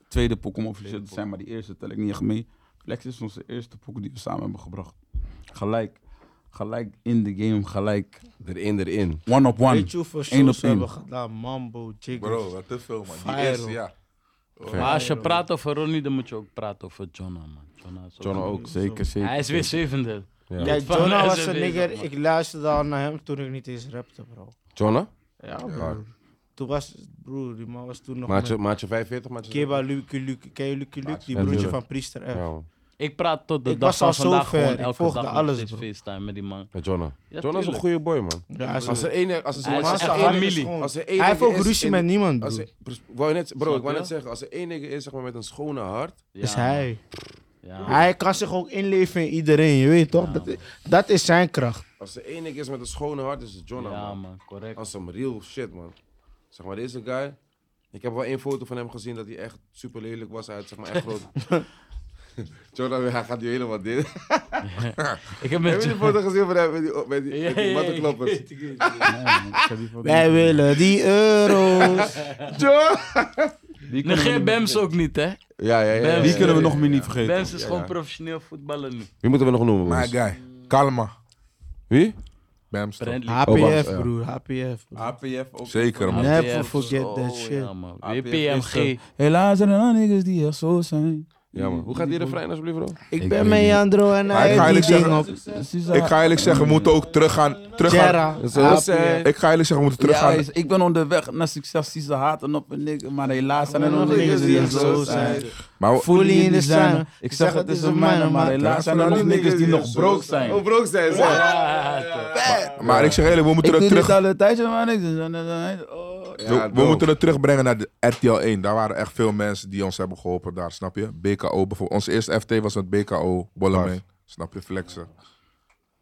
[SPEAKER 2] tweede Pokémon officieel te zijn, maar die eerste tel ik niet echt mee. Flex is onze eerste Pokémon die we samen hebben gebracht. Gelijk, gelijk in de game, gelijk
[SPEAKER 1] Erin, erin.
[SPEAKER 2] one op one.
[SPEAKER 4] weet je hoeveel
[SPEAKER 2] Één op
[SPEAKER 4] shows we
[SPEAKER 2] één.
[SPEAKER 4] hebben gedaan? Mambo,
[SPEAKER 3] Bro,
[SPEAKER 4] Jiggers.
[SPEAKER 3] wat te veel, man. Die
[SPEAKER 4] Fire,
[SPEAKER 3] eerste,
[SPEAKER 4] hoor.
[SPEAKER 3] ja.
[SPEAKER 5] Maar als je praat over Ronnie, dan moet je ook praten over Jonna, man. Jonna is ook-
[SPEAKER 2] John ook, zeker, zeker.
[SPEAKER 5] Hij is weer zevende.
[SPEAKER 4] Ja,
[SPEAKER 5] Van
[SPEAKER 4] Jonah was
[SPEAKER 5] SNW,
[SPEAKER 4] een nigger.
[SPEAKER 5] man.
[SPEAKER 4] Ik luisterde al naar hem toen ik niet eens rapte, bro.
[SPEAKER 1] Jonna?
[SPEAKER 4] Ja, bro. Toen was... Broer, die man was toen nog
[SPEAKER 1] Maatje,
[SPEAKER 4] met...
[SPEAKER 1] maatje 45, maatje
[SPEAKER 4] Keba Luke Luke, ken je Luke Luke? Die broertje
[SPEAKER 1] natuurlijk.
[SPEAKER 4] van Priester F.
[SPEAKER 1] Ja, man.
[SPEAKER 5] Ik praat tot de
[SPEAKER 4] Ik was
[SPEAKER 5] dag van
[SPEAKER 4] al
[SPEAKER 5] vandaag
[SPEAKER 4] zo ver,
[SPEAKER 5] gewoon
[SPEAKER 4] ik
[SPEAKER 5] elke
[SPEAKER 4] volgde
[SPEAKER 5] dag nog
[SPEAKER 4] alles,
[SPEAKER 5] steeds
[SPEAKER 4] bro.
[SPEAKER 5] FaceTime met die man.
[SPEAKER 1] Met Jonna. Jonna is een
[SPEAKER 5] tuurlijk.
[SPEAKER 1] goede boy, man.
[SPEAKER 4] Ja, hij is
[SPEAKER 1] Als er
[SPEAKER 4] een-
[SPEAKER 1] één... Als er
[SPEAKER 5] Hij
[SPEAKER 1] één-
[SPEAKER 5] is
[SPEAKER 1] als er
[SPEAKER 5] echt
[SPEAKER 1] één-
[SPEAKER 5] familie.
[SPEAKER 4] gewoon-
[SPEAKER 1] Als er één
[SPEAKER 4] Hij heeft ook
[SPEAKER 1] is
[SPEAKER 4] ruzie
[SPEAKER 1] in-
[SPEAKER 4] met niemand,
[SPEAKER 1] Als
[SPEAKER 4] broer.
[SPEAKER 1] er, pres- wou je net, bro,
[SPEAKER 5] Snap
[SPEAKER 1] ik wou
[SPEAKER 5] je?
[SPEAKER 1] net zeggen, als er één nigger is zeg maar, met een schone hart,
[SPEAKER 5] Ja,
[SPEAKER 4] Is hij.
[SPEAKER 5] man. Ja,
[SPEAKER 4] Hij kan zich ook inleven in iedereen, je weet toch? Dat, dat is zijn kracht.
[SPEAKER 1] als er één nigger is met een schone hart, is het Jonna,
[SPEAKER 5] ja,
[SPEAKER 1] man.
[SPEAKER 5] man, correct.
[SPEAKER 1] Als some real shit, man. Zeg maar, deze guy, ik heb wel één foto van hem gezien dat hij echt super lelijk was. Hij had zeg maar echt groot... Jonna, hij gaat nu helemaal dit.
[SPEAKER 5] Ik heb
[SPEAKER 1] Heb
[SPEAKER 5] met
[SPEAKER 1] je die
[SPEAKER 5] Jonna...
[SPEAKER 1] foto gezien van hem met die, met die,
[SPEAKER 5] Ja,
[SPEAKER 1] met die
[SPEAKER 5] ja, ja, ik
[SPEAKER 1] mattenkloppers?
[SPEAKER 5] weet, ik weet.
[SPEAKER 2] Ah!
[SPEAKER 4] Wij willen die euro's.
[SPEAKER 2] Wie kunnen we,
[SPEAKER 5] Negeer Bems ook niet, hè?
[SPEAKER 1] Ja, ja, ja. ja,
[SPEAKER 5] Bems.
[SPEAKER 2] wie kunnen we
[SPEAKER 5] Ja,
[SPEAKER 2] nog meer niet vergeten?
[SPEAKER 5] Bems is gewoon professioneel voetballer nu.
[SPEAKER 1] Wie moeten we nog noemen,
[SPEAKER 3] My
[SPEAKER 1] boys?
[SPEAKER 3] guy. Kalma.
[SPEAKER 1] Wie?
[SPEAKER 3] Bamster.
[SPEAKER 5] Brantley.
[SPEAKER 1] Oh, wacht,
[SPEAKER 4] HPF,
[SPEAKER 1] ja.
[SPEAKER 4] broer, HPF. broer.
[SPEAKER 2] APF ook.
[SPEAKER 3] Zeker, man.
[SPEAKER 4] Never
[SPEAKER 5] APF,
[SPEAKER 4] forget
[SPEAKER 5] oh,
[SPEAKER 4] that shit.
[SPEAKER 5] Ja, man.
[SPEAKER 2] APF
[SPEAKER 5] WPMG.
[SPEAKER 2] is Helaas zijn er niggas die echt zo zijn.
[SPEAKER 1] Ja, man. Hoe gaat die refrein alsjeblieft, bro?
[SPEAKER 4] Ik,
[SPEAKER 2] Ik
[SPEAKER 4] ben
[SPEAKER 2] weet
[SPEAKER 4] met
[SPEAKER 2] niet.
[SPEAKER 4] Jandro en
[SPEAKER 3] Maar ik
[SPEAKER 4] hij
[SPEAKER 3] ga
[SPEAKER 4] heeft die
[SPEAKER 3] eerlijk
[SPEAKER 4] ding op.
[SPEAKER 3] Ik ga eerlijk zeggen, we moeten ook teruggaan. teruggaan.
[SPEAKER 4] Jera,
[SPEAKER 1] Zoals
[SPEAKER 4] HPF.
[SPEAKER 1] zij-
[SPEAKER 3] Ik ga eerlijk zeggen, we
[SPEAKER 2] Ja,
[SPEAKER 3] moeten teruggaan.
[SPEAKER 2] is- ik ben onderweg naar succes, zie ze haten op een nigger, maar helaas zijn er nog niggas die echt zo zijn.
[SPEAKER 3] Maar we-
[SPEAKER 2] Voel je in de zijn. Ik zeg het is een mijne, maar helaas zijn er nog niggas die nog broke zijn.
[SPEAKER 1] Oh, broke zijn ze.
[SPEAKER 3] maar ik zeg eerlijk, we moeten
[SPEAKER 2] Ik
[SPEAKER 3] dat
[SPEAKER 2] doe
[SPEAKER 3] terug...
[SPEAKER 2] dit al een tijdje, maar niks. is aan de- oh.
[SPEAKER 3] We-
[SPEAKER 1] Ja,
[SPEAKER 3] we
[SPEAKER 1] dope.
[SPEAKER 3] moeten het terugbrengen naar de RTL 1. Daar waren echt veel mensen die ons hebben geholpen daar, snap je? BKO bijvoorbeeld. Onze eerste FT was met BKO, Bollemeen. Snap je? Flexen.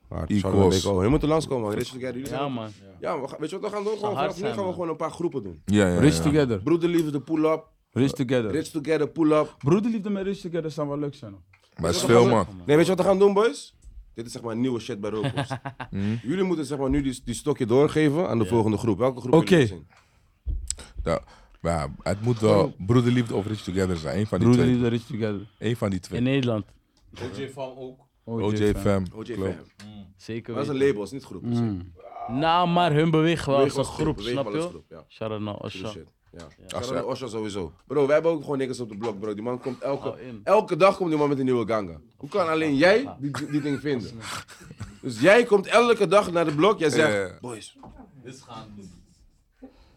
[SPEAKER 1] Hard,
[SPEAKER 3] Equals.
[SPEAKER 1] shout-out naar Big O. Jullie moeten langskomen, man. Rich Together. Jullie zijn-
[SPEAKER 5] Ja, man.
[SPEAKER 1] Ja, maar we gaan- weet je wat we gaan doen? Gewoon,
[SPEAKER 5] hard
[SPEAKER 1] vanaf nu
[SPEAKER 5] zijn,
[SPEAKER 1] gaan we
[SPEAKER 5] man.
[SPEAKER 1] gewoon een paar groepen doen.
[SPEAKER 3] Ja, ja, ja.
[SPEAKER 2] Rich together.
[SPEAKER 1] Broederliefde, pull-up.
[SPEAKER 2] Rich together.
[SPEAKER 1] Rich Together, pull-up.
[SPEAKER 2] Broederliefde met Rich together zou wel leuk zijn. hoor.
[SPEAKER 3] Maar het is veel, man.
[SPEAKER 1] Nee, weet je wat we gaan doen, boys? Dit is zeg maar nieuwe shit bij Rookworst.
[SPEAKER 3] Mhm.
[SPEAKER 1] jullie moeten zeg maar nu die, die stokje doorgeven aan de volgende groep. Welke groep
[SPEAKER 2] Oké.
[SPEAKER 1] willen jullie zien?
[SPEAKER 3] Ja, maar ja, het moet wel broederliefde of rich together zijn. Eén van die twee.
[SPEAKER 2] Broederliefde Rich Together.
[SPEAKER 3] Eén van die twee.
[SPEAKER 5] In Nederland,
[SPEAKER 6] OJ van ook.
[SPEAKER 3] OJ Fam.
[SPEAKER 1] OJ
[SPEAKER 3] klopt.
[SPEAKER 1] Fam.
[SPEAKER 5] zeker
[SPEAKER 1] Maar dat is
[SPEAKER 5] weten.
[SPEAKER 1] een label, het is niet groep. Dus,
[SPEAKER 5] Mm. Nou, maar hun bewegen wel als een groep,
[SPEAKER 1] Beweeg wel
[SPEAKER 5] snap
[SPEAKER 1] als
[SPEAKER 5] je?
[SPEAKER 1] groep, ja.
[SPEAKER 5] Sharon naar Osha.
[SPEAKER 1] Shit. Ja.
[SPEAKER 3] Als
[SPEAKER 1] Sharon
[SPEAKER 3] hij-
[SPEAKER 1] Osha sowieso. Bro, wij hebben ook gewoon niks op de blok, bro. Die man komt elke,
[SPEAKER 5] Hou in.
[SPEAKER 1] elke dag komt die man met een nieuwe ganga. Hoe kan alleen jij die, die ding vinden? Dus jij komt elke dag naar de blok, jij zegt,
[SPEAKER 3] Ja, ja, ja.
[SPEAKER 1] boys,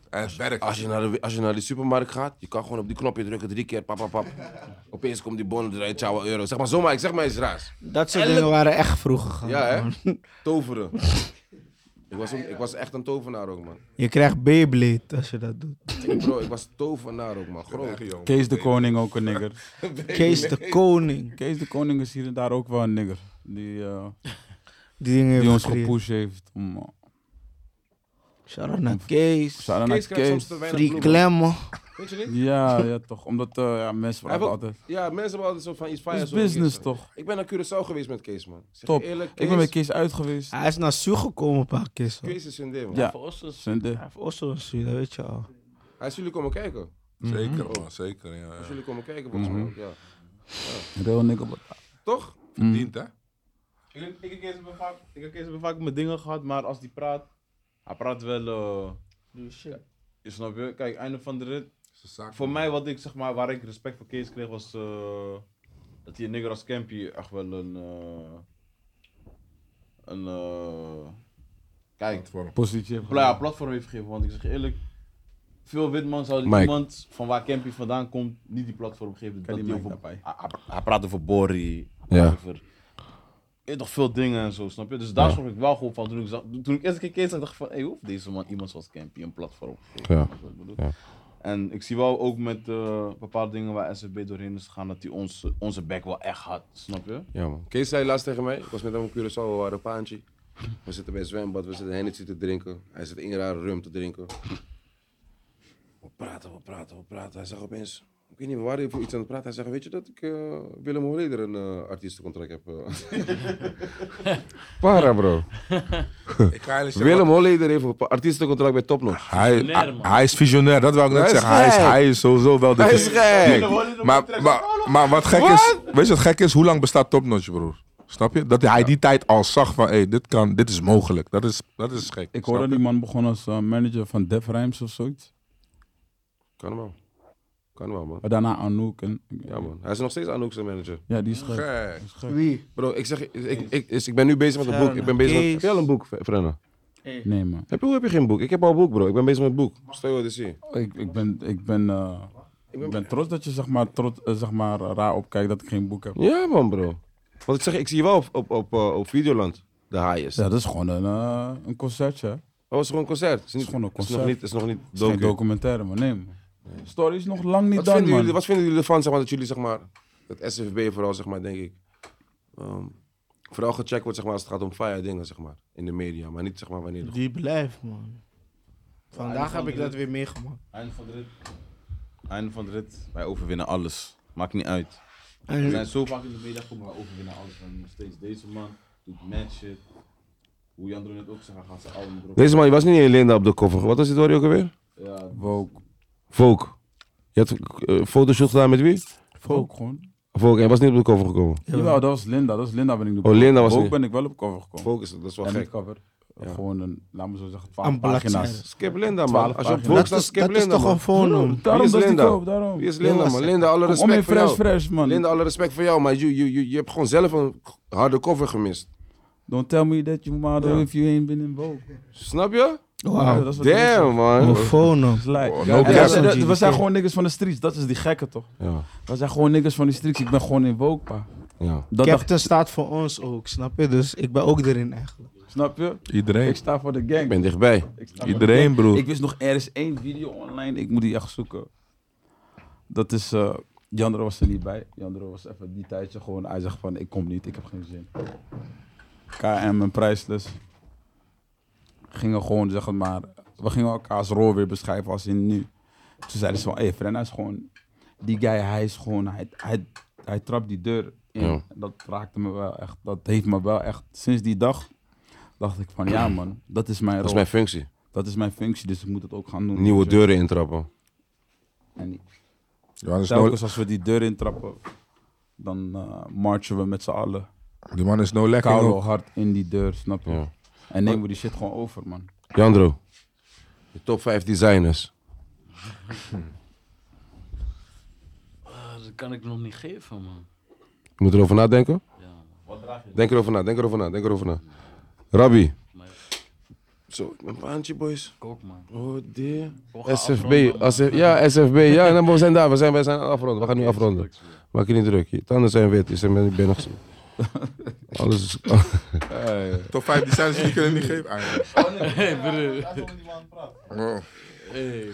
[SPEAKER 3] En het werkt.
[SPEAKER 1] als je, naar de, als je naar de supermarkt gaat, je kan gewoon op die knopje drukken, drie keer, pap, pap, pap. Opeens komt die bon eruit, ciao, euro. Zeg maar zomaar, ik zeg maar iets raars.
[SPEAKER 4] Dat soort dingen waren echt vroeger gegaan.
[SPEAKER 1] Ja, hè?
[SPEAKER 4] Oh, man.
[SPEAKER 1] Toveren. Ik was, ook- ik was echt een tovenaar ook, man.
[SPEAKER 4] Je krijgt Beyblade als je dat doet.
[SPEAKER 1] Bro, ik was tovenaar ook, man. Groot.
[SPEAKER 2] Kees de Koning ook een nigger.
[SPEAKER 4] Kees de Koning.
[SPEAKER 2] Kees de Koning is hier en daar ook wel een nigger. Die, eh,
[SPEAKER 4] Die dingen heeft
[SPEAKER 2] die ons
[SPEAKER 4] gecreëerd.
[SPEAKER 2] gepusht heeft om... eh,
[SPEAKER 4] Shout-out naar Kees.
[SPEAKER 2] shout-out naar
[SPEAKER 1] Kees krijgt soms
[SPEAKER 2] Kees.
[SPEAKER 1] te weinig
[SPEAKER 4] Free
[SPEAKER 1] bloemen.
[SPEAKER 4] Klemmen.
[SPEAKER 1] Vind je niet?
[SPEAKER 2] Ja, ja, toch. Omdat eh, ja, mensen
[SPEAKER 1] Hij
[SPEAKER 2] vragen
[SPEAKER 1] heeft ook-
[SPEAKER 2] altijd...
[SPEAKER 1] Ja, mensen hebben altijd zo van iets
[SPEAKER 2] Het
[SPEAKER 1] fires.
[SPEAKER 2] is
[SPEAKER 1] over Kees,
[SPEAKER 2] business
[SPEAKER 1] man.
[SPEAKER 2] toch?
[SPEAKER 1] Ik ben naar Curaçao geweest met Kees, man. Zeg
[SPEAKER 2] Top.
[SPEAKER 1] je Eerlijk, Kees,
[SPEAKER 2] Ik ben met Kees uit geweest.
[SPEAKER 4] Hij is naar Su gekomen een paar keer. zo. Hij
[SPEAKER 1] Kees is een ding, man.
[SPEAKER 2] Ja.
[SPEAKER 5] Voor Osha's
[SPEAKER 2] Zende.
[SPEAKER 4] heeft ook zo'n Su, dat weet je al.
[SPEAKER 1] Hij is jullie komen kijken. Hij
[SPEAKER 3] Zeker, man. Zeker, ja.
[SPEAKER 1] is
[SPEAKER 3] ja.
[SPEAKER 1] jullie komen kijken, volgens
[SPEAKER 2] Mhm.
[SPEAKER 1] mij ook, ja.
[SPEAKER 2] Real nigger. but-
[SPEAKER 1] Toch?
[SPEAKER 3] Verdient, hè?
[SPEAKER 6] Ik, ik, heb Kees wel vaak- ik heb Kees wel vaak mijn dingen gehad, maar als die praat, hij praat wel. eh, je snapt je? Kijk, einde van de rit.
[SPEAKER 3] Is de zaak,
[SPEAKER 6] Voor
[SPEAKER 3] man.
[SPEAKER 6] mij, wat ik zeg maar, waar ik respect voor Kees kreeg, was eh, dat hij een nigger als Campy echt wel een. eh, een. eh, kijk,
[SPEAKER 3] Platform.
[SPEAKER 2] Positie heeft
[SPEAKER 6] pla- ja, platform heeft gegeven. Want ik zeg je eerlijk, veel witman zou
[SPEAKER 1] Mike.
[SPEAKER 6] iemand van waar Campy vandaan komt niet die platform geven. Dat die over, hij, hij pra- hij praat over Bori, hij praat
[SPEAKER 1] Ja.
[SPEAKER 6] over eh, toch veel dingen en zo, snap je? Dus daar schrok ik wel gewoon van toen ik zag, toen ik eerst een keer kees, dacht ik van, hey, hoe heeft deze man iemand zoals Campy een platform gegeven?
[SPEAKER 1] Ja.
[SPEAKER 6] Snap je wat ik bedoel? En ik zie wel ook met eh, bepaalde dingen waar SFB doorheen is gegaan, dat hij ons, onze back wel echt had, snap je?
[SPEAKER 1] Ja, man. Kees zei laatst tegen mij, ik was met hem op Curaçao, we waren op Paantje. We zitten bij een zwembad, we zitten Hennessy te drinken. Hij zit Inra rum te drinken. We praten, we praten, we praten. Hij zegt opeens, ik weet niet, we waren even iets aan het praten. Hij zegt, weet je dat ik eh, Willem Holleder een eh, artiestencontract heb? eh?" Para, bro.
[SPEAKER 3] Ik ga eerlijk zeggen,
[SPEAKER 1] Willem Holleder heeft een artiestencontract bij Topnotch.
[SPEAKER 3] Hij,
[SPEAKER 5] Visionair, man.
[SPEAKER 3] hij is visionair, dat wil ik net
[SPEAKER 1] Hij is
[SPEAKER 3] zeggen. Hij is,
[SPEAKER 1] gek.
[SPEAKER 3] hij is sowieso wel de
[SPEAKER 1] Hij is
[SPEAKER 3] vis-
[SPEAKER 1] gek.
[SPEAKER 3] Nee, Maar, maar, maar wat gek is, weet je wat gek is? Hoe lang bestaat Topnotch, broer? Snap je? Dat hij die tijd al zag van, hey, dit, kan, dit is mogelijk. Dat is, dat is gek.
[SPEAKER 2] Ik
[SPEAKER 3] Snap
[SPEAKER 2] hoor dat
[SPEAKER 3] je?
[SPEAKER 2] die man begon als eh, manager van Def Rhymes of zoiets.
[SPEAKER 1] Kan wel. Kan wel, man.
[SPEAKER 2] Maar daarna Anouk en...
[SPEAKER 1] Ja, man. Hij is nog steeds Anouk zijn manager.
[SPEAKER 2] Ja, die is gek.
[SPEAKER 3] Gek.
[SPEAKER 4] Wie?
[SPEAKER 1] Bro, ik zeg, je, ik, ik, ik, is- ik ben nu bezig met een boek. Ik ben bezig met, heb jij al een boek, Frenna?
[SPEAKER 2] Nee, man.
[SPEAKER 1] Heb je, hoe heb je geen boek? Ik heb al een boek, bro. Ik ben bezig met een boek. Stel je wat zien.
[SPEAKER 2] Ik, ik, ben, ik, ben, eh,
[SPEAKER 1] Ik ben-
[SPEAKER 2] ik ben trots dat je zeg maar, trots, eh, zeg maar, raar opkijkt dat ik geen boek heb.
[SPEAKER 1] Ja, man, bro. Want ik zeg, ik zie je wel op, op, op, eh, op Videoland, de highest.
[SPEAKER 2] Ja, dat is gewoon een, eh, een concertje. hè. Het
[SPEAKER 1] Dat was gewoon een concert. Het is, niet,
[SPEAKER 2] gewoon een
[SPEAKER 1] het
[SPEAKER 2] concert.
[SPEAKER 1] is nog niet, het is
[SPEAKER 2] is
[SPEAKER 1] nog
[SPEAKER 2] geen
[SPEAKER 1] niet docu.
[SPEAKER 2] documentaire, maar nee, man. Story is nog lang niet
[SPEAKER 1] Wat,
[SPEAKER 2] dan,
[SPEAKER 1] vinden
[SPEAKER 2] man.
[SPEAKER 1] jullie, wat vinden jullie ervan, zeg maar, dat jullie, zeg maar, dat SFB vooral, zeg maar, denk ik, ehm, vooral gecheckt wordt, zeg maar, als het gaat om fire dingen, zeg maar, in de media. Maar niet, zeg maar, wanneer...
[SPEAKER 4] Die blijft, man. Vandaag heb ik dat weer meegemaakt.
[SPEAKER 6] Einde van de rit. Einde van de rit. Wij overwinnen alles. Maakt niet uit. We
[SPEAKER 4] En
[SPEAKER 6] zijn zo vaak in de media gekomen, wij overwinnen alles. En nog steeds deze man doet mad shit. Hoe Jandro net ook zei, hij gaat zijn album erop.
[SPEAKER 1] Deze man, je was niet in Linda op de koffer. Wat was dit, hoor je ook alweer?
[SPEAKER 6] Ja,
[SPEAKER 2] Woke.
[SPEAKER 1] Vogue. Je had eh, fotoshoot gedaan met wie?
[SPEAKER 2] Woke gewoon.
[SPEAKER 1] Vogue, en je was niet op de cover gekomen.
[SPEAKER 2] Jawel, dat was Linda. Dat was Linda ben ik de
[SPEAKER 1] Oh, Linda was
[SPEAKER 2] Woke
[SPEAKER 1] niet.
[SPEAKER 2] ben ik wel op cover gekomen.
[SPEAKER 1] Vogue, is, dat is wel
[SPEAKER 2] Ja, niet
[SPEAKER 1] gek.
[SPEAKER 2] cover.
[SPEAKER 1] Ja.
[SPEAKER 2] Gewoon een, laat me zo zeggen, 12
[SPEAKER 4] Aan
[SPEAKER 2] pagina's.
[SPEAKER 1] Skip Linda, man.
[SPEAKER 2] Twaalf
[SPEAKER 1] Als je op
[SPEAKER 2] pagina's.
[SPEAKER 1] Vogue
[SPEAKER 4] dat
[SPEAKER 1] staat,
[SPEAKER 4] is,
[SPEAKER 1] skip
[SPEAKER 4] dat is
[SPEAKER 1] Linda,
[SPEAKER 4] toch
[SPEAKER 1] man.
[SPEAKER 4] een voornaam?
[SPEAKER 1] Wie
[SPEAKER 2] Daarom
[SPEAKER 1] is
[SPEAKER 2] dat is die
[SPEAKER 1] Linda?
[SPEAKER 2] koop, daarom.
[SPEAKER 1] Wie is Linda, man? Linda, alle
[SPEAKER 2] Kom, om
[SPEAKER 1] respect
[SPEAKER 2] in
[SPEAKER 1] voor
[SPEAKER 2] fresh,
[SPEAKER 1] jou.
[SPEAKER 2] fresh, man.
[SPEAKER 1] Linda, alle respect voor jou, maar je, je, je, je hebt gewoon zelf een harde cover gemist.
[SPEAKER 2] Don't tell me that you model
[SPEAKER 1] Ja.
[SPEAKER 2] if you ain't been in Vogue.
[SPEAKER 1] Snap je?
[SPEAKER 2] Ja,
[SPEAKER 4] Wauw.
[SPEAKER 2] dat is wat ik zeg.
[SPEAKER 1] Damn,
[SPEAKER 4] Een
[SPEAKER 1] man.
[SPEAKER 4] voornaam.
[SPEAKER 2] Het lijkt.
[SPEAKER 3] Oh,
[SPEAKER 2] Ja,
[SPEAKER 3] no
[SPEAKER 2] ja,
[SPEAKER 3] cap.
[SPEAKER 2] ze- de- we zijn
[SPEAKER 4] GDK.
[SPEAKER 2] gewoon niggers van de streets, dat is die gekke toch?
[SPEAKER 1] Ja,
[SPEAKER 2] We zijn gewoon niggers van die streets, ik ben gewoon in Woke, pa.
[SPEAKER 1] ja.
[SPEAKER 2] Dat dacht,
[SPEAKER 4] Captain staat voor ons ook, snap je? Dus ik ben ook erin eigenlijk.
[SPEAKER 2] snap je? Ik
[SPEAKER 3] Iedereen.
[SPEAKER 2] sta voor de gang.
[SPEAKER 1] Ik ben dichtbij.
[SPEAKER 2] Ik sta voor de
[SPEAKER 3] Iedereen,
[SPEAKER 2] gang. Ik
[SPEAKER 3] broer.
[SPEAKER 2] wist nog, er is één video online, ik moet die echt zoeken. Dat is, eh Jandro was er niet bij. Jandro was even die tijdje gewoon, hij zegt van, ik kom niet, ik heb geen zin. KM en Priceless gingen gewoon, zeg het maar, we gingen elkaars rol weer beschrijven als in nu. Toen zeiden ze van, hé, hey, Frenna is gewoon, die guy, hij is gewoon, hij, hij, hij trapt die deur in.
[SPEAKER 1] Ja.
[SPEAKER 2] Dat raakte me wel echt. Dat heeft me wel echt. Sinds die dag dacht ik van ja man, dat is mijn
[SPEAKER 1] Dat is
[SPEAKER 2] rol.
[SPEAKER 1] mijn functie.
[SPEAKER 2] Dat is mijn functie, dus ik moet het ook gaan doen.
[SPEAKER 1] Nieuwe
[SPEAKER 2] weet je.
[SPEAKER 1] deuren intrappen.
[SPEAKER 2] En
[SPEAKER 1] Dus
[SPEAKER 3] Johannes
[SPEAKER 1] nou-
[SPEAKER 3] no,
[SPEAKER 2] telkens als we die deur intrappen, dan eh, marchen we met z'n allen.
[SPEAKER 3] die man is no lekker.
[SPEAKER 2] Kauwel
[SPEAKER 3] hoor.
[SPEAKER 2] hard in die deur, snap je?
[SPEAKER 1] Ja.
[SPEAKER 2] En nemen we die shit gewoon over man.
[SPEAKER 1] Jandro, de top 5 designers.
[SPEAKER 5] Ah, dat kan ik nog niet geven, man.
[SPEAKER 1] Je moet erover nadenken.
[SPEAKER 5] Ja, man.
[SPEAKER 1] Denk erover na, denk erover na, denk erover na. Rabbi. Zo, mijn baantje, boys.
[SPEAKER 5] Ik ook, man.
[SPEAKER 1] Oh, dear.
[SPEAKER 5] Gewoon gaan
[SPEAKER 1] SFB.
[SPEAKER 5] afronden, man.
[SPEAKER 1] SF, ja, SFB. Ja, nou, we zijn daar. We zijn, we zijn afronden. We gaan nu afronden. Maak je niet druk. Je tanden zijn wit. dus Je bent niet binnen. Alles is...
[SPEAKER 3] Top 5 designers die kunnen niet geven. Ah, ja.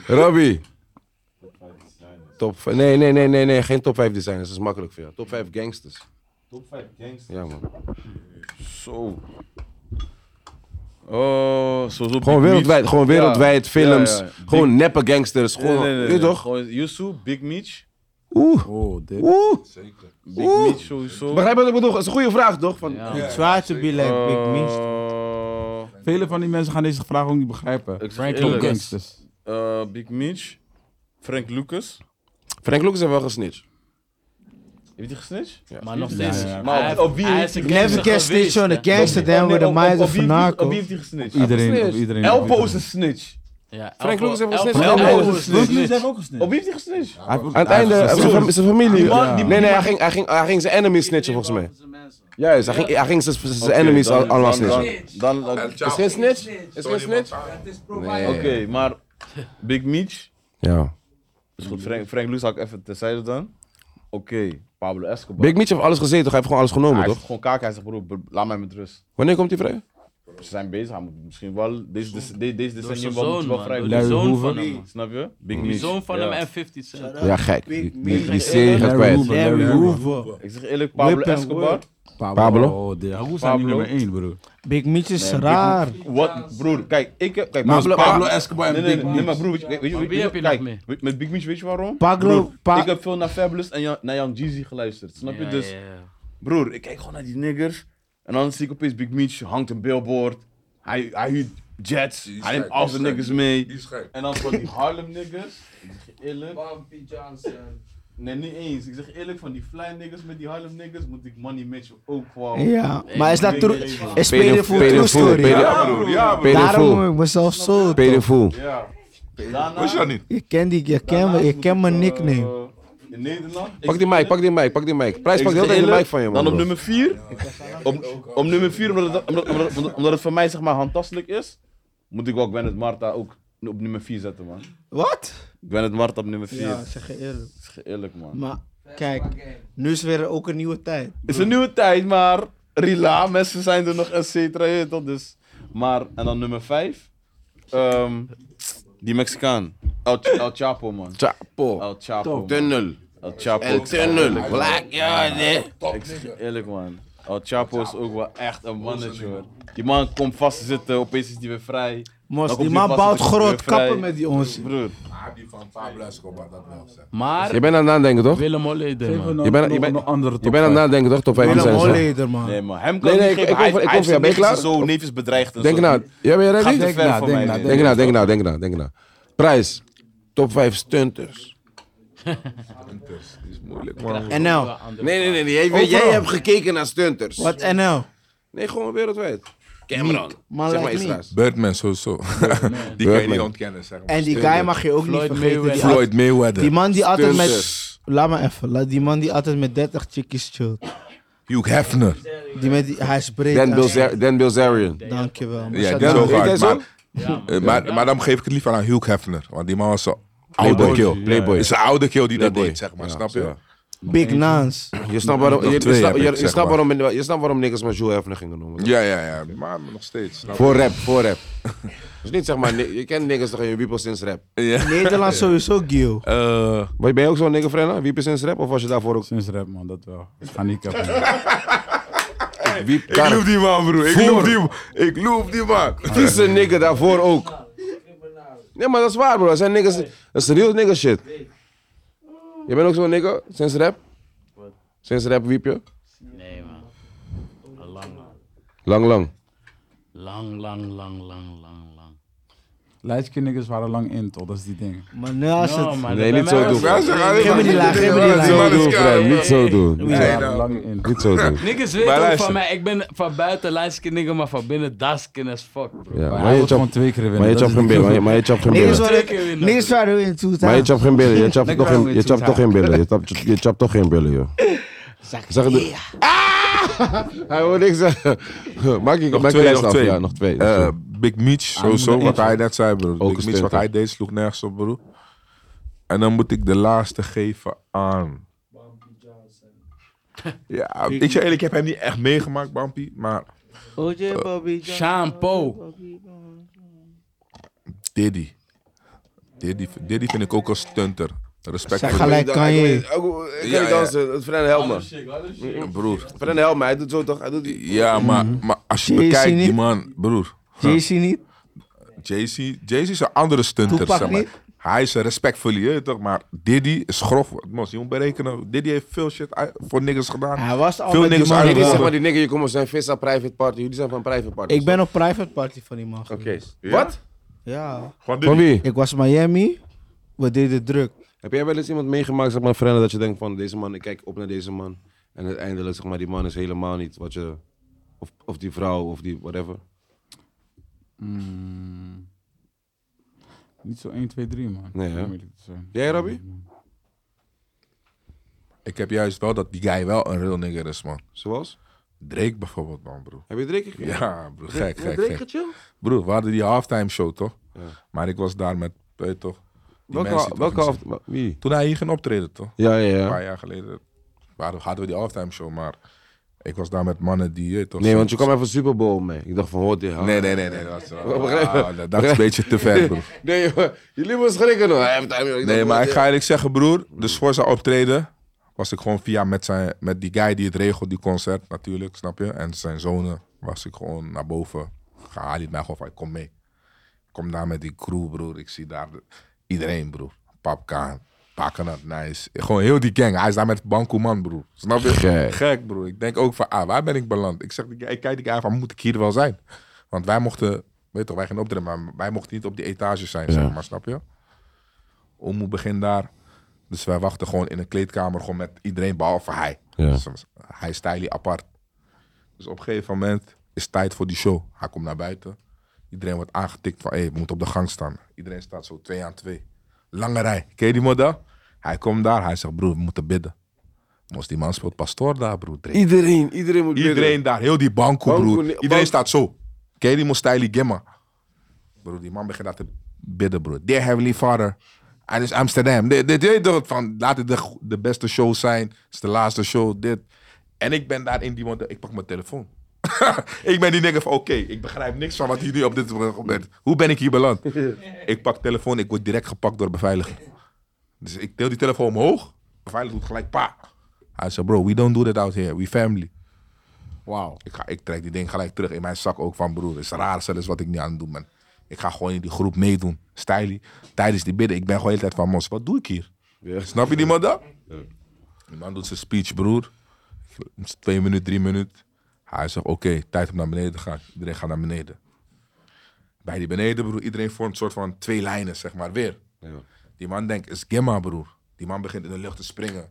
[SPEAKER 1] Rabbi. Top 5 Nee, nee, nee, nee, nee. Geen top 5 designers. Dat is makkelijk voor jou. Top 5 gangsters.
[SPEAKER 6] Top 5 gangsters.
[SPEAKER 1] Ja, man.
[SPEAKER 6] Zo. Oh, zo zo
[SPEAKER 1] Gewoon
[SPEAKER 6] Big
[SPEAKER 1] wereldwijd.
[SPEAKER 6] Meech.
[SPEAKER 1] Gewoon
[SPEAKER 6] Ja.
[SPEAKER 1] wereldwijd.
[SPEAKER 6] Ja,
[SPEAKER 1] Films.
[SPEAKER 6] ja, ja. Big-
[SPEAKER 1] Gewoon neppe gangsters. Gewoon,
[SPEAKER 6] Nee, nee, nee,
[SPEAKER 1] weet je
[SPEAKER 6] nee.
[SPEAKER 1] toch?
[SPEAKER 6] Gewoon Yusu, Big Meech.
[SPEAKER 1] Oeh.
[SPEAKER 2] Oh, dit.
[SPEAKER 1] Oeh.
[SPEAKER 6] Big
[SPEAKER 1] Oeh.
[SPEAKER 6] Meech sowieso.
[SPEAKER 1] Begrijp je wat ik bedoel? Dat is een goede vraag, toch? Van,
[SPEAKER 5] Ja.
[SPEAKER 4] It's hard to be like Big
[SPEAKER 6] Oh.
[SPEAKER 4] Meech.
[SPEAKER 6] Eh,
[SPEAKER 2] Vele van die mensen gaan deze vraag ook niet begrijpen.
[SPEAKER 6] Ik zeg
[SPEAKER 2] Franklin
[SPEAKER 6] eerlijk.
[SPEAKER 2] Gangsters.
[SPEAKER 6] eh, Big Meech. Frank Lucas.
[SPEAKER 1] Frank Lucas heeft wel gesnitcht.
[SPEAKER 6] Heeft hij gesnitcht?
[SPEAKER 5] Maar nog steeds.
[SPEAKER 2] Ja, ja.
[SPEAKER 6] Maar
[SPEAKER 5] hij-
[SPEAKER 6] op wie
[SPEAKER 5] hij
[SPEAKER 6] heeft
[SPEAKER 5] is een
[SPEAKER 6] hij-
[SPEAKER 5] gangster
[SPEAKER 4] Never can
[SPEAKER 5] geweest,
[SPEAKER 4] snitch on
[SPEAKER 5] hè.
[SPEAKER 4] a gangster,
[SPEAKER 6] Oh,
[SPEAKER 4] then
[SPEAKER 6] nee,
[SPEAKER 4] with a
[SPEAKER 6] op- op-
[SPEAKER 4] miser
[SPEAKER 6] op wie
[SPEAKER 4] from
[SPEAKER 6] heeft hij- Op wie
[SPEAKER 4] Naco.
[SPEAKER 6] heeft hij gesnitcht?
[SPEAKER 2] Iedereen, op
[SPEAKER 1] gesnitcht.
[SPEAKER 2] iedereen. op
[SPEAKER 6] Elpo is
[SPEAKER 2] iedereen.
[SPEAKER 6] een snitch.
[SPEAKER 5] Ja,
[SPEAKER 1] Frank Lucas heeft gesnitcht.
[SPEAKER 5] Elpo-
[SPEAKER 1] Elpo
[SPEAKER 5] Elpo
[SPEAKER 1] is
[SPEAKER 5] is
[SPEAKER 1] een snitch.
[SPEAKER 5] snitch.
[SPEAKER 6] ook gesnitcht. Op wie heeft hij gesnitcht?
[SPEAKER 2] Hij
[SPEAKER 1] Aan
[SPEAKER 2] heeft-
[SPEAKER 1] het
[SPEAKER 2] hij heeft
[SPEAKER 1] einde,
[SPEAKER 2] gezegd,
[SPEAKER 1] zijn fam-
[SPEAKER 2] "Zo,
[SPEAKER 1] zijn familie.
[SPEAKER 6] Die man, die-
[SPEAKER 1] Nee, nee, hij ging, hij, ging, hij ging zijn enemy snitchen volgens mij. Juist, hij ging, hij ging zijn, zijn
[SPEAKER 6] Oké,
[SPEAKER 1] enemies
[SPEAKER 6] dan-
[SPEAKER 1] al- allemaal
[SPEAKER 6] dan-
[SPEAKER 1] snitchen.
[SPEAKER 6] Dan, dan- oké,
[SPEAKER 1] Is geen snitch? Is geen snitch? Nee.
[SPEAKER 6] maar Big Meech.
[SPEAKER 1] Ja.
[SPEAKER 6] Is goed, Frank, Frank Lucas had ik even terzijde dan. Oké, Pablo Escobar.
[SPEAKER 1] Big Mitch heeft alles gezeten, toch? Hij heeft gewoon alles
[SPEAKER 6] hij
[SPEAKER 1] genomen,
[SPEAKER 6] heeft
[SPEAKER 1] toch?
[SPEAKER 6] gewoon kaak, hij zegt broer, br- laat mij met rust.
[SPEAKER 1] Wanneer komt hij vrij?
[SPEAKER 6] Ze zijn bezig, hij moet misschien wel, deze, deze, deze, deze
[SPEAKER 5] Door
[SPEAKER 6] decennium
[SPEAKER 5] zijn
[SPEAKER 6] wel, moet
[SPEAKER 5] zoon,
[SPEAKER 6] wel
[SPEAKER 5] man.
[SPEAKER 6] vrij
[SPEAKER 5] Door
[SPEAKER 2] Larry
[SPEAKER 5] die zoon
[SPEAKER 2] Hoover.
[SPEAKER 5] van hem, man.
[SPEAKER 6] Snap je? Big
[SPEAKER 5] Die
[SPEAKER 6] Meech.
[SPEAKER 5] zoon van
[SPEAKER 6] ja.
[SPEAKER 5] hem en 50 Cent.
[SPEAKER 1] Ja, gek. Die, die, die
[SPEAKER 5] Meech.
[SPEAKER 1] serie gaat
[SPEAKER 2] Larry
[SPEAKER 1] kwijt.
[SPEAKER 2] Hoover,
[SPEAKER 4] Larry
[SPEAKER 2] Larry
[SPEAKER 4] Hoover.
[SPEAKER 6] Ik zeg eerlijk, Pablo
[SPEAKER 4] Whip and
[SPEAKER 6] Escobar.
[SPEAKER 4] whip.
[SPEAKER 1] Pablo?
[SPEAKER 2] Oh, de Hoe zijn die
[SPEAKER 6] Pablo.
[SPEAKER 2] nummer 1, broer?
[SPEAKER 4] Big Meech is raar.
[SPEAKER 6] Wat, broer, kijk, ik heb... Kijk,
[SPEAKER 2] Maar
[SPEAKER 6] broer,
[SPEAKER 2] Pablo Escobar en
[SPEAKER 6] Nee, nee,
[SPEAKER 2] Big
[SPEAKER 6] nee, nee,
[SPEAKER 2] Meech.
[SPEAKER 6] maar broer, weet je, weet je,
[SPEAKER 5] Maar
[SPEAKER 6] weet
[SPEAKER 5] wie
[SPEAKER 6] je-
[SPEAKER 5] heb je
[SPEAKER 6] kijk,
[SPEAKER 5] nog meer?
[SPEAKER 6] weet- met Big Meech, weet je waarom?
[SPEAKER 4] Pablo,
[SPEAKER 6] Ik
[SPEAKER 4] pa
[SPEAKER 6] heb veel naar Fabulous en Jan- naar Young Jeezy geluisterd, snap je?
[SPEAKER 5] Ja,
[SPEAKER 6] Dus,
[SPEAKER 5] ja, ja.
[SPEAKER 6] broer, ik kijk gewoon naar die niggers. En dan zie ik opeens Big Meech hangt een billboard. Hij, hij huurt jets.
[SPEAKER 3] Die is
[SPEAKER 6] hij neemt
[SPEAKER 3] gek,
[SPEAKER 6] al
[SPEAKER 3] die
[SPEAKER 6] zijn
[SPEAKER 3] is
[SPEAKER 6] niggers
[SPEAKER 3] gek.
[SPEAKER 6] mee.
[SPEAKER 3] Die is gek.
[SPEAKER 6] En dan van die Harlem niggers. Ik zeg je eerlijk.
[SPEAKER 7] Bumpy Johnson.
[SPEAKER 6] Nee, niet eens. Ik zeg je eerlijk, van die fly niggers met die Harlem niggers moet ik Money Mitchell ook voor.
[SPEAKER 4] Ja, maar is dat
[SPEAKER 6] Big
[SPEAKER 4] true?
[SPEAKER 6] Meech.
[SPEAKER 4] Is spelen voor
[SPEAKER 1] Pedofool,
[SPEAKER 4] true story?
[SPEAKER 1] pedofool.
[SPEAKER 3] Ja, broer, ja, broer.
[SPEAKER 4] Daarom
[SPEAKER 1] Pedofool.
[SPEAKER 4] noem ik mezelf zo. toch?
[SPEAKER 1] Pedofool.
[SPEAKER 6] Ja. Daarna,
[SPEAKER 3] Wist je dat niet?
[SPEAKER 4] Je kent die, je kent me,
[SPEAKER 6] daarnaast
[SPEAKER 4] je
[SPEAKER 6] moet
[SPEAKER 4] kent mijn
[SPEAKER 6] ik, eh,
[SPEAKER 4] nickname.
[SPEAKER 6] in Nederland. ik
[SPEAKER 1] Pak
[SPEAKER 6] zeg
[SPEAKER 1] die mic,
[SPEAKER 6] eerlijk,
[SPEAKER 1] pak die mic, pak die mic. Prijs,
[SPEAKER 6] Ik
[SPEAKER 1] pak de hele tijd
[SPEAKER 6] zeg
[SPEAKER 1] de
[SPEAKER 6] eerlijk,
[SPEAKER 1] mic van je, man.
[SPEAKER 6] Dan op
[SPEAKER 1] bro.
[SPEAKER 6] nummer 4. Om, om nummer 4, omdat het, omdat, omdat, omdat- omdat het voor mij zeg maar handtastelijk is, moet ik wel Gwyneth Marta ook op nummer 4 zetten, man.
[SPEAKER 4] Wat?
[SPEAKER 6] Gwyneth Marta op nummer 4.
[SPEAKER 4] Ja, zeg je eerlijk.
[SPEAKER 6] Zeg je eerlijk, man.
[SPEAKER 4] Maar kijk, nu is weer ook een nieuwe tijd.
[SPEAKER 6] Het is een nieuwe tijd, maar rila, mensen zijn er nog, et cetera, je weet toch, dus. Maar, en dan nummer 5. die Mexicaan. El, El Chapo, man.
[SPEAKER 1] Chapo.
[SPEAKER 6] El Chapo. man.
[SPEAKER 1] Tunnel.
[SPEAKER 6] El Chapo.
[SPEAKER 1] El tunnel.
[SPEAKER 6] Eerlijk, man.
[SPEAKER 1] Black, ja, nee.
[SPEAKER 6] Ik zeg eerlijk, man. El Chapo is ook wel echt een mannetje, hoor. Die man komt vast te zitten, opeens is hij weer vrij. Dan
[SPEAKER 4] Mos,
[SPEAKER 6] komt
[SPEAKER 4] die
[SPEAKER 6] hij
[SPEAKER 4] man
[SPEAKER 6] vast te
[SPEAKER 4] bouwt
[SPEAKER 6] zitten, weer
[SPEAKER 4] groot
[SPEAKER 6] vrij.
[SPEAKER 4] kappen met die ons.
[SPEAKER 6] Broer,
[SPEAKER 3] Maar die van Pablo Escobar, dat wel zeg.
[SPEAKER 1] Je
[SPEAKER 5] Maar
[SPEAKER 1] bent aan het nadenken, toch?
[SPEAKER 5] Willem Holleder,
[SPEAKER 2] Even
[SPEAKER 5] man.
[SPEAKER 2] nog-
[SPEAKER 1] Je bent-
[SPEAKER 2] nog
[SPEAKER 1] je bent-
[SPEAKER 2] een andere
[SPEAKER 1] Je
[SPEAKER 2] top eh,
[SPEAKER 1] bent aan het
[SPEAKER 2] vijf.
[SPEAKER 1] nadenken, toch? Top 5
[SPEAKER 4] Willem
[SPEAKER 1] designers.
[SPEAKER 4] Holleder, man.
[SPEAKER 6] nee, man. Hem kan
[SPEAKER 1] Nee,
[SPEAKER 6] ik
[SPEAKER 1] nee,
[SPEAKER 6] niet
[SPEAKER 1] ik-
[SPEAKER 6] geven.
[SPEAKER 1] ik
[SPEAKER 6] Hij,
[SPEAKER 1] hoef- ik
[SPEAKER 6] hij
[SPEAKER 1] hoef-
[SPEAKER 6] is
[SPEAKER 1] ja, ben je
[SPEAKER 6] netjes
[SPEAKER 1] klaar?
[SPEAKER 6] en zo, neef is bedreigd en
[SPEAKER 1] Denk
[SPEAKER 6] zo.
[SPEAKER 1] nou. Ja, ben je
[SPEAKER 6] Gaat te
[SPEAKER 1] ready?
[SPEAKER 6] ver
[SPEAKER 2] na,
[SPEAKER 6] voor
[SPEAKER 2] denk
[SPEAKER 6] mij.
[SPEAKER 2] na,
[SPEAKER 6] nee.
[SPEAKER 1] Denk nou, denk nou, denk nou, denk nou. Prijs. Top 5 stunters.
[SPEAKER 3] Die is moeilijk, man.
[SPEAKER 4] NL.
[SPEAKER 1] Nee, nee, nee. nee. Jij, weet- jij hebt gekeken naar stunters.
[SPEAKER 4] Wat NL?
[SPEAKER 1] Nee, gewoon wereldwijd. Cameron.
[SPEAKER 4] Maar
[SPEAKER 1] zeg
[SPEAKER 4] lijkt
[SPEAKER 1] maar iets
[SPEAKER 4] niet.
[SPEAKER 1] raars.
[SPEAKER 3] Birdman sowieso. die kan je
[SPEAKER 1] Birdman.
[SPEAKER 3] niet ontkennen, zeg maar.
[SPEAKER 4] En die guy mag je ook niet
[SPEAKER 5] Floyd
[SPEAKER 4] vergeten. Die,
[SPEAKER 5] Mayweather.
[SPEAKER 3] Floyd Mayweather.
[SPEAKER 4] die man die altijd met...
[SPEAKER 1] Stunters.
[SPEAKER 4] Laat maar even. laat- Die man die altijd met 30 chickies chillt.
[SPEAKER 3] Hugh Hefner.
[SPEAKER 4] Die met die... Hij is breed.
[SPEAKER 1] Dan,
[SPEAKER 4] en-
[SPEAKER 1] Bilzer Dan Bilzerian.
[SPEAKER 4] Dankjewel. man. Shout
[SPEAKER 3] Ja, die is
[SPEAKER 4] out.
[SPEAKER 3] ook
[SPEAKER 1] Heet hij
[SPEAKER 3] hard.
[SPEAKER 1] zo?
[SPEAKER 3] Maar, eh, maar, maar dan geef ik het liever aan Hugh Hefner. Want die man was zo oude
[SPEAKER 1] Playboy.
[SPEAKER 3] kill.
[SPEAKER 1] Playboy.
[SPEAKER 3] Het is een oude kill die dat
[SPEAKER 1] Playboy.
[SPEAKER 3] deed, zeg maar.
[SPEAKER 1] Ja,
[SPEAKER 3] Snap je?
[SPEAKER 1] ja.
[SPEAKER 4] Big Nans.
[SPEAKER 1] Je snapt waarom, je,
[SPEAKER 3] Nog
[SPEAKER 1] je
[SPEAKER 3] twee
[SPEAKER 1] snapt-
[SPEAKER 3] heb
[SPEAKER 1] je-
[SPEAKER 3] ik,
[SPEAKER 1] je
[SPEAKER 3] zeg
[SPEAKER 1] snapt
[SPEAKER 3] maar.
[SPEAKER 1] waarom, je snapt waarom niks maar Joe Hefner gingen noemen.
[SPEAKER 3] Ja, ja, ja. Maar nog steeds. snap je?
[SPEAKER 1] Voor rap, voor rap. Dus niet zeg maar, ni- je kent niggas toch in je wiepel sinds rap.
[SPEAKER 4] Nederland sowieso, Gio.
[SPEAKER 3] Eh,
[SPEAKER 1] Maar Ben je ook zo'n nigger, Frenna? Wiepel sinds rap? Of was je daarvoor ook
[SPEAKER 2] Sinds rap, man, dat wel. Ik ga niet kappen.
[SPEAKER 1] wiep?
[SPEAKER 3] ik loop die man, broer. Ik
[SPEAKER 1] Voor.
[SPEAKER 3] loop die man. Ik loop die man.
[SPEAKER 1] Vieze nigger daarvoor ook. Nee, maar dat is waar, bro. Dat zijn niggas, dat is real nigger shit. Je bent ook zo'n nigger, sinds rap? Sinds rap wiep je? Lang, lang.
[SPEAKER 5] Lang, lang, lang, lang, lang, lang.
[SPEAKER 2] Lijstje niggas waren lang in, toch? Dat is die ding.
[SPEAKER 4] Maar naast
[SPEAKER 5] No,
[SPEAKER 4] het...
[SPEAKER 5] Nou, maar
[SPEAKER 1] Nee,
[SPEAKER 5] bij
[SPEAKER 1] niet
[SPEAKER 5] mij
[SPEAKER 1] zo
[SPEAKER 5] was-
[SPEAKER 1] doen.
[SPEAKER 3] Wij zeggen alleen
[SPEAKER 4] Geef me
[SPEAKER 3] maar-
[SPEAKER 4] die laag, geef me die
[SPEAKER 3] Ja,
[SPEAKER 4] laag.
[SPEAKER 1] Niet zo
[SPEAKER 3] man,
[SPEAKER 1] doen,
[SPEAKER 3] is
[SPEAKER 1] Fred.
[SPEAKER 3] klaar,
[SPEAKER 1] Niet zo doen.
[SPEAKER 2] Die
[SPEAKER 3] Nee,
[SPEAKER 2] waren
[SPEAKER 3] nou.
[SPEAKER 2] lang in.
[SPEAKER 1] Niet zo doen.
[SPEAKER 5] Niggas weten
[SPEAKER 3] Maar
[SPEAKER 5] ook
[SPEAKER 3] luister.
[SPEAKER 5] van mij, ik ben van buiten lijstje nigger, maar van binnen dasken as fuck,
[SPEAKER 1] Ja,
[SPEAKER 5] bro.
[SPEAKER 2] Maar
[SPEAKER 1] maar
[SPEAKER 2] hij
[SPEAKER 1] je
[SPEAKER 2] wil gewoon
[SPEAKER 1] chapt
[SPEAKER 2] twee keer winnen.
[SPEAKER 1] maar je
[SPEAKER 2] dat
[SPEAKER 1] chapt
[SPEAKER 2] is
[SPEAKER 1] geen
[SPEAKER 2] niet
[SPEAKER 1] billen.
[SPEAKER 2] zo-
[SPEAKER 1] Maar je chapt geen
[SPEAKER 4] Niks
[SPEAKER 1] billen.
[SPEAKER 5] waar-
[SPEAKER 4] waren niks waren we in
[SPEAKER 1] Maar je
[SPEAKER 4] toetaan.
[SPEAKER 1] chapt geen billen. Je chapt
[SPEAKER 2] Lekker
[SPEAKER 1] toch geen-
[SPEAKER 2] houden,
[SPEAKER 1] Je chapt toch geen billen. Je chapt- Je chapt toch geen billen, joh. Zeg het. Ah! Hij wil niks zeggen. Maak ik
[SPEAKER 3] Nog
[SPEAKER 1] maak
[SPEAKER 3] twee,
[SPEAKER 1] lijst
[SPEAKER 3] nog
[SPEAKER 1] af.
[SPEAKER 3] twee.
[SPEAKER 1] Ja, nog twee.
[SPEAKER 3] Eh, Big Meech, sowieso.
[SPEAKER 2] nummer
[SPEAKER 3] Wat
[SPEAKER 2] één.
[SPEAKER 3] hij net zei, bro.
[SPEAKER 1] een
[SPEAKER 3] Big Meech, wat
[SPEAKER 1] stunter.
[SPEAKER 3] hij deed, sloeg nergens op, bro. En dan moet ik de laatste geven aan. Ja, ik zeg eerlijk, ik heb hem niet echt meegemaakt, Bampie. Maar
[SPEAKER 5] Shampoo.
[SPEAKER 3] Diddy. Diddy, Diddy vind ik ook als stunter. Respect
[SPEAKER 4] Zeg
[SPEAKER 3] voor
[SPEAKER 4] gelijk, kan je.
[SPEAKER 1] Ik
[SPEAKER 3] Ja,
[SPEAKER 1] kan
[SPEAKER 3] ja.
[SPEAKER 1] niet dansen. Fren, eh, help me.
[SPEAKER 3] die- broer.
[SPEAKER 1] Fren, help me. Hij doet zo toch? Hij doet die-
[SPEAKER 3] Ja, maar, maar als Mhm. je
[SPEAKER 4] JC
[SPEAKER 3] bekijkt, die
[SPEAKER 4] niet?
[SPEAKER 3] man, broer.
[SPEAKER 4] JC niet.
[SPEAKER 3] JC, JC is een andere stunter,
[SPEAKER 4] Toepak
[SPEAKER 3] zeg maar.
[SPEAKER 4] niet?
[SPEAKER 3] Hij is een respectvol, je weet toch? Maar Diddy is grof. Mos, je moet berekenen. Diddy heeft veel shit uit- voor niggas gedaan.
[SPEAKER 4] Hij was
[SPEAKER 3] Veel
[SPEAKER 4] al met die
[SPEAKER 3] niggas
[SPEAKER 4] man.
[SPEAKER 3] uit-
[SPEAKER 1] Dit is
[SPEAKER 4] wel.
[SPEAKER 1] zeg maar die nigger. Je komt op zijn vissa private party. Jullie zijn van private party.
[SPEAKER 4] Ik ben op private party van die man.
[SPEAKER 1] Oké.
[SPEAKER 4] geweest.
[SPEAKER 1] Wat?
[SPEAKER 4] Ja.
[SPEAKER 3] Van Diddy.
[SPEAKER 1] Van wie?
[SPEAKER 4] Ik was in Miami. We deden druk.
[SPEAKER 1] Heb jij wel eens iemand meegemaakt, zeg maar, vrienden, dat je denkt van deze man, ik kijk op naar deze man. En uiteindelijk, zeg maar, die man is helemaal niet wat je. Of, of die vrouw, of die whatever.
[SPEAKER 2] Mm. Niet zo 1, 2, 3, man.
[SPEAKER 1] Nee, hè?
[SPEAKER 2] Om eerlijk te zijn.
[SPEAKER 1] Jij, Robbie?
[SPEAKER 3] Ik heb juist wel dat die guy wel een real nigger is, man.
[SPEAKER 1] Zoals?
[SPEAKER 3] Drake bijvoorbeeld, man, broer.
[SPEAKER 1] Heb je drinken gegeven?
[SPEAKER 3] Ja, broer, gek, gek,
[SPEAKER 1] Drake
[SPEAKER 3] gek.
[SPEAKER 1] gechill?
[SPEAKER 3] Broer, we hadden die halftime show, toch?
[SPEAKER 1] Ja.
[SPEAKER 3] Maar ik was daar met, weet je toch? die mensen
[SPEAKER 1] Welke,
[SPEAKER 3] die
[SPEAKER 1] welke
[SPEAKER 3] toch-
[SPEAKER 1] af... Wie?
[SPEAKER 3] Toen hij hier ging optreden, toch?
[SPEAKER 1] Ja, ja,
[SPEAKER 3] Een
[SPEAKER 1] ja.
[SPEAKER 3] paar jaar geleden waren- hadden we die halftime show, maar ik was daar met mannen die, je weet toch?
[SPEAKER 1] Nee, want je kwam even Super Bowl mee. Ik dacht van, hoort dit?
[SPEAKER 3] Nee, nee, nee, nee. Dat is,
[SPEAKER 1] Begrijp je?
[SPEAKER 3] Ah, dat- dat is een beetje te ver, broer.
[SPEAKER 1] Nee, joh, jullie moeten schrikken hoor. Hij heeft daar- dacht,
[SPEAKER 3] Nee, maar
[SPEAKER 1] hoort
[SPEAKER 3] ik
[SPEAKER 1] dit?
[SPEAKER 3] ga eerlijk zeggen, broer. Dus voor zijn optreden was ik gewoon via met, zijn, met die guy die het regelt, die concert natuurlijk, snap je? En zijn zonen was ik gewoon naar boven. gegaan. Hij liet mij gewoon van, kom mee. Ik kom daar met die crew, broer. Ik zie daar de- iedereen, broer. Papkaan, Pakanat, nice. Gewoon heel die gang. Hij is daar met Bankoman, broer. Snap je?
[SPEAKER 1] Gek.
[SPEAKER 3] broer. Ik denk ook van, ah, waar ben ik beland? Ik, zeg, die guy- ik kijk die guy van, moet ik hier wel zijn? Want wij mochten, weet toch, wij gingen optreden, maar wij mochten niet op die etages zijn, zeg maar, snap je? Omoe begint daar. Dus wij wachten gewoon in een kleedkamer gewoon met iedereen behalve hij.
[SPEAKER 1] Ja.
[SPEAKER 3] Dus hij is Tylee apart. Dus op een gegeven moment is het tijd voor die show. Hij komt naar buiten. Iedereen wordt aangetikt van, hé, we moeten op de gang staan. Iedereen staat zo twee aan twee. Lange rij. Ken je die model? Hij komt daar. Hij zegt, broer, we moeten bidden. Moest die man speelt pastoor daar, broer. Drake.
[SPEAKER 1] Iedereen, iedereen moet bidden.
[SPEAKER 3] Iedereen daar, heel die banko,
[SPEAKER 1] Banko,
[SPEAKER 3] broer.
[SPEAKER 1] nee,
[SPEAKER 3] Iedereen
[SPEAKER 1] banko.
[SPEAKER 3] staat zo. Ken je die Mostaili Gemma? Broer, die man begint daar te bidden, broer. Dear Heavenly Father. En is Amsterdam. Dit, dit, dit, dit, van, laat het de, go- de beste show zijn. Het is de laatste show, dit. En ik ben daar in die model. Ik pak mijn telefoon. ik ben die nigger van, oké, ik begrijp niks van wat hier nu op dit moment gebeurt. Hoe ben ik hier beland? ik pak telefoon, ik word direct gepakt door de beveiliger. Dus ik deel die telefoon omhoog. Beveiliger doet gelijk, pa. Hij zei, bro, we don't do that out here. We family.
[SPEAKER 2] Wauw.
[SPEAKER 3] Ik, ga, ik trek die ding gelijk terug in mijn zak ook van broer. Het is raar zelfs wat ik nu aan het doen ben. Ik ga gewoon in die groep meedoen. Stylie. Tijdens die bidden. Ik ben gewoon de hele tijd van mos. Wat doe ik hier?
[SPEAKER 1] Ja.
[SPEAKER 3] Snap je die man dan? Die man doet zijn speech, broer. Twee minuten, drie minuten. Hij zegt, oké, tijd om naar beneden te gaan. Iedereen gaat naar beneden. Bij die beneden, broer, iedereen vormt een soort van twee lijnen, zeg maar, weer. Die man denkt, is Gemma, broer. Die man begint in de lucht te springen.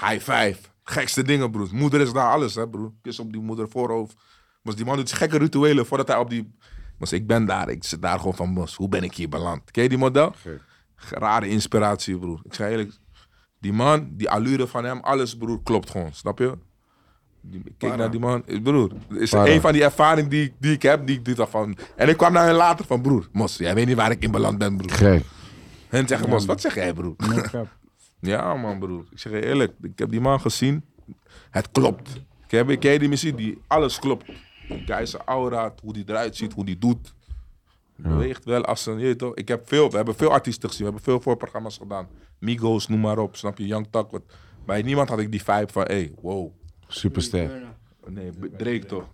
[SPEAKER 3] High five. Gekste dingen, broer. Moeder is daar alles, hè, broer. Kus op die moeder voorhoofd. Maar die man doet gekke rituelen voordat hij op die... Maar ik ben daar. Ik zit daar gewoon van, mos, hoe ben ik hier beland? Ken je die model? Rare inspiratie, broer. Ik zei eerlijk, die man, die allure van hem, alles, broer, klopt gewoon. Snap je? Die, ik keek naar die man. eh, Broer, is
[SPEAKER 1] Para.
[SPEAKER 3] een van die ervaringen die, die ik heb, die ik dit van. En ik kwam naar hen later van, broer, mos, jij weet niet waar ik in beland ben, broer.
[SPEAKER 1] Gek.
[SPEAKER 3] Hen zeggen, mos, wat zeg jij, broer?
[SPEAKER 2] No cap.
[SPEAKER 3] Ja, man, broer. Ik zeg je eerlijk, ik heb die man gezien. Het klopt. Ken je, ken je die muziek? Die, alles klopt. Die guy zijn aura, hoe die eruit ziet, hoe die doet. Beweegt wel als een... je weet toch, Ik heb veel, we hebben veel artiesten gezien. We hebben veel voorprogramma's gedaan. Migos, noem maar op. Snap je? Young Tuck. Wat, bij niemand had ik die vibe van, hey, wow.
[SPEAKER 1] Superster.
[SPEAKER 3] Nee, B- Drake toch.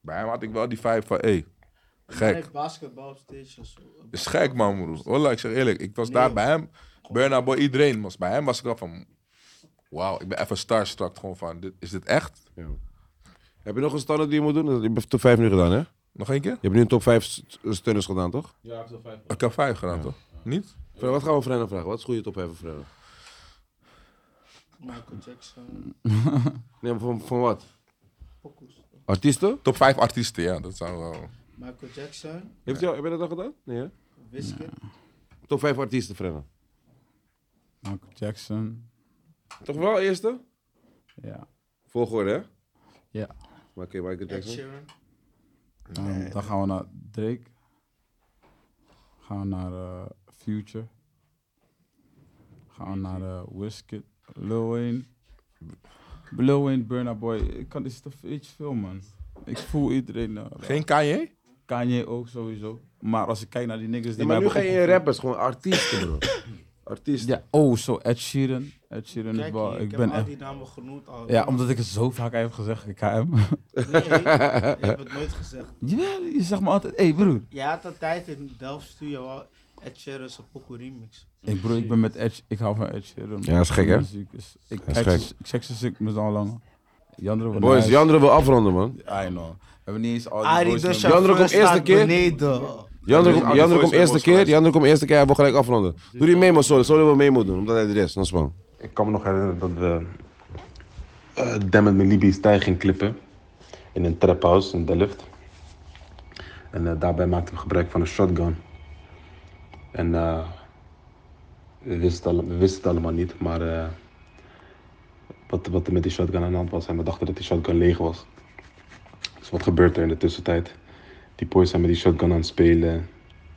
[SPEAKER 3] Bij hem had ik wel die vibe van, hey, gek.
[SPEAKER 4] Basketbal op stage of zo.
[SPEAKER 3] Is gek, man, broer. Wallah, ik zeg eerlijk. Ik was daar bij hem. Burna Boy, iedereen. was bij hem was ik al van... Wauw, ik ben even starstruck. Gewoon van, dit, is dit echt?
[SPEAKER 1] Heb je nog een standaard die je moet doen? Je hebt er vijf nu gedaan, hè? Je
[SPEAKER 3] Nog één keer?
[SPEAKER 1] hebt nu een top vijf st- stunners gedaan, toch?
[SPEAKER 6] Ja, ik heb vijf.
[SPEAKER 3] Ik heb vijf gedaan, toch? Niet?
[SPEAKER 1] Fred, Wat gaan we Frenna vragen? Wat is goede top vijf voor Frenna?
[SPEAKER 4] Michael Jackson,
[SPEAKER 1] Nee, maar van, van wat? Artiesten?
[SPEAKER 3] Top vijf artiesten, ja. Dat zou wel...
[SPEAKER 4] Michael Jackson,
[SPEAKER 1] Heeft jou, heb je dat al gedaan? Nee, hè?
[SPEAKER 4] Whisky.
[SPEAKER 1] Top vijf artiesten, Frenna.
[SPEAKER 2] Michael Jackson.
[SPEAKER 1] Toch wel, eerste?
[SPEAKER 2] Ja.
[SPEAKER 1] Volgorde, hè?
[SPEAKER 2] Ja.
[SPEAKER 1] Maar oké, Michael Jackson.
[SPEAKER 2] Dan, dan gaan we naar Drake. Gaan we naar eh, Future. Gaan we naar eh Wizkid. Lil Wayne. Lil Wayne, Burna Boy. Ik kan, dit is toch iets veel, man. Ik voel iedereen. eh,
[SPEAKER 3] Geen Kanye?
[SPEAKER 2] Kanye ook sowieso. Maar als ik kijk naar die niggas die
[SPEAKER 1] maar
[SPEAKER 2] mij
[SPEAKER 1] nu geen
[SPEAKER 2] hebben
[SPEAKER 1] je
[SPEAKER 2] opgevoed-
[SPEAKER 1] rappers, gewoon artiesten, bro. artiesten.
[SPEAKER 2] Ja, oh, zo Ed Sheeran. Ed Sheeran is
[SPEAKER 4] Kijk,
[SPEAKER 2] wel...
[SPEAKER 4] hier,
[SPEAKER 2] Ik
[SPEAKER 4] heb
[SPEAKER 2] ben
[SPEAKER 4] al
[SPEAKER 2] echt...
[SPEAKER 4] die namen genoemd al.
[SPEAKER 2] Ja, omdat ik het zo vaak heb gezegd, ik KM.
[SPEAKER 4] Nee, je hebt het nooit gezegd.
[SPEAKER 2] Jawel, je zegt me altijd, hé hey, broer.
[SPEAKER 4] Je had een tijd in Delft Studio al Ed Sheeran zijn pokoe remix.
[SPEAKER 2] Ik broer, ik ben met Edge, ik hou van Edge Sheeran.
[SPEAKER 1] Ja, dat is gek, hè?
[SPEAKER 2] Muziek is, ik
[SPEAKER 1] is
[SPEAKER 2] Edge
[SPEAKER 1] gek.
[SPEAKER 2] is- ik zeg ze ik me al lang. Jandro van
[SPEAKER 1] Boys,
[SPEAKER 2] Nuis.
[SPEAKER 1] Jandre wil afronden, man.
[SPEAKER 2] I know. We hebben niet eens al die
[SPEAKER 4] Arie
[SPEAKER 2] boys
[SPEAKER 4] de
[SPEAKER 2] meer-
[SPEAKER 1] Jan-
[SPEAKER 4] chauffeur
[SPEAKER 1] komt eerste
[SPEAKER 4] staat
[SPEAKER 1] keer.
[SPEAKER 4] beneden.
[SPEAKER 1] Jandre
[SPEAKER 3] Ja,
[SPEAKER 1] komt Jandre
[SPEAKER 3] die voice
[SPEAKER 1] komt
[SPEAKER 3] memos
[SPEAKER 1] eerste keer,
[SPEAKER 3] geluisterd.
[SPEAKER 1] Jandre komt eerste keer, hij wil gelijk afronden. Doe die memo, sorry, sorry wil meemoet doen, omdat hij de rest, dan span.
[SPEAKER 8] Ik kan me nog herinneren dat we eh Damn It Libi's tij ging klippen. In een trap house in Delft. En eh, daarbij maakten we gebruik van een shotgun. En eh, we, wisten het alle- we wisten het allemaal niet, maar eh, wat, wat er met die shotgun aan de hand was. En we dachten dat die shotgun leeg was. Dus wat gebeurt er in de tussentijd? Die boys zijn met die shotgun aan het spelen,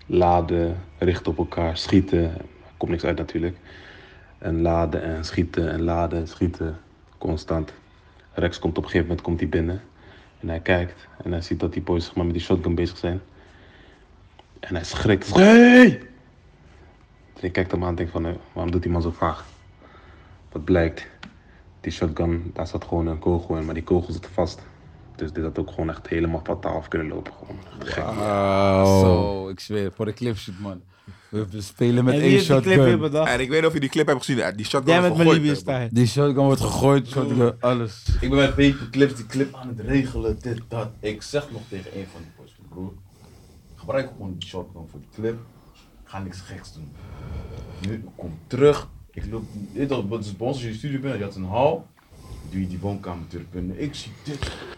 [SPEAKER 8] laden, richten op elkaar, schieten. Er komt niks uit natuurlijk. En laden en schieten en laden en schieten. Constant. Rex komt op een gegeven moment komt hij binnen. En hij kijkt en hij ziet dat die boys zeg maar, met die shotgun bezig zijn. En hij schrikt. Schri- Hey! Dus ik kijk hem aan en denk van, eh, waarom doet die man zo vaag? Wat blijkt, die shotgun, daar zat gewoon een kogel in, maar die kogel zit vast. Dus dit had ook gewoon echt helemaal fataal af kunnen lopen. Gewoon. Gek.
[SPEAKER 2] Zo, ik zweer, voor de clipshoot, man. We we spelen met
[SPEAKER 4] en
[SPEAKER 2] één
[SPEAKER 4] wie heeft die clip weer
[SPEAKER 2] shotgun.
[SPEAKER 4] bedacht?
[SPEAKER 3] En ik weet niet of je die clip hebt gezien. eh, Die shotgun
[SPEAKER 4] Jij met
[SPEAKER 3] is
[SPEAKER 4] mijn
[SPEAKER 3] gegooid,
[SPEAKER 4] Libië
[SPEAKER 3] hè, bro.
[SPEAKER 4] stijl.
[SPEAKER 2] Die shotgun wordt gegooid, shotgun, alles.
[SPEAKER 6] Ik ben met Peter Clips die clip aan het regelen, dit, dat. Ik zeg nog tegen een van die boys, broer, gebruik gewoon die shotgun voor die clip. Ga niks geks doen. Nu, ik kom terug. Ik loop, dit is dat is bij ons als je in de studio bent, je had een hal. Doe je die woonkamerdeur binnen, ik zie dit. Ja.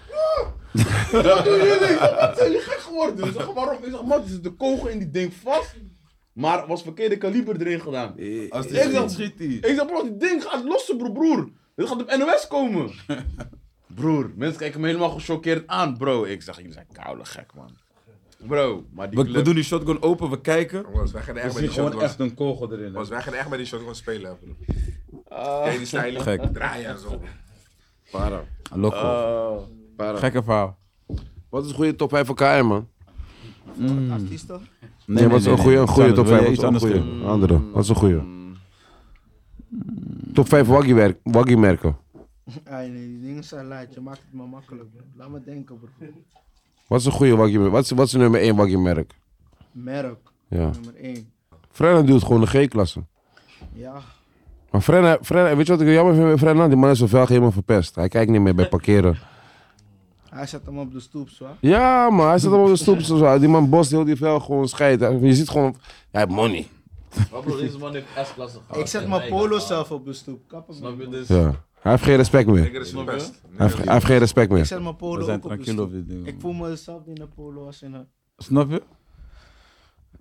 [SPEAKER 6] Dat doen jullie, wat zijn jullie gek geworden? Ik zeg, waarom? Ik zeg, man, er zit de kogel in die ding vast. Maar was verkeerde kaliber erin gedaan.
[SPEAKER 2] Als
[SPEAKER 6] die schiet,
[SPEAKER 2] schiet
[SPEAKER 6] Ik zeg, bro, dit ding gaat lossen, broer, broer. Dit gaat op NOS komen. broer, mensen kijken me helemaal gechoqueerd aan, bro. Ik zeg, jullie zijn koude gek, man. Bro, maar die
[SPEAKER 2] We, we
[SPEAKER 6] clip-
[SPEAKER 2] doen die shotgun open, we kijken.
[SPEAKER 3] Jongens, wij gaan er
[SPEAKER 2] We
[SPEAKER 3] echt met
[SPEAKER 2] zien
[SPEAKER 3] die
[SPEAKER 2] gewoon
[SPEAKER 3] shotguns.
[SPEAKER 2] echt een kogel erin. hè.
[SPEAKER 3] Jongens, wij gaan er echt met die shotguns spelen, hè, broer. Ken je die stijlen?
[SPEAKER 2] Gek.
[SPEAKER 3] Draaien en zo.
[SPEAKER 1] Para, Eh,
[SPEAKER 2] Loco.
[SPEAKER 6] Oh.
[SPEAKER 1] para.
[SPEAKER 2] Gekke verhaal.
[SPEAKER 1] Wat is een goede top 5 voor KM, man?
[SPEAKER 4] Artiesten?
[SPEAKER 1] Mm. Nee, wat is een goede, een goede top 5? Wat
[SPEAKER 2] Wil
[SPEAKER 1] is
[SPEAKER 2] je iets
[SPEAKER 1] een
[SPEAKER 2] anders
[SPEAKER 1] goede?
[SPEAKER 2] doen?
[SPEAKER 1] Een Andere, wat is een goede? Top 5 waggy-merken. Waggy merken.
[SPEAKER 4] Ah, nee, die dingen zijn laat. Je maakt het maar makkelijk, bro. Laat me denken, bro.
[SPEAKER 1] Wat is een goede waggy-merk? Wat is, wat is nummer 1 waggy-merk?
[SPEAKER 4] Merk,
[SPEAKER 1] Ja.
[SPEAKER 4] nummer 1.
[SPEAKER 1] Frenna doet gewoon de G-klasse.
[SPEAKER 4] Ja,
[SPEAKER 1] Maar Frenna, Frenna, weet je wat ik jammer vind met Frenna? Die man is zijn velg helemaal verpest. Hij kijkt niet meer bij parkeren.
[SPEAKER 4] hij zet hem op de stoep, zo.
[SPEAKER 1] Ja, maar hij zit allemaal op de stoep. Zo. Die man bost heel die vel gewoon scheid. Je ziet gewoon, hij heeft money.
[SPEAKER 6] Maar bro, deze man heeft S-klasse gehad.
[SPEAKER 4] Ik zet
[SPEAKER 6] En
[SPEAKER 4] mijn
[SPEAKER 6] hij
[SPEAKER 4] polo
[SPEAKER 6] gehad.
[SPEAKER 4] zelf op de stoep. Kap hem.
[SPEAKER 6] Snap je
[SPEAKER 4] man.
[SPEAKER 6] dus?
[SPEAKER 1] Ja. Hij heeft geen respect meer.
[SPEAKER 3] Nigger is
[SPEAKER 6] Snap je?
[SPEAKER 3] best.
[SPEAKER 1] Hij heeft, hij heeft geen respect
[SPEAKER 4] Ik
[SPEAKER 1] meer.
[SPEAKER 4] zet mijn
[SPEAKER 2] We
[SPEAKER 4] polo
[SPEAKER 2] zijn
[SPEAKER 4] ook op de
[SPEAKER 2] tranquilo op
[SPEAKER 4] stoep.
[SPEAKER 2] dit ding.
[SPEAKER 4] Ik
[SPEAKER 2] man.
[SPEAKER 4] voel mezelf niet in een polo als in een...
[SPEAKER 2] Snap je?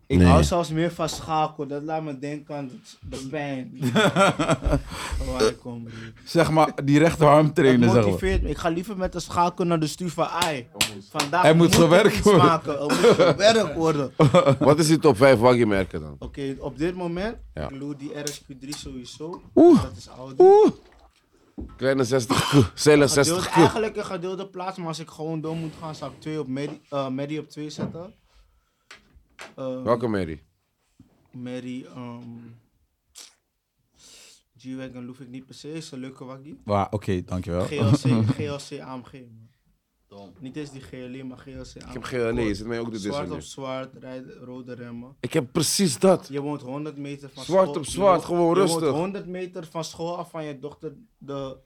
[SPEAKER 4] Ik
[SPEAKER 1] Nee.
[SPEAKER 4] hou zelfs meer van schakel. Dat laat me denken aan de, de pijn. Van Waar ik kom, bro.
[SPEAKER 2] Zeg maar, die rechterarm
[SPEAKER 4] Het
[SPEAKER 2] trainen, zeg maar.
[SPEAKER 4] motiveert me. Ik ga liever met de schakel naar de stuur van ai. Vandaag
[SPEAKER 2] Er moet
[SPEAKER 4] ik
[SPEAKER 2] gewerkt
[SPEAKER 4] iets
[SPEAKER 2] worden.
[SPEAKER 4] Maken. Er moet gewerkt worden.
[SPEAKER 1] Wat is die top 5 waggy merken dan?
[SPEAKER 4] Oké, op dit moment,
[SPEAKER 1] Ja.
[SPEAKER 4] ik loer die RSQ3 sowieso.
[SPEAKER 1] Oeh.
[SPEAKER 4] Dat is Audi.
[SPEAKER 1] Oeh. Kleine 60 koe. Zele 60
[SPEAKER 4] Gedeeld,
[SPEAKER 1] koe.
[SPEAKER 4] eigenlijk een gedeelde plaats, maar als ik gewoon door moet gaan, zou ik twee op Medi, eh, Medi op 2 zetten. Eh,
[SPEAKER 1] Welke Mary?
[SPEAKER 4] Medi, ehm, G-Wagon loef ik niet per se, is een leuke waggie.
[SPEAKER 2] Waar, oké, dankjewel.
[SPEAKER 4] GLC, GLC AMG. man. Niet eens die GLE, maar GLC AMG.
[SPEAKER 1] Ik heb geen nee, je zit mij ook de
[SPEAKER 4] Zwart op
[SPEAKER 1] dis
[SPEAKER 4] zwart, rijden, rode remmen.
[SPEAKER 1] Ik heb precies dat.
[SPEAKER 4] Je woont 100 meter van
[SPEAKER 1] Zwart
[SPEAKER 4] school.
[SPEAKER 1] op zwart,
[SPEAKER 4] je
[SPEAKER 1] gewoon
[SPEAKER 4] je
[SPEAKER 1] rustig.
[SPEAKER 4] woont 100 meter van school af van je dochter de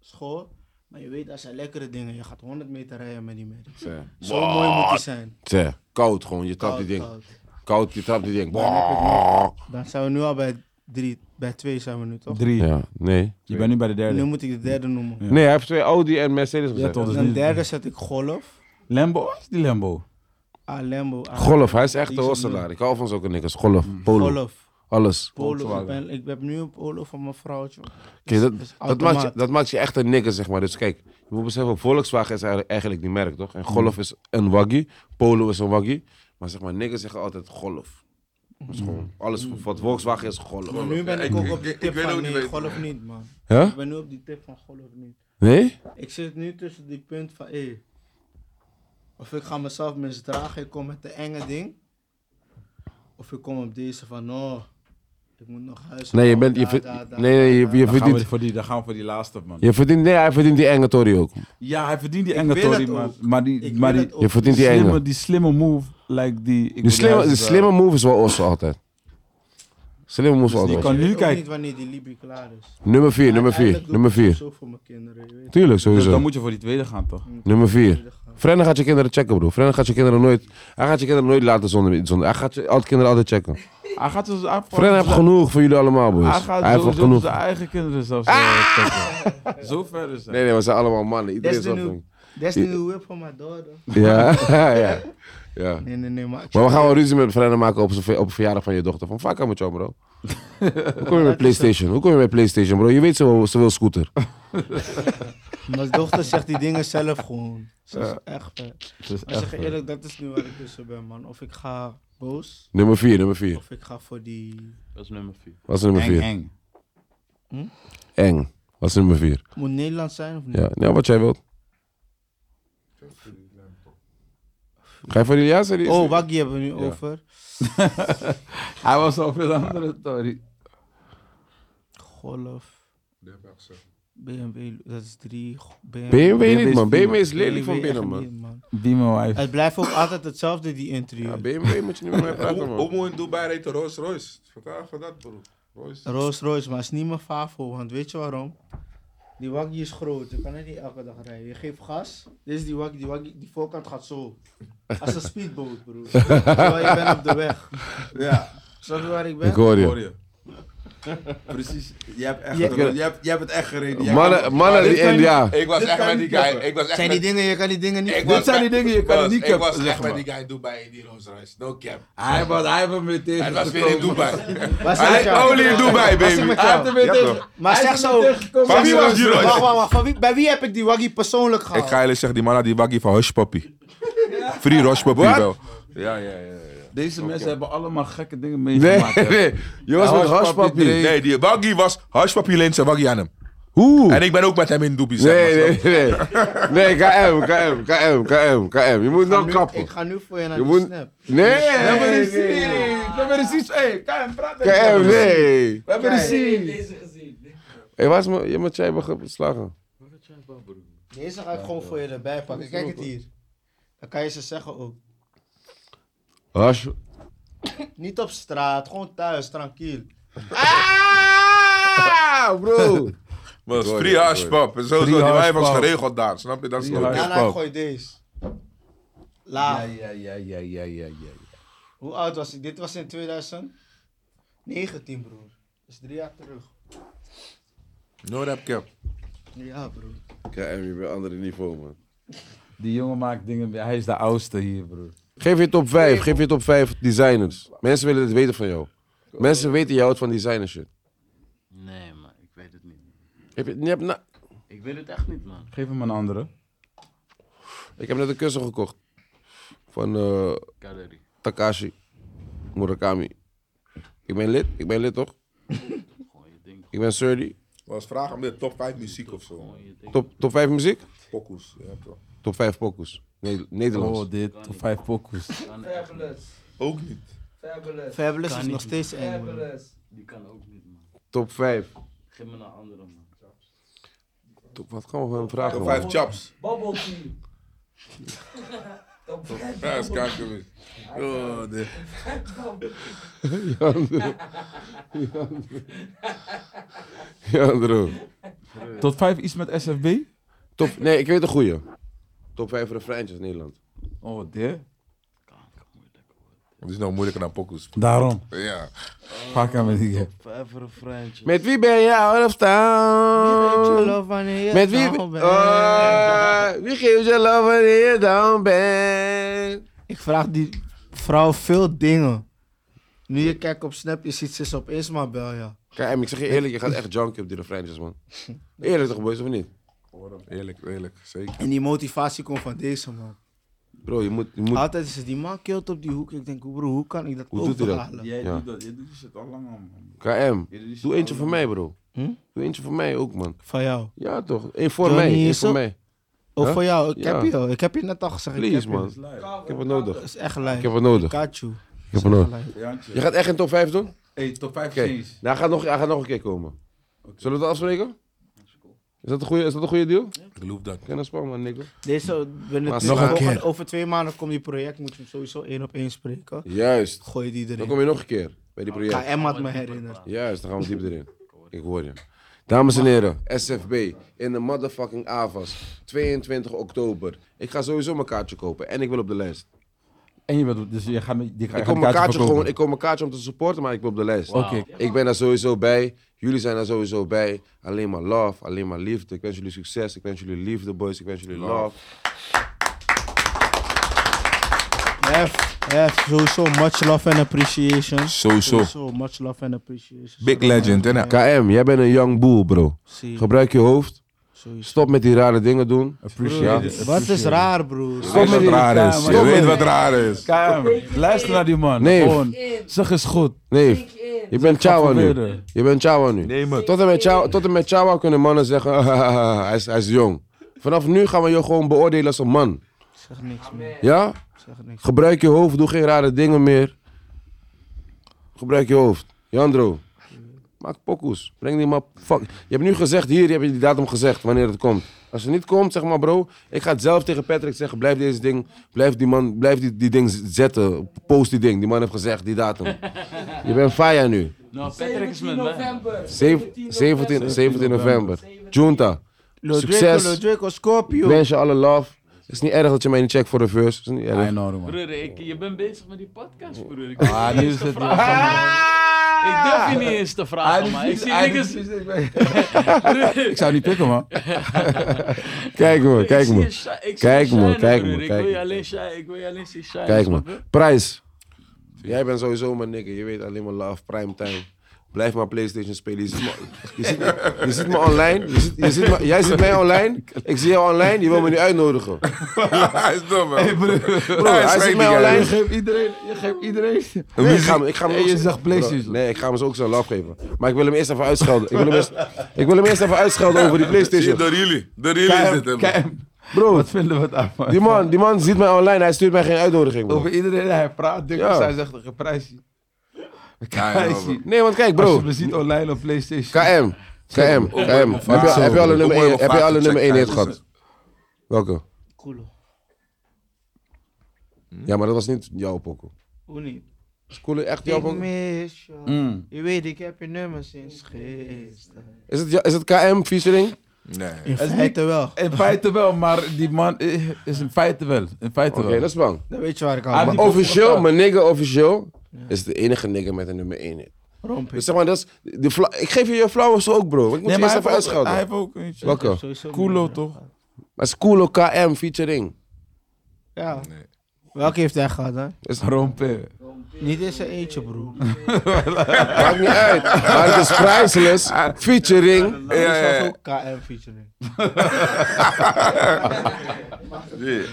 [SPEAKER 4] school. Maar je weet, als zijn lekkere dingen, je gaat 100 meter rijden met die merrie.
[SPEAKER 1] Tse.
[SPEAKER 4] Zo mooi moet die zijn.
[SPEAKER 1] Tse. Koud gewoon, je trapt die ding.
[SPEAKER 4] Koud, koud.
[SPEAKER 1] Koud, je trapt die ding.
[SPEAKER 4] Dan heb ik
[SPEAKER 1] Bah.
[SPEAKER 4] Dan zijn we nu al bij drie, bij twee zijn we nu toch?
[SPEAKER 2] Drie.
[SPEAKER 1] Ja, nee.
[SPEAKER 2] Je bent nu bij de
[SPEAKER 4] Nu
[SPEAKER 2] derde.
[SPEAKER 4] moet ik de derde noemen.
[SPEAKER 2] Ja.
[SPEAKER 1] Nee, hij heeft twee Audi en Mercedes
[SPEAKER 2] Ja,
[SPEAKER 1] gezet.
[SPEAKER 2] toch, dus
[SPEAKER 4] Dan
[SPEAKER 2] niet-
[SPEAKER 4] derde zet ik Golf.
[SPEAKER 2] Lembo? Wat is die Lembo?
[SPEAKER 4] Ah, Lambo. ah,
[SPEAKER 1] Golf, hij is echt
[SPEAKER 4] die
[SPEAKER 1] een
[SPEAKER 4] is
[SPEAKER 1] hosselaar. Ik hou van zulke nikkers. Golf, polo,
[SPEAKER 4] Golf.
[SPEAKER 1] alles.
[SPEAKER 4] Polo. Ik,
[SPEAKER 2] Volkswagen.
[SPEAKER 4] ben, ik heb nu een polo van mijn vrouwtje.
[SPEAKER 1] Oké,
[SPEAKER 4] Is-
[SPEAKER 1] dat,
[SPEAKER 4] is
[SPEAKER 1] dat, maakt je,
[SPEAKER 4] automaat.
[SPEAKER 1] dat maakt je echt een nikker, zeg maar. Dus kijk, je moet beseffen, Volkswagen is eigenlijk- eigenlijk die merk, toch? En Golf is een waggie, Polo is een waggie. Maar zeg maar, nikkers zeggen altijd Golf. Dat is gewoon, alles wat Volkswagen is,
[SPEAKER 4] Maar
[SPEAKER 1] Golf.
[SPEAKER 4] nu ben ik
[SPEAKER 3] Ik-
[SPEAKER 4] ook
[SPEAKER 3] ik-
[SPEAKER 4] op die
[SPEAKER 3] ik
[SPEAKER 4] tip
[SPEAKER 3] weet ook
[SPEAKER 4] van
[SPEAKER 3] niet
[SPEAKER 4] nee,
[SPEAKER 3] weten.
[SPEAKER 4] Golf niet, man.
[SPEAKER 1] Ja?
[SPEAKER 4] Ik ben nu op die tip van Golf niet.
[SPEAKER 1] Nee?
[SPEAKER 4] Ik zit nu tussen die punt van, hé, of ik ga mezelf misdragen, ik kom met de enge ding. Of ik kom op deze van, oh, ik moet nog huis.
[SPEAKER 1] Nee, je
[SPEAKER 4] bouwen,
[SPEAKER 1] bent, je
[SPEAKER 4] daar,
[SPEAKER 1] ver-
[SPEAKER 4] daar, daar,
[SPEAKER 1] nee, nee, je,
[SPEAKER 4] daar,
[SPEAKER 1] je
[SPEAKER 2] Dan gaan, we
[SPEAKER 1] verdient,
[SPEAKER 2] voor die, dan gaan we voor die laatste, man.
[SPEAKER 1] je verdient, nee, hij verdient die enge Tory ook.
[SPEAKER 2] Ja, hij verdient die
[SPEAKER 4] Ik
[SPEAKER 2] enge
[SPEAKER 4] wil
[SPEAKER 2] Tory,
[SPEAKER 4] het
[SPEAKER 2] maar,
[SPEAKER 4] ook.
[SPEAKER 2] maar
[SPEAKER 4] daar.
[SPEAKER 2] die,
[SPEAKER 4] Ik
[SPEAKER 2] maar
[SPEAKER 4] wil
[SPEAKER 2] die,
[SPEAKER 4] het ook.
[SPEAKER 1] Je verdient die
[SPEAKER 2] Oh, slimme,
[SPEAKER 1] enge.
[SPEAKER 2] die slimme move, like die... ik wil
[SPEAKER 1] Die slimme,
[SPEAKER 2] juist,
[SPEAKER 1] die
[SPEAKER 2] eh,
[SPEAKER 1] slimme move is wel Osso altijd. Slimme move is wel
[SPEAKER 2] Dus die
[SPEAKER 1] Osso.
[SPEAKER 2] kan
[SPEAKER 4] Ik weet
[SPEAKER 2] nu
[SPEAKER 4] ook
[SPEAKER 2] kijken.
[SPEAKER 4] niet wanneer die Libi klaar is.
[SPEAKER 1] Nummer 4, nummer
[SPEAKER 4] Uiteindelijk
[SPEAKER 1] 4,
[SPEAKER 4] doe
[SPEAKER 1] nummer
[SPEAKER 4] ik het
[SPEAKER 1] 4.
[SPEAKER 4] Zo voor mijn kinderen, je weet.
[SPEAKER 1] Tuurlijk,
[SPEAKER 2] Dus
[SPEAKER 1] sowieso.
[SPEAKER 2] dan moet je voor die tweede gaan, toch?
[SPEAKER 1] Nummer 4.
[SPEAKER 4] Jullie gaan.
[SPEAKER 1] Frenna gaat je kinderen checken, bro. Frenna gaat je kinderen nooit. Hij gaat je kinderen nooit laten zonder. zonder hij gaat je al- kinderen altijd checken.
[SPEAKER 2] Hij gaat dus... hij-
[SPEAKER 1] Frenna heeft genoeg voor jullie allemaal, boys.
[SPEAKER 2] Hij
[SPEAKER 1] Hij,
[SPEAKER 2] gaat
[SPEAKER 1] heeft wel
[SPEAKER 2] sowieso
[SPEAKER 1] genoeg.
[SPEAKER 2] zijn eigen kinderen zelfs eh, checken. Zo ver is hij.
[SPEAKER 1] Nee, nee, we zijn allemaal mannen. Iedereen is
[SPEAKER 4] Des te
[SPEAKER 1] wel.
[SPEAKER 4] nu. That's the new whip van mijn daughter.
[SPEAKER 1] Ja, ja. ja.
[SPEAKER 4] Nee, nee, nee, maar...
[SPEAKER 1] Maar we gaan wel ruzie met Frenna maken op, z'n ver- op de verjaardag van je dochter. Van fuck aan met jou, bro. Hoe kom je met PlayStation? Hoe kom je met PlayStation, bro? Je weet ze wel, ze wil scooter.
[SPEAKER 4] Mijn dochter zegt die dingen zelf gewoon. Ze is echt vet.
[SPEAKER 2] Het is
[SPEAKER 4] Maar zeg
[SPEAKER 2] echt...
[SPEAKER 1] eh.
[SPEAKER 4] je eerlijk, dat is nu waar ik tussen ben, man. Of ik ga boos...
[SPEAKER 1] Nummer 4, nummer 4.
[SPEAKER 4] Of ik ga voor die.
[SPEAKER 5] Dat is nummer 4.
[SPEAKER 1] Wat is nummer
[SPEAKER 2] Eng,
[SPEAKER 1] 4?
[SPEAKER 2] eng.
[SPEAKER 1] Eng. Wat is nummer 4?
[SPEAKER 4] Moet Nederlands zijn of niet?
[SPEAKER 1] Ja, nou, wat jij wilt. Ga je voor die ja, serieus?
[SPEAKER 4] Oh, Waggy hebben we nu over.
[SPEAKER 2] Hij was al veel andere Tory.
[SPEAKER 4] Golf. BMW, dat is drie. Go-
[SPEAKER 1] BMW niet, man.
[SPEAKER 2] BMW is
[SPEAKER 1] BMW is lelijk van
[SPEAKER 4] BMW
[SPEAKER 1] binnen,
[SPEAKER 4] echt
[SPEAKER 1] man.
[SPEAKER 4] niet,
[SPEAKER 2] Be my wife.
[SPEAKER 4] Het blijft ook altijd hetzelfde, die
[SPEAKER 1] Ja,
[SPEAKER 4] interieur.
[SPEAKER 1] BMW moet je niet meer mee praten,
[SPEAKER 3] Hoe
[SPEAKER 1] man.
[SPEAKER 3] hoe moet in Dubai reed de Rolls Royce? Vandaag van dat, bro. Royce.
[SPEAKER 4] Rolls Royce, maar is niet mijn favo, want weet je waarom? Die Waggy is groot, je kan er niet elke dag rijden. Je geeft gas, dit is die Waggy, die, waggie, die voorkant gaat zo. Als een speedboot, broer. Terwijl je bent op de weg.
[SPEAKER 2] Ja,
[SPEAKER 4] Snap je waar ik ben?
[SPEAKER 1] Ik hoor
[SPEAKER 2] hoor
[SPEAKER 1] je.
[SPEAKER 2] je. Precies. Jij hebt, echt
[SPEAKER 4] Ja.
[SPEAKER 2] gereden. jij, hebt, jij hebt het echt gereden. Jij
[SPEAKER 1] Mannen, mannen die in, ja.
[SPEAKER 3] Ik was
[SPEAKER 4] Dit
[SPEAKER 3] echt
[SPEAKER 4] kan
[SPEAKER 3] met die
[SPEAKER 4] niet
[SPEAKER 3] guy.
[SPEAKER 4] kloppen.
[SPEAKER 3] Ik was echt
[SPEAKER 4] Zijn die
[SPEAKER 3] met
[SPEAKER 4] dingen, je kan die dingen niet...
[SPEAKER 3] Ik
[SPEAKER 2] Dit
[SPEAKER 3] was
[SPEAKER 2] zijn
[SPEAKER 3] bij-
[SPEAKER 2] die dingen, je kan
[SPEAKER 3] was-
[SPEAKER 2] het niet
[SPEAKER 3] Ik
[SPEAKER 2] cappen,
[SPEAKER 3] was
[SPEAKER 2] zeg
[SPEAKER 3] echt met
[SPEAKER 2] maar. Ah,
[SPEAKER 3] die guy in Dubai in die Rolls Royce. No cap.
[SPEAKER 2] Hij was hij heeft hem weer tegen.
[SPEAKER 3] Hij was weer in Dubai.
[SPEAKER 4] Waar zit
[SPEAKER 3] Hij
[SPEAKER 4] jou?
[SPEAKER 3] only in Dubai,
[SPEAKER 4] Waar zit
[SPEAKER 3] baby.
[SPEAKER 4] met
[SPEAKER 2] Hij heeft
[SPEAKER 4] jou?
[SPEAKER 2] hem weer
[SPEAKER 3] Ja,
[SPEAKER 2] tegen.
[SPEAKER 3] toch.
[SPEAKER 4] Maar
[SPEAKER 2] Hij
[SPEAKER 4] zeg
[SPEAKER 2] is hem
[SPEAKER 4] zo.
[SPEAKER 2] tegengekomen.
[SPEAKER 3] Maar wie was die
[SPEAKER 4] Wacht,
[SPEAKER 3] Rolls?
[SPEAKER 4] wacht, wacht. Van wie, bij wie heb ik die waggie persoonlijk
[SPEAKER 3] Ik
[SPEAKER 4] gehaald?
[SPEAKER 3] ga jullie zeggen, die man had die waggie van Hush Puppy. Free Hush Puppy wel. Ja, ja, ja.
[SPEAKER 2] Deze mensen hebben allemaal gekke dingen
[SPEAKER 1] Nee,
[SPEAKER 2] meegemaakt. hè.
[SPEAKER 1] nee. Je was met
[SPEAKER 2] Nee.
[SPEAKER 1] haspapier.
[SPEAKER 3] Nee, die waggie was... Hush Puppy leent zijn waggie aan hem.
[SPEAKER 1] Hoe?
[SPEAKER 3] En ik ben ook met hem in Dubai,
[SPEAKER 1] Nee,
[SPEAKER 3] zeg maar.
[SPEAKER 1] nee, nee. Nee, KM, KM, KM, KM, KM. Je moet nou
[SPEAKER 4] Nu-
[SPEAKER 1] kappen.
[SPEAKER 4] Ik ga nu voor je naar
[SPEAKER 1] Je
[SPEAKER 4] de
[SPEAKER 1] moet... Nee,
[SPEAKER 4] snap.
[SPEAKER 1] nee, nee.
[SPEAKER 2] We hebben er zoiets. Hé, KM, praat
[SPEAKER 1] KM, nee.
[SPEAKER 2] We hebben er zoiets.
[SPEAKER 1] Hé, waar is mijn... Je moet jij hebben geslagen.
[SPEAKER 4] Deze ga ik gewoon voor je erbij pakken. Kijk het hier. Dan kan je ze zeggen ook.
[SPEAKER 1] Hash...
[SPEAKER 4] Niet op straat, gewoon thuis, tranquil.
[SPEAKER 1] Ah, bro.
[SPEAKER 3] Maar dat is free Hush Pup. En Sowieso, die
[SPEAKER 2] Hush
[SPEAKER 3] wijf was
[SPEAKER 2] Pup.
[SPEAKER 3] geregeld daar. Snap je? Dat is
[SPEAKER 2] Free
[SPEAKER 3] nooit-
[SPEAKER 2] Hush.
[SPEAKER 4] Daarna
[SPEAKER 2] Spook.
[SPEAKER 4] gooi nou, deze. Laag.
[SPEAKER 2] ja, ja, ja, ja, ja, ja.
[SPEAKER 4] Hoe oud was ik? Dit was in 2019, broer. Dat is drie jaar terug.
[SPEAKER 3] No rap cap.
[SPEAKER 4] Ja, broer.
[SPEAKER 1] KM, je bent andere niveau, man.
[SPEAKER 2] Die jongen maakt dingen. Hij is de oudste hier, broer.
[SPEAKER 1] Geef je top 5, geef je top 5 designers. Mensen willen het weten van jou. Mensen weten, je houdt van designer shit.
[SPEAKER 5] Nee, man, ik weet het niet.
[SPEAKER 1] Heb je, je hebt na-
[SPEAKER 5] Ik weet het echt niet, man.
[SPEAKER 2] Geef hem een andere.
[SPEAKER 1] ik heb net een kussen gekocht. Van eh,
[SPEAKER 5] Calorie.
[SPEAKER 1] Takashi Murakami. Ik ben lid, ik ben lid toch?
[SPEAKER 5] Gewoon je ding.
[SPEAKER 1] Ik ben Surdy.
[SPEAKER 3] Was vraag om de top 5 muziek of zo.
[SPEAKER 5] Gewoon je ding.
[SPEAKER 1] Top, top 5 muziek?
[SPEAKER 3] Pokoes. Ja, toch.
[SPEAKER 1] Top 5 pokus. Nee, Nederlands.
[SPEAKER 2] Oh, dit. Of vijf pokus.
[SPEAKER 5] Kan echt niet.
[SPEAKER 3] Ook niet.
[SPEAKER 4] Fabulous
[SPEAKER 5] Kan
[SPEAKER 4] is
[SPEAKER 5] niet.
[SPEAKER 4] nog steeds eng, broer.
[SPEAKER 5] Die kan ook niet, man.
[SPEAKER 1] Top 5.
[SPEAKER 5] Geef me een andere, man.
[SPEAKER 1] Top, wat gaan we van hem vragen?
[SPEAKER 3] Top
[SPEAKER 1] man?
[SPEAKER 3] 5 chops. Bubble tea. Ja, is kanker. Oh, de-
[SPEAKER 1] Ja, bro.
[SPEAKER 2] Tot vijf iets met SFB?
[SPEAKER 1] Top, nee, ik weet een goeie. Top 5 refreintjes in Nederland.
[SPEAKER 2] Oh, dit?
[SPEAKER 3] Het is nou moeilijker dan pokus.
[SPEAKER 2] Daarom.
[SPEAKER 3] Ja.
[SPEAKER 2] Pak hem met die.
[SPEAKER 6] Vijf refreintjes.
[SPEAKER 1] Met wie ben je out of town? Met wie? Oh, wie geeft je love wanneer je down bent?
[SPEAKER 4] Ik vraag die vrouw veel dingen. Nu je kijkt op Snap, je ziet ze is opeens maar bel, ja.
[SPEAKER 1] Kijk, Em, ik zeg je eerlijk, je gaat echt junkie op die refreintjes, man. Eerlijk toch, boys, of niet?
[SPEAKER 3] Eerlijk, eerlijk. Zeker.
[SPEAKER 4] En die motivatie komt van deze man.
[SPEAKER 1] Bro, je moet... Je moet
[SPEAKER 4] Altijd is het die man keelt op die hoek. Ik denk, broer, hoe kan ik dat
[SPEAKER 1] Hoe doet hij dat?
[SPEAKER 4] overhalen?
[SPEAKER 2] Jij
[SPEAKER 1] Ja.
[SPEAKER 2] doet dat, jij doet die shit al lang aan, man.
[SPEAKER 1] KM,
[SPEAKER 2] Jullie die shit
[SPEAKER 1] doe eentje
[SPEAKER 2] al
[SPEAKER 1] voor
[SPEAKER 2] lang.
[SPEAKER 1] mij, bro.
[SPEAKER 4] Hm?
[SPEAKER 1] Doe eentje voor mij ook, man.
[SPEAKER 4] Van jou.
[SPEAKER 1] Ja, toch? Eén voor
[SPEAKER 4] Johnny
[SPEAKER 1] mij, één
[SPEAKER 4] is
[SPEAKER 1] voor
[SPEAKER 4] op.
[SPEAKER 1] mij.
[SPEAKER 4] Of
[SPEAKER 1] Huh?
[SPEAKER 4] Oh, voor jou, ik
[SPEAKER 1] Ja.
[SPEAKER 4] heb je al. Ik heb je net al gezegd. ik heb
[SPEAKER 1] Please,
[SPEAKER 4] je.
[SPEAKER 1] man.
[SPEAKER 2] Dat is lui.
[SPEAKER 1] Ik heb het nodig.
[SPEAKER 4] Dat is echt lijf.
[SPEAKER 1] Ik heb het nodig. Ik
[SPEAKER 4] Pikachu.
[SPEAKER 1] heb het nodig.
[SPEAKER 2] Jantje.
[SPEAKER 1] Je gaat echt een top 5 doen?
[SPEAKER 2] Hey, top 5
[SPEAKER 1] Oké. Nou, hij gaat, nog, hij gaat nog een keer komen. Zullen we dat afspreken? Is dat een goede, is dat een goede deal?
[SPEAKER 3] Ik geloof dat.
[SPEAKER 1] Geen spel, man, nigga.
[SPEAKER 4] Deze, binnen
[SPEAKER 1] Maar
[SPEAKER 4] twee
[SPEAKER 1] nog een
[SPEAKER 4] maanden-
[SPEAKER 1] keer.
[SPEAKER 4] over twee maanden komt die project, moet je hem sowieso één op één spreken.
[SPEAKER 1] Juist.
[SPEAKER 4] Gooi die
[SPEAKER 1] Dan
[SPEAKER 4] erin.
[SPEAKER 1] kom je nog een keer bij die project.
[SPEAKER 4] KM had me herinnerd.
[SPEAKER 1] Juist, dan gaan we diep erin. Ik hoor je. Dames en heren, SFB in de motherfucking Avas. 22 oktober. Ik ga sowieso mijn kaartje kopen en ik wil op de lijst.
[SPEAKER 2] En je bent, dus je gaat met die
[SPEAKER 1] Ik koop mijn kaartje, gewoon, ik koop mijn kaartje om te supporten, maar ik wil op de lijst.
[SPEAKER 2] Oké.
[SPEAKER 1] Ik ben daar sowieso bij. Jullie zijn daar sowieso bij. Alleen maar love, alleen maar liefde. Ik wens jullie succes. Ik wens jullie liefde, boys. Ik wens jullie love.
[SPEAKER 4] Hef, hef, sowieso much love and appreciation.
[SPEAKER 3] Sowieso.
[SPEAKER 4] Sowieso much love and appreciation.
[SPEAKER 3] Big legend, hè? nou?
[SPEAKER 1] KM, jij bent een young boel, bro.
[SPEAKER 4] Zie,
[SPEAKER 1] Gebruik je hoofd.
[SPEAKER 4] sowieso.
[SPEAKER 1] Stop met die rare dingen doen.
[SPEAKER 2] Appreciate
[SPEAKER 1] Ja.
[SPEAKER 2] it.
[SPEAKER 4] Wat is raar, broer?
[SPEAKER 3] Je weet wat
[SPEAKER 2] met die
[SPEAKER 3] raar is.
[SPEAKER 2] kamer.
[SPEAKER 3] Je
[SPEAKER 2] Stop
[SPEAKER 3] weet
[SPEAKER 2] met
[SPEAKER 3] wat
[SPEAKER 2] die-
[SPEAKER 3] raar is.
[SPEAKER 2] KM, luister naar die man.
[SPEAKER 1] Nee.
[SPEAKER 2] Gewoon, zeg eens goed.
[SPEAKER 1] Nee, je bent Chawa nu.
[SPEAKER 2] Proberen.
[SPEAKER 1] Je bent Chawa nu.
[SPEAKER 3] Nee, man.
[SPEAKER 1] Tot en met Chawa, tot en met Chawa kunnen mannen zeggen, hij, is, hij is jong. Vanaf nu gaan we je gewoon beoordelen als een man.
[SPEAKER 4] Zeg niks meer.
[SPEAKER 1] Ja?
[SPEAKER 4] Zeg niks.
[SPEAKER 1] Gebruik je hoofd, doe geen rare dingen meer. Gebruik je hoofd. Jandro, maak pokoes. Breng die map. Fuck. Je hebt nu gezegd, hier heb je die datum gezegd, wanneer het komt. Als het niet komt, zeg maar bro, ik ga het zelf tegen Patrick zeggen, blijf deze ding, blijf die man, blijf die, die ding z- zetten. Post die ding, die man heeft gezegd, die datum. Je bent faya nu.
[SPEAKER 5] Nou, Patrick is met mij.
[SPEAKER 1] Zev- 17, 17 november. Junta,
[SPEAKER 4] Lodrico,
[SPEAKER 1] succes.
[SPEAKER 4] Lodrico, Scorpio.
[SPEAKER 1] Ik wens je alle love. Het is niet erg dat je mij niet checkt voor de verse. Het is niet
[SPEAKER 2] I
[SPEAKER 1] erg.
[SPEAKER 2] know, man.
[SPEAKER 5] Broer, ik, je bent bezig met die podcast, broer. Ik
[SPEAKER 2] Ah,
[SPEAKER 5] durf je
[SPEAKER 2] nu
[SPEAKER 5] niet
[SPEAKER 2] is
[SPEAKER 5] eens te
[SPEAKER 2] het
[SPEAKER 5] vragen. Ik durf je niet eens te vragen, maar ik zie niks.
[SPEAKER 2] Ik zou niet pikken, man.
[SPEAKER 1] Kijk man, kijk man. Kijk, man, kijk, man, kijk,
[SPEAKER 5] Ik wil je
[SPEAKER 1] man.
[SPEAKER 5] alleen shine, ik wil je alleen zien shine.
[SPEAKER 1] Kijk
[SPEAKER 5] snap
[SPEAKER 1] man,
[SPEAKER 5] je?
[SPEAKER 1] prijs. Jij bent sowieso mijn nigger, je weet alleen maar love, primetime. Blijf maar PlayStation spelen. Je ziet me, je ziet, je ziet me online. Je ziet, je ziet me- jij ziet mij online. Ik zie jou online. Je wil me niet uitnodigen.
[SPEAKER 3] Hij is dom, man.
[SPEAKER 1] Bro, hij ziet mij online.
[SPEAKER 2] geeft iedereen, je geeft iedereen.
[SPEAKER 1] Nee, ik ga hem, ik ga hem
[SPEAKER 2] Nee,
[SPEAKER 1] ook
[SPEAKER 2] je
[SPEAKER 1] zo-
[SPEAKER 2] zegt PlayStation.
[SPEAKER 1] Bro, Nee, ik ga hem zo ook zo'n love geven. Maar ik wil hem eerst even uitschelden. Ik wil hem eerst, ik wil hem eerst even uitschelden over die
[SPEAKER 3] Zie je,
[SPEAKER 1] PlayStation.
[SPEAKER 3] Door jullie. Door jullie is dit, hè, man.
[SPEAKER 1] Bro,
[SPEAKER 2] Wat vinden we daarvan?
[SPEAKER 1] die man, die man ziet mij online. Hij stuurt mij geen uitnodiging. bro.
[SPEAKER 2] Over iedereen, hij praat dik,
[SPEAKER 1] Ja.
[SPEAKER 2] hij zegt een prijsie.
[SPEAKER 3] Ja, ja,
[SPEAKER 2] Prijsie.
[SPEAKER 3] man.
[SPEAKER 1] Nee, want kijk,
[SPEAKER 2] Als je
[SPEAKER 1] bro.
[SPEAKER 2] me ziet online op Playstation.
[SPEAKER 1] KM. KM. KM. Heb je, heb je alle nummer 1 heb je alle nummer 1 hit gehad? Welke?
[SPEAKER 4] Cool.
[SPEAKER 1] Ja, maar dat was niet jouw pokoe.
[SPEAKER 4] Hoe niet?
[SPEAKER 1] Is Koele echt jouw
[SPEAKER 4] Ik
[SPEAKER 1] pokoe?
[SPEAKER 4] mis je.
[SPEAKER 2] Mm.
[SPEAKER 4] Je weet, ik heb je nummer sinds gisteren.
[SPEAKER 1] Is het, is het KM featuring?
[SPEAKER 3] Nee.
[SPEAKER 4] In feite wel.
[SPEAKER 2] In feite wel, maar die man eh, is in feite wel. In feite
[SPEAKER 1] Oké,
[SPEAKER 2] wel.
[SPEAKER 1] dat is bang.
[SPEAKER 4] Dan weet je waar ik
[SPEAKER 2] Ah,
[SPEAKER 4] aan
[SPEAKER 2] die-
[SPEAKER 4] ben.
[SPEAKER 1] Officieel, mijn nigga officieel, is de enige nigga met een nummer 1 hit. Dus zeg maar, dat is, de vla- ik geef je je flowers ook, bro. Ik moet je eerst
[SPEAKER 2] hij
[SPEAKER 1] even
[SPEAKER 2] heeft ook-
[SPEAKER 1] uitschelden.
[SPEAKER 2] hij heeft ook eentje.
[SPEAKER 1] Welke?
[SPEAKER 2] Koelo, toch?
[SPEAKER 1] Maar is Koelo KM featuring.
[SPEAKER 4] Ja.
[SPEAKER 3] Nee.
[SPEAKER 4] Welke heeft hij gehad, hè?
[SPEAKER 2] Rompe.
[SPEAKER 4] Niet eens een eentje, broer.
[SPEAKER 1] Maakt niet uit. Maar het is priceless. Featuring.
[SPEAKER 4] Ja, ja,
[SPEAKER 3] ja, ja.
[SPEAKER 4] ook KM featuring.
[SPEAKER 3] Nee.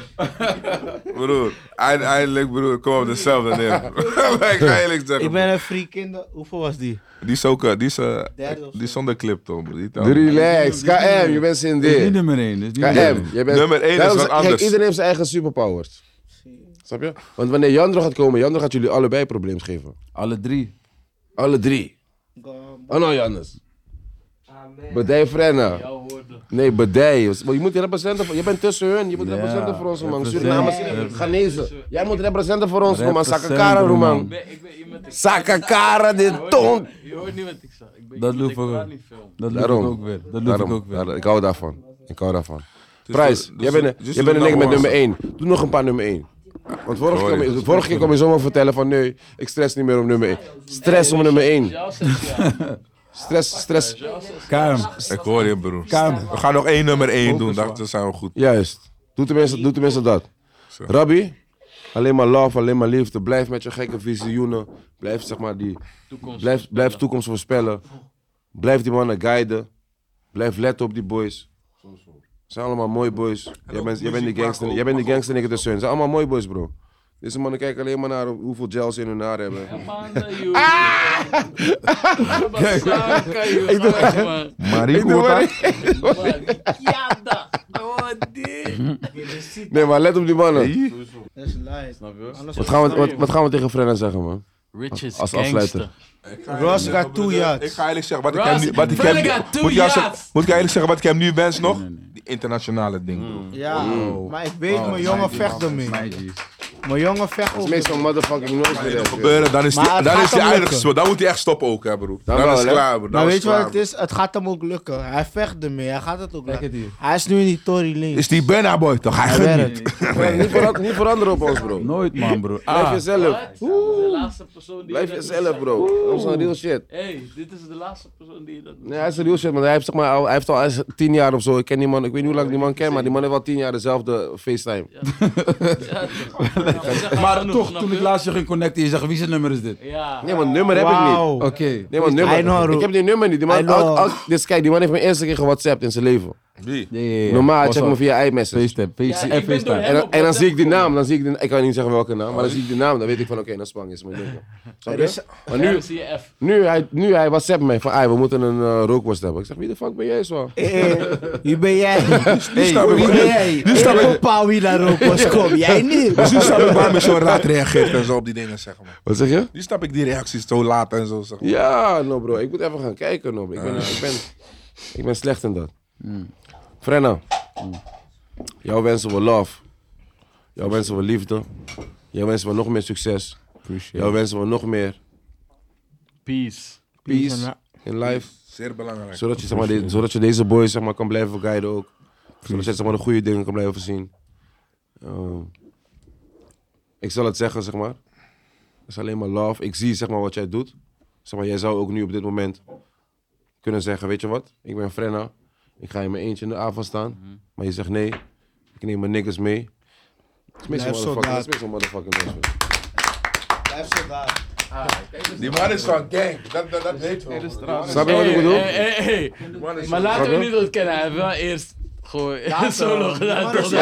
[SPEAKER 3] Broer, eind- eindelijk broer, kom op dezelfde neer. ik ga eerlijk zeggen.
[SPEAKER 4] Ik ben een free kinder. Hoeveel was die?
[SPEAKER 3] Die is ook, eh, die is, eh,
[SPEAKER 4] Derde of
[SPEAKER 3] die
[SPEAKER 4] zo.
[SPEAKER 3] is zonder clip, toch? broer. Die Dus, telt niet.
[SPEAKER 1] Relax. KM, je bent zin
[SPEAKER 2] Dit is niet
[SPEAKER 1] dit.
[SPEAKER 2] nummer 1.
[SPEAKER 1] KM, jij bent...
[SPEAKER 3] Nummer één is
[SPEAKER 1] Daarom
[SPEAKER 3] wat
[SPEAKER 1] zeg- kijk,
[SPEAKER 3] anders.
[SPEAKER 1] iedereen heeft zijn eigen superpowers. Snap je? Want wanneer Jandro gaat komen, Jandro gaat jullie allebei problemen geven.
[SPEAKER 2] Alle drie.
[SPEAKER 1] Alle drie. Oh no, Jannes. Bedij Frenna.
[SPEAKER 5] Jouw woorden.
[SPEAKER 1] Nee, bedij. Maar Je moet representen voor... Je bent tussen hun. Je moet
[SPEAKER 2] Ja,
[SPEAKER 1] representen voor ons, man.
[SPEAKER 2] represent-
[SPEAKER 1] Surinamers,
[SPEAKER 2] represent-
[SPEAKER 1] Ghanezen. Jij moet representen voor ons, man.
[SPEAKER 2] Represent,
[SPEAKER 1] Sakakara,
[SPEAKER 2] Roeman.
[SPEAKER 1] Roeman.
[SPEAKER 5] Nee, ik ben iemand. Ik,
[SPEAKER 1] Sakakara,
[SPEAKER 5] je
[SPEAKER 1] dit
[SPEAKER 5] hoort
[SPEAKER 1] ton.
[SPEAKER 5] niet- Je hoort niet wat ik zeg. Ik ben
[SPEAKER 2] Dat
[SPEAKER 5] iemand,
[SPEAKER 2] loef ik
[SPEAKER 5] ik praat
[SPEAKER 2] ook.
[SPEAKER 5] niet veel.
[SPEAKER 2] Dat doe ik
[SPEAKER 1] Daarom.
[SPEAKER 2] ook weer. Dat doe ik
[SPEAKER 1] Daarom,
[SPEAKER 2] ook weer.
[SPEAKER 1] daar- ik hou daarvan. Ik hou daarvan.
[SPEAKER 3] Dus
[SPEAKER 1] Prijs,
[SPEAKER 3] de- dus
[SPEAKER 1] jij
[SPEAKER 3] de-
[SPEAKER 1] bent een-
[SPEAKER 3] dus
[SPEAKER 1] jij
[SPEAKER 3] de
[SPEAKER 1] bent een niks met
[SPEAKER 3] number
[SPEAKER 1] nummer 1. Doe nog een paar nummer 1. Want vorige keer,
[SPEAKER 3] Sorry.
[SPEAKER 1] kom je- vorige keer kon je zomaar vertellen van nee, ik stress niet meer om nummer 1. Stress om nummer 1.
[SPEAKER 5] Ja, zes jaar.
[SPEAKER 1] Stress, stress.
[SPEAKER 2] KM,
[SPEAKER 3] Ik hoor je, broer.
[SPEAKER 2] KM.
[SPEAKER 3] We gaan nog één nummer 1 doen, dacht, dan zijn we goed.
[SPEAKER 1] Juist. Doe tenminste, doe tenminste dat.
[SPEAKER 3] Zo.
[SPEAKER 1] Rabbi, alleen maar love, alleen maar liefde. Blijf met je gekke visioenen. Blijf zeg maar die
[SPEAKER 5] Toekomst.
[SPEAKER 1] Blijf, blijf toekomst voorspellen. Blijf die mannen guiden. Blijf letten op die boys. Zijn allemaal mooie boys. Jij bent, jij bent die gangster, jij bent die gangster nigger tussen. hun. Zijn allemaal mooie boys, bro. Deze mannen kijken alleen maar naar hoeveel gels ze in hun haar hebben. Ah!
[SPEAKER 5] Ik doe
[SPEAKER 3] Marie
[SPEAKER 1] Nee, maar let op die mannen.
[SPEAKER 4] Dat is light.
[SPEAKER 6] Snap je?
[SPEAKER 1] Wat gaan we, wat, wat gaan we tegen Frenna zeggen, man?
[SPEAKER 5] Riches,
[SPEAKER 1] Als afsluiter.
[SPEAKER 5] gangster.
[SPEAKER 4] Ross got two yards.
[SPEAKER 3] Ik ga eerlijk zeggen, wat ik
[SPEAKER 5] Ross,
[SPEAKER 3] hem nu... Wat ik
[SPEAKER 5] Frenna
[SPEAKER 3] hem nu-
[SPEAKER 5] got two
[SPEAKER 3] moet, ik jou
[SPEAKER 5] yards.
[SPEAKER 3] zeggen- moet ik eerlijk zeggen, wat ik hem nu wens nog? Die internationale ding, broer.
[SPEAKER 4] Ja, maar ik weet, mijn jongen vecht ermee. Mijn jongen vecht
[SPEAKER 1] Dat
[SPEAKER 4] ook.
[SPEAKER 1] is meestal motherfucking noise.
[SPEAKER 3] gebeuren, dan is
[SPEAKER 4] Maar
[SPEAKER 3] die,
[SPEAKER 4] het
[SPEAKER 3] dan
[SPEAKER 4] gaat
[SPEAKER 3] is die
[SPEAKER 4] hem
[SPEAKER 3] aardig
[SPEAKER 4] lukken.
[SPEAKER 3] gespeeld. Dan moet hij echt stoppen ook, hè, broer. Dan,
[SPEAKER 1] wel,
[SPEAKER 3] is het
[SPEAKER 1] hè?
[SPEAKER 3] klaar, broer. Dan
[SPEAKER 4] Maar
[SPEAKER 3] Nou, is
[SPEAKER 4] weet je
[SPEAKER 3] het
[SPEAKER 4] wat het
[SPEAKER 3] klaar,
[SPEAKER 4] is? Het gaat hem ook lukken. Hij vecht ermee. Hij gaat het ook
[SPEAKER 2] het
[SPEAKER 4] lukken.
[SPEAKER 2] hier.
[SPEAKER 4] Hij is nu in die Tory
[SPEAKER 3] broer.
[SPEAKER 4] Lane.
[SPEAKER 3] Is die Benna boy toch? Hij
[SPEAKER 4] Hij
[SPEAKER 3] gunt
[SPEAKER 4] werkt.
[SPEAKER 1] Niet, veranderen, niet veranderen op ons, bro.
[SPEAKER 2] Nooit man bro.
[SPEAKER 1] Blijf
[SPEAKER 2] Ah,
[SPEAKER 1] jezelf.
[SPEAKER 5] Wat? De laatste persoon die
[SPEAKER 1] Blijf
[SPEAKER 5] je dat doet.
[SPEAKER 1] jezelf, bro. Dat is een real shit.
[SPEAKER 5] hey, dit is de laatste persoon die je dat doet.
[SPEAKER 1] Nee, hij is een real shit, man. Hij heeft, zeg maar, al, hij heeft al hij is tien jaar of zo. Ik ken die man, ik weet niet hoe lang ik die man ken, maar die man heeft al tien jaar dezelfde FaceTime.
[SPEAKER 5] Ja, toch. Nou, we zeggen
[SPEAKER 2] maar
[SPEAKER 5] genoeg,
[SPEAKER 2] toch,
[SPEAKER 5] snap
[SPEAKER 2] toen
[SPEAKER 5] je?
[SPEAKER 2] ik laatst je ging connecten, je zegt wie zijn nummer is dit?
[SPEAKER 5] Ja.
[SPEAKER 1] Nee, want nummer heb ik niet.
[SPEAKER 4] Wauw.
[SPEAKER 2] Oké.
[SPEAKER 1] Nee, want
[SPEAKER 4] I
[SPEAKER 1] nummer.
[SPEAKER 4] know,
[SPEAKER 1] Ik heb die nummer niet. Die
[SPEAKER 4] I
[SPEAKER 1] man,
[SPEAKER 4] know.
[SPEAKER 1] al- al- dus kijk, die man heeft me eerste keer gewhatsappt in zijn leven.
[SPEAKER 3] Wie?
[SPEAKER 2] Ja, ja, ja.
[SPEAKER 1] Normaal, hij
[SPEAKER 2] Was
[SPEAKER 1] checkt me
[SPEAKER 2] al-
[SPEAKER 1] via iMessage.
[SPEAKER 2] FaceTime,
[SPEAKER 5] Ja, ik
[SPEAKER 2] FaceTime.
[SPEAKER 5] ben door
[SPEAKER 2] FaceTime.
[SPEAKER 5] hem
[SPEAKER 1] En dan, en dan zie ik die
[SPEAKER 5] op
[SPEAKER 1] naam, dan zie ik die, ik kan niet zeggen welke naam, maar dan zie ik die naam, dan weet ik van oké, dan Spang is mijn ding. Snap
[SPEAKER 4] dus-
[SPEAKER 1] je? Maar
[SPEAKER 5] Nu
[SPEAKER 1] nu,
[SPEAKER 5] zie je F.
[SPEAKER 1] nu hij, nu hij whatsapp mij van, "Ai, we moeten een eh, rookworst hebben. Ik zeg, wie de fuck ben jij zo?
[SPEAKER 4] Hey, Eh, Wie ben jij? Wie ben jij?
[SPEAKER 3] Nu
[SPEAKER 4] Ik
[SPEAKER 3] snap ik-
[SPEAKER 4] heb Pawi naar Rokos. Kom, jij
[SPEAKER 3] Dus
[SPEAKER 4] niet.
[SPEAKER 3] nu snap ik waarom je zo laat reageert en zo op die dingen, zeg maar.
[SPEAKER 1] Wat zeg je?
[SPEAKER 3] Nu snap ik die reacties zo laat en zo, zeg maar.
[SPEAKER 1] Ja, no bro, ik moet even gaan kijken, no bro. Ik ben, ik ben, ik ben slecht in dat. Frenna, jouw wensen we love. Jouw wensen we liefde. Jouw wensen we nog meer succes. Jouw wensen we nog meer
[SPEAKER 5] Peace.
[SPEAKER 1] peace in life.
[SPEAKER 3] Zeer belangrijk.
[SPEAKER 1] Zodat je, zeg maar, de- zodat je deze boys zeg maar, kan blijven guiden ook. Zodat je zeg maar, de goede dingen kan blijven zien. Ehm, ik zal het zeggen, zeg maar. Het is alleen maar love. Ik zie zeg maar, wat jij doet. Zeg maar, jij zou ook nu op dit moment kunnen zeggen, weet je wat? Ik ben Frenna. Ik ga in mijn eentje in de avond staan. Maar je zegt nee. Ik neem mijn niggers mee. Het is meestal
[SPEAKER 4] Blijf
[SPEAKER 1] motherfucking, het is
[SPEAKER 4] soldaat.
[SPEAKER 1] meestal motherfucking mensen.
[SPEAKER 3] Die man is van gang. Dat, dat, dat weet wel.
[SPEAKER 1] Snap je wat ik
[SPEAKER 5] Hey,
[SPEAKER 1] bedoel?
[SPEAKER 5] hey, hey, hey. Maar laten we
[SPEAKER 1] Snap je?
[SPEAKER 5] niet ontkennen, hij heeft wel eerst gewoon solo gedaan. toch?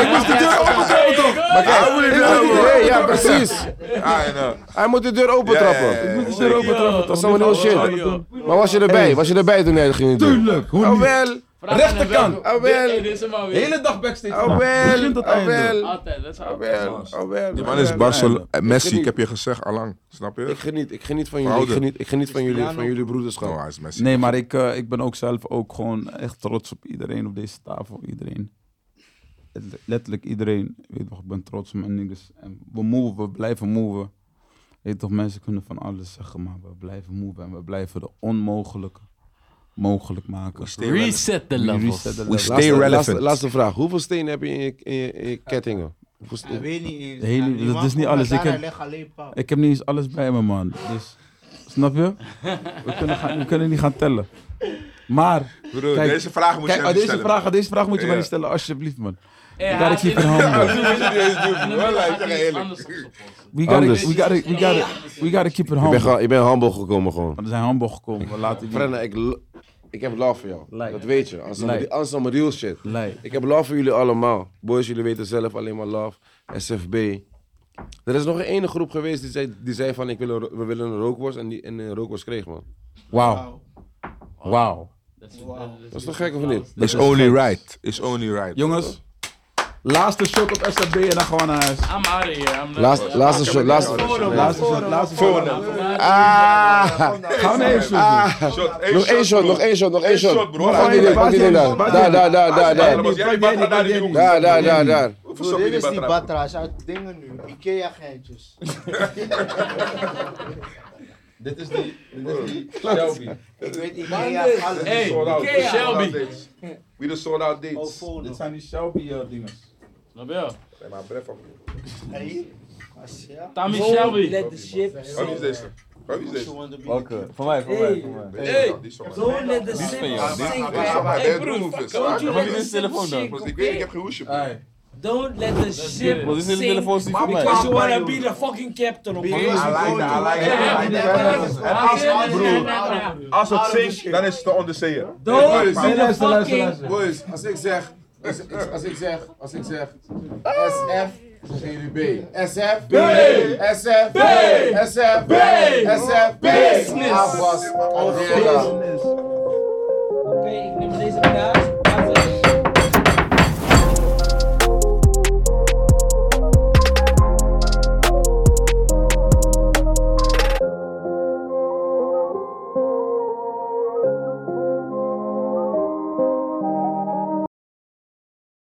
[SPEAKER 1] Ik moest de deur opentrappen toch? Maar kijk, ik moest die deur- nee, ja, precies.
[SPEAKER 3] Ah, ja.
[SPEAKER 1] Hij moet de deur opentrappen.
[SPEAKER 3] moet
[SPEAKER 2] Zeker.
[SPEAKER 1] Dat is allemaal nieuwe shit. Maar was je erbij? Was je erbij toen hij het ging doen?
[SPEAKER 2] Tuurlijk, hoe
[SPEAKER 1] Oh
[SPEAKER 2] niet?
[SPEAKER 1] wel,
[SPEAKER 5] Vraag aan hem
[SPEAKER 2] Rechterkant.
[SPEAKER 5] wel.
[SPEAKER 1] Oh, wel.
[SPEAKER 5] Dit- hey, dit is hem alweer.
[SPEAKER 2] hele dag backstage.
[SPEAKER 1] oh wel,
[SPEAKER 2] Begin tot
[SPEAKER 1] oh
[SPEAKER 2] einde.
[SPEAKER 1] wel,
[SPEAKER 5] Altijd, dat is
[SPEAKER 1] oh
[SPEAKER 5] altijd.
[SPEAKER 1] wel, oh wel.
[SPEAKER 3] Die man is Barcelona. eh, Messi, ik heb je gezegd, allang. Snap
[SPEAKER 1] Ik
[SPEAKER 3] je?
[SPEAKER 1] geniet, ik geniet van jullie, ik
[SPEAKER 3] Verhouden.
[SPEAKER 1] geniet, ik geniet van jullie, van jullie
[SPEAKER 3] Oh,
[SPEAKER 1] broederschap.
[SPEAKER 3] hij is Messi.
[SPEAKER 2] Nee, maar ik, eh, ik ben ook zelf ook gewoon echt trots op iedereen op deze tafel. Iedereen. Letterlijk- Letterlijk iedereen. Weet toch, ik ben trots op mijn niggas. En we move, we blijven move. Weet toch, mensen kunnen van alles zeggen, maar we blijven move. En we blijven de onmogelijke mogelijk maken.
[SPEAKER 5] Reset the
[SPEAKER 2] We
[SPEAKER 5] levels.
[SPEAKER 2] reset the
[SPEAKER 3] We
[SPEAKER 2] level.
[SPEAKER 3] stay
[SPEAKER 1] Laatste,
[SPEAKER 3] relevant.
[SPEAKER 1] laatste vraag. Hoeveel stenen heb je in je, in je, in je kettingen? Hoeveel stenen?
[SPEAKER 4] Ik weet niet eens.
[SPEAKER 2] De hele-
[SPEAKER 4] Die
[SPEAKER 2] dat
[SPEAKER 4] man
[SPEAKER 2] is niet
[SPEAKER 4] komt
[SPEAKER 2] alles.
[SPEAKER 4] daar,
[SPEAKER 2] Ik heb-
[SPEAKER 4] hij legt alleen pap.
[SPEAKER 2] Ik heb niet eens alles bij me, man. Dus, snap je? We kunnen, gaan, we kunnen niet gaan tellen. Maar,
[SPEAKER 3] Broer,
[SPEAKER 2] Kijk,
[SPEAKER 3] deze vraag moet
[SPEAKER 2] kijk,
[SPEAKER 3] je
[SPEAKER 2] oh,
[SPEAKER 3] aan
[SPEAKER 2] deze,
[SPEAKER 3] stellen.
[SPEAKER 2] vraag, deze vraag moet je
[SPEAKER 3] Ja.
[SPEAKER 2] maar niet stellen, alsjeblieft, man.
[SPEAKER 5] Hey,
[SPEAKER 2] We gotta
[SPEAKER 5] hij
[SPEAKER 2] keep
[SPEAKER 5] had
[SPEAKER 2] it humble.
[SPEAKER 5] dit-
[SPEAKER 3] Wallah, ik zeg
[SPEAKER 5] Hij had iets
[SPEAKER 3] eerlijk.
[SPEAKER 5] anders opgelost.
[SPEAKER 2] We gotta,
[SPEAKER 1] Anders.
[SPEAKER 2] we gotta, we gotta, we gotta keep it
[SPEAKER 1] Ik ben,
[SPEAKER 2] humble.
[SPEAKER 1] gewoon- ik ben humble gekomen gewoon.
[SPEAKER 2] We zijn humble gekomen, we laten die...
[SPEAKER 1] Frenna, ik, l- ik heb love voor jou.
[SPEAKER 2] Lijkt.
[SPEAKER 1] Dat weet je. Anders dan-
[SPEAKER 2] Lijkt.
[SPEAKER 1] anders dan mijn real shit.
[SPEAKER 2] Lijkt.
[SPEAKER 1] Ik heb love voor jullie allemaal. Boys, jullie weten zelf alleen maar love. SFB. Er is nog een ene groep geweest die zei, die zei van ik wil een, ro- we willen een rookworst en, die, en een rookworst kreeg man.
[SPEAKER 2] Wauw. Wauw.
[SPEAKER 1] Dat is toch gek of niet?
[SPEAKER 3] Is only right. Is only right.
[SPEAKER 2] Jongens, laatste shot op SFB en dan gaan we naar huis.
[SPEAKER 5] I'm out of here. I'm not-
[SPEAKER 1] Laatste, laatste shot, laatste Ah.
[SPEAKER 2] Laatste shot, laatste shot. Gaan we naar één shot doen.
[SPEAKER 3] Shot,
[SPEAKER 1] Nog één shot, nog één shot, nog één
[SPEAKER 3] Eén
[SPEAKER 1] shot.
[SPEAKER 3] shot, bro.
[SPEAKER 1] Pak die ding, pak die ding daar. Daar, daar, daar, daar, daar.
[SPEAKER 3] Jij die batra daar, die jongen.
[SPEAKER 1] Daar, daar, daar, daar.
[SPEAKER 3] Hoeveel
[SPEAKER 4] Bro,
[SPEAKER 3] sap je
[SPEAKER 4] dit
[SPEAKER 3] die
[SPEAKER 4] is die
[SPEAKER 3] batra?
[SPEAKER 4] batra's uit dingen nu. Ikea geintjes.
[SPEAKER 6] Dit is die, dit is die Shelby.
[SPEAKER 3] Ik weet niet,
[SPEAKER 5] Ikea, alles.
[SPEAKER 3] Hey, sold out.
[SPEAKER 9] Ikea.
[SPEAKER 3] Shelby.
[SPEAKER 9] Shelby.
[SPEAKER 3] Wie de sold out
[SPEAKER 5] Oh,
[SPEAKER 3] dates.
[SPEAKER 5] Polo.
[SPEAKER 10] zijn die Shelby-dingers.
[SPEAKER 9] Snap je?
[SPEAKER 3] Nee, maar bref op.
[SPEAKER 5] Hey, hier. Als- ja.
[SPEAKER 9] Tommy
[SPEAKER 5] Won't
[SPEAKER 9] Shelby.
[SPEAKER 5] Let the ship
[SPEAKER 3] Wat is
[SPEAKER 5] sink.
[SPEAKER 3] deze? Wat is
[SPEAKER 5] She
[SPEAKER 3] deze?
[SPEAKER 5] wanna be the
[SPEAKER 6] Welke? Van mij, van mij, van mij.
[SPEAKER 3] Deze
[SPEAKER 9] Hey.
[SPEAKER 3] van- Die is van mij.
[SPEAKER 5] Don't let the
[SPEAKER 6] Die is
[SPEAKER 5] ship
[SPEAKER 6] van jou.
[SPEAKER 5] sink.
[SPEAKER 3] Die is van mij.
[SPEAKER 9] Hey,
[SPEAKER 3] Ben
[SPEAKER 9] broer,
[SPEAKER 3] Roelvers.
[SPEAKER 5] Don't you
[SPEAKER 6] Wat
[SPEAKER 5] let
[SPEAKER 6] is
[SPEAKER 5] the
[SPEAKER 6] dit telefoon dan?
[SPEAKER 5] ship
[SPEAKER 3] Want Ik
[SPEAKER 5] sink,
[SPEAKER 3] weet, ik
[SPEAKER 5] okay?
[SPEAKER 3] heb geen hoesje.
[SPEAKER 5] Don't let the ship
[SPEAKER 6] Wat is dit
[SPEAKER 5] sink
[SPEAKER 6] telefoon die van mij?
[SPEAKER 5] Because you wanna be the fucking captain of
[SPEAKER 3] I like that, I
[SPEAKER 2] nou,
[SPEAKER 3] like that, I like that. En als- Als het zinkt, dan is het de onderzeeër.
[SPEAKER 5] Don't
[SPEAKER 3] Boys,
[SPEAKER 5] let the fucking
[SPEAKER 3] Boys,
[SPEAKER 4] Als ik zeg, als, als, als ik zeg, als ik zeg, SF, dan zeggen jullie B. SF, B, SF, B, SF, B, SF, Business. Abbas, Algera.
[SPEAKER 5] Oké, ik neem deze kaart.